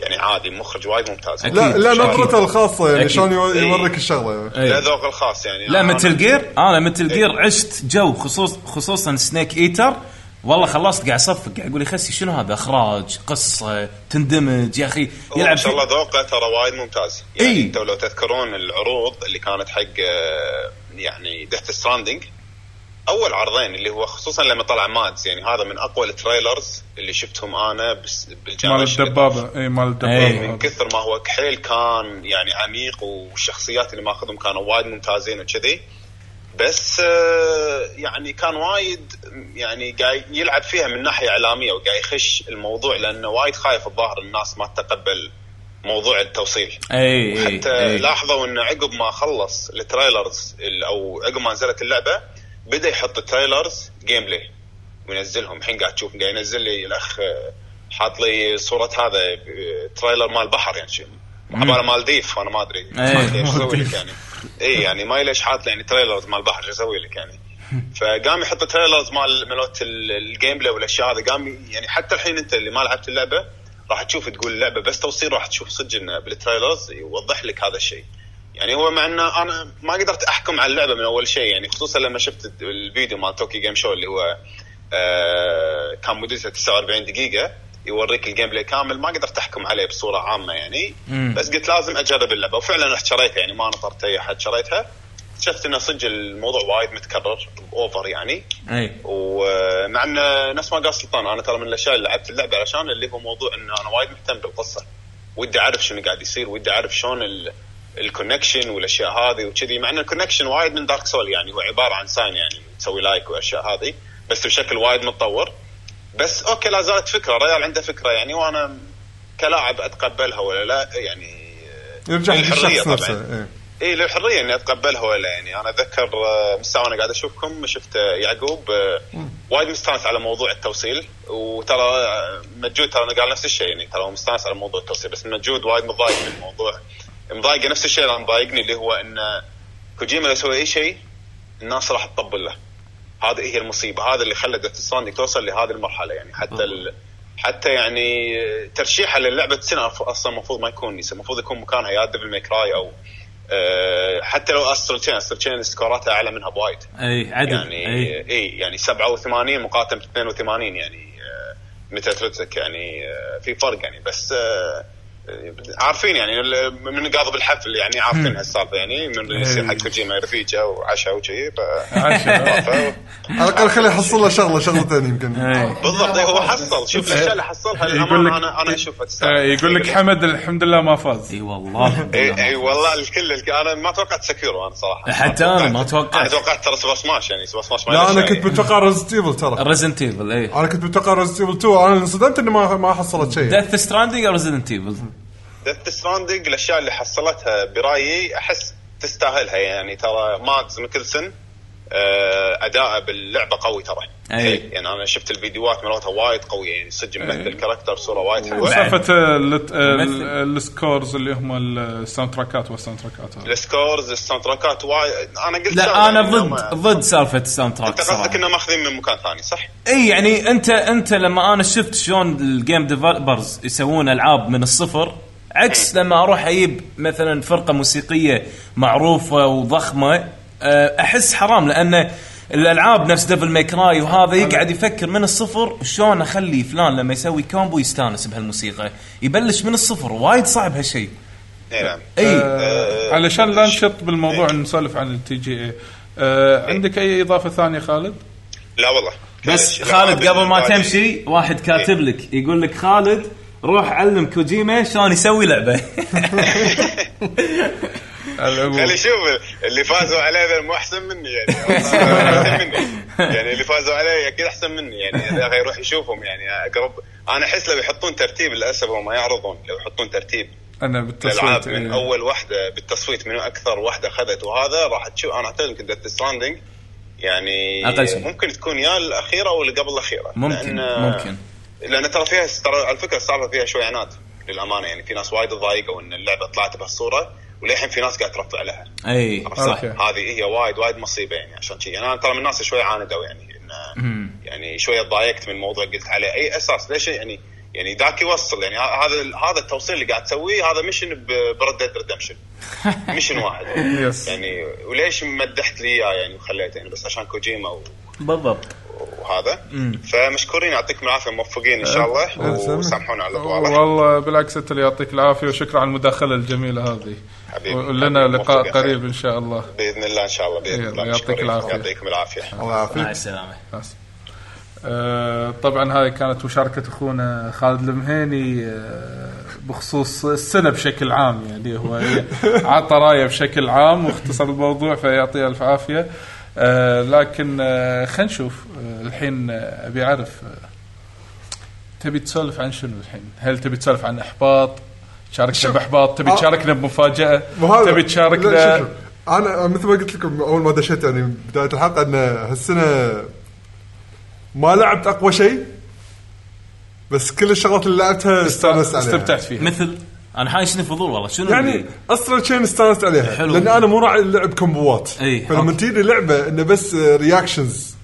Speaker 28: يعني عادي مخرج وايد ممتاز
Speaker 16: لا لا
Speaker 28: أكيد.
Speaker 16: نظرته الخاصه يعني
Speaker 28: أكيد. إيه.
Speaker 16: شلون يو-
Speaker 28: إي.
Speaker 16: يوريك الشغله يعني.
Speaker 28: لا ذوق الخاص يعني
Speaker 8: إيه. لا
Speaker 28: أنا- إيه.
Speaker 8: متل جير انا متل جير عشت جو خصوص خصوصا سنيك ايتر والله خلصت قاعد اصفق قاعد اقول يا خسي شنو هذا اخراج قصه تندمج يا اخي
Speaker 28: هو
Speaker 8: يلعب
Speaker 28: ما
Speaker 8: في
Speaker 28: شاء الله ذوقه ترى وايد ممتاز يعني إيه؟ انتم لو تذكرون العروض اللي كانت حق آه، يعني ديث ستراندنج اول عرضين اللي هو خصوصا لما طلع مادز يعني هذا من اقوى التريلرز اللي شفتهم انا بس
Speaker 7: مال
Speaker 28: بالجامعه
Speaker 7: الدبابه اي مال
Speaker 10: إيه.
Speaker 28: يعني
Speaker 7: الدبابه
Speaker 28: من
Speaker 7: هذا.
Speaker 28: كثر ما هو كحيل كان يعني عميق والشخصيات اللي ماخذهم كانوا وايد ممتازين وكذي بس آه، يعني كان وايد يعني قاعد يلعب فيها من ناحيه اعلاميه وقاعد يخش الموضوع لانه وايد خايف الظاهر الناس ما تتقبل موضوع التوصيل
Speaker 8: اي
Speaker 5: إيه،
Speaker 8: اي
Speaker 28: حتى
Speaker 8: اي.
Speaker 28: آه، لاحظوا انه عقب ما خلص التريلرز ال- او عقب ما نزلت اللعبه بدا يحط التريلرز جيم بلاي وينزلهم الحين قاعد تشوف قاعد ينزل لي الاخ آه، حاط لي صوره هذا آه، تريلر مال بحر يعني شيء عباره مالديف انا ما ادري
Speaker 1: إيه.
Speaker 28: ما أدري ايش اسوي لك
Speaker 1: مالديف.
Speaker 28: يعني اي يعني ما ليش حاط لي يعني تريلرز مال بحر شو اسوي لك يعني فقام يحط تريلرز مال مالت ال- الجيم بلاي والاشياء هذه قام ي- يعني حتى الحين انت اللي ما لعبت اللعبه راح تشوف تقول اللعبه بس توصيل راح تشوف صدق انه بالتريلرز يوضح لك هذا الشيء يعني هو مع انه انا ما قدرت احكم على اللعبه من اول شيء يعني خصوصا لما شفت الد- الفيديو مال توكي جيم شو اللي هو آه كان مدته 49 دقيقه يوريك الجيم بلاي كامل ما قدرت احكم عليه بصوره عامه يعني
Speaker 1: مم.
Speaker 28: بس قلت لازم اجرب اللعبه وفعلا رحت شريتها يعني ما نطرت اي احد شريتها شفت انه صدق الموضوع وايد متكرر اوفر يعني
Speaker 8: اي
Speaker 28: ومع ان نفس ما قال سلطان انا ترى من الاشياء اللي لعبت اللعبه علشان اللي هو موضوع ان انا وايد مهتم بالقصه ودي اعرف شنو قاعد يصير ودي اعرف شلون ال- الكونكشن والاشياء هذه وكذي مع ان الكونكشن وايد من دارك سول يعني هو عباره عن ساين يعني تسوي لايك والاشياء هذه بس بشكل وايد متطور بس اوكي لا زالت فكره ريال عنده فكره يعني وانا كلاعب اتقبلها ولا لا يعني
Speaker 16: يرجع
Speaker 28: الحرية
Speaker 16: للشخص
Speaker 28: طبعاً.
Speaker 16: نفسه إيه. إي.
Speaker 28: اي للحريه اني اتقبلها ولا يعني انا اتذكر آه، من ساعه وانا قاعد اشوفكم شفت آه، يعقوب آه، وايد مستانس على موضوع التوصيل وترى آه، مجود ترى أنا قال نفس الشيء يعني ترى هو مستانس على موضوع التوصيل بس مجود وايد متضايق من الموضوع مضايقه نفس الشيء اللي أنا مضايقني اللي هو ان آه، كوجيما لو سوى اي شيء الناس راح تطبل له هذه هي المصيبه هذا اللي خلى ديث ستراندينج توصل لهذه المرحله يعني حتى ال... حتى يعني آه، ترشيحها للعبه سنه أف- اصلا المفروض ما يكون يس- المفروض يكون مكانها يا ديفل ماي كراي او آه، حتى لو استرال تشين استرال تشين سكوراتها اعلى منها بوايد
Speaker 8: اي عدد
Speaker 28: يعني
Speaker 8: اي
Speaker 28: اي يعني 87 مقاتل 82 يعني متى ترتك يعني آه، في فرق يعني بس آه، آه، عارفين يعني ال- من قاضب الحفل يعني عارفين هالسالفه يعني من اللي يصير حق كوجيما رفيجه وعشاء وشي ف
Speaker 16: على الاقل خليه يحصل له شغله شغلتين يمكن
Speaker 28: إيه. بالضبط هو حصل شوف الاشياء اللي حصلها
Speaker 7: يقول لك-
Speaker 28: للامانه انا انا اشوفها
Speaker 7: آه،
Speaker 28: تستاهل
Speaker 7: يقول لك حمد الحمد لله ما فاز
Speaker 8: اي والله
Speaker 28: اي اي والله الكل الكل- انا ما توقعت سكيرو انا صراحه
Speaker 8: حتى انا ما
Speaker 28: انا
Speaker 8: توقعت
Speaker 28: توقعت ترى سوبر سماش يعني سوبر سماش ما
Speaker 16: لا
Speaker 28: لها
Speaker 16: انا
Speaker 28: شيء.
Speaker 16: كنت متوقع ريزنت ايفل ترى
Speaker 8: ريزنت ايفل اي
Speaker 16: انا كنت متوقع ريزنت ايفل 2 انا انصدمت اني ما ما حصلت شيء
Speaker 8: ديث ستراندينج او ريزدنت ايفل
Speaker 28: ديث ستراندنج الاشياء اللي حصلتها برايي احس تستاهلها يعني ترى ماكس ميكلسن آه، اداءه باللعبه قوي ترى
Speaker 7: أي.
Speaker 28: يعني انا شفت الفيديوهات مالتها وايد قويه يعني صدق ممثل الكاركتر بصوره وايد حلوه
Speaker 7: سالفه ال- ال-
Speaker 28: ممثل.
Speaker 7: السكورز اللي هم الساوند تراكات والساوند تراكات هذا.
Speaker 28: السكورز الساوند تراكات وايد انا قلت شغلة
Speaker 8: لا انا
Speaker 28: يعني هم-
Speaker 8: ضد ضد سالفه الساوند تراك
Speaker 28: انت
Speaker 8: صراحه
Speaker 28: قصدك انه ماخذين من مكان ثاني صح؟
Speaker 8: اي يعني انت انت لما انا شفت شلون الجيم ديفلوبرز يسوون العاب من الصفر عكس لما اروح اجيب مثلا فرقه موسيقيه معروفه وضخمه أه، احس حرام لان الالعاب نفس ديفل ماي كراي وهذا يقعد يفكر من الصفر شلون اخلي فلان لما يسوي كومبو يستانس بهالموسيقى يبلش من الصفر وايد صعب هالشيء
Speaker 28: نعم
Speaker 7: آه علشان لا نشط بالموضوع نسولف عن التي جي اي آه عندك اي اضافه ثانيه خالد؟
Speaker 28: لا والله
Speaker 8: بس خالد قبل ما تمشي واحد كاتب لك يقول لك خالد روح علم كوجيما شلون يسوي لعبه
Speaker 28: خلي شوف اللي فازوا عليه ذا مو احسن مني يعني أحسن مني. يعني اللي فازوا عليه اكيد احسن مني يعني يا اخي روح يشوفهم يعني اقرب انا احس لو يحطون ترتيب للاسف هم ما يعرضون لو يحطون ترتيب
Speaker 10: انا
Speaker 28: الالعاب
Speaker 10: بالتصويت
Speaker 28: من
Speaker 10: إيه.
Speaker 28: اول واحده بالتصويت منو اكثر واحده اخذت وهذا راح تشوف انا اعتقد يمكن ديث ستراندنج يعني
Speaker 8: أقل شيء.
Speaker 28: ممكن تكون يا الاخيره او اللي قبل الاخيره
Speaker 8: ممكن
Speaker 28: لأن-
Speaker 8: ممكن
Speaker 28: لان ترى فيها ترى على فكره السالفه فيها شوي عناد للامانه يعني في ناس وايد تضايقوا ان اللعبه طلعت بهالصوره وللحين في ناس قاعد ترفع لها
Speaker 8: اي
Speaker 28: عرفت؟
Speaker 8: صح
Speaker 28: هذه هي وايد وايد مصيبه يعني عشان شي انا ترى من الناس اللي شوي عاندوا يعني
Speaker 8: مم.
Speaker 28: يعني شويه تضايقت من موضوع قلت عليه اي اساس ليش يعني يعني ذاك يوصل يعني ه- هذا هذا التوصيل اللي قاعد تسويه هذا ميشن ب- بريد ديد ريدمشن ميشن واحد
Speaker 10: Yes.
Speaker 28: يعني وليش مدحت لي اياه يعني وخليته يعني بس عشان كوجيما و-
Speaker 29: بالضبط
Speaker 28: وهذا
Speaker 29: مم.
Speaker 28: فمشكورين يعطيكم العافيه موفقين ان شاء الله
Speaker 10: أه،
Speaker 28: وسامحونا على طواله
Speaker 10: والله بالعكس انت اللي يعطيك العافيه وشكرا على المداخله الجميله هذه
Speaker 28: حبيبي.
Speaker 10: ولنا
Speaker 28: حبيبي،
Speaker 10: لقاء
Speaker 28: موفق يا
Speaker 10: قريب ان شاء الله
Speaker 28: باذن الله ان شاء الله باذن
Speaker 10: يلا،
Speaker 28: الله
Speaker 10: يعطيك
Speaker 28: مشكورين.
Speaker 10: العافية.
Speaker 28: يعطيكم العافيه
Speaker 8: مع السلامه
Speaker 10: آه، طبعا هاي كانت مشاركة اخونا خالد المهيني آه، بخصوص السنة بشكل عام يعني هو عطى رايه بشكل عام واختصر الموضوع فيعطيه الف عافية آه، لكن آه، خلينا نشوف آه، الحين آه، ابي اعرف آه، تبي تسولف عن شنو الحين؟ هل تبي تسولف عن احباط؟ تشاركنا باحباط؟ تبي
Speaker 16: آه.
Speaker 10: تشاركنا بمفاجأة؟
Speaker 16: وهذا- لا،
Speaker 10: تبي
Speaker 16: شوف،
Speaker 10: تشاركنا
Speaker 16: شوف. انا مثل ما قلت لكم اول ما دشيت يعني بدايه الحلقه ان هالسنه ما لعبت اقوى شيء بس كل الشغلات اللي لعبتها استانست عليها
Speaker 8: مثل انا حايشني فضول والله شنو
Speaker 16: يعني اسرع شيء استانست عليها
Speaker 8: حلو.
Speaker 16: لان انا مو راعي اللعب كومبوات
Speaker 8: إي،
Speaker 16: فلما
Speaker 8: أوكي.
Speaker 16: تجيني لعبه انه بس رياكشنز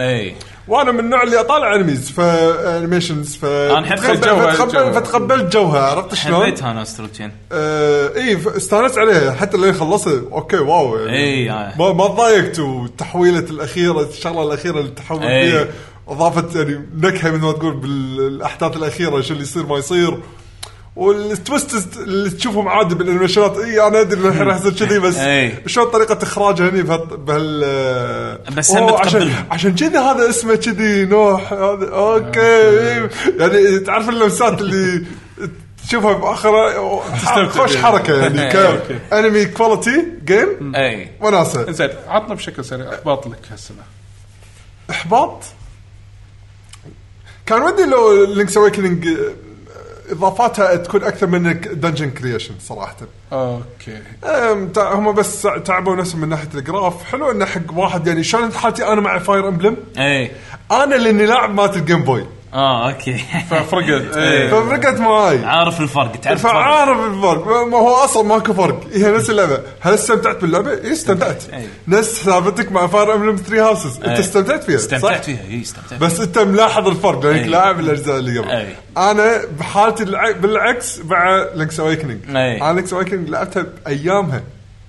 Speaker 8: اي
Speaker 16: وانا من النوع اللي اطالع انميز فانيميشنز ف
Speaker 8: أنا حبيت جوها، الجو.
Speaker 16: فتقبل فتقبلت جوها عرفت شلون؟
Speaker 8: حبيتها انا استرلتشين
Speaker 16: آه اي ف- استانست عليها حتى لين خلصت اوكي واو يعني
Speaker 8: إي، آه.
Speaker 16: ما ما تضايقت وتحويله الاخيره الشغله الاخيره اللي تحول
Speaker 8: إي.
Speaker 16: فيها اضافت يعني نكهه مثل ما تقول بالاحداث الاخيره شو اللي يصير ما يصير والتويست اللي تشوفهم عادي بالانيميشنات اي انا ادري إنه الحين راح يصير
Speaker 8: إيه.
Speaker 16: كذي بس
Speaker 8: إي.
Speaker 16: شلون طريقه اخراجها هني بهال- بهال آه،
Speaker 8: بس هم
Speaker 16: أوه، عشان
Speaker 8: متقبلها.
Speaker 16: عشان كذي هذا اسمه كذي نوح هذا اوكي
Speaker 8: إيه.
Speaker 16: إي. يعني تعرف اللمسات اللي تشوفها باخره خوش حركه يعني
Speaker 10: أوكي.
Speaker 16: انمي كواليتي جيم
Speaker 8: اي
Speaker 16: وناسه
Speaker 10: زين إيه. عطنا بشكل سريع احباط لك هالسنة
Speaker 16: احباط كان ودي لو لينكس اويكننج اضافاتها تكون اكثر من دنجن كريشن صراحه
Speaker 10: اوكي
Speaker 16: أم، تع- هم بس تعبوا نفسهم من ناحيه الجراف حلو انه حق واحد يعني شلون حالتي انا مع فاير امبلم
Speaker 8: اي
Speaker 16: انا لاني لاعب مات الجيم بوي
Speaker 8: اه اوكي
Speaker 10: ففرقت
Speaker 8: إي.
Speaker 16: ففرقت معاي
Speaker 8: عارف الفرق إيه. تعرف الفرق.
Speaker 16: فعارف الفرق ما هو اصلا ماكو فرق هي نفس اللعبه هل استمتعت باللعبه؟ اي استمتعت نفس سالفتك مع فاير امبلم 3 هاوسز انت
Speaker 8: إي.
Speaker 16: استمتعت فيها صح؟
Speaker 8: آه، استمتعت فيها اي استمتعت
Speaker 16: بس انت ملاحظ الفرق لانك
Speaker 8: أي.
Speaker 16: لاعب الاجزاء اللي قبل
Speaker 8: أي.
Speaker 16: انا بحالتي الع- بالعكس مع لينكس اويكننج
Speaker 8: أي.
Speaker 16: انا لينكس اويكننج لعبتها بايامها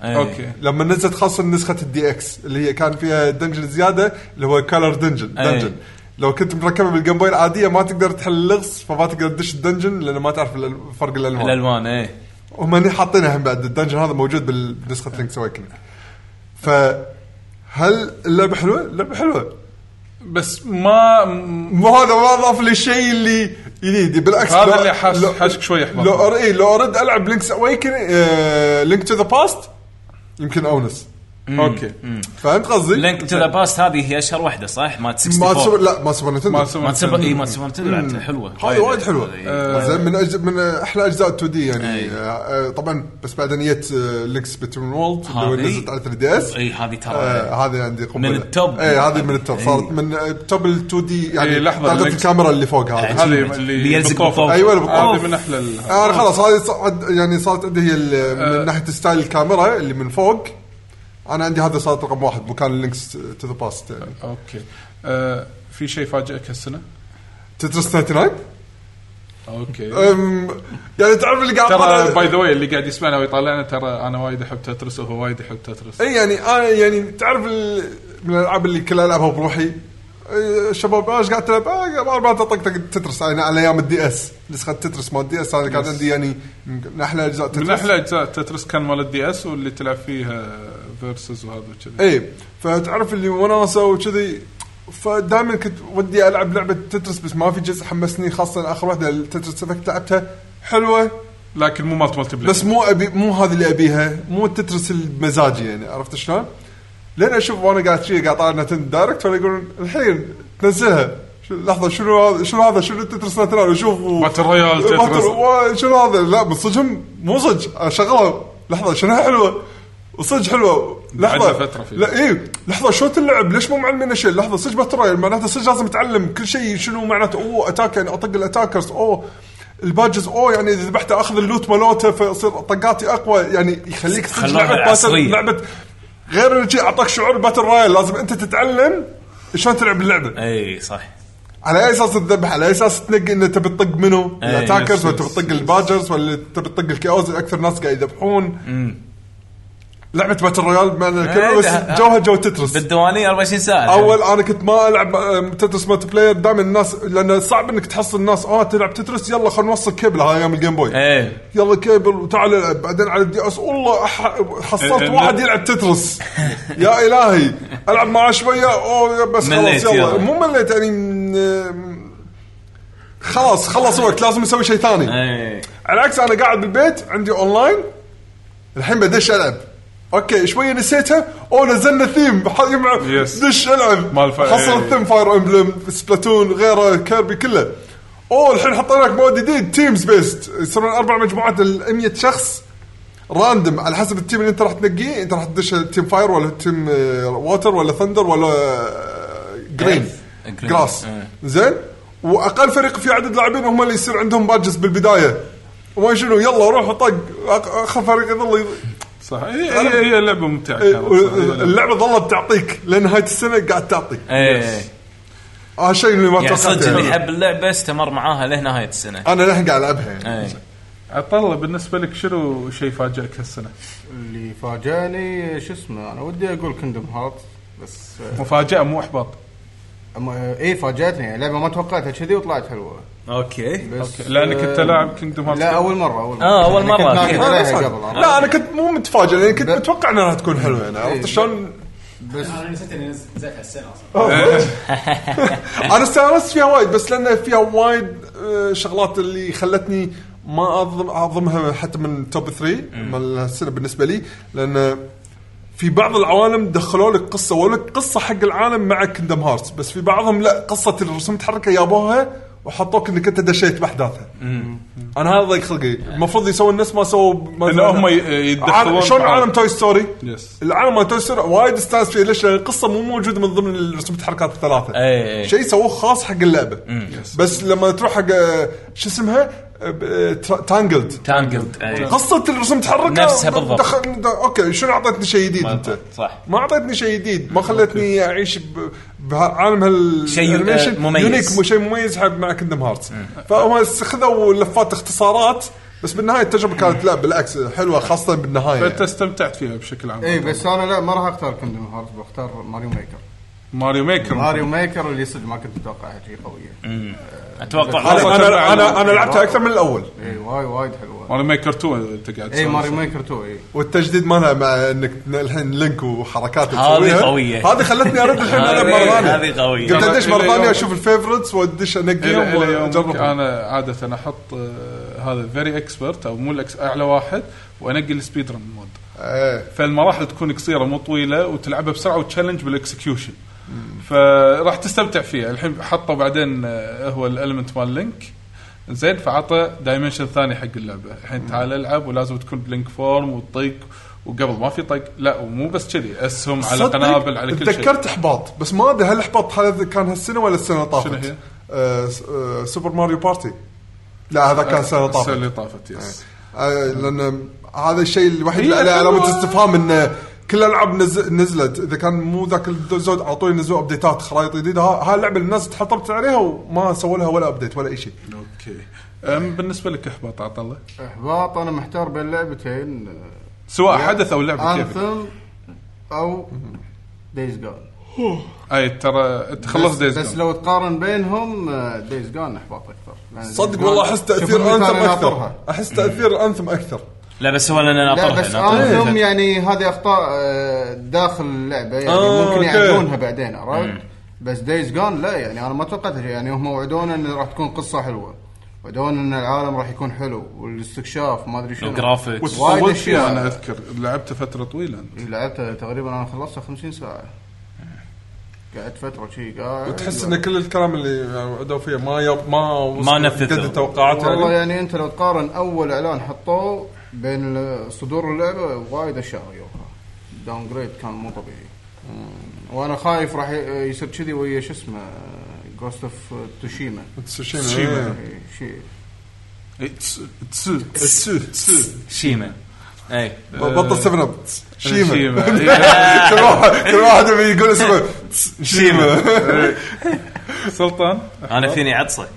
Speaker 8: أي. أوكي.
Speaker 16: لما نزلت خاصه نسخه الدي اكس اللي هي كان فيها دنجن زياده اللي هو كلر دنجن
Speaker 8: أي.
Speaker 16: دنجن لو كنت مركبه بالجيم بوي العاديه ما تقدر تحل اللغز فما تقدر تدش الدنجن لان ما تعرف الأل- فرق الالوان
Speaker 8: الالوان اي
Speaker 16: هم هني حاطينها هم بعد الدنجن هذا موجود بالنسخه لينكس اويكننج فهل اللعبه حلوه؟ اللعبه حلوه
Speaker 10: بس ما
Speaker 16: مو هذا ما ضاف لي شيء اللي يريد بالعكس
Speaker 10: هذا
Speaker 16: لو-
Speaker 10: اللي حاس-
Speaker 16: لو-
Speaker 10: حاشك شوي إحباط.
Speaker 16: لو أر- إيه، لو ارد العب لينكس اويكن لينك تو ذا باست يمكن اونس
Speaker 8: مم.
Speaker 10: اوكي
Speaker 16: فهمت قصدي؟
Speaker 8: لينك تو ذا باست هذه هي اشهر واحده صح؟ مات
Speaker 16: ما سوبر
Speaker 8: 64
Speaker 16: لا ما سوبر نتندو
Speaker 8: مال سوبر مال سوبر- نتندو. إيه، مال سوبر نتندو لعبتها حلوة.
Speaker 16: هذه وايد حلوه
Speaker 8: آه.
Speaker 16: زين من أجل من احلى اجزاء 2 دي يعني آه، آه، طبعا بس بعدين جت لينكس بتون وولد اللي هو
Speaker 8: هذه-
Speaker 16: نزلت على 3 دي اس
Speaker 8: اي هذه ترى
Speaker 16: آه، هذه عندي قنبله
Speaker 8: من التوب.
Speaker 16: اي هذه من التوب
Speaker 8: إي.
Speaker 16: صارت من آه، توب ال 2 دي
Speaker 10: إي،
Speaker 16: يعني
Speaker 10: إيه، لحظة،
Speaker 16: لحظه
Speaker 10: لينكس.
Speaker 16: الكاميرا اللي فوق هذه
Speaker 10: هذه اللي
Speaker 8: يلزق
Speaker 10: بالطوف.
Speaker 8: بالطوف.
Speaker 16: ايوه اللي بالطوف.
Speaker 10: هذه من احلى ال- آه.
Speaker 16: آه، انا خلاص هذه صعد- يعني صارت عندي هي ال- من ناحيه ستايل الكاميرا اللي من فوق انا عندي هذا صارت رقم واحد مكان لينكس تو ذا باست يعني
Speaker 10: اوكي آه، في شيء فاجئك هالسنه؟
Speaker 16: تترس 99
Speaker 10: اوكي
Speaker 16: أم، يعني تعرف اللي قاعد
Speaker 10: ترى
Speaker 16: طالع-
Speaker 10: باي ذا واي اللي قاعد يسمعنا ويطالعنا ترى انا وايد احب تترس وهو وايد يحب تترس
Speaker 16: اي يعني انا يعني تعرف ال- من الالعاب اللي كلها العبها بروحي إيه، شباب ايش قاعد تلعب؟ آه، ما ما تطقطق تترس يعني على ايام الدي اس نسخه تترس مال الدي اس انا قاعد
Speaker 10: Yes.
Speaker 16: عندي يعني من احلى اجزاء تترس
Speaker 10: من احلى اجزاء تترس كان مال الدي اس واللي تلعب فيها فيرسز وهذا وكذي
Speaker 16: اي فتعرف اللي وناسه وكذي فدائما كنت ودي العب لعبه تترس بس ما في جزء حمسني خاصه اخر واحده تترس افكت لعبتها حلوه
Speaker 10: لكن مو مالت مالتي بلاير
Speaker 16: بس مو ابي مو هذه اللي ابيها مو تترس المزاجي يعني عرفت شلون؟ لين اشوف وانا قاعد شي قاعد طالع نتن دايركت ولا يقولون الحين تنزلها شو- لحظه شنو هذا شنو هذا شنو تترس نترال اشوف
Speaker 10: باتل رويال تترس.
Speaker 16: باتل- وا- شنو هذا لا من صدقهم مو صدق اشغلها لحظه شنو حلوه وصدق حلوه لحظه
Speaker 10: بعدها فترة فيه.
Speaker 16: لا ايه لحظه شلون تلعب ليش مو معلمين شيء لحظه صدق باتل رويال معناته صدق لازم اتعلم كل شيء شنو معناته اوه اتاك يعني اطق الاتاكرز اوه الباجز اوه يعني اذا ذبحته اخذ اللوت مالوته فيصير طقاتي اقوى يعني يخليك صدق
Speaker 10: خلوها
Speaker 16: لعبة باتل-
Speaker 10: عصرية.
Speaker 16: لعبه غير انه شي اعطاك شعور باتل رويال لازم انت تتعلم شلون تلعب اللعبه
Speaker 8: اي صح
Speaker 16: على اي اساس تذبح على اي اساس تنقي انه تبي تطق منو
Speaker 8: أي،
Speaker 16: الاتاكرز
Speaker 8: نفس-
Speaker 16: ولا تبي تطق الباجرز ولا تبي تطق الكاوز اللي اكثر ناس قاعد يذبحون لعبه باتل رويال بمعنى الكلمه
Speaker 8: إيه،
Speaker 16: بس
Speaker 8: ده-
Speaker 16: جوها جو تترس
Speaker 8: بالديوانيه 24 ساعه
Speaker 16: اول انا كنت ما العب أم، تترس مالتي بلاير دائما الناس لان صعب انك تحصل الناس اه تلعب تترس يلا خلينا نوصل كيبل هاي ايام الجيم بوي
Speaker 9: إيه.
Speaker 8: ايه
Speaker 16: يلا كيبل وتعال العب بعدين على الدي اس والله أح- حصلت
Speaker 8: إيه،
Speaker 16: واحد
Speaker 8: لا.
Speaker 16: يلعب تترس يا الهي العب معاه شويه اوه بس خلاص
Speaker 8: مليت
Speaker 16: يلا
Speaker 8: يلا.
Speaker 16: مو مليت يعني م- خلاص خلص وقت لازم نسوي شيء ثاني على عكس انا قاعد بالبيت عندي اونلاين الحين بدش العب اوكي شويه نسيتها اوه نزلنا ثيم دش العب
Speaker 10: مال فا-
Speaker 16: حصل
Speaker 10: إيه.
Speaker 16: الثيم فاير امبلم سبلاتون غيره كيربي كله اوه الحين حطينا لك مود جديد تيمز بيست يصيرون اربع مجموعات ال 100 شخص راندم على حسب التيم اللي انت راح تنقيه انت راح تدش تيم فاير ولا تيم آه، ووتر ولا ثندر ولا آه، جرين
Speaker 8: Earth.
Speaker 16: جراس
Speaker 8: إيه.
Speaker 16: زين واقل فريق في عدد لاعبين هم اللي يصير عندهم باجز بالبدايه وما شنو يلا روح طق أق- اخر فريق يظل
Speaker 10: صح هي هي, هي لعبه ممتعه
Speaker 16: إيه،
Speaker 10: كانت.
Speaker 16: اللعبه ظلت تعطيك لنهايه السنه قاعد تعطيك
Speaker 8: ايه
Speaker 16: هذا الشيء اللي ما
Speaker 8: يعني
Speaker 16: توقعته
Speaker 8: صدق اللي
Speaker 16: يعني.
Speaker 8: حب اللعبه استمر معاها لنهايه السنه
Speaker 16: انا للحين قاعد العبها يعني
Speaker 8: ايه
Speaker 10: عطله بالنسبه لك شنو شيء فاجئك هالسنه؟
Speaker 19: اللي فاجأني شو اسمه انا ودي اقول كندم هارت بس
Speaker 10: مفاجاه مو احباط
Speaker 19: اي فاجاتني يعني لعبه ما توقعتها كذي وطلعت حلوه
Speaker 8: اوكي
Speaker 19: بس
Speaker 10: أوكي. لأنك أنت
Speaker 19: آه،
Speaker 10: لاعب Kingdom Hearts
Speaker 19: لا
Speaker 10: كم؟
Speaker 19: اول مره اول
Speaker 10: آه، أول
Speaker 19: يعني كنت
Speaker 10: مرة.
Speaker 19: ناقد
Speaker 10: آه،
Speaker 19: عليها
Speaker 10: بس-
Speaker 19: قبل إيه،
Speaker 16: لا انا كنت مو متفاجئ لان كنت متوقع انها تكون حلوه يعني عرفت شلون؟
Speaker 19: بس
Speaker 4: انا نسيت اني نزلتها السنه اصلا
Speaker 16: انا استانست فيها وايد بس لان فيها وايد آه، شغلات اللي خلتني ما اظلم اعظمها حتى من توب 3 مال السنه بالنسبه لي لان في بعض العوالم دخلوا لك قصه ولك قصه حق العالم مع كندم هارتس بس في بعضهم لا قصه الرسوم تحركه يابوها وحطوك انك انت دشيت باحداثها انا هذا ضيق خلقي المفروض يسوون الناس ما سووا ما-
Speaker 10: إن هم ي- يتدخلون
Speaker 16: عالم- شلون
Speaker 10: بعض.
Speaker 16: عالم توي ستوري؟
Speaker 10: يس
Speaker 16: العالم مال توي ستوري وايد استانس فيه ليش؟ لان القصه مو موجوده من ضمن رسوم التحركات الثلاثه.
Speaker 10: إيه.
Speaker 8: أي أي.
Speaker 16: شيء سووه خاص حق اللعبه.
Speaker 8: يس.
Speaker 16: بس لما تروح حق آه، شو اسمها؟ آه، تانجلد
Speaker 8: تانجلد ايه
Speaker 16: قصه الرسوم تحرك
Speaker 8: نفسها بالضبط.
Speaker 16: دخل د- اوكي شنو اعطتني شيء جديد انت؟
Speaker 8: صح
Speaker 16: ما اعطتني شيء جديد ما خلتني اعيش ب- بعالم هال
Speaker 8: شيء، آه،
Speaker 16: animation.
Speaker 8: مميز.
Speaker 16: يونيك مو شيء مميز حق مع كندم هارتس فهم خذوا لفات اختصارات بس بالنهايه التجربه كانت لا بالعكس حلوه خاصه بالنهايه
Speaker 10: فانت استمتعت فيها بشكل عام
Speaker 19: اي إيه، بس انا لا ما راح اختار كندم هارت بختار ماريو ميكر
Speaker 10: ماريو ميكر
Speaker 19: ماريو ميكر اللي صدق ما كنت اتوقعها شيء قويه
Speaker 8: اتوقع
Speaker 16: أنا- أنا- أنا- أنا لعبتها أكثر من الأول.
Speaker 19: اي إيه، وايد وايد حلوه
Speaker 10: ماريو ميكر 2 انت قاعد
Speaker 16: إيه،
Speaker 19: اي
Speaker 10: تسولف.
Speaker 19: ماريو إيه، ميكر إيه. 2 اي
Speaker 16: والتجديد مالها مع انك الحين لينك وحركات
Speaker 19: هذه
Speaker 16: تسويها.
Speaker 19: قوية.
Speaker 16: هذه خلتني ارد الحين العب مره
Speaker 10: هذه-
Speaker 16: ثانيه
Speaker 10: هذه قوية.
Speaker 16: قلت ادش مره
Speaker 10: إلى
Speaker 16: ثانيه
Speaker 10: يوم-
Speaker 16: اشوف الفيفرتس وادش
Speaker 10: الى
Speaker 16: انقيهم
Speaker 10: الى يومك
Speaker 16: واجربهم
Speaker 10: انا عاده احط آه، هذا فيري اكسبرت او مو الأكس- اعلى واحد وانقي السبيد رن مود
Speaker 16: إيه.
Speaker 10: فالمراحل تكون قصيره مو طويله وتلعبها بسرعه وتشالنج بالاكسكيوشن فراح تستمتع فيها الحين حطوا بعدين آه، هو الالمنت مال لينك زين فعطى دايمنشن ثاني حق اللعبه الحين تعال العب ولازم تكون بلينك فورم وتطق وقبل ما في طق لا ومو بس كذي اسهم على
Speaker 16: صدق
Speaker 10: قنابل على كل شيء
Speaker 16: تذكرت احباط بس ما ادري هل احباط هذا كان هالسنه ولا السنه اللي
Speaker 10: شنو
Speaker 16: طافت
Speaker 10: هي؟
Speaker 16: آه، س- آه، سوبر ماريو بارتي لا هذا كان السنه اللي
Speaker 10: آه، السنة
Speaker 16: طافت
Speaker 10: اللي طافت يس
Speaker 16: آه، لان هذا الشيء الوحيد
Speaker 10: هي
Speaker 16: اللي عليه علامه
Speaker 10: حلوة.
Speaker 16: استفهام انه كل الالعاب نز- نزلت اذا كان مو ذاك الزود اعطوني نزلوا ابديتات خرائط جديده ها- هاي اللعبه اللي الناس تحطمت عليها وما سووا لها ولا ابديت ولا اي شيء
Speaker 10: اوكي أم بالنسبه لك احباط عطى الله
Speaker 19: احباط انا محتار بين لعبتين
Speaker 10: سواء حدث أو لعبة كيفك.
Speaker 19: انثم او دايز جون
Speaker 10: اي ترى انت خلصت دايز
Speaker 19: بس, بس
Speaker 10: جون
Speaker 19: لو تقارن بينهم آه، دايز جون احباط اكثر لأن يعني Days
Speaker 16: صدق
Speaker 19: Gone-
Speaker 16: والله احس
Speaker 19: شوف
Speaker 16: تاثير
Speaker 19: المثال
Speaker 16: انثم
Speaker 19: اللي
Speaker 16: اكثر
Speaker 19: ناطرها.
Speaker 16: احس تاثير انثم اكثر
Speaker 8: لا بس هو لنا
Speaker 19: لا
Speaker 8: ناطرها
Speaker 19: بس
Speaker 8: ناطرها.
Speaker 10: إيه،
Speaker 16: إيه.
Speaker 19: انثم يعني هذه اخطاء آه، داخل اللعبه يعني
Speaker 16: آه،
Speaker 19: ممكن
Speaker 16: أوكي.
Speaker 19: يعدلونها بعدين عرفت
Speaker 8: مم.
Speaker 19: بس دايز جون لا يعني انا ما توقعت شيء. يعني هم وعدونا ان راح تكون قصه حلوه وعدونا ان العالم راح يكون حلو والاستكشاف ما ادري شنو
Speaker 10: وتطولت
Speaker 19: وايد إيه،
Speaker 10: فيها
Speaker 19: اشياء
Speaker 10: انا اذكر لعبته فتره طويله انت
Speaker 19: لعبت تقريبا انا خلصتها 50 ساعه قعدت فتره شي قاعد
Speaker 10: وتحس ان كل الكلام اللي وعدوا فيه ما يب ما وصل
Speaker 19: ما
Speaker 10: قد التوقعات
Speaker 19: والله
Speaker 10: يعني
Speaker 19: يعني انت لو تقارن اول اعلان حطوه بين ال- صدور اللعبه وايد اشياء غيروها داون جريد كان مو طبيعي أمم، وانا خايف راح ي- يصير كذي ويا شو اسمه جوست اوف توشيما
Speaker 10: تسوشيما. تسوشيما.
Speaker 19: شيء
Speaker 10: تس تس تس تس
Speaker 8: شيما اي
Speaker 10: أه،
Speaker 8: آه،
Speaker 16: بطل 7 اب شيما
Speaker 10: شيما. إيه.
Speaker 8: إيه.
Speaker 16: كل واحد كل واحد يبي يقول اسمه شيما
Speaker 10: سلطان
Speaker 8: انا فيني عطسه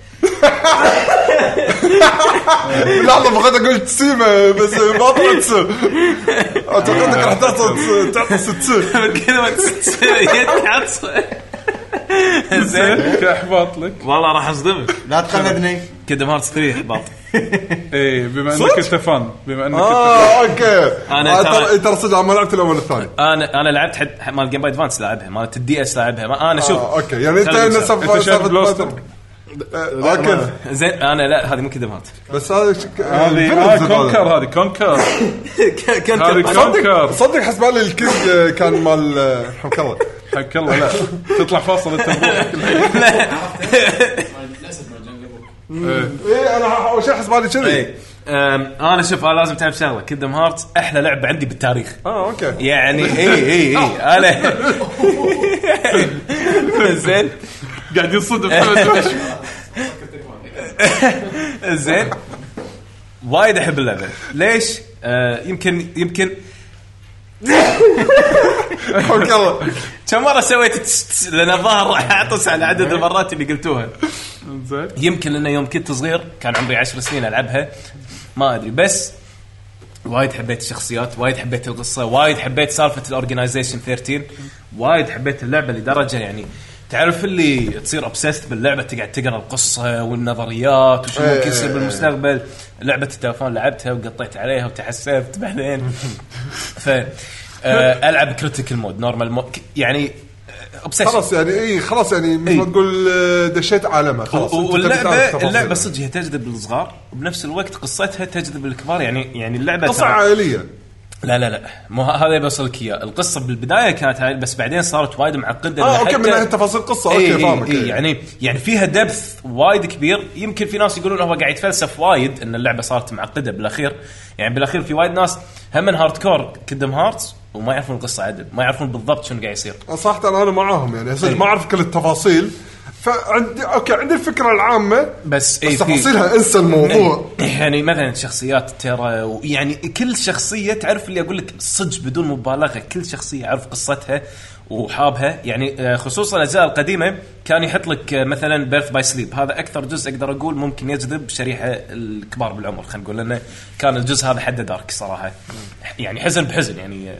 Speaker 16: لحظه بغيت اقول تسيما بس ما طلعت تسو اتوقعتك راح تعطي تعطس تسو
Speaker 8: يدي عطسه زين
Speaker 10: كاحباط لك
Speaker 8: والله راح اصدمك
Speaker 19: لا تقلدني
Speaker 8: كيدم هارتس 3 احباط
Speaker 10: اي إيه، بما
Speaker 8: صدق؟
Speaker 10: انك انت فان بما انك
Speaker 16: اه اوكي
Speaker 8: أنا
Speaker 16: آه،
Speaker 8: ترى-
Speaker 16: ترى ترى صدق أنا ما لعبت الاول والثاني
Speaker 8: انا انا لعبت حد مال جيم باي ادفانس لاعبها مالت الدي اس لاعبها ما انا شوف
Speaker 16: آه، اوكي يعني انت نفس اوكي
Speaker 8: زين انا لا هذه مو كيدم هارت
Speaker 16: آه، بس هذا شك-
Speaker 8: هذه-
Speaker 16: آه،
Speaker 8: هذه
Speaker 16: فيلنز
Speaker 8: كونكر،
Speaker 10: هذه كونكر
Speaker 8: هذه
Speaker 16: صدق
Speaker 8: كونكر.
Speaker 16: صدق حسب بالي الكينج كان مال آه، حمك الله
Speaker 10: حمك الله لا تطلع فاصل انت
Speaker 12: للاسف ما جنجل بوك
Speaker 16: اي انا اول شيء حسب بالي كذي
Speaker 8: انا إيه. شوف انا لازم تعرف شغله كيدم هارت احلى لعبه عندي بالتاريخ
Speaker 16: اه اوكي
Speaker 8: يعني اي اي اي انا زين
Speaker 10: قاعد ينصدم
Speaker 8: زين وايد احب اللعبه ليش؟ آه يمكن يمكن كم مره سويت تس- تس- لان الظاهر راح اعطس على عدد المرات اللي قلتوها
Speaker 10: زين
Speaker 8: يمكن انه يوم كنت صغير كان عمري عشر سنين العبها ما ادري بس وايد حبيت الشخصيات وايد حبيت القصه وايد حبيت سالفه الاورجنايزيشن 13 وايد حبيت اللعبه لدرجه يعني تعرف اللي تصير obsessed باللعبه تقعد تقرا القصه والنظريات وشو
Speaker 16: إيه.
Speaker 8: ممكن يصير بالمستقبل لعبه التلفون لعبتها وقطيت عليها وتحسفت بعدين ف آه، العب كريتيكال مود نورمال مود يعني obsession.
Speaker 16: خلاص يعني اي خلاص يعني مثل ما
Speaker 8: إيه.
Speaker 16: تقول آه، دشيت عالمه خلاص أنت تبي تعرف
Speaker 8: واللعبه
Speaker 16: التفاصيل.
Speaker 8: اللعبه صدق هي تجذب الصغار وبنفس الوقت قصتها تجذب الكبار يعني يعني اللعبه
Speaker 16: قصة
Speaker 8: ترى-
Speaker 16: عائلية.
Speaker 8: لا لا لا مو ه- هذا بوصلك اياه القصه بالبدايه كانت عائلية بس بعدين صارت وايد معقده
Speaker 16: اه
Speaker 8: إن
Speaker 16: اوكي
Speaker 8: حتى-
Speaker 16: من ناحيه تفاصيل قصه
Speaker 8: إي-
Speaker 16: اوكي
Speaker 8: إي-
Speaker 16: فاهمك
Speaker 8: إي،
Speaker 16: إي.
Speaker 8: يعني يعني فيها دبث وايد كبير يمكن في ناس يقولون هو قاعد يتفلسف وايد ان اللعبه صارت معقده بالاخير يعني بالاخير في وايد ناس هم من هارد كور كدم هارتس وما يعرفون القصه عدل ما يعرفون بالضبط شنو قاعد يصير
Speaker 16: صراحه انا معاهم يعني صدق
Speaker 8: إي.
Speaker 16: ما اعرف كل التفاصيل فعندي اوكي عندي الفكره العامه
Speaker 8: بس
Speaker 16: بس
Speaker 8: إيه، في-
Speaker 16: تفاصيلها انسى الموضوع
Speaker 8: يعني مثلا شخصيات ترى ويعني كل شخصيه تعرف اللي اقول لك صدق بدون مبالغه كل شخصيه اعرف قصتها وحابها يعني آه، خصوصا الاجزاء القديمه كان يحط لك آه، مثلا بيرث باي سليب هذا اكثر جزء اقدر اقول ممكن يجذب شريحه الكبار بالعمر خلينا نقول لانه كان الجزء هذا حده دارك صراحه يعني حزن بحزن يعني آه،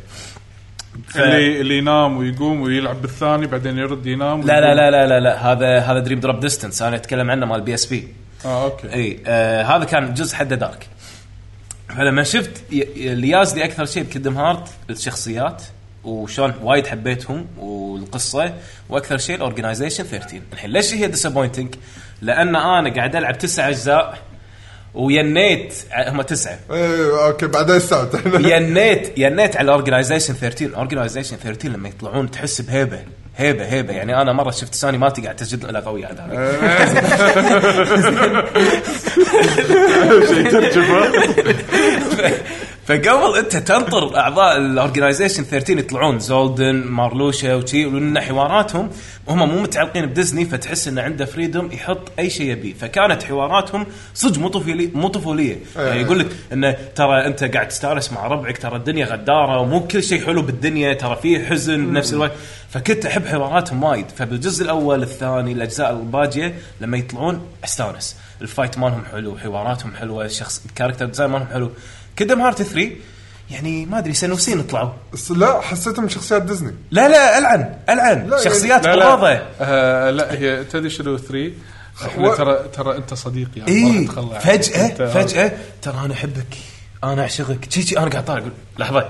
Speaker 8: ف-
Speaker 10: اللي اللي ينام ويقوم ويلعب بالثاني بعدين يرد ينام
Speaker 8: لا لا لا لا لا, لا هذا هذا دريم دروب ديستنس انا اتكلم عنه مال بي اس بي
Speaker 10: اه اوكي
Speaker 8: اي آه هذا كان جزء حده دارك فلما شفت ي- ي- اللي يازني اكثر شيء بكدم هارت الشخصيات وشلون وايد حبيتهم والقصه واكثر شيء الاورجنايزيشن 13 الحين ليش هي ديسابوينتنج؟ لان انا قاعد العب تسع اجزاء وينيت ع- هم تسعه
Speaker 16: إيه، اوكي بعدين استعد
Speaker 8: ينيت ينيت على اورجنايزيشن 13 اورجنايزيشن 13 لما يطلعون تحس بهيبه هيبه هيبه يعني انا مره شفت ساني مالتي قاعد تسجد لا قوي عاد آه.
Speaker 16: إيه.
Speaker 10: شيء ترجمه
Speaker 8: فقبل انت تنطر اعضاء الاورجنايزيشن 13 يطلعون زولدن مارلوشا وشي لان حواراتهم هم مو متعلقين بديزني فتحس انه عنده فريدوم يحط اي شيء يبيه فكانت حواراتهم صدق مو طفولي مو طفوليه
Speaker 30: ايه.
Speaker 16: إيه.
Speaker 8: يعني يقول لك انه ترى انت قاعد تستانس مع ربعك ترى الدنيا غداره ومو كل شيء حلو بالدنيا ترى فيه حزن بنفس الوقت فكنت احب حواراتهم وايد فبالجزء الاول الثاني الاجزاء الباجيه لما يطلعون استانس الفايت مالهم حلو حواراتهم حلوه الشخص الكاركتر ديزاين مالهم حلو كدم هارت 3 يعني ما ادري سنوسين طلعوا
Speaker 16: لا حسيتهم شخصيات ديزني
Speaker 8: لا لا العن العن
Speaker 16: لا،
Speaker 8: شخصيات
Speaker 10: لا، لا.
Speaker 8: قراضه
Speaker 10: آه، لا هي تدري شنو 3
Speaker 8: و- إيه.
Speaker 10: احنا ترى ترى انت صديقي يعني ما راح
Speaker 8: اي
Speaker 10: تخلى عنك. أنت-
Speaker 8: فجاه فجاه ترى انا احبك انا اعشقك شي شي انا قاعد طالع اقول لحظه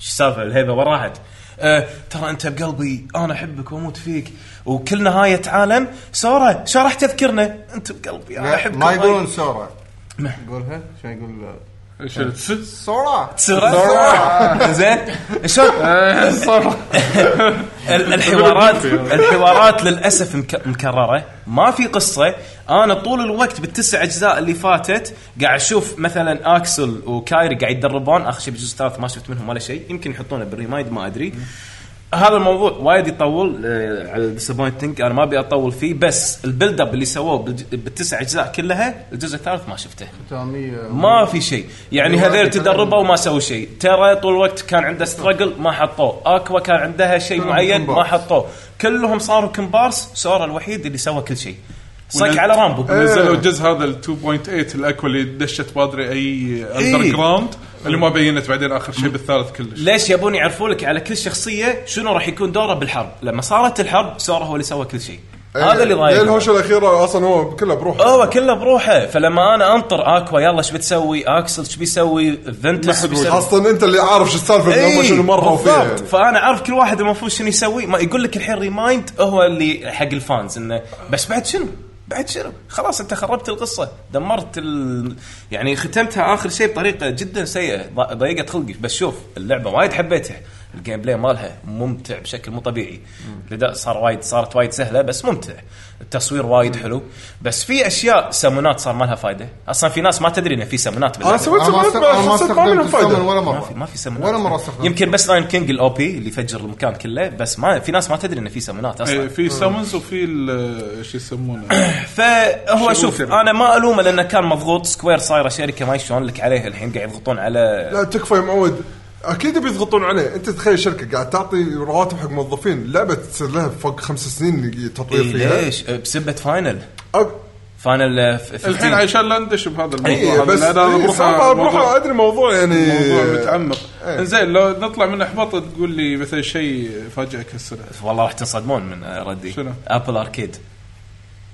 Speaker 8: شو السالفه الهيبه وين راحت؟ آه ترى انت بقلبي انا احبك واموت فيك وكل نهايه عالم سورا شو راح تذكرنا انت بقلبي انا احبك
Speaker 19: ما يقولون
Speaker 8: وايد.
Speaker 19: سورا يقولها شو يقول
Speaker 10: شنو تس-
Speaker 19: سورا
Speaker 10: سورا.
Speaker 8: زين شلون ال- الحوارات الحوارات للاسف مك- مكرره ما في قصه انا طول الوقت بالتسع اجزاء اللي فاتت قاعد اشوف مثلا اكسل وكايري قاعد يتدربون اخر شيء بالجزء الثالث ما شفت منهم ولا شيء يمكن يحطونه بالريمايند ما ادري هذا الموضوع وايد يطول آه، على الديسابوينتنج انا ما ابي اطول فيه بس البيلد اب اللي سووه بالج- بالتسع اجزاء كلها الجزء الثالث ما شفته
Speaker 19: ختامية
Speaker 8: ما في شيء يعني هذول تدربوا وما سووا شيء ترى طول الوقت كان عنده ستراجل ما حطوه اكوا كان عندها شيء
Speaker 19: كلهم
Speaker 8: معين ما
Speaker 19: كومبارس.
Speaker 8: حطوه كلهم صاروا كمبارس سورا الوحيد اللي سوى كل شيء صك على رامبو
Speaker 10: نزلوا الجزء هذا ال 2.8 الاكوا اللي دشت بادري اي
Speaker 8: إيه.
Speaker 10: اندر جراوند اللي ما بينت بعدين اخر شيء بالثالث كلش
Speaker 8: ليش يبون يعرفوا لك على كل شخصيه شنو راح يكون دوره بالحرب لما صارت الحرب سورا هو اللي سوى كل شيء
Speaker 16: إيه،
Speaker 8: هذا اللي
Speaker 16: لأن
Speaker 8: ضايقني
Speaker 16: الهوشه الاخيره اصلا هو كله بروحه
Speaker 8: هو كله بروحه فلما انا انطر اكوا يلا ايش بتسوي اكسل ايش بيسوي
Speaker 16: ما
Speaker 8: فنتس
Speaker 16: حد اصلا انت اللي عارف شو السالفه من هم
Speaker 8: اي
Speaker 16: شنو مروا فيها
Speaker 8: إيه. بالضبط
Speaker 16: يعني.
Speaker 8: فانا اعرف كل واحد المفروض شنو يسوي ما يقول لك الحين ريمايند هو اللي حق الفانز انه بس بعد شنو؟ بعد شنو؟ خلاص انت خربت القصه دمرت ال... يعني ختمتها اخر شيء بطريقه جدا سيئه ض- ضيقت خلقي بس شوف اللعبه وايد حبيتها الجيم بلاي مالها ممتع بشكل مو طبيعي الاداء صار وايد صارت وايد سهله بس ممتع التصوير وايد حلو بس في اشياء سمونات صار ما لها فايده اصلا في ناس ما تدري ان في سمونات
Speaker 16: انا سويت
Speaker 8: باللعبة.
Speaker 16: سمنات بس حسيت ما منهم فايده
Speaker 8: ما في ما في سمنات ولا مره يمكن بس لاين كينج الاو بي اللي يفجر المكان كله بس ما في ناس ما تدري انه في سمنات
Speaker 10: إيه،
Speaker 8: اصلا
Speaker 10: في سامونز وفي ال- شو يسمونه
Speaker 8: آه، فهو
Speaker 10: شغل
Speaker 8: شوف
Speaker 10: كبير.
Speaker 8: انا ما الومه لانه كان مضغوط سكوير صايره شركه ما يشون لك عليها الحين قاعد يضغطون على
Speaker 16: لا تكفى يا معود اكيد بيضغطون عليه انت تخيل شركه قاعد تعطي رواتب حق موظفين لعبه تصير لها فوق خمس سنين تطوير
Speaker 8: إيه
Speaker 16: فيها
Speaker 8: ليش أه، بسبه فاينل فاينل آه، ف- 15.
Speaker 10: الحين عشان لا ندش بهذا
Speaker 16: إيه،
Speaker 10: الموضوع
Speaker 16: بس
Speaker 10: هذا
Speaker 16: إيه، صعبة بروحها،
Speaker 10: موضوع-
Speaker 16: أدري موضوع يعني-
Speaker 10: موضوع متعمق
Speaker 16: إيه.
Speaker 10: زين لو نطلع من احباط تقول لي مثلا شيء فاجئك هالسنه
Speaker 8: والله راح تنصدمون من آه، ردي إيه.
Speaker 10: شنو؟
Speaker 8: ابل اركيد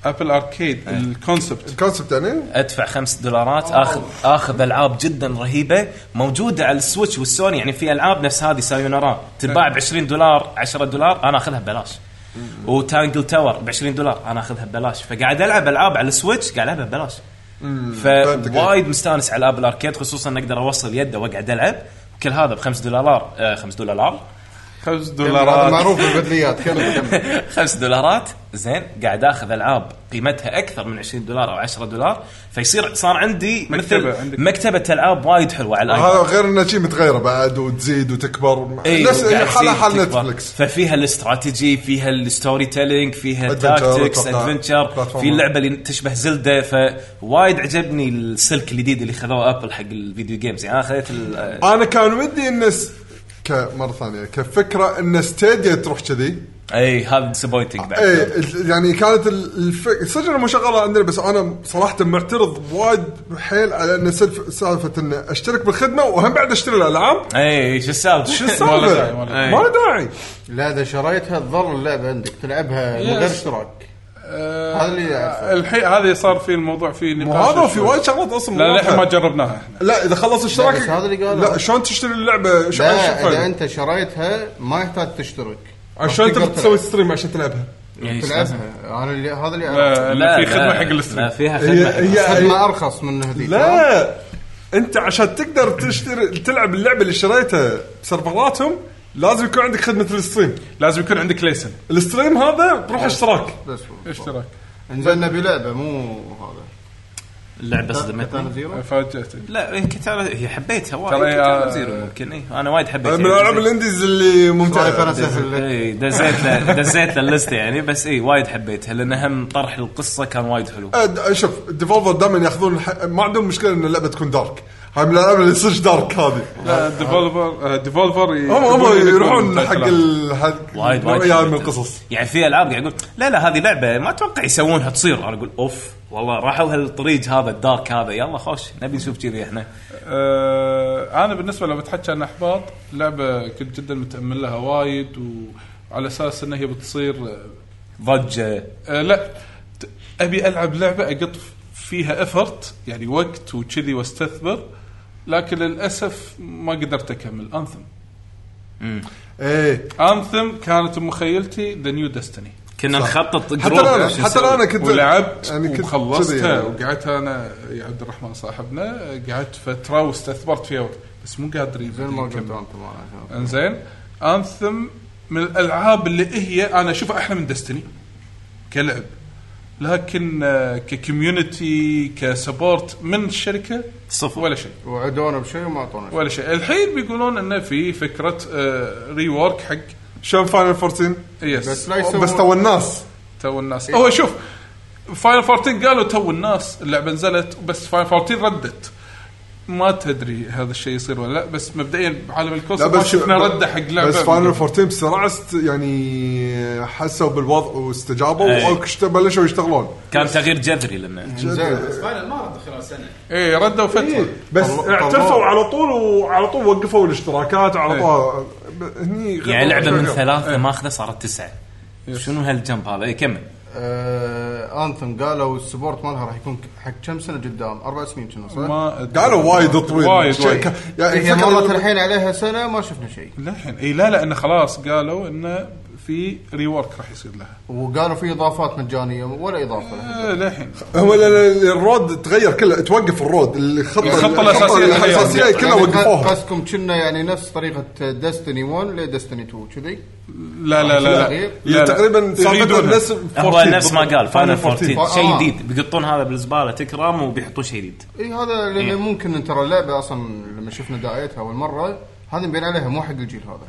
Speaker 10: ابل اركيد الكونسبت
Speaker 16: الكونسبت يعني
Speaker 8: ادفع خمس دولارات
Speaker 10: آه.
Speaker 8: اخذ اخذ العاب جدا رهيبه موجوده على السويتش والسوني يعني في العاب نفس هذه سايونارا تنباع ب 20 دولار 10 دولار انا اخذها ببلاش وتانجل تاور ب 20 دولار انا اخذها ببلاش فقاعد العب العاب على السويتش قاعد العبها ببلاش فوايد مستانس على الاب الاركيد خصوصا ان اقدر اوصل يده واقعد العب كل هذا بخمس دولار آه، خمس دولار
Speaker 10: خمس
Speaker 19: هذا معروف البدليات كمل كمل
Speaker 8: خمس دولارات زين قاعد اخذ العاب قيمتها اكثر من 20 دولار او 10 دولار فيصير صار عندي مثل
Speaker 16: مكتبة عندك.
Speaker 8: مكتبه العاب وايد حلوه على
Speaker 16: هذا
Speaker 8: الايباد
Speaker 16: غير انها شيء متغيره بعد وتزيد وتكبر
Speaker 8: إيه،
Speaker 16: نفس
Speaker 8: وقاعد
Speaker 16: حالها
Speaker 8: تصير
Speaker 16: حال
Speaker 8: تكبر.
Speaker 16: نتفلكس
Speaker 8: ففيها الاستراتيجي فيها الستوري تيلينج فيها
Speaker 16: Adventure،
Speaker 8: التاكتكس
Speaker 16: أتوقع.
Speaker 8: ادفنشر
Speaker 16: Platformer.
Speaker 8: في اللعبه اللي تشبه زلدة فوايد عجبني السلك الجديد اللي خذوه ابل حق الفيديو جيمز يعني انا خذيت ال-
Speaker 16: انا كان ودي ان س... ك... مره ثانيه كفكره ان ستيديا تروح كذي
Speaker 8: اي إيه، هذا ديسابوينتنج بعد
Speaker 16: ايه ال- يعني كانت الفكره صدق انها مشغله عندنا بس انا صراحه معترض وايد حيل على ان سلف... سالفه ان اشترك بالخدمه وهم بعد اشتري الالعاب
Speaker 8: اي إيه، شو السالفه؟
Speaker 16: شو إيه. السالفه؟ ما داعي
Speaker 19: لا اذا شريتها تظل اللعبه عندك تلعبها من غير
Speaker 10: Yes.
Speaker 19: اشتراك
Speaker 10: هذا
Speaker 19: هذا اللي أعرفه.
Speaker 10: آه، الحين هذا صار في الموضوع في نقاش
Speaker 16: هذا وفي
Speaker 10: شوي.
Speaker 16: وايد شغلات أصلاً
Speaker 10: لا
Speaker 16: مواضيع.
Speaker 10: للحين ما جربناها احنا
Speaker 16: لا اذا خلص اشتراكك
Speaker 19: بس هذا اللي قاله.
Speaker 16: لا شلون تشتري اللعبه؟ إيه، شو- شو
Speaker 19: لا
Speaker 16: فايدة؟
Speaker 19: اذا انت شريتها ما يحتاج تشترك
Speaker 16: عشان
Speaker 19: تقدر
Speaker 16: تبي تسوي
Speaker 19: تلعب.
Speaker 16: ستريم عشان تلعبها
Speaker 8: يعني
Speaker 19: تلعبها انا اللي هذا اللي
Speaker 16: لا، لا، في خدمة لا، حق
Speaker 8: الستريم. لا، فيها
Speaker 16: خدمة هي- حق الستريم. هي-
Speaker 19: خدمه ارخص من هذيك
Speaker 16: لا انت عشان تقدر تشتري تلعب اللعبه اللي شريتها بسيرفراتهم لازم يكون عندك خدمه الستريم
Speaker 10: لازم يكون عندك ليسن
Speaker 16: الستريم هذا بروح اشتراك
Speaker 19: بس
Speaker 10: اشتراك
Speaker 19: انزين نبي لعبه مو هذا
Speaker 8: اللعبه
Speaker 19: كاتانا
Speaker 8: صدمتني
Speaker 19: زيرو؟
Speaker 10: فاجاتك
Speaker 8: لا هي كتانا هي حبيتها وايد
Speaker 16: ترى هي-
Speaker 8: كتانا زيرو ممكن إيه. انا وايد حبيتها
Speaker 16: من الالعاب الانديز اللي ممتعه
Speaker 8: اي إيه، دزيت له دزيت له اللسته يعني بس اي وايد حبيتها لان هم طرح القصه كان وايد حلو
Speaker 16: أد- آه، شوف الديفولفر دائما ياخذون الح... ما عندهم مشكله ان اللعبه تكون دارك هاي من الالعاب اللي صدق دارك هذه
Speaker 10: لا آه، ديفولفر ديفولفر
Speaker 16: هم هم يروحون حق ال... حق
Speaker 8: وايد وايد
Speaker 16: النوعية هاي من
Speaker 8: حبيتها.
Speaker 16: القصص
Speaker 8: يعني في العاب قاعد يقول لا لا هذه لعبه ما اتوقع يسوونها تصير انا اقول اوف والله راحوا هالطريق هذا الدارك هذا يلا خوش نبي نشوف كذي احنا
Speaker 10: آه، انا بالنسبه لو بتحكي عن احباط لعبه كنت جدا متامل لها وايد وعلى اساس ان هي بتصير
Speaker 8: ضجه
Speaker 10: آه لا ت- ابي العب لعبه اقط فيها افرت يعني وقت وكذي واستثمر لكن للاسف ما قدرت اكمل انثم
Speaker 16: ايه
Speaker 10: إيه. انثم كانت مخيلتي ذا نيو ديستني
Speaker 8: كنا
Speaker 10: صح.
Speaker 8: نخطط
Speaker 10: حتى
Speaker 8: جروب
Speaker 10: أنا-
Speaker 8: شو
Speaker 10: حتى
Speaker 8: نسوي.
Speaker 10: أنا كنت- ولعبت يعني كنت
Speaker 8: كذي
Speaker 10: وخلصتها
Speaker 8: يعني.
Speaker 10: وقعدت انا يا عبد الرحمن صاحبنا قعدت فتره واستثمرت فيها وقت بس مو قادرين زين ما انزين انثم من الالعاب اللي هي انا اشوفها احلى من دستني كلعب لكن آه، ككوميونتي كسبورت من الشركه صفر ولا شيء
Speaker 19: وعدونا بشيء وما اعطونا
Speaker 10: ولا شيء الحين بيقولون انه في فكره ريورك حق شلون فاينل 14 يس
Speaker 16: بس لا يسوون- بس تو الناس.
Speaker 10: تو الناس
Speaker 16: إيه.
Speaker 10: هو شوف فاينل 14 قالوا تو الناس اللعبه نزلت بس فاينل 14 ردت ما تدري هذا الشيء يصير ولا لا بس مبدئيا بعالم
Speaker 16: لا
Speaker 10: الكونسول ما
Speaker 16: بس
Speaker 10: شفنا رده حق لعبه
Speaker 16: بس فاينل 14 بسرعه است يعني حسوا بالوضع واستجابوا
Speaker 8: إيه.
Speaker 16: وأكشت- بلشوا يشتغلون
Speaker 8: كان تغيير جذري لنا
Speaker 4: فاينل ما ردوا خلال سنه
Speaker 16: إيه،
Speaker 10: ايه ردوا فتره
Speaker 16: بس
Speaker 4: طلعوا-
Speaker 16: اعترفوا
Speaker 4: طلعوا.
Speaker 16: على طول وعلى طول وقفوا الاشتراكات على طول هني
Speaker 8: يعني لعبه من ثلاثه
Speaker 16: إيه.
Speaker 8: ماخذه صارت تسعه شنو هالجنب هذا؟ إيه، كمل
Speaker 19: آه انثم قالوا السبورت مالها راح يكون ك- حق كم سنه قدام اربع سنين كنا صح؟
Speaker 10: ما أدري.
Speaker 16: قالوا وايد طويل. وايد،
Speaker 19: شيء.
Speaker 16: وايد. يعني
Speaker 19: هي
Speaker 16: الفكرة
Speaker 19: مرت
Speaker 16: إنه-
Speaker 19: الحين عليها سنه ما شفنا شيء
Speaker 10: للحين اي لا لا انه خلاص قالوا انه في ريورك راح يصير لها
Speaker 19: وقالوا في اضافات مجانيه ولا اضافه
Speaker 10: آه، للحين
Speaker 16: هو ال- ال- الرود تغير كله توقف الرود الخطه الاساسيه كلها
Speaker 19: يعني
Speaker 16: وقفوها
Speaker 19: قصدكم كنا يعني نفس طريقه ديستني 1 لديستني 2 كذي
Speaker 10: لا لا لا
Speaker 19: يعني
Speaker 8: يعني
Speaker 10: لا,
Speaker 19: إيه،
Speaker 10: لا, لا. يريدونها.
Speaker 8: هو نفس ما قال فاينل 14 شيء
Speaker 19: آه.
Speaker 8: جديد بيقطون هذا بالزباله تكرام وبيحطون شيء جديد
Speaker 19: اي هذا لان
Speaker 8: إيه.
Speaker 19: ممكن ان ترى اللعبه اصلا لما شفنا دعايتها اول مره هذه مبين عليها مو حق الجيل هذا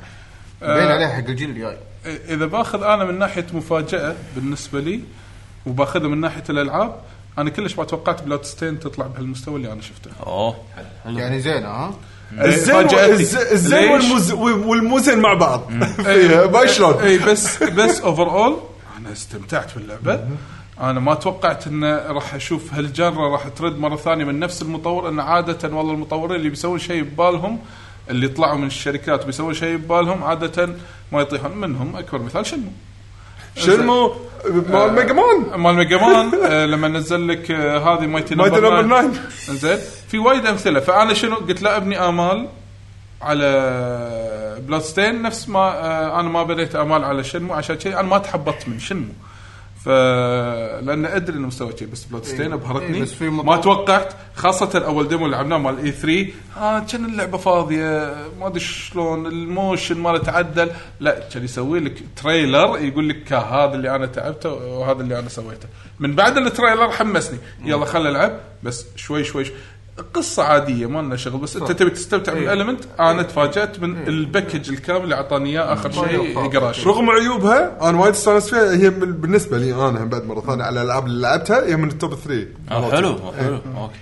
Speaker 19: مبين
Speaker 10: آه.
Speaker 19: عليها حق الجيل الجاي
Speaker 10: اذا باخذ انا من ناحيه مفاجاه بالنسبه لي وباخذها من ناحيه الالعاب انا كلش ما توقعت بلاد ستين تطلع بهالمستوى اللي انا شفته. إيه،
Speaker 8: اوه
Speaker 19: يعني زينه ها
Speaker 16: الزين والز- الزين والمز- والمزن مع بعض فيها إيه، ما شلون
Speaker 10: اي إيه، بس بس اوفر اول انا استمتعت باللعبه انا ما توقعت انه راح اشوف هالجره راح ترد مره ثانيه من نفس المطور انه عاده والله المطورين اللي بيسوون شيء ببالهم اللي طلعوا من الشركات بيسوون شيء ببالهم عاده ما يطيحون منهم اكبر مثال شنو
Speaker 16: شنمو مال ميجا مان
Speaker 10: مال ميجا مان آه، لما نزل لك آه، هذه مايتي
Speaker 16: مايتي
Speaker 10: نمبر
Speaker 16: نمبر
Speaker 10: 9 زين في وايد امثله فانا شنو قلت لا ابني امال على بلادستين نفس ما آه، انا ما بنيت امال على شنمو عشان كذي انا ما تحبطت من شنمو ف لان ادري انه مسوي شيء بس بلادستين
Speaker 19: إيه.
Speaker 10: ابهرتني
Speaker 19: إيه، بس في
Speaker 10: ما
Speaker 19: مطور-
Speaker 10: توقعت خاصه اول ديمو اللي لعبناه مال اي 3 اه كان اللعبه فاضيه ما ادري شلون الموشن ماله تعدل لا كان يسوي لك تريلر يقول لك "ها، هذا اللي انا تعبته وهذا اللي انا سويته من بعد التريلر حمسني يلا خل العب بس شوي شوي, شوي. قصه عاديه ما لنا شغل بس انت
Speaker 16: صح.
Speaker 10: تبي تستمتع
Speaker 16: إيه.
Speaker 10: بالالمنت انا تفاجات من الباكج الكامل اللي اعطاني اياه اخر شيء جراش
Speaker 16: رغم عيوبها انا وايد استانست فيها هي من- بالنسبه لي انا هم بعد مره ثانيه على الالعاب اللي لعبتها هي من التوب 3
Speaker 8: آه، حلو آه، حلو
Speaker 16: إيه.
Speaker 8: اوكي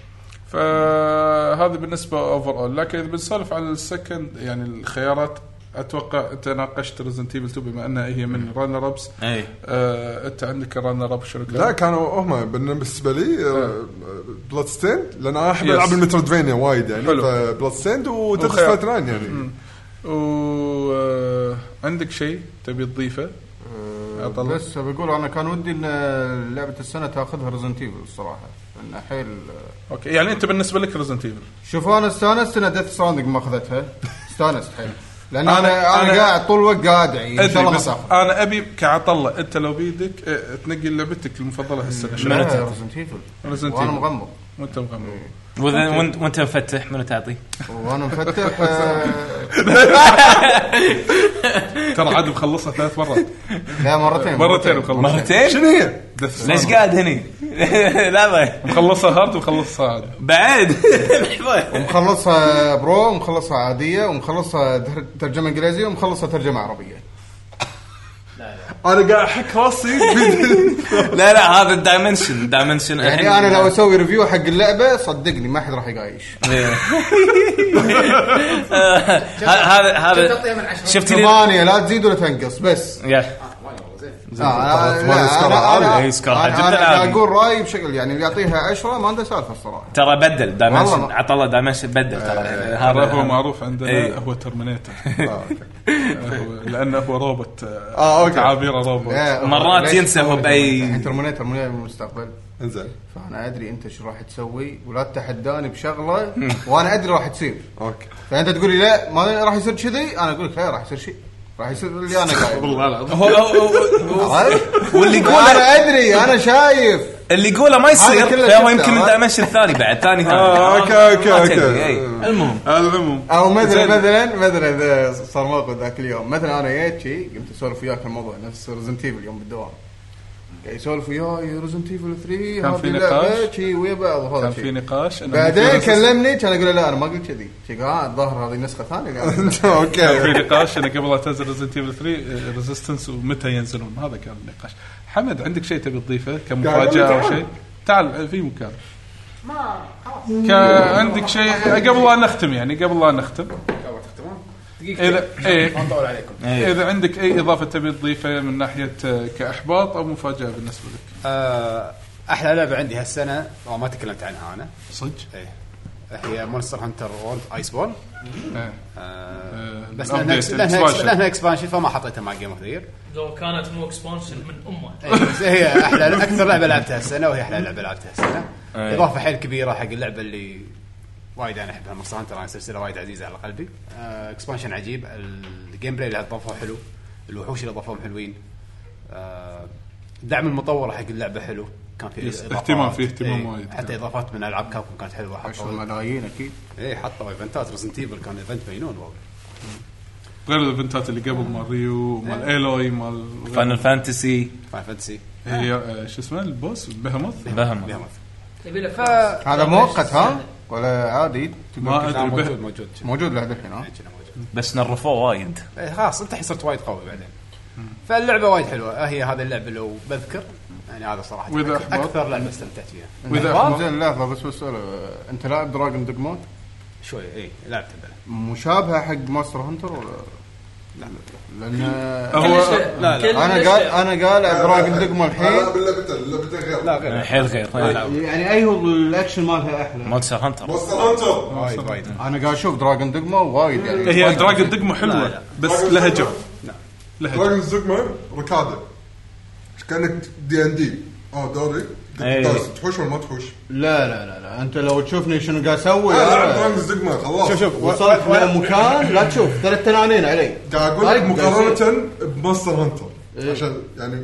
Speaker 10: فهذا بالنسبه اوفر اول لكن اذا بنسولف على السكند يعني الخيارات اتوقع انت ناقشت ريزنت ايفل 2 بما انها هي من رانر ابس
Speaker 8: اي
Speaker 10: آه انت عندك الرانر اب شنو
Speaker 16: لا كانوا هم بالنسبه لي آه، بلاد ستيند لان انا احب
Speaker 10: Yes.
Speaker 16: العاب المترويدفينيا وايد يعني
Speaker 10: حلو.
Speaker 16: فبلاد ستيند وتترس
Speaker 10: وخيار.
Speaker 16: 39 يعني
Speaker 10: مم. وعندك شيء تبي تضيفه؟
Speaker 16: آه،
Speaker 10: أطلع.
Speaker 19: بس بقول انا كان ودي ان لعبه السنه تاخذها ريزنت ايفل الصراحه لان حيل
Speaker 10: اوكي يعني انت بالنسبه لك ريزنت ايفل
Speaker 19: شوف انا استانست ان ديث ستراندنج ما اخذتها استانست حيل لان
Speaker 10: أنا-
Speaker 19: انا انا,
Speaker 10: أنا-
Speaker 19: قاعد طول الوقت قاعد يعني ان شاء
Speaker 10: ادري
Speaker 19: الله ما
Speaker 10: بس
Speaker 19: تاخذ
Speaker 10: انا ابي كعطله انت لو بيدك آه، تنقي لعبتك المفضله هالسنه
Speaker 19: لا، Resident Evil.
Speaker 10: Resident
Speaker 19: وأنا
Speaker 10: Evil.
Speaker 19: مغمض.
Speaker 10: وانت مغمض
Speaker 8: وإذا- وانت وانت مفتح منو تعطي؟
Speaker 19: وانا مفتح آه،
Speaker 10: ترى عاد مخلصها ثلاث مرات
Speaker 19: لا مرتين
Speaker 10: مرتين مخلصها
Speaker 8: مرتين؟
Speaker 10: شنو هي؟
Speaker 8: ليش قاعد هني؟ لحظه
Speaker 10: مخلصها هارد ومخلصها عاد
Speaker 8: بعد
Speaker 19: ومخلصها برو ومخلصها عاديه ومخلصها تر- ترجمه انجليزيه ومخلصها ترجمه عربيه
Speaker 16: انا قاعد احك راسي
Speaker 8: لا لا هذا الدايمنشن دايمنشن
Speaker 19: يعني انا لو اسوي ريفيو حق اللعبه صدقني ما حد راح يقايش
Speaker 8: إيه. هذا
Speaker 19: تعطيها
Speaker 8: هذا شفت لي
Speaker 19: ثمانيه يعني لا تزيد ولا تنقص بس
Speaker 8: يا
Speaker 19: آه، آه،
Speaker 8: ثمانية
Speaker 19: لا،
Speaker 8: سكور
Speaker 19: أنا-
Speaker 8: عالي.
Speaker 19: أنا-
Speaker 8: إيه، سكور
Speaker 19: أنا-
Speaker 8: عالي.
Speaker 19: انا
Speaker 8: جدا عالي.
Speaker 19: قاعد اقول رايي بشكل يعني اللي يعطيها 10 ما عنده سالفه الصراحه
Speaker 8: ترى بدل
Speaker 19: والله آه،
Speaker 8: دايمنشن
Speaker 19: ما-
Speaker 8: عطى الله دايمنشن بدل ترى
Speaker 10: هذا هو معروف عندنا
Speaker 8: إيه. آه،
Speaker 10: هو ترمينيتر لانه هو روبوت
Speaker 19: آه، أوكي.
Speaker 10: تعابيره روبوت
Speaker 19: لا، ليش يعني تسوي ترمينيتر؟ الحين ترمينيتر من المستقبل
Speaker 16: انزين
Speaker 19: فانا ادري انت شو راح تسوي ولا تتحداني بشغله وانا ادري راح تصير
Speaker 16: اوكي
Speaker 19: فانت تقول لي لا ما راح يصير كذي انا اقول لك لا راح يصير شيء راح يصير اللي انا قاعد
Speaker 10: والله العظيم
Speaker 19: هو
Speaker 8: واللي يقوله-
Speaker 19: انا ادري انا شايف
Speaker 8: اللي يقوله ما يصير
Speaker 19: هذا كله
Speaker 8: فهو
Speaker 19: شفته،
Speaker 8: يمكن من
Speaker 19: ها؟
Speaker 8: دايمنشن ثاني بعد ثاني ثاني
Speaker 19: آه، أوكي، أوكي، آه.
Speaker 8: ما تدري، إيه.
Speaker 19: أوكي.
Speaker 8: إي.
Speaker 19: المهم.
Speaker 10: إيه. المهم
Speaker 19: او مثلا
Speaker 8: زين.
Speaker 19: مثلا مثلا إذا صار موقف ذاك اليوم مثلا انا جيت شي قمت اسولف وياك الموضوع نفس ريزنت ايفل يوم بالدوام قاعد يسولف وياي ريزنت ايفل 3
Speaker 10: كان
Speaker 19: هذه
Speaker 10: في
Speaker 19: لعبة
Speaker 10: نقاش.
Speaker 19: شي ويا بعض وهذا
Speaker 10: كان
Speaker 19: شي.
Speaker 10: في نقاش إنه
Speaker 19: بعدين
Speaker 10: المفروض-
Speaker 19: كلمني كان اقول له لا انا ما قلت كذي شي قال آه، الظاهر هذه نسخه ثانيه
Speaker 10: كان في نقاش انه قبل لا تنزل ريزنت ايفل 3 ريزيستنس آه، ومتى ينزلون هذا كان النقاش حمد عندك شيء تبي تضيفه كمفاجاه او شيء تعال في مكان
Speaker 31: ما خلاص
Speaker 10: كا- عندك شيء قبل لا نختم يعني قبل لا نختم
Speaker 31: قبل تختمون
Speaker 10: اذا
Speaker 31: دقيقتين
Speaker 10: إيه.
Speaker 31: ما نطول عليكم
Speaker 10: اذا عندك اي اضافه تبي تضيفها من ناحيه آه، كاحباط او مفاجاه بالنسبه لك
Speaker 4: آه، احلى لعبه عندي هالسنه أو ما تكلمت عنها انا
Speaker 10: صدق؟
Speaker 4: ايه هي مونستر هانتر وورلد ايس بول
Speaker 10: إيه. آه،
Speaker 4: بس
Speaker 10: الأبديت،
Speaker 4: لانها آه، إكس- لانها إكس-
Speaker 10: الإكسبانشن.
Speaker 4: لانها اكسبانشن فما حطيتها مع جيم اوف ذا
Speaker 9: لو كانت مو اكسبانشن من امه
Speaker 4: إيه، بس هي احلى اكثر لعبه لعبتها السنه وهي احلى لعبه لعبتها السنه
Speaker 9: أي.
Speaker 4: اضافه حيل كبيره حق اللعبه اللي وايد انا احبها مصر هانتر انا سلسله وايد عزيزه على قلبي آه، اكسبانشن عجيب الجيم بلاي اللي اضافوه حلو الوحوش اللي اضافوهم حلوين آه، دعم المطور حق اللعبه حلو كان في
Speaker 10: يس،
Speaker 4: إضافات.
Speaker 10: اهتمام، في اهتمام
Speaker 4: إيه،
Speaker 10: وايد.
Speaker 4: حتى اضافات من العاب كابكم كانت إيه، حلوه
Speaker 19: عشر ملايين اكيد
Speaker 4: اي حطوا ايفنتات ريزنت ايفل كان ايفنت مجنون والله
Speaker 10: غير الايفنتات اللي قبل مال ريو مال
Speaker 4: إيه.
Speaker 10: ايلوي مال
Speaker 8: فاينل فانتسي
Speaker 4: فاينل فانتسي
Speaker 10: هي آه، شو اسمه البوس بهمث
Speaker 8: بهمث.
Speaker 15: يبي لك
Speaker 19: هذا مؤقت ها ولا عادي
Speaker 10: ما
Speaker 19: تقول
Speaker 10: أدري،
Speaker 19: كذا؟
Speaker 10: به-
Speaker 4: موجود
Speaker 19: موجود لحد الحين آه. ها
Speaker 8: بس نرفوه وايد
Speaker 4: إيه، خلاص انت الحين صرت وايد قوي بعدين فاللعبه وايد حلوه هي هذه اللعبه لو بذكر يعني هذا صراحه
Speaker 19: وإذا
Speaker 4: أك-
Speaker 19: أحبط؟
Speaker 4: اكثر لعبه استمتعت فيها
Speaker 19: واذا زين لحظه بس بسأل انت لاعب دراجون دوجموت
Speaker 4: شوي اي لعبت بلا
Speaker 19: مشابهه حق ماستر هانتر ولا لا لان
Speaker 4: هو- كلش لا، لا. كلش
Speaker 19: انا قال انا قال دراجون دوجما الحين
Speaker 16: لا، باللعبته اللعبته غير
Speaker 4: لا
Speaker 8: حيل طيب. غير
Speaker 19: يعني اي هو الاكشن مالها احلى
Speaker 8: مونستر هانتر
Speaker 16: مونستر هانتر
Speaker 4: وايد وايد
Speaker 19: انا قاعد اشوف دراجون دوجما وايد يعني
Speaker 10: هي دراجون دقمه حلوه بس لها جو
Speaker 16: دراجون زوجما ركاده كانك دي ان دي اه دوري
Speaker 19: إيه.
Speaker 16: تحوس- تحوش ولا ما تحوش؟
Speaker 19: لا لا لا لا انت لو تشوفني شنو قاعد اسوي
Speaker 16: أنا ألعب
Speaker 19: أنا-
Speaker 16: دراجون دوجما، خلاص.
Speaker 19: شوف شوف
Speaker 16: و-
Speaker 19: وصلت
Speaker 16: و-
Speaker 19: لمكان لا تشوف ثلاث تنانين علي
Speaker 16: قاعد اقول
Speaker 19: طيب،
Speaker 16: لك مقارنه بمونستر هانتر
Speaker 19: إيه.
Speaker 16: عشان يعني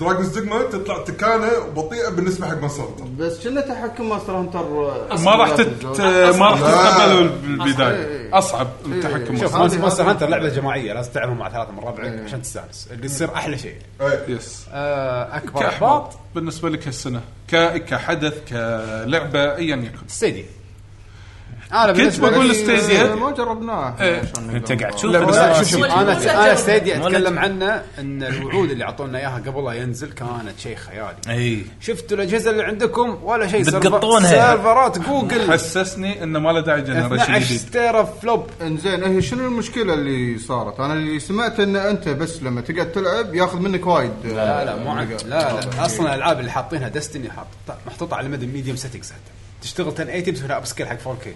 Speaker 16: دراجون دوجما تطلع تكانه وبطيئه بالنسبه حق مونستر هانتر
Speaker 19: بس شنو تحكم ماستر هانتر آه،
Speaker 10: ما راح تت...
Speaker 4: آه،
Speaker 10: ما راح تتقبله بالبدايه اصعب التحكم
Speaker 4: شوف مونستر هانتر لعبه جماعيه لازم تلعبها مع ثلاثه من ربعك عشان تستانس اللي يصير احلى شيء
Speaker 10: إيه، يس
Speaker 4: آه، اكبر احباط
Speaker 10: كاحباط بالنسبه لك هالسنه ك... كحدث كلعبه ايا يكن
Speaker 4: ستيديا
Speaker 10: كنت
Speaker 4: بالنسبة
Speaker 10: بقول
Speaker 4: لي-
Speaker 10: ستيديا
Speaker 19: آه، ما جربناه
Speaker 10: إيه.
Speaker 8: انت قاعد تشوف
Speaker 4: لا بس
Speaker 8: آه،
Speaker 4: شوف شوف
Speaker 8: شوف.
Speaker 4: انا انا ستيديا
Speaker 8: ولا
Speaker 4: اتكلم
Speaker 8: تشوف.
Speaker 4: عنه ان الوعود اللي اعطونا اياها قبل لا ينزل كانت شيء خيالي
Speaker 8: اي
Speaker 4: شفتوا الاجهزه اللي عندكم ولا شيء سيرفر-
Speaker 10: بتقطونها.
Speaker 4: سيرفرات جوجل إيه.
Speaker 10: حسسني انه ما له داعي جنريشن جديد
Speaker 4: تيرا فلوب
Speaker 19: انزين هي إيه، شنو المشكله اللي صارت؟ انا اللي سمعت ان انت بس لما تقعد تلعب ياخذ منك وايد
Speaker 4: لا لا مو عندك لا لا اصلا الالعاب اللي حاطينها طيب، ديستني حاطط محطوطه على مدى ميديوم سيتنجز حتى تشتغل 1080 بس اب سكيل حق 4K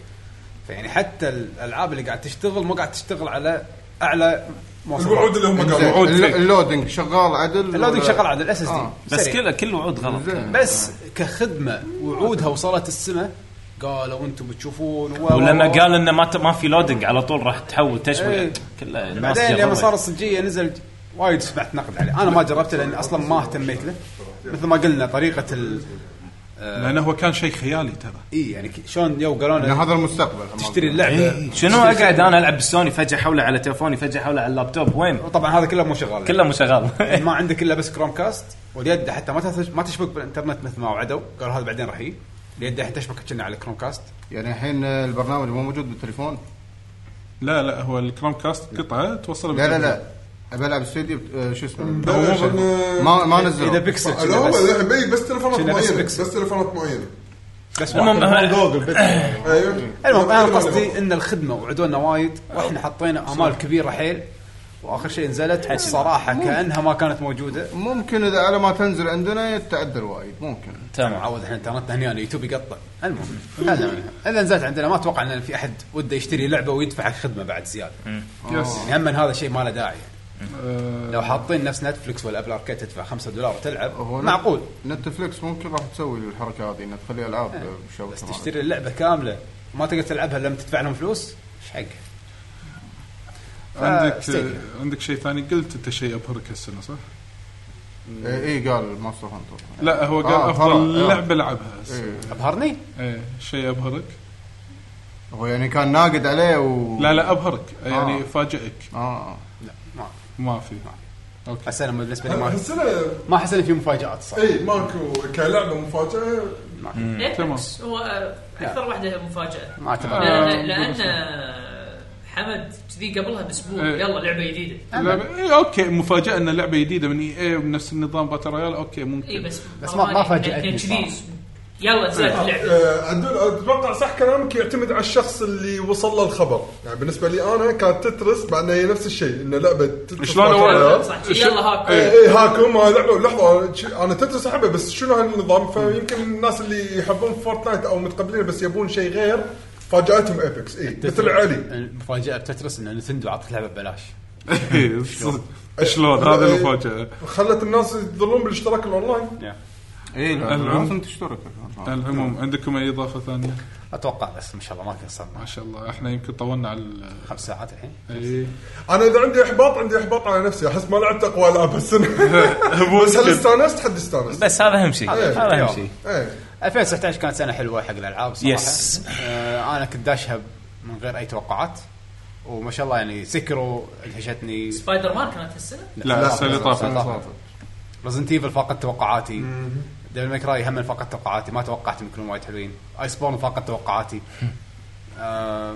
Speaker 4: فيعني حتى الالعاب اللي قاعد تشتغل مو قاعد تشتغل على اعلى مواصفات.
Speaker 16: الوعود اللي هم
Speaker 19: إنزين، الل- اللودنج شغال عدل
Speaker 4: اللودنج
Speaker 19: ولا-
Speaker 4: شغال عدل الاس اس دي
Speaker 19: آه.
Speaker 8: بس كله كل وعود غلط
Speaker 4: بس كخدمه وعودها وصلت السماء قالوا انتم بتشوفون و-
Speaker 8: ولما
Speaker 4: و-
Speaker 8: قال انه ما ت- ما في لودنج على طول راح تحول
Speaker 4: إيه.
Speaker 8: تشمل كله الناس
Speaker 4: بعدين لما
Speaker 8: جربوا.
Speaker 4: صارت صجيه نزل وايد سمعت نقد عليه انا ما جربته لان اصلا ما اهتميت له مثل ما قلنا طريقه ال
Speaker 10: لانه هو كان شيء خيالي ترى
Speaker 4: اي يعني ك- شلون يو قالوا لنا
Speaker 19: يعني هذا المستقبل
Speaker 4: تشتري اللعبه
Speaker 8: إيه. شنو اقعد انا العب بالسوني فجاه حوله على تلفوني فجاه حوله على اللابتوب وين؟
Speaker 4: وطبعا هذا كله مو شغال
Speaker 8: كله مو شغال
Speaker 4: ما عندك الا بس كروم كاست واليد حتى ما تث- ما تشبك بالانترنت مثل ما وعدوا قالوا هذا بعدين راح يجي اليد الحين تشبك كنا على كروم كاست
Speaker 19: يعني الحين البرنامج مو موجود بالتليفون؟
Speaker 10: لا لا هو الكروم كاست قطعه توصل
Speaker 19: لا لا لا ابي العب استوديو آه، شو اسمه
Speaker 10: لا،
Speaker 19: شو اسمه؟ ما ما نزل
Speaker 4: اذا بيكسل
Speaker 16: آه، لا
Speaker 4: كذا
Speaker 16: هو
Speaker 4: بس.
Speaker 16: الحين بي- بس تلفونات
Speaker 4: شنو بس
Speaker 16: معينه
Speaker 4: بيكسل.
Speaker 16: بس تلفونات آه، معينه
Speaker 4: بس
Speaker 8: المهم-
Speaker 4: واحد.
Speaker 8: جوجل
Speaker 16: ايوه
Speaker 4: أيوه. المهم انا قصدي ان الخدمه وعدونا وايد واحنا حطينا امال كبيره حيل واخر شيء نزلت الصراحه كانها ما كانت موجوده
Speaker 19: ممكن اذا على ما تنزل عندنا يتعدل وايد ممكن
Speaker 8: تمام
Speaker 4: عود احنا انترنتنا هنا اليوتيوب يقطع المهم هذا منها. اذا نزلت عندنا ما اتوقع ان في احد وده يشتري لعبه ويدفع حق خدمه بعد زياده
Speaker 10: يس.
Speaker 4: يعني هم هذا الشيء ما له داعي
Speaker 10: آه،
Speaker 4: لو حاطين نفس نتفلكس ولا ابل اركيد تدفع 5 دولار وتلعب
Speaker 19: هو
Speaker 4: معقول
Speaker 19: نتفلكس ممكن راح تسوي الحركه هذه انها تخلي العاب بالشبكه
Speaker 4: بس تشتري اللعبه كامله ما تقدر تلعبها إلا لما تدفع لهم فلوس ايش حق
Speaker 10: عندك عندك شيء ثاني قلت انت شيء ابهرك هالسنه صح؟
Speaker 19: اي إيه، قال ماستر هانتر
Speaker 10: لا هو قال
Speaker 19: آه،
Speaker 10: افضل
Speaker 19: أبهر-
Speaker 10: لعبه
Speaker 19: إيه.
Speaker 10: لعبها
Speaker 19: إيه.
Speaker 4: ابهرني؟
Speaker 10: ايه شيء ابهرك
Speaker 19: هو يعني كان ناقد عليه و
Speaker 10: لا لا ابهرك يعني
Speaker 19: آه.
Speaker 10: فاجئك آه،
Speaker 19: اه
Speaker 4: لا ما
Speaker 10: ما في اوكي
Speaker 4: السنه بالنسبه لي ما
Speaker 16: هالسنه
Speaker 4: ما احس ان في مفاجات صح
Speaker 16: اي إيه، ماكو كلعبه مفاجاه
Speaker 10: تمام
Speaker 15: إيه، بس هو آه، اكثر واحده مفاجاه
Speaker 4: ما أعتبر.
Speaker 15: لأن-
Speaker 4: آه،
Speaker 15: لان
Speaker 4: بالنسبة لي.
Speaker 15: آه، حمد كذي قبلها باسبوع
Speaker 10: إيه.
Speaker 15: يلا لعبه جديده
Speaker 10: لعبة إيه اوكي مفاجاه ان لعبه جديده من اي اي بنفس النظام باتل رويال اوكي ممكن
Speaker 4: إيه،
Speaker 15: اي إيه، بس يعني
Speaker 10: صراحة.
Speaker 15: كذي يلا نزلت اللعبه
Speaker 16: آه، عدول اتوقع صح كلامك يعتمد على الشخص اللي وصل له الخبر يعني بالنسبه لي انا كانت تترس مع انها هي نفس الشيء انه لعبه تترس
Speaker 10: شلون
Speaker 16: مع
Speaker 10: هو-
Speaker 16: الريال.
Speaker 10: صح،
Speaker 16: إيه،
Speaker 10: يلا هاكو.
Speaker 16: إيه، ايه هاكو ما لعبه لحظه أنا شي- انا تترس احبه بس شنو هالنظام فيمكن الناس اللي يحبون فورتنايت او متقبلين بس يبون شيء غير فاجاتهم ايبكس اي مثل علي
Speaker 4: المفاجاه بتترس ان نتندو عطت لعبه ببلاش
Speaker 10: إيه، صدق. شلون هذا المفاجاه
Speaker 16: خلت الناس يظلون بالاشتراك الاونلاين
Speaker 19: اي
Speaker 10: العموم
Speaker 19: إيه، لازم تشترك
Speaker 10: العموم عندكم اي اضافه ثانيه؟
Speaker 4: اتوقع بس ما شاء الله ما قصرنا
Speaker 10: ما شاء الله احنا يمكن طولنا على
Speaker 4: خمس ساعات الحين
Speaker 10: اي
Speaker 16: انا اذا إيه. عندي احباط عندي احباط على نفسي احس ما لعبت اقوى العاب هالسنه بس هل
Speaker 4: ممكن.
Speaker 16: استانست حد استانست
Speaker 8: بس هذا اهم شيء
Speaker 16: إيه.
Speaker 8: هذا اهم شيء
Speaker 16: إيه.
Speaker 4: 2019 كانت سنه حلوه حق الالعاب صراحه
Speaker 8: Yes.
Speaker 4: آه انا كنت داشها من غير اي توقعات وما شاء الله يعني سكرو ادهشتني
Speaker 15: سبايدر مان كانت هالسنه
Speaker 10: لا، السنة اللي طافت.
Speaker 4: رزنت ايفل فاقت توقعاتي ديفل ماكراي هم فاقت توقعاتي ما توقعت يكونون وايد حلوين ايس بورن فاقت توقعاتي آه إيه،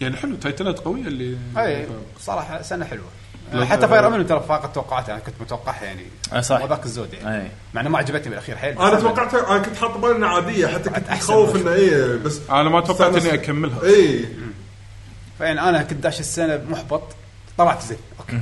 Speaker 10: يعني حلو تايتلات قويه اللي
Speaker 4: اي صراحه سنه حلوه
Speaker 10: لا،
Speaker 4: آه، حتى
Speaker 10: آه.
Speaker 4: فاير امبلم ترى فاقت توقعاتي انا كنت متوقعها يعني
Speaker 8: آه، صح.
Speaker 4: مو ذاك الزود يعني
Speaker 8: إيه.
Speaker 4: مع انه ما عجبتني بالاخير حيل
Speaker 16: انا توقعت انا كنت حاط بالي انها عاديه حتى كنت إيه. متخوف انه اي بس إيه.
Speaker 10: انا ما توقعت
Speaker 16: استانست.
Speaker 10: اني اكملها
Speaker 16: اي
Speaker 4: فيعني انا كنت داش السنه محبط طلعت زين اوكي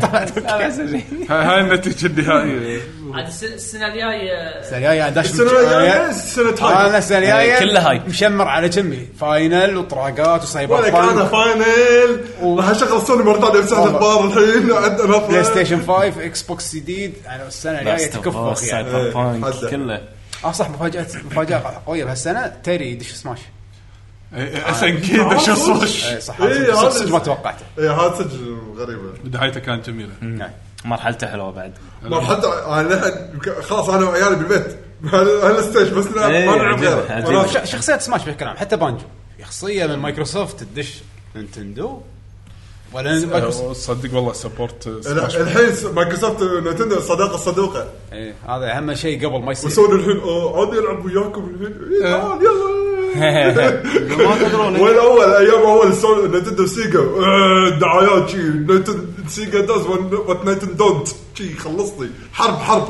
Speaker 4: طلعت اوكي
Speaker 10: هاي هاي النتيجه النهائيه
Speaker 15: عاد الس- السنه الجايه
Speaker 4: السنه الجايه داش آه،
Speaker 16: السنة الجاية سنة هايب.
Speaker 4: انا السنه الجايه
Speaker 16: آه، كلها
Speaker 8: هايب.
Speaker 4: مشمر على كمي فاينل وطراقات وسايبر
Speaker 16: ولا كان
Speaker 4: بانك
Speaker 16: فاينل راح اشغل سوني مره ثانيه بسعر الاخبار
Speaker 4: والله.
Speaker 16: الحين عندنا
Speaker 4: بلاي ستيشن 5 اكس بوكس جديد يعني السنه الجايه
Speaker 8: Last of Us،
Speaker 4: تكفخ
Speaker 8: Cyberpunk،
Speaker 4: يعني إيه.
Speaker 8: كله.
Speaker 4: اه صح مفاجاه مفاجاه قويه بهالسنه تيري دش سماش
Speaker 10: اس ان كي دش الصوش
Speaker 4: إيه، صح هذا صدق- صدق ما توقعته
Speaker 16: اي إيه، هذا سجل غريبه
Speaker 10: بدايته كانت جميله
Speaker 4: نعم.
Speaker 19: نعم.
Speaker 8: مرحلته حلوه بعد
Speaker 16: مرحلة انا لحد- خلاص انا وعيالي بالبيت هل ستيج بس لا
Speaker 4: إيه،
Speaker 8: إيه،
Speaker 16: ما نلعب غيره
Speaker 4: يعني.
Speaker 16: خلاص.
Speaker 4: ش- شخصيات سماش بشكل عام حتى بانجو شخصيه من مايكروسوفت تدش نينتندو ولا مايكروسوفت
Speaker 10: أه، صدق والله سبورت
Speaker 16: الح- الحين مايكروسوفت نتندو الصداقه الصدوقه
Speaker 4: ايه هذا اهم شيء قبل ما يصير
Speaker 16: وسوني الحين آه، عادي يلعب وياكم الحين إيه، تعال يلا
Speaker 4: ما تدرون.
Speaker 16: وين اول ايام اول سوني نتندو سيجا آه، دعايات شي نتن- سيجا داز وات نتن دونت شي خلصني حرب حرب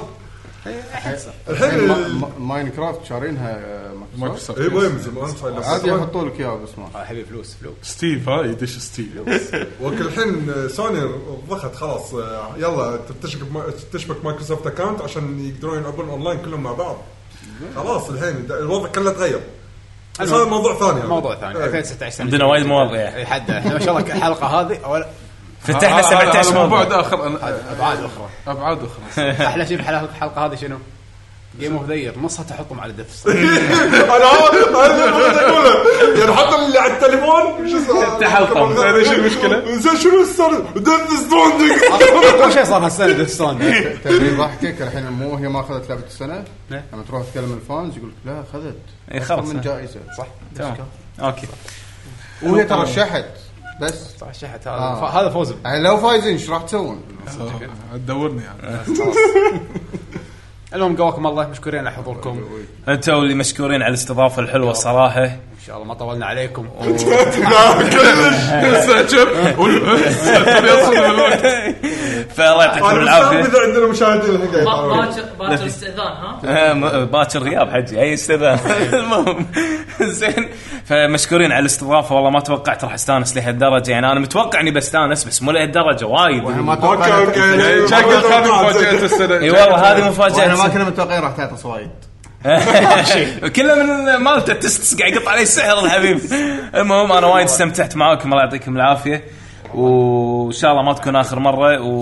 Speaker 4: إيه،
Speaker 19: يعني
Speaker 16: الحين ال-
Speaker 19: ماين كرافت شارينها آه،
Speaker 10: مايكروسوفت.
Speaker 19: مايكروسوفت
Speaker 16: إيه، مهم زمان.
Speaker 19: عادي يحطوا لك اياها بس ما
Speaker 4: آه، حبيبي فلوس فلوس
Speaker 10: ستيف ها آه، يدش ستيف
Speaker 16: وكل الحين سوني ضخت خلاص آه، يلا تشبك تشبك مايكروسوفت اكونت عشان يقدرون يلعبون اونلاين كلهم مع بعض خلاص الحين د- الوضع كله تغير بس هذا موضوع ثاني يعني. إيه.
Speaker 4: موضوع ثاني 2019 سنة
Speaker 8: عندنا وايد مواضيع.
Speaker 4: إيه، حد احنا ما شاء الله الحلقه هذه أول
Speaker 8: فتحنا 17
Speaker 10: موضوع بعد
Speaker 8: موضوع
Speaker 10: اخر أنا-
Speaker 4: ابعاد اخرى
Speaker 10: ابعاد اخرى
Speaker 4: احلى شيء بالحلقه الحلقه هذه شنو؟ جيم اوف ذير نصها تحطهم على دث
Speaker 16: انا هذا هذا اللي كنت اقوله يعني حتى اللي على التليفون شو اسمه
Speaker 10: تحطم. زين، إيش المشكلة؟
Speaker 16: زين شنو السر ديث ستراندنج
Speaker 4: كل شيء صار هالسنه ديث ستراندنج
Speaker 19: تدري ضحكك الحين مو هي ما اخذت لعبه السنه
Speaker 4: ليه؟
Speaker 19: لما تروح تكلم الفانز يقول لك لا اخذت
Speaker 8: إيه،
Speaker 19: أكثر
Speaker 8: خلاص.
Speaker 19: من جائزه صح
Speaker 8: تمام اوكي
Speaker 19: وهي ترشحت بس
Speaker 4: ترشحت
Speaker 19: آه.
Speaker 4: هذا فوز
Speaker 19: يعني لو فايزين ايش راح تسوون؟
Speaker 10: تدورني يعني
Speaker 4: المهم قواكم الله مشكورين على حضوركم ان
Speaker 8: انتوا اللي مشكورين على الاستضافه الحلوه صراحه
Speaker 4: شاء الله ما طولنا عليكم
Speaker 8: فالله يعطيكم العافيه
Speaker 16: اذا عندنا مشاهدين الحين قاعد
Speaker 15: با-
Speaker 16: يتابعون.
Speaker 15: باكر باكر استئذان ها
Speaker 8: آه، م- باكر غياب حجي اي استاذان المهم زين فمشكورين على الاستضافه والله ما توقعت راح استانس لهالدرجه يعني انا متوقع اني بستانس بس مو لهالدرجه وايد يعني.
Speaker 19: ما
Speaker 16: اوكي
Speaker 19: توقعنا
Speaker 16: اوكي
Speaker 10: شكل هذه مفاجاه السنه
Speaker 8: اي والله هذه
Speaker 19: وانا ما
Speaker 8: مفاجاه
Speaker 19: كنا متوقعين راح تعطس وايد
Speaker 8: كله من مالته تستس قاعد يقطع علي السحر الحبيب المهم انا وايد استمتعت معاكم الله يعطيكم العافيه وان شاء الله ما تكون اخر مره و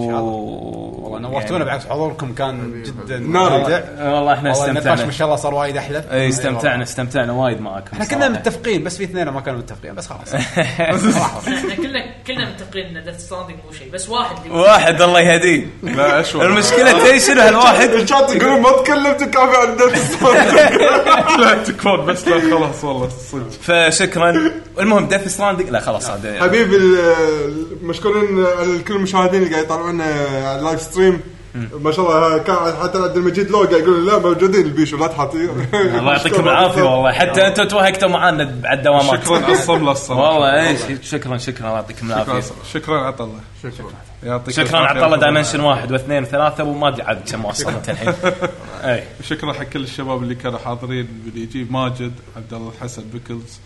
Speaker 4: والله
Speaker 8: يعني.
Speaker 4: نورتونا بالعكس حضوركم كان جدا
Speaker 8: ناري. والله احنا استمتعنا.
Speaker 4: النقاش ما شاء الله صار وايد احلى
Speaker 8: اي استمتعنا استمتعنا وايد معاكم
Speaker 4: احنا كنا متفقين بس في اثنين ما كانوا متفقين بس خلاص
Speaker 15: احنا كلنا كلنا متفقين ان ديث ستراندنج مو شيء بس واحد اللي-
Speaker 8: واحد الله يهديه لا اشوف المشكله تدري شنو هالواحد
Speaker 16: الشات يقولون ما تكلمت كافي عن ديث
Speaker 8: لا تكفون بس لا خلاص والله صدق فشكرا المهم ديث ستراندنج لا خلاص هذا يعني.
Speaker 16: حبيبي ال- مشكورين على كل المشاهدين اللي قاعد يطالعونا على اللايف ستريم ما شاء الله آه، كان حتى عبد المجيد لو قاعد يقول لا موجودين البيشو لا تحاطين
Speaker 8: الله يعطيكم العافيه والله حتى انتم توهقتوا معانا بعد الدوامات
Speaker 10: شكراً على الصبر الصراحة.
Speaker 8: والله ايش شكرا شكرا الله يعطيكم
Speaker 10: شكرا
Speaker 8: العافيه
Speaker 10: شكرا عطا الله
Speaker 16: شكرا
Speaker 10: يعطيك
Speaker 8: شكرا
Speaker 10: العافية.
Speaker 8: عطى الله دايمنشن واحد واثنين وثلاثه وما ادري عاد كم وصلت الحين اي
Speaker 10: شكرا حق كل الشباب اللي كانوا حاضرين اللي يجي ماجد عبد الله الحسن بيكلز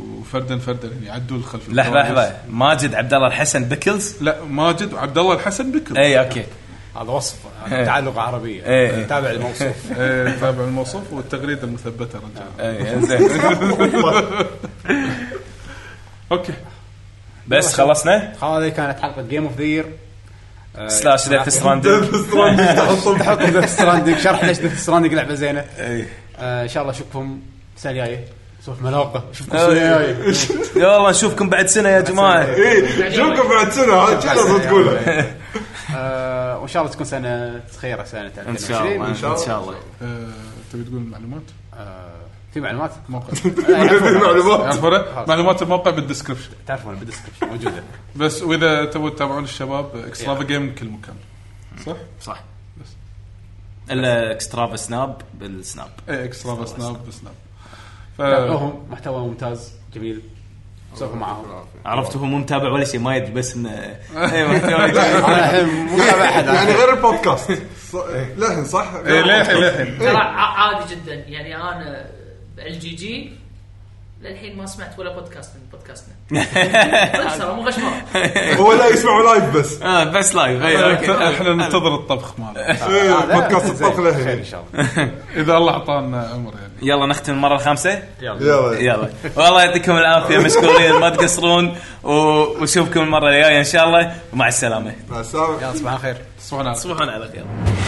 Speaker 10: وفردا فردا يعني عدول خلف
Speaker 8: لحظه لحظه ماجد عبد الله الحسن بكلز
Speaker 10: لا ماجد وعبد الله الحسن بكلز
Speaker 8: اي اوكي
Speaker 4: هذا وصف
Speaker 8: إيه.
Speaker 4: تعلق عربيه
Speaker 8: إيه، إيه.
Speaker 4: تابع الموصوف
Speaker 10: ايه تابع الموصوف والتغريده المثبته رجال
Speaker 8: إيه، زين.
Speaker 10: اوكي
Speaker 8: بس خلصنا
Speaker 4: هذه كانت حلقه جيم اوف ذير آه،
Speaker 8: Slash Death Stranding. Death Stranding، تحطون-
Speaker 4: تحطون ديث ستراندنج شرح ليش ديث ستراندنج لعبه زينه
Speaker 8: إيه.
Speaker 4: آه، ان شاء الله اشوفكم السنه الجايه نسولف ملاقه اشوفكم السنه
Speaker 8: إيه.
Speaker 4: الجايه
Speaker 8: يا الله نشوفكم بعد سنه يا جماعه إيه،
Speaker 16: اي شوفكم إيه، بعد سنه هذا شو لازم تقوله
Speaker 4: آه، وان شاء الله تكون سنه خيره سنه
Speaker 8: إن شاء الله،
Speaker 4: 2020.
Speaker 8: إن شاء الله. إن شاء الله. آه،
Speaker 10: آه، تبي تقول المعلومات؟
Speaker 4: في معلومات؟ موقع
Speaker 10: معلومات معلومات الموقع بالدسكربشن
Speaker 4: تعرفون بالدسكربشن موجوده
Speaker 10: بس واذا تبون تتابعون الشباب اكسترافا جيم كل مكان صح؟
Speaker 8: صح الا اكسترافا سناب بالسناب
Speaker 10: اي
Speaker 16: إيه،
Speaker 10: اكسترافا سناب بالسناب ف-
Speaker 4: تعرفوهم محتوى ممتاز جميل سولفوا معاهم
Speaker 8: عرفت هو مو متابع ولا شيء ما يدري بس انه إيه،
Speaker 4: أنا الحين مو متابع أحد.
Speaker 16: يعني غير البودكاست ص- للحين صح؟
Speaker 10: إيه، للحين، للحين.
Speaker 16: إيه.
Speaker 15: ترى ع- عادي جدا يعني انا ال جي جي للحين ما سمعت ولا بودكاست من بودكاستنا صدق ترى مو غشمر
Speaker 16: هو لا يسمعوا لايف بس
Speaker 8: اه بس
Speaker 4: طيب،
Speaker 8: لايف إيه، أوكي.
Speaker 10: احنا ننتظر الطبخ ماله
Speaker 4: آه،
Speaker 8: إيه، بودكاست الطبخ له.
Speaker 10: ان شاء الله اذا الله اعطانا عمر يعني
Speaker 8: يلا نختم المره الخامسه
Speaker 10: يلا.
Speaker 8: يلا والله يعطيكم العافيه مشكورين ما تقصرون و- واشوفكم المره الجايه ان شاء الله ومع السلامه
Speaker 16: مع السلامه
Speaker 4: يلا صباح الخير
Speaker 10: تصبحون على
Speaker 8: تصبحون على خير